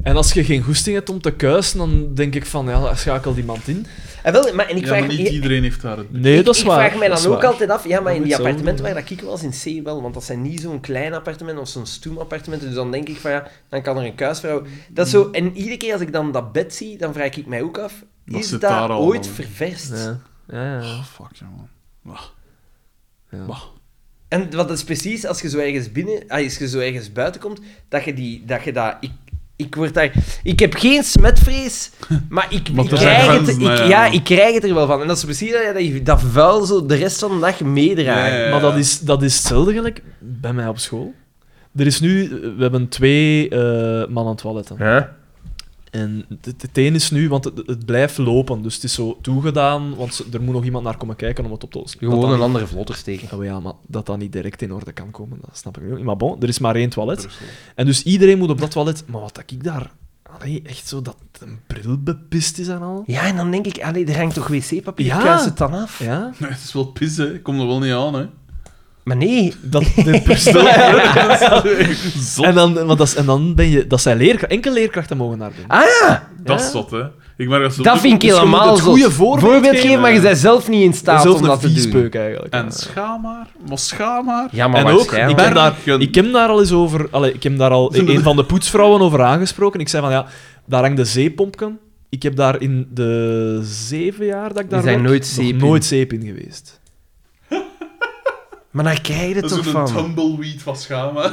[SPEAKER 3] En als je geen goesting hebt om te kuisen, dan denk ik van ja, schakel die iemand in.
[SPEAKER 4] En, Eh, wel, maar, en ik
[SPEAKER 2] Ja,
[SPEAKER 4] vraag
[SPEAKER 2] maar
[SPEAKER 4] me- e-
[SPEAKER 2] niet iedereen heeft daar het...
[SPEAKER 3] Nee,
[SPEAKER 4] ik,
[SPEAKER 3] dat is
[SPEAKER 4] ik
[SPEAKER 3] waar.
[SPEAKER 4] vraag mij
[SPEAKER 3] dat
[SPEAKER 4] dan
[SPEAKER 3] is
[SPEAKER 4] ook
[SPEAKER 3] waar.
[SPEAKER 4] altijd af, ja, maar in
[SPEAKER 3] moet
[SPEAKER 4] die
[SPEAKER 3] zo
[SPEAKER 4] appartementen
[SPEAKER 3] doen.
[SPEAKER 4] waar dat ik was, in C wel, want dat zijn niet zo'n klein appartement of zo'n stoem appartement, dus dan denk ik van ja, dan kan er een kuisvrouw... Dat is zo, en iedere keer als ik dan dat bed zie, dan vraag ik mij ook af,
[SPEAKER 2] Wat
[SPEAKER 4] is
[SPEAKER 2] zit
[SPEAKER 4] dat
[SPEAKER 2] daar allemaal
[SPEAKER 4] ooit
[SPEAKER 2] in?
[SPEAKER 4] ververst?
[SPEAKER 3] Ja, ja, ja.
[SPEAKER 2] Oh, fuck, ja, man. Ah.
[SPEAKER 3] Ja.
[SPEAKER 2] Bah.
[SPEAKER 4] En wat dat is precies als je zo ergens binnen, ah, als je zo ergens buiten komt, dat je die, dat je dat, ik, ik word daar, ik heb geen smetvrees, maar ik,
[SPEAKER 2] Maar
[SPEAKER 4] ik
[SPEAKER 2] er
[SPEAKER 4] krijg
[SPEAKER 2] zijn
[SPEAKER 4] het, ik,
[SPEAKER 2] grenzen,
[SPEAKER 4] ja,
[SPEAKER 2] ja.
[SPEAKER 4] ik krijg het er wel van. En dat is precies dat je dat, je dat vuil zo de rest van de dag meedraagt.
[SPEAKER 2] Ja, ja, ja.
[SPEAKER 3] Maar dat is, dat is hetzelfde gelijk bij mij op school. Er is nu, we hebben twee eh mannen toiletten. En het, het een is nu, want het, het blijft lopen, dus het is zo toegedaan, want ze- er moet nog iemand naar komen kijken om het op te lossen. Dat dat niet-
[SPEAKER 4] andere vlotter steken.
[SPEAKER 3] Oh ja, maar dat dat niet direct in orde kan komen, dat snap ik ook niet. Maar bon, er is maar één toilet. En dus iedereen moet op dat toilet. Maar wat dat ik daar... Allee, echt zo dat een bril bepist is en al.
[SPEAKER 4] Ja, en dan denk ik, allee, er hangt toch wc-papier,
[SPEAKER 3] Ja.
[SPEAKER 4] kuis het dan af?
[SPEAKER 3] Ja?
[SPEAKER 2] Nee, het is wel pissen, ik kom er wel niet aan, hè.
[SPEAKER 4] Maar nee,
[SPEAKER 3] Dat, de en, dan, want dat is, en dan ben je... Dat zijn leerkrachten... Enkele leerkrachten mogen daar doen.
[SPEAKER 4] ah ja,
[SPEAKER 2] Dat is zot, hè. Ik merk dat ze...
[SPEAKER 4] dat vind ik
[SPEAKER 3] dus je moet
[SPEAKER 4] helemaal
[SPEAKER 3] het
[SPEAKER 4] zo.
[SPEAKER 3] goede voorbeeld geven,
[SPEAKER 4] geven, maar je
[SPEAKER 2] ja.
[SPEAKER 4] bent zelf niet in staat
[SPEAKER 3] Zelfs
[SPEAKER 4] om
[SPEAKER 3] een
[SPEAKER 4] dat te doen.
[SPEAKER 3] viespeuk eigenlijk.
[SPEAKER 2] En
[SPEAKER 3] Ja.
[SPEAKER 2] schaam maar, maar schaam maar.
[SPEAKER 4] Ja,
[SPEAKER 3] en ook, ik
[SPEAKER 4] waarschijnlijk.
[SPEAKER 3] heb, daar,
[SPEAKER 2] Bergen.
[SPEAKER 3] ik heb daar al eens over... Allee, ik heb daar al
[SPEAKER 2] Zullen we-
[SPEAKER 3] een van de poetsvrouwen over aangesproken. Ik zei van, ja, daar hangt de zeepompken. Ik heb daar in de zeven jaar dat ik daar
[SPEAKER 4] zijn
[SPEAKER 3] werk,
[SPEAKER 4] nooit
[SPEAKER 3] nog
[SPEAKER 4] zeep in.
[SPEAKER 3] nooit zeep in geweest.
[SPEAKER 4] Maar daar krijg je het
[SPEAKER 2] Dat is
[SPEAKER 4] toch
[SPEAKER 2] een
[SPEAKER 4] van.
[SPEAKER 2] tumbleweed van schaam, hè.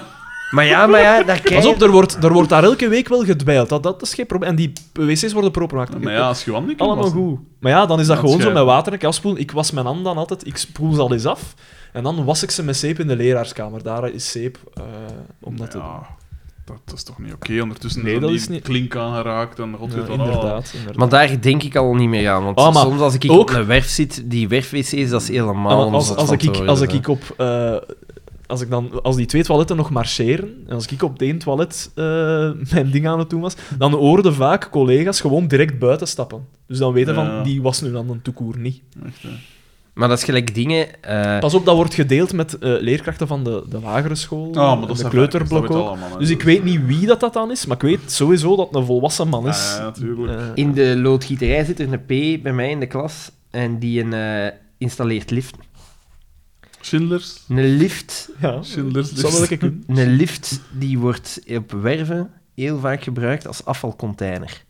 [SPEAKER 4] Maar ja, maar ja, daar krijg
[SPEAKER 3] Pas
[SPEAKER 4] je...
[SPEAKER 3] op, er wordt, er wordt daar elke week wel gedwijld. Dat, dat is geen probleem. En die wc's worden proper gemaakt.
[SPEAKER 2] Maar ja, als je wandelt...
[SPEAKER 3] Allemaal goed. Maar ja, dan is dat
[SPEAKER 2] Dat
[SPEAKER 3] gewoon zo
[SPEAKER 2] schuiven.
[SPEAKER 3] met water een keer afspoelen. Ik was mijn handen dan altijd, ik spoel ze al eens af. En dan was ik ze met zeep in de leraarskamer. Daar is zeep eh, om dat te doen.
[SPEAKER 2] Ja, dat is toch niet oké. Ondertussen
[SPEAKER 3] Nee,
[SPEAKER 2] is
[SPEAKER 3] dat
[SPEAKER 2] die
[SPEAKER 3] is niet-
[SPEAKER 2] klink aangeraakt en god weet
[SPEAKER 3] Ja,
[SPEAKER 2] wat al.
[SPEAKER 3] inderdaad, inderdaad.
[SPEAKER 4] Maar daar denk ik al niet meer aan. Want
[SPEAKER 3] Ah, maar
[SPEAKER 4] soms als ik
[SPEAKER 3] ook-
[SPEAKER 4] op een werf zit, die werfwc's, dat is helemaal
[SPEAKER 3] Ah, want als,
[SPEAKER 4] om
[SPEAKER 3] als,
[SPEAKER 4] zot
[SPEAKER 3] ik,
[SPEAKER 4] van te
[SPEAKER 3] als
[SPEAKER 4] worden,
[SPEAKER 3] ik op... eh, als, ik dan, als die twee toiletten nog marcheren, en als ik op de één toilet eh, mijn ding aan het doen was, dan hoorden vaak collega's gewoon direct buiten stappen. Dus dan weten
[SPEAKER 2] Ja.
[SPEAKER 3] van, die was nu aan een toekoer niet.
[SPEAKER 2] oh, Echt,
[SPEAKER 3] Oh,
[SPEAKER 2] hè.
[SPEAKER 4] hè. Maar dat is gelijk dingen... eh,
[SPEAKER 3] Pas op, dat wordt gedeeld met eh, leerkrachten van de, de lagere school,
[SPEAKER 2] Ah, maar
[SPEAKER 3] en
[SPEAKER 2] dat
[SPEAKER 3] de
[SPEAKER 2] zijn
[SPEAKER 3] kleuterblok
[SPEAKER 2] varkens, dat weet
[SPEAKER 3] ook.
[SPEAKER 2] allemaal, hè.
[SPEAKER 3] Dus ik weet niet wie dat, dat dan is, maar ik weet sowieso dat het een volwassen man is.
[SPEAKER 2] Ah, ja, natuurlijk.
[SPEAKER 3] Eh,
[SPEAKER 4] in de loodgieterij zit er een P bij mij in de klas. En die een, eh, installeert lift.
[SPEAKER 2] Schindlers.
[SPEAKER 4] Een lift,
[SPEAKER 3] ja.
[SPEAKER 2] Schindlers. dus
[SPEAKER 3] Zal wel ik doen.
[SPEAKER 4] een lift die wordt op werven heel vaak gebruikt als afvalcontainer.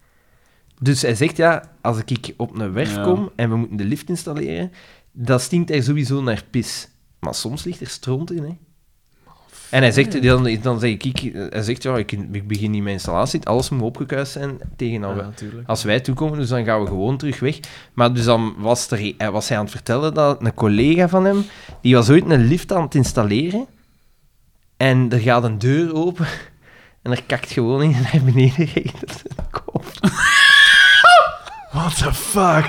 [SPEAKER 4] Dus hij zegt, ja, als ik op een werf
[SPEAKER 2] Ja.
[SPEAKER 4] kom en we moeten de lift installeren, dat stinkt er sowieso naar pis. Maar soms ligt er stront in, hè. En hij zegt, dan, dan zeg ik, ik- eh, hij zegt, ja, ik, ik begin niet mijn installatie, alles moet opgekuist zijn tegen
[SPEAKER 3] Ja,
[SPEAKER 4] dan
[SPEAKER 3] natuurlijk.
[SPEAKER 4] als wij toekomen, dus dan gaan we gewoon terug weg. Maar dus dan was, er, hij- was hij aan het vertellen dat een collega van hem, die was ooit een lift aan het installeren. En er gaat een deur open en er kakt gewoon in naar beneden regent zijn kop.
[SPEAKER 3] What the fuck?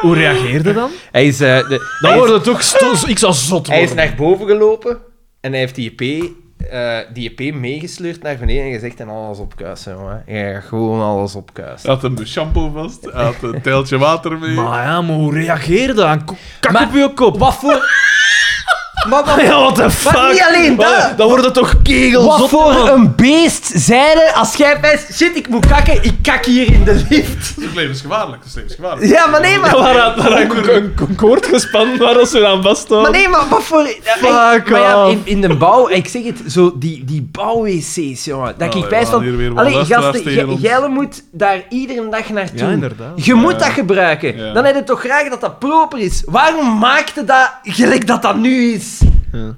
[SPEAKER 3] Hoe reageerde dan?
[SPEAKER 4] Hij is, eh, de,
[SPEAKER 3] Dan
[SPEAKER 4] hij, is,
[SPEAKER 3] worden toch... sto- Ik zou zot
[SPEAKER 4] hij is
[SPEAKER 3] worden.
[SPEAKER 4] naar boven gelopen en hij heeft die EP, eh, die EP meegesleurd naar beneden en gezegd en alles opkuisen, jongen. Ja, gewoon alles opkuisen.
[SPEAKER 2] Hij had een shampoo vast, hij had een teeltje water mee.
[SPEAKER 3] Maar ja, maar hoe reageerde dan? Ko- Kak
[SPEAKER 4] Maar-
[SPEAKER 3] op je kop. Wat voor...
[SPEAKER 4] Maar wat-
[SPEAKER 3] Ja, what the fuck?
[SPEAKER 4] niet alleen dat.
[SPEAKER 3] Wat- Dan worden toch kegels
[SPEAKER 4] Wat voor een beest zijde als jij best shit, ik moet kakken, ik kak hier in de lift.
[SPEAKER 2] Het is levensgevaarlijk, het is levensgevaarlijk.
[SPEAKER 4] Ja, maar nee, maar...
[SPEAKER 3] Waar had daar een, een, een koord gespannen waar dat ze aan vasthouden.
[SPEAKER 4] Maar nee, maar wat voor...
[SPEAKER 3] Fuck
[SPEAKER 4] maar Oh. ja,
[SPEAKER 3] off.
[SPEAKER 4] in, in de bouw, ik zeg het, zo die, die bouw-wc's, jongen. Dat
[SPEAKER 2] Nou,
[SPEAKER 4] ik
[SPEAKER 2] we
[SPEAKER 4] wijs
[SPEAKER 2] gaan
[SPEAKER 4] van...
[SPEAKER 2] hier weer wat
[SPEAKER 4] Allee,
[SPEAKER 2] luisteraars
[SPEAKER 4] gasten,
[SPEAKER 2] tegen
[SPEAKER 4] jij-
[SPEAKER 2] ons.
[SPEAKER 4] jij moet daar iedere dag naartoe.
[SPEAKER 3] Ja, inderdaad.
[SPEAKER 4] Je moet dat gebruiken.
[SPEAKER 2] Ja.
[SPEAKER 4] Dan heb je toch graag dat dat proper is. Waarom maakte dat gelijk dat dat nu is?
[SPEAKER 3] Ja.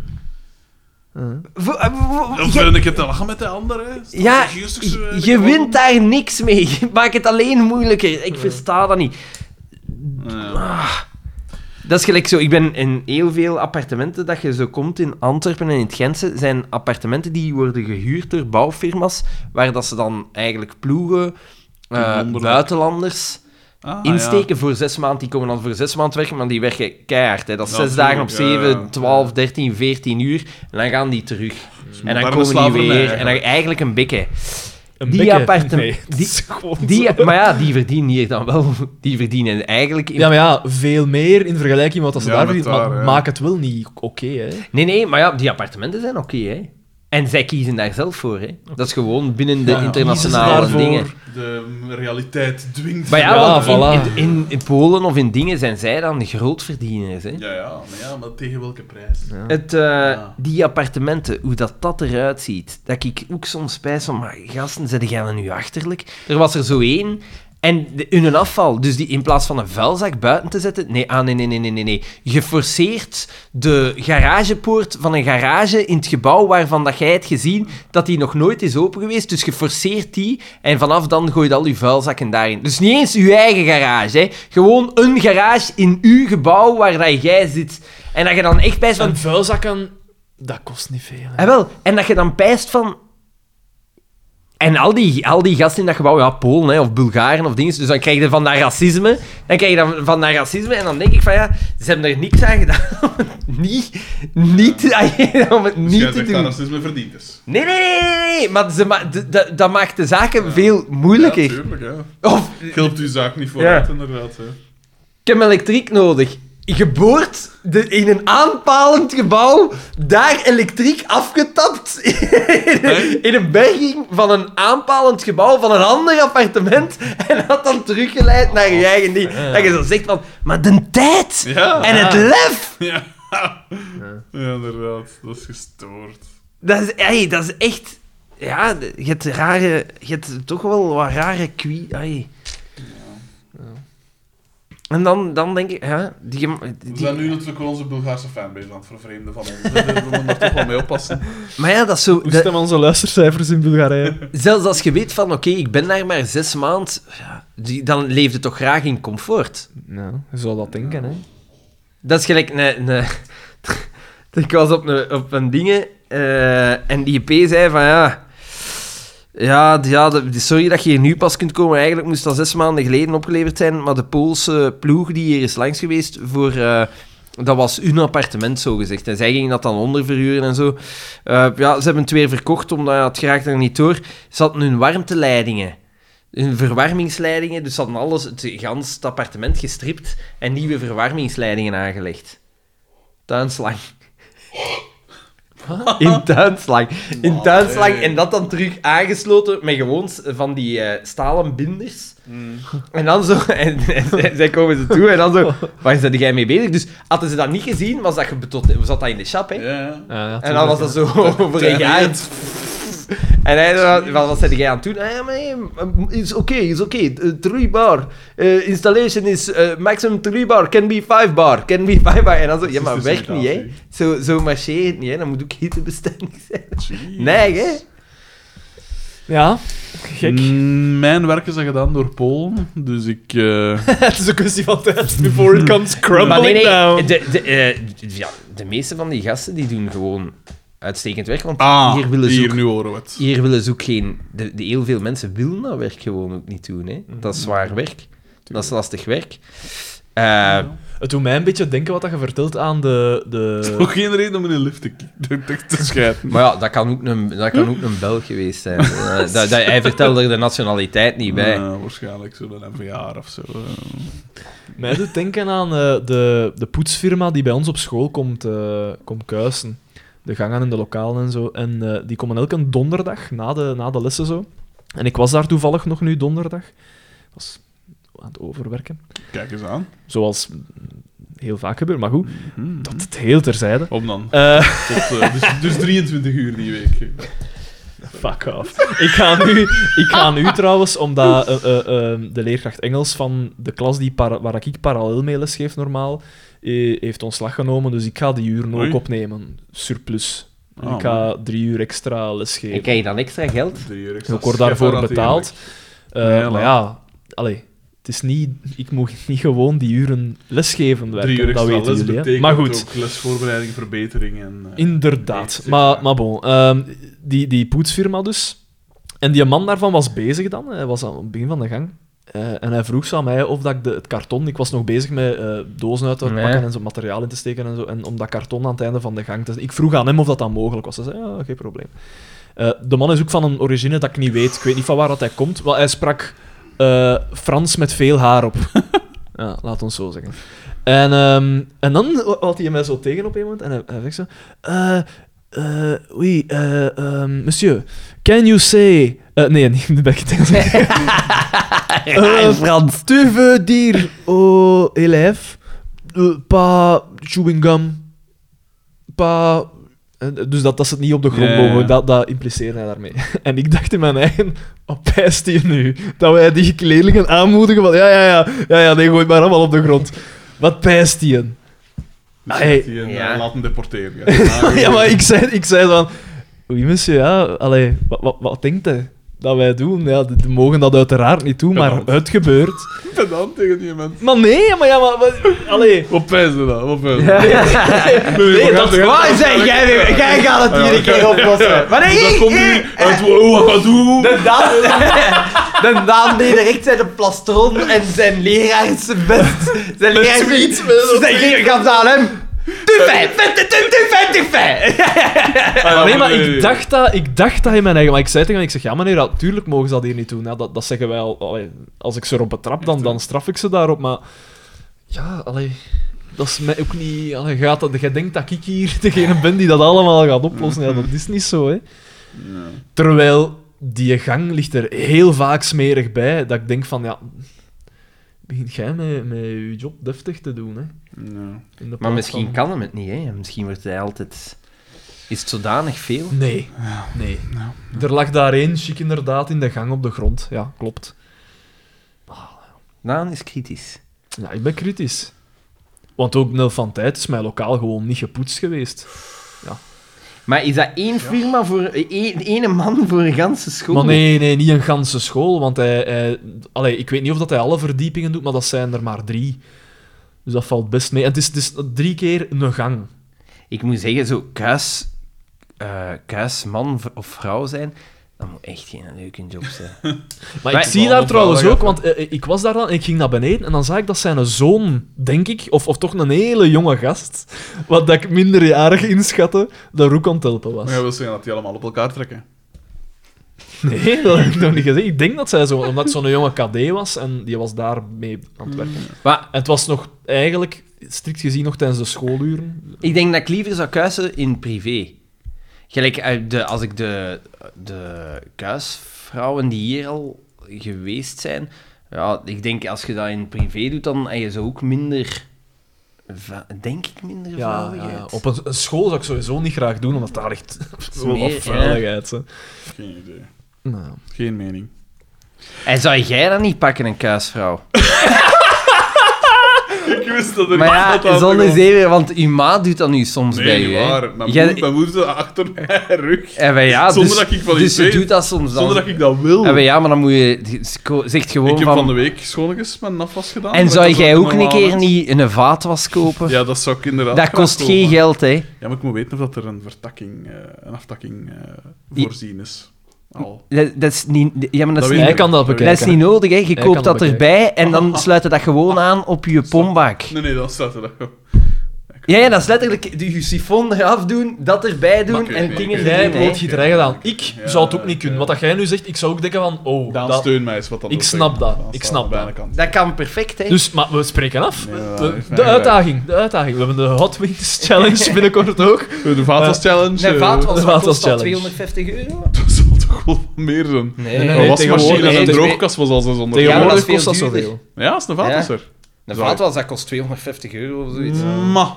[SPEAKER 3] Ja.
[SPEAKER 4] Voor- eh, voor-
[SPEAKER 2] Dan
[SPEAKER 4] jij-
[SPEAKER 2] ben ik het te lachen met de anderen.
[SPEAKER 4] Ja,
[SPEAKER 2] eh,
[SPEAKER 4] je, je wint daar niks mee. Je maakt het alleen moeilijker. Ik versta dat niet. Dat is gelijk zo. Ik ben in heel veel appartementen dat je zo komt in Antwerpen en in het Gentse, zijn appartementen die worden gehuurd door bouwfirma's, waar dat ze dan eigenlijk ploegen eh,
[SPEAKER 2] Wonderlijk.
[SPEAKER 4] buitenlanders
[SPEAKER 2] Ah,
[SPEAKER 4] insteken voor zes maanden. Die komen dan voor zes maanden werken, maar die werken keihard. Hè. Dat is
[SPEAKER 2] Ja,
[SPEAKER 4] zes dagen op
[SPEAKER 2] tuurlijk, ja,
[SPEAKER 4] zeven,
[SPEAKER 2] ja.
[SPEAKER 4] twaalf, dertien, veertien uur. En dan gaan die terug. En dan
[SPEAKER 2] moderne
[SPEAKER 4] komen die
[SPEAKER 2] slavernij,
[SPEAKER 4] weer. En dan
[SPEAKER 2] eigenlijk.
[SPEAKER 4] eigenlijk een bikke.
[SPEAKER 3] Een
[SPEAKER 4] Die
[SPEAKER 3] bikke.
[SPEAKER 4] aparte-
[SPEAKER 3] Nee,
[SPEAKER 4] die-
[SPEAKER 3] dat is gewoon
[SPEAKER 4] Die,
[SPEAKER 3] zo.
[SPEAKER 4] maar ja, die verdienen hier dan wel. Die verdienen eigenlijk... in-
[SPEAKER 3] Ja, maar ja, veel meer in vergelijking met wat dat ze
[SPEAKER 2] Ja,
[SPEAKER 3] daar
[SPEAKER 2] met
[SPEAKER 3] verdienen. Maar
[SPEAKER 2] daar, ja.
[SPEAKER 3] maak het wel niet oké, hè.
[SPEAKER 4] Nee, nee, maar ja, die appartementen zijn oké, hè. En zij kiezen daar zelf voor, hè. Dat is gewoon binnen de
[SPEAKER 2] Ja, ja,
[SPEAKER 4] internationale
[SPEAKER 3] kiezen ze daarvoor.
[SPEAKER 4] dingen.
[SPEAKER 2] De realiteit dwingt.
[SPEAKER 4] Maar ja,
[SPEAKER 3] Ja,
[SPEAKER 4] want in,
[SPEAKER 3] voilà.
[SPEAKER 4] in, in Polen of in dingen zijn zij dan grootverdieners, hè.
[SPEAKER 2] Ja, ja, maar ja, maar tegen welke prijs?
[SPEAKER 4] Het, eh,
[SPEAKER 2] Ja.
[SPEAKER 4] Die appartementen, hoe dat, dat eruit ziet, dat ik ook soms spijs van, maar gasten, zijn jij dan nu achterlijk? Er was er zo één, en de, hun afval, dus die in plaats van een vuilzak buiten te zetten, nee, ah, nee, nee, nee, nee, nee, nee, geforceerd de garagepoort van een garage in het gebouw waarvan dat jij het gezien, dat die nog nooit is open geweest, dus geforceerd die, en vanaf dan gooi je al je vuilzakken daarin. Dus niet eens je eigen garage, hè. gewoon een garage in uw gebouw waar dat jij zit. En dat je dan echt bij van,
[SPEAKER 3] Een vuilzakken, dat kost niet veel.
[SPEAKER 4] Ah, wel. En dat je dan pijst van... En al die, al die gasten in dat gebouw, ja, Polen hè, of Bulgaren of dingen, dus dan krijg je van dat racisme. Dan krijg je dan van dat racisme en dan denk ik van ja, ze hebben er niks aan gedaan. om het niet, niet, om
[SPEAKER 2] Dus jij
[SPEAKER 4] het niet
[SPEAKER 2] zegt
[SPEAKER 4] te
[SPEAKER 2] dat
[SPEAKER 4] doen.
[SPEAKER 2] racisme verdiend is.
[SPEAKER 4] Nee, nee, nee, nee, nee, maar ze ma- d- d- dat maakt de zaken veel
[SPEAKER 2] Ja,
[SPEAKER 4] moeilijker.
[SPEAKER 2] tuurlijk, ja.
[SPEAKER 4] Of
[SPEAKER 2] Helpt uw zaak niet vooruit, inderdaad. Hè.
[SPEAKER 4] Ik heb elektriek nodig. Geboord de, in een aanpalend gebouw, daar elektriek afgetapt. in, een berging van een aanpalend gebouw van een ander appartement. En dat dan teruggeleid naar je eigen ding. Dat je zo zegt van, maar de tijd
[SPEAKER 2] Oh, Ja.
[SPEAKER 4] en het lef.
[SPEAKER 2] Ja. ja, inderdaad. Dat is gestoord.
[SPEAKER 4] Dat is, ey, dat is echt... Ja, je hebt rare... Je hebt toch wel wat rare kwie... ey. En dan, dan denk ik, ja, die,
[SPEAKER 2] We
[SPEAKER 4] die,
[SPEAKER 2] zijn nu natuurlijk wel onze Bulgaarse fanbase aan het vervreemden van ons. We we moeten daar toch wel mee oppassen.
[SPEAKER 4] maar ja, dat is zo...
[SPEAKER 3] Hoe
[SPEAKER 4] dat-
[SPEAKER 3] staan onze luistercijfers in Bulgarije?
[SPEAKER 4] Zelfs als je weet van, oké, ik ben daar maar zes maanden, ja, die- dan leef je toch graag in comfort.
[SPEAKER 3] nou, je zou dat denken, hè.
[SPEAKER 4] Dat is gelijk een... een- ik was op een, op een dingen eh, en die EP zei van, ja... Ja, d- ja d- sorry dat je hier nu pas kunt komen. Eigenlijk moest dat zes maanden geleden opgeleverd zijn. Maar de Poolse ploeg die hier is langs geweest voor... eh, dat was hun appartement, zo gezegd. En zij gingen dat dan onderverhuren en zo. Eh, ja, ze hebben het weer verkocht, omdat ja, het geraakt er niet door. Ze hadden hun warmteleidingen. Hun verwarmingsleidingen. Dus ze hadden alles, het, gans het appartement gestript en nieuwe verwarmingsleidingen aangelegd. Tuinslang. In tuinslang. In
[SPEAKER 2] Man,
[SPEAKER 4] tuinslang.
[SPEAKER 2] hey.
[SPEAKER 4] En dat dan terug aangesloten met gewoon s- van die eh, stalen binders. En dan zo, en, en zij- zij komen ze toe en dan zo, waar zijn jij mee bezig? Dus hadden ze dat niet gezien, was dat, gebetot, zat dat in de chap, hè?
[SPEAKER 2] Ja.
[SPEAKER 4] En dan was dat zo over een jaar. En hij dan, wat wat zei jij aan het doen? Ah, ja, maar hey, um, is oké, is oké. Eh, Three bar. Eh, installation is eh, maximum three bar. Can be five bar. Can be five bar. En dan zo, ja, maar
[SPEAKER 2] Precies,
[SPEAKER 4] werkt niet, hè.
[SPEAKER 2] dus inderdaad,
[SPEAKER 4] Zo, zo marcheert het niet, hè. Dan moet ook hittebestendig zijn. Nee, hè.
[SPEAKER 3] Ja, gek.
[SPEAKER 2] Mm, Mijn werk is dat gedaan door Polen, dus ik... eh,
[SPEAKER 3] het is een kwestie van tijd before it comes crumbling
[SPEAKER 4] Maar nee, nee.
[SPEAKER 3] down.
[SPEAKER 4] De, de, eh, ja, de meeste van die gasten, die doen gewoon uitstekend werk. Want
[SPEAKER 2] ah,
[SPEAKER 4] hier willen ze ook
[SPEAKER 2] hier nu horen we het.
[SPEAKER 4] Hier willen ze ook geen... De, de heel veel mensen willen dat werk gewoon ook niet doen. Hè.
[SPEAKER 2] Mhm.
[SPEAKER 4] Dat is zwaar werk. Dat is lastig werk. Eh,
[SPEAKER 3] Het doet mij een beetje denken wat dat je vertelt aan de...
[SPEAKER 2] Er is
[SPEAKER 3] de...
[SPEAKER 2] ook geen reden om in een lift te, te, te- te schijten.
[SPEAKER 4] Maar ja, dat kan ook een, dat kan ook een Belg geweest zijn. Eh, dat, dat, hij vertelde er de nationaliteit niet bij.
[SPEAKER 2] Ja, Eh, waarschijnlijk zo'n NVA of zo. eh.
[SPEAKER 3] Mij doet denken aan eh, de, de poetsfirma die bij ons op school komt, eh, komt kuisen. De gangen en de lokalen en zo. En eh, die komen elke donderdag na de, na de lessen zo. En ik was daar toevallig nog nu donderdag. Ik was aan het overwerken.
[SPEAKER 2] Kijk eens aan.
[SPEAKER 3] Zoals mm, heel vaak gebeurt, maar goed.
[SPEAKER 2] Hm.
[SPEAKER 3] Dat het heel terzijde.
[SPEAKER 2] Om dan.
[SPEAKER 3] Eh,
[SPEAKER 2] Tot, eh, dus, dus 23 uur die week.
[SPEAKER 3] fuck off. Ik ga nu, ik ga nu trouwens, omdat eh, eh, eh, de leerkracht Engels van de klas die para- waar ik parallel mee lesgeef normaal, eh, heeft ontslag genomen, dus ik ga die uren ook
[SPEAKER 2] Oei.
[SPEAKER 3] opnemen. Surplus.
[SPEAKER 2] Ah,
[SPEAKER 3] ik ga drie uur extra lesgeven.
[SPEAKER 4] En krijg je dan extra geld?
[SPEAKER 2] Drie uur extra.
[SPEAKER 3] Ik word daarvoor betaald. Eh,
[SPEAKER 2] Nee, laat.
[SPEAKER 3] maar ja, allee, het is niet, ik moet niet gewoon die uren lesgeven werken,
[SPEAKER 2] Drie uur
[SPEAKER 3] dat
[SPEAKER 2] extra les
[SPEAKER 3] weten jullie. hè.
[SPEAKER 2] betekent
[SPEAKER 3] Maar goed.
[SPEAKER 2] ook lesvoorbereiding, verbetering en... eh,
[SPEAKER 3] Inderdaad.
[SPEAKER 2] Echt,
[SPEAKER 3] Maar,
[SPEAKER 2] ja.
[SPEAKER 3] maar bon, ehm, die, die poetsfirma dus. En die man daarvan was bezig dan, hij was aan het begin van de gang. Eh, en hij vroeg zo aan mij of dat ik de, het karton, ik was nog bezig met eh, dozen uit te
[SPEAKER 4] Nee.
[SPEAKER 3] pakken en zo materiaal in te steken en zo, en om dat karton aan het einde van de gang te Ik vroeg aan hem of dat dan mogelijk was. Hij zei, ja, geen probleem. Eh, de man is ook van een origine dat ik niet weet, ik weet niet van waar dat hij komt, maar hij sprak eh, Frans met veel haar op. ja, laat ons zo zeggen. En, ehm, en dan had hij mij zo tegen op een moment en hij, hij zegt zo... eh, eh, oui, eh, ehm, monsieur, can you say... eh, nee, niet de bek. Eh,
[SPEAKER 1] Ja, in Frans.
[SPEAKER 3] Te veel dier, oh, élève. Eh, pa chewing gum. Pa... eh, Dus dat, dat ze het niet op de grond
[SPEAKER 2] Ja, ja, ja.
[SPEAKER 3] mogen, dat, dat impliceert hij daarmee. En ik dacht in mijn eigen, wat pijst hij nu? Dat wij die leerlingen aanmoedigen van, ja, ja, ja, ja, ja, nee, gooi maar allemaal op de grond. Wat pijst hij?
[SPEAKER 2] Misschien
[SPEAKER 3] Hey.
[SPEAKER 2] dat die een,
[SPEAKER 4] Ja.
[SPEAKER 2] eh, laten deporteren. Ja,
[SPEAKER 3] Ja, maar ik zei, ik zei van... Oui, monsieur, ja, allee, wat, wat, wat denkt hij dat wij doen? Ja, die die mogen dat uiteraard niet doen, maar
[SPEAKER 2] Pedant.
[SPEAKER 3] het gebeurt.
[SPEAKER 2] ben dan tegen die mensen.
[SPEAKER 3] Maar nee, maar ja, maar... maar- allee...
[SPEAKER 2] Wat pijzen dat? Wat pijzen dat? Nee,
[SPEAKER 3] dat-
[SPEAKER 1] Waar zeg jij weer? Jij gaat het hier een keer oplossen. Maar nee,
[SPEAKER 2] Dat komt
[SPEAKER 3] eh,
[SPEAKER 1] ik-
[SPEAKER 2] nu uit wow, oh, wat doe?
[SPEAKER 1] De Daan, de Daan deed direct zijn plastron en zijn leraars zijn best. Zijn leraars
[SPEAKER 2] zoiets, met een
[SPEAKER 1] Ze gaf ze aan hem. Te fijn, te te te fijn, te fijn.
[SPEAKER 2] Ah,
[SPEAKER 3] nee,
[SPEAKER 2] ja,
[SPEAKER 3] maar
[SPEAKER 2] nee.
[SPEAKER 3] ik dacht, dat, ik dacht dat in mijn eigen... Maar ik zei tegen hem, ik zeg, ja meneer, natuurlijk mogen ze dat hier niet doen. Ja, dat, dat zeggen wij al. allee, als ik ze erop betrap, dan, dan straf ik ze daarop. Maar ja, allee, dat is mij ook niet... Allee, gaat dat, jij denkt dat ik hier degene ben die dat allemaal gaat oplossen. Ja, dat is niet zo, hè.
[SPEAKER 2] Ja.
[SPEAKER 3] Terwijl die gang ligt er heel vaak smerig bij, dat ik denk van, ja... Begint jij met, met je job deftig te doen, hè.
[SPEAKER 2] Ja.
[SPEAKER 3] In de
[SPEAKER 4] Maar
[SPEAKER 3] plaats
[SPEAKER 4] misschien
[SPEAKER 3] van-
[SPEAKER 4] kan hem het niet, hè. Misschien wordt hij altijd... Is het zodanig veel?
[SPEAKER 3] Nee. nee. Er lag daar één chic inderdaad in de gang op de grond. Ja, klopt.
[SPEAKER 4] Daan is kritisch.
[SPEAKER 3] Ja, ik ben kritisch. Want ook Nel van Tijd is mij lokaal gewoon niet gepoetst geweest.
[SPEAKER 4] Maar is dat één firma voor... één ene man voor een ganse school?
[SPEAKER 3] Maar nee, nee, niet een ganse school. Want hij, hij, allee, ik weet niet of dat hij alle verdiepingen doet, maar dat zijn er maar drie. Dus dat valt best mee. En het is, het is drie keer een gang.
[SPEAKER 4] Ik moet zeggen, zo kuis... eh, kuis man v- of vrouw zijn, dat moet echt geen leuke job zijn.
[SPEAKER 3] Maar
[SPEAKER 4] Maar-
[SPEAKER 3] ik zie daar trouwens ook, want eh, eh, ik was daar dan en ik ging naar beneden en dan zag ik dat zijn zoon, denk ik, of, of toch een hele jonge gast, wat dat ik minderjarig inschatte, daar ook aan het helpen was.
[SPEAKER 2] Maar jij wil zeggen dat die allemaal op elkaar trekken?
[SPEAKER 3] Nee, dat heb ik nog niet gezegd. Ik denk dat zij zo, omdat het zo'n jonge KD was en die was daarmee aan
[SPEAKER 2] Mm.
[SPEAKER 3] het werken.
[SPEAKER 4] Maar
[SPEAKER 3] En het was nog eigenlijk, strikt gezien, nog tijdens de schooluren.
[SPEAKER 4] ik denk dat ik liever zou kuisen in privé. Gelijk, eh, de, als ik de, de kuisvrouwen die hier al geweest zijn... Ja, ik denk, als je dat in privé doet, dan heb je zo ook minder... va- Denk ik minder
[SPEAKER 3] Ja, ja,
[SPEAKER 4] vrouwigheid.
[SPEAKER 3] op een, een school zou ik sowieso niet graag doen, omdat daar echt zo'n
[SPEAKER 4] Meer,
[SPEAKER 3] wat vuiligheid. hè.
[SPEAKER 2] Geen idee.
[SPEAKER 3] Nou.
[SPEAKER 2] Geen mening.
[SPEAKER 4] En zou jij dat niet pakken, een kuisvrouw?
[SPEAKER 2] Ik wist dat er
[SPEAKER 4] Maar
[SPEAKER 2] iemand
[SPEAKER 4] ja,
[SPEAKER 2] aan
[SPEAKER 4] zon is
[SPEAKER 2] kwam.
[SPEAKER 4] even, want uw ma doet dat nu soms bij
[SPEAKER 2] Nee,
[SPEAKER 4] u.
[SPEAKER 2] niet
[SPEAKER 4] hè.
[SPEAKER 2] waar. Mijn
[SPEAKER 4] Jij-
[SPEAKER 2] moeder, mijn moeder zat achter mijn rug.
[SPEAKER 4] en wij, ja,
[SPEAKER 2] Zonder
[SPEAKER 4] dus,
[SPEAKER 2] dat ik van
[SPEAKER 4] Dus
[SPEAKER 2] iets
[SPEAKER 4] ze
[SPEAKER 2] weet.
[SPEAKER 4] doet dat soms dan.
[SPEAKER 2] Zonder dat ik dat wil.
[SPEAKER 4] En wij, ja, Ah, maar dan moet je... Zegt gewoon
[SPEAKER 2] ik heb
[SPEAKER 4] van...
[SPEAKER 2] van... de week schoonigjes mijn afwas gedaan.
[SPEAKER 4] en
[SPEAKER 2] maar
[SPEAKER 4] zou
[SPEAKER 2] ik had
[SPEAKER 4] jij
[SPEAKER 2] dat
[SPEAKER 4] ook een
[SPEAKER 2] normaal
[SPEAKER 4] keer
[SPEAKER 2] had.
[SPEAKER 4] niet een vaatwas kopen?
[SPEAKER 2] Ja, dat zou ik inderdaad
[SPEAKER 4] dat
[SPEAKER 2] graag
[SPEAKER 4] kost
[SPEAKER 2] kopen.
[SPEAKER 4] geen geld, hè.
[SPEAKER 2] Ja, maar ik moet weten of dat er een vertakking, eh, een aftakking eh,
[SPEAKER 4] I-
[SPEAKER 2] voorzien is. Al.
[SPEAKER 4] Dat, dat is niet... Ja, maar dat is
[SPEAKER 2] weet
[SPEAKER 4] niet...
[SPEAKER 3] Hij kan dat bekijken.
[SPEAKER 4] Dat is niet nodig, hè. Je
[SPEAKER 3] kan
[SPEAKER 4] koopt dat
[SPEAKER 3] dat bekijken.
[SPEAKER 4] erbij en dan sluit je dat gewoon aan op je pombak.
[SPEAKER 2] Nee, nee, dan staat er dat gewoon.
[SPEAKER 4] Ja, ja, dat is letterlijk de- je sifon eraf doen, dat erbij
[SPEAKER 2] Maar ik
[SPEAKER 4] doen
[SPEAKER 2] weet
[SPEAKER 4] en
[SPEAKER 2] niet,
[SPEAKER 4] dingen
[SPEAKER 2] ik weet
[SPEAKER 3] Jij
[SPEAKER 4] erin,
[SPEAKER 2] niet.
[SPEAKER 4] hè.
[SPEAKER 3] wordt gedreigd gedaan. Ik zou het ook niet kunnen. Wat dat jij nu zegt, ik zou ook denken van, oh,
[SPEAKER 2] Daan,
[SPEAKER 3] dat-
[SPEAKER 2] steun mij eens wat dat
[SPEAKER 3] Ik
[SPEAKER 2] wil
[SPEAKER 3] snap
[SPEAKER 2] zeggen.
[SPEAKER 3] dat.
[SPEAKER 2] Daan
[SPEAKER 3] Ik
[SPEAKER 2] staat
[SPEAKER 3] snap
[SPEAKER 2] aan de
[SPEAKER 3] dat.
[SPEAKER 2] bijna kant.
[SPEAKER 4] Dat kan perfect, hè.
[SPEAKER 3] Dus, maar we spreken af.
[SPEAKER 2] Nee,
[SPEAKER 3] De-
[SPEAKER 2] dat is
[SPEAKER 3] de,
[SPEAKER 2] fijn,
[SPEAKER 3] uitdaging, de uitdaging. We hebben de Hot Wings Challenge binnenkort ook.
[SPEAKER 2] Eh, De vaatwas challenge.
[SPEAKER 4] Een
[SPEAKER 2] eh,
[SPEAKER 4] vaatwas,
[SPEAKER 3] de
[SPEAKER 4] wat
[SPEAKER 3] vaatwas
[SPEAKER 4] kost dat?
[SPEAKER 3] challenge.
[SPEAKER 4] 250 euro?
[SPEAKER 2] Dat zal toch wel wat meer zijn.
[SPEAKER 4] Nee,
[SPEAKER 3] nee,
[SPEAKER 2] Een
[SPEAKER 3] nee,
[SPEAKER 2] wasmachine
[SPEAKER 3] tegenwoordig-
[SPEAKER 2] en een
[SPEAKER 3] nee,
[SPEAKER 2] droogkast was al 600
[SPEAKER 4] Ja, maar dat is
[SPEAKER 3] Tegenwoordig
[SPEAKER 4] veel
[SPEAKER 3] kost dat
[SPEAKER 4] duurder.
[SPEAKER 3] zoveel.
[SPEAKER 2] Ja, is een vaatwasser.
[SPEAKER 4] Een
[SPEAKER 2] Zou-
[SPEAKER 4] vaatwas, dat kost 250 euro of zoiets.
[SPEAKER 2] Ma.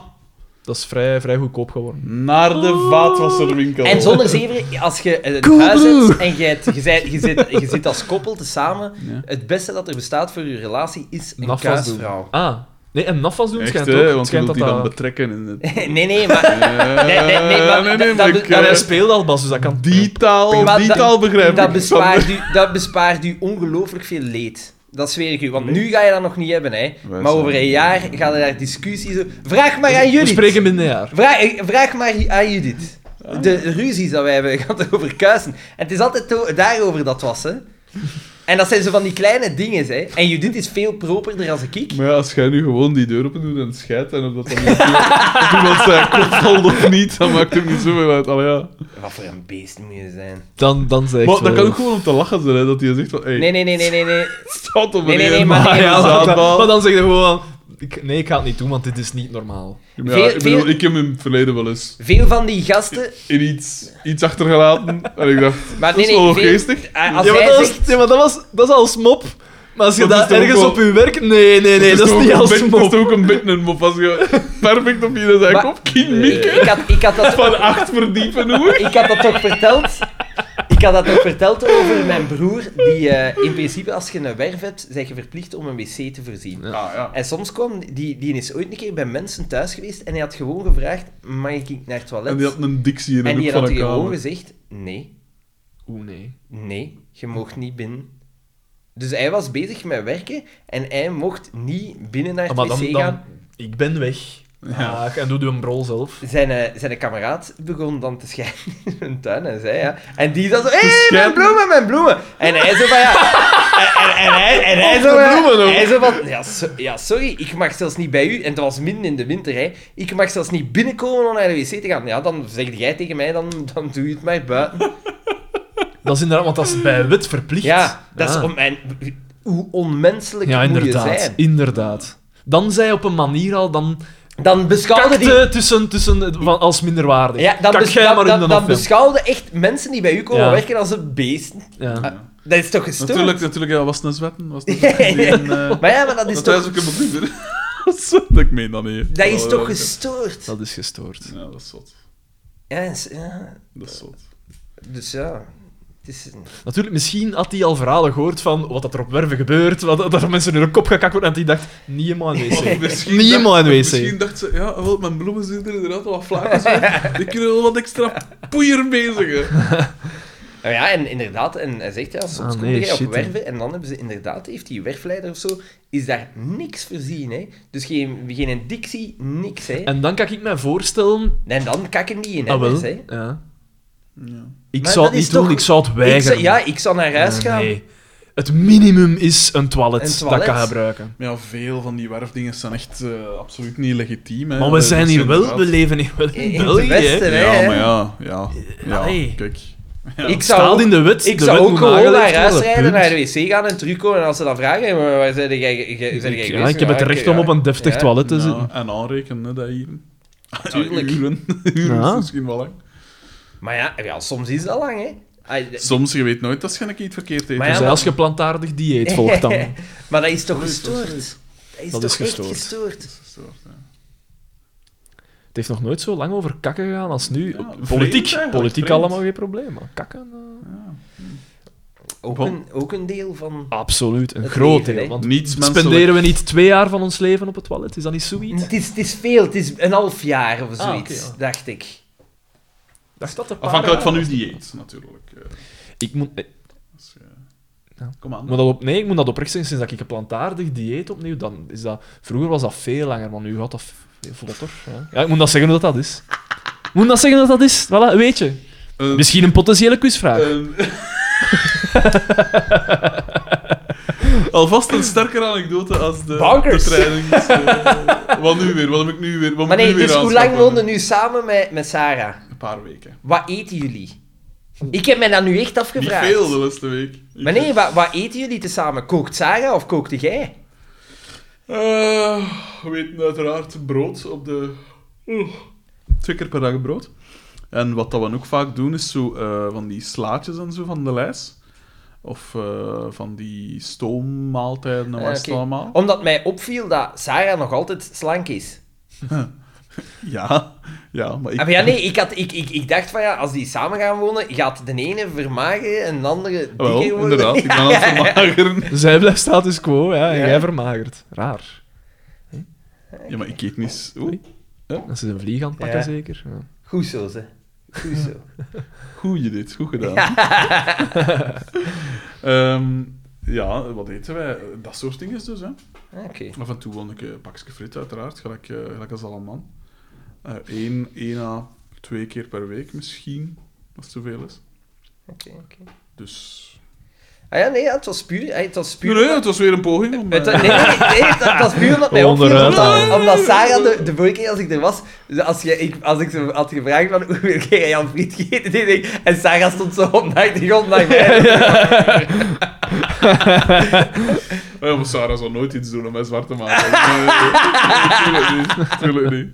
[SPEAKER 3] Dat is vrij, vrij goedkoop geworden.
[SPEAKER 2] Naar de vaatwasserwinkel.
[SPEAKER 4] En zonder zeven, als je een
[SPEAKER 3] Cool
[SPEAKER 4] huis
[SPEAKER 3] blue.
[SPEAKER 4] hebt en je, hebt- je, zit, je, zit, je zit als koppel tezamen,
[SPEAKER 2] Ja.
[SPEAKER 4] het beste dat er bestaat voor je relatie is een
[SPEAKER 3] Nafas doen.
[SPEAKER 4] kuisvrouw.
[SPEAKER 3] Ah. Nee, en nafas doen
[SPEAKER 2] Echt,
[SPEAKER 3] schijnt
[SPEAKER 2] hè,
[SPEAKER 3] ook. Het
[SPEAKER 2] want je
[SPEAKER 3] schijnt
[SPEAKER 2] wilt
[SPEAKER 3] dat
[SPEAKER 2] die dan
[SPEAKER 3] dat...
[SPEAKER 2] betrekken in het... Eh,
[SPEAKER 4] Nee, nee, maar... nee, nee, maar dat- dat
[SPEAKER 2] maar
[SPEAKER 4] doet-
[SPEAKER 2] ik,
[SPEAKER 3] Ja,
[SPEAKER 2] eh,
[SPEAKER 3] hij speelt al bas, dus dat kan...
[SPEAKER 2] Die taal,
[SPEAKER 4] Maar
[SPEAKER 2] die
[SPEAKER 4] dat-
[SPEAKER 2] taal begrijp
[SPEAKER 4] Dat
[SPEAKER 2] ik.
[SPEAKER 4] bespaart, u, dat bespaart u ongelooflijk veel leed. Dat zweer ik u. Want nu ga je dat nog niet hebben, hè.
[SPEAKER 2] Wij
[SPEAKER 4] Maar over
[SPEAKER 2] zijn-
[SPEAKER 4] een jaar gaan er daar discussies... over- Vraag maar aan
[SPEAKER 3] We
[SPEAKER 4] Judith.
[SPEAKER 3] spreken binnen een jaar.
[SPEAKER 4] Vraag, vraag maar aan Judith.
[SPEAKER 2] Ah,
[SPEAKER 4] de ruzies dat wij hebben gehad over kuisen. En het is altijd to- daarover dat was, hè. En dat zijn zo van die kleine dingen, hè. En Judith is veel properder als ik.
[SPEAKER 2] Maar ja, als jij nu gewoon die deur open doet en scheidt, en of dat dan iemand zijn kop valt of niet, dan maakt het niet zoveel uit. Allee, ja.
[SPEAKER 4] Wat voor een beest moet je zijn.
[SPEAKER 3] Dan, dan zeg
[SPEAKER 2] Maar dat kan ook gewoon om te lachen zijn, hè, dat hij zegt van... Hey,
[SPEAKER 4] Nee, nee, nee, nee, nee, nee.
[SPEAKER 2] Staat op
[SPEAKER 4] Nee, nee,
[SPEAKER 2] beneden,
[SPEAKER 4] nee, maar-
[SPEAKER 2] maar
[SPEAKER 3] ja,
[SPEAKER 2] een
[SPEAKER 3] maar,
[SPEAKER 2] zaadbal.
[SPEAKER 3] maar dan zeg je gewoon... Ik, nee, ik ga het niet doen, want dit is niet normaal.
[SPEAKER 2] Ja,
[SPEAKER 4] Veel-
[SPEAKER 2] ik bedoel,
[SPEAKER 4] veel-
[SPEAKER 2] ik heb hem in het verleden wel eens
[SPEAKER 4] Veel van die gasten...
[SPEAKER 2] in iets, iets achtergelaten. En ik dacht,
[SPEAKER 4] Maar
[SPEAKER 2] dat is
[SPEAKER 4] nee, nee,
[SPEAKER 2] wel
[SPEAKER 4] veel-
[SPEAKER 2] geestig.
[SPEAKER 4] eh, Als
[SPEAKER 3] ja, maar
[SPEAKER 4] hij
[SPEAKER 3] dat was,
[SPEAKER 4] zegt...
[SPEAKER 3] ja, maar dat was, dat is als mop. Maar als je
[SPEAKER 2] Dat is
[SPEAKER 3] dat
[SPEAKER 2] toch ook
[SPEAKER 3] ergens
[SPEAKER 2] wel-
[SPEAKER 3] op je werk... Nee, nee, nee, dat is
[SPEAKER 2] toch
[SPEAKER 3] niet
[SPEAKER 2] ook een
[SPEAKER 3] als
[SPEAKER 2] beetje- Dat is
[SPEAKER 3] mop.
[SPEAKER 2] toch ook een beetje een mop. Als je perfect op je zijn
[SPEAKER 4] Maar-
[SPEAKER 2] kop King Mieke
[SPEAKER 4] Ik had, ik had dat...
[SPEAKER 2] van acht verdiepen, hoor.
[SPEAKER 4] ik had dat toch verteld. Ik had dat toch verteld over mijn broer, die eh, in principe als je een werf hebt, zijn je verplicht om een wc te voorzien.
[SPEAKER 2] Ja, Ah, ja.
[SPEAKER 4] En soms kwam, die, die is ooit een keer bij mensen thuis geweest en hij had gewoon gevraagd, mag ik naar het toilet?
[SPEAKER 2] En die had een dictie in
[SPEAKER 4] En
[SPEAKER 2] een
[SPEAKER 4] die
[SPEAKER 2] hoek van
[SPEAKER 4] had
[SPEAKER 2] een
[SPEAKER 4] gewoon
[SPEAKER 2] kamer.
[SPEAKER 4] gezegd, nee,
[SPEAKER 3] Oeh, nee.
[SPEAKER 4] nee, je mocht niet binnen. Dus hij was bezig met werken en hij mocht niet binnen naar het
[SPEAKER 3] maar
[SPEAKER 4] wc
[SPEAKER 3] dan,
[SPEAKER 4] gaan.
[SPEAKER 3] dan... Ik ben weg.
[SPEAKER 2] Ja.
[SPEAKER 3] Ah, en doe je een brol zelf.
[SPEAKER 4] Zijn, eh, zijn kameraad begon dan te schijnen in hun tuin en zei ja. En die dan zo, hé, hey, mijn
[SPEAKER 2] schijnen?
[SPEAKER 4] bloemen, mijn bloemen. En hij zo van ja. En, en, en hij, en hij
[SPEAKER 2] Of
[SPEAKER 4] zo
[SPEAKER 2] de
[SPEAKER 4] van,
[SPEAKER 2] bloemen ook.
[SPEAKER 4] hij zo van ja, so- ja, sorry, ik mag zelfs niet bij u. En het was midden in de winter, hè. Ik mag zelfs niet binnenkomen om naar de wc te gaan. Ja, dan zeg jij tegen mij, dan, dan doe je het maar buiten.
[SPEAKER 3] Dat is inderdaad, want dat is bij wet verplicht.
[SPEAKER 4] Ja, dat is
[SPEAKER 3] Ah.
[SPEAKER 4] om, en, hoe onmenselijk
[SPEAKER 3] Ja,
[SPEAKER 4] moet je
[SPEAKER 3] inderdaad.
[SPEAKER 4] zijn.
[SPEAKER 3] Inderdaad. Dan zij op een manier al, dan
[SPEAKER 4] Dan beschouwde die...
[SPEAKER 3] kakte tussen, tussen van, als minderwaardig.
[SPEAKER 4] Ja, dan,
[SPEAKER 3] Kak
[SPEAKER 4] bes-
[SPEAKER 3] jij
[SPEAKER 4] dan-
[SPEAKER 3] maar in
[SPEAKER 4] dan-
[SPEAKER 3] de
[SPEAKER 4] dan
[SPEAKER 3] afwil.
[SPEAKER 4] beschouwde echt mensen die bij u komen
[SPEAKER 3] Ja.
[SPEAKER 4] werken als een beesten.
[SPEAKER 3] ja.
[SPEAKER 4] Dat is toch gestoord?
[SPEAKER 2] Natuurlijk, natuurlijk, ja, was het een zwetten. Was het een zwetten die een, eh,
[SPEAKER 4] Maar ja, maar dat is
[SPEAKER 2] Dat
[SPEAKER 4] toch...
[SPEAKER 2] thuis ook helemaal niet meer. Dat is wat ik meen dan niet.
[SPEAKER 4] Dat is
[SPEAKER 2] Ja,
[SPEAKER 4] toch
[SPEAKER 2] ja.
[SPEAKER 4] gestoord?
[SPEAKER 3] Dat is gestoord.
[SPEAKER 2] Ja, dat is zot.
[SPEAKER 4] Ja, is- ja.
[SPEAKER 2] Dat is zot.
[SPEAKER 4] Dus ja... Het is... een-
[SPEAKER 3] Natuurlijk, misschien had hij al verhalen gehoord van wat dat er op Werven gebeurt, wat, dat er mensen in hun kop gekakt worden, en die dacht, niet helemaal in
[SPEAKER 2] Of
[SPEAKER 3] wc.
[SPEAKER 2] Oh, misschien
[SPEAKER 3] Niet
[SPEAKER 2] dacht-
[SPEAKER 3] helemaal in de wc.
[SPEAKER 2] Misschien dacht ze, ja, wel, mijn bloemen zitten er inderdaad wel wat vlakjes op. Die kunnen wel wat extra poeier bezigen.
[SPEAKER 4] Nou ja, en inderdaad, en hij zegt ja, soms
[SPEAKER 3] Ah,
[SPEAKER 4] kom
[SPEAKER 3] nee,
[SPEAKER 4] jij op
[SPEAKER 3] shit, hè.
[SPEAKER 4] werven en dan hebben ze inderdaad, heeft die werfleider of zo, is daar niks voorzien, hè. Dus geen, geen dictie, niks, hè. En,
[SPEAKER 3] En dan kan ik mij voorstellen...
[SPEAKER 4] dan kakken die in
[SPEAKER 3] Ah, wel.
[SPEAKER 4] emmers, hè.
[SPEAKER 3] Ja.
[SPEAKER 2] Ja.
[SPEAKER 3] Ik
[SPEAKER 4] Maar
[SPEAKER 3] zou
[SPEAKER 4] dat
[SPEAKER 3] het
[SPEAKER 4] is
[SPEAKER 3] niet doen,
[SPEAKER 4] toch-
[SPEAKER 3] ik zou het
[SPEAKER 4] Ik
[SPEAKER 3] weigeren.
[SPEAKER 4] zou- ja, ik zou naar huis
[SPEAKER 3] Eh,
[SPEAKER 4] gaan.
[SPEAKER 3] Nee. Het minimum is een toilet,
[SPEAKER 4] Een toilet.
[SPEAKER 3] dat kan gebruiken.
[SPEAKER 2] Maar ja, veel van die werfdingen zijn echt eh, absoluut niet legitiem. Hè.
[SPEAKER 3] Maar we
[SPEAKER 2] Dat
[SPEAKER 3] zijn
[SPEAKER 2] is
[SPEAKER 3] hier wel,
[SPEAKER 2] inderdaad-
[SPEAKER 3] we leven hier wel
[SPEAKER 4] In
[SPEAKER 3] in
[SPEAKER 4] het
[SPEAKER 3] België. hè.
[SPEAKER 4] Westen, hè.
[SPEAKER 2] Ja, maar ja. Ja, ja,
[SPEAKER 3] Allee.
[SPEAKER 2] kijk.
[SPEAKER 4] Ik
[SPEAKER 3] Staat
[SPEAKER 4] zou,
[SPEAKER 3] in de wet.
[SPEAKER 4] ik
[SPEAKER 3] de
[SPEAKER 4] zou
[SPEAKER 3] wet
[SPEAKER 4] ook
[SPEAKER 3] moet
[SPEAKER 4] gewoon naar
[SPEAKER 3] nageleefd
[SPEAKER 4] huis
[SPEAKER 3] worden,
[SPEAKER 4] rijden,
[SPEAKER 3] punt.
[SPEAKER 4] naar de wc gaan en terugkomen. En als ze dan vragen, maar waar zijn jij ge- ge- zijn jij
[SPEAKER 3] Ik- ja,
[SPEAKER 4] geweest?
[SPEAKER 3] ik heb het
[SPEAKER 4] oké,
[SPEAKER 3] recht om
[SPEAKER 4] ja.
[SPEAKER 3] op een deftig
[SPEAKER 4] Ja.
[SPEAKER 3] toilet te
[SPEAKER 2] Ja, Nou.
[SPEAKER 3] zitten.
[SPEAKER 2] En aanrekenen, hè, dat hier.
[SPEAKER 4] Tuurlijk.
[SPEAKER 2] Uren. Uren
[SPEAKER 3] Ja.
[SPEAKER 2] is misschien wel lang.
[SPEAKER 4] Maar ja, ja, soms is dat lang, hè. Ah, d-
[SPEAKER 2] Soms, je weet nooit, als je een keer iets verkeerd eet.
[SPEAKER 4] Maar
[SPEAKER 3] Dus
[SPEAKER 4] ja,
[SPEAKER 3] als je plantaardig dieet volgt dan.
[SPEAKER 4] maar dat is toch gestoord? Dat is,
[SPEAKER 3] Dat
[SPEAKER 4] toch
[SPEAKER 3] is
[SPEAKER 4] echt
[SPEAKER 3] gestoord.
[SPEAKER 4] gestoord?
[SPEAKER 2] dus
[SPEAKER 3] Het heeft nog nooit zo lang over kakken gegaan als nu.
[SPEAKER 2] Ja, vreemd
[SPEAKER 3] Politiek.
[SPEAKER 2] eigenlijk,
[SPEAKER 3] Politiek
[SPEAKER 2] vreemd.
[SPEAKER 3] allemaal geen probleem. maar kakken... eh,
[SPEAKER 4] Ook
[SPEAKER 2] Bon.
[SPEAKER 4] een, ook een deel van...
[SPEAKER 3] Absoluut. Een
[SPEAKER 4] Het
[SPEAKER 3] groot
[SPEAKER 4] leven,
[SPEAKER 3] deel.
[SPEAKER 4] hè.
[SPEAKER 3] Want
[SPEAKER 2] Niets menselijk.
[SPEAKER 3] spenderen we niet twee jaar van ons leven op het toilet? Is dat niet zoiets?
[SPEAKER 4] Het is, het is veel, het is een half jaar of
[SPEAKER 3] Ah,
[SPEAKER 4] zoiets,
[SPEAKER 3] oké, ja.
[SPEAKER 4] dacht ik.
[SPEAKER 3] Dacht dat een paar
[SPEAKER 2] Afhankelijk
[SPEAKER 3] jaar
[SPEAKER 2] van uw
[SPEAKER 3] was.
[SPEAKER 2] dieet, natuurlijk. eh,
[SPEAKER 3] Ik moet, eh,
[SPEAKER 2] als je-
[SPEAKER 3] Ja.
[SPEAKER 2] Kom aan.
[SPEAKER 3] ik moet dat op, nee, ik moet dat oprecht zeggen. Sinds dat ik een plantaardig dieet opnieuw, dan is dat... Vroeger was dat veel langer, maar nu gaat dat... veel voelt dat toch? Ja. ja, ik moet dat zeggen hoe dat, dat is. Ik moet dat zeggen hoe dat, dat is. Voilà, weet je.
[SPEAKER 2] Eh,
[SPEAKER 3] Misschien een potentiële quizvraag.
[SPEAKER 2] eh, Alvast een sterkere anekdote als de, de
[SPEAKER 4] Bonkers.
[SPEAKER 2] training. is, eh, wat nu weer? Wat heb ik nu weer? Wat
[SPEAKER 4] Maar
[SPEAKER 2] moet ik
[SPEAKER 4] nee,
[SPEAKER 2] nu weer
[SPEAKER 4] dus hoe lang
[SPEAKER 2] aanschaffen?
[SPEAKER 4] woonden nu samen met, met Sarah?
[SPEAKER 2] Een paar weken.
[SPEAKER 4] Wat eten jullie? Ik heb mij dat nu echt
[SPEAKER 2] Niet
[SPEAKER 4] afgevraagd.
[SPEAKER 2] veel de laatste week. Ik-
[SPEAKER 4] Maar nee, wat, wat eten jullie tezamen? Kookt Sarah of kookte jij?
[SPEAKER 2] Eh, we weten uiteraard brood op de... Oeh. Twee keer per dag brood. En wat dat we ook vaak doen, is zo eh, van die slaatjes en zo van de lijst. Of eh, van die stoommaaltijden en wat
[SPEAKER 4] Ah,
[SPEAKER 2] is het
[SPEAKER 4] oké.
[SPEAKER 2] allemaal.
[SPEAKER 4] Omdat mij opviel dat Sarah nog altijd slank is.
[SPEAKER 2] Ja, ja, maar ik...
[SPEAKER 4] Ah, maar ja, nee, ik, had, ik, ik, ik dacht van ja, als die samen gaan wonen, gaat de ene vermagen en de andere dikker
[SPEAKER 2] Ah, Wel,
[SPEAKER 4] worden.
[SPEAKER 2] inderdaad, ik ben aan het vermageren.
[SPEAKER 3] Zij blijft status quo, ja, en
[SPEAKER 4] Ja.
[SPEAKER 3] jij vermagert. Raar.
[SPEAKER 2] Ja, maar ik eet niet... Oei.
[SPEAKER 3] Dat ze een vlieg aan het pakken,
[SPEAKER 4] Ja.
[SPEAKER 3] zeker. Ja.
[SPEAKER 4] Goed zo, ze. Goed zo.
[SPEAKER 2] Goed, je dit. Goed gedaan. Ehm, ja, wat eten wij? Dat soort dingen dus, hè.
[SPEAKER 4] Ah, Oké.
[SPEAKER 2] Af en toe wil ik een pakje frit, uiteraard, gelijk, eh, gelijk als allemaal. Eén Eh, één à twee keer per week misschien, als het zoveel is.
[SPEAKER 4] Oké, oké.
[SPEAKER 2] Dus...
[SPEAKER 4] Ah ja, nee, ja, het was puur... eh, Het was puur...
[SPEAKER 2] Nee, nee, het was weer een poging om...
[SPEAKER 4] Het,
[SPEAKER 2] eh,
[SPEAKER 4] nee, nee, nee, dat, dat is puur omdat mij
[SPEAKER 3] Gewoon
[SPEAKER 4] opviel.
[SPEAKER 3] eruit
[SPEAKER 4] Omdat,
[SPEAKER 3] halen.
[SPEAKER 4] omdat Sarah de, de vorige keer als ik er was, als, je, ik, als ik ze had gevraagd van hoeveel keer jij Jan Friet gegeten deed, ik- en Sarah stond zo op naar de grond naar mij.
[SPEAKER 2] Oh ja, maar Sarah zal nooit iets doen om mij zwart te maken. Nee, nee, nee. Tuurlijk niet. Tuurlijk niet.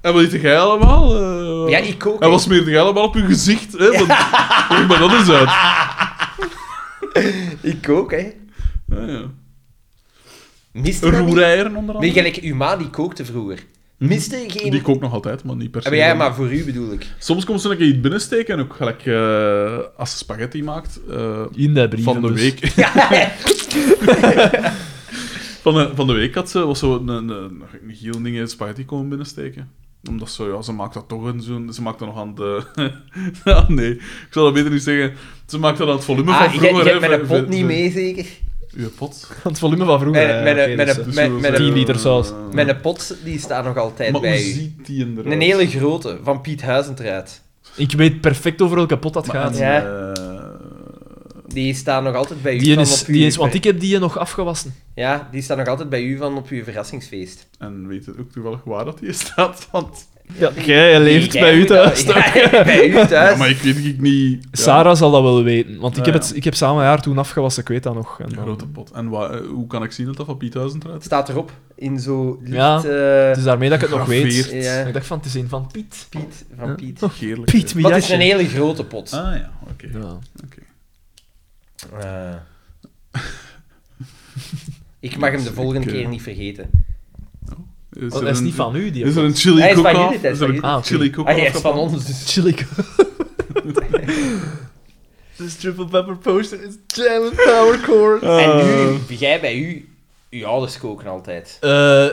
[SPEAKER 2] En wat eet jij allemaal? Eh,
[SPEAKER 4] Ja, ik ook.
[SPEAKER 2] En wat smeerde jij allemaal op je gezicht? Hè? Want, Leg maar dat eens uit. Ah,
[SPEAKER 4] Ik ook, hè.
[SPEAKER 2] Ja, ja.
[SPEAKER 4] Mist je dat niet?
[SPEAKER 2] Roereieren onder
[SPEAKER 4] Nee,
[SPEAKER 2] andere.
[SPEAKER 4] gelijk, uw ma die kookte vroeger. Miste geen...
[SPEAKER 2] Hm? Die kook nog altijd, maar niet per se.
[SPEAKER 4] Ah, maar ja, maar voor u bedoel ik.
[SPEAKER 2] Soms komt ze een keer iets binnensteken en ook gelijk eh, als ze spaghetti maakt. eh,
[SPEAKER 3] In de dus. brief.
[SPEAKER 2] van de week. van, de, van de week had ze was zo een, een, een, een geel ding in het spaghetti komen binnensteken. Omdat ze, ja, ze maakt dat toch een zo'n... Ze maakt dat nog aan de... ah, nee. Ik zal dat beter niet zeggen. Ze maakt dat aan het volume van
[SPEAKER 4] Ah, ik
[SPEAKER 2] vroeger.
[SPEAKER 4] heb
[SPEAKER 2] hè,
[SPEAKER 4] mijn
[SPEAKER 2] van-
[SPEAKER 4] pot niet
[SPEAKER 2] van-
[SPEAKER 4] mee, zeker?
[SPEAKER 2] Uw pot?
[SPEAKER 3] Het volume van vroeger.
[SPEAKER 4] Mijn-
[SPEAKER 3] ja,
[SPEAKER 4] mijn-
[SPEAKER 3] oké,
[SPEAKER 4] mijn-
[SPEAKER 3] dus, eh,
[SPEAKER 4] mijn-
[SPEAKER 2] Dus we
[SPEAKER 4] mijn-
[SPEAKER 2] zijn-
[SPEAKER 3] 10 liter saus.
[SPEAKER 2] Eh,
[SPEAKER 4] Mijn pot, die staat nog altijd
[SPEAKER 2] Maar hoe
[SPEAKER 4] bij u.
[SPEAKER 2] ziet die inderdaad?
[SPEAKER 4] Een hele grote, van Piet Huizentruid.
[SPEAKER 3] Ik weet perfect over welke pot dat
[SPEAKER 2] Maar-
[SPEAKER 3] gaat.
[SPEAKER 2] en,
[SPEAKER 4] Ja.
[SPEAKER 2] eh,
[SPEAKER 4] Die staat nog altijd bij u.
[SPEAKER 3] Die
[SPEAKER 4] van
[SPEAKER 3] is,
[SPEAKER 4] op uw
[SPEAKER 3] die is,
[SPEAKER 4] ver-
[SPEAKER 3] want ik heb die nog afgewassen.
[SPEAKER 4] Ja, die staat nog altijd bij u van op uw verrassingsfeest.
[SPEAKER 2] en weet het ook toevallig waar dat hier staat? Want...
[SPEAKER 3] Ja, jij leeft
[SPEAKER 4] Jij
[SPEAKER 3] bij u
[SPEAKER 4] moet
[SPEAKER 3] thuis.
[SPEAKER 4] dat- Ja, bij u thuis.
[SPEAKER 2] Ja, maar ik weet ik niet... Ja.
[SPEAKER 3] Sarah zal dat wel weten, want ik,
[SPEAKER 2] Ja,
[SPEAKER 3] heb
[SPEAKER 2] ja.
[SPEAKER 3] het, ik heb samen haar toen afgewassen, ik weet dat nog. En
[SPEAKER 2] Een
[SPEAKER 3] dan-
[SPEAKER 2] grote pot. En wa- eh, hoe kan ik zien dat dat van Piet Huizend eruit
[SPEAKER 4] Staat erop, in zo licht...
[SPEAKER 3] Ja,
[SPEAKER 4] eh,
[SPEAKER 3] Het is daarmee dat ik het nog weet.
[SPEAKER 2] Gegraveerd.
[SPEAKER 4] ja,
[SPEAKER 3] Ik dacht van, het is een van Piet.
[SPEAKER 4] Piet,
[SPEAKER 3] Ja. Oh,
[SPEAKER 4] van Piet.
[SPEAKER 2] is? Heerlijk.
[SPEAKER 3] Piet,
[SPEAKER 4] Maar
[SPEAKER 3] mijn
[SPEAKER 4] het is een
[SPEAKER 3] jasje.
[SPEAKER 4] hele grote pot.
[SPEAKER 2] Ah ja, oké.
[SPEAKER 3] Ja.
[SPEAKER 4] Eh. ik mag hem de
[SPEAKER 2] Ik,
[SPEAKER 4] volgende
[SPEAKER 2] eh,
[SPEAKER 4] keer niet vergeten.
[SPEAKER 2] Is
[SPEAKER 3] Dat Oh, is
[SPEAKER 2] een-
[SPEAKER 3] niet van u, die
[SPEAKER 2] Is er een chili
[SPEAKER 4] Hij is van
[SPEAKER 2] cook-off?
[SPEAKER 4] jullie, hij is
[SPEAKER 2] er
[SPEAKER 4] van
[SPEAKER 2] een
[SPEAKER 3] jullie. Ah, oké.
[SPEAKER 2] chili cook-off?
[SPEAKER 4] Ah, hij is van
[SPEAKER 2] gepland?
[SPEAKER 4] ons, dus...
[SPEAKER 3] chili. This triple pepper poster is jam and power core.
[SPEAKER 4] En nu, jij bij u, uw ouders koken altijd.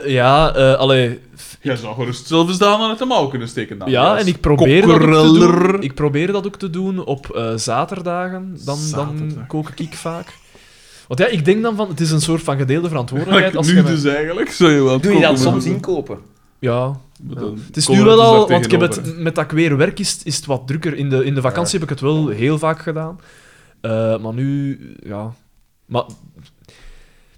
[SPEAKER 3] ja, eh allee.
[SPEAKER 2] Jij zou gerust zelf eens daar uit de mouw kunnen steken. Dan.
[SPEAKER 3] Ja,
[SPEAKER 2] als
[SPEAKER 3] en ik probeer, dat ook te
[SPEAKER 2] Ah, kokkereller.
[SPEAKER 3] doen. ik probeer dat ook te doen op eh, zaterdagen. Dan, dan
[SPEAKER 2] Zaterdag.
[SPEAKER 3] kook ik vaak. Want ja, ik denk dan van, het is een soort van gedeelde verantwoordelijkheid.
[SPEAKER 2] Like
[SPEAKER 3] Als
[SPEAKER 2] nu
[SPEAKER 3] je me-
[SPEAKER 2] dus eigenlijk, zou je wel
[SPEAKER 4] Doe je dat
[SPEAKER 2] koken
[SPEAKER 4] soms
[SPEAKER 2] doen.
[SPEAKER 4] inkopen?
[SPEAKER 3] Ja,
[SPEAKER 2] Maar
[SPEAKER 3] Ja.
[SPEAKER 2] dan
[SPEAKER 3] Het is
[SPEAKER 2] komen
[SPEAKER 3] nu
[SPEAKER 2] we
[SPEAKER 3] wel
[SPEAKER 2] dus
[SPEAKER 3] al,
[SPEAKER 2] daar
[SPEAKER 3] want ik heb
[SPEAKER 2] tegenover.
[SPEAKER 3] het, met dat ik weer werk is, het- is het wat drukker. In de, in de vakantie heb ik het wel heel vaak gedaan. Eh, maar nu, ja. Maar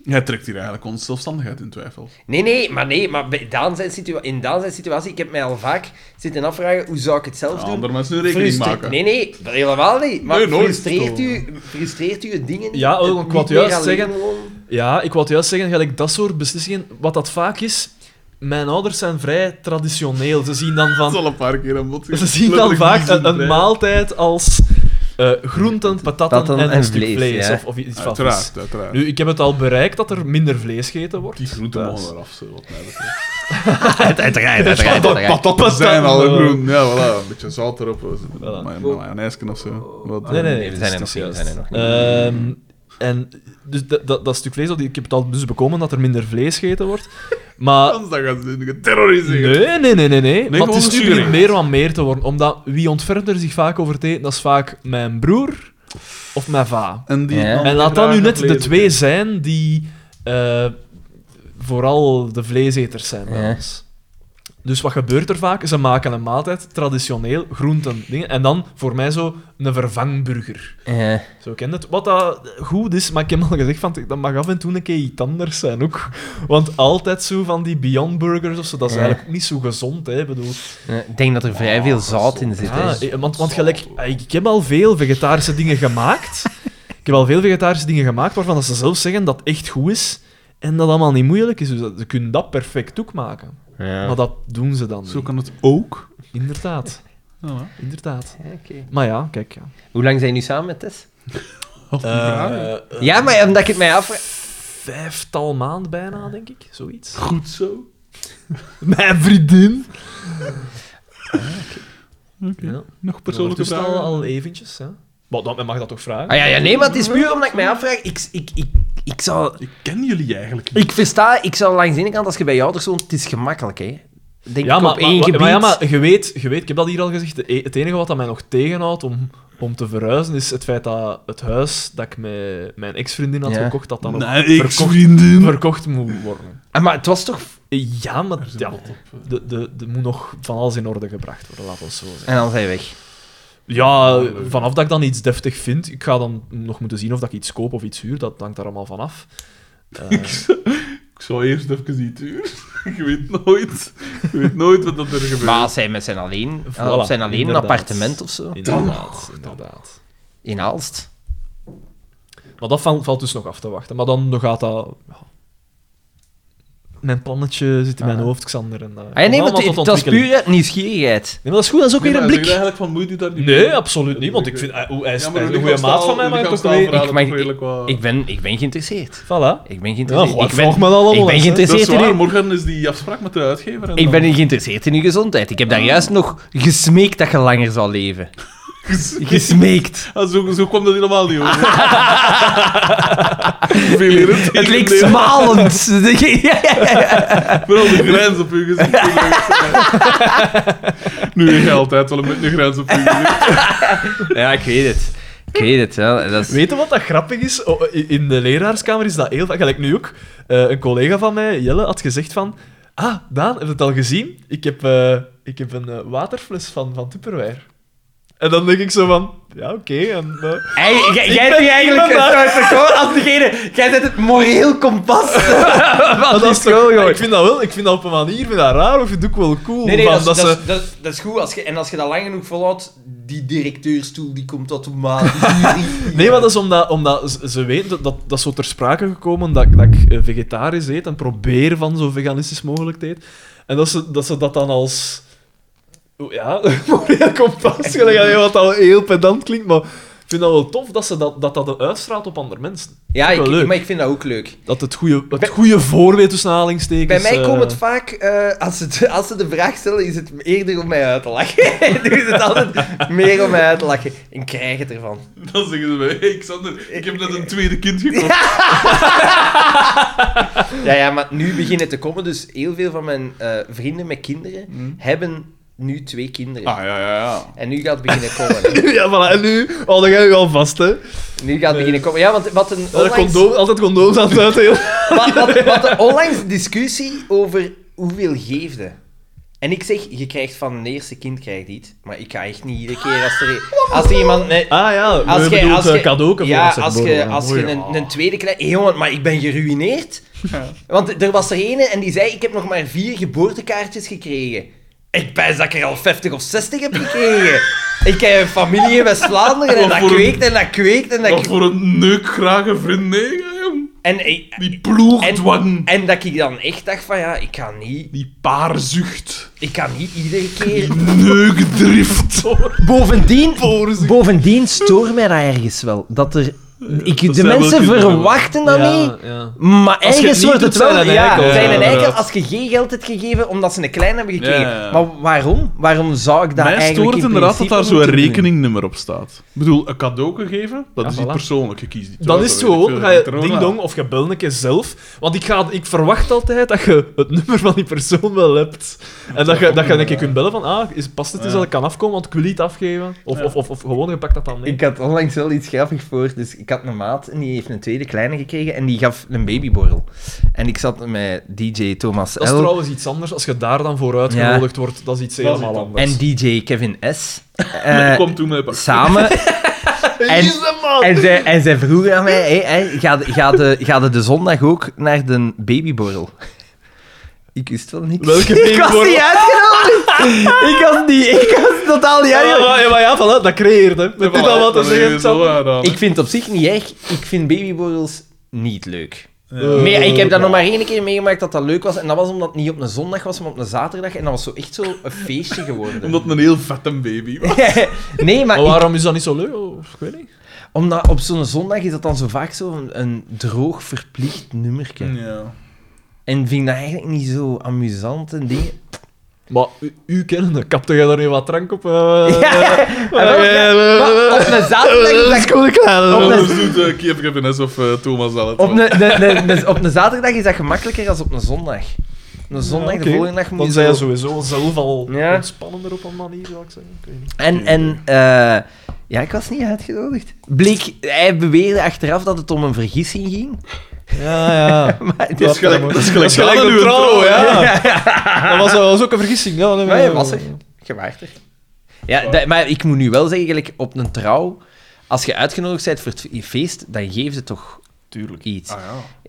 [SPEAKER 2] Jij trekt hier eigenlijk onze zelfstandigheid in twijfel.
[SPEAKER 4] Nee, nee, maar, nee, maar bij Daan zijn situa- in Daan zijn situatie, ik heb mij al vaak zitten afvragen, hoe zou ik het zelf
[SPEAKER 2] Ja,
[SPEAKER 4] doen?
[SPEAKER 2] andere mensen nu rekening
[SPEAKER 4] Frustre-
[SPEAKER 2] maken.
[SPEAKER 4] Nee, nee, dat helemaal niet. Maar
[SPEAKER 2] Nee, nooit.
[SPEAKER 4] frustreert, u, frustreert u het dingen niet?
[SPEAKER 3] Ja, oh,
[SPEAKER 4] Het
[SPEAKER 3] ik
[SPEAKER 4] niet
[SPEAKER 3] wou het
[SPEAKER 4] meer
[SPEAKER 3] juist
[SPEAKER 4] alleen
[SPEAKER 3] zeggen.
[SPEAKER 4] gewoon?
[SPEAKER 3] ja, ik wou het juist zeggen, gelijk dat soort beslissingen, wat dat vaak is, mijn ouders zijn vrij traditioneel. Ze zien dan
[SPEAKER 2] Dat
[SPEAKER 3] van...
[SPEAKER 2] is al een paar keer een bod.
[SPEAKER 3] Ze zien dan vaak een, een maaltijd als eh,
[SPEAKER 4] Hm.
[SPEAKER 3] groenten, patatten
[SPEAKER 1] Patatten
[SPEAKER 3] en,
[SPEAKER 1] en
[SPEAKER 3] een stuk
[SPEAKER 1] vlees,
[SPEAKER 3] vlees.
[SPEAKER 1] ja.
[SPEAKER 3] of, of iets van vis.
[SPEAKER 2] Uiteraard, uiteraard.
[SPEAKER 3] Nu, ik heb het al bereikt dat er minder vlees gegeten wordt.
[SPEAKER 2] die groenten
[SPEAKER 3] thuis.
[SPEAKER 2] mogen eraf, zo, wat mij betreft.
[SPEAKER 1] Uiteraard, uiteraard, uiteraard.
[SPEAKER 2] Patatten zijn al
[SPEAKER 3] Patatten,
[SPEAKER 2] groen. Ja, voilà. Een beetje zout erop. eh,
[SPEAKER 3] Voilà.
[SPEAKER 2] Mijn mayonaise of zo. Wat, eh,
[SPEAKER 3] Nee, nee, nee.
[SPEAKER 4] we
[SPEAKER 3] het
[SPEAKER 4] zijn
[SPEAKER 3] is-
[SPEAKER 4] er nog
[SPEAKER 3] het is
[SPEAKER 4] niet, we zijn er nog niet.
[SPEAKER 3] Ehm, en dus dat, dat, dat stuk vlees, dat, ik heb het al dus bekomen dat er minder vlees gegeten wordt. Maar
[SPEAKER 2] Anders dan gaan ze terroriseren.
[SPEAKER 3] nee, nee, nee, nee. nee. maar het
[SPEAKER 2] gewoon
[SPEAKER 3] is nu
[SPEAKER 2] zuur.
[SPEAKER 3] begint meer van meer te worden. Omdat wie ontfermt er zich vaak over het eten, dat is vaak mijn broer of mijn va.
[SPEAKER 2] En, die
[SPEAKER 1] Ja.
[SPEAKER 3] En laat dat nu net de twee zijn die eh, vooral de vleeseters zijn bij
[SPEAKER 1] Ja.
[SPEAKER 3] ons. Dus wat gebeurt er vaak? Ze maken een maaltijd, traditioneel, groenten, dingen. En dan, voor mij zo, een vervangburger.
[SPEAKER 4] Eh,
[SPEAKER 1] Ja.
[SPEAKER 3] Zo ken je het. Wat dat goed is, maar ik heb al gezegd, van, dat mag af en toe een keer iets anders zijn ook. Want altijd zo van die Beyond Burgers of zo, dat is
[SPEAKER 1] Ja.
[SPEAKER 3] eigenlijk ook niet zo gezond, hè. Ik Bedoel,
[SPEAKER 1] Ja,
[SPEAKER 4] eh,
[SPEAKER 1] Ik denk dat er vrij veel zout in zit.
[SPEAKER 3] ja,
[SPEAKER 1] hè.
[SPEAKER 3] eh, want, want gelijk, eh, ik, ik heb al veel vegetarische dingen gemaakt. ik heb al veel vegetarische dingen gemaakt waarvan dat ze zelf zeggen dat het echt goed is en dat allemaal niet moeilijk is. Dus dat, ze kunnen dat perfect ook maken. Maar
[SPEAKER 1] Ja.
[SPEAKER 3] dat doen ze dan
[SPEAKER 2] Zo
[SPEAKER 3] niet.
[SPEAKER 2] kan het ook.
[SPEAKER 3] Inderdaad.
[SPEAKER 2] Ja,
[SPEAKER 3] Inderdaad.
[SPEAKER 4] Oké.
[SPEAKER 3] Maar ja, kijk. Ja.
[SPEAKER 4] Hoe lang zijn jullie samen met Tess?
[SPEAKER 2] ja.
[SPEAKER 3] Eh, eh,
[SPEAKER 4] Ja, maar omdat ik het mij afvraag...
[SPEAKER 3] Vijftal maand bijna, denk ik. Zoiets.
[SPEAKER 2] Goed zo.
[SPEAKER 3] Mijn vriendin. Ja.
[SPEAKER 2] Nog Ah, persoonlijke
[SPEAKER 3] Persoonlijk
[SPEAKER 2] vragen?
[SPEAKER 3] al, al eventjes. Ja. Maar dan, men mag dat toch vragen?
[SPEAKER 4] Ah ja, ja, nee, maar het is puur omdat ik mij afvraag... Ik, ik, ik, ik zou...
[SPEAKER 2] Ik ken jullie eigenlijk niet.
[SPEAKER 4] Ik versta, ik zou langs de ene kant, als je bij je ouders woont, het is gemakkelijk, hè. Denk
[SPEAKER 3] ja,
[SPEAKER 4] ik
[SPEAKER 3] maar,
[SPEAKER 4] op één
[SPEAKER 3] maar-
[SPEAKER 4] gebied.
[SPEAKER 3] maar ja, maar je weet, je weet, ik heb dat hier al gezegd, de e- het enige wat dat mij nog tegenhoudt om, om te verhuizen is het feit dat het huis dat ik met mijn ex-vriendin had
[SPEAKER 1] Ja.
[SPEAKER 3] gekocht, dat dan ook
[SPEAKER 2] Nee, ik
[SPEAKER 3] verkocht,
[SPEAKER 2] vrienden.
[SPEAKER 3] verkocht moet worden.
[SPEAKER 4] Ah, maar het was toch...
[SPEAKER 3] Ja, maar
[SPEAKER 2] Er zit
[SPEAKER 3] ja,
[SPEAKER 2] bot op.
[SPEAKER 3] de, de, de moet nog van alles in orde gebracht worden, laat ons zo zeggen.
[SPEAKER 1] En dan zijn weg.
[SPEAKER 3] Ja, vanaf dat ik dan iets deftig vind, ik ga dan nog moeten zien of dat ik iets koop of iets huur, dat hangt daar allemaal van af. Eh,
[SPEAKER 2] Ik zou eerst even die tuur. Je weet nooit. Je weet nooit wat dat er gebeurt.
[SPEAKER 4] Maar als hij met zijn alleen,
[SPEAKER 3] Voilà,
[SPEAKER 4] op zijn alleen een
[SPEAKER 3] inderdaad.
[SPEAKER 4] appartement of zo.
[SPEAKER 3] inderdaad, inderdaad.
[SPEAKER 4] In Aalst.
[SPEAKER 3] Maar dat val- valt dus nog af te wachten. Maar dan, dan gaat dat... ja. Mijn plannetje zit in mijn
[SPEAKER 4] Ah.
[SPEAKER 3] hoofd, Xander. En, eh,
[SPEAKER 4] Ah, ja,
[SPEAKER 3] komt
[SPEAKER 4] nee, maar
[SPEAKER 3] allemaal
[SPEAKER 4] het-
[SPEAKER 3] tot
[SPEAKER 4] dat is
[SPEAKER 3] ontwikkeling.
[SPEAKER 4] puur uit nieuwsgierigheid.
[SPEAKER 3] Nee, maar dat is goed, dat is ook
[SPEAKER 2] Nee,
[SPEAKER 3] weer een
[SPEAKER 2] maar zeg je
[SPEAKER 3] blik.
[SPEAKER 2] eigenlijk van, moet je daar niet
[SPEAKER 3] Nee,
[SPEAKER 2] mee?
[SPEAKER 3] absoluut niet, want ik vind... eh, hoe- Hij is
[SPEAKER 2] Ja,
[SPEAKER 3] hij
[SPEAKER 2] maar
[SPEAKER 3] is
[SPEAKER 2] de
[SPEAKER 3] een goede maat van mij, maar toch weer...
[SPEAKER 4] Ik mag-
[SPEAKER 2] redelijk wat...
[SPEAKER 4] Ik ben, ik ben geïnteresseerd.
[SPEAKER 3] Voilà.
[SPEAKER 4] Ik ben
[SPEAKER 3] Ja,
[SPEAKER 4] geïnteresseerd.
[SPEAKER 3] goh,
[SPEAKER 4] ik ben,
[SPEAKER 3] volg me dan allemaal
[SPEAKER 4] ik ben
[SPEAKER 3] eens, hè.
[SPEAKER 2] dat is
[SPEAKER 4] geïnteresseerd in
[SPEAKER 2] waar,
[SPEAKER 4] uw-
[SPEAKER 2] morgen is die afspraak met de uitgever. En
[SPEAKER 4] Ik
[SPEAKER 2] dan-
[SPEAKER 4] ben geïnteresseerd in uw gezondheid. Ik heb daar juist nog gesmeekt dat je langer zou leven. Gesmeekt.
[SPEAKER 2] Ah, zo, zo kwam dat helemaal niet over. Veel irritant.
[SPEAKER 4] Het leek smalend. Ja, ja, ja.
[SPEAKER 2] Vooral de grens op uw gezicht. nu heb je altijd wel een beetje een grens op uw gezicht.
[SPEAKER 4] Ja, ik weet het. Ik weet het. Ja. Dat is...
[SPEAKER 3] Weet je wat dat grappig is? O, i- In de leraarskamer is dat heel vaak. Gelijk nu ook. Eh, een collega van mij, Jelle, had gezegd van... Ah, Daan, heb je het al gezien? Ik heb, eh, ik heb een eh, waterfles van, van Tupperware. En dan denk ik zo van... Ja, oké. en, eh,
[SPEAKER 4] Ei, jij-
[SPEAKER 3] ben-
[SPEAKER 4] jij bent
[SPEAKER 3] ik
[SPEAKER 4] eigenlijk
[SPEAKER 3] ben daar.
[SPEAKER 4] een soort gewoon als degene... Jij bent het moreel kompas.
[SPEAKER 3] maar dat Ah, is toch-
[SPEAKER 4] joh.
[SPEAKER 3] ik vind dat wel... Ik vind dat op een manier vind dat raar, of vind het ook wel cool.
[SPEAKER 4] Nee, nee,
[SPEAKER 3] van
[SPEAKER 4] dat, is-
[SPEAKER 3] dat
[SPEAKER 4] dat,
[SPEAKER 3] ze-
[SPEAKER 4] is- dat, is- dat is goed. Als je, en als je dat lang genoeg volhoudt, die directeurstoel die komt automatisch.
[SPEAKER 3] Nee, maar dat is omdat, omdat ze- ze weten dat, dat, dat is zo ter sprake gekomen dat, ik- dat ik eh, vegetarisch eet en probeer van zo veganistisch mogelijk te eten. En dat ze dat, ze dat dan als. oh, Ja, moreel kompas. gelijk, allee, Wat al heel pedant klinkt, maar ik vind dat wel tof dat ze dat, dat, dat uitstraalt op andere mensen.
[SPEAKER 4] Ja,
[SPEAKER 3] Ook wel
[SPEAKER 4] ik,
[SPEAKER 3] leuk.
[SPEAKER 4] maar ik vind dat ook leuk.
[SPEAKER 3] Dat het goede, het
[SPEAKER 4] Bij-
[SPEAKER 3] goede voorbeeld tussen aanhalingstekens.
[SPEAKER 4] Bij mij
[SPEAKER 3] eh,
[SPEAKER 4] komt het vaak, eh, als, ze het- als ze de vraag stellen, is het eerder om mij uit te lachen. Doen ze het altijd meer om mij uit te lachen. En krijg het ervan.
[SPEAKER 2] Dan zeggen ze bij, hey Xander, ik heb net een tweede kind gekocht.
[SPEAKER 4] Ja, ja, maar nu begint het te komen. Dus heel veel van mijn eh, vrienden met kinderen
[SPEAKER 3] Mm.
[SPEAKER 4] hebben nu twee kinderen.
[SPEAKER 2] Ah, ja, ja, ja.
[SPEAKER 4] En nu gaat het beginnen komen.
[SPEAKER 3] Ja, voilà, en nu hou jij je al vast,
[SPEAKER 4] Oh,
[SPEAKER 3] hè?
[SPEAKER 4] nu gaat het beginnen komen. Ja, want wat een
[SPEAKER 3] Altijd
[SPEAKER 4] onlangs,
[SPEAKER 3] Eh, Condoom, altijd condooms aan het uitdelen.
[SPEAKER 4] wat, wat, wat een onlangs discussie over hoeveel geefde. En ik zeg, je krijgt van een eerste kind krijg je iets. Maar ik ga echt niet iedere keer als er, als er iemand... Nee,
[SPEAKER 3] Ah ja,
[SPEAKER 4] als
[SPEAKER 3] je
[SPEAKER 4] je, als je,
[SPEAKER 3] cadeau kan
[SPEAKER 4] ja, als je, eh, als je een, een tweede krijgt... Hé, jongen, maar ik ben geruineerd. Want er was er ene en die zei, ik heb nog maar vier geboortekaartjes gekregen. Ik pijs dat ik er al 50 of 60 heb gekregen. ik heb een familie in West-Vlaanderen en
[SPEAKER 2] Wat
[SPEAKER 4] dat
[SPEAKER 2] voor een-
[SPEAKER 4] kweekt en dat kweekt en dat
[SPEAKER 2] Wat
[SPEAKER 4] kweekt.
[SPEAKER 2] voor een neuk grage vriend, nee, jong.
[SPEAKER 4] En, ik-
[SPEAKER 2] Die ploegdwang.
[SPEAKER 4] en, en dat ik dan echt dacht van, ja, ik kan niet...
[SPEAKER 2] Die paarzucht.
[SPEAKER 4] Ik kan niet iedere keer...
[SPEAKER 2] Neukdrift.
[SPEAKER 4] Bovendien, bovendien stoort mij dat ergens wel. Eh, Dat er, ik,
[SPEAKER 2] dat
[SPEAKER 4] de
[SPEAKER 2] zijn wel
[SPEAKER 4] mensen
[SPEAKER 2] kinderen.
[SPEAKER 4] verwachten dat niet,
[SPEAKER 3] ja.
[SPEAKER 4] maar
[SPEAKER 3] het
[SPEAKER 4] ergens
[SPEAKER 3] niet
[SPEAKER 4] wordt
[SPEAKER 3] doet,
[SPEAKER 4] het wel...
[SPEAKER 3] zijn een
[SPEAKER 4] ja,
[SPEAKER 3] eikel.
[SPEAKER 4] zijn
[SPEAKER 2] Ja,
[SPEAKER 4] een eikel
[SPEAKER 2] inderdaad.
[SPEAKER 4] als je geen geld hebt gegeven omdat ze een klein hebben gekregen.
[SPEAKER 2] Ja, ja, ja.
[SPEAKER 4] Maar waarom? Waarom zou ik dat
[SPEAKER 2] Mij
[SPEAKER 4] eigenlijk
[SPEAKER 2] stoort
[SPEAKER 4] in
[SPEAKER 2] inderdaad dat
[SPEAKER 4] principe
[SPEAKER 2] daar zo'n
[SPEAKER 4] moeten doen?
[SPEAKER 2] rekeningnummer op staat. Ik bedoel, een cadeau geven, dat
[SPEAKER 3] Ja,
[SPEAKER 2] is niet
[SPEAKER 3] voilà.
[SPEAKER 2] persoonlijk. Je kiest die
[SPEAKER 3] Dan
[SPEAKER 2] thuis,
[SPEAKER 3] is het
[SPEAKER 2] dat weet ik
[SPEAKER 3] gewoon,
[SPEAKER 2] veel,
[SPEAKER 3] ga je
[SPEAKER 2] corona.
[SPEAKER 3] ding-dong of je belt een keer zelf. Want ik, ga, ik verwacht altijd dat je het nummer van die persoon wel hebt. En dat je, dat je een keer kunt bellen van, ah, is, past het eens
[SPEAKER 2] Ja.
[SPEAKER 3] dat ik kan afkomen, want ik wil niet afgeven. Of,
[SPEAKER 2] Ja.
[SPEAKER 3] of, of, of gewoon, je pakt dat dan mee.
[SPEAKER 4] Ik had onlangs wel iets grappig voor. Dus ik had een maat en die heeft een tweede kleine gekregen en die gaf een babyborrel. En ik zat met DJ Thomas
[SPEAKER 3] dat is
[SPEAKER 4] L.
[SPEAKER 3] trouwens iets anders. Als je daar dan voor uitgenodigd wordt, dat is iets
[SPEAKER 2] Dat is
[SPEAKER 3] helemaal
[SPEAKER 2] iets
[SPEAKER 3] anders.
[SPEAKER 4] En DJ Kevin S.
[SPEAKER 2] Ik
[SPEAKER 4] Eh,
[SPEAKER 2] kwam toen met pak.
[SPEAKER 4] samen. en, en, zij, en zij vroeg aan mij: hey, hey, ga, de- ga, de, ga de de zondag ook naar de babyborrel? Ik wist wel niks.
[SPEAKER 3] Welke
[SPEAKER 4] Ik was
[SPEAKER 3] babyborrel?
[SPEAKER 4] niet uitgenodigd. ik, was niet, ik was totaal niet
[SPEAKER 3] ja, ja,
[SPEAKER 4] uitgenodigd.
[SPEAKER 3] ja, maar ja, voilà, dat creëert hem. Met dit al wat te zeggen. Sam.
[SPEAKER 4] Ik vind het op zich niet erg. Ik vind babyborrels niet leuk.
[SPEAKER 3] Eh,
[SPEAKER 4] Nee, ik heb dat nog maar één keer meegemaakt dat dat leuk was. En dat was omdat het niet op een zondag was, maar op een zaterdag. En dat was zo echt zo een feestje geworden.
[SPEAKER 2] Omdat het een heel vette baby was.
[SPEAKER 4] nee, maar
[SPEAKER 3] Maar
[SPEAKER 4] ik-
[SPEAKER 3] waarom is dat niet zo leuk? Oh, Ik weet niet.
[SPEAKER 4] Omdat op zo'n zondag is dat dan zo vaak zo'n een, droog verplicht nummerke.
[SPEAKER 2] Ja.
[SPEAKER 4] En vind ik dat eigenlijk niet zo amusant en ding.
[SPEAKER 3] Maar u, u kennende, kapte jij daar nu wat drank op? eh,
[SPEAKER 4] Ah, wel, ja. Maar op een zaterdag is dat...
[SPEAKER 2] Op
[SPEAKER 4] Op een-
[SPEAKER 2] dat doet eh, Kiev Kevin S. of eh, Thomas al het
[SPEAKER 4] Op
[SPEAKER 2] wel.
[SPEAKER 4] een, een- een- een- op een zaterdag is dat gemakkelijker dan op een zondag. Op een zondag,
[SPEAKER 3] Ja,
[SPEAKER 4] de
[SPEAKER 3] oké.
[SPEAKER 4] volgende dag moet
[SPEAKER 3] Dan
[SPEAKER 4] je
[SPEAKER 3] zijn
[SPEAKER 4] zo...
[SPEAKER 3] je sowieso zelf al
[SPEAKER 4] Ja.
[SPEAKER 3] ontspannender op een manier, zou ik zeggen. Ik weet niet.
[SPEAKER 4] En, en eh, ja, ik was niet uitgenodigd. Bleek, hij beweerde achteraf dat het om een vergissing ging.
[SPEAKER 3] Ja, ja.
[SPEAKER 2] Dat is gelijk, dat is gelijk,
[SPEAKER 3] Dat is gelijk
[SPEAKER 2] aan
[SPEAKER 3] de
[SPEAKER 2] uw
[SPEAKER 3] trouw,
[SPEAKER 2] trouw,
[SPEAKER 3] ja. Dat was, dat was ook een vergissing. Ja, nee,
[SPEAKER 4] Maar
[SPEAKER 3] nee,
[SPEAKER 4] je was er. Je waart er. Ja, dat- maar ik moet nu wel zeggen, gelijk, op een trouw, als je uitgenodigd bent voor het feest, dan geven ze toch
[SPEAKER 2] Tuurlijk.
[SPEAKER 4] iets.
[SPEAKER 2] Ah, ja.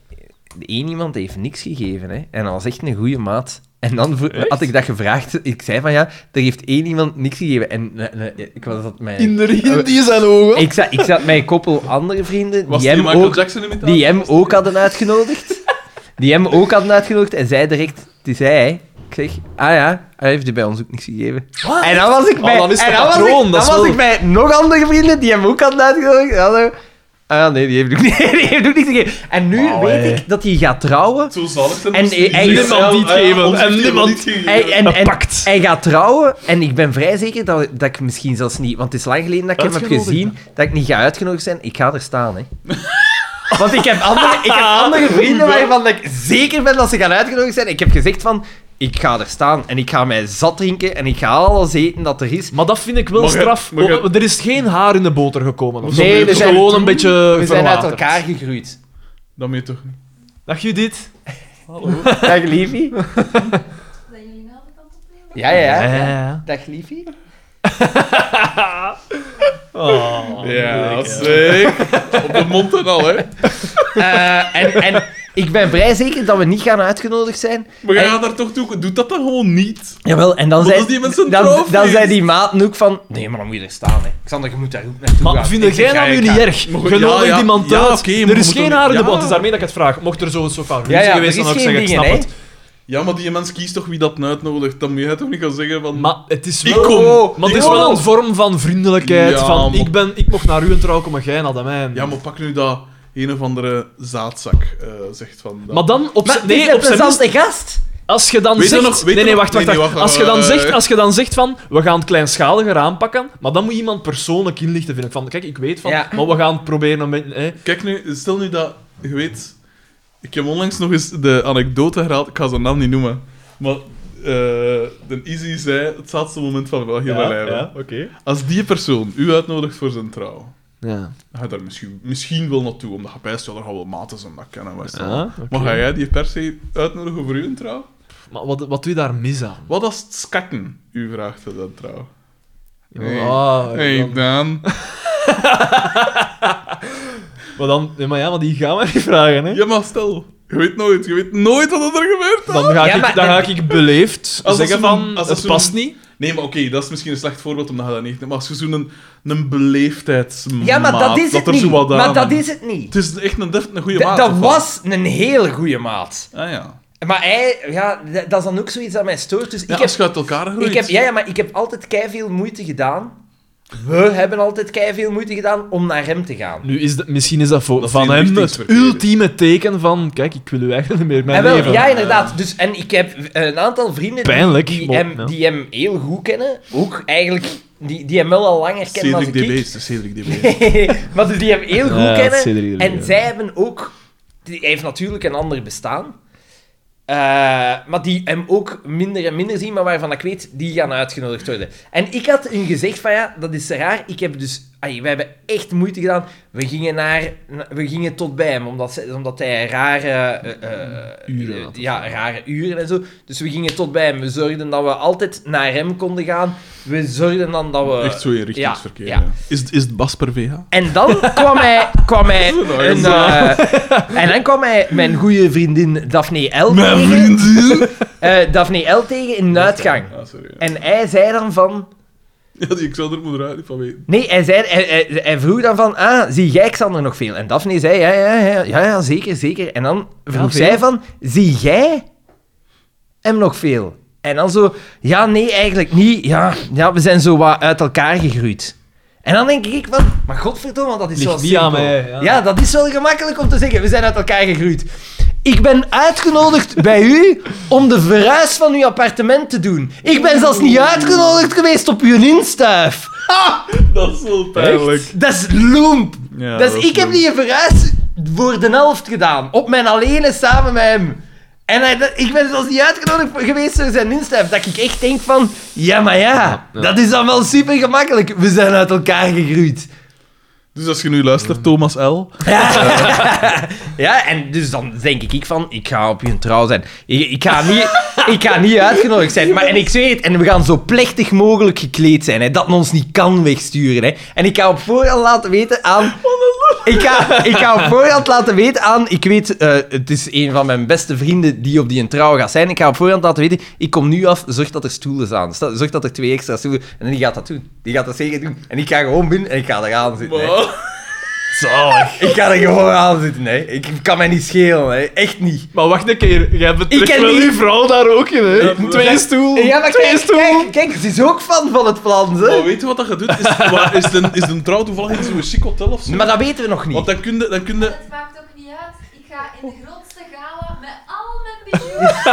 [SPEAKER 4] Eén iemand heeft niks gegeven, hè. En dat was echt een goede maat. En dan vro- had ik dat gevraagd. Ik zei van ja, er heeft één iemand niks gegeven. En eh, eh, ik was dat mijn...
[SPEAKER 3] In de riem die zijn ogen.
[SPEAKER 4] Ik zat, ik zat met een koppel andere vrienden
[SPEAKER 2] Was
[SPEAKER 4] die
[SPEAKER 2] die
[SPEAKER 4] hem,
[SPEAKER 2] Michael
[SPEAKER 4] ook,
[SPEAKER 2] Jackson imitatie?
[SPEAKER 4] die hem ook hadden uitgenodigd. Die hem ook hadden uitgenodigd. En zij direct, die zei hij. Ik zeg, ah ja, hij heeft die bij ons ook niks gegeven. En dan was ik
[SPEAKER 3] Oh,
[SPEAKER 4] bij,
[SPEAKER 3] dan is het
[SPEAKER 4] en dan
[SPEAKER 3] patroon,
[SPEAKER 4] was
[SPEAKER 3] dat
[SPEAKER 4] ik, dan
[SPEAKER 3] is
[SPEAKER 4] was
[SPEAKER 3] wel-
[SPEAKER 4] ik bij nog andere vrienden die hem ook hadden uitgenodigd. En dan zo, ah ja, nee, die heeft ook, niet, die heeft ook niks gegeven. En nu
[SPEAKER 3] Wauw,
[SPEAKER 4] weet
[SPEAKER 3] hey.
[SPEAKER 4] ik dat hij gaat trouwen.
[SPEAKER 2] Zo zalig zijn.
[SPEAKER 4] En-
[SPEAKER 2] moest die
[SPEAKER 4] en-
[SPEAKER 2] zeggen,
[SPEAKER 3] niemand
[SPEAKER 2] ja,
[SPEAKER 3] niet
[SPEAKER 2] ah, ja,
[SPEAKER 3] geven.
[SPEAKER 2] ons
[SPEAKER 3] En
[SPEAKER 2] heeft die
[SPEAKER 3] niemand-
[SPEAKER 2] niet gegeven.
[SPEAKER 4] Hij, en, en,
[SPEAKER 3] Gepakt.
[SPEAKER 4] hij gaat trouwen en ik ben vrij zeker dat, dat ik misschien zelfs niet... Want het is lang geleden dat ik hem heb
[SPEAKER 2] Uitgenodigd,
[SPEAKER 4] gezien, dat ik niet ga uitgenodigd zijn. Ik ga er staan, hè. Want ik heb andere, ik heb andere vrienden waarvan ik zeker ben dat ze gaan uitgenodigd zijn. Ik heb gezegd van, ik ga er staan en ik ga mij zat drinken en ik ga alles eten dat er is.
[SPEAKER 3] Maar dat vind ik wel
[SPEAKER 2] Maar je-
[SPEAKER 3] straf.
[SPEAKER 2] maar je-
[SPEAKER 3] Oh, Er is geen haar in de boter gekomen. Of zo.
[SPEAKER 4] Nee,
[SPEAKER 3] Het is
[SPEAKER 4] we zijn-
[SPEAKER 3] gewoon een beetje
[SPEAKER 4] We zijn uit
[SPEAKER 3] verwaterd.
[SPEAKER 4] elkaar gegroeid.
[SPEAKER 2] Dat meen je toch niet?
[SPEAKER 3] Dag Judith.
[SPEAKER 4] Dag, liefie.
[SPEAKER 5] Zijn jullie nou de kant op
[SPEAKER 4] Ja,
[SPEAKER 5] willen?
[SPEAKER 4] ja, ja.
[SPEAKER 3] ja.
[SPEAKER 4] Dag, liefie.
[SPEAKER 3] Oh,
[SPEAKER 2] ja,
[SPEAKER 3] leuk,
[SPEAKER 2] dat Op de mond en al, hè.
[SPEAKER 4] Eh, en, en ik ben vrij zeker dat we niet gaan uitgenodigd zijn.
[SPEAKER 2] Maar jij
[SPEAKER 4] En-
[SPEAKER 2] gaat daar toch toe. Doe dat dan gewoon niet.
[SPEAKER 4] Jawel, en dan
[SPEAKER 2] Want
[SPEAKER 4] zei,
[SPEAKER 2] als die mensen
[SPEAKER 4] dan,
[SPEAKER 2] trouwfeest-
[SPEAKER 4] dan zei die maat ook van... Nee, maar dan moet je er staan, hè. Xander, je moet daar ook naartoe gaan.
[SPEAKER 3] Maar vind
[SPEAKER 4] Ik zeg,
[SPEAKER 3] jij dat
[SPEAKER 4] ja,
[SPEAKER 3] nu
[SPEAKER 4] ik
[SPEAKER 3] niet
[SPEAKER 4] ga-
[SPEAKER 3] erg?
[SPEAKER 2] Maar goed,
[SPEAKER 3] Je
[SPEAKER 2] ja,
[SPEAKER 3] nodigt
[SPEAKER 2] ja.
[SPEAKER 3] iemand
[SPEAKER 2] Ja,
[SPEAKER 3] uit.
[SPEAKER 2] oké, maar
[SPEAKER 3] er is
[SPEAKER 2] moet
[SPEAKER 3] geen
[SPEAKER 2] toch-
[SPEAKER 3] haar in de
[SPEAKER 2] ja.
[SPEAKER 3] boter. Het is daarmee dat ik het vraag. Mocht er zo'n soort van
[SPEAKER 4] Ja,
[SPEAKER 3] ruzie
[SPEAKER 4] ja, er
[SPEAKER 3] geweest
[SPEAKER 4] is
[SPEAKER 3] zijn, dan
[SPEAKER 4] geen
[SPEAKER 3] ook zeggen,
[SPEAKER 4] dingen,
[SPEAKER 3] ik snap
[SPEAKER 4] hè.
[SPEAKER 3] het.
[SPEAKER 2] Ja, maar die mens kiest toch wie dat uitnodigt. Dan moet jij toch niet gaan zeggen van...
[SPEAKER 3] Maar het is
[SPEAKER 2] ik
[SPEAKER 3] wel... Oh,
[SPEAKER 2] kom.
[SPEAKER 3] Maar
[SPEAKER 2] Ik
[SPEAKER 3] het is
[SPEAKER 2] kom.
[SPEAKER 3] wel een vorm van vriendelijkheid.
[SPEAKER 2] Ja,
[SPEAKER 3] van,
[SPEAKER 2] maar-
[SPEAKER 3] ik, ben, ik mocht naar u en trouw komen, jij naar de mijne.
[SPEAKER 2] Ja, maar pak nu dat een of andere zaadzak eh, zegt van... dat-
[SPEAKER 3] Maar dan, op
[SPEAKER 4] Maar
[SPEAKER 3] z'n-
[SPEAKER 4] het is
[SPEAKER 3] nee,
[SPEAKER 4] een
[SPEAKER 3] op zijn minst,
[SPEAKER 4] plezante gast.
[SPEAKER 3] als je dan
[SPEAKER 2] Weet je
[SPEAKER 3] zegt...
[SPEAKER 2] nog- weet
[SPEAKER 3] nee,
[SPEAKER 2] je
[SPEAKER 3] nee,
[SPEAKER 2] nog-
[SPEAKER 3] wacht, wacht,
[SPEAKER 2] nee, nee,
[SPEAKER 3] wacht.
[SPEAKER 2] wacht,
[SPEAKER 3] Als je dan
[SPEAKER 2] eh,
[SPEAKER 3] zegt,
[SPEAKER 2] eh.
[SPEAKER 3] als je dan zegt van, we gaan het kleinschaliger aanpakken, maar dan moet iemand persoonlijk inlichten, vind ik. Van, kijk, ik weet van,
[SPEAKER 4] Ja.
[SPEAKER 3] maar we gaan het proberen een beetje... Hè.
[SPEAKER 2] Kijk nu, stel nu dat... Je weet... Ik heb onlangs nog eens de anekdote herhaald. Ik ga zijn naam niet noemen. Maar... eh de Easy zei het zaadste moment van België ja,
[SPEAKER 3] oké.
[SPEAKER 2] Als die persoon u uitnodigt voor zijn trouw,
[SPEAKER 3] Ja.
[SPEAKER 2] ga je daar misschien, misschien wel naartoe, omdat je bijst wel er gaan wel maten zijn dat kennen. Maar
[SPEAKER 3] Ja, oké.
[SPEAKER 2] Maar ga jij die per se uitnodigen voor uw trouw?
[SPEAKER 3] Maar wat, wat doe je daar mis aan?
[SPEAKER 2] Wat als het skakken u vraagt voor dat trouw? Nee.
[SPEAKER 3] Ah,
[SPEAKER 2] Hey,
[SPEAKER 3] dan-
[SPEAKER 2] Dan.
[SPEAKER 3] Maar dan... nee, maar ja, maar die gaan we niet vragen, hè.
[SPEAKER 2] Ja, maar stel. Je weet nooit. Je weet nooit wat er gebeurt. hè?
[SPEAKER 3] Dan ga,
[SPEAKER 4] Ja,
[SPEAKER 3] ik,
[SPEAKER 4] maar-
[SPEAKER 3] dan ga ik beleefd
[SPEAKER 2] dat
[SPEAKER 3] zeggen
[SPEAKER 2] zo'n-
[SPEAKER 3] van,
[SPEAKER 2] als dat
[SPEAKER 3] het
[SPEAKER 2] zo'n-
[SPEAKER 3] past niet.
[SPEAKER 2] Nee, maar oké, dat is misschien een slecht voorbeeld omdat je dat niet... Maar als je zo'n een, een beleefdheidsmaat...
[SPEAKER 4] Ja, maar dat is het
[SPEAKER 2] er
[SPEAKER 4] niet.
[SPEAKER 2] zo wat
[SPEAKER 4] Maar
[SPEAKER 2] aan-
[SPEAKER 4] dat is het niet.
[SPEAKER 2] Het is echt een, deft, een goede
[SPEAKER 4] Da-
[SPEAKER 2] maat.
[SPEAKER 4] Dat
[SPEAKER 2] of wat?
[SPEAKER 4] was een hele goede maat.
[SPEAKER 2] Ah ja.
[SPEAKER 4] Maar hij... Ja, d- dat is dan ook zoiets dat mij stoort. Dus
[SPEAKER 2] ja
[SPEAKER 4] ik heb...
[SPEAKER 2] als je uit elkaar groeit.
[SPEAKER 4] Ik heb ja, ja, maar ik heb altijd veel moeite gedaan. We hebben altijd veel moeite gedaan om naar hem te gaan.
[SPEAKER 3] Nu is dat, misschien is dat voor,
[SPEAKER 2] Dat is
[SPEAKER 3] van
[SPEAKER 2] geen
[SPEAKER 3] hem het
[SPEAKER 2] richtingsverkeer.
[SPEAKER 3] ultieme teken van... Kijk, ik wil u eigenlijk niet meer in mijn
[SPEAKER 4] En Ah, wel,
[SPEAKER 3] leven.
[SPEAKER 4] ja, inderdaad. Dus, en ik heb een aantal vrienden die-
[SPEAKER 3] Pijnlijk,
[SPEAKER 4] die,
[SPEAKER 3] maar-
[SPEAKER 4] hem,
[SPEAKER 3] ja.
[SPEAKER 4] die hem heel goed kennen. Ook eigenlijk, die, die hem wel al langer kennen dan
[SPEAKER 2] Cedric
[SPEAKER 4] ik.
[SPEAKER 2] DB is de Cedric DB.
[SPEAKER 4] maar dus die hem heel goed
[SPEAKER 3] Ja,
[SPEAKER 4] kennen.
[SPEAKER 3] Cedric DB,
[SPEAKER 4] en
[SPEAKER 3] ja.
[SPEAKER 4] zij hebben ook... Die hij heeft natuurlijk een ander bestaan. Eh, maar die hem ook minder en minder zien, maar waarvan ik weet, die gaan uitgenodigd worden. En ik had hun gezegd van, ja, dat is raar. Ik heb dus... Ai, we hebben echt moeite gedaan. We gingen, naar, we gingen tot bij hem, omdat, ze- omdat hij rare... eh, eh,
[SPEAKER 3] Uren
[SPEAKER 4] eh,
[SPEAKER 3] had of
[SPEAKER 4] ja, rare uren en zo. Dus we gingen tot bij hem. We zorgden dat we altijd naar hem konden gaan. We zorgden dan dat we...
[SPEAKER 2] Echt zo in richtingsverkeer.
[SPEAKER 4] ja.
[SPEAKER 2] ja. Is, is het Bas per VH?
[SPEAKER 4] En dan kwam hij, kwam hij
[SPEAKER 2] Dat is wel
[SPEAKER 4] een, eh, en dan kwam hij mijn goede vriendin Daphne L tegen.
[SPEAKER 2] vriendin!
[SPEAKER 4] Eh, Daphne L tegen in een uitgang.
[SPEAKER 2] Ah, sorry.
[SPEAKER 4] En hij zei dan van...
[SPEAKER 2] Ja, die- ik zou er moeder uit niet van weten.
[SPEAKER 4] Nee, hij, zei, hij, hij, hij vroeg dan van... Ah, zie jij Xander nog veel? En Daphne zei... Ja, ja, ja, ja, ja zeker, zeker. En dan vroeg
[SPEAKER 3] veel.
[SPEAKER 4] zij van... Zie jij hem nog veel? En dan zo... Ja, nee, eigenlijk niet. Ja, ja we zijn zo wat uit elkaar gegroeid. En dan denk ik van... Maar godverdomme, dat is
[SPEAKER 3] Ligt
[SPEAKER 4] wel
[SPEAKER 3] niet
[SPEAKER 4] simpel.
[SPEAKER 3] aan mij, ja.
[SPEAKER 4] Ja, dat is wel gemakkelijk om te zeggen. We zijn uit elkaar gegroeid. Ik ben uitgenodigd bij u om de verhuis van uw appartement te doen. Ik ben zelfs niet uitgenodigd geweest op uw instuif.
[SPEAKER 2] Dat is wel pijnlijk.
[SPEAKER 4] Dat is loemp.
[SPEAKER 2] Ja,
[SPEAKER 4] dat
[SPEAKER 2] dat
[SPEAKER 4] is,
[SPEAKER 2] is
[SPEAKER 4] Dus ik heb
[SPEAKER 2] loemp.
[SPEAKER 4] die verhuis voor de helft gedaan. Op mijn alleen samen met hem. En hij- dat- ik ben zelfs niet uitgenodigd voor- geweest door zijn instuif. Dat ik echt denk van... Ja, maar ja,
[SPEAKER 3] ja.
[SPEAKER 4] dat is dan wel super gemakkelijk. We zijn uit elkaar gegroeid.
[SPEAKER 2] Dus als je nu luistert, Thomas L.
[SPEAKER 4] Ja, en dus dan denk ik van, ik ga op je trouw zijn. Ik, ik, ga niet, ik ga niet uitgenodigd zijn. Maar, en ik zweer het, en we gaan zo plechtig mogelijk gekleed zijn, hè, dat men ons niet kan wegsturen. Hè. En ik ga op voorhand laten weten aan... Ik ga, ik ga op voorhand laten weten aan... Ik weet, eh, het is een van mijn beste vrienden die op die trouw gaat zijn. Ik ga op voorhand laten weten, ik kom nu af, zorg dat er stoelen staan. Sta- Zorg dat er twee extra stoelen... En die gaat dat doen. Die gaat dat zeker doen. En ik ga gewoon binnen en ik ga eraan zitten. hè. Zalig. Ik ga er gewoon aan zitten, hè. Ik kan mij niet schelen, hè. Echt niet.
[SPEAKER 3] Maar wacht een keer, jij betrekt
[SPEAKER 4] ken
[SPEAKER 3] wel
[SPEAKER 4] niet-
[SPEAKER 3] uw vrouw daar ook in, hè? Twee stoelen.
[SPEAKER 4] Ja, maar kijk, kijk, kijk, ze is ook fan van het plan,
[SPEAKER 2] Maar
[SPEAKER 4] hè.
[SPEAKER 2] weet je wat dat je doet? Is, maar is, de, is de trouw toevallig in zo'n chic hotel of zo?
[SPEAKER 4] Maar dat weten we nog
[SPEAKER 2] Want
[SPEAKER 4] niet.
[SPEAKER 2] dan kun je... Dan kun je
[SPEAKER 5] Het maakt ook niet uit. Ik ga in de grootste gala met al mijn bijoux.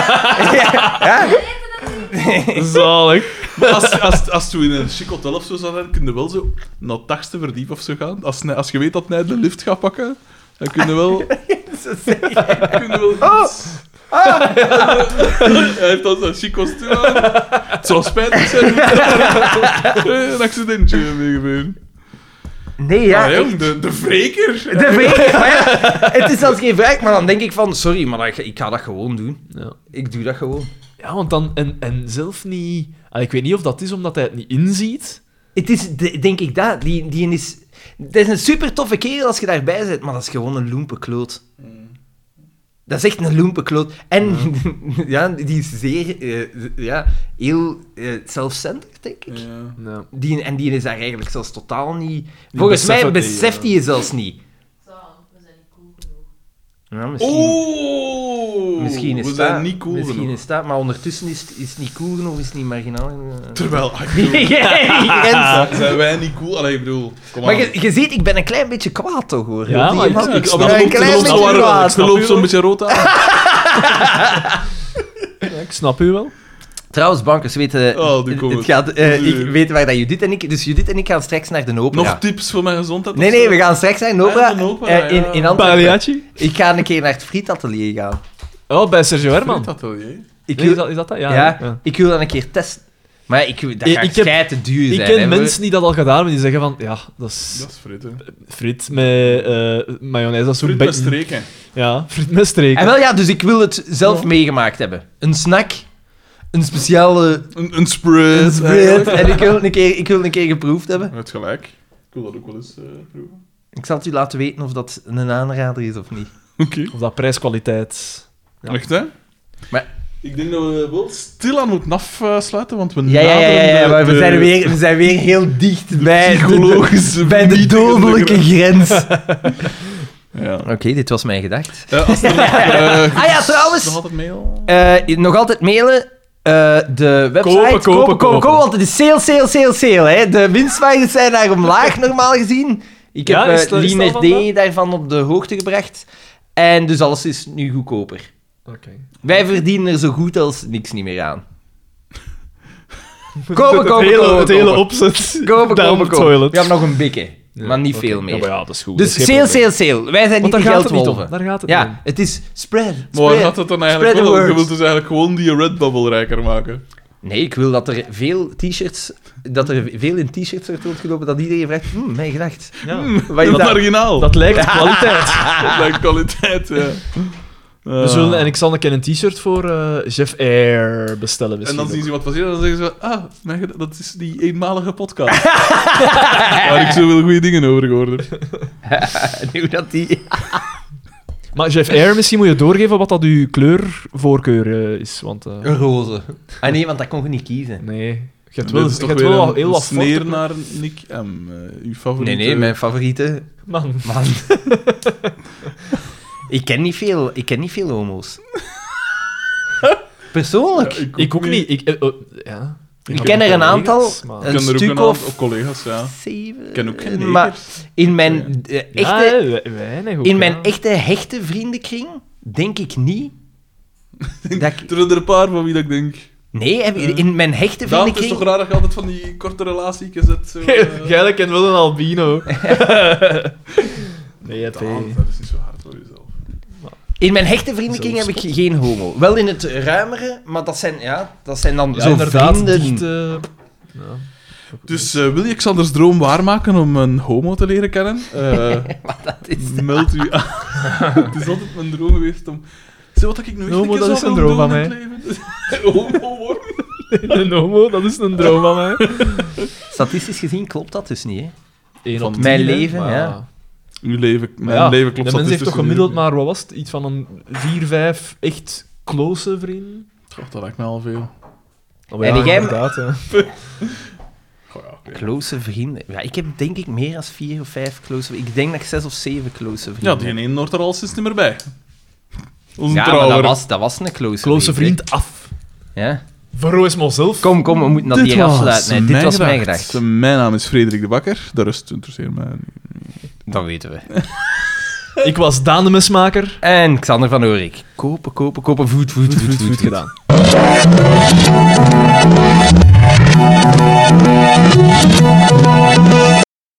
[SPEAKER 4] Ja?
[SPEAKER 5] weten het niet.
[SPEAKER 3] Zalig.
[SPEAKER 2] maar als, als, als je in een chic hotel of zo zou zijn, kun je wel zo naar het dagste verdiep of zo gaan. Als, hij- als je weet dat hij de lift gaat pakken, dan kun je wel...
[SPEAKER 4] Ze zeggen-
[SPEAKER 2] Kun je wel Hij heeft al zo'n chic kostuum aan. Het zou spijtig zijn. Eh, Een accidentje mee gebeuren.
[SPEAKER 4] Nee,
[SPEAKER 2] Ja, ah,
[SPEAKER 4] ja. echt.
[SPEAKER 2] jong, de, de wreker.
[SPEAKER 4] De vreemde- maar ja, het is zelfs geen vraag, maar dan denk ik van, sorry, maar dat- ik ga dat gewoon doen.
[SPEAKER 3] Ja.
[SPEAKER 4] Ik doe dat gewoon.
[SPEAKER 3] Ja, want dan... En, en zelf niet... Ah, ik weet niet of dat is omdat hij het niet inziet.
[SPEAKER 4] Het is, de- denk ik, dat. Die, die is... Het is een super toffe kerel als je daarbij bent, maar dat is gewoon een loempe kloot.
[SPEAKER 2] Mm.
[SPEAKER 4] Dat is echt een loempe kloot. En
[SPEAKER 2] Mm.
[SPEAKER 4] ja, die is zeer, eh, ja, heel eh zelfcentered, denk ik.
[SPEAKER 2] Ja.
[SPEAKER 3] Ja.
[SPEAKER 4] Die, en die is daar eigenlijk zelfs totaal niet... Volgens
[SPEAKER 3] beseft
[SPEAKER 4] mij
[SPEAKER 3] het niet,
[SPEAKER 4] beseft hij je zelfs niet.
[SPEAKER 5] Zo, we zijn niet cool genoeg.
[SPEAKER 4] Ja, misschien,
[SPEAKER 2] Oeh!
[SPEAKER 4] misschien is
[SPEAKER 2] we
[SPEAKER 4] dat...
[SPEAKER 2] zijn niet cool
[SPEAKER 4] misschien
[SPEAKER 2] genoeg.
[SPEAKER 4] is dat, maar ondertussen is het is het niet cool genoeg, is het niet marginaal genoeg.
[SPEAKER 2] Terwijl, ah, ik bedoel,
[SPEAKER 4] Grens.
[SPEAKER 2] zijn- zijn wij niet cool? Allee, ik bedoel, kom
[SPEAKER 4] Maar
[SPEAKER 2] aan.
[SPEAKER 4] je, je ziet, ik ben een klein beetje kwaad toch, hoor.
[SPEAKER 3] Ja,
[SPEAKER 4] Op die
[SPEAKER 3] maar
[SPEAKER 4] man.
[SPEAKER 3] ik-
[SPEAKER 2] ik snap
[SPEAKER 4] ben
[SPEAKER 2] het
[SPEAKER 4] een
[SPEAKER 2] ook,
[SPEAKER 4] klein
[SPEAKER 2] ik
[SPEAKER 4] beetje
[SPEAKER 2] snap het wel,
[SPEAKER 4] kwaad.
[SPEAKER 2] Ik loop zo'n beetje rood aan.
[SPEAKER 3] ik snap u wel.
[SPEAKER 4] Trouwens, bankers weten...
[SPEAKER 2] Oh, die
[SPEAKER 4] het-
[SPEAKER 2] komen.
[SPEAKER 4] het gaat, eh,
[SPEAKER 2] Die-
[SPEAKER 4] ik weet waar dat Judith en ik... Dus Judith en ik gaan straks naar de opera.
[SPEAKER 2] Nog tips voor mijn gezondheid?
[SPEAKER 4] Nee,
[SPEAKER 2] of
[SPEAKER 4] nee,
[SPEAKER 2] zo?
[SPEAKER 4] we gaan straks naar de opera.
[SPEAKER 2] Ja, de opera,
[SPEAKER 4] eh, in,
[SPEAKER 2] ja.
[SPEAKER 4] in Antwerpen.
[SPEAKER 3] Pagliacci?
[SPEAKER 4] Ik ga een keer naar het frietatelier gaan.
[SPEAKER 3] Oh, bij Sergio Herman.
[SPEAKER 2] Weet dat wel, hè?
[SPEAKER 3] Nee,
[SPEAKER 4] Ik wil,
[SPEAKER 3] is, dat, is dat dat? Ja.
[SPEAKER 4] eh, ja,
[SPEAKER 3] ja.
[SPEAKER 4] ik wil dat een keer testen. Maar ik, dat
[SPEAKER 3] Ik-
[SPEAKER 4] gaat
[SPEAKER 3] ik heb-
[SPEAKER 4] schei te duur
[SPEAKER 3] Ik
[SPEAKER 4] zijn.
[SPEAKER 3] ken
[SPEAKER 4] hè,
[SPEAKER 3] mensen die dat al gedaan hebben, die zeggen van... Ja, dat is
[SPEAKER 2] Dat is frit, hè.
[SPEAKER 3] friet met eh mayonaise. Dat is zo'n
[SPEAKER 2] Frit
[SPEAKER 3] beetje-
[SPEAKER 2] met streken.
[SPEAKER 3] Ja, friet met
[SPEAKER 4] we.
[SPEAKER 3] streek.
[SPEAKER 4] En wel ja, dus ik wil het zelf meegemaakt hebben. Een snack, een speciale
[SPEAKER 2] Een, een spread.
[SPEAKER 4] spread.
[SPEAKER 2] eigenlijk.
[SPEAKER 4] En ik wil, een keer, ik wil een keer geproefd hebben.
[SPEAKER 2] Je hebt gelijk. Ik wil dat ook wel eens eh, proeven.
[SPEAKER 4] Ik zal het u laten weten of dat een aanrader is of niet.
[SPEAKER 2] Oké.
[SPEAKER 3] Of dat prijskwaliteit...
[SPEAKER 4] Ja.
[SPEAKER 2] Echt, hè?
[SPEAKER 4] Maar-
[SPEAKER 2] Ik denk dat we wel stilaan moeten afsluiten, want we
[SPEAKER 4] Ja, ja, ja, ja, ja,
[SPEAKER 2] naderen de-
[SPEAKER 4] maar we
[SPEAKER 2] de-
[SPEAKER 4] zijn, weer, we zijn weer heel dicht bij de,
[SPEAKER 2] psychologische
[SPEAKER 4] bij de
[SPEAKER 2] vernietigende
[SPEAKER 4] dodelijke grens. Oké,
[SPEAKER 2] grens. Ja.
[SPEAKER 4] dit was mijn gedacht.
[SPEAKER 2] Eh, als er nog, eh,
[SPEAKER 4] Ah ja, trouwens.
[SPEAKER 2] Nog altijd mail?
[SPEAKER 4] Eh, nog altijd mailen. Eh, de website.
[SPEAKER 3] Kopen, kopen, kopen.
[SPEAKER 4] Want het is sale, sale, sale, sale. Hè. De winstwaardes zijn daar omlaag, normaal gezien. Ik heb
[SPEAKER 3] Ja,
[SPEAKER 4] eh
[SPEAKER 3] is dat- is
[SPEAKER 4] Liner
[SPEAKER 3] dat
[SPEAKER 4] D
[SPEAKER 3] allemaal?
[SPEAKER 4] daarvan op de hoogte gebracht. En dus alles is nu goedkoper.
[SPEAKER 3] Oké.
[SPEAKER 4] Wij verdienen er zo goed als niks niet meer aan. Kopen,
[SPEAKER 3] het
[SPEAKER 4] kopen,
[SPEAKER 3] hele,
[SPEAKER 4] kopen,
[SPEAKER 3] het hele
[SPEAKER 4] kopen.
[SPEAKER 3] opzet.
[SPEAKER 4] Kopen,
[SPEAKER 3] down
[SPEAKER 4] kopen,
[SPEAKER 3] the
[SPEAKER 4] kopen.
[SPEAKER 3] toilet.
[SPEAKER 4] We hebben nog een bikke, maar niet
[SPEAKER 3] oké.
[SPEAKER 4] veel
[SPEAKER 3] Ja,
[SPEAKER 4] meer.
[SPEAKER 3] maar ja, dat is goed. dat
[SPEAKER 4] dus
[SPEAKER 3] is geen
[SPEAKER 4] sale,
[SPEAKER 3] probleem.
[SPEAKER 4] sale, sale. Wij zijn
[SPEAKER 3] Want
[SPEAKER 4] niet
[SPEAKER 3] daar
[SPEAKER 4] de
[SPEAKER 3] gaat het niet om.
[SPEAKER 4] geldwolven.
[SPEAKER 3] Daar gaat het niet om.
[SPEAKER 4] Ja, het is spread,
[SPEAKER 2] Maar waar
[SPEAKER 4] spread.
[SPEAKER 2] gaat het dan
[SPEAKER 4] spread
[SPEAKER 2] eigenlijk
[SPEAKER 4] the
[SPEAKER 2] wel om? Je
[SPEAKER 4] word.
[SPEAKER 2] wilt dus eigenlijk gewoon die Redbubble rijker maken.
[SPEAKER 4] Nee, ik wil dat er veel t-shirts... Dat er veel in t-shirts wordt rondgelopen, dat iedereen vraagt... "Hmm, mijn gedacht.
[SPEAKER 3] Ja.
[SPEAKER 4] Wat is
[SPEAKER 2] dat
[SPEAKER 4] dat?
[SPEAKER 2] marginaal. Dat
[SPEAKER 3] Dat lijkt kwaliteit.
[SPEAKER 2] lijkt kwaliteit, ja. Eh,
[SPEAKER 3] We zullen, en ik zal een keer een t-shirt voor eh, Jeff Air bestellen
[SPEAKER 2] En
[SPEAKER 3] misschien
[SPEAKER 2] dan zien
[SPEAKER 3] ook.
[SPEAKER 2] ze wat passeren en dan zeggen ze... Ah, mijn ged- dat is die eenmalige podcast. Waar ik zoveel goede dingen over gehoord heb.
[SPEAKER 4] Nu dat die...
[SPEAKER 3] Maar Jeff Air, misschien moet je doorgeven wat dat uw kleurvoorkeur eh, is. Want, eh,
[SPEAKER 4] roze. Ah nee, want dat kon je niet kiezen.
[SPEAKER 3] nee, je hebt
[SPEAKER 2] Dit
[SPEAKER 3] wel,
[SPEAKER 2] is
[SPEAKER 3] je
[SPEAKER 2] toch
[SPEAKER 3] hebt
[SPEAKER 2] weer
[SPEAKER 3] wel
[SPEAKER 2] een,
[SPEAKER 3] wat- heel
[SPEAKER 2] een
[SPEAKER 3] wat
[SPEAKER 2] sneer
[SPEAKER 3] forte-
[SPEAKER 2] naar Nick M. eh, uw
[SPEAKER 4] Nee,
[SPEAKER 2] favoriete...
[SPEAKER 4] nee, mijn favoriete...
[SPEAKER 3] Man,
[SPEAKER 4] Man. ik ken niet veel... Ik ken niet veel homo's. Persoonlijk.
[SPEAKER 2] Ja,
[SPEAKER 3] ik ook niet. Ik, eh, eh, ja.
[SPEAKER 4] Ik ken er een aantal.
[SPEAKER 3] maar-
[SPEAKER 2] Ik
[SPEAKER 4] Een
[SPEAKER 2] ken er ook
[SPEAKER 4] stuk
[SPEAKER 2] een aantal
[SPEAKER 4] of...
[SPEAKER 2] collega's, ja.
[SPEAKER 4] Zeven.
[SPEAKER 2] Ik ken ook geen
[SPEAKER 4] Maar in mijn eh,
[SPEAKER 3] Ja,
[SPEAKER 4] echte...
[SPEAKER 3] eh, we- weinig ook,
[SPEAKER 4] In mijn
[SPEAKER 3] ja.
[SPEAKER 4] echte hechte vriendenkring denk ik niet dat ik...
[SPEAKER 2] Er zijn er een paar van wie dat ik denk.
[SPEAKER 4] Nee, heb- in mijn hechte
[SPEAKER 2] Daan, het is
[SPEAKER 4] vriendenkring...
[SPEAKER 2] toch raar dat je altijd van die korte relatie zet. Zo, eh.
[SPEAKER 3] Jij kent wel een albino. nee, het
[SPEAKER 2] Daan, dat is niet zo hard voor jezelf.
[SPEAKER 4] In mijn hechte vriendenkring heb ik geen homo. Wel in het ruimere, maar dat zijn, ja, dat zijn dan
[SPEAKER 3] Ja,
[SPEAKER 4] zo
[SPEAKER 3] inderdaad,
[SPEAKER 4] vrienden.
[SPEAKER 3] dicht, eh, ja.
[SPEAKER 2] Dus eh, wil je Xanders droom waarmaken om een homo te leren kennen? Eh Meld u aan. het is altijd mijn droom geweest om... Zo wat ik nu echt
[SPEAKER 3] Homo,
[SPEAKER 2] een keer zou
[SPEAKER 3] dat is een
[SPEAKER 2] willen
[SPEAKER 3] droom
[SPEAKER 2] doen in
[SPEAKER 3] van
[SPEAKER 2] het leven. Homo worden.
[SPEAKER 3] Een homo, dat is een droom van mij.
[SPEAKER 4] Statistisch gezien klopt dat dus niet, hè?
[SPEAKER 3] Eén op
[SPEAKER 2] Van
[SPEAKER 3] tien,
[SPEAKER 4] mijn
[SPEAKER 3] hè,
[SPEAKER 4] leven,
[SPEAKER 3] maar-
[SPEAKER 4] ja.
[SPEAKER 3] Maar
[SPEAKER 2] Uw leven, mijn
[SPEAKER 3] ja,
[SPEAKER 2] leven klopt
[SPEAKER 3] De mens heeft
[SPEAKER 2] statistisch
[SPEAKER 3] toch gemiddeld
[SPEAKER 2] gezien.
[SPEAKER 3] maar, wat was het? Iets van een vier, vijf echt close vrienden?
[SPEAKER 2] Goh, dat lijkt me al veel.
[SPEAKER 3] Oh,
[SPEAKER 6] En jij-
[SPEAKER 3] inderdaad, hè.
[SPEAKER 2] Goh, ja, oké.
[SPEAKER 4] Close vrienden. Ja, ik heb denk ik meer dan vier of vijf close Ik denk dat ik zes of zeven close
[SPEAKER 2] Ja,
[SPEAKER 4] vrienden
[SPEAKER 2] die
[SPEAKER 4] heb.
[SPEAKER 2] ene hoort er al sinds niet meer bij. Onze
[SPEAKER 4] Ja, maar
[SPEAKER 2] trouwer.
[SPEAKER 4] dat was, dat was een close,
[SPEAKER 3] Close vriend af.
[SPEAKER 4] hè. Ja.
[SPEAKER 3] Verro is zelf.
[SPEAKER 4] Kom, kom, we moeten dat hier afsluiten. hè. Dit was mijn
[SPEAKER 2] gedacht.
[SPEAKER 4] gedacht.
[SPEAKER 2] Mijn naam is Frederik de Bakker. De rest interesseert mij niet.
[SPEAKER 4] Dat weten we.
[SPEAKER 3] Ik was Daan de Mesmaker.
[SPEAKER 4] En Xander van Oorik. Kopen, kopen, kopen. Voet, voet, voet, voet,
[SPEAKER 3] Goed
[SPEAKER 4] voet.
[SPEAKER 3] gedaan.